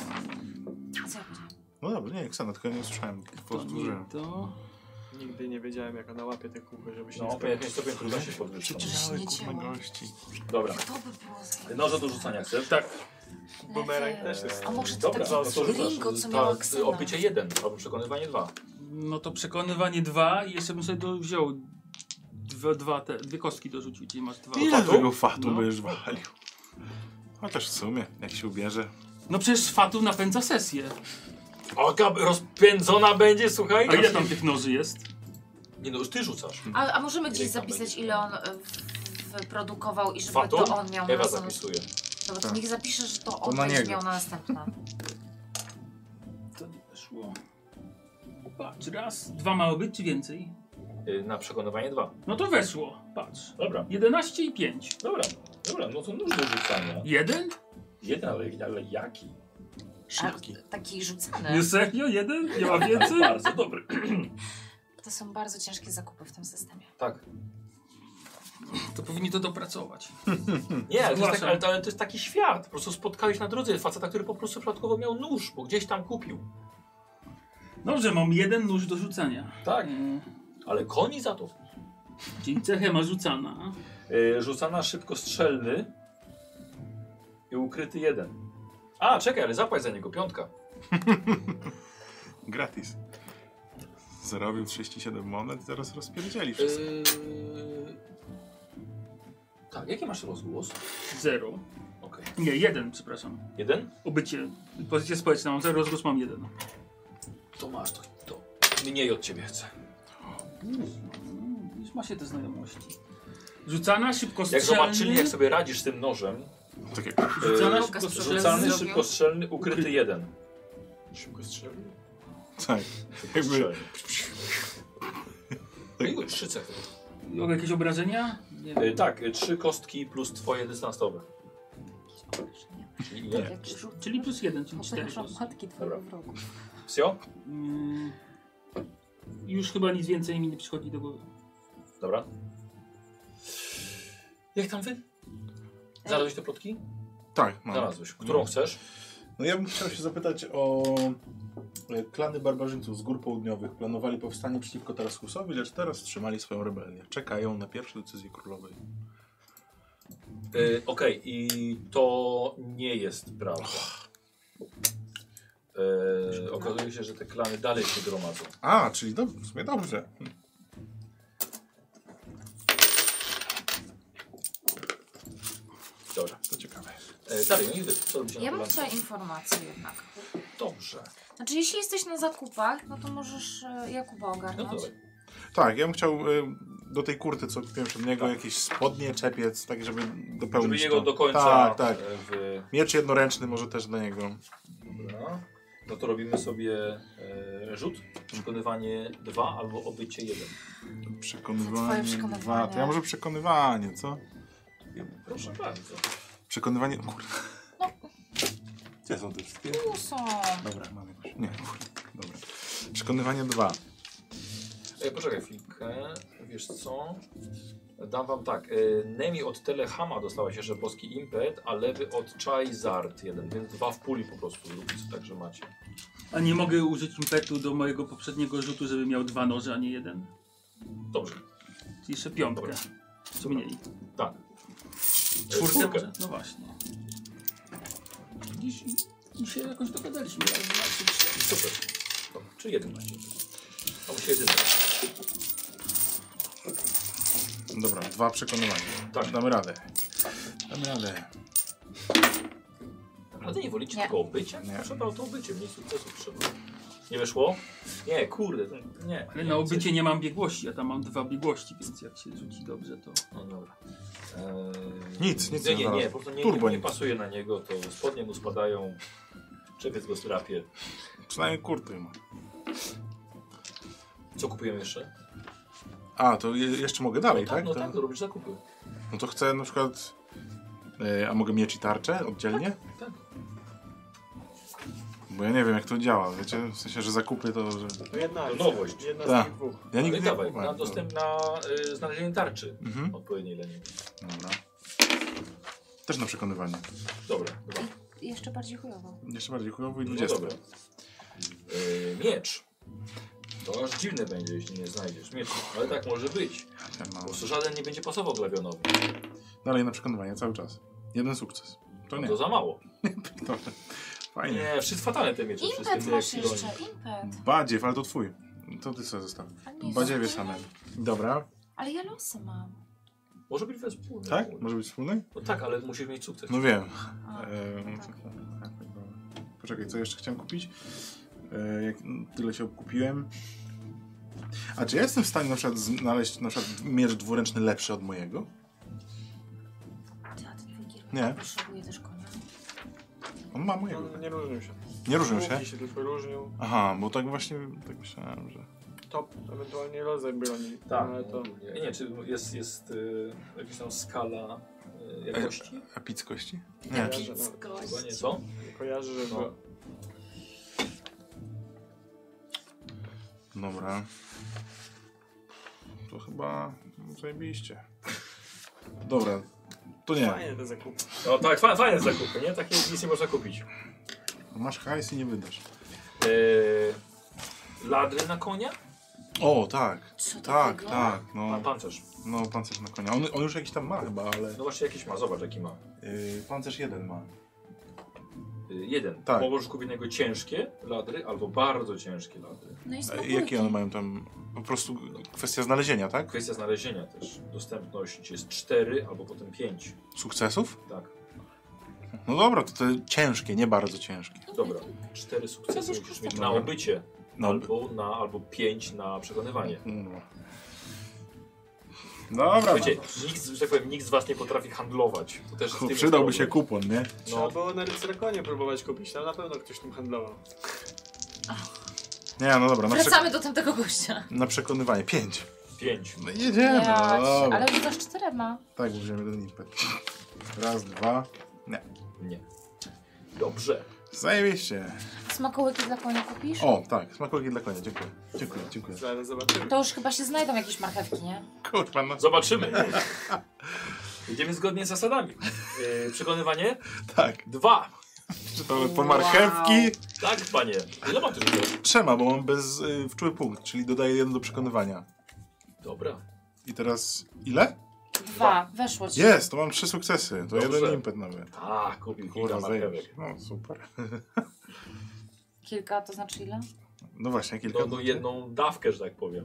Speaker 2: powiedziałam?
Speaker 3: No dobra, nie, Ksena, tylko ja nie usłyszałem.
Speaker 5: To nie
Speaker 3: Powtórzyłem.
Speaker 5: to.
Speaker 4: Nigdy nie wiedziałem jak ona łapie te kółko, żeby się
Speaker 1: No,
Speaker 4: nie
Speaker 1: pewnie
Speaker 4: skończyło.
Speaker 1: jakiś stopień trudności podwyższony.
Speaker 2: Przecież nie
Speaker 3: kurwa,
Speaker 2: działa.
Speaker 3: gości.
Speaker 1: Dobra,
Speaker 2: To by było za...
Speaker 1: noże do rzucania chcesz?
Speaker 5: Tak.
Speaker 4: Bumerang też jest.
Speaker 2: A może to
Speaker 1: Dobra,
Speaker 2: tak
Speaker 1: to rzucasz.
Speaker 2: bingo,
Speaker 1: Ta-
Speaker 2: co miała Ksena?
Speaker 1: Obycie jeden, albo przekonywanie dwa.
Speaker 5: No to przekonywanie dwa i jeszcze bym sobie do, wziął dwa, dwa te, dwie kostki dorzucił, czyli masz dwa.
Speaker 3: Ile
Speaker 1: fatu?
Speaker 3: tego fatu
Speaker 5: No.
Speaker 3: będziesz walił? Chociaż w sumie, jak się ubierze.
Speaker 5: No przecież Fatum napędza sesję.
Speaker 1: O, gab- rozpędzona będzie, słuchaj.
Speaker 5: A ile tam tych noży jest?
Speaker 1: Nie no, już ty rzucasz.
Speaker 2: A, a możemy gdzieś
Speaker 1: Ile tam
Speaker 2: zapisać,
Speaker 1: będzie?
Speaker 2: ile on y, w- wyprodukował i żeby
Speaker 1: Fatum?
Speaker 2: to on miał na
Speaker 1: Ewa
Speaker 2: następne.
Speaker 1: zapisuje.
Speaker 2: Dobra, to
Speaker 3: Tak.
Speaker 2: niech zapisze, że to on
Speaker 3: na
Speaker 2: będzie
Speaker 3: niego.
Speaker 2: miał na następne.
Speaker 5: To nie weszło. Patrz, raz, dwa mało być, czy więcej?
Speaker 1: Y, Na przekonywanie dwa.
Speaker 5: No to weszło, patrz.
Speaker 1: Dobra,
Speaker 5: 11 i 5.
Speaker 1: dobra, dobra, no to nóż do rzucania.
Speaker 5: Jeden?
Speaker 1: Jeden, ale, ale jaki?
Speaker 2: Szybki. Taki rzucany.
Speaker 5: Nie serio? Jeden? Nie ma więcej?
Speaker 1: Bardzo dobry.
Speaker 2: To są bardzo ciężkie zakupy w tym systemie.
Speaker 1: Tak.
Speaker 5: To powinni to dopracować.
Speaker 1: Nie, ale to, jest tak,
Speaker 5: Zgłaszam.
Speaker 1: ale, to, ale to jest taki świat. Po prostu spotkałeś na drodze faceta, który po prostu przypadkowo miał nóż, bo gdzieś tam kupił.
Speaker 5: Dobrze, mam jeden nóż do rzucania.
Speaker 1: Tak.
Speaker 5: Yy,
Speaker 1: Ale koni za to.
Speaker 5: czyli cechę ma rzucana.
Speaker 1: Yy, rzucana szybko strzelny i ukryty jeden. A, czekaj, ale zapłać za niego, piątka.
Speaker 3: Gratis. Zarobił 37 monet, zaraz rozpierdzieli wszystko.
Speaker 1: Yy... Tak, jaki masz rozgłos?
Speaker 5: Zero.
Speaker 1: Okej.
Speaker 5: Nie, jeden, przepraszam.
Speaker 1: Jeden?
Speaker 5: Obycie. Pozycję społeczną mam zero, rozgłos mam jeden.
Speaker 1: To masz, to, to mniej od ciebie chcę.
Speaker 5: Mm, Już ma się te znajomości. Rzucana szybko
Speaker 1: Jak zobaczyli, jak
Speaker 5: strzelny.
Speaker 1: sobie radzisz z tym nożem,
Speaker 3: Tak jak
Speaker 5: Rzucana
Speaker 1: yy,
Speaker 5: szybko
Speaker 1: rzucany
Speaker 5: strzelny.
Speaker 2: zrobił?
Speaker 1: szybko strzelny, ukryty jeden.
Speaker 3: szybko strzelił. Tak. Jakby
Speaker 1: Strzelny. Jego No trzy cechy.
Speaker 5: Jakieś obrażenia? Nie
Speaker 1: Y, tak, y, trzy kostki plus twoje dystansowe. Czyli ile?
Speaker 2: Jak rzucę,
Speaker 5: Czyli plus jeden, czyli cztery.
Speaker 2: Obrażam matki twojego wrogu.
Speaker 1: Sio?
Speaker 5: Mm, Już chyba nic więcej mi nie przychodzi do głowy.
Speaker 1: Dobra. Jak tam wy? Znalazłeś te plotki?
Speaker 3: Tak, no.
Speaker 1: Znalazłeś. Którą chcesz?
Speaker 3: No ja bym chciał się zapytać o E, Klany barbarzyńców z gór południowych planowali powstanie przeciwko Taraskusowi, lecz teraz wstrzymali swoją rebelię. Czekają na pierwsze decyzje królowej.
Speaker 1: E, Okej, i to nie jest prawda. E, okazuje się, że te klany dalej się gromadzą.
Speaker 3: A, czyli do, w sumie dobrze. Hm.
Speaker 1: Dobra.
Speaker 3: To ciekawe.
Speaker 1: E, dalej, no i wy, co robicie
Speaker 2: Ja
Speaker 1: na
Speaker 2: bym
Speaker 1: polance?
Speaker 2: chciała informację jednak.
Speaker 1: Dobrze.
Speaker 2: Znaczy, jeśli jesteś na zakupach, no to możesz e, Jakuba
Speaker 1: No
Speaker 2: ogarnąć.
Speaker 1: dalej.
Speaker 3: Tak, ja bym chciał e, do tej kurty, co kupiłem przed niego, jakieś spodnie, czepiec, tak żeby dopełnić
Speaker 1: Tak. Żeby jego
Speaker 3: to.
Speaker 1: do końca
Speaker 3: Tak, tak.
Speaker 1: e, w...
Speaker 3: Miecz jednoręczny może też do niego.
Speaker 1: Dobra. No to robimy sobie e, rzut. Przekonywanie 2 albo obycie 1.
Speaker 3: Przekonywanie.
Speaker 2: przekonywanie.
Speaker 3: dwa. To ja może przekonywanie, co?
Speaker 1: Proszę bardzo.
Speaker 3: Przekonywanie. o Kurde. Gdzie są te wszystkie?
Speaker 2: Tu są.
Speaker 3: Dobra, mam jakoś. Nie, kurde. Dobra. Przekonywanie dwa.
Speaker 1: E, poczekaj chwilkę. Wiesz co? Dam wam tak. E, Nemi od Telehama dostała się, że boski impet, a lewy od Charizard jeden, więc dwa w puli po prostu zróbcie, także macie.
Speaker 5: A nie mogę użyć impetu do mojego poprzedniego rzutu, żeby miał dwa noże, a nie jeden?
Speaker 1: Dobrze.
Speaker 5: Czyli jeszcze piątkę.
Speaker 1: Dobra.
Speaker 5: Co mieli?
Speaker 1: Tak. E,
Speaker 5: No. Czwórkę
Speaker 1: czwórkę.
Speaker 5: może? No właśnie. Dziś, dzisiaj jakoś dogadaliśmy. ale zobaczyć.
Speaker 1: Super. Dobra. Czy jeden macie? A musi jeden. brać.
Speaker 3: Dobra, dwa przekonywania.
Speaker 1: Tak.
Speaker 3: Damy radę. Damy radę.
Speaker 1: Naprawdę nie wolicie
Speaker 2: Nie.
Speaker 1: tego obycia?
Speaker 3: Nie.
Speaker 1: Proszę bardzo, to obycie, mniej sukcesów trzeba. Nie wyszło? Nie, kurde, to nie.
Speaker 5: Ale na obycie nie mam biegłości, ja tam mam dwa biegłości, więc jak się rzuci dobrze, to...
Speaker 1: No dobra. Eee,
Speaker 3: Nic, nic
Speaker 1: nie, nie,
Speaker 3: nie
Speaker 1: nie,
Speaker 3: znalazłem.
Speaker 1: po prostu nie,
Speaker 3: Turbo
Speaker 1: nie, nie
Speaker 3: nic.
Speaker 1: pasuje na niego, to spodnie mu spadają, czepiec go strapie.
Speaker 3: Przynajmniej kurty ma.
Speaker 1: Co kupujemy jeszcze?
Speaker 3: A, to je, jeszcze mogę dalej,
Speaker 1: tak,
Speaker 3: tak?
Speaker 1: no
Speaker 3: to,
Speaker 1: tak, to robisz zakupy.
Speaker 3: no to chcę na przykład. E, a mogę miecz i tarczę oddzielnie?
Speaker 1: tak.
Speaker 3: Bo ja nie wiem, jak to działa. Wiecie, w sensie, że zakupy to. Że...
Speaker 4: To jedna
Speaker 1: To
Speaker 4: akcja.
Speaker 1: nowość.
Speaker 4: Jedna
Speaker 3: Tak.
Speaker 4: z tych dwóch.
Speaker 3: Ja
Speaker 1: No i
Speaker 3: nigdy
Speaker 1: dawaj,
Speaker 3: kupowałem,
Speaker 1: na
Speaker 3: dobra.
Speaker 1: dostęp na y, znalezienie tarczy
Speaker 3: Mhm.
Speaker 1: odpowiedniej linii.
Speaker 3: Dobra. Też na przekonywanie.
Speaker 1: Dobra, dobra.
Speaker 2: Jeszcze bardziej chujowo.
Speaker 3: Jeszcze bardziej chujowo i
Speaker 1: No
Speaker 3: 20.
Speaker 1: dobra. Y, miecz. To aż dziwne będzie, jeśli nie znajdziesz miecz, ale tak może być.
Speaker 3: Ja
Speaker 1: Po
Speaker 3: mam.
Speaker 1: prostu żaden nie będzie pasował glawionowi.
Speaker 3: no. Dalej na przekonywanie cały czas. Jeden sukces. To nie.
Speaker 1: No To za mało.
Speaker 3: Dobra. Fajnie.
Speaker 1: Nie, wszystko fatalne te miecze. wszystkie
Speaker 2: Impet
Speaker 1: te
Speaker 2: masz
Speaker 1: kilonie.
Speaker 2: jeszcze, impet.
Speaker 3: Badziew, ale to twój. To ty sobie zostaw.
Speaker 2: A nie,
Speaker 3: Badziewie
Speaker 2: są-
Speaker 3: same. Dobra.
Speaker 2: Ale ja losy mam.
Speaker 1: Może być wespólny.
Speaker 3: Tak? Może być wspólny?
Speaker 1: No tak, ale musisz mieć sukces.
Speaker 3: No wiem.
Speaker 2: A,
Speaker 3: Ehm,
Speaker 2: tak.
Speaker 3: Poczekaj, co jeszcze chciałem kupić? E, Jak tyle się obkupiłem. A czy ja jestem w stanie na przykład znaleźć na przykład miecz dwuręczny lepszy od mojego?
Speaker 2: Ty, a ten twój kierowca
Speaker 3: Nie.
Speaker 2: potrzebuje też konia.
Speaker 3: On ma mojego.
Speaker 4: On No, nie różnił się.
Speaker 3: Nie różnią się?
Speaker 4: Łuki się tylko różnił.
Speaker 3: Aha, bo tak właśnie tak myślałem, że...
Speaker 4: Top, ewentualnie rodzaj broni. No,
Speaker 1: Tak,
Speaker 4: Ale to...
Speaker 1: nie, nie, czy jest, jest y, jakaś tam skala y, jakości?
Speaker 3: Tak. Epickości?
Speaker 4: Nie.
Speaker 3: Nie.
Speaker 1: Chyba nie, co?
Speaker 4: Nie kojarzę, że
Speaker 1: No.
Speaker 4: była.
Speaker 3: Dobra. To chyba zajebiście. Dobra, to nie.
Speaker 4: Fajnie te zakupy.
Speaker 1: No tak, fa- fajne zakupy, nie? Takie nic nie można kupić.
Speaker 3: Masz hajs i nie wydasz.
Speaker 1: Yy, ladry na konia?
Speaker 3: O, tak.
Speaker 2: Co
Speaker 3: Tak,
Speaker 2: takiego?
Speaker 3: tak.
Speaker 1: A
Speaker 3: No,
Speaker 1: pancerz.
Speaker 3: no pancerz na konia. On, on już jakiś tam ma chyba, ale...
Speaker 1: No właśnie jakiś ma, zobacz jaki ma.
Speaker 3: Yy, pancerz jeden ma.
Speaker 1: Y, jeden.
Speaker 3: Tak.
Speaker 1: Możesz kupić na niego ciężkie ladry albo bardzo ciężkie ladry.
Speaker 2: No i
Speaker 3: A
Speaker 2: smakulki.
Speaker 3: Jakie one mają tam... Po prostu kwestia znalezienia, tak?
Speaker 1: Kwestia znalezienia też. Dostępność jest 4 albo potem 5.
Speaker 3: Sukcesów?
Speaker 1: Tak.
Speaker 3: No dobra, to te ciężkie, nie bardzo ciężkie.
Speaker 1: Dobra. 4 sukcesy
Speaker 2: Będziesz
Speaker 1: musisz mieć
Speaker 2: kosztował.
Speaker 1: na obycie.
Speaker 3: No,
Speaker 1: Albo, na, albo 5 na przekonywanie.
Speaker 3: no. Dobra,
Speaker 1: Słuchajcie, nikt, z- że tak powiem, nikt z was nie potrafi handlować. To też z tym
Speaker 3: Ku-
Speaker 1: jest
Speaker 3: no. przydałby się
Speaker 1: problem.
Speaker 3: kupon, nie?
Speaker 4: Trzeba
Speaker 1: No,
Speaker 4: było na rycerkonie próbować kupić, tam na pewno ktoś tym handlował.
Speaker 3: Nie, no dobra, na, przek
Speaker 2: Wracamy do tamtego gościa.
Speaker 3: na przekonywanie. Pięć.
Speaker 1: pięć.
Speaker 3: No jedziemy, no dobra.
Speaker 2: ale rzucasz czterema.
Speaker 3: Tak, użyjemy jeden impet. Raz, dwa.
Speaker 1: Nie. Dobrze.
Speaker 3: Zajebiście.
Speaker 2: Smakołyki dla konia kupisz?
Speaker 3: O, tak, smakołyki dla konia, dziękuję. Dziękuję, dziękuję.
Speaker 4: Zaraz zobaczymy.
Speaker 2: To już chyba się znajdą jakieś marchewki, nie?
Speaker 3: Kurwa, no
Speaker 1: Zobaczymy. Idziemy zgodnie z zasadami. Yy, przekonywanie?
Speaker 3: tak.
Speaker 1: Dwa.
Speaker 3: Czytamy po marchewki.
Speaker 1: Tak, panie. Ile ma ty rzuciłeś?
Speaker 3: Trzema, bo mam bez y, wczuły punkt, czyli dodaję jeden do przekonywania.
Speaker 1: Dobra.
Speaker 3: I teraz ile?
Speaker 2: Dwa, weszło ci.
Speaker 3: Jest, to mam trzy sukcesy. To
Speaker 1: Dobrze.
Speaker 3: jeden impet nawet.
Speaker 1: A, Tak, kupił kilka
Speaker 3: Kurwa,
Speaker 1: marchewek.
Speaker 3: zajebiście. No, super.
Speaker 2: Kilka, to znaczy ile?
Speaker 3: No właśnie, kilka.
Speaker 1: No, no jedną dawkę, że tak powiem.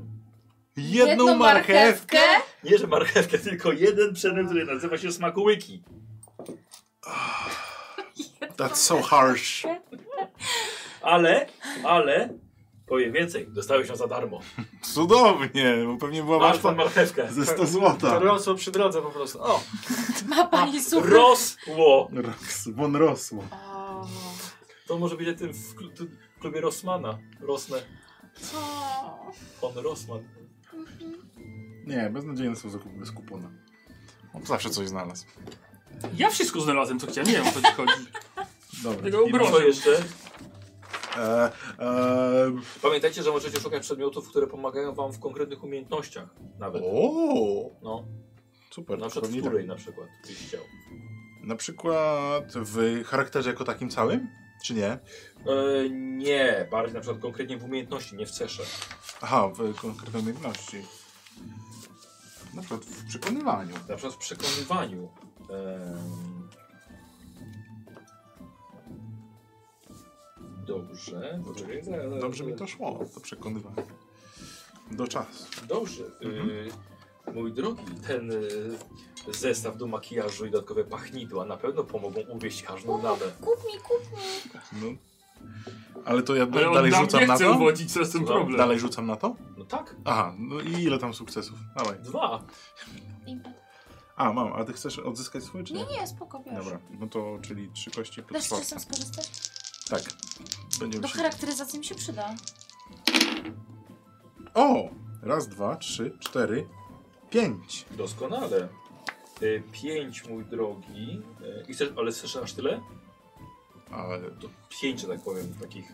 Speaker 3: Jedną, marchewkę!
Speaker 1: Nie, że marchewkę, tylko jeden przedmiot, który nazywa się smakołyki.
Speaker 3: That's so harsh.
Speaker 1: Ale, ale, powiem więcej, dostałeś ją za darmo.
Speaker 3: Cudownie, bo pewnie była
Speaker 1: Masz pan
Speaker 3: warta
Speaker 1: marchewkę.
Speaker 3: ze 100
Speaker 4: To
Speaker 3: złota.
Speaker 4: rosło przy drodze po prostu. O,
Speaker 2: Ma pani super.
Speaker 1: Rosło!
Speaker 3: Rox, Won rosło.
Speaker 2: O,
Speaker 1: To może być tym w klu- tu- w klubie Rosmana. Rosnę.
Speaker 2: co?
Speaker 1: Pan Rosman.
Speaker 3: Nie, beznadziejne są zakupy bez kupona. On zawsze coś znalazł.
Speaker 5: Ja wszystko znalazłem, co chciałem. Nie wiem, o co ci chodzi.
Speaker 3: Dobra.
Speaker 5: Tego
Speaker 1: I co
Speaker 5: obrożę.
Speaker 1: jeszcze?
Speaker 3: E, e,
Speaker 1: Pamiętajcie, że możecie szukać przedmiotów, które pomagają wam w konkretnych umiejętnościach. Nawet.
Speaker 3: o,
Speaker 1: No,
Speaker 3: super.
Speaker 1: na przykład w
Speaker 3: pewnie tak.
Speaker 1: której na przykład byś chciał.
Speaker 3: Na przykład w charakterze jako takim całym? Czy nie?
Speaker 1: E, nie, bardziej na przykład konkretnie w umiejętności, nie w cesze.
Speaker 3: Aha, w konkretnej umiejętności. Na przykład w przekonywaniu.
Speaker 1: Na przykład w przekonywaniu. Em, Dobrze. Poczekaj, zaraz, zaraz,
Speaker 3: Dobrze mi
Speaker 1: zaraz.
Speaker 3: to szło, to przekonywanie. Do czasu.
Speaker 1: Dobrze.
Speaker 3: Mhm.
Speaker 1: Y, mój drogi, ten y, zestaw do makijażu i dodatkowe pachnidła na pewno pomogą uwieść każdą lamę.
Speaker 2: Kup mi, kup mi.
Speaker 3: No. Ale to ja
Speaker 5: Ale on
Speaker 3: dalej
Speaker 5: nam
Speaker 3: rzucam
Speaker 5: nie
Speaker 3: na
Speaker 5: chce
Speaker 3: to?
Speaker 5: uwodzić, to jest ten
Speaker 1: Słucham?
Speaker 5: problem.
Speaker 3: Dalej rzucam na to?
Speaker 1: No tak,
Speaker 3: Aha, no i ile tam sukcesów? Dawaj.
Speaker 1: dwa.
Speaker 3: A, mam, a ty chcesz odzyskać swój czy
Speaker 2: Nie,
Speaker 3: nie?
Speaker 2: nie, spoko, bierz.
Speaker 3: Dobra, no to czyli trzy kości plus
Speaker 2: Dasz
Speaker 3: czwórka.
Speaker 2: czasem skorzystać?
Speaker 3: Tak. Będziemy
Speaker 2: Do
Speaker 3: się...
Speaker 2: charakteryzacji mi się przyda.
Speaker 3: O! Raz, dwa, trzy, cztery, pięć.
Speaker 1: Doskonale. Y, pięć, mój drogi. Y, i chcesz, ale chcesz aż tyle?
Speaker 3: Ale...
Speaker 1: To pięć, że tak powiem, takich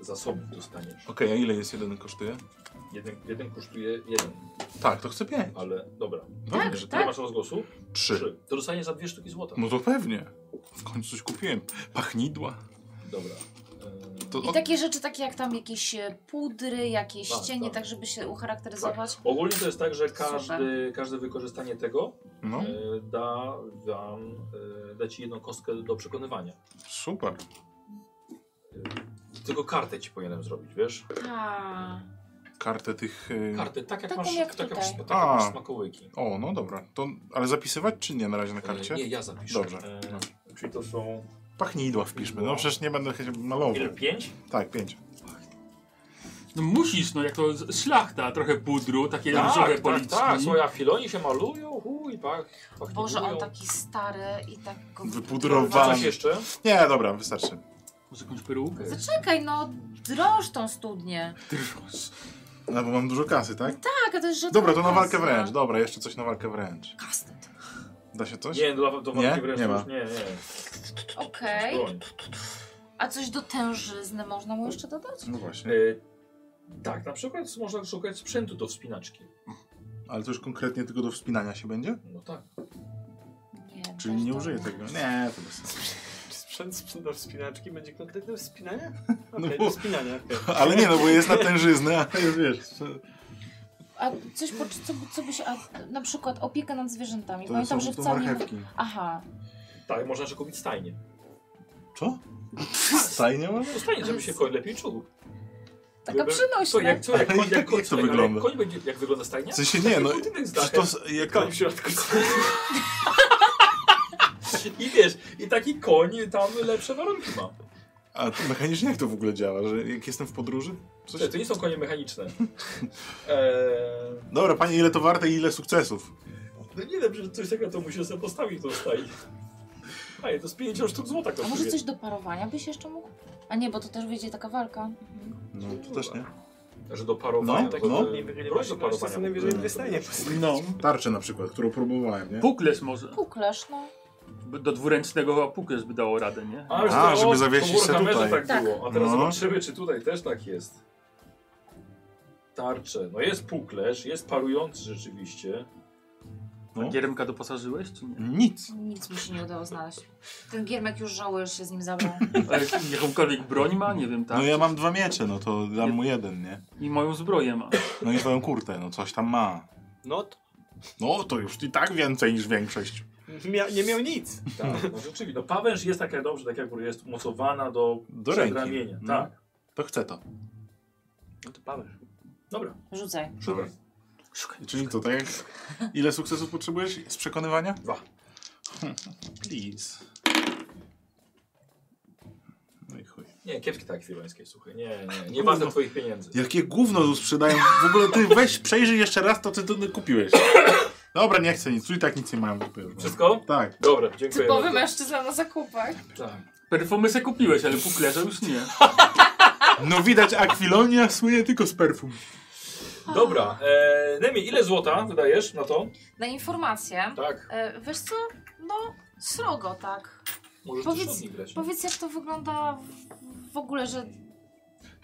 Speaker 1: zasobów dostaniesz.
Speaker 3: Okej, a ile jest jeden kosztuje?
Speaker 1: Jeden, jeden kosztuje jeden,
Speaker 3: Tak, to chcę pięć.
Speaker 1: ale dobra.
Speaker 3: Tak,
Speaker 1: Że
Speaker 2: tak.
Speaker 1: Ty masz rozgłosu?
Speaker 3: Trzy.
Speaker 1: To dostaniesz za dwie sztuki złota.
Speaker 3: No to pewnie. W końcu coś kupiłem. Pachnidła.
Speaker 1: Dobra. Y,
Speaker 3: To
Speaker 2: I takie rzeczy, takie jak tam jakieś e, pudry, jakieś
Speaker 1: Tak,
Speaker 2: cienie,
Speaker 1: tak.
Speaker 2: tak, żeby się ucharakteryzować.
Speaker 1: Ogólnie to jest tak, że każdy,
Speaker 2: Super.
Speaker 1: każde wykorzystanie tego
Speaker 3: No,
Speaker 1: e, da wam, e, da ci jedną kostkę do przekonywania.
Speaker 3: super.
Speaker 1: Tylko kartę ci powinienem zrobić, wiesz?
Speaker 3: Tak.
Speaker 2: A,
Speaker 3: Kartę tych... y,
Speaker 1: Kartę, tak jak
Speaker 2: Taką
Speaker 1: masz,
Speaker 2: jak
Speaker 1: tak jak
Speaker 2: tutaj.
Speaker 1: masz, tak jak
Speaker 3: A.
Speaker 1: masz smakołyki.
Speaker 3: O, no dobra. To, ale zapisywać czy nie na razie na karcie?
Speaker 1: E, Nie, ja zapiszę.
Speaker 3: Dobrze.
Speaker 1: E,
Speaker 3: No.
Speaker 1: Czyli to są...
Speaker 3: Pachnidła wpiszmy. No przecież nie będę chyba malował.
Speaker 1: Ile? Pięć?
Speaker 3: Tak, pięć.
Speaker 5: No musisz, no jak to z- szlachta, trochę pudru, takie
Speaker 1: Tak,
Speaker 5: różowe
Speaker 1: tak, tak,
Speaker 5: policzki.
Speaker 1: tak. Słuchaj, a filoni się malują, chuj, pach, pach
Speaker 2: Boże, on taki stary i tak go...
Speaker 1: A
Speaker 3: Wypudrowany.
Speaker 1: coś jeszcze?
Speaker 3: Nie, dobra, wystarczy.
Speaker 5: Może jakąś perukę?
Speaker 2: Zaczekaj, no drąż tą studnię.
Speaker 5: Drżos.
Speaker 3: No bo mam dużo kasy, tak?
Speaker 2: Tak, a to jest rzadka
Speaker 3: Dobra, to na
Speaker 2: okazja.
Speaker 3: walkę wręcz. Dobra, jeszcze coś na walkę wręcz.
Speaker 2: Kastet.
Speaker 3: Da się coś?
Speaker 1: Nie, do, do
Speaker 3: Nie?
Speaker 1: walki wręcz
Speaker 3: Nie ma.
Speaker 1: już nie, nie.
Speaker 2: Okej.
Speaker 1: Broń.
Speaker 2: A coś do tężyzny można mu jeszcze dodać?
Speaker 3: No właśnie.
Speaker 1: E, tak, na przykład można szukać sprzętu do wspinaczki.
Speaker 3: Ale to już konkretnie tylko do wspinania się będzie?
Speaker 1: No tak.
Speaker 2: Nie.
Speaker 3: Czyli
Speaker 2: też
Speaker 3: nie
Speaker 2: dobra.
Speaker 3: użyję tego. Nie, to bez sensu.
Speaker 4: czy sprzęt sprzęt do wspinaczki będzie konkretne wspinanie? Okej,
Speaker 3: No bo-
Speaker 4: do wspinania, okej.
Speaker 3: Ale nie, no bo jest na tężyznę, a już wiesz.
Speaker 2: A coś, po, co, co by się... A, na przykład opieka nad zwierzętami.
Speaker 3: To
Speaker 2: Pamiętam,
Speaker 3: są
Speaker 2: że
Speaker 3: to
Speaker 2: wcale nie...
Speaker 3: marchewki.
Speaker 2: Aha.
Speaker 1: Tak, można jeszcze kupić stajnie.
Speaker 3: Co? Stajnie może?
Speaker 1: To stajnie, żeby się koń lepiej czuł.
Speaker 2: Taka
Speaker 1: Żeby-
Speaker 2: przynośna.
Speaker 1: Co, jak, co, jak,
Speaker 3: Ale
Speaker 1: koń,
Speaker 3: jak-
Speaker 1: jak, koń,
Speaker 3: jak to
Speaker 1: ale
Speaker 3: wygląda?
Speaker 1: Jak koń będzie, jak wygląda stajnia?
Speaker 3: W sensie nie, no.
Speaker 1: Budynek z
Speaker 3: Przecież
Speaker 1: dachem.
Speaker 3: to, jak,
Speaker 4: Koń w środku.
Speaker 1: I wiesz, i taki koń tam lepsze warunki ma.
Speaker 3: a to mechanicznie jak to w ogóle działa? Że jak jestem w podróży? Coś...
Speaker 1: Coś... To nie są konie mechaniczne. Eee,
Speaker 3: Dobra, panie, ile to warte i ile sukcesów?
Speaker 1: no nie wiem, że coś takiego to musisz sobie postawić tą stajnię. A to z 50 sztuk złota
Speaker 2: A
Speaker 1: kosztuje.
Speaker 2: może coś do parowania byś jeszcze mógł? A nie, bo to też wyjdzie taka walka. Mhm.
Speaker 3: No, to też nie.
Speaker 1: Że do parowania.
Speaker 3: No,
Speaker 1: tak,
Speaker 3: no.
Speaker 1: e,
Speaker 4: Nie wygrali
Speaker 1: broń do
Speaker 4: właśnie,
Speaker 1: parowania.
Speaker 4: co najwyżej dwie stajnie.
Speaker 5: No,
Speaker 3: Tarczę na przykład, którą próbowałem, nie?
Speaker 5: puklerz może.
Speaker 2: Kuklerz, no.
Speaker 5: By- Do dwuręcznego puklerz by dało radę, nie?
Speaker 1: A, już
Speaker 3: A,
Speaker 1: to-
Speaker 3: żeby
Speaker 1: o,
Speaker 3: zawiesić
Speaker 1: to w
Speaker 3: se
Speaker 1: Warhammerze
Speaker 3: tutaj.
Speaker 1: Tak,
Speaker 2: Tak.
Speaker 1: było. A teraz
Speaker 3: No.
Speaker 1: zobaczymy, czy tutaj też tak jest. Tarcze. No jest puklerz, jest parujący rzeczywiście.
Speaker 3: No.
Speaker 5: Giermka doposażyłeś, czy nie?
Speaker 3: Nic.
Speaker 2: Nic mi się nie udało znaleźć. Ten giermek już żałujesz się z nim zabrał.
Speaker 5: A jak- jakąkolwiek broń ma? Nie wiem, tak?
Speaker 3: No ja mam dwa miecze, no to dam mu jeden, nie?
Speaker 5: I moją zbroję ma.
Speaker 3: No i swoją kurtę, no coś tam ma.
Speaker 4: No to
Speaker 3: No to już i tak więcej niż większość.
Speaker 4: mia nie miał nic.
Speaker 1: Tak, no rzeczywiście. No pawęż jest tak jak dobrze, tak jak jest mocowana do,
Speaker 3: Do ręki.
Speaker 1: przedramienia.
Speaker 3: No.
Speaker 1: Tak.
Speaker 3: To chcę to.
Speaker 1: No to pawęż. Dobra.
Speaker 2: Rzucaj.
Speaker 3: Dobra. Czyli to tak jak... Ile sukcesów potrzebujesz z przekonywania?
Speaker 1: Dwa.
Speaker 3: Please. No i chuj.
Speaker 1: Nie, kiepskie tak akwilońskie, słuchaj. Nie, nie,
Speaker 3: No,
Speaker 1: nie warto twoich pieniędzy.
Speaker 3: Jakie gówno tu sprzedają? W ogóle ty weź, przejrzyj jeszcze raz, to ty to kupiłeś. Dobra, nie chcę nic. Tu i tak nic nie mam. Kupię już.
Speaker 1: Wszystko?
Speaker 3: Tak.
Speaker 1: Dobra, dziękuję
Speaker 9: Typowy
Speaker 1: bardzo.
Speaker 9: mężczyzna na zakupach.
Speaker 1: Tak.
Speaker 5: Perfumy se kupiłeś, ale puklerza już nie.
Speaker 3: No widać, akwilonia słynie tylko z perfum.
Speaker 1: Dobra, e, Nemi, ile złota wydajesz na to?
Speaker 2: Na informację.
Speaker 1: Tak,
Speaker 2: E, wiesz co? No, srogo, tak.
Speaker 1: możesz
Speaker 2: Powiedz-
Speaker 1: też od nich grać.
Speaker 2: Powiedz, jak to wygląda w- w ogóle, że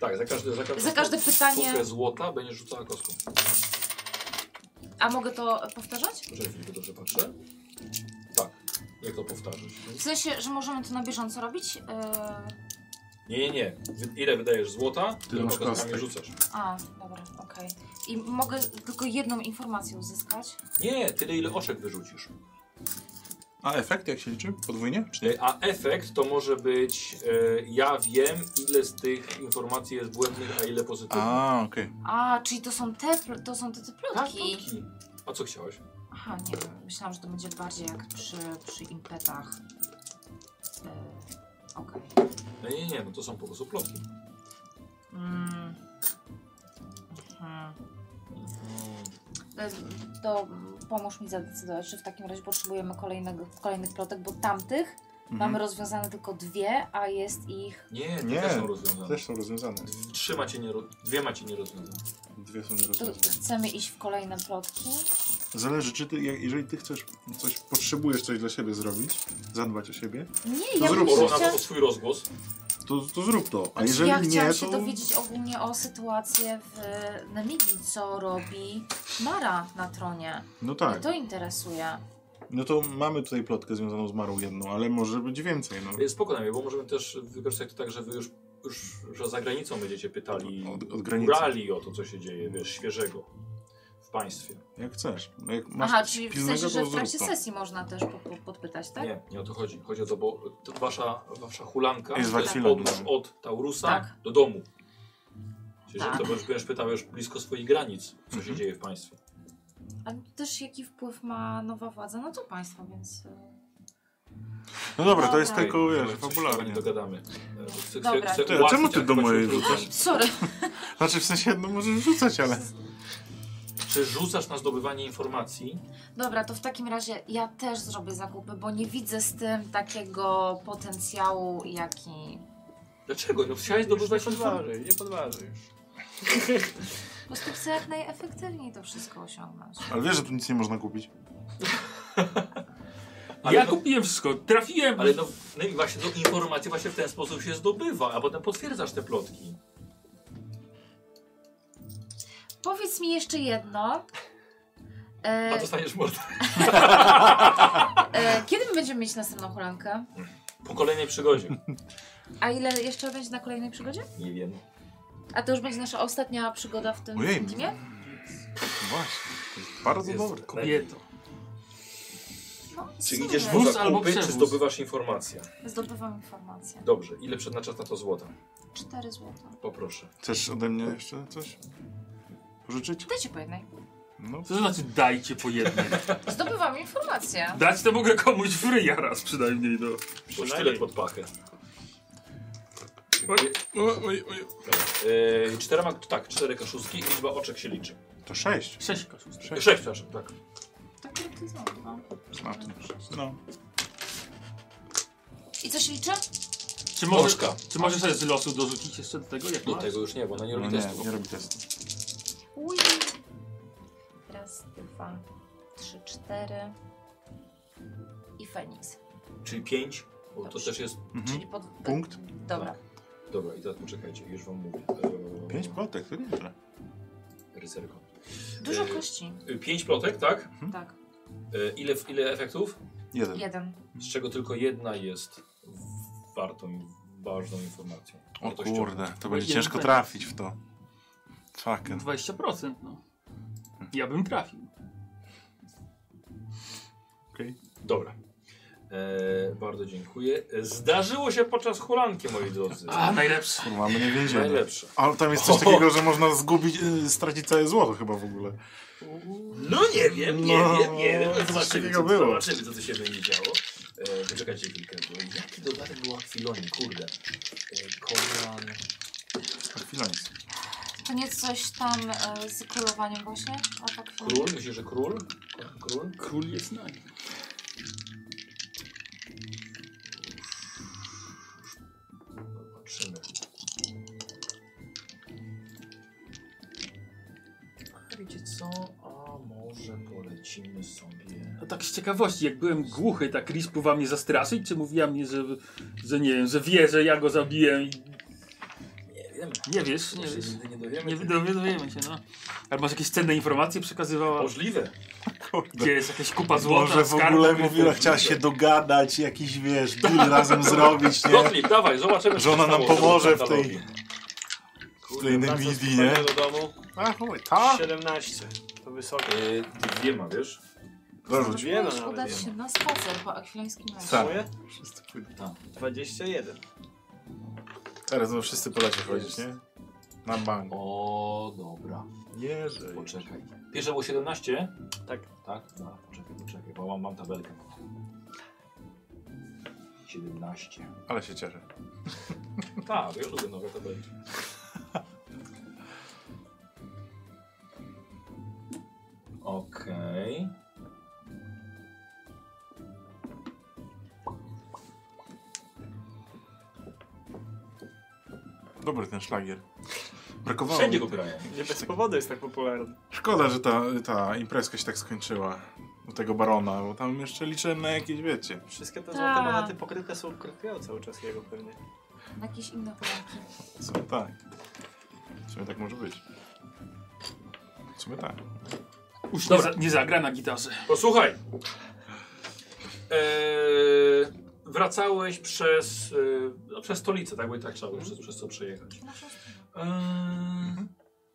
Speaker 1: Tak, za każde, za każde,
Speaker 2: Za każde
Speaker 1: sztukę
Speaker 2: pytanie-
Speaker 1: złota będziesz rzucała kostką.
Speaker 2: A mogę to powtarzać?
Speaker 1: Poczekaj chwilkę, dobrze patrzę. Tak, jak to powtarzasz?
Speaker 2: W sensie, że możemy to na bieżąco robić? Yy...
Speaker 1: Nie, nie, nie. Wy- Ile wydajesz złota, tyle
Speaker 3: masz
Speaker 1: kostkami
Speaker 3: kostek.
Speaker 1: rzucasz.
Speaker 2: A, dobra, okej. I mogę tylko jedną informację uzyskać?
Speaker 1: Nie, tyle ile oczek wyrzucisz.
Speaker 3: A efekt jak się liczy? Podwójnie? Czy nie?
Speaker 1: E, A efekt to może być, e, ja wiem ile z tych informacji jest błędnych, a ile pozytywnych.
Speaker 3: A, okej. Mhm.
Speaker 2: A, czyli to są te, pl- to są te, te
Speaker 1: Tak,
Speaker 2: plotki.
Speaker 1: plotki. A co chciałeś?
Speaker 2: Aha, nie wiem. Myślałam, że to będzie bardziej jak przy, przy impetach. Yy, okej.
Speaker 1: No nie, nie, no to są po prostu plotki.
Speaker 2: Mm. Mhm. E, To mm, pomóż mi zadecydować, czy w takim razie potrzebujemy kolejnego, kolejnych plotek, bo tamtych
Speaker 3: Mhm.
Speaker 2: mamy rozwiązane tylko dwie, a jest ich
Speaker 1: Nie, to
Speaker 3: Nie.
Speaker 1: też są rozwiązane.
Speaker 3: Też są rozwiązane.
Speaker 1: Trzy macie nie, dwie macie nierozwiązane.
Speaker 3: Dwie są
Speaker 2: To
Speaker 3: nierozwiązane.
Speaker 2: chcemy iść w kolejne plotki.
Speaker 3: Zależy, czy ty, jak- jeżeli ty chcesz coś, potrzebujesz coś dla siebie zrobić, zadbać o siebie,
Speaker 2: Nie,
Speaker 3: To
Speaker 2: ja bym
Speaker 3: No zrób
Speaker 2: się
Speaker 3: to.
Speaker 1: Porona
Speaker 2: chciała...
Speaker 1: o swój rozgłos.
Speaker 3: to, to zrób to. A
Speaker 2: Znaczy,
Speaker 3: jeżeli
Speaker 2: ja chciałam
Speaker 3: nie,
Speaker 2: się
Speaker 3: to...
Speaker 2: dowiedzieć ogólnie o sytuację w Namibii, co robi Mara na tronie.
Speaker 3: No
Speaker 2: Mnie
Speaker 3: tak.
Speaker 2: to interesuje.
Speaker 3: No to mamy tutaj plotkę związaną z Marą jedną, ale może być więcej, no.
Speaker 1: E, Spokojnie, bo możemy też wykorzystać to tak, że wy już, już że za granicą będziecie pytali
Speaker 3: Od, od granicy.
Speaker 1: Urali o to, co się dzieje, wiesz, świeżego w państwie.
Speaker 3: Jak chcesz. No jak masz
Speaker 2: Aha,
Speaker 3: coś
Speaker 2: czyli w
Speaker 3: pilnego,
Speaker 2: sensie, że
Speaker 3: to
Speaker 2: w
Speaker 3: zrób
Speaker 2: trakcie
Speaker 3: to.
Speaker 2: sesji można też po, po, podpytać, tak?
Speaker 1: Nie, nie o to chodzi. Chodzi o to, bo to wasza, wasza hulanka
Speaker 3: Jest
Speaker 1: to jest
Speaker 3: waksila,
Speaker 1: podróż
Speaker 3: no.
Speaker 1: od Taurusa
Speaker 2: Tak.
Speaker 1: do domu. Czyli
Speaker 2: Tak.
Speaker 1: to będziesz, będziesz pytał już blisko swoich granic, co się
Speaker 3: Mhm.
Speaker 1: dzieje w państwie.
Speaker 2: A też jaki wpływ ma nowa władza na to państwo, więc... e,
Speaker 3: No dobra, to
Speaker 2: Dobra.
Speaker 3: jest tylko,
Speaker 1: Ej,
Speaker 3: wiesz,
Speaker 1: coś się nie
Speaker 3: fabularnie.
Speaker 1: dogadamy. E, bo Chcę, chcę,
Speaker 2: Dobra.
Speaker 1: chcę
Speaker 3: Ty, a
Speaker 1: ułatwić
Speaker 3: czemu ty
Speaker 1: jak
Speaker 3: do
Speaker 1: chodzi
Speaker 3: mojej
Speaker 1: o trudności.
Speaker 3: rzucasz?
Speaker 2: Sorry,
Speaker 3: Znaczy w sensie, no możesz rzucać, ale...
Speaker 1: Czy rzucasz na zdobywanie informacji?
Speaker 2: Dobra, to w takim razie ja też zrobię zakupy, bo nie widzę z tym takiego potencjału, jaki.
Speaker 1: Dlaczego? No chciałeś
Speaker 4: Już nie
Speaker 1: zdobywać informacji.
Speaker 4: podważy, nie podważy już.
Speaker 2: Po prostu chcę jak najefektywniej to wszystko osiągnąć.
Speaker 3: Ale wiesz, że tu nic nie można kupić.
Speaker 1: Ale
Speaker 5: Ja
Speaker 1: no-
Speaker 5: kupiłem wszystko, trafiłem.
Speaker 1: Ale no, no i właśnie no, informacje właśnie w ten sposób się zdobywa, a potem potwierdzasz te plotki.
Speaker 2: Powiedz mi jeszcze jedno.
Speaker 1: A
Speaker 3: No
Speaker 2: E,
Speaker 1: dostaniesz mordę.
Speaker 2: e, kiedy my będziemy mieć następną hulankę?
Speaker 1: Po kolejnej przygodzie.
Speaker 2: A ile jeszcze będzie na kolejnej przygodzie?
Speaker 1: Nie wiem.
Speaker 2: A to już będzie nasza ostatnia przygoda w tym
Speaker 3: Ojej.
Speaker 2: teamie?
Speaker 3: No Właśnie, to jest bardzo
Speaker 1: Jest-
Speaker 3: dobre.
Speaker 1: no,
Speaker 5: Kobieto.
Speaker 2: No, w
Speaker 1: Czy
Speaker 2: sumie.
Speaker 1: idziesz
Speaker 5: Wóz
Speaker 1: w zakupy,
Speaker 5: albo
Speaker 1: czy
Speaker 5: przewóz.
Speaker 1: zdobywasz informacje?
Speaker 2: Zdobywam informację.
Speaker 1: Dobrze, ile przeznaczasz na to złota?
Speaker 2: 4 złota.
Speaker 1: Poproszę.
Speaker 3: Chcesz ode mnie jeszcze coś? Pożyczyć?
Speaker 2: Dajcie po jednej.
Speaker 3: No.
Speaker 5: Co to znaczy dajcie po jednej?
Speaker 2: Zdobywam informację.
Speaker 5: Dać to mogę komuś w ryja raz przynajmniej, no.
Speaker 1: Bo tyle pod pachę.
Speaker 3: Oj, oj, oj.
Speaker 1: Yy, czterema, tak, cztery kaszustki, liczba oczek się liczy.
Speaker 3: To sześć.
Speaker 5: Sześć kosztów.
Speaker 1: Sześć, przepraszam, tak.
Speaker 2: Tak, to znowu. no.
Speaker 3: Na tym. No.
Speaker 2: I co się liczy?
Speaker 5: Czy może,
Speaker 1: Oczka.
Speaker 5: czy może sobie z losu dorzucić jeszcze do tego, jak
Speaker 1: Do
Speaker 5: masz?
Speaker 1: tego już nie, bo ona nie robi
Speaker 3: No nie,
Speaker 1: testu.
Speaker 3: nie robi testu.
Speaker 2: Ui. Raz, dwa, trzy, cztery. I Feniks.
Speaker 1: Czyli pięć, bo to
Speaker 3: Tak.
Speaker 2: Dobrze.
Speaker 1: też jest...
Speaker 2: Czyli pod...
Speaker 3: Punkt?
Speaker 2: Dobra.
Speaker 1: Dobra, i teraz poczekajcie, już wam mówię. Eee,
Speaker 3: Pięć plotek, to nieźle.
Speaker 1: Rycerko.
Speaker 2: Dużo
Speaker 1: Yy,
Speaker 2: kości.
Speaker 1: Pięć plotek, tak?
Speaker 2: Tak.
Speaker 1: E, Ile, ile efektów?
Speaker 3: Jeden.
Speaker 2: Jeden.
Speaker 1: Z czego tylko jedna jest wartą, ważną informacją.
Speaker 3: O
Speaker 1: Wartością.
Speaker 3: kurde, to będzie
Speaker 5: Jeden
Speaker 3: ciężko
Speaker 5: efekt.
Speaker 3: trafić w to. Fucking.
Speaker 5: 20%, no. Ja bym trafił.
Speaker 1: Dobra. E, bardzo dziękuję. Zdarzyło się podczas hulanki, moi drodzy.
Speaker 5: A, najlepszy.
Speaker 3: Kurwa, my nie wiedzieli.
Speaker 1: Najlepsze.
Speaker 3: Ale tam jest coś takiego, że można zgubić, y, stracić całe złoto chyba w ogóle.
Speaker 1: No nie wiem, nie
Speaker 3: No,
Speaker 1: wiem, nie wiem.
Speaker 3: coś
Speaker 1: Zobaczymy,
Speaker 3: takiego
Speaker 1: co,
Speaker 3: było.
Speaker 1: zobaczymy, co tu się będzie działo. E, poczekajcie chwilkę, bo jaki dodatek był Aquiloni, kurde. E, Kolan...
Speaker 3: Chwilę.
Speaker 2: To nie coś tam e, z królowaniem właśnie? A tak
Speaker 1: Król? Myślisz, że król? Król?
Speaker 5: Król jest nagi.
Speaker 1: Zobaczymy. A wiecie co? A może polecimy sobie...
Speaker 5: A tak z ciekawości, jak byłem głuchy, tak Riz próbował mnie zastraszyć, czy mówiła mnie, że, że nie wiem, że wie, że ja go zabiję i...
Speaker 1: Nie wiem.
Speaker 5: Nie wiesz, nie
Speaker 1: Tego się
Speaker 5: wiesz.
Speaker 1: nigdy nie dowiemy.
Speaker 5: Nie dowiadujemy się, no. Ale może jakieś cenne informacje przekazywała?
Speaker 1: Możliwe.
Speaker 3: Kurde.
Speaker 5: Gdzie jest jakaś kupa złota?
Speaker 3: Może w
Speaker 5: skarb
Speaker 3: ogóle
Speaker 5: ukryty?
Speaker 3: mówiła, chciała się dogadać, jakiś wiesz, deal razem zrobić, nie?
Speaker 1: Gottlieb, dawaj, zobaczymy. co
Speaker 3: Że ona
Speaker 1: się
Speaker 3: nam
Speaker 1: stało.
Speaker 3: pomoże w
Speaker 1: Katalogi.
Speaker 3: tej, w tej dywizji, nie?
Speaker 4: Do domu.
Speaker 3: A chuj, ta?
Speaker 4: 17. To wysoko.
Speaker 1: Y, Dwie ma, wiesz?
Speaker 3: Dorzuć.
Speaker 4: Wiele
Speaker 2: Możesz
Speaker 4: no, nawet.
Speaker 2: udać się na spacer po akwilańskim lesie.
Speaker 3: Tak.
Speaker 4: Moje?
Speaker 3: Wszyscy pójdą.
Speaker 4: 21.
Speaker 3: Teraz no wszyscy Polacy chodzić, nie? Na bank.
Speaker 1: O, dobra.
Speaker 3: Nie, że...
Speaker 1: Poczekaj. Pierwsze było 17?
Speaker 4: Tak.
Speaker 1: Tak? Dobra, poczekaj, poczekaj, bo mam, mam tabelkę. 17.
Speaker 3: Ale się cieszę.
Speaker 1: Tak, ja lubię nowe tabelki. Okej.
Speaker 3: Dobry ten szlagier. Brakowało
Speaker 1: Wszędzie
Speaker 3: mi-
Speaker 1: go grają.
Speaker 4: Nie bez powodu jest tak popularny.
Speaker 3: Szkoda, że ta, ta imprezka się tak skończyła. U tego barona, bo tam jeszcze liczyłem na jakieś, wiecie.
Speaker 4: Wszystkie te
Speaker 2: Tak.
Speaker 4: złote monety pokryte są krytyką cały czas jego pewnie.
Speaker 2: Na jakieś inne poranki.
Speaker 3: Co tak. W sumie tak może być. W sumie tak.
Speaker 5: Uż, dobra, nie zagra na gitarze.
Speaker 1: Posłuchaj. Eee, wracałeś przez, yy, no, przez stolicę, tak? Bo i tak trzeba było przez, przez co przejechać.
Speaker 2: Na szóstym.
Speaker 1: Eee,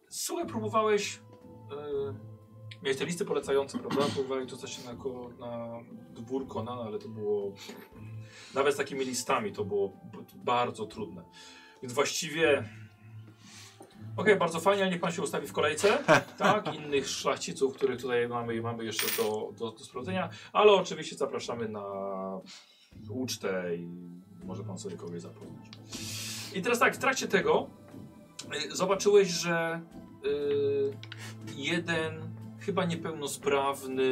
Speaker 1: Słuchaj, próbowałeś. Eee, miałeś te listy polecające, prawda? Próbowałeś dostać się na, ko- na dwór Konana, ale to było. Nawet z takimi listami to było b- bardzo trudne. Więc właściwie. Okej, bardzo fajnie, ale niech pan się ustawi w kolejce. Tak, innych szlachciców, których tutaj mamy i mamy jeszcze do, do, do sprawdzenia. Ale oczywiście zapraszamy na ucztę i może pan sobie kogoś zapoznać. I teraz tak, w trakcie tego Y, Zobaczyłeś, że y, jeden chyba niepełnosprawny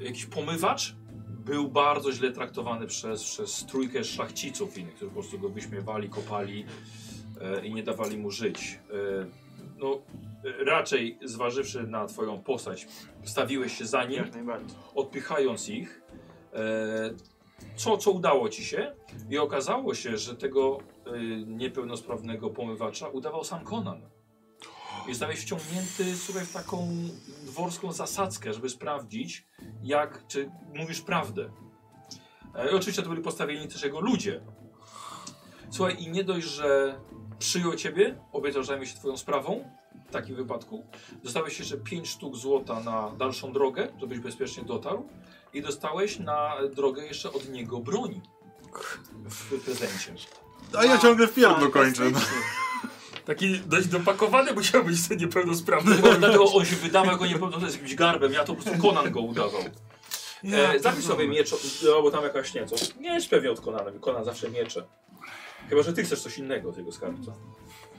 Speaker 1: y, jakiś pomywacz był bardzo źle traktowany przez, przez trójkę szlachciców innych, którzy po prostu go wyśmiewali, kopali y, i nie dawali mu żyć. Y, no, y, raczej zważywszy na twoją postać, stawiłeś się za nim
Speaker 4: Jak najbardziej.
Speaker 1: odpychając ich, e, co, co udało ci się. I okazało się, że tego e, niepełnosprawnego pomywacza udawał sam Conan. I zostałeś wciągnięty słuchaj, w taką dworską zasadzkę, żeby sprawdzić, jak, czy mówisz prawdę. E, i oczywiście to byli postawieni też jego ludzie. Słuchaj, i nie dość, że przyjął ciebie, obiecał, że zajmie się twoją sprawą w takim wypadku, Dostałeś jeszcze 5 sztuk złota na dalszą drogę, żebyś bezpiecznie dotarł. I dostałeś na drogę jeszcze od niego broń. W prezencie.
Speaker 3: A ja ciągle w pierdlu kończę. No.
Speaker 4: Fantastycznie.
Speaker 5: Taki dość dopakowany musiał być ten niepełnosprawny.
Speaker 1: Tylko Dlatego on się wydawał jako niepełnosprawny z jakimś garbem, ja to po prostu Conan go udawał. E, zapisz sobie miecz, o- albo tam jakaś nieco. Miecz pewnie od Conana, bo Conan zawsze miecze. Chyba, że ty chcesz coś innego od jego skarbca.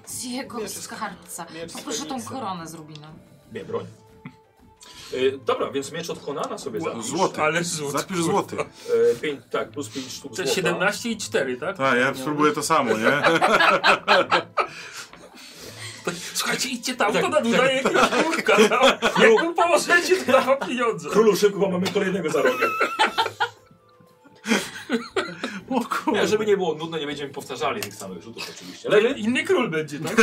Speaker 2: Z jego
Speaker 4: Miecz z-
Speaker 2: skarbca.
Speaker 4: miecz z
Speaker 2: Poproszę tą
Speaker 4: Feniksa.
Speaker 2: koronę z rubina.
Speaker 1: Nie, broń. E, dobra, więc miecz od Conana sobie zapisz.
Speaker 3: Złoty.
Speaker 5: Ale złot.
Speaker 3: Zapisz złoty.
Speaker 1: E, pięć, tak, plus 5 sztuk
Speaker 5: To
Speaker 1: złota.
Speaker 5: jest 17 i 4, tak?
Speaker 3: Tak, ja spróbuję to samo, nie?
Speaker 5: To- Słuchajcie, idźcie tam,
Speaker 1: Tak,
Speaker 5: to nam udaje jakiegoś kurka. no. tam. Jak mu pomożecie, to dam wam pieniądze.
Speaker 1: Królu szybko, bo mamy kolejnego za rogiem.
Speaker 3: O
Speaker 1: Nie,
Speaker 3: kurde.
Speaker 1: żeby nie było nudno, nie będziemy powtarzali tych samych rzutów oczywiście.
Speaker 5: Ale
Speaker 1: Leży?
Speaker 5: inny król będzie, tak?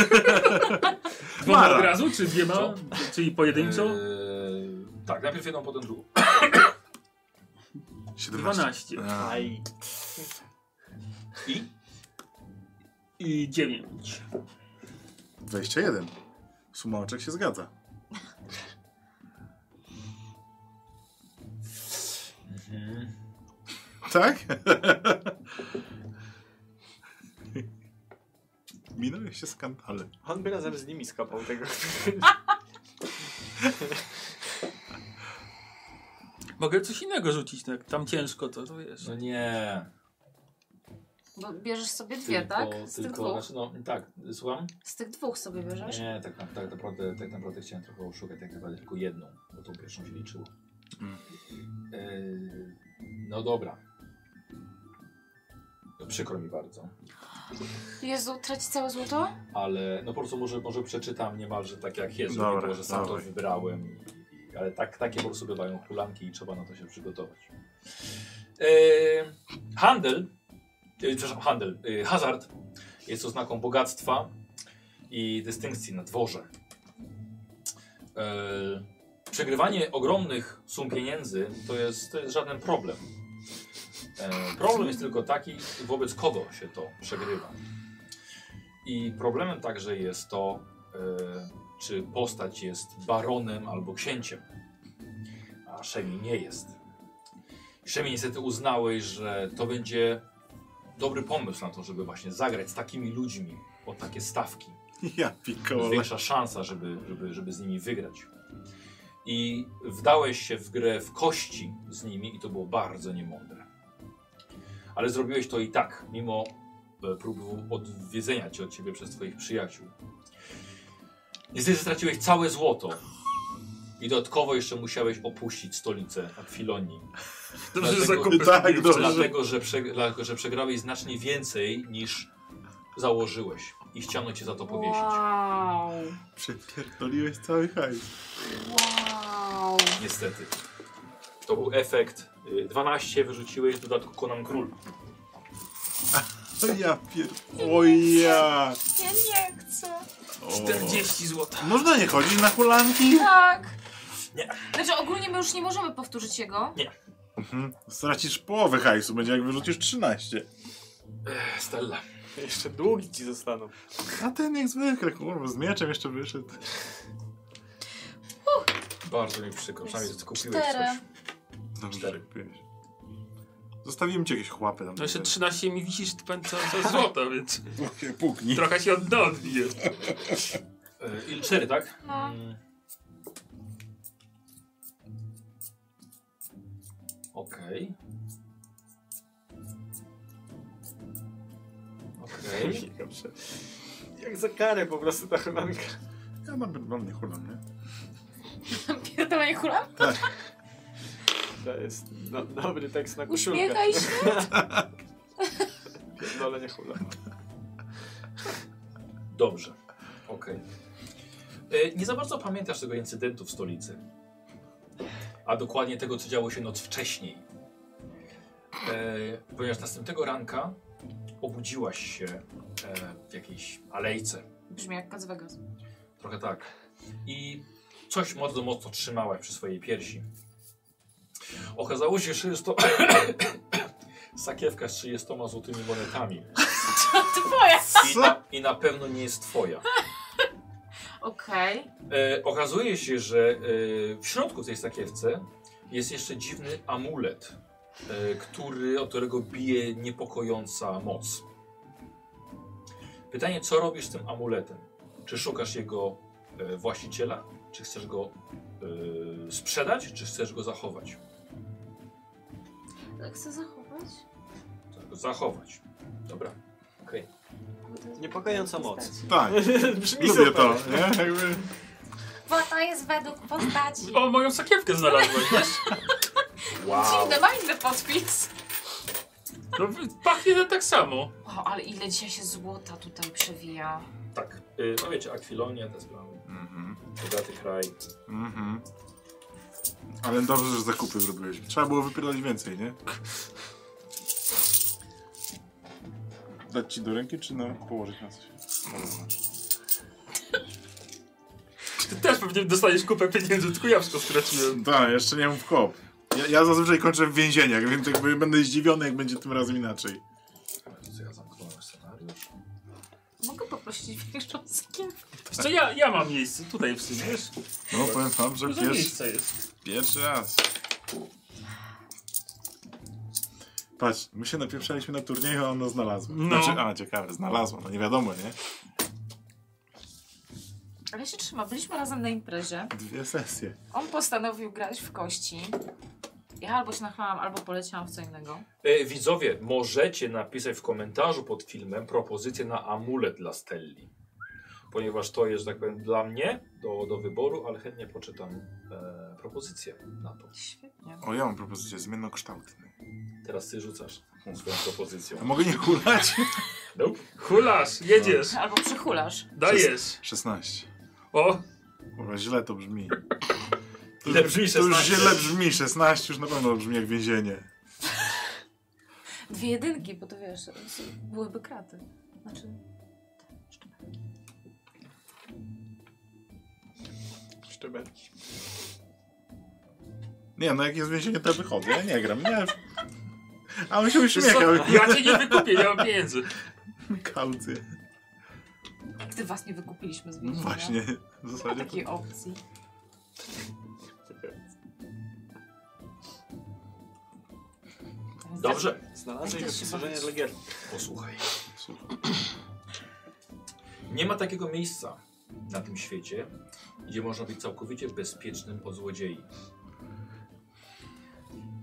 Speaker 5: Dwoma
Speaker 3: Mara.
Speaker 5: od razu, czy dwiema?
Speaker 1: Co?
Speaker 5: Czyli pojedynczo?
Speaker 1: Eee, Tak, najpierw jedną, potem drugą.
Speaker 3: 17.
Speaker 5: 12.
Speaker 3: A,
Speaker 4: Aj.
Speaker 1: I?
Speaker 5: I 9.
Speaker 3: 21. Suma oczek się zgadza. Tak? Minąłeś się skandale.
Speaker 4: On by razem z nimi skopał tego.
Speaker 5: Mogę coś innego rzucić, tak? Tam ciężko to, to wiesz.
Speaker 1: No nie.
Speaker 2: Bo bierzesz sobie dwie,
Speaker 1: tylko,
Speaker 2: tak? Z tych
Speaker 1: tylko,
Speaker 2: dwóch.
Speaker 1: Znaczy, no tak, słucham?
Speaker 2: Z tych dwóch sobie bierzesz?
Speaker 1: Nie, tak, na- tak, naprawdę, tak naprawdę chciałem trochę oszukać, tak naprawdę tylko jedną, bo tą pierwszą się liczyło.
Speaker 3: Mm.
Speaker 1: Yy, no dobra. No, przykro mi bardzo,
Speaker 2: Jezu, traci całe złoto?
Speaker 1: ale no po prostu może, może przeczytam niemalże tak jak jest,
Speaker 3: Dobra,
Speaker 1: dobra, że sam
Speaker 3: dawaj.
Speaker 1: to wybrałem. i- i- Ale tak, takie po prostu bywają hulanki i trzeba na to się przygotować. Yy, handel, yy, przepraszam, handel, yy, hazard jest oznaką bogactwa i dystynkcji na dworze. E, przegrywanie ogromnych sum pieniędzy to jest, to jest żaden problem. E, problem jest tylko taki, wobec kogo się to przegrywa. I problemem także jest to, e, czy postać jest baronem albo księciem. A Szemi nie jest. Szemi niestety uznałeś, że to będzie dobry pomysł na to, żeby właśnie zagrać z takimi ludźmi o takie stawki
Speaker 3: Ja pikole.
Speaker 1: większa szansa, żeby, żeby, żeby z nimi wygrać. I wdałeś się w grę w kości z nimi i to było bardzo niemądre. Ale zrobiłeś to i tak, mimo e, prób odwiedzenia cię od ciebie przez twoich przyjaciół. Niestety straciłeś całe złoto. I dodatkowo jeszcze musiałeś opuścić stolicę Akwilonii.
Speaker 7: Dobrze, że
Speaker 1: Dlatego-
Speaker 7: zakupy
Speaker 3: tak,
Speaker 7: zrobiłem
Speaker 3: dobrze.
Speaker 7: wcześniej.
Speaker 1: Dlatego że, prze, dlatego, że przegrałeś znacznie więcej niż założyłeś. I chciano cię za to powiesić.
Speaker 6: Wow.
Speaker 3: Przepierdoliłeś cały hajs.
Speaker 6: Wow.
Speaker 1: Niestety. To był efekt. y, 12 wyrzuciłeś, w dodatku Konan Król.
Speaker 3: To No ja pier... O ja!
Speaker 2: Ja nie chcę.
Speaker 3: O.
Speaker 5: 40 zł.
Speaker 3: Można nie chodzić na hulanki?
Speaker 2: Tak.
Speaker 1: Nie.
Speaker 2: Znaczy ogólnie my już nie możemy powtórzyć jego.
Speaker 3: Mhm. Stracisz połowę hajsu, będzie jak wyrzucisz 13.
Speaker 1: Stella.
Speaker 4: Jeszcze długi ci zostaną.
Speaker 3: A ten jak zwykle, kurwa, z mieczem jeszcze wyszedł.
Speaker 1: Bardzo mi przykro, przynajmniej że kupiłeś
Speaker 2: Cztery.
Speaker 1: coś.
Speaker 3: Dobrze,
Speaker 1: Cztery.
Speaker 3: pięć. Zostawiłem ci jakieś chłapy tam.
Speaker 5: No jeszcze 13 mi wisisz pan co, co złota, więc
Speaker 3: Puk- Puknij.
Speaker 5: trochę się od dna odbije.
Speaker 1: Y, Il 4, tak?
Speaker 2: No.
Speaker 1: Mm. Okej. Okej.
Speaker 4: Dobrze. Jak za karę po prostu ta chylanka.
Speaker 3: Ja mam, mam nie hulam, nie?
Speaker 2: Pierdolenie hula.
Speaker 4: To jest do, dobry tekst na koszulkę.
Speaker 2: Uśmiechaj się.
Speaker 4: Pierdolenie hula.
Speaker 1: Dobrze. Okej. E, Nie za bardzo pamiętasz tego incydentu w stolicy. A dokładnie tego, co działo się noc wcześniej. E, ponieważ następnego ranka obudziłaś się e, w jakiejś alejce.
Speaker 2: Brzmi jak Kaz Vegas.
Speaker 1: Trochę tak. I coś bardzo mocno trzymałaś przy swojej piersi. Okazało się, że jest to sakiewka z 30 złotymi monetami.
Speaker 2: Twoja.
Speaker 1: I na, I na pewno nie jest twoja.
Speaker 2: Okej.
Speaker 1: E, okazuje się, że e, w środku tej sakiewce jest jeszcze dziwny amulet, e, który, od którego bije niepokojąca moc. Pytanie, co robisz z tym amuletem? Czy szukasz jego e, właściciela? Czy chcesz go e, sprzedać? Czy chcesz go zachować?
Speaker 2: Chcę zachować.
Speaker 1: Chcesz go zachować. Dobra. Okej.
Speaker 2: bo to jest
Speaker 4: Niepokojąca
Speaker 2: postać.
Speaker 4: moc.
Speaker 3: Tak,
Speaker 4: Brzmi
Speaker 3: lubię
Speaker 4: super.
Speaker 3: to, nie? Jakby...
Speaker 2: Bo to jest według postaci.
Speaker 5: O, moją sakiewkę znalazłeś, wiesz?
Speaker 2: Dziwne, ma inny podpis.
Speaker 5: No, pachnie to tak samo.
Speaker 2: O, ale ile dzisiaj się złota tutaj przewija.
Speaker 1: Tak. E, no wiecie, Akwilonia, te sprawy.
Speaker 3: Mhm.
Speaker 1: Bogaty kraj.
Speaker 3: Mhm. Ale dobrze, że zakupy zrobiłeś. Trzeba było wypierdolić więcej, nie? Dać ci do ręki, czy na... położyć na coś?
Speaker 5: Ty też pewnie dostaniesz kupę pieniędzy, tylko ja wszystko straciłem.
Speaker 3: Tak, jeszcze nie mów hop. Ja, ja zazwyczaj kończę w więzieniach, więc jakby będę zdziwiony, jak będzie tym razem inaczej.
Speaker 10: Co ja zamknąłem scenariusz?
Speaker 2: Mogę poprosić większą sakiewkę?
Speaker 5: Jeszcze ja, ja mam miejsce tutaj w sumie, wiesz?
Speaker 3: No, powiem wam, że
Speaker 5: Dużo
Speaker 3: pierwszy,
Speaker 5: miejsca jest.
Speaker 3: pierwszy raz. Patrz, my się napieprzaliśmy na turnieju, a ono znalazło.
Speaker 5: No.
Speaker 3: Znaczy, a, ciekawe, znalazło, no nie wiadomo, nie?
Speaker 2: Ale się trzyma. Byliśmy razem na imprezie.
Speaker 3: Dwie sesje.
Speaker 2: On postanowił grać w kości. Ja albo się nachlałam, albo poleciałam w co innego.
Speaker 1: E, widzowie, możecie napisać w komentarzu pod filmem propozycję na amulet dla Stelli. Ponieważ to jest, że tak powiem, dla mnie do, do wyboru, ale chętnie poczytam e, propozycję na to.
Speaker 2: Świetnie.
Speaker 3: O, ja mam propozycję zmiennokształtny.
Speaker 1: Teraz ty rzucasz tą swoją propozycją.
Speaker 3: A mogę nie hulać?
Speaker 1: Nope.
Speaker 5: Hulasz, jedziesz,
Speaker 3: No.
Speaker 2: Albo przychulasz.
Speaker 5: dajesz.
Speaker 3: 16.
Speaker 5: O,
Speaker 3: Kurwa, źle to brzmi.
Speaker 1: Ile brzmi
Speaker 3: To już
Speaker 1: 16?
Speaker 3: źle brzmi, 16 już na pewno brzmi jak więzienie.
Speaker 2: Dwie jedynki, bo to wiesz, byłyby kraty. Znaczy...
Speaker 4: Szczebelki.
Speaker 3: Nie, no jak jest więzienie, to ja wychodzę, ja nie gram, nie. A on się
Speaker 5: wiesz co,
Speaker 3: uśmiechał,
Speaker 5: ja cię nie wykupię, nie mam pieniędzy.
Speaker 3: kaucy.
Speaker 2: Gdy was nie wykupiliśmy z
Speaker 3: No
Speaker 2: więzienia.
Speaker 3: właśnie, w
Speaker 2: Nie ma
Speaker 3: zasadzie.
Speaker 2: takiej opcji.
Speaker 1: Dobrze,
Speaker 4: Znalazłeś
Speaker 2: Jak to się
Speaker 4: wyposażenie
Speaker 2: bawić?
Speaker 4: dla gier.
Speaker 1: posłuchaj. Nie ma takiego miejsca na tym świecie, gdzie można być całkowicie bezpiecznym od złodziei.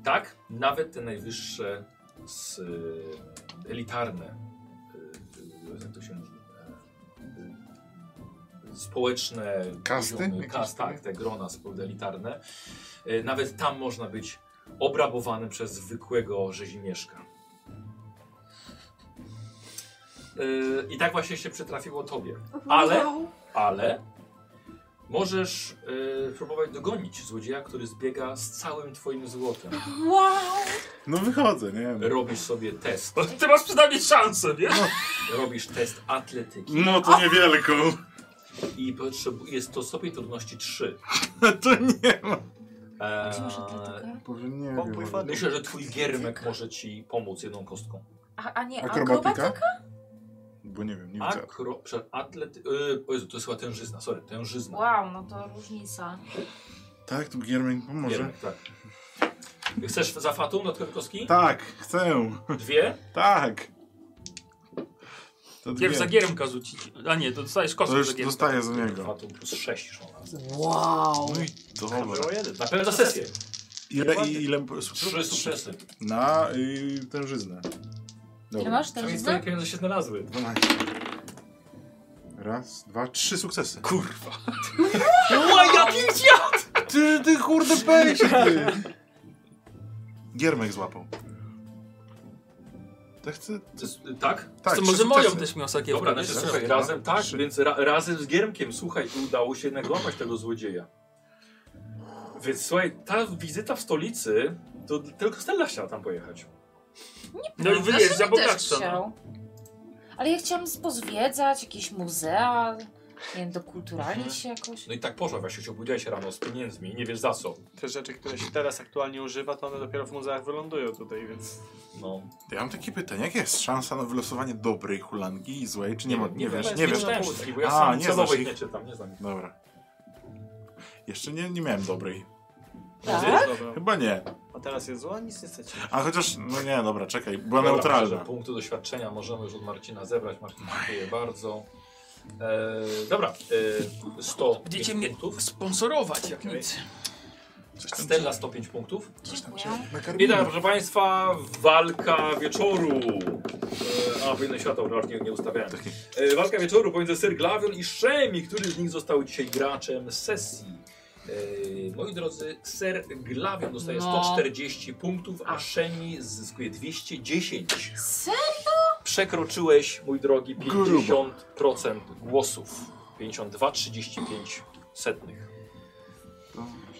Speaker 1: Tak, nawet te najwyższe z, e, elitarne, e, e, jak to się mówi, e, e, społeczne
Speaker 3: Kasty?
Speaker 1: poziomy,
Speaker 3: Jakieś
Speaker 1: kas,
Speaker 3: takie?
Speaker 1: tak, te grona spo- elitarne, e, nawet tam można być obrabowanym przez zwykłego rzezimieszka. E, I tak właśnie się przytrafiło tobie.
Speaker 2: Mhm.
Speaker 1: Ale ale możesz y, próbować dogonić złodzieja, który zbiega z całym twoim złotem.
Speaker 2: Wow!
Speaker 3: No wychodzę, nie wiem.
Speaker 1: Robisz sobie test.
Speaker 5: O, Ty masz przynajmniej szansę, wiesz?
Speaker 1: Robisz test atletyki
Speaker 3: No to niewielką.
Speaker 1: i potrzebu- jest to stopień trudności 3.
Speaker 3: To nie ma.
Speaker 1: Eee,
Speaker 2: Gdzie masz atletykę?
Speaker 3: Boże, nie
Speaker 4: Popój
Speaker 3: wiem.
Speaker 4: wody.
Speaker 1: myślę, że twój giermek może ci pomóc jedną kostką.
Speaker 2: A, a nie,
Speaker 3: Akrobatyka?
Speaker 2: akrobatyka?
Speaker 3: Bo nie wiem, nie widzę.
Speaker 1: Akro, prze, atlet, y, o Jezu, to jest chyba tężyzna, sorry, tężyzna.
Speaker 2: Wow, no to różnica.
Speaker 3: Tak, tu Giermek pomoże.
Speaker 1: Giermek, tak. Chcesz za fatą dodatkowe kostki?
Speaker 3: Tak, chcę.
Speaker 1: Dwie?
Speaker 3: Tak. To
Speaker 5: Pierw za giermka rzucić. A nie, to dostajesz
Speaker 3: To
Speaker 5: kostkę za
Speaker 3: już
Speaker 5: giermka.
Speaker 3: dostaję za niego.
Speaker 1: Fatum plus sześć już ona.
Speaker 2: Wow!
Speaker 3: No i dobra.
Speaker 4: Było jeden.
Speaker 1: Na pewno sesję.
Speaker 3: Ile, i- ile
Speaker 1: Trzy sukcesy.
Speaker 3: Na y, tężyznę.
Speaker 2: Ile masz
Speaker 1: Tam
Speaker 2: ten
Speaker 1: jest
Speaker 2: znak?
Speaker 1: twoje pieniądze się znalazły.
Speaker 3: 12. Raz, dwa, trzy sukcesy.
Speaker 1: Kurwa.
Speaker 3: Ty, ty kurde pejsie, ty. Giermek złapał. To chcę...
Speaker 1: Tak?
Speaker 3: Tak,
Speaker 5: to
Speaker 3: trzy
Speaker 5: może
Speaker 3: sukcesy.
Speaker 5: moją też miał sakiewkę.
Speaker 1: Dobra,
Speaker 5: Dobra,
Speaker 1: znaczy,
Speaker 5: wiesz?
Speaker 1: słuchaj,
Speaker 3: dwa,
Speaker 1: razem tak,
Speaker 3: trzy.
Speaker 1: więc ra, razem z Giermkiem, słuchaj, udało się nagłapać tego złodzieja. Więc słuchaj, ta wizyta w stolicy, to d- tylko Stella chciała tam pojechać.
Speaker 5: No i
Speaker 2: Dlaczego
Speaker 5: wyjeżdża
Speaker 2: też
Speaker 5: bogatsza. No.
Speaker 2: chciał? Ale ja chciałam pozwiedzać jakieś muzea, nie wiem, dokulturalnić się jakoś.
Speaker 1: No i tak poszła, właśnie się obudziłaś rano z pieniędzmi i nie wiesz za co.
Speaker 4: Te rzeczy, które się teraz aktualnie używa, to one dopiero w muzeach wylądują tutaj, więc...
Speaker 1: No,
Speaker 3: Ja mam takie pytanie, jaka jest szansa na wylosowanie dobrej hulanki i złej, czy nie, ma? No, Nie, wiesz,
Speaker 1: wiem,
Speaker 3: nie
Speaker 1: nie
Speaker 3: wiesz.
Speaker 1: czytałem wszystkich, bo ja
Speaker 3: A,
Speaker 1: sam
Speaker 3: nie
Speaker 1: celowo
Speaker 3: znasz
Speaker 1: ich
Speaker 3: ich.
Speaker 1: nie czytam, nie znam ich.
Speaker 3: Dobra. Jeszcze nie, nie miałem dobrej.
Speaker 2: Tak?
Speaker 4: Dobra.
Speaker 3: Chyba nie.
Speaker 4: A teraz jest zła, nic nie chcecie.
Speaker 3: A chociaż, no nie, dobra, czekaj, była
Speaker 1: Dobra,
Speaker 3: neutralna.
Speaker 1: że Punkty doświadczenia możemy już od Marcina zebrać. Marcin, dziękuję bardzo. E, dobra, e, 100
Speaker 5: Będziecie mnie
Speaker 1: punktów.
Speaker 5: sponsorować jak
Speaker 4: Okej.
Speaker 5: nic.
Speaker 3: Coś tam
Speaker 1: Stella 105 punktów.
Speaker 2: Dziękuję.
Speaker 1: I tak, proszę Państwa, walka wieczoru. E, a, powinno światło, no, nie, nie ustawiałem. E, walka wieczoru pomiędzy Sir Glavion i Szemi, który z nich został dzisiaj graczem sesji. E, moi drodzy, Sir Glavion dostaje
Speaker 2: No.
Speaker 1: 140 punktów, a Szemi zyskuje 210.
Speaker 2: Se-
Speaker 1: Przekroczyłeś, mój drogi,
Speaker 3: Grubo.
Speaker 1: 50% głosów. 52,35 setnych.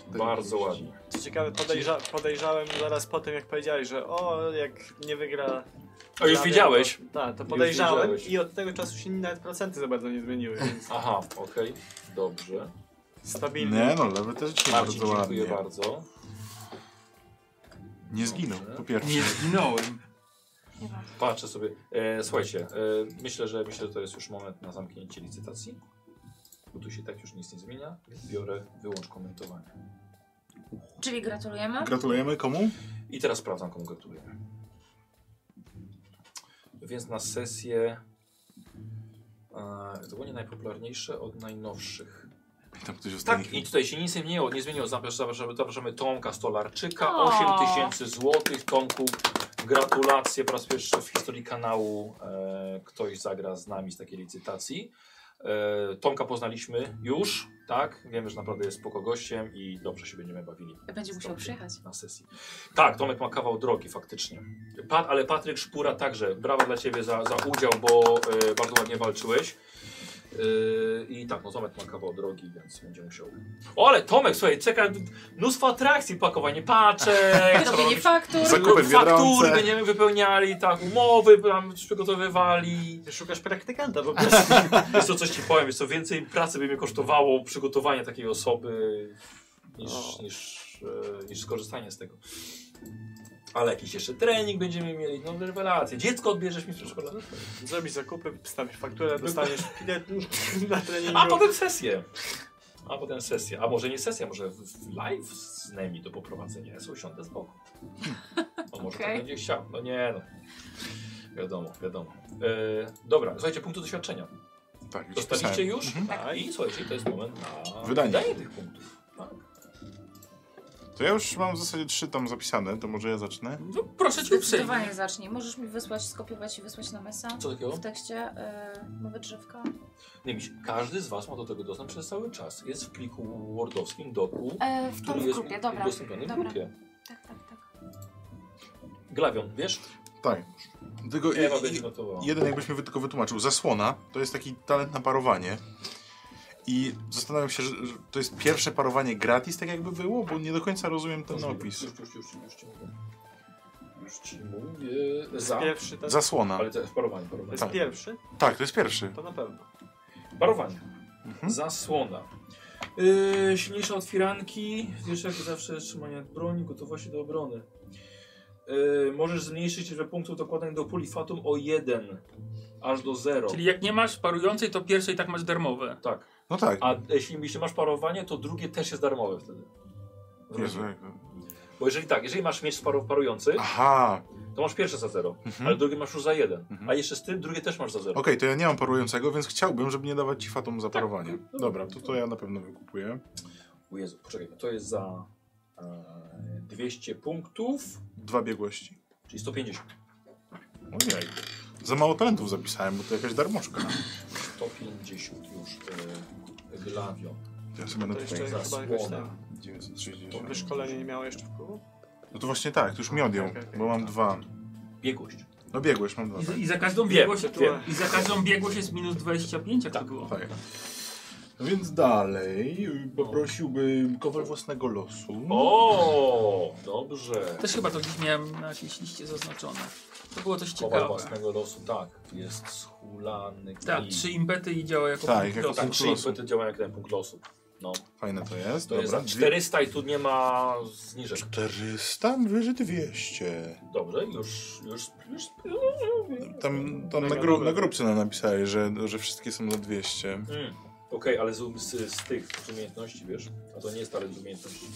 Speaker 1: Bardzo ładnie.
Speaker 4: Co ciekawe, podejrza podejrzałem zaraz po tym, jak powiedziałeś, że o, jak nie wygra...
Speaker 1: A już wiedziałeś?
Speaker 4: To, tak, to podejrzałem
Speaker 1: wiedziałeś.
Speaker 4: i od tego czasu się nawet procenty za bardzo nie zmieniły, więc...
Speaker 1: Aha, okej, dobrze.
Speaker 4: Stabilny.
Speaker 3: Nie no, lewy też trzyma
Speaker 1: Marcin,
Speaker 3: bardzo
Speaker 1: dziękuję
Speaker 3: ładnie.
Speaker 1: bardzo.
Speaker 3: Nie zginął,
Speaker 1: Dobrze.
Speaker 3: po pierwsze.
Speaker 5: Nie zginąłem.
Speaker 1: Patrzę sobie. E, słuchajcie, e, myślę, że myślę, że to jest już moment na zamknięcie licytacji. Bo tu się tak już nic nie zmienia. Biorę wyłącz komentowania.
Speaker 2: Czyli gratulujemy.
Speaker 3: Gratulujemy komu?
Speaker 1: I teraz sprawdzam, komu gratulujemy. Więc na sesję. E, to było nie najpopularniejsze od najnowszych.
Speaker 3: I Tam ktoś ostatni.
Speaker 1: Tak, i tutaj się nic nie zmieniło. Nie zmieniło. Zapraszamy, zapraszamy, zapraszamy Tomka Stolarczyka.
Speaker 2: O.
Speaker 1: 8 tysięcy złotych. Tomku, gratulacje po raz pierwszy w historii kanału. E, ktoś zagra z nami z takiej licytacji. E, Tomka poznaliśmy już, tak? Wiemy, że naprawdę jest spoko gościem i dobrze się będziemy bawili
Speaker 2: Będzie musiał
Speaker 1: Dobrze.
Speaker 2: przyjechać.
Speaker 1: na sesji. Tak, Tomek ma kawał drogi faktycznie. Pat, ale Patryk Szpura także. Brawa dla Ciebie za, za udział, bo e, bardzo ładnie walczyłeś. E, I tak, no Tomek ma kawał drogi, więc będzie musiał. O, ale Tomek, słuchaj, czeka mnóstwo atrakcji, pakowanie paczek,
Speaker 2: Robienie faktur.
Speaker 3: Zakupy w
Speaker 1: faktury
Speaker 3: Biedronce.
Speaker 1: będziemy wypełniali, tak, umowy tam przygotowywali.
Speaker 4: Ty szukasz praktykanta po prostu.
Speaker 1: Jest to coś Ci powiem, jest to więcej pracy by mnie kosztowało przygotowanie takiej osoby niż,
Speaker 4: No.
Speaker 1: niż, e, niż skorzystanie z tego. Ale jakiś jeszcze trening będziemy mieli, no rewelacje. Dziecko odbierzesz mi z przedszkola.
Speaker 4: Zrobisz zakupy, stawisz fakturę, dostaniesz bilet na treningu.
Speaker 1: A potem sesję. A potem sesję. A może nie sesja, może w- w live z nami do poprowadzenia. Ja sobie usiądę z boku. No może
Speaker 2: Okej.
Speaker 1: tak będzie chciał. No nie no. Wiadomo, wiadomo. E, dobra, słuchajcie, punktu doświadczenia.
Speaker 3: Tak, już
Speaker 1: Dostaliście
Speaker 3: pisałem.
Speaker 1: już?
Speaker 3: Mhm.
Speaker 1: A, I słuchajcie, to jest moment na
Speaker 3: Wydanie.
Speaker 1: tych punktów. Tak.
Speaker 3: To ja już mam w zasadzie trzy tam zapisane, to może ja zacznę?
Speaker 5: No, proszę cię uprzejmie.
Speaker 2: Zdecydowanie zacznij. Możesz mi wysłać, skopiować i wysłać na mesa
Speaker 1: Co takiego?
Speaker 2: w tekście y, mowy drzewka.
Speaker 1: Nie miś, każdy z Was ma do tego dostęp przez cały czas. Jest w pliku wordowskim doku,
Speaker 2: E, w
Speaker 1: który
Speaker 2: tą w
Speaker 1: jest
Speaker 2: grupie, dobra.
Speaker 1: udostępniony w
Speaker 2: Dobra.
Speaker 1: grupie.
Speaker 2: Tak, tak, tak.
Speaker 1: Glawion, wiesz?
Speaker 3: Tak. Tylko
Speaker 1: Ewa
Speaker 3: i-
Speaker 1: będzie
Speaker 3: i-
Speaker 1: notowała.
Speaker 3: jeden jakbyś mi wy- tylko wytłumaczył. Zasłona to jest taki talent na parowanie. I zastanawiam się, że że to jest pierwsze parowanie gratis, tak jakby było, bo nie do końca rozumiem ten
Speaker 1: Możliwe.
Speaker 3: opis.
Speaker 1: Już, już, już, już ci mówię. Już ci mówię. Za.
Speaker 4: Pierwszy to,
Speaker 3: Zasłona.
Speaker 1: Ale to jest parowanie,
Speaker 4: to
Speaker 1: parowanie.
Speaker 4: jest
Speaker 3: tak.
Speaker 4: pierwszy,
Speaker 3: Tak, to jest pierwszy.
Speaker 4: to na pewno.
Speaker 1: Parowanie.
Speaker 3: Mhm.
Speaker 1: Zasłona. Yy, silniejsze otwiranki, wiesz jak zawsze trzymania broni, gotowości do obrony. Yy, możesz zmniejszyć liczbę punktów dokładanych do puli Fatum o 1, aż do 0.
Speaker 5: Czyli jak nie masz parującej, to pierwszej tak masz darmowe.
Speaker 1: Tak.
Speaker 3: No tak.
Speaker 1: A jeśli, jeśli masz parowanie, to drugie też jest darmowe wtedy.
Speaker 3: Jezu, jak to-
Speaker 1: Bo jeżeli tak, jeżeli masz miecz paru- parujący,
Speaker 3: Aha.
Speaker 1: to masz pierwsze za 0,
Speaker 3: Mhm.
Speaker 1: ale drugie masz już za 1.
Speaker 3: Mhm.
Speaker 1: A jeszcze z tym drugie też masz za 0.
Speaker 3: Okej, to ja nie mam parującego, więc chciałbym, żeby nie dawać ci fatom za parowanie.
Speaker 1: no.
Speaker 3: Dobra, to to ja na pewno wykupuję.
Speaker 1: O Jezu, poczekaj, to jest za e, 200 punktów,
Speaker 3: Dwa biegłości.
Speaker 1: czyli 150.
Speaker 3: Ojej. Za mało talentów zapisałem, bo to jakaś darmożka.
Speaker 1: 150 już e, glawion.
Speaker 3: Ja sobie będę
Speaker 4: To jeszcze
Speaker 3: tutaj...
Speaker 1: za
Speaker 4: chyba
Speaker 1: słona.
Speaker 4: jakaś tam
Speaker 3: 960.
Speaker 4: wyszkolenie nie miało jeszcze wpływu?
Speaker 3: No to właśnie tak, to już mi odjął,
Speaker 4: Okej, okej.
Speaker 3: bo mam dwa.
Speaker 1: Biegłość.
Speaker 3: No biegłeś, mam dwa.
Speaker 5: I,
Speaker 3: Tak.
Speaker 5: za- i za każdą
Speaker 1: Wiem,
Speaker 5: biegłość,
Speaker 1: wiem.
Speaker 5: i za każdą biegłość jest minus 25, jak
Speaker 1: Tak.
Speaker 5: to było.
Speaker 3: tak. No więc dalej y, poprosiłbym kowal własnego losu.
Speaker 1: O, dobrze.
Speaker 5: Też chyba to gdzieś miałem na jakiejś liście zaznaczone. To było coś
Speaker 1: Kowal
Speaker 5: ciekawe.
Speaker 1: własnego losu, tak. Jest schulany.
Speaker 5: Tak,
Speaker 1: i-
Speaker 5: trzy impety i działa jako
Speaker 3: Tak,
Speaker 5: punkt
Speaker 3: jako
Speaker 5: losu.
Speaker 1: tak,
Speaker 3: punkt
Speaker 1: trzy
Speaker 3: losu.
Speaker 1: impety działają jak ten punkt losu. No, to
Speaker 3: Fajne to jest.
Speaker 1: jest
Speaker 3: Dobra.
Speaker 1: za 400 i tu nie ma zniżek.
Speaker 3: 400, no wyżej 200.
Speaker 1: Dobrze, już, już, już.
Speaker 3: Tam, tam na,
Speaker 4: Mega
Speaker 3: gru,
Speaker 4: dobre.
Speaker 3: na grupce nam napisali, że, że wszystkie są za 200.
Speaker 1: Mm. Okej, ale z, z, z tych z umiejętności, wiesz? A to nie jest talent z umiejętności.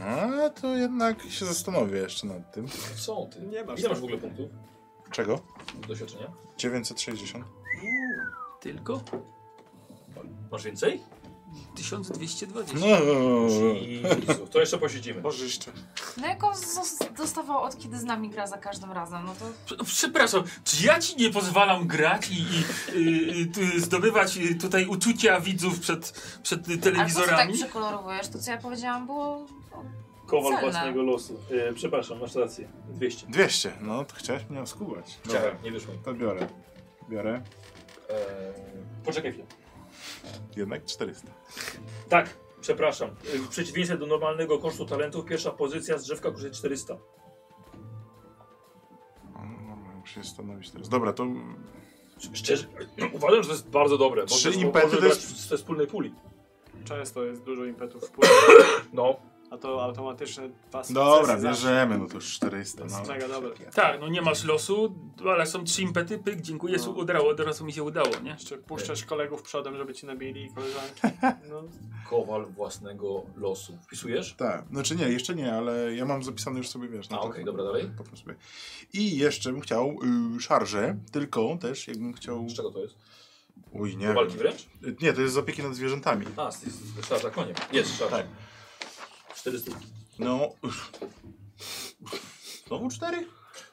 Speaker 3: A to jednak się zastanowię jeszcze nad tym.
Speaker 1: Są ty.
Speaker 4: Nie masz. tak.
Speaker 1: Ile masz w ogóle punktów
Speaker 3: Czego?
Speaker 1: doświadczenia?
Speaker 3: 960.
Speaker 5: Tylko
Speaker 1: Masz więcej?
Speaker 5: 1220.
Speaker 3: No.
Speaker 1: Jezu, to jeszcze posiedzimy.
Speaker 4: Boże jeszcze.
Speaker 2: No jak on zos- dostawał od kiedy z nami gra za każdym razem, no to
Speaker 5: Prze- Przepraszam, czy ja ci nie pozwalam grać i, i y, y, tu zdobywać y, tutaj uczucia widzów przed, przed y,
Speaker 2: ale po co tak
Speaker 5: telewizorami?
Speaker 2: przekolorowujesz? To co ja powiedziałam było... no,
Speaker 8: Kowal
Speaker 2: celne.
Speaker 8: własnego losu. E, przepraszam, masz rację. 200.
Speaker 3: 200, no to chciałeś mnie oskubać. Dobra,
Speaker 1: Chciałem, nie wyszło. mi.
Speaker 3: to biorę. Biorę.
Speaker 1: Eee, poczekaj chwilę.
Speaker 3: Jednak 400.
Speaker 8: Tak, przepraszam. E, w przeciwieństwie do normalnego kosztu talentów, pierwsza pozycja z drzewka kosztuje 400.
Speaker 3: O, no, muszę się zastanowić teraz. Dobra, to
Speaker 1: Szczerze, uważam, że to jest bardzo dobre. bo
Speaker 3: Trzy
Speaker 1: to- bo
Speaker 3: impety
Speaker 1: może
Speaker 3: to
Speaker 1: brać
Speaker 3: jest-
Speaker 1: ze wspólnej puli.
Speaker 4: często jest dużo impetów wpływu,
Speaker 1: No,
Speaker 4: a to automatyczne dwa sukcesy
Speaker 3: Dobra,
Speaker 4: zawsze.
Speaker 3: bierzemy, no to już 400.
Speaker 4: To jest
Speaker 3: No.
Speaker 4: mega dobre.
Speaker 5: Tak, no nie masz losu, ale są trzy impety, pyk, dziękuję,
Speaker 4: No.
Speaker 5: no. udało, od razu mi się udało, nie?
Speaker 4: Jeszcze puszczasz kolegów przodem, żeby ci nabili i koleżanki. No,
Speaker 1: kowal własnego losu. Wpisujesz?
Speaker 3: Tak, znaczy nie, jeszcze nie, ale ja mam zapisane już sobie, wiesz.
Speaker 1: A,
Speaker 3: to-
Speaker 1: okej, dobra, dalej.
Speaker 3: Po prostu. I jeszcze bym chciał y, szarże, tylko też jakbym chciał...
Speaker 1: Z czego to jest?
Speaker 3: Uj, nie
Speaker 1: Do walki
Speaker 3: wiem.
Speaker 1: wręcz?
Speaker 3: Y, Nie, to jest z opieki nad zwierzętami.
Speaker 1: A, z, z, z szarża koniem. Jest szarża.
Speaker 3: Tak.
Speaker 1: Tak. 400.
Speaker 3: No... Znowu cztery?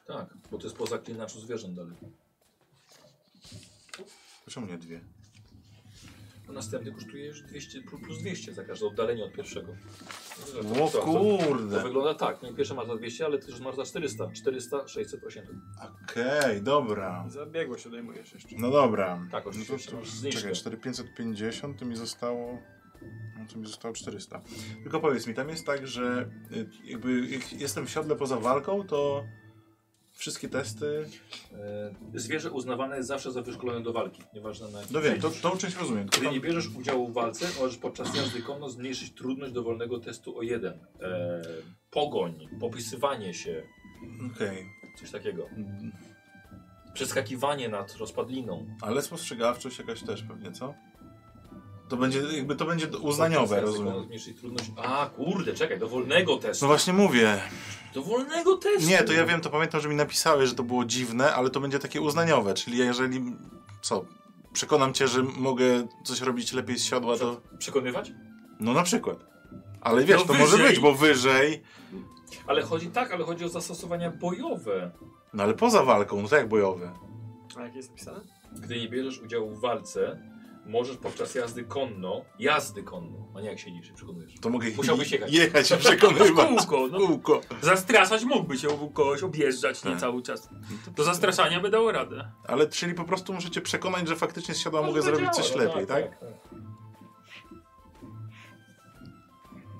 Speaker 1: Tak, bo to jest po zaklinaczu zwierząt dalej.
Speaker 3: To czemu nie dwie?
Speaker 1: A następny kosztuje już 200, plus plus 200 za każde oddalenie od pierwszego.
Speaker 3: O
Speaker 1: To- to- To
Speaker 3: kurde!
Speaker 1: wygląda tak. No i pierwsze masz za 200, ale ty już masz za 400. 400, 600, 800.
Speaker 3: Okej, dobra.
Speaker 4: i zabiegłość odejmujesz jeszcze.
Speaker 3: No dobra.
Speaker 1: Tak,
Speaker 3: no
Speaker 1: oczywiście,
Speaker 3: to, to,
Speaker 1: masz zniżkę.
Speaker 3: czekaj, 4550 to mi zostało. No to mi zostało 400. Tylko powiedz mi, tam jest tak, że y, jakby jak jestem w siodle poza walką, to wszystkie testy.
Speaker 1: E, zwierzę uznawane jest zawsze za wyszkolone do walki. Nieważne na jakim
Speaker 3: No wiem, to,
Speaker 1: poziomie.
Speaker 3: tą część rozumiem.
Speaker 1: Gdy
Speaker 3: Tylko
Speaker 1: nie
Speaker 3: tam,
Speaker 1: bierzesz udziału w walce, możesz podczas jazdy konno zmniejszyć trudność dowolnego testu o jeden. E, pogoń, popisywanie się,
Speaker 3: okej.
Speaker 1: coś takiego.
Speaker 3: Mm,
Speaker 1: Przeskakiwanie nad rozpadliną.
Speaker 3: Ale spostrzegawczość jakaś też pewnie, co? To będzie jakby to będzie uznaniowe,
Speaker 1: Podczas jazdy konno
Speaker 3: rozumiem.
Speaker 1: Zmniejszyć trudność. A, kurde, czekaj, dowolnego testu.
Speaker 3: No właśnie mówię.
Speaker 1: Dowolnego testu.
Speaker 3: Nie, to ja wiem, to pamiętam, że mi napisały, że to było dziwne, ale to będzie takie uznaniowe, czyli ja jeżeli, co, przekonam cię, że mogę coś robić lepiej z siodła, to...
Speaker 1: Przekonywać?
Speaker 3: No na przykład. Ale wiesz,
Speaker 5: No
Speaker 3: to może
Speaker 5: wyżej.
Speaker 3: być, bo wyżej,
Speaker 1: Ale chodzi tak, ale chodzi o zastosowania bojowe.
Speaker 3: no ale poza walką, no tak bojowe.
Speaker 4: A jak jest napisane?
Speaker 1: Gdy nie bierzesz udziału w walce, możesz podczas jazdy konno, jazdy konno, a nie jak siedzisz i przekonujesz.
Speaker 3: To mogę
Speaker 1: Musiałbyś jechać.
Speaker 3: jechać i przekonywać.
Speaker 5: Kółko, no.
Speaker 3: Kółko.
Speaker 5: Zastraszać mógłby się kogoś objeżdżać nie
Speaker 3: Tak.
Speaker 5: cały czas. Do zastraszania by dało radę.
Speaker 3: Ale czyli po prostu muszę cię przekonać, że faktycznie z siodła mogę
Speaker 1: to
Speaker 3: zrobić
Speaker 1: działa,
Speaker 3: coś
Speaker 1: no
Speaker 3: lepiej, tak?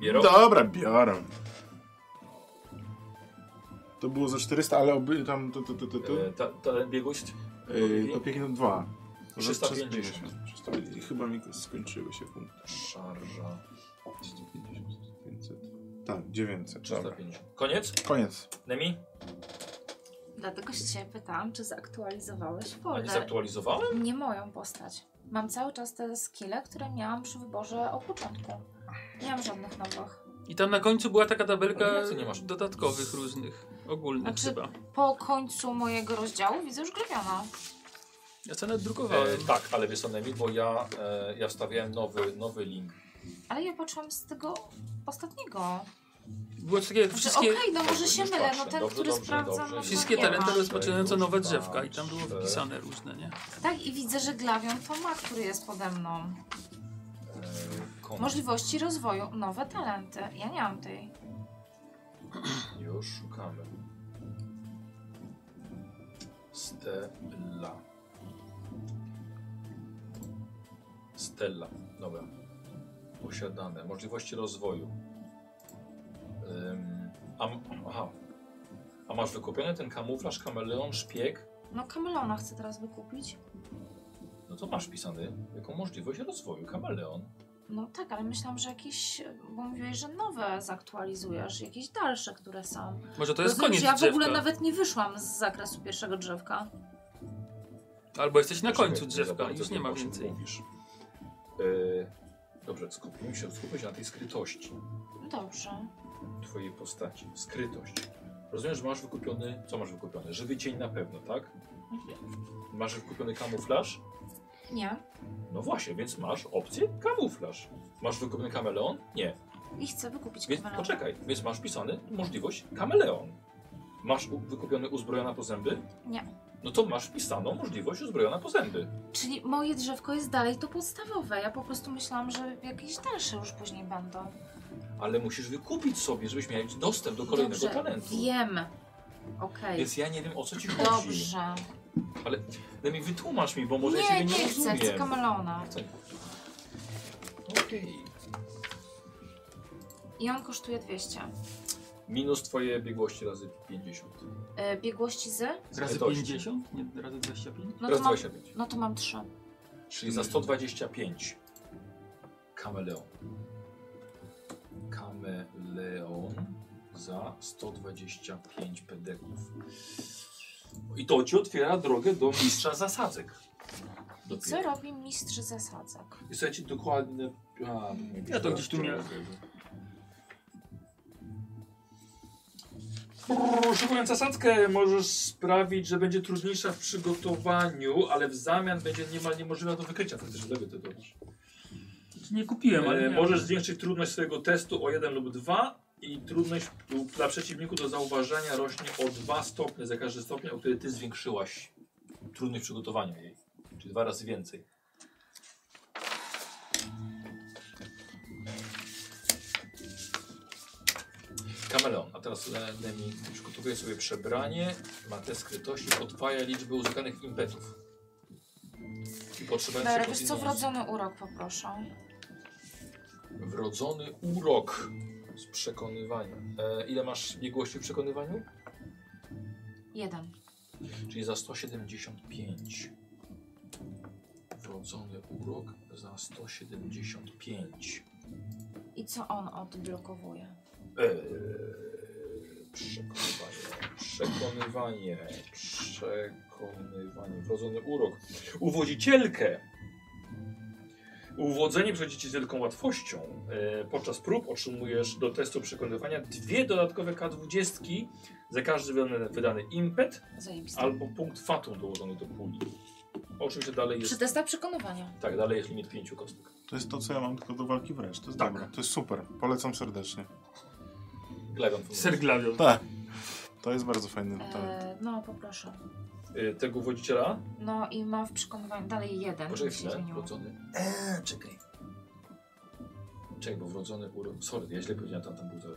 Speaker 1: Biorą?
Speaker 3: Dobra, biorę. To było za 400, ale oby, tam... Tu, tu, tu, tu, tu.
Speaker 1: E, ta, ta biegłość
Speaker 3: Yy, opieki na 2.
Speaker 1: 350.
Speaker 3: I chyba mi skończyły się punkty.
Speaker 1: szarża
Speaker 3: 350, 500. Tak, 900. Dobra.
Speaker 1: 350. Koniec?
Speaker 3: Koniec.
Speaker 1: Nemi?
Speaker 2: Dlatego się ciebie pytałam, czy zaktualizowałeś
Speaker 1: A nie
Speaker 2: folder.
Speaker 1: zaktualizowałem?
Speaker 3: E,
Speaker 2: Nie moją postać. Mam cały czas te skille, które miałam przy wyborze od początku. Nie mam żadnych nowych.
Speaker 5: I tam na końcu była taka
Speaker 1: Ale
Speaker 5: tabelka
Speaker 1: jak to nie masz?
Speaker 5: dodatkowych różnych, ogólnych
Speaker 2: Znaczy-
Speaker 5: chyba.
Speaker 2: Po końcu mojego rozdziału widzę już grabiona.
Speaker 5: Ja co nawet
Speaker 1: E,
Speaker 5: drukowałem.
Speaker 1: tak, ale wiesz co Nemi, bo ja, e, ja wstawiałem nowy, nowy link.
Speaker 2: Ale ja patrzyłam z tego ostatniego.
Speaker 5: Było takie
Speaker 2: Znaczy,
Speaker 5: wszystkie,
Speaker 2: Okej, no może się
Speaker 1: Już
Speaker 2: mylę, no
Speaker 1: patrzę.
Speaker 2: ten,
Speaker 1: Dobrze,
Speaker 2: który
Speaker 1: dobrze,
Speaker 2: sprawdzam.
Speaker 1: dobrze.
Speaker 2: no to
Speaker 5: wszystkie
Speaker 2: nie ma.
Speaker 5: talenty rozpoczynające
Speaker 1: Tutaj
Speaker 5: nowe
Speaker 1: już
Speaker 5: drzewka i
Speaker 1: patrzę.
Speaker 5: tam było wpisane różne, nie?
Speaker 2: Tak, i widzę, że glawią to ma, który jest pode mną.
Speaker 1: E, kon-
Speaker 2: Możliwości rozwoju, nowe talenty. Ja nie mam tej.
Speaker 1: Już szukamy. Stella. Stella. Dobra. Posiadane. Możliwości rozwoju. Ym, a, m- aha. A masz wykupiony ten kamuflaż, kameleon, szpieg?
Speaker 2: No kamelona chcę teraz wykupić.
Speaker 1: No to masz wpisany jako możliwość rozwoju kameleon.
Speaker 2: No tak, ale myślałam, że jakieś, bo mówiłeś, że nowe zaktualizujesz, jakieś dalsze, które są.
Speaker 5: Może to jest
Speaker 2: Rozumiem,
Speaker 5: koniec
Speaker 2: że ja w ogóle
Speaker 5: drzewka.
Speaker 2: nawet nie wyszłam z zakresu pierwszego drzewka.
Speaker 5: Albo jesteś na końcu
Speaker 1: Czekaj,
Speaker 5: drzewka,
Speaker 1: zobacz,
Speaker 5: już
Speaker 1: co
Speaker 5: nie ma
Speaker 1: o czym
Speaker 5: więcej.
Speaker 1: Mówisz. Yy, dobrze, skupmy się, skupmy się na tej skrytości.
Speaker 2: Dobrze.
Speaker 1: twojej postaci, skrytość. Rozumiem, że masz wykupiony, co masz wykupiony? Żywy cień na pewno, tak? Masz wykupiony kamuflaż?
Speaker 2: Nie.
Speaker 1: No właśnie, więc masz opcję kamuflaż. Masz wykupiony kameleon? Nie.
Speaker 2: I chcę wykupić
Speaker 1: Więc
Speaker 2: kamelona.
Speaker 1: poczekaj, więc masz wpisany możliwość kameleon. Masz u- wykupiony uzbrojona po zęby?
Speaker 2: Nie.
Speaker 1: No to masz wpisaną możliwość uzbrojona po zęby.
Speaker 2: Czyli moje drzewko jest dalej to podstawowe. Ja po prostu myślałam, że jakieś dalsze już później będą.
Speaker 1: Ale musisz wykupić sobie, żebyś miał dostęp do kolejnego
Speaker 2: Dobrze,
Speaker 1: talentu.
Speaker 2: wiem. Okej.
Speaker 1: Więc ja nie wiem o co ci chodzi.
Speaker 2: Dobrze.
Speaker 1: Daj mi wytłumacz mi, bo może ja
Speaker 2: Nie,
Speaker 1: ciebie nie,
Speaker 2: nie chcę,
Speaker 1: rozumiem.
Speaker 2: chcę kamelona.
Speaker 1: Co? Okej.
Speaker 2: I on kosztuje 200.
Speaker 1: Minus twoje biegłości razy 50.
Speaker 2: E, biegłości z?
Speaker 5: Razy
Speaker 1: Skrytości.
Speaker 5: 50? Nie, razy 25?
Speaker 2: No to
Speaker 1: Raz
Speaker 2: mam,
Speaker 1: 25.
Speaker 2: no to mam 3.
Speaker 1: Czyli za 125. Kameleon. Kameleon za 125 pedeków. I to ci otwiera drogę do mistrza zasadzek.
Speaker 2: I
Speaker 1: Dopiero.
Speaker 2: co robi mistrz zasadzek?
Speaker 1: I słuchajcie, dokładne... A,
Speaker 5: Ja to gdzieś tu miałem.
Speaker 8: Brrr, Szykując zasadzkę możesz sprawić, że będzie trudniejsza w przygotowaniu, ale w zamian będzie niemal niemożliwa do wykrycia. Faktycznie lepiej to dobrze.
Speaker 5: Znaczy, Nie kupiłem, ale.
Speaker 8: E,
Speaker 5: miałem.
Speaker 8: możesz zwiększyć trudność swojego testu o 1 lub 2 i trudność lub dla przeciwników do zauważenia rośnie o 2 stopnie za każdy stopień, o który ty zwiększyłaś trudność przygotowania jej. Czyli dwa razy więcej.
Speaker 1: Kameleon, a teraz Le- Lemi przygotowuje sobie przebranie, ma te skrytości, podwaja liczbę uzyskanych impetów. I potrzebujemy
Speaker 2: Dobra,
Speaker 1: się
Speaker 2: wiesz co, wrodzony urok poproszę.
Speaker 1: Wrodzony urok z przekonywania. E, ile masz biegłości w przekonywaniu?
Speaker 2: Jeden.
Speaker 1: Czyli za 175. Wrodzony urok za 175.
Speaker 2: I co on odblokowuje?
Speaker 1: Eee, Przekonywanie, przekonywanie, przekonywanie, wrodzony urok.
Speaker 8: Uwodzicielkę. Uwodzenie przechodzicie z wielką łatwością. E, podczas prób otrzymujesz do testu przekonywania dwie dodatkowe K20 za każdy wydany, wydany impet
Speaker 2: Zajebiste.
Speaker 8: albo punkt fatu dołożony do puli. Oczywiście dalej
Speaker 2: Przy
Speaker 8: jest,
Speaker 2: testach przekonywania.
Speaker 8: tak, dalej jest limit pięciu kostek.
Speaker 3: To jest to, co ja mam tylko do walki wręcz. To jest
Speaker 8: Tak.
Speaker 3: dobre. To jest super. Polecam serdecznie.
Speaker 1: Glegon.
Speaker 5: Serglawion.
Speaker 3: Tak. Eee. To jest bardzo fajny talent.
Speaker 1: tak.
Speaker 2: E, no, poproszę.
Speaker 8: Y, tego uwodziciela.
Speaker 2: No i ma w przekonywaniu dalej jeden.
Speaker 1: Poczekaj
Speaker 2: się
Speaker 1: chwilę,
Speaker 2: zmieniło.
Speaker 1: wrodzony. Eee, czekaj. Czekaj, bo wrodzony urok. Sorry, ja źle powiedziałem, tam, tam był za,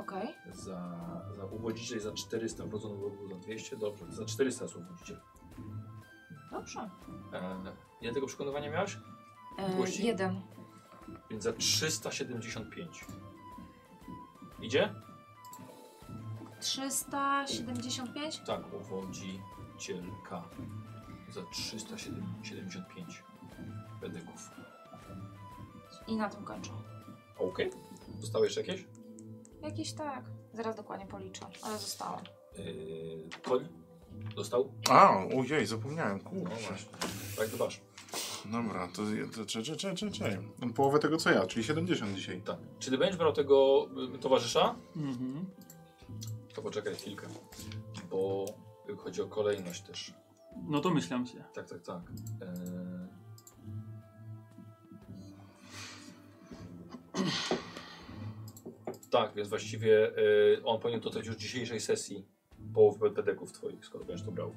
Speaker 2: Okej.
Speaker 1: za, za uwodziciel za 400, wrodzony urok był za 200, dobrze, za 400 jest uwodziciel.
Speaker 2: Dobrze.
Speaker 1: Eee, ile tego przekonywania miałeś?
Speaker 2: E,
Speaker 1: Gości?
Speaker 2: jeden.
Speaker 1: Więc za 375. Idzie?
Speaker 2: 375?
Speaker 1: Tak, uwodzicielka. Za 375 pedyków.
Speaker 2: I na tym kończę.
Speaker 1: Okej. Zostały jeszcze jakieś?
Speaker 2: Jakiś tak. Zaraz dokładnie policzę, ale zostało.
Speaker 1: Yy, koń? Dostał?
Speaker 3: A, ojej, zapomniałem. Kurczę.
Speaker 1: Tak, zobacz.
Speaker 3: Dobra, to, je- to cze, cze, cze, cze, cze. Połowę tego, co ja, czyli 70 dzisiaj.
Speaker 1: Tak. Czy ty będziesz brał tego y, towarzysza?
Speaker 5: Mhm.
Speaker 1: To poczekaj chwilkę. Bo chodzi o kolejność też.
Speaker 5: No to myślam się.
Speaker 1: Tak, tak, tak. Eee... Tak, więc właściwie e, on powinien dostać już dzisiejszej sesji połowę pedeków twoich, skoro będziesz to brał.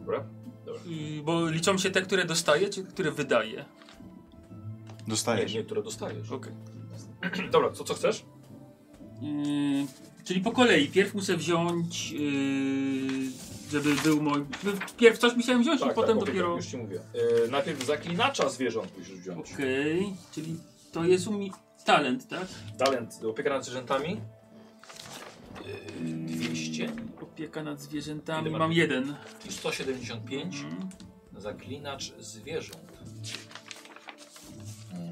Speaker 1: Dobra?
Speaker 5: Y, bo liczą się te, które dostaję, czy które wydaję.
Speaker 1: Nie,
Speaker 3: Dostajesz.
Speaker 1: nie, które dostajesz.
Speaker 5: Okej.
Speaker 1: Dobra, co, co chcesz?
Speaker 5: Y, czyli po kolei. Pierw muszę wziąć, yy, żeby był mój... Pierw coś musiałem wziąć i potem
Speaker 1: okej,
Speaker 5: dopiero...
Speaker 1: Tak, Już ci mówię. E, najpierw zaklinacza zwierząt musisz wziąć.
Speaker 5: Okej, czyli to jest umi... talent, tak?
Speaker 1: Talent, opieka nad zwierzętami. E, 200
Speaker 5: Opieka nad
Speaker 1: Ile
Speaker 5: zwierzętami.
Speaker 1: masz?
Speaker 5: Mam jeden.
Speaker 1: i 175.
Speaker 5: Mhm.
Speaker 1: Zaklinacz zwierząt.
Speaker 8: Hmm.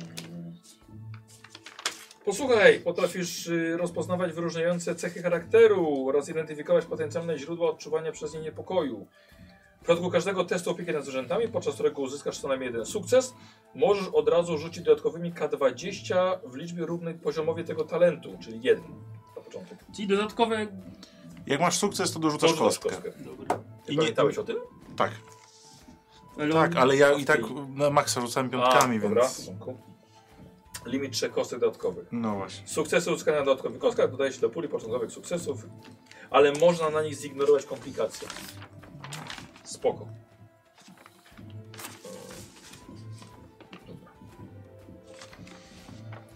Speaker 8: Posłuchaj, potrafisz y, rozpoznawać wyróżniające cechy charakteru oraz identyfikować potencjalne źródła odczuwania przez nie niepokoju. W przypadku każdego testu opieki nad zwierzętami, podczas którego uzyskasz co najmniej jeden sukces, możesz od razu rzucić dodatkowymi K20 w liczbie równej poziomowi tego talentu, czyli jeden na początek.
Speaker 5: Czyli dodatkowe...
Speaker 3: Jak masz sukces, to dorzucasz
Speaker 8: Dorzucasz
Speaker 3: kostkę.
Speaker 5: Dobra.
Speaker 1: Ty
Speaker 3: I nie-
Speaker 1: pamiętałeś o tym?
Speaker 3: Tak,
Speaker 5: Ale
Speaker 3: tak,
Speaker 5: on-
Speaker 3: ale ja i tak na maksa rzucałem piątkami,
Speaker 8: A,
Speaker 3: więc...
Speaker 8: dobra, w porządku. Limit trzech kostek dodatkowych.
Speaker 3: No właśnie.
Speaker 8: Sukcesy uzyskane na dodatkowych kostkach dodaje się do puli początkowych sukcesów, ale można na nich zignorować komplikacje. Spoko.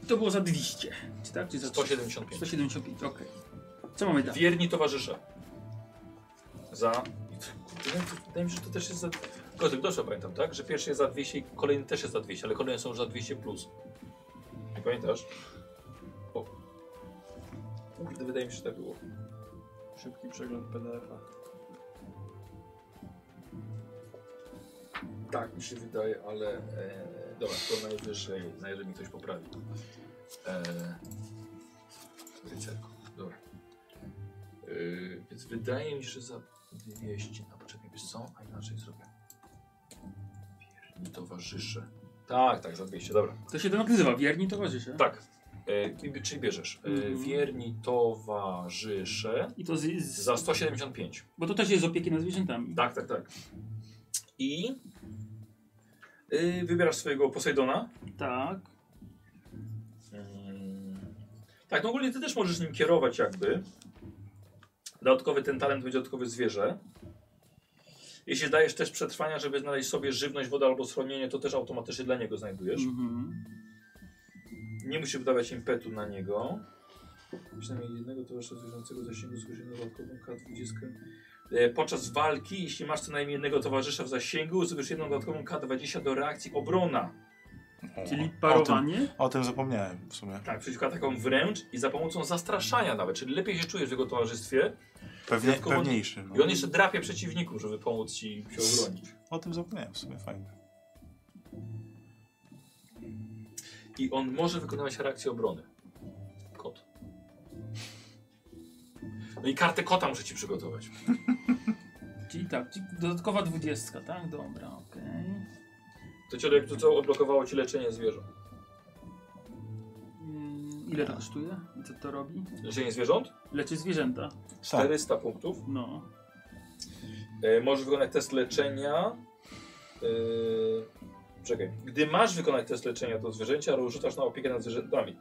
Speaker 5: To było za 200. Czy tak? Czy za
Speaker 1: 175.
Speaker 5: 175, okej. Co mamy dalej?
Speaker 8: Wierni towarzysze. Za. Wydaje mi się, że to też jest za. Kotek, dobrze pamiętam, tak? Że pierwszy jest za 200 i kolejny też jest za 200, ale kolejne są już za 200 plus. Nie pamiętasz? O. Kurde, wydaje mi się, że tak było.
Speaker 4: Szybki przegląd PDF-a.
Speaker 1: Tak, mi się wydaje, ale. E, Dobra, to najwyżej, najwyżej mi ktoś poprawi.
Speaker 8: E,
Speaker 1: Eee, rycerko, dobra. Eee, więc wydaje mi się, że za 200, no poczekaj, wiesz co, a inaczej zrobię. Wierni towarzysze. Tak, tak, za 200, dobra.
Speaker 5: To się to nazywa, wierni towarzysze.
Speaker 1: Tak, eee, i- czyli bierzesz. Eee,
Speaker 5: Mhm.
Speaker 1: Wierni towarzysze
Speaker 5: I to z, z,
Speaker 1: za 175.
Speaker 5: bo to też jest z opieki nad zwierzętami.
Speaker 1: Tak, tak, tak. I eee, wybierasz swojego Posejdona.
Speaker 5: Tak.
Speaker 1: Mm. Tak, no ogólnie ty też możesz nim kierować jakby. Dodatkowy ten talent będzie dodatkowy zwierzę. Jeśli dajesz też przetrwania, żeby znaleźć sobie żywność, wodę albo schronienie, to też automatycznie dla niego znajdujesz.
Speaker 5: Mhm.
Speaker 1: Nie musisz wydawać impetu na niego. Przynajmniej jednego towarzysza zwierzęcego zasięgu słyszy na dodatkową K20. E, Podczas walki, jeśli masz co najmniej jednego towarzysza w zasięgu, uzyskasz jedną dodatkową K20 do reakcji obrona.
Speaker 3: O,
Speaker 5: Czyli
Speaker 3: O tym,
Speaker 5: parowanie.
Speaker 3: o tym zapomniałem w sumie.
Speaker 1: Tak, przeciwko atakom wręcz i za pomocą zastraszania nawet, czyli lepiej się czujesz w jego towarzystwie
Speaker 3: Pewnie,
Speaker 1: Dodatkowo-
Speaker 3: pewniejszy.
Speaker 1: i
Speaker 3: No.
Speaker 1: on jeszcze drapie przeciwników, żeby pomóc ci się obronić.
Speaker 3: O tym zapomniałem w sumie, fajnie.
Speaker 1: I on może wykonywać reakcję obrony. Kot. No i kartę kota muszę ci przygotować.
Speaker 5: Czyli tak, czyli dodatkowa dwudziestka, tak? Dobra, okej.
Speaker 1: To cię jakby co odblokowało ci leczenie zwierząt.
Speaker 5: Mm, Ile
Speaker 3: Tak.
Speaker 5: to kosztuje? I co to robi?
Speaker 1: Leczenie zwierząt?
Speaker 5: Leczy zwierzęta.
Speaker 3: Tak.
Speaker 1: 400 punktów.
Speaker 5: No.
Speaker 1: E, możesz wykonać test leczenia. E, czekaj. Gdy masz wykonać test leczenia do zwierzęcia, rzucasz na opiekę nad zwierzętami.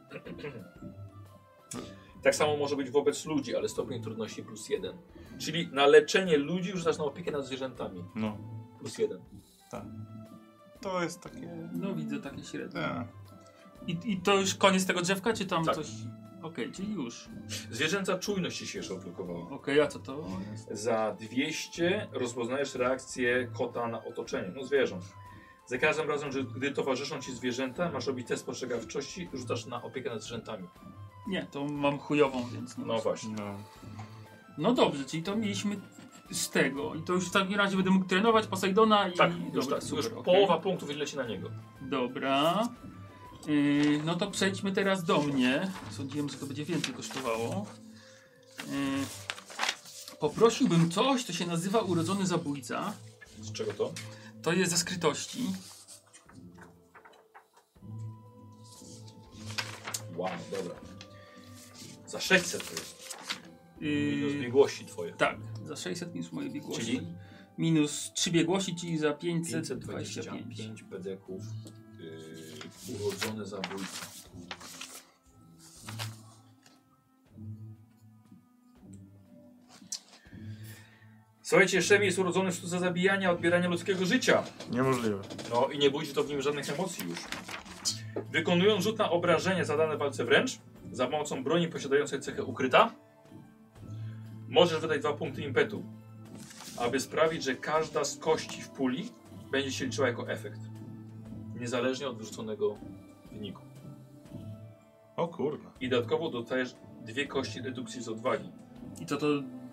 Speaker 1: tak samo może być wobec ludzi, ale stopień trudności plus jeden. Czyli na leczenie ludzi rzucasz na opiekę nad zwierzętami
Speaker 3: No,
Speaker 1: plus jeden.
Speaker 3: to jest takie...
Speaker 5: No widzę takie średnie.
Speaker 3: Tak.
Speaker 5: I, I to już koniec tego drzewka, czy tam
Speaker 1: Tak.
Speaker 5: coś... Okej, czyli już.
Speaker 1: Zwierzęca czujność ci się jeszcze odblokowała.
Speaker 5: Okej, a co to?
Speaker 1: Za 200 rozpoznajesz reakcję kota na otoczenie, no zwierząt. Za każdym razem, że gdy towarzyszą ci zwierzęta, masz robić test postrzegawczości, rzucasz na opiekę nad zwierzętami.
Speaker 5: Nie, to mam chujową, więc...
Speaker 1: No właśnie.
Speaker 3: No.
Speaker 5: No dobrze, czyli to mieliśmy z tego. I to już w takim razie będę mógł trenować Posejdona i...
Speaker 1: Tak, już,
Speaker 5: Dobra,
Speaker 1: tak, już
Speaker 5: okej.
Speaker 1: połowa punktów i leci na niego.
Speaker 5: Dobra. Yy, no to przejdźmy teraz do mnie. Sądziłem, że to będzie więcej kosztowało. Yy, poprosiłbym coś, co się nazywa Urodzony Zabójca.
Speaker 1: Z czego to?
Speaker 5: To jest ze skrytości.
Speaker 1: Wow, dobra. Za 600 to jest. Minus
Speaker 5: Yy,
Speaker 1: biegłości twoje.
Speaker 5: tak, za 600 minus moje biegłości.
Speaker 1: Czyli?
Speaker 5: Minus 3 biegłości, czyli za 525.
Speaker 1: 525 pedeków. Yy, urodzone zabójca. Słuchajcie, Szemi jest urodzony w sztuce zabijania, odbierania ludzkiego życia.
Speaker 3: Niemożliwe.
Speaker 1: No i nie budzi to w nim żadnych emocji już. Wykonując rzut na obrażenie zadane w walce wręcz, za pomocą broni posiadającej cechę ukryta, możesz wydać dwa punkty impetu, aby sprawić, że każda z kości w puli będzie się liczyła jako efekt, niezależnie od wyrzuconego wyniku.
Speaker 3: O kurde.
Speaker 1: I dodatkowo dostajesz dwie kości redukcji z odwagi.
Speaker 5: I to, to,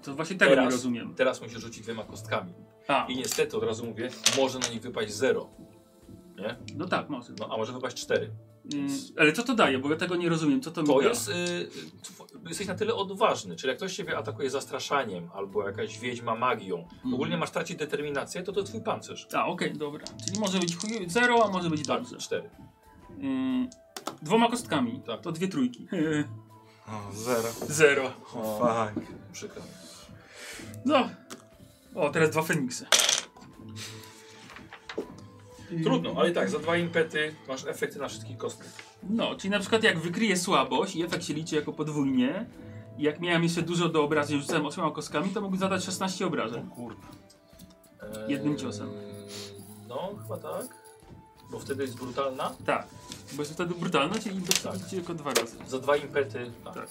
Speaker 5: to właśnie tego
Speaker 1: Teraz.
Speaker 5: nie rozumiem.
Speaker 1: Teraz musisz rzucić dwiema kostkami.
Speaker 5: A,
Speaker 1: I niestety, od razu mówię, może na nich wypaść 0,
Speaker 5: no tak, może.
Speaker 1: no a może wypaść 4.
Speaker 5: Yy, ale co to daje? Bo ja tego nie rozumiem. Co to, mi
Speaker 1: To
Speaker 5: da?
Speaker 1: jest. Y, tw- jesteś na tyle odważny, czyli jak ktoś ciebie atakuje zastraszaniem albo jakaś wiedźma magią,
Speaker 5: Mhm.
Speaker 1: ogólnie masz tracić determinację, to to twój pancerz.
Speaker 5: A, okej, dobra. Czyli może być chuj, zero, a może być
Speaker 1: Tak,
Speaker 5: dobrze.
Speaker 1: cztery.
Speaker 5: Mm, dwoma kostkami,
Speaker 1: Tak.
Speaker 5: to dwie trójki.
Speaker 3: O, zero.
Speaker 5: Zero.
Speaker 3: Fuck.
Speaker 1: Przykro. mi.
Speaker 5: No. O, teraz dwa Feniksy.
Speaker 1: Trudno, ale i tak, za dwa impety masz efekty na wszystkich kostkach.
Speaker 5: No, czyli na przykład jak wykryję słabość i efekt się liczy jako podwójnie, i jak miałem jeszcze dużo do obrażeń, rzucałem osłona kostkami, to mógł zadać 16 obrażeń.
Speaker 3: O kurde.
Speaker 1: Eee,
Speaker 5: Jednym ciosem.
Speaker 1: No, chyba tak. Bo wtedy jest brutalna.
Speaker 5: Tak. Bo jest wtedy brutalna, czyli impet
Speaker 1: Tak.
Speaker 5: tak. tylko dwa razy.
Speaker 1: Za dwa impety. Tak.
Speaker 5: Tak.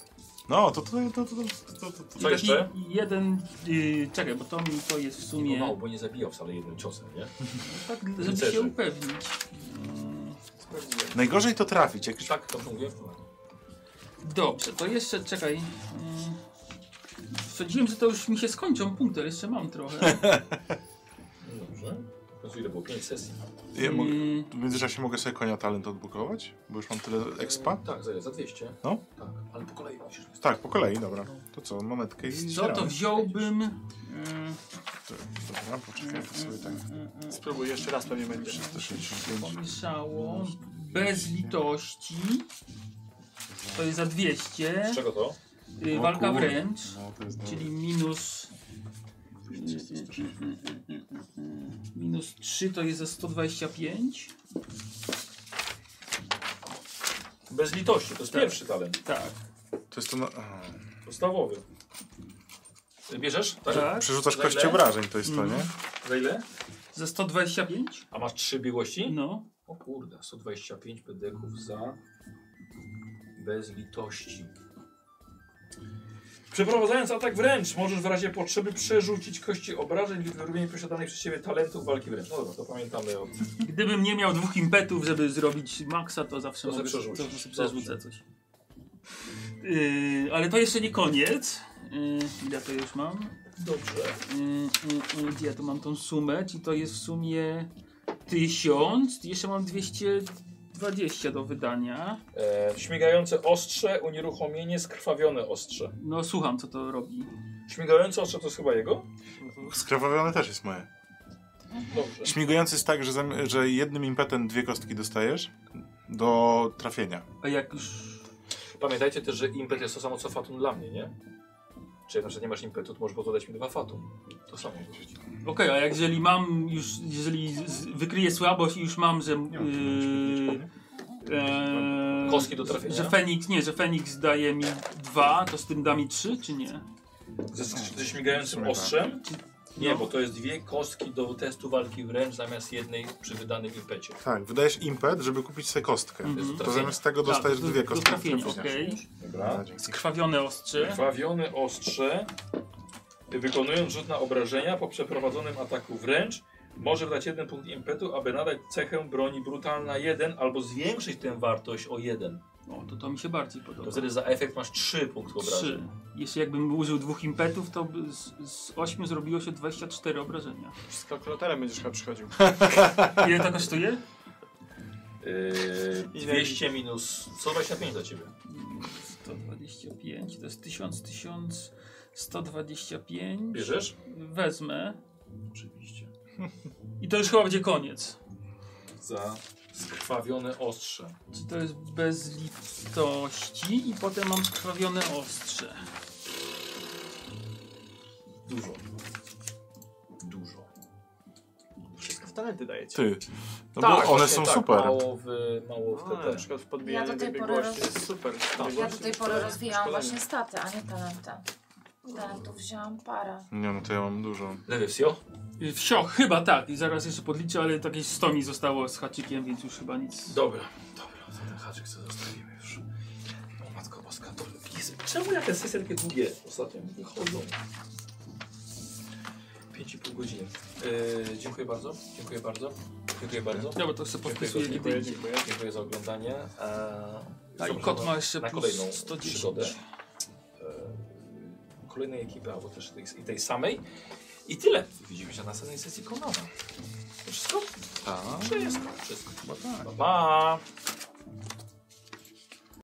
Speaker 3: No, to to, to, to, to, to, to, to.
Speaker 5: I
Speaker 1: Co
Speaker 5: taki
Speaker 1: jeszcze?
Speaker 5: Jeden, yy, czekaj, bo to mi to jest w
Speaker 1: Nie było
Speaker 5: sumie...
Speaker 1: mało, bo nie zabijał wcale jednym ciosem, nie?
Speaker 5: Tak, żeby
Speaker 1: Rycerzy.
Speaker 5: się upewnić. Mm, sprawdziłem.
Speaker 3: Najgorzej to trafić, jak już...
Speaker 1: Tak, dobrze mówię?
Speaker 5: Dobrze, to jeszcze czekaj. e, mm, Sądziłem, że to już mi się skończą punkty, ale jeszcze mam trochę.
Speaker 1: No Dobrze. W końcu ile było? 5 sesji.
Speaker 3: Ja mogę,
Speaker 5: Mm.
Speaker 3: w międzyczasie mogę sobie konia talent odbukować, bo już mam tyle expa.
Speaker 1: E, Tak, za ile? Za 200.
Speaker 3: No.
Speaker 1: Tak, ale po kolei musisz.
Speaker 3: Tak, po kolei, dobra. To co, monetkę i
Speaker 5: Co to
Speaker 3: zbieramy.
Speaker 5: wziąłbym? Mm,
Speaker 3: Dobra, poczekaj, to sobie tak.
Speaker 4: Spróbuj jeszcze raz, pewnie będzie.
Speaker 3: 165.
Speaker 5: Pomieszało. Bez litości. To jest za 200.
Speaker 1: Z czego to?
Speaker 5: Y, walka
Speaker 3: O kurde.
Speaker 5: wręcz.
Speaker 3: No, to jest
Speaker 5: Czyli
Speaker 3: dobre.
Speaker 5: minus. e, Minus 3 to jest za 125.
Speaker 8: Bez litości, to jest
Speaker 5: Tak.
Speaker 8: pierwszy talent.
Speaker 5: Tak.
Speaker 3: To jest to. Na... a,
Speaker 8: Podstawowy. Ty Bierzesz? Tak.
Speaker 5: tak.
Speaker 3: Przerzucasz
Speaker 8: Za ile?
Speaker 3: kości obrażeń, to jest to,
Speaker 5: Mhm.
Speaker 3: nie?
Speaker 8: Za ile?
Speaker 5: Za 125?
Speaker 8: A masz trzy biegłości?
Speaker 5: No.
Speaker 1: O kurde, 125 pedeków za bez litości.
Speaker 8: Przeprowadzając atak wręcz, możesz w razie potrzeby przerzucić kości obrażeń lub wyrównanie posiadanych przez ciebie talentów walki wręcz. No dobra, to pamiętamy o
Speaker 5: Gdybym nie miał dwóch impetów, żeby zrobić maksa, to zawsze
Speaker 8: To
Speaker 5: mogę
Speaker 8: sobie przerzucić.
Speaker 5: to sobie przerzucę coś. Yy, ale to jeszcze nie koniec. Yy, ile to już mam?
Speaker 8: Dobrze.
Speaker 5: Yy, yy, yy, gdzie ja tu mam tą sumę? Czyli to jest w sumie 1000. Jeszcze mam 220 do wydania.
Speaker 8: E, śmigające ostrze, unieruchomienie, skrwawione ostrze.
Speaker 5: No słucham, co to robi.
Speaker 8: Śmigające ostrze to jest chyba jego?
Speaker 3: Skrawawione też jest moje.
Speaker 8: Dobrze.
Speaker 3: Śmigujący jest tak, że, zam- że jednym impetem dwie kostki dostajesz do trafienia.
Speaker 5: A jak już...
Speaker 1: Pamiętajcie też, że impet jest to samo co fatum dla mnie, nie? Czyli na przykład nie masz impetu, to możesz dodać mi dwa fatum. To samo.
Speaker 5: Okej, a jak jeżeli mam już... Jeżeli z- z, wykryję słabość i już mam, że... Yy, Eee,
Speaker 1: Kostki do trafienia?
Speaker 5: Że Feniks, nie, że Feniks daje mi dwa, to z tym da mi trzy, czy nie?
Speaker 1: Ze,
Speaker 8: Ze śmigającym
Speaker 3: tak.
Speaker 8: ostrzem?
Speaker 1: Nie, bo to jest dwie kostki do testu walki wręcz zamiast jednej przy wydanym impecie.
Speaker 3: Tak, wydajesz impet, żeby kupić sobie kostkę.
Speaker 5: Mhm.
Speaker 1: Jest
Speaker 3: To
Speaker 1: trafienie.
Speaker 3: zamiast Tak. tego dostajesz
Speaker 5: Tak, do-
Speaker 3: dwie
Speaker 5: do
Speaker 3: kostki.
Speaker 5: trafienia,
Speaker 3: do trafienia.
Speaker 5: okej.
Speaker 3: Dobra,
Speaker 1: Dobra.
Speaker 3: dzięki.
Speaker 5: Skrwawione ostrze.
Speaker 8: Krwawione ostrze, wykonując rzut na obrażenia po przeprowadzonym ataku wręcz, może dać jeden punkt impetu, aby nadać cechę broni brutalna 1 albo zwiększyć tę wartość o 1.
Speaker 5: O, to to mi się bardziej
Speaker 1: To
Speaker 5: podoba.
Speaker 1: wtedy za efekt masz trzy punkty obrażeń.
Speaker 5: Trzy. Jeśli jakbym użył dwóch impetów, to by z, z 8 zrobiło się 24 obrażenia.
Speaker 4: Z kalkulatorem będziesz chyba przychodził.
Speaker 5: Ile to kosztuje?
Speaker 1: Yy,
Speaker 4: Ile?
Speaker 1: 200 minus 125 dla ciebie.
Speaker 5: 125, to jest 1000, 1000, 125.
Speaker 1: Bierzesz?
Speaker 5: Wezmę.
Speaker 1: Oczywiście.
Speaker 5: I to już chyba będzie koniec.
Speaker 1: Za skrwawione ostrze.
Speaker 5: Czy to jest bez litości i potem mam skrwawione ostrze.
Speaker 1: Dużo.
Speaker 3: No
Speaker 1: Dużo.
Speaker 4: Wszystko w talenty dajecie.
Speaker 3: Ty. No bo one
Speaker 1: właśnie
Speaker 3: są
Speaker 1: tak,
Speaker 3: super.
Speaker 1: Mało w, mało w
Speaker 4: A, na
Speaker 1: TT.
Speaker 4: przykład w podbijaniu
Speaker 2: Ja do tej pory
Speaker 4: biegłości
Speaker 2: roz-
Speaker 4: jest super.
Speaker 2: Ja
Speaker 4: Biegłości
Speaker 2: do tej
Speaker 4: jest
Speaker 2: pory
Speaker 4: super.
Speaker 2: rozwijałam
Speaker 4: Szkolenie.
Speaker 2: właśnie staty, a nie talenty. Talentów wzięłam parę.
Speaker 3: Nie no, to ja mam dużo.
Speaker 1: Lewy wsio?
Speaker 5: Y, Wsio, chyba tak. I zaraz jeszcze podliczę, ale takie 100 mi zostało z haczykiem, więc już chyba nic.
Speaker 1: Dobra, dobra, to ten haczyk sobie zostawimy już. O matko boska, to Jezu, Czemu ja te sesje takie długie ostatnio mi wychodzą? 5,5 godziny. Yy, dziękuję bardzo, dziękuję bardzo, dziękuję bardzo.
Speaker 5: No bo to sobie podpisuję
Speaker 1: Dziękuję,
Speaker 5: kiedy indziej.
Speaker 4: Dziękuję.
Speaker 1: Dziękuję za oglądanie. Eee,
Speaker 5: A i
Speaker 1: zapraszam
Speaker 5: kot
Speaker 1: na-
Speaker 5: ma jeszcze
Speaker 1: na
Speaker 5: plus
Speaker 1: kolejną
Speaker 5: 110.
Speaker 1: przygodę. Eee, kolejnej ekipy, albo też tej, i tej samej. I tyle. Widzimy się na następnej sesji Konana. To wszystko?
Speaker 3: Tak.
Speaker 5: tak.
Speaker 1: Wszystko, wszystko. Pa, pa.